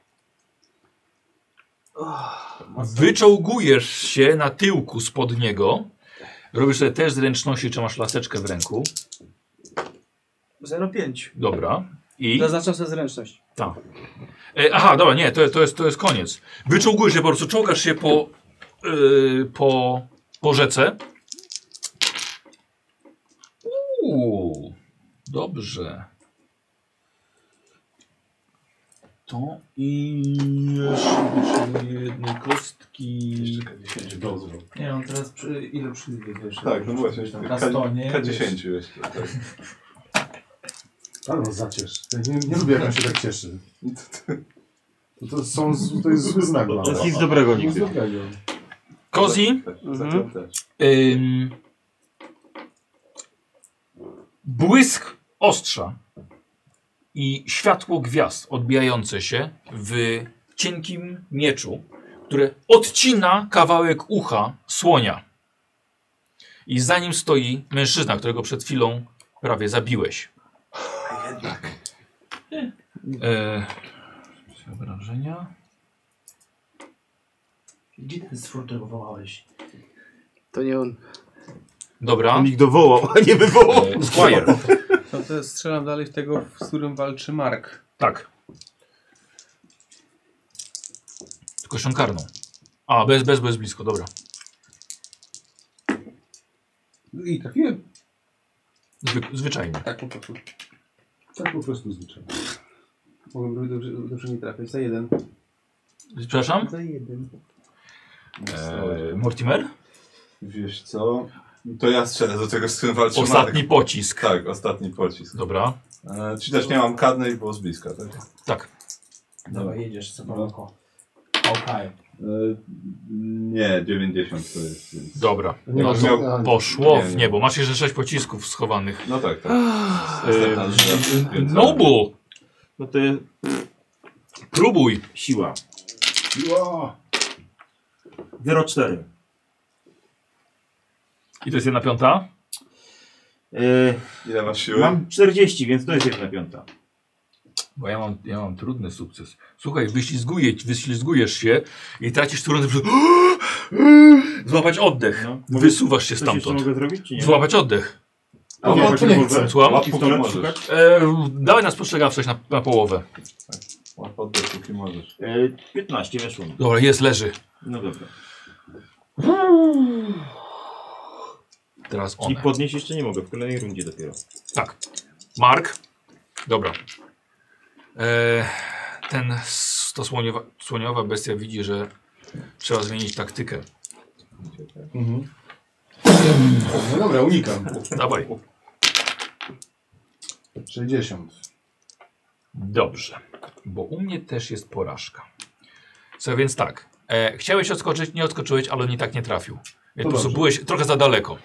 Speaker 3: Och,
Speaker 1: Wyczołgujesz się na tyłku spod niego. Robisz sobie test zręczności, czy masz laseczkę w ręku.
Speaker 3: 0,5.
Speaker 1: Dobra. I?
Speaker 3: Zaznaczam sobie zręczność.
Speaker 1: Tak. E, aha, dobra, nie, to, to, jest, to jest koniec. Wyczołgujesz się po prostu, czołgasz się po, e, po, po rzece. Dobrze. To i jeszcze jednej kostki. Jeszcze
Speaker 9: K10
Speaker 19: no
Speaker 9: Nie, on teraz przy, ile przyjdzie jeszcze?
Speaker 8: Tak, no właśnie,
Speaker 9: Tam
Speaker 8: K-
Speaker 9: Kastonie.
Speaker 8: K10 jeszcze. Tak.
Speaker 4: Albo zaciesz. Ja Nie, nie lubię, jak on się tak cieszy. To, to, są, z- to jest zły znak. dla
Speaker 1: To
Speaker 4: nas.
Speaker 1: nic dobrego
Speaker 4: Nic
Speaker 1: nigdy.
Speaker 4: dobrego.
Speaker 1: Kozi.
Speaker 8: Mhm.
Speaker 1: Ym, błysk ostrza i światło gwiazd odbijające się w cienkim mieczu, które odcina kawałek ucha słonia. I za nim stoi mężczyzna, którego przed chwilą prawie zabiłeś. Jednak. E, obrażenia.
Speaker 9: Gdzie ten stwór, którego wołałeś?
Speaker 3: To nie on.
Speaker 1: Dobra.
Speaker 5: On ich dowołał, a nie wywołał.
Speaker 32: E,
Speaker 1: Squire.
Speaker 7: No to strzelam dalej w tego, z którym walczy Mark.
Speaker 1: Tak. Tylko siankarną. A, bez, bez, bez blisko, dobra.
Speaker 7: I trafiłem.
Speaker 1: Zwyk, zwyczajnie.
Speaker 7: Tak po prostu.
Speaker 4: Tak po prostu zwyczajnie.
Speaker 7: Mogłem dobrze, dobrze nie trafiać. Za jeden.
Speaker 1: Przepraszam?
Speaker 7: Za jeden.
Speaker 1: Eee, Mortimer?
Speaker 8: Wiesz co? To ja strzelę do tego, z którym walczy
Speaker 1: Ostatni
Speaker 8: Marek.
Speaker 1: pocisk.
Speaker 8: Tak, ostatni pocisk.
Speaker 1: Dobra.
Speaker 8: E, czy też nie mam kadnej, bo z bliska, tak?
Speaker 1: Tak.
Speaker 8: Dobra.
Speaker 9: Dobra, jedziesz co daleko. Okej.
Speaker 8: E, nie, 90 to jest. Więc...
Speaker 1: Dobra.
Speaker 8: Nie,
Speaker 1: No
Speaker 8: bo
Speaker 1: to
Speaker 8: miał-
Speaker 1: poszło
Speaker 8: Nie,
Speaker 1: w
Speaker 8: nie.
Speaker 1: niebo. Masz jeszcze sześć pocisków schowanych.
Speaker 8: No tak, tak.
Speaker 1: Eee,
Speaker 8: Następna rzecz, więc-
Speaker 1: Nobu!
Speaker 5: No to jest...
Speaker 1: Próbuj.
Speaker 5: Siła.
Speaker 4: Jo!
Speaker 5: Wyro 4.
Speaker 1: I to jest jedna piąta?
Speaker 8: Ile masz siły?
Speaker 5: E, Mam 40, więc to jest jedna piąta.
Speaker 1: Bo ja mam, ja mam trudny sukces. Słuchaj, wyślizguje, wyślizgujesz się i tracisz turę, *gasps* żeby złapać oddech.
Speaker 5: Mogę-
Speaker 1: Wysuwasz się
Speaker 5: No. coś
Speaker 1: stamtąd.
Speaker 5: jeszcze mogę zrobić, czy nie?
Speaker 1: Złapać oddech.
Speaker 5: A nie, właśnie mogę.
Speaker 1: Słucham?
Speaker 5: Łap, póki możesz.
Speaker 1: E, dawaj nas postrzegawczość na, na połowę.
Speaker 8: Łap oddech, póki możesz.
Speaker 5: E, 15 weszło. mi.
Speaker 1: Dobra, jest, leży.
Speaker 5: No dobra.
Speaker 1: Teraz
Speaker 5: I
Speaker 1: on.
Speaker 5: podnieść jeszcze nie mogę, w kolejnej rundzie dopiero.
Speaker 1: Tak. Mark. Dobra. E, ten, s- ta słoniowa, słoniowa bestia widzi, że trzeba zmienić taktykę.
Speaker 4: Mhm. No dobra, unikam.
Speaker 1: Dawaj.
Speaker 4: 60.
Speaker 1: Dobrze, bo u mnie też jest porażka. Co więc tak, e, chciałeś odskoczyć, nie odskoczyłeś, ale on i tak nie trafił. Więc
Speaker 4: To
Speaker 1: po prostu
Speaker 4: dobrze.
Speaker 1: byłeś trochę za daleko.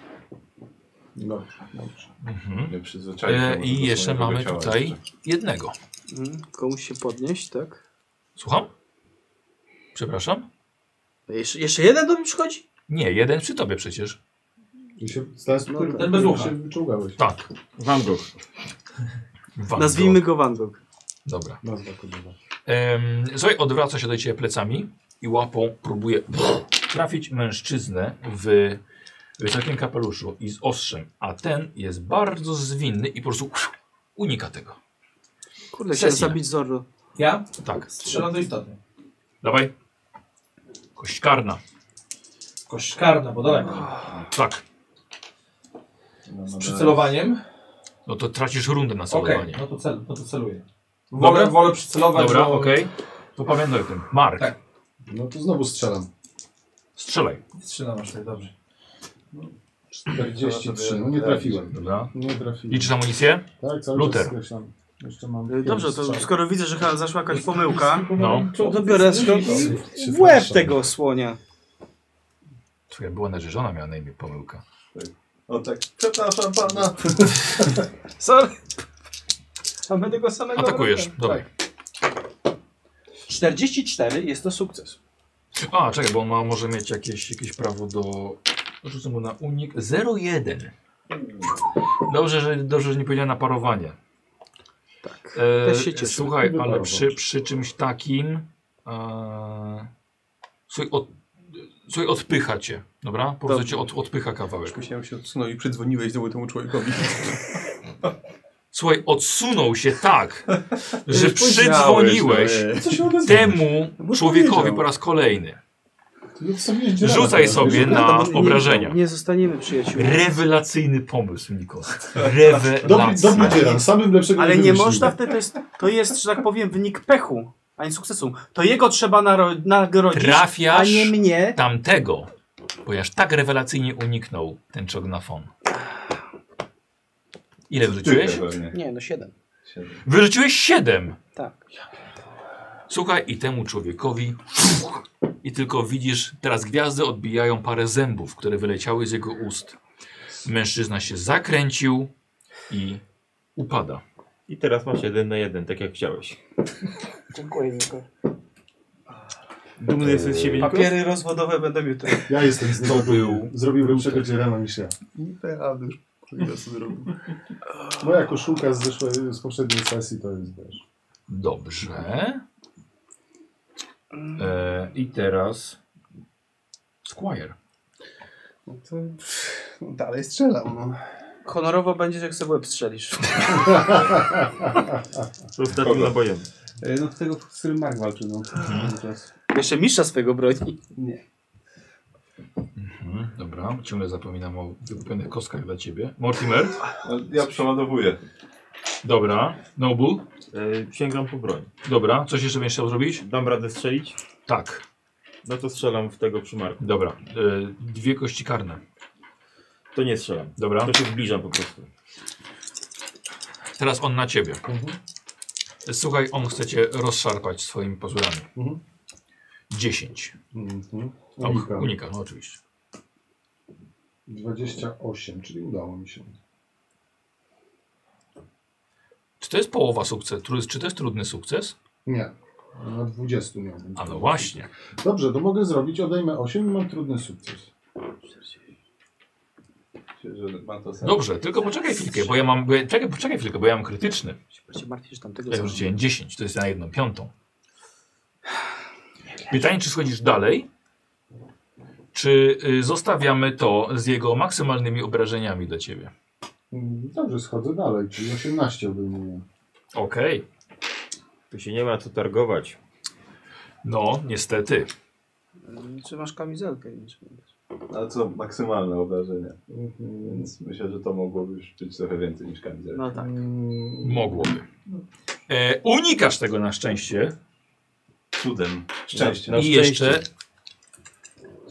Speaker 4: Dobrze, dobrze.
Speaker 1: Mhm.
Speaker 8: Nie przyzwyczaiłem się
Speaker 1: E,
Speaker 8: może
Speaker 1: I
Speaker 8: do
Speaker 1: jeszcze
Speaker 8: swojego
Speaker 1: mamy
Speaker 8: ciała
Speaker 1: tutaj
Speaker 8: jeszcze.
Speaker 1: jednego.
Speaker 3: Mm, Komuś się podnieść, tak?
Speaker 1: Słucham? Przepraszam?
Speaker 3: Jeszcze, jeszcze jeden do mnie przychodzi?
Speaker 1: Nie, jeden przy tobie przecież.
Speaker 4: I się stałem
Speaker 3: No
Speaker 4: no,
Speaker 3: tak.
Speaker 4: ten
Speaker 3: Bez
Speaker 4: bezłucha.
Speaker 3: ucha.
Speaker 4: się wyczułgałeś.
Speaker 1: Tak.
Speaker 5: Van Gogh.
Speaker 1: Van
Speaker 3: Nazwijmy go Van Gogh.
Speaker 1: Dobra.
Speaker 4: Nazwa kodowa.
Speaker 1: Em, Zoe odwraca się do ciebie plecami i łapą próbuje trafić mężczyznę w wysokim kapeluszu i z ostrzem, a ten jest bardzo zwinny i po prostu unika tego.
Speaker 3: Kurde, chciałem
Speaker 1: Cecil.
Speaker 3: zabić Zorro.
Speaker 9: Ja
Speaker 1: Tak,
Speaker 9: strzelam do istoty.
Speaker 1: dawaj. Kość karna.
Speaker 9: Kość karna, bo daleko.
Speaker 1: Tak,
Speaker 9: Z przycelowaniem?
Speaker 1: no to tracisz rundę na
Speaker 9: Okej,
Speaker 1: celowanie.
Speaker 9: no, to cel, no to celuję.
Speaker 1: Dobra.
Speaker 9: Wolę, wolę przycelować,
Speaker 1: Dobra,
Speaker 9: bo...
Speaker 1: okej. To pamiętaj o tym. Mark,
Speaker 9: Tak.
Speaker 4: No to znowu strzelam.
Speaker 1: strzelaj.
Speaker 9: Strzelam aż tak, dobrze.
Speaker 4: 43. No nie trafiłem.
Speaker 1: Dobra.
Speaker 4: Nie trafiłem.
Speaker 1: Liczysz amunicję?
Speaker 4: Tak, cały
Speaker 1: Luther.
Speaker 4: czas skreślam. Jeszcze mam
Speaker 3: Y,
Speaker 4: pięć
Speaker 3: Dobrze, to
Speaker 4: strzał.
Speaker 3: skoro widzę, że chyba zaszła jakaś pomyłka,
Speaker 9: Mhm.
Speaker 1: No.
Speaker 3: no to biorę skok i w łeb tego słonia.
Speaker 1: Twoja była narzeczona, miała na imię pomyłka.
Speaker 8: On tak, przepraszam pana.
Speaker 3: Sorry. Mamy tego samego.
Speaker 1: Atakujesz,
Speaker 3: wroga.
Speaker 1: dawaj.
Speaker 3: 44 jest to sukces.
Speaker 1: Tak. A, czekaj, bo on ma, może mieć jakieś, jakieś prawo do... Rzucę mu na unik. 0,1. Dobrze, że, dobrze, że nie powiedziałem na parowanie.
Speaker 3: Tak.
Speaker 1: E,
Speaker 3: Też się cieszę.
Speaker 1: Słuchaj, ale
Speaker 4: Wyparował.
Speaker 1: przy, przy czymś takim... E, słuchaj, od, słuchaj, odpycha cię, dobra? Po prostu
Speaker 7: Dobrze.
Speaker 1: cię od, odpycha kawałek.
Speaker 7: Już myślałem się odsunął i przydzwoniłeś znowu temu człowiekowi.
Speaker 1: Słuchaj, odsunął się tak, *laughs* że
Speaker 5: powiedziałeś,
Speaker 1: przydzwoniłeś
Speaker 5: no, e.
Speaker 1: temu człowiekowi po raz kolejny. Rzucaj sobie na obrażenia.
Speaker 3: Nie, nie zostaniemy przyjaciółmi.
Speaker 1: Rewelacyjny pomysł, Nikos. Rewelacyjny.
Speaker 3: Ale nie można wtedy, to jest, to jest, że tak powiem, wynik pechu, a nie sukcesu. To jego trzeba naro- nagrodzić, a
Speaker 1: Trafiasz
Speaker 3: nie mnie.
Speaker 1: tamtego, ponieważ tak rewelacyjnie uniknął ten czognafon. Ile wyrzuciłeś?
Speaker 3: Nie, no siedem.
Speaker 1: Wyrzuciłeś 7.
Speaker 3: Tak.
Speaker 1: Słuchaj, i temu człowiekowi. I tylko widzisz, teraz gwiazdy odbijają parę zębów, które wyleciały z jego ust. Mężczyzna się zakręcił i upada.
Speaker 5: I teraz masz jeden na jeden, tak jak chciałeś.
Speaker 3: Dziękuję, Niko.
Speaker 5: Dumny jesteś z siebie, Nikos?
Speaker 3: Papiery rozwodowe będą jutro.
Speaker 4: Ja jestem z niego
Speaker 5: To był-
Speaker 4: był. Zrobił lepszego dzierana niż ja.
Speaker 15: Nieprawda, już ile co zrobił.
Speaker 4: Moja koszulka z, zeszłej, z poprzedniej sesji to jest wiesz.
Speaker 1: Dobrze.
Speaker 4: Mm.
Speaker 1: E, I teraz. Squire.
Speaker 15: No to pff, no dalej strzelam, no.
Speaker 3: Honorowo będziesz, jak sobie łeb strzelisz.
Speaker 5: Ostatnim nabojem.
Speaker 15: E, No tego, z którym Mark walczy, no. Cały czas.
Speaker 3: Jeszcze mistrza swego broni.
Speaker 15: Nie.
Speaker 1: Mhm, dobra, ciągle zapominam o wykupionych kostkach dla ciebie. Mortimer?
Speaker 8: No, Ja przeładowuję.
Speaker 1: Dobra. Nobu?
Speaker 5: E, sięgam po broń.
Speaker 1: Dobra, coś jeszcze będziesz chciał zrobić?
Speaker 5: Dam radę strzelić?
Speaker 1: Tak.
Speaker 5: No to strzelam w tego przymarku.
Speaker 1: Dobra. E, dwie kości karne.
Speaker 5: To nie strzelam.
Speaker 1: Dobra.
Speaker 5: To się zbliżam po prostu.
Speaker 1: Teraz on na ciebie. Słuchaj, on chce cię rozszarpać swoimi pazurami.
Speaker 4: Mhm.
Speaker 1: 10.
Speaker 4: Mhm.
Speaker 1: Och,
Speaker 4: Unikam.
Speaker 1: unika, no oczywiście.
Speaker 4: 28, czyli udało mi się.
Speaker 1: Czy to jest połowa sukcesu? Tru- Czy to jest trudny sukces?
Speaker 4: Nie. Na 20 miałbym.
Speaker 1: A no właśnie.
Speaker 4: Dobrze, to mogę zrobić. Odejmę 8 i mam trudny sukces.
Speaker 8: Tak.
Speaker 1: Dobrze, tylko poczekaj chwilkę, bo ja mam. Bo ja, czekaj, poczekaj chwilkę, bo ja mam krytyczny.
Speaker 3: Się martwisz, że tamtego
Speaker 1: Ja
Speaker 3: co-
Speaker 1: rzuciłem 10, to jest na jedną piątą. Pytanie, czy schodzisz dalej? Czy y, zostawiamy to z jego maksymalnymi obrażeniami dla ciebie?
Speaker 4: Mm, Dobrze, schodzę dalej, czyli 18 obejmuję.
Speaker 1: Okej.
Speaker 5: Tu się nie ma co targować.
Speaker 1: No, niestety.
Speaker 3: Mm, Czy masz kamizelkę? Nie wiem, czy-
Speaker 8: Ale co, maksymalne obrażenia. Więc myślę, że to mogłoby już być trochę więcej niż kamizelka.
Speaker 3: No tak.
Speaker 1: Mogłoby. E, unikasz tego na szczęście.
Speaker 8: Cudem. Szczęście.
Speaker 1: I jeszcze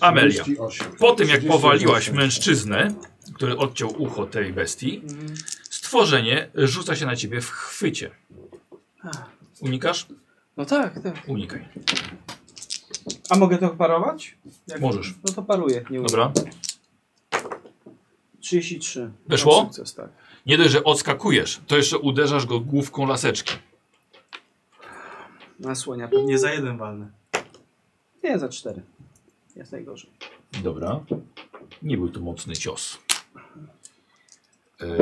Speaker 1: Amelia.
Speaker 4: 38.
Speaker 1: Po tym jak
Speaker 4: 38.
Speaker 1: powaliłaś mężczyznę, który odciął ucho tej bestii,
Speaker 3: Mm.
Speaker 1: stworzenie rzuca się na ciebie w chwycie.
Speaker 3: Ach.
Speaker 1: Unikasz?
Speaker 3: No tak, tak.
Speaker 1: Unikaj.
Speaker 3: A mogę to parować? Jak-
Speaker 1: Możesz.
Speaker 3: No to paruję. Nie umiem.
Speaker 1: Dobra.
Speaker 3: 33.
Speaker 1: Weszło?
Speaker 3: Mam Sukces, tak.
Speaker 1: Nie dość, że odskakujesz, to jeszcze uderzasz go główką laseczki.
Speaker 3: Nasłania pewnie za jeden walny. Nie, za cztery. Jest najgorzej.
Speaker 1: Dobra. Nie był to mocny cios. E,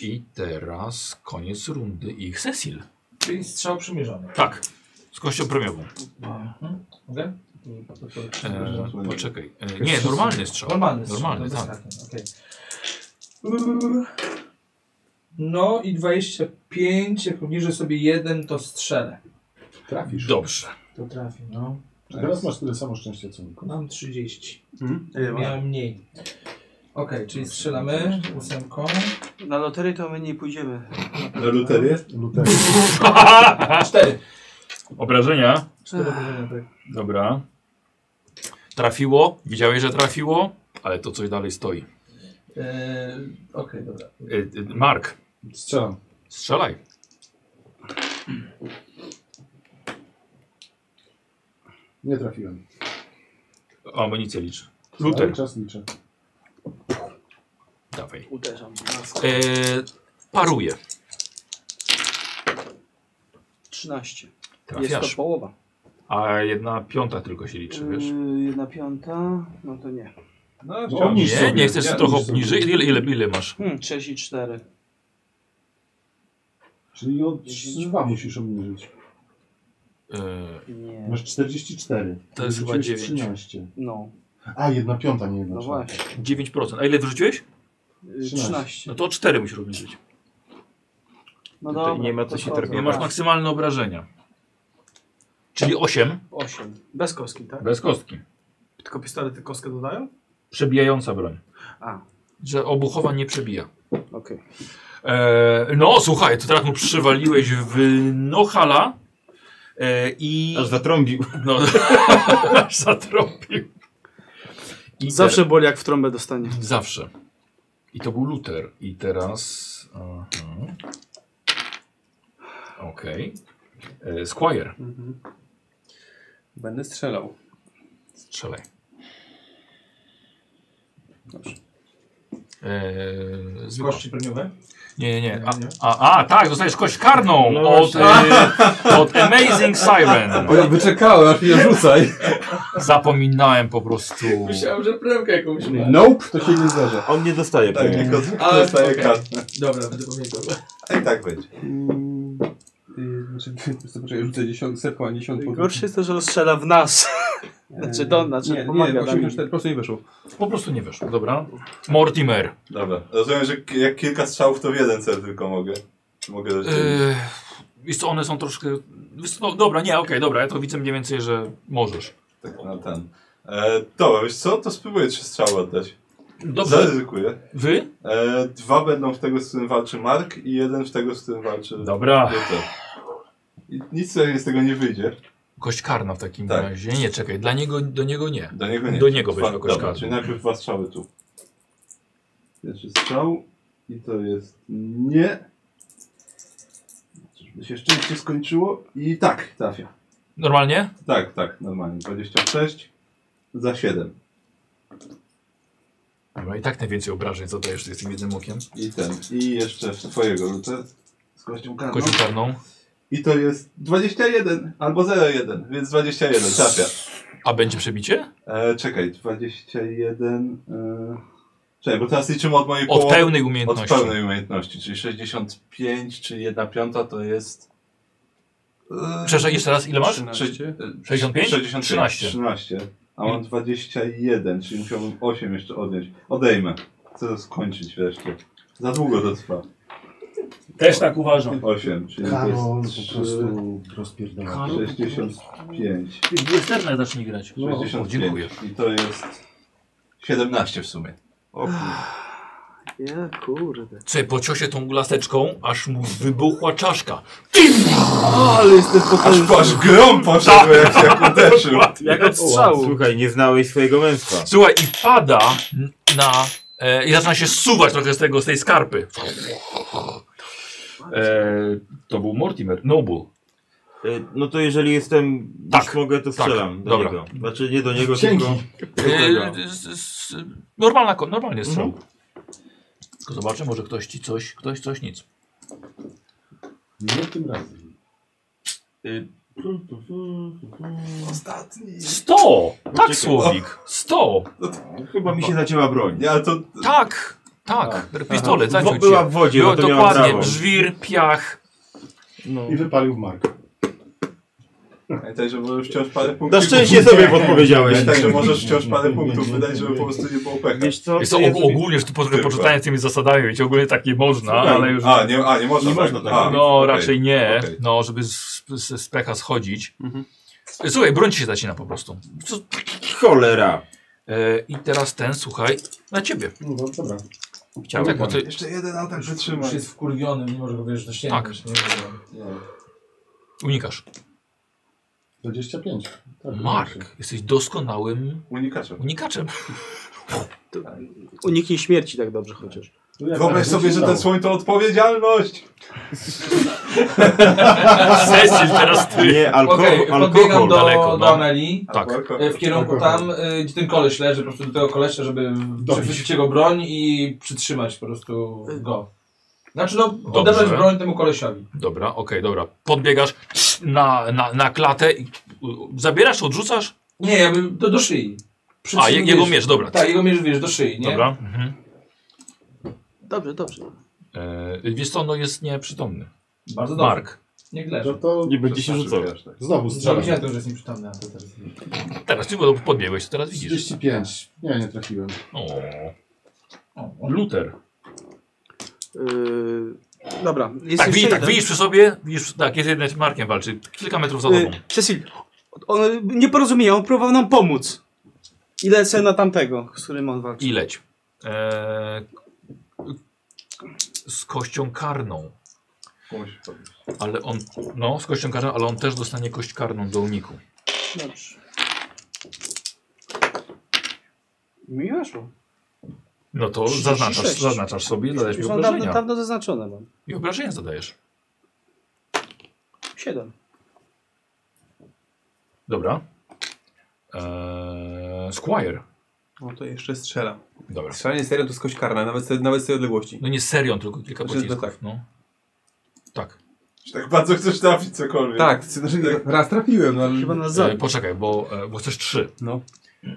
Speaker 1: I teraz koniec rundy i Cecil.
Speaker 19: Czyli strzał przymierzony.
Speaker 1: Tak. Z kością premiową.
Speaker 19: Mhm. Mogę? To- to- to-
Speaker 1: No. E, poczekaj. E, nie, normalny strzał.
Speaker 19: Normalny strzał.
Speaker 1: Normalny,
Speaker 19: to
Speaker 1: tak.
Speaker 19: bez karty, okej. No i 25, jak obniżę sobie jeden, to strzelę. tak.
Speaker 4: Trafisz.
Speaker 1: Dobrze.
Speaker 19: To trafi, no.
Speaker 4: Teraz masz tyle samo szczęścia co Niko.
Speaker 19: Mam 30.
Speaker 1: E,
Speaker 15: Mhm. Ile masz?
Speaker 19: Miałem mniej. Okej, czyli strzelamy ósemką.
Speaker 3: Na loterię to my nie pójdziemy.
Speaker 8: Na luterię?
Speaker 4: Luterię.
Speaker 19: Cztery.
Speaker 1: Obrażenia.
Speaker 19: Cztery obrażenia, tak.
Speaker 1: Dobra. Trafiło. Widziałeś, że trafiło, ale to coś dalej stoi.
Speaker 19: Eee, Okej, dobra.
Speaker 1: E, e, Mark,
Speaker 4: Strzelam.
Speaker 1: strzelaj.
Speaker 4: Nie trafiłem.
Speaker 1: O, Amunicję liczy.
Speaker 4: Cały
Speaker 1: Luther,
Speaker 4: czas liczę.
Speaker 1: dawaj.
Speaker 3: Uderzam.
Speaker 1: E, paruje.
Speaker 3: 13. Jest
Speaker 1: Trafiasz.
Speaker 3: to połowa.
Speaker 1: A jedna piąta tylko się liczy, wiesz?
Speaker 33: E,
Speaker 3: Yy, jedna piąta, no to nie.
Speaker 8: No,
Speaker 4: chciałem- obniż
Speaker 1: nie,
Speaker 4: sobie.
Speaker 1: nie chcesz
Speaker 4: Nie,
Speaker 1: trochę
Speaker 4: obniż sobie.
Speaker 1: obniżyć? Ile, ile, ile masz?
Speaker 3: Hmm, 34.
Speaker 4: Czyli o 2 musisz obniżyć.
Speaker 1: E,
Speaker 3: Nie.
Speaker 4: Masz 44.
Speaker 1: To jest chyba
Speaker 4: Wyrzuciłeś
Speaker 1: dziewięć.
Speaker 4: 13.
Speaker 3: No,
Speaker 4: A, jedna piąta, nie jedna
Speaker 3: no
Speaker 4: czwarta.
Speaker 3: właśnie.
Speaker 1: 9%. A ile wyrzuciłeś?
Speaker 3: Yy,
Speaker 4: 13.
Speaker 3: 13.
Speaker 1: No to 4 musisz obniżyć.
Speaker 3: No
Speaker 5: Tutaj
Speaker 3: dobra.
Speaker 5: nie ma co się
Speaker 1: Nie
Speaker 5: targować.
Speaker 1: masz maksymalne obrażenia. Czyli 8
Speaker 3: 8. Bez kostki, tak?
Speaker 1: bez kostki.
Speaker 33: Tylko pistolety kostkę dodają?
Speaker 1: Przebijająca broń.
Speaker 3: A.
Speaker 1: Że obuchowa nie przebija.
Speaker 3: Okej.
Speaker 1: E, no słuchaj, to teraz mu przywaliłeś w Nohala e, i... Aż
Speaker 5: zatrąbił.
Speaker 1: No,
Speaker 34: *laughs*
Speaker 1: aż zatrąbił. I
Speaker 3: Zawsze boli jak w trąbę dostanie.
Speaker 1: Zawsze. I to był Luther. I teraz... aha. Okej. E, Squire.
Speaker 7: Będę strzelał.
Speaker 1: Strzelaj.
Speaker 7: Dobrze.
Speaker 1: Eee, z
Speaker 34: Kości premiowe?
Speaker 1: Nie, nie, nie. A, a, a tak, dostajesz kość karną
Speaker 34: No
Speaker 1: od,
Speaker 34: właśnie.
Speaker 1: e, od Amazing
Speaker 34: *laughs*
Speaker 1: Siren.
Speaker 7: Bo ja wyczekałem, aż mnie rzucaj.
Speaker 1: Zapominałem po prostu.
Speaker 9: Myślałem, że premkę jakąś ma.
Speaker 1: Nope,
Speaker 4: to się nie zdarza.
Speaker 5: On nie dostaje
Speaker 1: Tak,
Speaker 5: premii.
Speaker 1: tylko-
Speaker 9: Ale
Speaker 8: Dostaję
Speaker 9: okej.
Speaker 8: kartę.
Speaker 9: Dobra, będę pamiętał.
Speaker 8: A i tak będzie.
Speaker 15: Mm, y,
Speaker 7: Yy,
Speaker 15: *laughs*
Speaker 7: Znaczy, zobaczę, rzucę dziesiąt, setką, a dziesiątką.
Speaker 3: Gorsze jest to, że rozstrzela w nas. Znaczy do nas,
Speaker 7: Nie,
Speaker 3: znaczy
Speaker 7: nie,
Speaker 3: pomaga nam.
Speaker 15: tak
Speaker 7: 84 po prostu nie weszło.
Speaker 1: Po prostu nie weszło, dobra. Mortimer.
Speaker 8: Dobra. Rozumiem, że ki- jak kilka strzałów, to w jeden cel tylko mogę. Mogę dać.
Speaker 1: Eee, wiesz co, one są troszkę... wiesz co, No, dobra, nie, okej, dobra, ja to widzę mniej więcej, że możesz.
Speaker 8: Tak, na ten. E, dobra, wiesz co? To spróbuję trzy strzały oddać.
Speaker 1: Dobrze.
Speaker 8: Zaryzykuję.
Speaker 1: Wy?
Speaker 8: E, dwa będą w tego, z którym walczy Mark i jeden w tego, z którym walczy...
Speaker 1: Dobra.
Speaker 8: Luther. I nic sobie z tego nie wyjdzie.
Speaker 1: Kość karna w takim
Speaker 8: Tak.
Speaker 1: razie. Nie, czekaj, dla niego, do niego nie.
Speaker 8: Do niego nie.
Speaker 1: Do niego
Speaker 8: Dwa-
Speaker 1: weźmy kość
Speaker 8: dobra, Czyli
Speaker 1: karną.
Speaker 8: najpierw dwa strzały tu. Pierwszy strzał i to jest nie. Żeby się szczęście skończyło i tak, trafia.
Speaker 1: Normalnie?
Speaker 8: Tak, tak, normalnie. 26 za 7.
Speaker 1: Dobra, i tak najwięcej obrażeń zadajesz z tym jednym okiem.
Speaker 8: I ten. I jeszcze w twojego rzucę z kością karną.
Speaker 1: Kością karną.
Speaker 8: I to jest 21 albo 01, więc 21 trafia.
Speaker 1: A będzie przebicie?
Speaker 8: E, czekaj, 21. E... Czekaj, bo teraz liczymy od mojej
Speaker 1: Od
Speaker 8: połowy-
Speaker 1: pełnej umiejętności.
Speaker 8: Od pełnej umiejętności, czyli 65, czyli 1 piąta to jest. e,
Speaker 1: Przepraszam, jeszcze raz, ile masz?
Speaker 8: 13.
Speaker 1: 65?
Speaker 8: 65,
Speaker 1: 13.
Speaker 8: 13. A mam 21, czyli musiałbym 8 jeszcze odjąć. Odejmę. Chcę to skończyć wreszcie. Za długo to trwa.
Speaker 1: Też tak
Speaker 9: No.
Speaker 1: uważam.
Speaker 8: 8, czyli to
Speaker 4: Karol
Speaker 8: jest
Speaker 4: po
Speaker 8: 3,
Speaker 4: prostu rozpierdala.
Speaker 1: Karol po
Speaker 8: 65.
Speaker 1: Westerna zacznie grać.
Speaker 8: No, 65.
Speaker 1: dziękuję.
Speaker 8: I to jest 17 w sumie. O
Speaker 3: Ja kurde.
Speaker 1: Słuchaj, po ciosie tą laseczką, aż mu wybuchła czaszka.
Speaker 8: Ale jestem potężny. Aż, aż grom poszedł, jak się uderzył.
Speaker 3: Jak od strzału.
Speaker 5: Słuchaj, nie znałeś swojego męstwa.
Speaker 1: Słuchaj, i pada na... E, I zaczyna się zsuwać trochę z, tego, z tej skarpy. E, to był Mortimer. Noble.
Speaker 5: E, No to jeżeli jestem, tak, już mogę, to strzelam do
Speaker 1: dobra.
Speaker 5: niego. Znaczy nie do niego,
Speaker 1: Dzięki.
Speaker 5: tylko do tego.
Speaker 1: E, s- s- Normalna, ko- normalnie strzał. Mhm. Tylko zobaczę, może ktoś ci coś, ktoś coś, nic.
Speaker 4: Nie tym razem.
Speaker 8: Ostatni.
Speaker 1: 100! Tak,
Speaker 5: Poczekaj.
Speaker 1: Słowik. 100!
Speaker 5: Chyba mi się zacięła broń.
Speaker 8: Nie, ale to...
Speaker 1: Tak, tak.
Speaker 5: A,
Speaker 1: Pistolet,
Speaker 5: aha.
Speaker 1: zaciął
Speaker 5: Bo- była w wodzie,
Speaker 1: Było
Speaker 5: no to miała
Speaker 1: Dokładnie,
Speaker 5: brawo.
Speaker 1: brzwir, piach.
Speaker 8: No.
Speaker 4: I wypalił w markę.
Speaker 8: Pamiętaj, że możesz wciąż parę punktów.
Speaker 5: Na szczęście sobie podpowiedziałeś.
Speaker 1: tak
Speaker 8: Pamiętaj, Tak, że możesz wciąż parę punktów wydać, żeby po prostu nie było pecha.
Speaker 5: Wiesz co?
Speaker 1: Jest to og- ogólnie, że tu po,
Speaker 8: Tylko.
Speaker 1: poczytanie z tymi zasadami, wiecie, ogólnie tak nie można,
Speaker 8: Słuchaj,
Speaker 1: ale już...
Speaker 8: a, nie- a, nie można tak. A,
Speaker 1: no,
Speaker 8: okej,
Speaker 1: raczej nie,
Speaker 8: okej.
Speaker 1: no, żeby z, z, z pecha schodzić. Słuchaj, broń ci się zacina po prostu. Co?
Speaker 5: Cholera.
Speaker 1: E, I teraz ten, słuchaj, na ciebie.
Speaker 4: No dobra.
Speaker 1: Chciałem tak, bo ty...
Speaker 8: Jeszcze jeden atak
Speaker 9: wytrzymaj. Już jest wkurwiony, mimo że go wiesz, że ściągniesz. Tak. Nie, nie,
Speaker 1: Unikasz.
Speaker 4: 25. Tak,
Speaker 1: Mark, jesteś doskonałym...
Speaker 8: Unikaczem.
Speaker 1: Unikaczem.
Speaker 3: Uniknij śmierci tak dobrze chociaż.
Speaker 8: Wyobraź
Speaker 4: tak,
Speaker 8: sobie, że ten słoń to odpowiedzialność!
Speaker 1: Cecil teraz ty.
Speaker 5: Nie, alkohol,
Speaker 9: Okej, podbiegam
Speaker 5: alkohol
Speaker 9: do,
Speaker 5: daleko.
Speaker 9: do Ameli,
Speaker 1: Tak.
Speaker 9: e, w kierunku tam, e, gdzie ten koleś leży, po prostu do tego kolesia, żeby
Speaker 4: Dobić.
Speaker 9: przechwycić jego broń i przytrzymać po prostu go. Znaczy no,
Speaker 1: Dobrze.
Speaker 9: odebrać broń temu kolesiowi.
Speaker 1: Dobra, okej, dobra. Podbiegasz na, na, na klatę i u- zabierasz, odrzucasz?
Speaker 9: Nie, ja bym do, do szyi.
Speaker 1: A, je- jego
Speaker 9: wiesz,
Speaker 1: mierz, dobra.
Speaker 9: Tak, jego mierz, wiesz, do szyi, nie?
Speaker 1: Dobra. Mhm.
Speaker 3: Dobrze, dobrze.
Speaker 1: E, wiesz co, no jest nieprzytomny.
Speaker 9: Bardzo dobrze.
Speaker 1: Mark.
Speaker 9: Niech leży.
Speaker 4: No to
Speaker 5: Nie będzie się rzucał.
Speaker 4: znowu
Speaker 9: Zrobić
Speaker 4: strzelam.
Speaker 9: na to, że jest nieprzytomny, a to teraz
Speaker 1: Teraz ty bo podbiegłeś, to teraz widzisz.
Speaker 4: 35. Nie, nie trafiłem.
Speaker 1: O. Luther.
Speaker 3: Yy, dobra, jest
Speaker 1: tak,
Speaker 3: jeszcze
Speaker 1: widzisz, tak,
Speaker 3: jeden.
Speaker 1: widzisz przy sobie, widzisz, tak, jest jeden z Markiem
Speaker 3: Y- Eee,
Speaker 1: walczy, kilka metrów za tobą.
Speaker 3: Cecil, on, nieporozumienie, on próbował nam pomóc. I lecę na tamtego, z którym on walczy.
Speaker 1: I leć. Eee, z kością karną. Ale on, no, z kością karną, ale on też dostanie kość karną do uniku.
Speaker 3: Dobrze. Mi weszło.
Speaker 1: No to
Speaker 3: 36.
Speaker 1: zaznaczasz, zaznaczasz sobie i dodajesz mi
Speaker 3: Już mam dawno,
Speaker 1: obrażenia.
Speaker 3: dawno zaznaczone mam.
Speaker 1: I obrażenia zadajesz.
Speaker 3: 7.
Speaker 1: Dobra. Eee, Squire.
Speaker 15: No to jeszcze strzela.
Speaker 1: Dobra.
Speaker 15: Strzelanie serią to jest kość karna, nawet, z- nawet z tej odległości.
Speaker 1: No nie serią, tylko kilka
Speaker 15: Znaczy, no
Speaker 1: pocisków.
Speaker 15: tak.
Speaker 1: No. Tak.
Speaker 8: Tak bardzo chcesz trafić cokolwiek.
Speaker 15: Tak, znaczy, raz trafiłem, no ale...
Speaker 1: E, poczekaj, bo, e, bo chcesz trzy.
Speaker 15: No.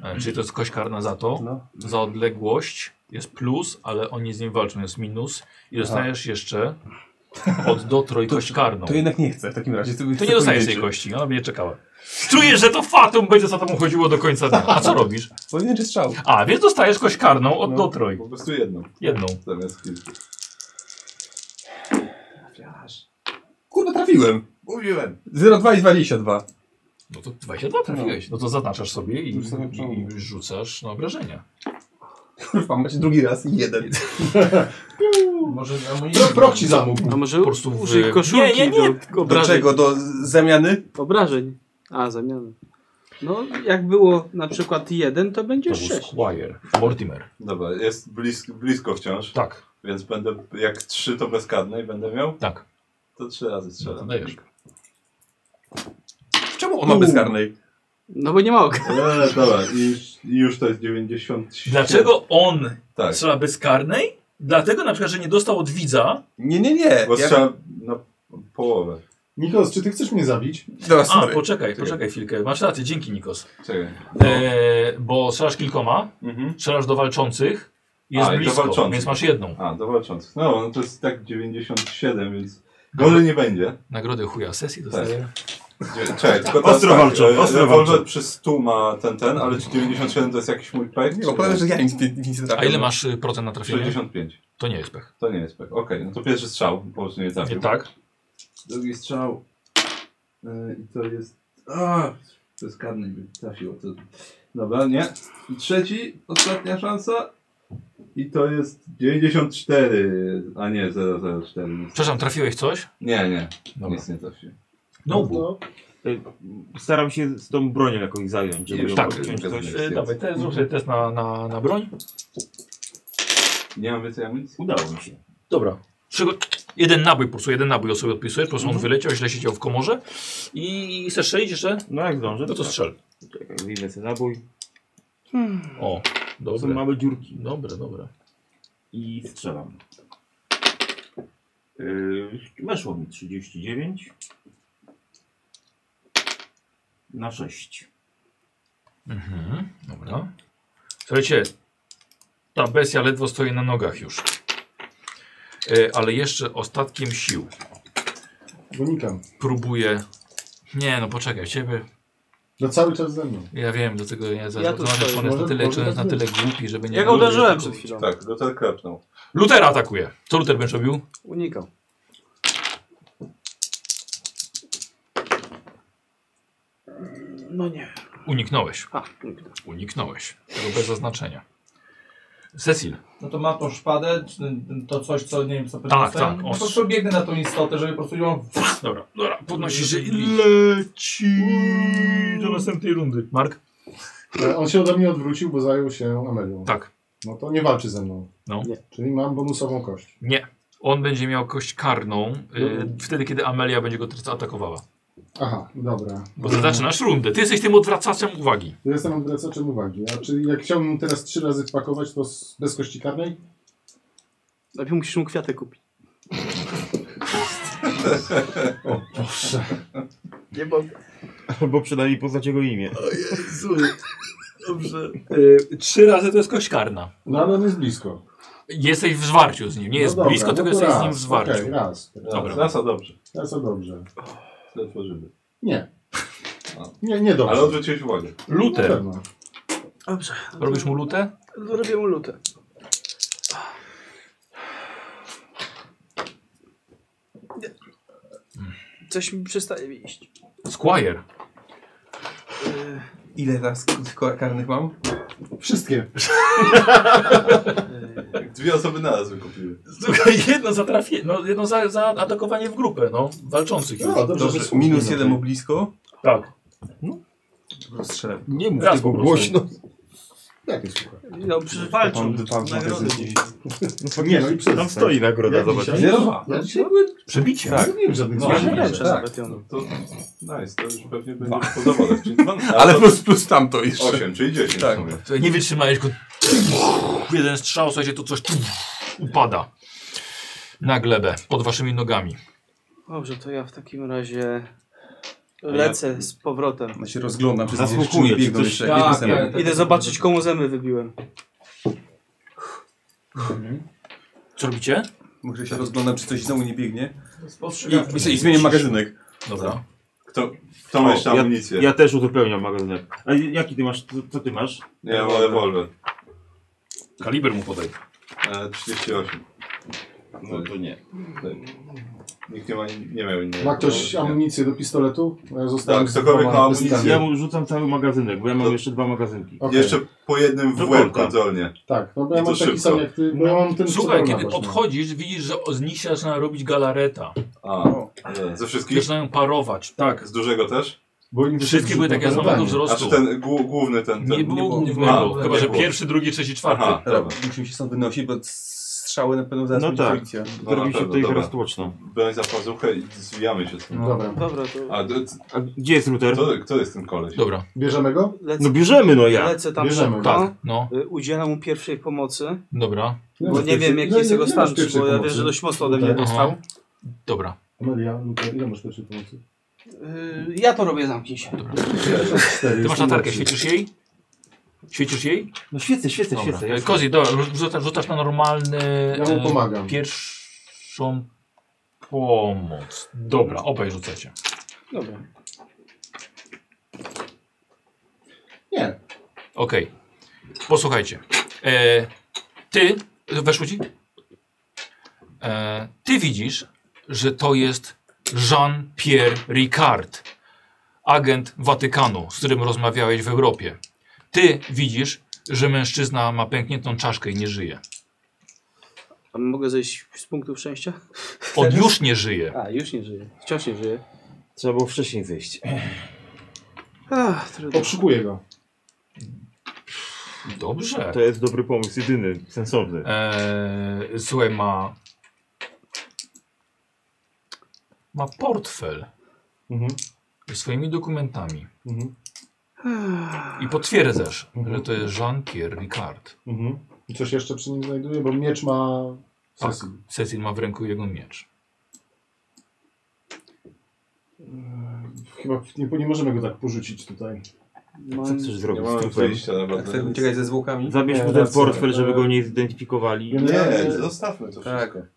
Speaker 1: E, czyli to jest kość karna za to. Za odległość jest plus, ale oni z nim walczą, jest minus. I dostajesz jeszcze od dotro i kość karną.
Speaker 15: To jednak nie chcę w takim razie.
Speaker 1: To nie dostajesz tej kości, ona mnie czekała. Czuję, że to fatum będzie za tobą chodziło do końca dnia. A co robisz?
Speaker 15: Pojedynczy strzał.
Speaker 1: A, więc dostajesz kość karną od
Speaker 8: No,
Speaker 1: dotroj.
Speaker 8: Po prostu jedną.
Speaker 1: Jedną.
Speaker 8: Zamiast kilku.
Speaker 15: Kurwa, trafiłem.
Speaker 8: Mówiłem.
Speaker 15: 0,2 i 22.
Speaker 1: No to 22 trafiłeś. No to zaznaczasz sobie i, i, i rzucasz na obrażenia.
Speaker 15: Kurwa, macie drugi raz i jeden.
Speaker 19: Może
Speaker 15: Pro- proch ci zamógł.
Speaker 3: A może
Speaker 15: Po prostu
Speaker 3: użyj
Speaker 15: w-
Speaker 3: koszulki
Speaker 15: Nie, nie, nie.
Speaker 3: do
Speaker 15: Do
Speaker 3: obrażeń.
Speaker 15: czego? Do zamiany?
Speaker 3: Obrażeń. A, zamiany. No, jak było na przykład 1, to będzie 6.
Speaker 1: Squire. Mortimer.
Speaker 8: Dobra, jest blisko, blisko wciąż.
Speaker 1: Tak.
Speaker 8: Więc będę, jak trzy to bezkarne i będę miał?
Speaker 1: Tak.
Speaker 8: To trzy razy strzelam.
Speaker 1: dajesz.
Speaker 15: Czemu on ma bezkarnej?
Speaker 3: No bo nie ma oka.
Speaker 8: Eee, dobra, i już, i już to jest 97.
Speaker 1: Dlaczego on
Speaker 8: Tak.
Speaker 1: strzela bezkarnej? Dlatego na przykład, że nie dostał od widza.
Speaker 15: Nie, nie, nie.
Speaker 8: Bo
Speaker 15: Ja-
Speaker 8: strzelam na połowę.
Speaker 4: Nikos, czy ty chcesz mnie zabić?
Speaker 15: Dobra,
Speaker 1: A,
Speaker 15: sorry.
Speaker 1: poczekaj, poczekaj chwilkę. Masz rację, dzięki Nikos.
Speaker 8: Czekaj.
Speaker 1: E, bo strzelasz kilkoma,
Speaker 8: Mhm.
Speaker 1: strzelasz do walczących, jest
Speaker 8: A, i do
Speaker 1: blisko,
Speaker 8: walczących.
Speaker 1: więc masz jedną.
Speaker 8: A, do walczących. No, no to jest tak 97, więc gorzej nie będzie.
Speaker 1: Nagrodę chuja sesji dostaję.
Speaker 8: Dzie- Czekaj, tylko teraz
Speaker 1: Ostro
Speaker 8: tak,
Speaker 1: walczą,
Speaker 8: e,
Speaker 1: ostro
Speaker 8: rewolwer
Speaker 1: walczą.
Speaker 8: przy 100 ma ten, ten, ale czy 97 to jest jakiś mój pech?
Speaker 15: Nie, opowiadam, że ja nic, nic nie
Speaker 8: Tak.
Speaker 15: trafiam.
Speaker 1: A ile masz y, procent na trafienie?
Speaker 8: 65.
Speaker 1: To nie jest pech.
Speaker 8: To nie jest pech. Okej, no to pierwszy strzał, po prostu nie trafił.
Speaker 1: Tak?
Speaker 8: Drugi strzał. e, I to jest... A, to jest karny, by trafiło. To... Dobra, nie. I trzeci, ostatnia szansa. I to jest 94, a nie 004.
Speaker 1: Przepraszam, trafiłeś coś?
Speaker 8: Nie, nie.
Speaker 1: Dobra.
Speaker 8: Nic nie trafiłem.
Speaker 1: No,
Speaker 4: bo.
Speaker 5: Y, Staram się z tą bronią jakoś zająć, żeby ją
Speaker 1: tak.
Speaker 5: odciąć coś.
Speaker 1: E, Dawaj, te,
Speaker 8: Mhm.
Speaker 1: zrób sobie test na, na, na broń.
Speaker 8: Nie mam więcej amunicji?
Speaker 5: Udało mi się.
Speaker 1: Dobra. Przygo- jeden nabój, po prostu jeden nabój o sobie odpisujesz, po prostu
Speaker 8: Mhm.
Speaker 1: on wyleciał, źle siedział w komorze. I chcesz strzelić jeszcze?
Speaker 5: No jak zdążę?
Speaker 1: No to
Speaker 5: tak.
Speaker 1: strzel.
Speaker 5: Czekaj, wyjmę sobie nabój.
Speaker 1: O,
Speaker 5: Są
Speaker 1: dobre.
Speaker 5: małe dziurki.
Speaker 1: Dobre, dobre.
Speaker 5: I strzelam. Yy, weszło mi 39. Na *laughs* 6.
Speaker 1: Mhm, dobra. Słuchajcie, ta bestia ledwo stoi na nogach już. E, ale jeszcze ostatkiem sił
Speaker 4: Bo nikam.
Speaker 1: próbuje... Nie, no poczekaj, ciebie...
Speaker 4: No cały czas ze mną.
Speaker 1: Ja wiem, dlatego ja, za-
Speaker 3: Ja tu
Speaker 1: zobaczę, czy
Speaker 3: stoję.
Speaker 1: on jest na
Speaker 4: Może-
Speaker 1: tyle,
Speaker 4: może
Speaker 1: czy on jest na
Speaker 4: tak
Speaker 1: tyle głupi, żeby nie...
Speaker 3: Ja go uderzyłem przed chwilą.
Speaker 8: Tak, Luther klepnął.
Speaker 1: Lutera atakuje. Co Luter będziesz robił?
Speaker 3: Unikał. No nie.
Speaker 1: Uniknąłeś.
Speaker 3: A, uniknął.
Speaker 1: Uniknąłeś. Tego bez zaznaczenia. Cecil.
Speaker 19: No to ma tą szpadę, czy ten- ten- to coś, co nie wiem, co
Speaker 1: Tak,
Speaker 19: podniosłem.
Speaker 1: tak,
Speaker 19: No
Speaker 1: o.
Speaker 19: Po prostu biegnę na tą istotę, żeby po prostu ją...
Speaker 1: Dobra, dobra. Podnosisz się i leci do następnej rundy. Mark?
Speaker 4: E, On się ode mnie odwrócił, bo zajął się Amelią.
Speaker 1: Tak.
Speaker 4: No to nie walczy ze mną.
Speaker 1: No.
Speaker 3: Nie.
Speaker 4: Czyli mam bonusową kość.
Speaker 1: Nie. On będzie miał kość karną y, wtedy, kiedy Amelia będzie go teraz atakowała.
Speaker 4: Aha, dobra.
Speaker 1: Bo ty zaczynasz rundę. Ty jesteś tym odwracaczem uwagi.
Speaker 4: Ja jestem odwracaczem uwagi. A czy jak chciałbym teraz trzy razy wpakować, to z, bez kości karnej?
Speaker 3: Najpierw musisz mu kwiaty kupić.
Speaker 4: O, proszę.
Speaker 3: Nie mogę.
Speaker 5: Albo przynajmniej poznać jego imię.
Speaker 3: Dobrze.
Speaker 1: trzy razy to jest kość karna.
Speaker 4: No ale on jest blisko.
Speaker 1: Jesteś w zwarciu z nim. Nie
Speaker 4: No
Speaker 1: jest
Speaker 4: dobra,
Speaker 1: blisko,
Speaker 4: no
Speaker 1: tylko
Speaker 4: to
Speaker 1: jesteś z
Speaker 4: raz,
Speaker 1: nim w zwarciu.
Speaker 4: okej, raz.
Speaker 1: Dobra.
Speaker 8: Zasa dobrze.
Speaker 4: Teraz to dobrze.
Speaker 8: Tyle tworzymy.
Speaker 4: Nie. Nie, nie dobrze.
Speaker 8: Ale odwróciłeś uwagę.
Speaker 4: Na
Speaker 1: Luter.
Speaker 4: pewno.
Speaker 3: Dobrze.
Speaker 1: Robisz mu lutę?
Speaker 3: Robię mu lutę. Coś mi przestaje mi iść.
Speaker 1: Squire.
Speaker 3: Yy,
Speaker 15: Ile teraz k- karnych mam?
Speaker 4: Wszystkie.
Speaker 8: Dwie osoby na raz wykupiły.
Speaker 1: Słuchaj, jedno za trafie, no, jedno za, za atakowanie w grupę, no, walczących.
Speaker 8: No,
Speaker 1: już.
Speaker 8: dobrze,
Speaker 15: Dobrze, minus jeden o blisko.
Speaker 1: Tak.
Speaker 15: Rozstrzelam.
Speaker 1: Nie mów Raz tego po prostu. głośno.
Speaker 4: Jak jest słucha?
Speaker 3: No, przecież walczą. Nagrody dzisiaj.
Speaker 4: Nie, no i przez-
Speaker 31: Tam stoi nagroda,
Speaker 4: Ja
Speaker 31: zobacz.
Speaker 4: dzisiaj- Ja dwa. Ja
Speaker 1: Znaczy,
Speaker 4: dzisiaj byłem-
Speaker 1: Przebicie.
Speaker 4: Tak. Nie wiem żadnych
Speaker 8: No,
Speaker 4: złych
Speaker 5: *laughs*
Speaker 8: ale
Speaker 4: rzeczy.
Speaker 8: tak.
Speaker 4: Tak.
Speaker 8: No to nice, to już pewnie
Speaker 4: Dwa.
Speaker 8: będzie podobne.
Speaker 1: *laughs*
Speaker 15: Ale plus- plus tamto jeszcze.
Speaker 8: 8, czyli 10
Speaker 15: Tak.
Speaker 8: w sumie.
Speaker 1: Słuchaj, nie wytrzymałeś go. Jeden strzał, słuchajcie, to coś upada na glebę pod waszymi nogami.
Speaker 3: Dobrze, to ja w takim razie lecę z powrotem.
Speaker 15: Ja się rozglądam, czy
Speaker 3: Zasłuchuję,
Speaker 15: zdziewczyny
Speaker 3: czy
Speaker 15: biegną
Speaker 3: coś-
Speaker 15: jeszcze,
Speaker 3: Tak,
Speaker 15: biegną
Speaker 3: tak,
Speaker 15: zęby.
Speaker 3: tak, Idę zobaczyć, komu zęby wybiłem.
Speaker 1: Co robicie?
Speaker 15: Może się rozglądam, czy coś znowu nie biegnie.
Speaker 1: spostrzegawczy.
Speaker 15: I, i, i zmienię magazynek.
Speaker 1: Dobra.
Speaker 8: Kto,
Speaker 15: kto ma jeszcze
Speaker 5: ja,
Speaker 15: amunicję?
Speaker 5: Ja też uzupełniam magazynek. A jaki ty masz? Co, co ty masz?
Speaker 8: Nie, ja mam rewolwer.
Speaker 1: Kaliber mu podaj.
Speaker 8: E, 38. No to nie. Nikt nie, ma, nie miał innego.
Speaker 4: Ma ktoś amunicję do pistoletu? Bo Ja zostałem
Speaker 8: no, Tak, ktokolwiek
Speaker 4: z dwoma
Speaker 8: ma amunicję.
Speaker 4: pistolami.
Speaker 5: Ja mu rzucam cały magazynek, bo ja mam jeszcze dwa magazynki.
Speaker 4: Okej.
Speaker 8: Jeszcze po jednym w łeb kontrolnie.
Speaker 4: Tak, no bo ja
Speaker 8: I
Speaker 4: mam
Speaker 8: to
Speaker 4: taki
Speaker 8: szybko.
Speaker 4: sam jak ty, bo ja mam ten
Speaker 1: Słuchaj,
Speaker 4: pistol
Speaker 1: kiedy
Speaker 4: na właśnie.
Speaker 1: podchodzisz, widzisz, że z nich się zaczyna robić galareta.
Speaker 8: A, e, ze wszystkich?
Speaker 1: Zaczynają parować. No. Tak.
Speaker 8: Z dużego też?
Speaker 4: Bo inni
Speaker 1: Wszystkie były
Speaker 4: No
Speaker 1: takie
Speaker 4: tak.
Speaker 1: samego wzrostu.
Speaker 8: A czy ten głó- główny, ten, ten...
Speaker 1: Nie było
Speaker 8: A,
Speaker 1: głównego, chyba że
Speaker 8: nie było.
Speaker 1: pierwszy, drugi, trzeci, czwarty.
Speaker 8: Aha,
Speaker 15: Dobra,
Speaker 8: dobra.
Speaker 15: musimy się stąd wynosić, bo strzały na pewno zaraz
Speaker 5: No
Speaker 15: będzie
Speaker 5: tak.
Speaker 15: policja.
Speaker 8: No na pewno, dobra. Broń za pazuchę i zwijamy się z tym.
Speaker 4: Dobra.
Speaker 3: Dobra, to...
Speaker 8: A, d-
Speaker 5: A gdzie jest router?
Speaker 8: Kto, kto jest ten koleś?
Speaker 1: Dobra.
Speaker 4: Bierzemy go?
Speaker 3: Lecę,
Speaker 5: No bierzemy, no ja.
Speaker 3: Lecę tam
Speaker 4: Bierzemy,
Speaker 3: szybko.
Speaker 4: tak,
Speaker 1: no.
Speaker 3: Y, Udzielam mu pierwszej pomocy.
Speaker 1: Dobra.
Speaker 4: Nie
Speaker 3: Bo
Speaker 4: masz
Speaker 3: nie wiem,
Speaker 4: No, pierwszej-
Speaker 3: jaki
Speaker 4: nie,
Speaker 3: jest
Speaker 4: nie,
Speaker 3: jego
Speaker 4: nie masz
Speaker 3: stan,
Speaker 4: pierwszej
Speaker 3: bo ja wiem,
Speaker 4: pomocy. No, tak.
Speaker 3: że dość mocno ode mnie
Speaker 4: Aha.
Speaker 3: dostał.
Speaker 1: Dobra.
Speaker 4: Amelia, Luka, no ile masz pierwszej pomocy?
Speaker 3: Y, Ja to robię, zamknij się.
Speaker 1: Ty masz
Speaker 4: jestem
Speaker 1: latarkę,
Speaker 4: lepszy.
Speaker 1: świecisz jej? Świecisz jej?
Speaker 5: No świecę, świecę,
Speaker 1: Dobra.
Speaker 5: świecę. ja
Speaker 1: E, Kozi, dobra, rzucasz, rzucasz na normalny.
Speaker 4: Ja mu
Speaker 1: e,
Speaker 4: pomagam.
Speaker 1: Pierwszą pomoc. Dobra, obaj rzucacie.
Speaker 3: Dobra.
Speaker 4: Nie.
Speaker 1: Okej. Posłuchajcie. E, ty. Weszło ci? E, ty widzisz, że to jest Jean-Pierre Ricard, agent Watykanu, z którym rozmawiałeś w Europie. Ty widzisz, że mężczyzna ma pękniętą czaszkę i nie żyje.
Speaker 3: A mogę zejść z punktu szczęścia?
Speaker 1: On już nie żyje.
Speaker 3: A, już nie żyje. Wciąż nie żyje.
Speaker 5: Trzeba było wcześniej wyjść.
Speaker 3: Ach, trudno.
Speaker 4: Obszukuję go.
Speaker 1: Dobrze.
Speaker 5: To jest dobry pomysł, jedyny,
Speaker 1: Tak.
Speaker 5: sensowny.
Speaker 1: Eee, słuchaj, ma. Ma portfel ze swoimi dokumentami.
Speaker 4: Mhm,
Speaker 1: I potwierdzasz, że to jest Jean-Pierre Ricard.
Speaker 4: Mhm. I coś jeszcze przy nim znajduję, bo miecz ma...
Speaker 1: Tak, Cecil ma w ręku jego miecz.
Speaker 4: Chyba nie, nie możemy go tak porzucić tutaj.
Speaker 3: Moim-
Speaker 5: chcesz zrobić
Speaker 8: Nie
Speaker 5: z
Speaker 8: mamy
Speaker 5: trupem?
Speaker 8: wyjścia na
Speaker 15: Tak,
Speaker 8: bardzo
Speaker 15: chcemy
Speaker 8: nic.
Speaker 15: uciekać ze zwłokami.
Speaker 5: Zabierz mu ten portfel, żeby go nie zidentyfikowali.
Speaker 8: Nie, zostawmy to
Speaker 15: Tak.
Speaker 8: wszystko.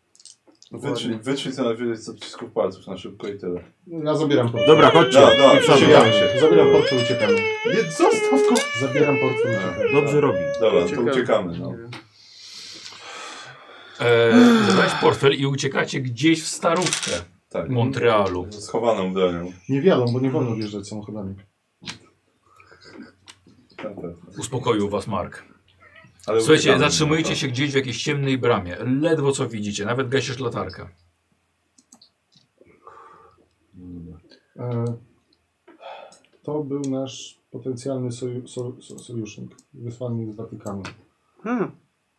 Speaker 8: Wytrzyj, wytrzyj co najwyżej z odcisków palców na szybko i tyle.
Speaker 4: Ja zabieram portfel.
Speaker 5: Dobra, chodźcie.
Speaker 8: Da, da,
Speaker 5: Przepraszam.
Speaker 8: uciekamy się.
Speaker 4: Zabieram portfel, uciekamy.
Speaker 8: Nie, zostaw go!
Speaker 4: Zabieram portfel, uciekamy.
Speaker 5: Dobrze robi.
Speaker 8: Dobra, to uciekamy, no.
Speaker 1: Eee, zabrałeś portfel i uciekacie gdzieś w starówkę
Speaker 8: Tak.
Speaker 1: Montrealu.
Speaker 8: Z Schowaną bronią.
Speaker 4: Nie wiadomo, bo nie wolno wjeżdżać samochodami.
Speaker 8: Tak, tak.
Speaker 1: Uspokoił was Mark.
Speaker 8: Ale
Speaker 1: Słuchajcie,
Speaker 8: uciekamy,
Speaker 1: zatrzymujecie
Speaker 8: no,
Speaker 1: się gdzieś w jakiejś ciemnej bramie. Ledwo co widzicie, nawet gasisz latarkę.
Speaker 4: E, To był nasz potencjalny soju, so, so, sojusznik, wysłannik z Watykanu.
Speaker 3: Hmm,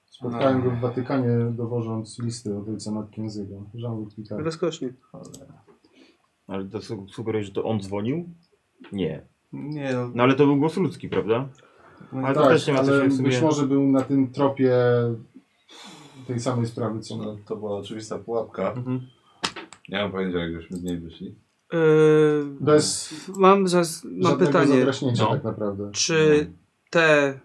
Speaker 4: Spotkałem go w Watykanie, dowożąc listy od ojca Mackenzie'ego, Jean-Luc Picard.
Speaker 3: rozkosznie.
Speaker 5: Ale to su- sugeruje, że to on dzwonił? Nie.
Speaker 15: Nie no,
Speaker 5: No ale to był głos ludzki, prawda? Ale to
Speaker 4: Tak,
Speaker 5: też nie ma co
Speaker 4: ale
Speaker 5: się w sumie...
Speaker 4: Być może był na tym tropie tej samej sprawy, co my.
Speaker 8: No, to była oczywista pułapka.
Speaker 15: Mhm.
Speaker 8: Nie mam pojęcia, jak żeśmy z niej wyszli.
Speaker 3: Yy,
Speaker 4: Bez
Speaker 3: mam zas- mam
Speaker 4: żadnego
Speaker 3: pytanie.
Speaker 4: zadraśnięcia
Speaker 1: No.
Speaker 4: tak naprawdę.
Speaker 3: Czy te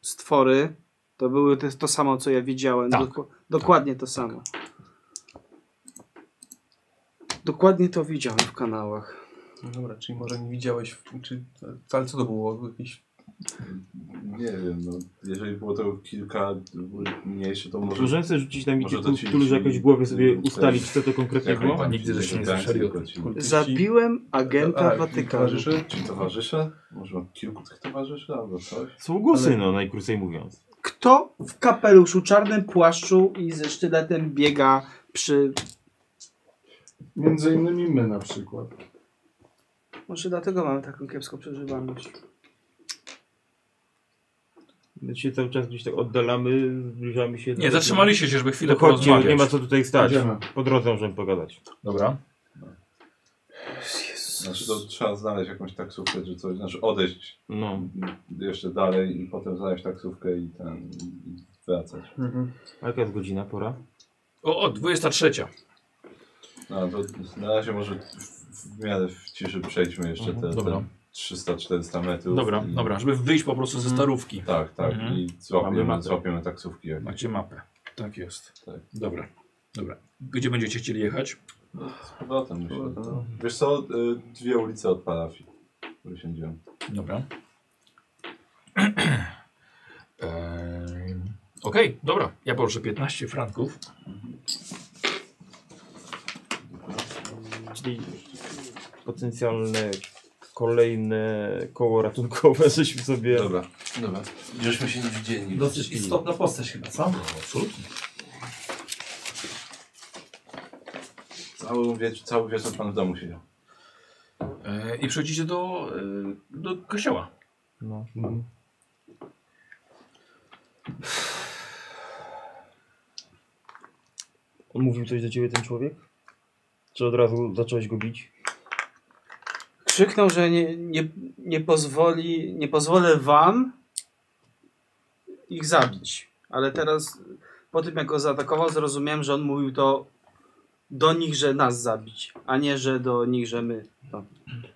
Speaker 3: stwory to były te, to samo, co ja widziałem?
Speaker 1: Tak.
Speaker 3: Doko- dokładnie to samo. Dokładnie to widziałem w kanałach.
Speaker 15: no dobra, czyli może nie widziałeś, w- czy, ale co to było? Jakiś
Speaker 8: Nie wiem, no, jeżeli było to kilka mniejsze, to może...
Speaker 5: Możemy sobie rzucić na bicie
Speaker 8: może to ci-
Speaker 5: kultury, że jakoś w głowie sobie
Speaker 8: Coś-
Speaker 5: ustalić, co to konkretnie
Speaker 8: Jakąś
Speaker 5: było?
Speaker 8: pani widzę, że tak,
Speaker 3: Zabiłem agenta
Speaker 8: A,
Speaker 3: Watykanu.
Speaker 8: Czy towarzysze? Może mam kilku tych towarzyszy albo coś?
Speaker 5: Sługusy,
Speaker 8: Ale-
Speaker 5: no, najkrócej mówiąc.
Speaker 3: Kto w kapeluszu, czarnym płaszczu i ze sztyletem biega przy...
Speaker 4: Między innymi my na przykład.
Speaker 3: Może dlatego mamy taką kiepską przeżywalność.
Speaker 5: My się cały czas gdzieś tak oddalamy, zbliżamy się...
Speaker 1: Nie, zatrzymaliście się, żeby chwilę
Speaker 5: To chodźcie,
Speaker 1: porozmawiać.
Speaker 5: Nie ma co tutaj stać.
Speaker 1: Idziemy.
Speaker 5: Po drodze możemy pogadać.
Speaker 1: Dobra.
Speaker 8: Znaczy to trzeba znaleźć jakąś taksówkę czy coś, znaczy odejść
Speaker 5: No,
Speaker 8: jeszcze dalej i potem znaleźć taksówkę i ten i wracać.
Speaker 5: A jaka jest godzina, pora?
Speaker 1: O, o 23.
Speaker 8: No to na razie może w, w miarę w ciszy przejdźmy jeszcze
Speaker 1: Mhm,
Speaker 8: te,
Speaker 1: dobra.
Speaker 8: te 300-400 metrów.
Speaker 1: Dobra,
Speaker 8: i-
Speaker 1: dobra, żeby wyjść po prostu ze starówki.
Speaker 8: Tak, tak.
Speaker 1: Mhm.
Speaker 8: I
Speaker 1: Mamy
Speaker 8: złapiemy,
Speaker 1: mapę.
Speaker 8: złapiemy taksówki. jakieś.
Speaker 1: Macie mapę. Tak jest.
Speaker 8: Tak.
Speaker 1: Dobra. Dobra. Gdzie będziecie chcieli jechać?
Speaker 8: Z powrotem myślę.
Speaker 1: Mhm.
Speaker 8: No. Wiesz co, y, dwie ulice od parafii. Wysiędziłem.
Speaker 1: Dobra. *clears throat* Ehm, Okej, dobra. Ja położę 15 franków.
Speaker 5: Czyli potencjalne kolejne koło ratunkowe, *laughs* żeśmy sobie...
Speaker 8: Dobra, dobra. Żeśmy się nie widzieli.
Speaker 19: Dosyć istotna postać chyba, co?
Speaker 1: No, Absolutnie.
Speaker 8: Cały, wiecz, cały wieczór pan w domu siedział.
Speaker 1: E, I przechodzicie do, e, do kościoła.
Speaker 5: No. Mówił coś do ciebie ten człowiek? Czy od razu zacząłeś go bić?
Speaker 3: Krzyknął, że nie, nie, nie pozwoli, nie pozwolę wam ich zabić. Ale teraz po tym jak go zaatakował zrozumiałem, że on mówił to do nich, że nas zabić, a nie, że do nich, że my. No.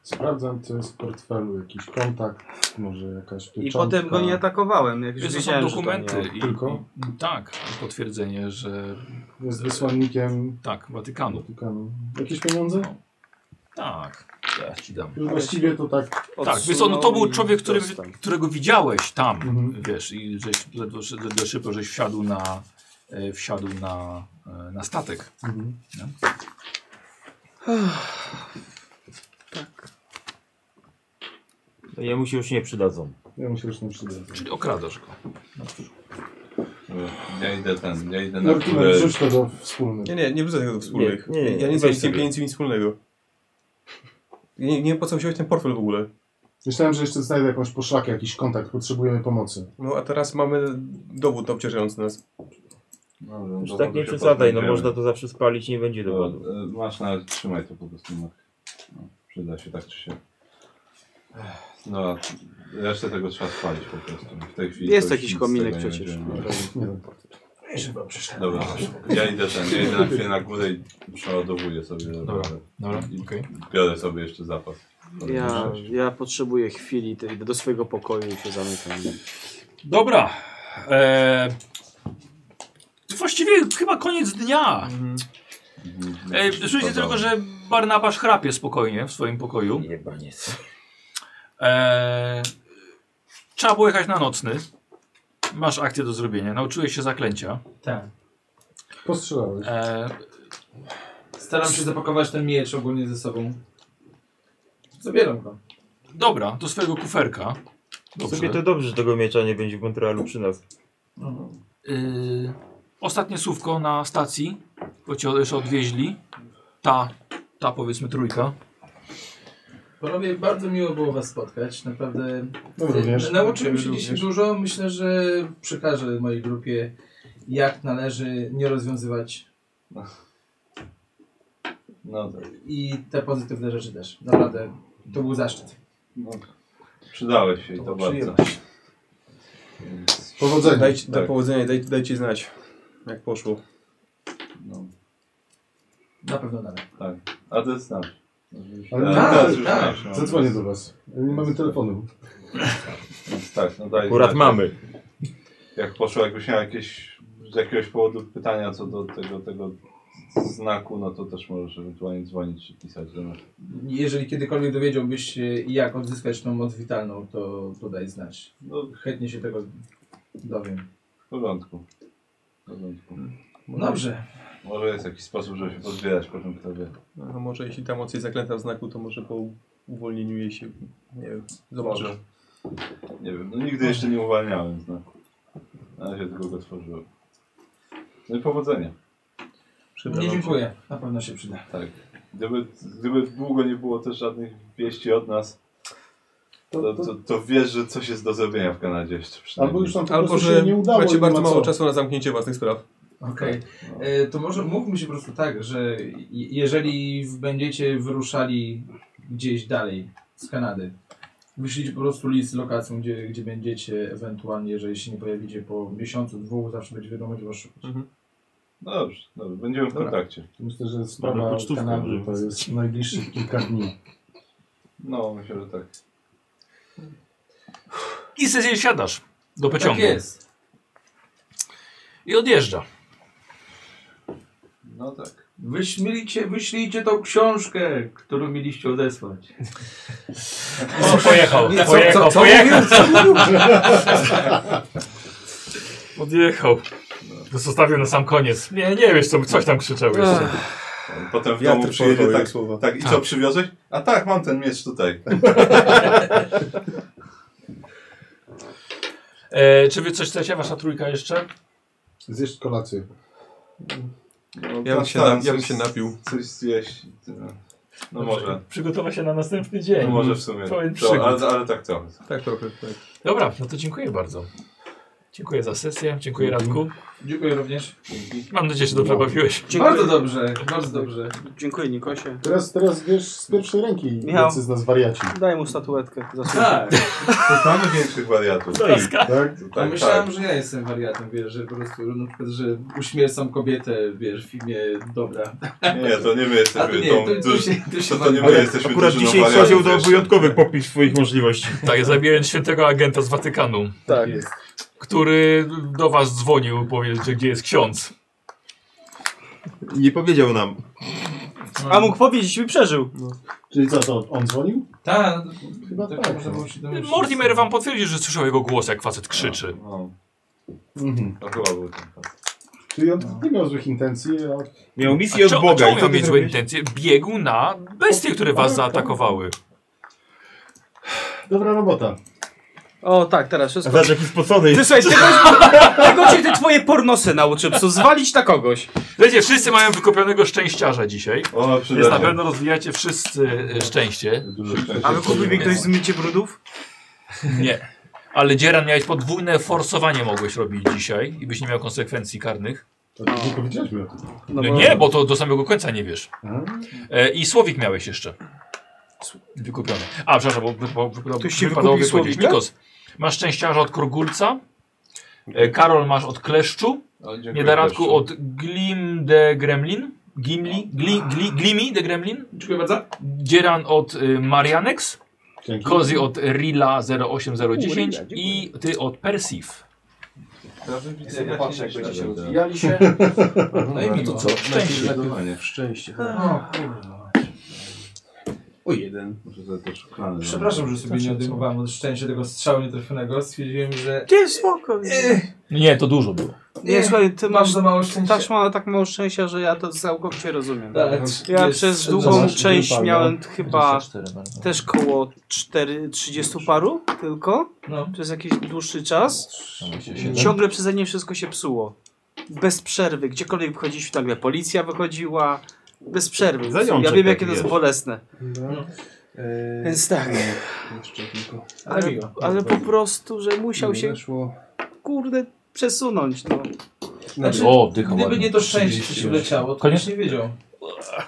Speaker 4: Sprawdzam, co jest w portfelu. Jakiś kontakt, może jakaś
Speaker 3: I
Speaker 4: pieczątka.
Speaker 3: potem go nie atakowałem, jak już
Speaker 1: Wiesz, to są
Speaker 3: wiedziałem, że to
Speaker 1: dokumenty.
Speaker 3: nie.
Speaker 1: i,
Speaker 4: Tylko?
Speaker 1: I, tak, i potwierdzenie, że.
Speaker 4: Jest wysłannikiem
Speaker 1: Tak, Watykanu.
Speaker 4: Watykanu. Jakieś pieniądze?
Speaker 1: Tak, ja ci dam.
Speaker 4: Już właściwie to tak...
Speaker 1: Tak, więc on, to był człowiek, którym,
Speaker 4: Dostał.
Speaker 1: którego widziałeś tam,
Speaker 19: Mhm.
Speaker 1: wiesz, i żeś ledwo, szy- ledwo szybko, żeś wsiadł na, e, wsiadł na, e, na statek.
Speaker 4: Mhm.
Speaker 1: nie?
Speaker 5: No, Jemu się już nie przydadzą.
Speaker 4: Ja mu się już nie przydadzę.
Speaker 1: Czyli okradasz go.
Speaker 8: Ja idę ten,
Speaker 5: No,
Speaker 8: ja idę na
Speaker 4: Martina,
Speaker 8: górę.
Speaker 4: wrzuć No, to do wspólnych.
Speaker 15: Nie, nie, nie wrzucaj tego do wspólnych.
Speaker 5: Nie, nie, nie.
Speaker 15: ja nie
Speaker 5: Weź
Speaker 15: znam z tym
Speaker 5: sobie.
Speaker 15: pieniędzy nic wspólnego. Ja Nie, nie wiem po co wziąłeś ten portfel w ogóle.
Speaker 4: Myślałem, że jeszcze znajdę jakąś poszlakę, jakiś kontakt. Potrzebujemy pomocy.
Speaker 15: No a teraz mamy dowód obciążający nas.
Speaker 8: No, no,
Speaker 5: Już
Speaker 8: to
Speaker 5: tak nie
Speaker 8: się
Speaker 5: przesadaj, no
Speaker 8: pozbędziemy.
Speaker 5: można to zawsze spalić, nie będzie
Speaker 8: No,
Speaker 5: dowodu.
Speaker 8: e, Masz na trzymaj to po prostu. No. No, przyda się tak czy się. No, a resztę tego trzeba spalić po prostu. W tej chwili
Speaker 3: Jest
Speaker 8: to już
Speaker 3: jakiś
Speaker 8: nic z
Speaker 3: kominek
Speaker 8: tego nie
Speaker 3: przecież.
Speaker 8: będziemy mieć.
Speaker 19: Wiesz, chyba przyszedł.
Speaker 8: Dobra, ja idę ten, ja idę na chwilę na górę i przeładowuję sobie.
Speaker 1: Dobra, dobra,
Speaker 8: I
Speaker 1: okej.
Speaker 8: Biorę sobie jeszcze zapas.
Speaker 3: Ja, ja potrzebuję chwili, to idę do swojego pokoju i się zamykam.
Speaker 1: Dobra. E, właściwie chyba koniec dnia.
Speaker 8: Mhm.
Speaker 1: E, słyszycie tylko, że Barnabasz chrapie spokojnie w swoim pokoju.
Speaker 20: Jebaniec.
Speaker 1: E, trzeba było jechać na nocny. Masz akcję do zrobienia. Nauczyłeś się zaklęcia.
Speaker 19: Tak.
Speaker 4: Postrzelałeś.
Speaker 1: E,
Speaker 19: Staram się zapakować ten miecz ogólnie ze sobą. Zabieram go.
Speaker 1: dobra, do swojego kuferka. Dobrze.
Speaker 5: No Sobie to dobrze, Tak. że tego miecza nie będzie w Montrealu przy nas.
Speaker 1: Y, ostatnie słówko na stacji, bo cię jeszcze odwieźli. Ta, ta powiedzmy trójka.
Speaker 19: Panowie, bardzo miło było Was spotkać. Naprawdę
Speaker 4: No również.
Speaker 19: e, nauczyłem się
Speaker 4: Ciebie
Speaker 19: dzisiaj
Speaker 4: również.
Speaker 19: dużo. Myślę, że przekażę mojej grupie, jak należy nie rozwiązywać
Speaker 8: No tak.
Speaker 19: i te pozytywne rzeczy też. Naprawdę, to był zaszczyt.
Speaker 8: No, przydałeś się i to,
Speaker 19: To
Speaker 8: bardzo.
Speaker 19: przyjemność.
Speaker 8: Więc-
Speaker 4: Powodzenia.
Speaker 15: Dajcie, Do
Speaker 8: Tak.
Speaker 15: powodzenia, daj, dajcie znać, jak poszło.
Speaker 8: No,
Speaker 19: Na pewno dalej.
Speaker 8: tak. A to jest nasz.
Speaker 4: Ale
Speaker 8: A,
Speaker 4: tak,
Speaker 8: już
Speaker 4: tak.
Speaker 8: nasz, no.
Speaker 4: Zadzwonię do was. Nie mamy telefonu.
Speaker 8: Więc Tak, no daj
Speaker 5: Akurat
Speaker 8: znać.
Speaker 5: mamy.
Speaker 8: Jak poszło, jakbyś miał jakieś z jakiegoś powodu pytania co do tego, tego znaku, no to też możesz ewentualnie dzwonić i pisać do nas.
Speaker 9: Jeżeli kiedykolwiek dowiedziałbyś się, jak odzyskać tą moc witalną, to, to daj znać. No, chętnie się tego dowiem.
Speaker 8: W porządku. W porządku.
Speaker 19: No
Speaker 9: Dobrze.
Speaker 8: Może jest jakiś sposób, żeby się pozbierać, potem kto wie.
Speaker 7: A może jeśli ta moc jest zaklęta w znaku, to może po uwolnieniu jej się, nie wiem, zobaczysz.
Speaker 8: Może. Nie wiem, no nigdy jeszcze nie uwalniałem znaku. Na razie tylko go tworzyłem. No i powodzenia.
Speaker 9: Nie dziękuję. Na pewno się przyda.
Speaker 8: Tak. Gdyby, gdyby długo nie było też żadnych wieści od nas, to, to, to wiesz, że coś jest do zrobienia w Kanadzie jeszcze przynajmniej.
Speaker 7: Albo, że macie bardzo mało czasu na zamknięcie własnych spraw.
Speaker 9: Okej.
Speaker 4: Tak, no.
Speaker 9: E, To może mówmy się po prostu tak, że je- jeżeli w- będziecie wyruszali gdzieś dalej z Kanady, wyślijcie po prostu list z lokacją, gdzie, gdzie będziecie, ewentualnie jeżeli się nie pojawicie po miesiącu, dwóch, zawsze będzie wiadomo, gdzie was szukać.
Speaker 8: No dobrze, dobrze, będziemy w
Speaker 9: Dobra.
Speaker 8: kontakcie.
Speaker 4: Myślę, że sprawa Kanady to jest najbliższych
Speaker 9: Tak
Speaker 4: kilka dni.
Speaker 8: No, myślę, że tak.
Speaker 1: I sobie siadasz do pociągu.
Speaker 8: Tak jest.
Speaker 1: I odjeżdża.
Speaker 8: No tak.
Speaker 9: Wyślijcie, wyślijcie tą książkę, którą mieliście odesłać.
Speaker 1: O, pojechał,
Speaker 9: Nie, co-
Speaker 1: pojechał,
Speaker 9: co- co
Speaker 1: pojechał.
Speaker 9: mówił? Co mówił?
Speaker 1: Odjechał. To No, zostawił na sam koniec. Nie, nie wiesz, co, coś tam krzyczał
Speaker 3: No.
Speaker 1: jeszcze.
Speaker 8: Potem w domu przyjedzie tak, tak, i co,
Speaker 1: Tak.
Speaker 8: przywiozłeś? A tak, mam ten miecz tutaj.
Speaker 1: E, czy wy coś chcecie, wasza trójka jeszcze?
Speaker 4: Zjesz kolację.
Speaker 7: Ja
Speaker 15: Tak,
Speaker 7: bym
Speaker 8: tam
Speaker 7: się
Speaker 8: staram
Speaker 7: na- ja bym
Speaker 8: coś-
Speaker 7: się napił.
Speaker 8: Coś zjeść. i tyle. No może.
Speaker 1: Przygotować się na następny dzień.
Speaker 8: No może w sumie.
Speaker 1: Pełen
Speaker 8: To-
Speaker 1: przygód.
Speaker 8: ale- ale tak trochę.
Speaker 7: Tak trochę, tak.
Speaker 1: Dobra, no to dziękuję bardzo. Dziękuję za sesję, dziękuję Radku.
Speaker 9: Dziękuję również.
Speaker 1: Mam nadzieję, że dobrze bawiłeś.
Speaker 9: Bardzo dobrze, bardzo dobrze.
Speaker 3: Dziękuję Nikosie.
Speaker 4: Teraz, teraz wiesz z pierwszej ręki,
Speaker 3: Michał.
Speaker 4: jacy z nas wariaci.
Speaker 3: Daj mu statuetkę. Za
Speaker 9: Tak.
Speaker 8: To mamy większych wariatów.
Speaker 9: Tak.
Speaker 4: Tak?
Speaker 9: A myślałem, że ja jestem wariatem, wiesz, że po prostu no, na przykład, że uśmiercam kobietę, wiesz, w imię dobra.
Speaker 8: Nie, to nie my
Speaker 9: A to
Speaker 8: jesteśmy
Speaker 9: nie,
Speaker 8: tą...
Speaker 9: to- to
Speaker 8: druż-
Speaker 9: się-
Speaker 4: *laughs*
Speaker 9: to się
Speaker 8: to, to nie my
Speaker 9: wam-
Speaker 8: jesteśmy
Speaker 5: Akurat
Speaker 8: drużyną
Speaker 5: dzisiaj
Speaker 8: wariatów
Speaker 5: Kozioł dał
Speaker 8: jeszcze.
Speaker 5: wyjątkowy popis swoich możliwości.
Speaker 1: Tak, zabijając świętego agenta z Watykanu.
Speaker 3: Tak.
Speaker 1: Który do was dzwonił, powiedzieć, że gdzie jest ksiądz.
Speaker 5: Nie powiedział nam.
Speaker 1: No.
Speaker 3: A mógł powiedzieć i przeżył.
Speaker 4: Czyli co, to on dzwonił?
Speaker 9: Tak,
Speaker 4: chyba tak.
Speaker 9: można było się domyślić.
Speaker 1: Mortimer wam potwierdzi, że słyszał jego głos, jak facet krzyczy.
Speaker 8: No,
Speaker 4: Mhm.
Speaker 8: to chyba był ten
Speaker 4: Czyli on nie miał złych intencji, a...
Speaker 5: Miał
Speaker 1: A czo- a czemu miał mieć złe intencje? Biegł na bestie, które was zaatakowały.
Speaker 4: Dobra robota.
Speaker 3: O tak, teraz wszystko.
Speaker 5: Zobacz jaki spocony
Speaker 3: Ty
Speaker 5: jest.
Speaker 3: słuchaj, tego, tego cię te twoje pornosy nauczy, psu. Zwalić na kogoś.
Speaker 1: Wiecie, wszyscy mają wykupionego szczęściarza dzisiaj.
Speaker 8: O,
Speaker 1: Więc na
Speaker 8: przydatnie.
Speaker 1: pewno rozwijacie wszyscy e, szczęście.
Speaker 8: szczęścia.
Speaker 3: A wykupił mi ktoś zmycie brudów?
Speaker 1: Nie. Ale Dzieran miałeś podwójne forsowanie mogłeś robić dzisiaj i byś nie miał konsekwencji karnych.
Speaker 4: To nie powiedzieliśmy o tym.
Speaker 1: No, nie, bo to do samego końca nie wiesz.
Speaker 4: A?
Speaker 1: E, I Słowik miałeś jeszcze. Wykupiony. A, przepraszam, bo, bo, bo, bo
Speaker 3: Ktoś ci
Speaker 1: wypadało
Speaker 3: wykupił
Speaker 1: wypowiedzieć.
Speaker 3: Słowika?
Speaker 1: Mikos, masz szczęściarza od Krogulca. E, Karol masz od Kleszczu.
Speaker 8: Ale dziękuję
Speaker 1: Nie da radku
Speaker 8: też.
Speaker 1: od Glim de Gremlin. Gimli, gli, gli, glimi de Gremlin.
Speaker 9: Dziękuję bardzo.
Speaker 1: Dzieran od y, Marianex.
Speaker 4: Dzięki.
Speaker 1: Kozi od Rila
Speaker 35: U, Rila,
Speaker 1: 08010
Speaker 35: dziękuję.
Speaker 1: i ty od Persif.
Speaker 35: Chcę popatrzeć, jak będziecie się
Speaker 8: da.
Speaker 35: rozwijali się.
Speaker 9: No i miło.
Speaker 1: co? Szczęście.
Speaker 8: Zdecydowanie.
Speaker 36: Szczęście.
Speaker 9: O kurwa.
Speaker 36: O jeden.
Speaker 8: Może to też plany.
Speaker 9: Przepraszam, że sobie nie odejmowałem od szczęścia tego strzału nietrafionego. Stwierdziłem, że...
Speaker 3: Ty spokojnie.
Speaker 9: Ech,
Speaker 1: Nie, to dużo było.
Speaker 3: Nie,
Speaker 9: Nie,
Speaker 3: słuchaj, ty
Speaker 9: masz
Speaker 3: masz
Speaker 9: za mało szczęścia.
Speaker 3: też ma tak mało szczęścia, że ja to całkowicie rozumiem.
Speaker 9: Tak,
Speaker 3: Ja
Speaker 9: jest-
Speaker 3: przez długą
Speaker 9: zobacz,
Speaker 3: część
Speaker 9: grupa,
Speaker 3: miałem chyba
Speaker 35: 24 bardzo.
Speaker 3: też koło 4, 30 paru tylko
Speaker 9: No.
Speaker 3: przez jakiś dłuższy czas.
Speaker 35: Mamy się siedem.
Speaker 3: Ciągle przeze mnie wszystko się psuło. Bez przerwy, gdziekolwiek wchodziliśmy, nagle policja wychodziła. Bez przerwy.
Speaker 5: Zajączek
Speaker 3: ja wiem,
Speaker 5: tak
Speaker 3: jakie to jest
Speaker 5: jest.
Speaker 3: bolesne.
Speaker 36: Dobra. Eee,
Speaker 3: Więc tak.
Speaker 36: Jeszcze tylko.
Speaker 9: Ale
Speaker 3: Ale,
Speaker 9: miło.
Speaker 3: ale po prostu, że musiał
Speaker 36: tak. Nie
Speaker 3: się
Speaker 36: Weszło.
Speaker 3: kurde przesunąć. No.
Speaker 9: Znaczy,
Speaker 1: O, dycha
Speaker 9: gdyby
Speaker 1: ładnie.
Speaker 9: nie to szczęście
Speaker 35: 30
Speaker 9: się wleciało, to
Speaker 1: Koniecznie.
Speaker 9: Koniecznie nie wiedział.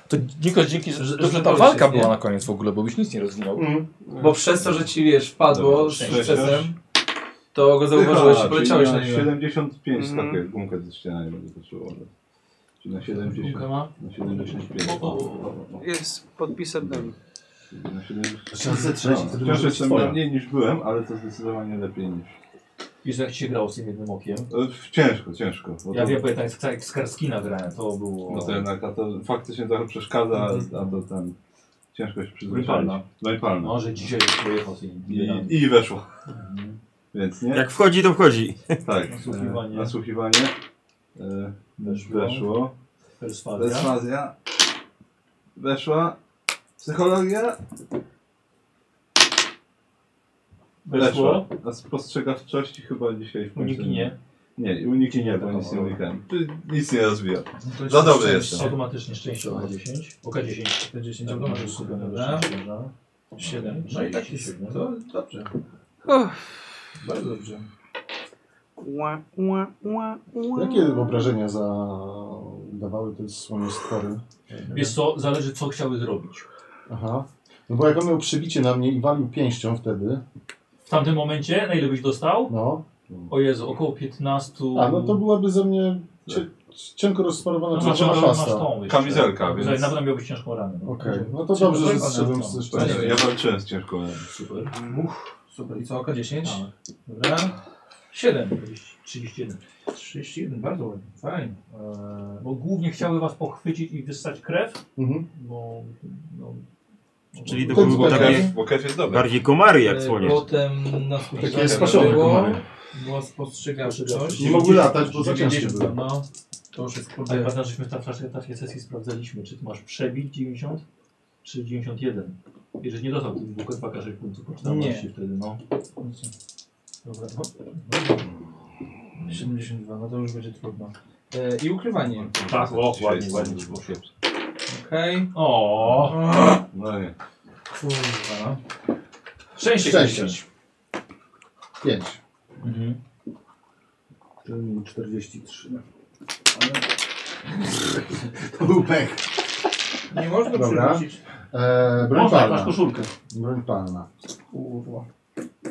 Speaker 1: To Nikos, dzięki, że,
Speaker 9: Że-
Speaker 1: że,
Speaker 9: że
Speaker 1: ta
Speaker 9: to
Speaker 1: walka
Speaker 9: jest, nie?
Speaker 1: była na koniec w ogóle, bo byś nic nie rozwinął.
Speaker 4: Mhm.
Speaker 9: Bo przez to, że ci wiesz, padło
Speaker 8: Dobra,
Speaker 9: z
Speaker 8: szczęście.
Speaker 9: sukcesem, to go zauważyłeś i poleciałeś na niego.
Speaker 8: 75
Speaker 3: Mhm.
Speaker 8: takie gumkę ze ściana nie będzie patrzyło. ale- Czyli na 70. Na 75.
Speaker 1: O, o,
Speaker 3: Jest podpisem nami.
Speaker 8: Na 70.
Speaker 4: Szanse trzeci,
Speaker 8: No,
Speaker 4: to
Speaker 8: Wciąż
Speaker 4: może być
Speaker 8: jestem
Speaker 4: twoja.
Speaker 8: na mniej niż byłem, ale to zdecydowanie lepiej niż.
Speaker 1: Wiesz, jak ci się grało z tym jednym okiem?
Speaker 8: Ciężko, ciężko. bo
Speaker 1: Ja
Speaker 8: to-
Speaker 1: wiem, bo ja tak z- jak z Karskina grałem, to było...
Speaker 8: No to jednak, a to faktycznie trochę przeszkadza, a to ten... Ciężko się przyzwyczaić.
Speaker 1: Wypalna.
Speaker 8: No i palna.
Speaker 1: No, że dzisiaj już pojechał z nim.
Speaker 8: I, i weszło. Więc nie?
Speaker 5: Jak wchodzi, to wchodzi.
Speaker 8: Tak.
Speaker 1: Nasłuchiwanie.
Speaker 8: E, Nasłuchiwanie. E,
Speaker 1: Weszło.
Speaker 9: No,
Speaker 8: Weszło.
Speaker 1: Perswazja.
Speaker 8: Perswazja. Weszła. Psychologia.
Speaker 1: Weszło.
Speaker 8: A spostrzegawczości chyba dzisiaj w końcu
Speaker 1: Uniki nie.
Speaker 8: Nie, i uniki nie, bo nic nie unikałem. Ty Nic nie rozwija.
Speaker 1: No to jeszcze
Speaker 8: Za dobry
Speaker 1: szczęście.
Speaker 8: jestem.
Speaker 1: Automatycznie szczęście o K10. O K10.
Speaker 9: K10
Speaker 1: Tak,
Speaker 9: automatycznie,
Speaker 1: masz skupione do
Speaker 9: dobra.
Speaker 1: szczęścia, dobra.
Speaker 9: 7. No i tak jest. To dobrze. Bardzo dobrze.
Speaker 3: Ła, ła, ła, ła.
Speaker 4: Jakie obrażenia zadawały te słoniostwory?
Speaker 1: Wiesz co, zależy co chciały zrobić.
Speaker 4: Aha. No bo jak on miał przybicie na mnie i walił pięścią wtedy.
Speaker 1: W tamtym momencie, na ile byś dostał?
Speaker 4: No.
Speaker 1: O Jezu, około 15...
Speaker 4: A no to byłaby ze mnie cie, cienko rozsmarowana
Speaker 1: masz,
Speaker 4: czerwona
Speaker 1: No, masz
Speaker 4: szasta.
Speaker 1: tą jeszcze.
Speaker 8: Kamizelka, więc-
Speaker 1: Zaj- Nawet miałbyś ciężką ranę.
Speaker 4: Okej, no to dobrze, że zszedłem z- z-
Speaker 8: Ja, ja walczyłem z ciężką. ręką.
Speaker 1: Super. Tak.
Speaker 9: Uff, super. I co, oka 10?
Speaker 1: Dobra. 7. 31.
Speaker 9: 31, bardzo ładnie. Fajnie.
Speaker 1: Eee, bo głównie chciały was pochwycić i wyssać krew.
Speaker 4: Mhm.
Speaker 1: Bo, no,
Speaker 5: Czyli to
Speaker 1: Ten
Speaker 5: był
Speaker 8: tak,
Speaker 1: bo
Speaker 5: taki
Speaker 1: krew- bo krew jest dobra.
Speaker 5: bardziej komary jak
Speaker 9: E,
Speaker 5: słonie.
Speaker 9: Potem na skutek
Speaker 4: Takie spasione
Speaker 9: było,
Speaker 4: komary.
Speaker 9: była spostrzegawczość.
Speaker 4: Nie mogły latać, bo za ciężkie
Speaker 9: 90,
Speaker 4: były.
Speaker 9: No, to już jest
Speaker 1: Ale
Speaker 9: kurde.
Speaker 1: ważne, żeśmy w taflaszce takiej sesji sprawdzaliśmy, czy ty masz przebić 90 czy 91. Jeżeli nie dostał tych dwóch 2 6 punktów poczytalności
Speaker 9: Nie.
Speaker 1: wtedy, no. Dobra, no.
Speaker 9: 72, no to już będzie trudno. E, I ukrywanie.
Speaker 1: Tak, o, ładnie, ładnie ci poszło.
Speaker 9: Okej.
Speaker 1: O.
Speaker 8: No nie.
Speaker 9: Kurwa.
Speaker 1: Szczęście
Speaker 4: Szczęście.
Speaker 1: chcieć.
Speaker 4: Pięć.
Speaker 1: Mhm.
Speaker 37: 43. To był pech.
Speaker 9: Nie można
Speaker 4: Dobra.
Speaker 9: przywrócić.
Speaker 4: Eee, broń
Speaker 1: Można,
Speaker 4: palna.
Speaker 1: masz koszulkę.
Speaker 4: Broń palna.
Speaker 9: Kurwa.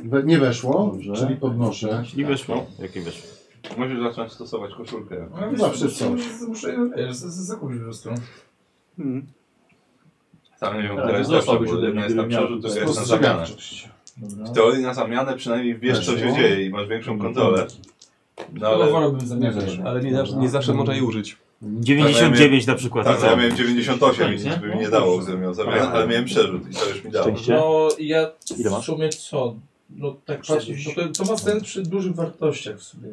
Speaker 4: We, nie weszło, czyli podnoszę.
Speaker 5: I weszło.
Speaker 8: No,
Speaker 5: Jakie weszło?
Speaker 8: Musisz zacząć stosować koszulkę.
Speaker 9: No, wiesz,
Speaker 4: Zawsze
Speaker 9: muszę-
Speaker 4: coś.
Speaker 9: Muszę, wiesz, z- z- zakupić po prostu.
Speaker 3: Hmm,
Speaker 8: Sam nie wiem,
Speaker 1: Ale
Speaker 8: która jest lepsza,
Speaker 1: zostałbyś
Speaker 8: bo
Speaker 1: ode mnie,
Speaker 8: jedna jest na
Speaker 1: gdybym miał
Speaker 8: przodu, druga jest na zamianę.
Speaker 4: Spostrzegawczość.
Speaker 8: W teorii na zamianę przynajmniej wiesz, co się
Speaker 4: Weszło.
Speaker 8: dzieje i masz większą kontrolę. No
Speaker 9: Ale
Speaker 8: ale...
Speaker 9: wolałbym zamierzać.
Speaker 7: Ale nie, zawsze- nie zawsze można jej użyć.
Speaker 5: 99 na przykład.
Speaker 8: Tak, no
Speaker 5: na
Speaker 8: ja
Speaker 5: zamianę.
Speaker 8: miałem 98 i nic by mi nie dało,
Speaker 9: dobrze.
Speaker 8: gdybym miał zamianę, ale miałem przerzut i to już mi dało.
Speaker 9: No ja
Speaker 1: Ile masz?
Speaker 9: w sumie co? No tak
Speaker 1: Patrzysz.
Speaker 9: no to, to ma sens przy dużych wartościach w sobie.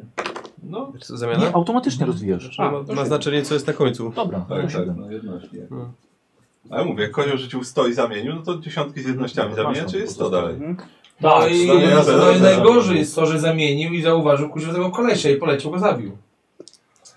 Speaker 8: No,
Speaker 7: Co, Zamiana?
Speaker 1: automatycznie rozwijasz.
Speaker 7: A, Mhm. Znaczy, ma, ma znaczenie, co jest na końcu.
Speaker 1: Dobra,
Speaker 8: Tak, tak, no jednośnie. Ale mówię, jak kozioł rzucił 100 i zamienił, no to dziesiątki z jednościami zamienia, czy jest 100 dalej.
Speaker 9: No
Speaker 1: Tak,
Speaker 9: i,
Speaker 8: zamiast-
Speaker 9: no,
Speaker 8: zamiast-
Speaker 9: i
Speaker 8: zamiast-
Speaker 9: najgorzej jest to, że zamienił i zauważył kuźwa tego kolesia i poleciał go zabił.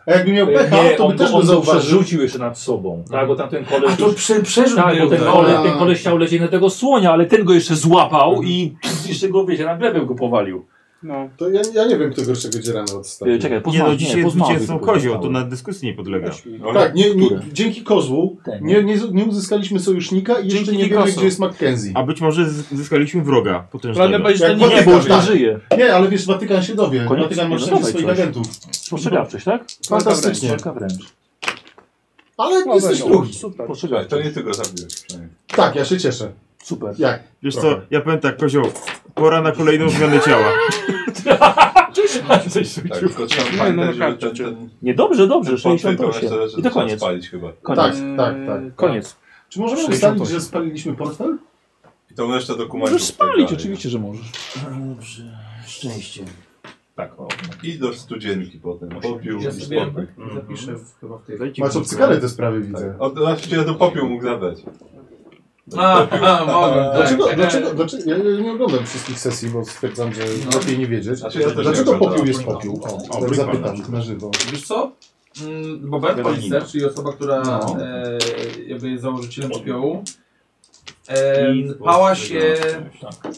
Speaker 4: A jakby miał pecha,
Speaker 1: nie,
Speaker 4: to by
Speaker 1: on,
Speaker 4: też
Speaker 1: też
Speaker 4: by
Speaker 1: on chyba
Speaker 4: zauważył.
Speaker 1: rzucił jeszcze nad sobą, tak, bo tamten koleś...
Speaker 9: A to prze, przerzut
Speaker 1: Tak, bo
Speaker 9: był.
Speaker 1: ten
Speaker 9: tak.
Speaker 1: koleś, ten koleś chciał lecieć na tego słonia, ale ten go jeszcze złapał i pff, jeszcze go, wiecie, na glebę go powalił.
Speaker 3: No.
Speaker 4: To ja, ja nie wiem, kto gorszego dzieramy
Speaker 1: Yy,
Speaker 4: odstawił.
Speaker 1: czekaj,
Speaker 5: Nie
Speaker 1: pozmawiam,
Speaker 5: no, dzisiaj jest
Speaker 1: pozmawiam
Speaker 5: zwycięzcą
Speaker 1: tylko
Speaker 5: kozioł, to
Speaker 1: zostało.
Speaker 5: na dyskusji nie podlega.
Speaker 4: Tak, nie, nie, dzięki kozłu
Speaker 1: Ten.
Speaker 4: nie, nie, nie uzyskaliśmy sojusznika i jeszcze
Speaker 7: Dzięki
Speaker 4: nie wiemy,
Speaker 7: Nikosu.
Speaker 4: gdzie jest Mackenzie.
Speaker 5: A być może z- zyskaliśmy wroga
Speaker 7: Plany
Speaker 5: potężnego.
Speaker 7: bajeczne
Speaker 4: Jak
Speaker 7: nie
Speaker 4: Watykan- tak.
Speaker 1: Nie, bo już nie żyje.
Speaker 4: Nie, ale wiesz, Watykan się dowie.
Speaker 1: Koniec?
Speaker 4: Watykan
Speaker 1: No
Speaker 4: ma wszędzie
Speaker 1: dawaj
Speaker 4: swoich
Speaker 1: coś.
Speaker 4: agentów. No,
Speaker 1: Spostrzegawczość, tak?
Speaker 4: Fantastycznie.
Speaker 1: Walka wręcz. No,
Speaker 4: Ale jesteś drugi.
Speaker 3: Super.
Speaker 8: Tak, to
Speaker 1: Spostrzegawczość.
Speaker 8: nie ty go zabiłeś przynajmniej.
Speaker 4: Tak, ja się cieszę.
Speaker 1: Super.
Speaker 4: Jak?
Speaker 5: Wiesz co, ja powiem tak, kozioł, pora na kolejną zmianę ciała.
Speaker 1: Coś rzucił.
Speaker 8: Tak, tylko trzeba
Speaker 7: Nie, no,
Speaker 8: pamiętać, żeby
Speaker 7: karczę,
Speaker 8: ten,
Speaker 7: czy-
Speaker 8: ten,
Speaker 1: Nie, dobrze, dobrze,
Speaker 8: ten portret to jeszcze
Speaker 1: 68. I to
Speaker 8: trzeba
Speaker 1: koniec.
Speaker 8: spalić chyba.
Speaker 4: Tak,
Speaker 1: Koniec.
Speaker 4: tak, tak.
Speaker 1: Koniec.
Speaker 4: Czy możemy
Speaker 1: 68.
Speaker 4: ustalić, że spaliliśmy portfel?
Speaker 8: I tą resztę dokumentów.
Speaker 1: Możesz
Speaker 8: i tak
Speaker 1: spalić,
Speaker 8: dalej.
Speaker 1: oczywiście, że możesz.
Speaker 5: Szczęście.
Speaker 1: Tak, o.
Speaker 8: I do studzienki potem, popiół
Speaker 9: Ja
Speaker 8: i
Speaker 9: sobie
Speaker 8: spokój.
Speaker 1: tak-
Speaker 9: zapiszę w, chyba w tej...
Speaker 4: Masz obcykane te sprawy, widzę.
Speaker 8: Od razu cię do popiół mógł zabrać.
Speaker 9: A,
Speaker 8: *laughs*
Speaker 9: a, mogę, tak.
Speaker 4: Dlaczego, dlaczego, dlaczego, ja ja nie oglądam wszystkich sesji, bo stwierdzam, że lepiej nie wiedzieć.
Speaker 8: Znaczy, ja też nie
Speaker 4: Dlaczego
Speaker 8: oglądam.
Speaker 4: popiół jest popiół?
Speaker 5: O,
Speaker 4: O, tak
Speaker 5: bryka
Speaker 4: zapytam na żywo.
Speaker 9: Wiesz co? Mm, Bo Bert Policer, czyli osoba, która
Speaker 19: No.
Speaker 9: e, jakby jest założycielem popiołu, e, pała się...
Speaker 19: tak.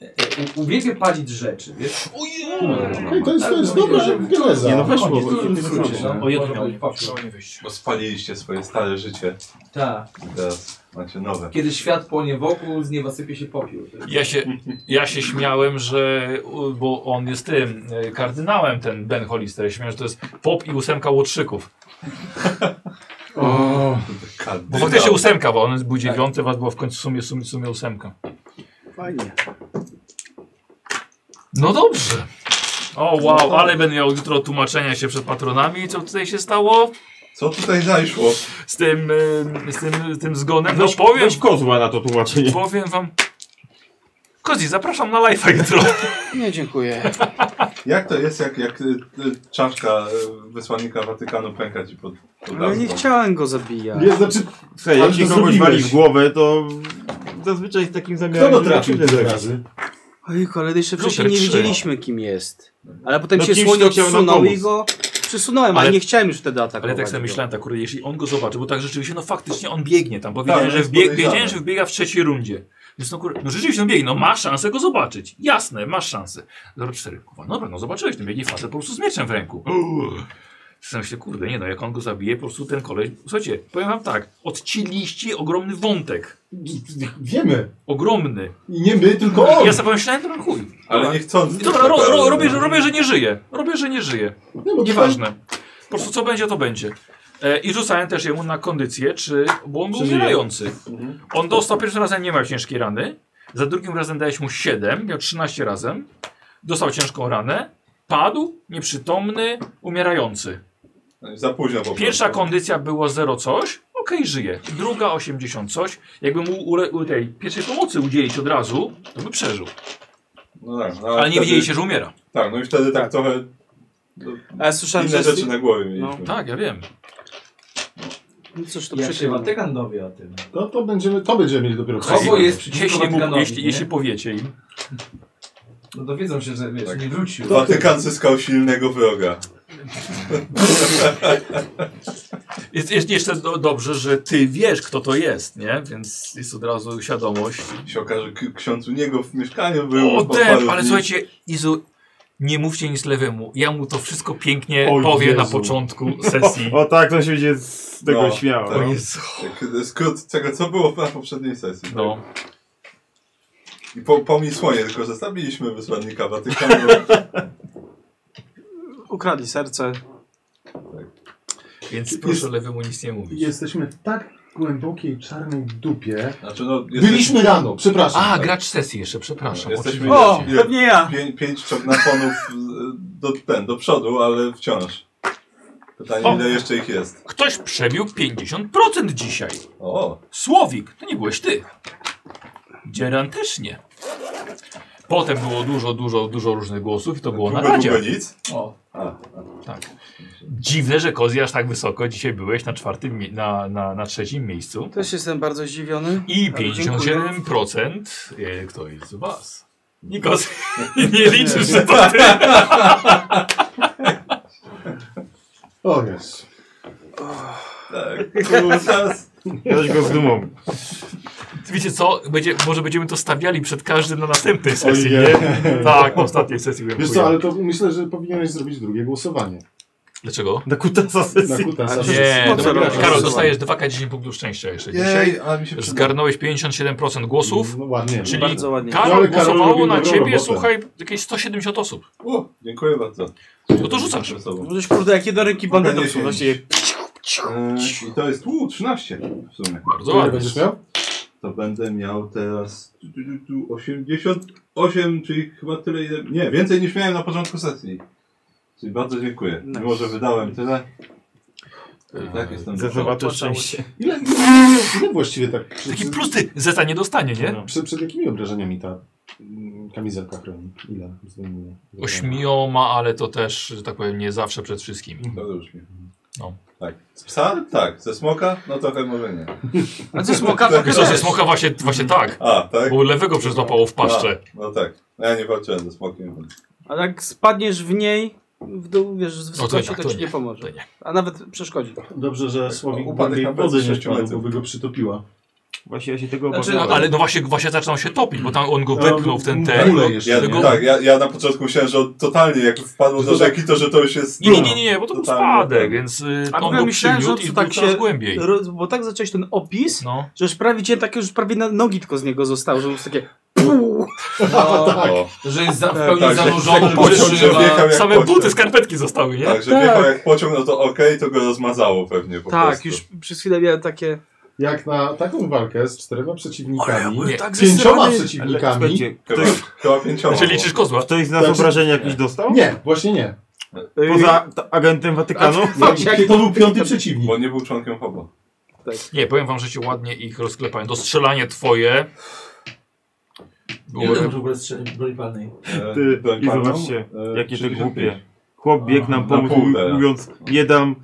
Speaker 9: e, e, Ubiegę palić rzeczy, wiesz?
Speaker 4: Ej, to jest, to jest dobra geneza.
Speaker 5: Nie no, weszło.
Speaker 9: Koniec,
Speaker 5: bo-
Speaker 9: to już
Speaker 5: weszło.
Speaker 9: wróci, no.
Speaker 1: O jedno
Speaker 9: Może
Speaker 1: miał
Speaker 9: być popiół.
Speaker 8: Bo spaliliście swoje stare życie
Speaker 9: Tak.
Speaker 8: i teraz macie nowe.
Speaker 9: Kiedy świat płonie wokół, z nieba sypie się popiół.
Speaker 38: Ja się, ja się śmiałem, że. u, Bo on jest tym
Speaker 1: e,
Speaker 38: y, kardynałem, ten Ben Hollister. Ja się śmiałem, że to jest pop i ósemka łotrzyków.
Speaker 8: Kardynał.
Speaker 38: Bo faktycznie ósemka, bo on był dziewiąty, was była w końcu w sumie, w sumie, w sumie ósemka.
Speaker 3: Fajnie.
Speaker 38: No dobrze.
Speaker 1: O wow, ale będę miał jutro tłumaczenia się przed patronami, co tutaj się stało.
Speaker 8: Co tutaj zajszło?
Speaker 1: Z tym, y, z tym, z tym zgonem. No
Speaker 5: Weź-
Speaker 1: powiem.
Speaker 5: weź kozła na to tłumaczenie.
Speaker 1: Powiem wam. Kozi, zapraszam na live'a jutro.
Speaker 3: Nie, dziękuję.
Speaker 8: Jak to jest, jak, jak y, y, czaszka y, wysłannika Watykanu pęka ci pod, pod
Speaker 3: Ale No nie
Speaker 8: lampą?
Speaker 3: chciałem go zabijać.
Speaker 8: Nie, znaczy-
Speaker 5: Słuchaj,
Speaker 8: Ale
Speaker 5: jak się
Speaker 8: to
Speaker 5: kogoś
Speaker 8: zrobiłeś.
Speaker 5: wali w głowę, to zazwyczaj z takim zamiarem...
Speaker 8: Kto
Speaker 5: że
Speaker 8: dotrafił
Speaker 5: krzywdę
Speaker 8: tyle
Speaker 5: zrobi.
Speaker 8: razy?
Speaker 3: Ojku, ale jeszcze
Speaker 5: Luter
Speaker 3: wcześniej nie
Speaker 5: trzy.
Speaker 3: wiedzieliśmy kim jest. Ale potem
Speaker 5: No
Speaker 3: się
Speaker 5: kimś,
Speaker 3: słoń
Speaker 5: kto chciał nam
Speaker 3: odsunął
Speaker 5: pomóc.
Speaker 3: i go przysunąłem, ale,
Speaker 1: Ale-
Speaker 3: nie chciałem już wtedy
Speaker 1: Ale
Speaker 3: atakować.
Speaker 1: ja tak sobie
Speaker 3: go.
Speaker 1: myślałem, tak, kurde, jeśli on go zobaczy, bo tak rzeczywiście, no faktycznie on biegnie tam, bo
Speaker 4: Tak,
Speaker 1: wiedziałem,
Speaker 3: no
Speaker 1: że,
Speaker 3: jest
Speaker 1: wbieg,
Speaker 3: podejrzany.
Speaker 1: wiedziałem że wbiega w trzeciej rundzie. Więc no, kurde, no rzeczywiście on biegnie, no ma szansę go zobaczyć. Jasne, masz szansę. 0,4. Kurwa, no dobra, no zobaczyłeś, ten biegnie facet po prostu z mieczem w ręku. Zastanawiam się, kurde, nie no, jak on go zabije, po prostu ten koleś... Słuchajcie, powiem wam tak, odcięliście ogromny wątek.
Speaker 4: Wiemy.
Speaker 1: Ogromny.
Speaker 4: I nie my, tylko on.
Speaker 1: Ja sobie pomyślałem, no chuj.
Speaker 8: Ale nie chcąc.
Speaker 1: Dobra, ro, ro, robię, że- robię, że nie żyje. Robię, że nie żyje.
Speaker 4: bo
Speaker 1: Nieważne. Po prostu co będzie, to będzie. E, I rzucałem też jemu na kondycję, czy, bo on był
Speaker 5: Przeżyje.
Speaker 1: umierający.
Speaker 19: Mhm.
Speaker 1: On dostał pierwszym razem, nie miał ciężkiej rany. Za drugim razem dałeś mu 7, miał 13 razem. Dostał ciężką ranę. Padł, nieprzytomny, umierający.
Speaker 8: No Za późno po prostu.
Speaker 1: Pierwsza kondycja była 0 coś, okej, żyje. Druga 80 coś. Jakby mu ule, u tej pierwszej pomocy udzielić od razu, to by przeżył.
Speaker 8: No tak, no
Speaker 1: Ale nie widzieliście, że umiera.
Speaker 8: Tak, no i wtedy tak, trochę. No,
Speaker 3: Ale E, słyszałem,
Speaker 8: inne
Speaker 3: że-
Speaker 8: rzeczy na głowie mieliśmy.
Speaker 1: Tak, ja wiem.
Speaker 3: No cóż, to
Speaker 19: Jak się
Speaker 3: przykro mi.
Speaker 19: Watykan dowie o tym.
Speaker 4: No to będziemy, to będziemy mieli dopiero
Speaker 19: Kogo
Speaker 4: przeciw.
Speaker 19: jest przeciwko
Speaker 1: Jeśli, mu,
Speaker 19: Watykanowi,
Speaker 1: jeśli,
Speaker 19: nie?
Speaker 1: jeśli powiecie im.
Speaker 19: No dowiedzą się, że wiesz,
Speaker 8: Tak.
Speaker 19: nie wrócił.
Speaker 8: Watykan zyskał silnego wroga.
Speaker 1: Jest, jest jeszcze do, dobrze, że ty wiesz, kto to jest, nie? Więc jest od razu świadomość.
Speaker 8: Się okaże, k- ksiądz u niego w mieszkaniu był.
Speaker 1: O,
Speaker 8: po
Speaker 1: dem,
Speaker 8: paru
Speaker 1: ale
Speaker 8: dni.
Speaker 1: słuchajcie, Izu, nie mówcie nic lewemu. Ja mu to wszystko pięknie
Speaker 5: O
Speaker 1: powiem na
Speaker 5: Jezu.
Speaker 1: początku
Speaker 5: *laughs*
Speaker 1: sesji.
Speaker 5: O, tak, to się będzie z tego śmiało.
Speaker 8: tak.
Speaker 5: no.
Speaker 8: Tak, Skrót tego, co było na poprzedniej sesji. tak?
Speaker 1: No.
Speaker 8: I po, pomij słonie, tylko zostawiliśmy
Speaker 1: *laughs*
Speaker 8: wysłannika Watykanu.
Speaker 3: Ukradli serce.
Speaker 1: Więc proszę lewemu nic nie mówić.
Speaker 4: Jesteśmy w tak głębokiej czarnej dupie.
Speaker 8: Znaczy, no,
Speaker 4: Byliśmy rano, przepraszam.
Speaker 1: A, gracz sesji jeszcze, przepraszam.
Speaker 8: Jesteśmy
Speaker 1: oczywiście.
Speaker 8: ile- Pięć, pięć czognafonów do, ten, do przodu, ale wciąż. Pytanie,
Speaker 1: O.
Speaker 8: ile jeszcze ich jest.
Speaker 1: Ktoś przebił 50% dzisiaj.
Speaker 8: O.
Speaker 1: Słowik, to nie byłeś ty. Dzieran też nie. Potem było dużo, dużo, dużo różnych głosów i to było na
Speaker 8: Próby
Speaker 1: radzie.
Speaker 8: były nic?
Speaker 19: O.
Speaker 8: A, a.
Speaker 1: Tak. Dziwne, że Kozi aż tak wysoko dzisiaj byłeś na czwartym, mie- na, na, na trzecim miejscu.
Speaker 3: Też jestem bardzo zdziwiony.
Speaker 1: I
Speaker 3: ale dziękuję.
Speaker 1: 57% e, kto jest z was? Nikos, *laughs* nie liczysz, że to ty.
Speaker 4: O jest.
Speaker 8: Tak, kurczas.
Speaker 5: Weź go z dumą.
Speaker 1: Wiecie co, Będzie, może będziemy to stawiali przed każdym na następnej sesji,
Speaker 4: Ojej.
Speaker 1: nie? Tak, na ostatniej sesji byłem
Speaker 4: Wiesz co, ale to myślę, że powinieneś zrobić drugie głosowanie.
Speaker 1: Dlaczego?
Speaker 5: Na kutasa
Speaker 4: Na No, kutasa
Speaker 1: A
Speaker 4: sesji.
Speaker 1: Nie,
Speaker 4: Po co
Speaker 1: dobra,
Speaker 4: robisz?
Speaker 1: Karol, dostajesz 2K10 punktów szczęścia jeszcze
Speaker 4: Jej,
Speaker 1: dzisiaj.
Speaker 4: ale mi się przyda-
Speaker 1: Zgarnąłeś 57% głosów.
Speaker 4: No ładnie.
Speaker 1: Czyli
Speaker 4: Bardzo ładnie. Ale
Speaker 1: Karol
Speaker 4: Karol
Speaker 1: głosowało
Speaker 4: robił
Speaker 1: na
Speaker 4: dobrą
Speaker 1: ciebie,
Speaker 4: robotę.
Speaker 1: słuchaj, jakieś 170 osób.
Speaker 8: O, dziękuję bardzo.
Speaker 1: No to rzucasz.
Speaker 3: Możesz kurde, jakie do ręki bandytów są właściwie.
Speaker 8: E, I to jest, uuu, 13 w sumie.
Speaker 1: Bardzo Ile ładnie. będziesz miał?
Speaker 8: To będę miał teraz tu, tu, tu, tu, 88, czyli chyba tyle, ile... Nie, więcej niż miałem na początku sesji. Czyli bardzo dziękuję. Mimo, że wydałem tyle. to I
Speaker 1: Eee,
Speaker 8: tak jestem...
Speaker 5: Za zobaczę szczęście.
Speaker 4: Ile, ile właściwie tak...
Speaker 1: Taki prosty zeta nie dostanie, nie?
Speaker 4: Przed, przed jakimi obrażeniami ta mm, kamizelka chroni? Ile zdejmuje?
Speaker 1: Ośmioma, ale to też, że tak powiem, nie zawsze przed wszystkimi.
Speaker 8: To różnie.
Speaker 1: No.
Speaker 8: Tak. Z psa? Tak. Ze smoka? No trochę może nie.
Speaker 1: A ze smoka to Co, ze smoka właśnie, właśnie tak.
Speaker 8: A, tak?
Speaker 1: Bo lewego przyzłapało w paszczę.
Speaker 8: A, no tak. Ja nie walczyłem ze smokiem.
Speaker 3: A jak spadniesz w niej, w dół, wiesz, z
Speaker 8: to
Speaker 3: wysokości,
Speaker 8: tak,
Speaker 3: to,
Speaker 8: to
Speaker 3: ci
Speaker 8: nie,
Speaker 3: nie pomoże. A nawet przeszkodzi.
Speaker 4: Dobrze, że Słowik
Speaker 3: upadek
Speaker 4: głębiej
Speaker 3: na
Speaker 4: w wodę nie
Speaker 3: 6
Speaker 4: wpadł, bo
Speaker 3: metrów.
Speaker 4: by go przytopiła.
Speaker 5: Właśnie ja się tego
Speaker 1: Znaczy, no, ale no właśnie, właśnie zaczynał się topić, bo tam on go
Speaker 4: No,
Speaker 1: wepchnął w ten
Speaker 4: w
Speaker 1: ten.
Speaker 4: ogóle
Speaker 1: no,
Speaker 4: jeszcze,
Speaker 8: Ja,
Speaker 1: tego-
Speaker 8: tak, ja, ja na początku myślałem, że on totalnie jak wpadło do rzeki, to że to już jest...
Speaker 1: Nie, nie, nie, nie, nie, bo to był
Speaker 8: Totalnie. tak.
Speaker 1: spadek, więc y,
Speaker 3: A
Speaker 1: on
Speaker 3: powiem,
Speaker 1: go
Speaker 3: myślałem, że on
Speaker 1: przyniósł i
Speaker 3: tu
Speaker 1: tak
Speaker 3: tak
Speaker 1: coraz
Speaker 3: się,
Speaker 1: głębiej.
Speaker 3: ro- bo tak zacząłeś ten opis,
Speaker 1: no.
Speaker 3: że już prawie cię takie, już prawie na nogi tylko z niego zostało, że już takie
Speaker 19: tak. Że jest
Speaker 7: E,
Speaker 19: za, w pełni
Speaker 7: tak,
Speaker 19: zanurzony,
Speaker 8: że *laughs* pociąg, że
Speaker 19: wytrzyma.
Speaker 8: wjechał jak
Speaker 1: y, Same
Speaker 8: pociąg.
Speaker 1: buty, skarpetki zostały, nie?
Speaker 8: Tak, że
Speaker 3: Tak.
Speaker 8: wjechał jak pociąg, no to okej, to go rozmazało pewnie po
Speaker 3: tak,
Speaker 8: prostu.
Speaker 3: już przez chwilę miałem takie
Speaker 4: jak na taką walkę z czterema przeciwnikami,
Speaker 8: byłem tak
Speaker 4: pięcioma
Speaker 8: zesrany. Ale
Speaker 4: przeciwnikami...
Speaker 8: słuchajcie, ktoś- chyba pięcioma, Znaczy liczysz bo- kozła?
Speaker 4: Ktoś
Speaker 8: z nas obrażenia jakieś
Speaker 4: dostał? Nie, właśnie nie.
Speaker 5: Poza t- agentem Watykanu?
Speaker 8: Znaczy-
Speaker 4: przeciwnik.
Speaker 8: Bo nie był członkiem choba.
Speaker 1: Nie, powiem wam, że się ładnie ich rozklepałem. Dostrzelanie twoje.
Speaker 19: Ile masz w ogóle strzeli broni palnej?
Speaker 5: Ty,
Speaker 8: broń
Speaker 5: I
Speaker 8: palną?
Speaker 5: zobaczcie,
Speaker 8: E,
Speaker 5: jakie to
Speaker 8: 65.
Speaker 5: głupie. Chłop biegł nam
Speaker 8: Na
Speaker 5: pomóc,
Speaker 8: pół
Speaker 5: mó-
Speaker 8: teraz.
Speaker 5: mówiąc, nie dam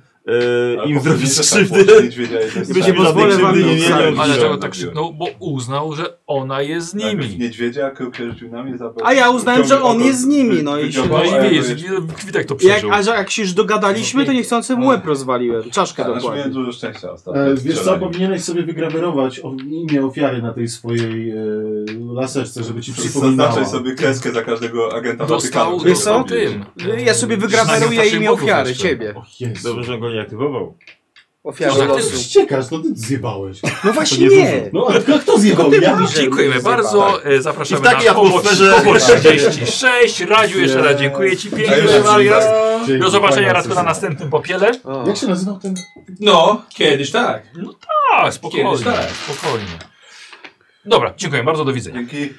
Speaker 5: e,
Speaker 8: Ale
Speaker 5: im
Speaker 8: po
Speaker 5: zrobić
Speaker 8: prostu nie
Speaker 5: krzywdy.
Speaker 8: tak niedźwiedzia i to jest
Speaker 5: My się
Speaker 8: tak.
Speaker 5: pozwolę wam nie mieli.
Speaker 1: Ale dlaczego
Speaker 8: robiłem.
Speaker 1: tak krzyknął? Bo uznał, że ona jest z
Speaker 8: Najpierw
Speaker 1: nimi.
Speaker 8: niedźwiedzia, krzyżdżunami zabrał.
Speaker 3: A ja uznałem, że on jest z nimi, no i się...
Speaker 8: Wyciągnął, a ja go jeszcze-
Speaker 1: Witek to
Speaker 3: Jak, a że jak się już dogadaliśmy, to niechcący
Speaker 8: No.
Speaker 3: mu łeb rozwaliłem. Czaszkę
Speaker 8: Ale
Speaker 3: dokładnie.
Speaker 8: miałem dużo szczęścia ostatnio.
Speaker 4: E, wiesz co,
Speaker 8: Strzelanie.
Speaker 4: powinieneś sobie wygrawerować o- imię ofiary na tej swojej e, laseczce, żeby ci przypominała.
Speaker 8: Zaznaczaj sobie kreskę za każdego agenta Watykanu.
Speaker 3: Wiesz co?
Speaker 8: który robi.
Speaker 3: No Ja sobie
Speaker 1: tak
Speaker 3: wygraweruję imię ofiary, ciebie.
Speaker 5: Dobrze, że go nie aktywował.
Speaker 3: Ofiarę
Speaker 4: Ale
Speaker 8: tak
Speaker 3: losu.
Speaker 4: ściekasz, to ty zjebałeś.
Speaker 3: No właśnie nie.
Speaker 4: No a kto, kto zjebał?
Speaker 3: Tylko ty
Speaker 4: Ja?
Speaker 3: mówisz, że
Speaker 1: Dziękujemy bardzo. e, Zapraszamy
Speaker 4: I w takiej
Speaker 1: na koło
Speaker 4: atmosferze-
Speaker 1: koło 36. Radziu jeszcze raz dziękuję Ci pięknie.
Speaker 19: Dziękuję
Speaker 1: Mariusz.
Speaker 19: bardzo.
Speaker 1: Do
Speaker 19: Dzięki,
Speaker 1: zobaczenia
Speaker 19: fajna
Speaker 1: Radko na
Speaker 19: sesja.
Speaker 1: następnym popiele.
Speaker 4: Jak się nazywał ten...
Speaker 19: No, kiedyś tak.
Speaker 1: No tak, spokojnie.
Speaker 19: Kiedyś tak.
Speaker 1: Spokojnie. Dobra, dziękuję bardzo, do widzenia.
Speaker 8: Dzięki.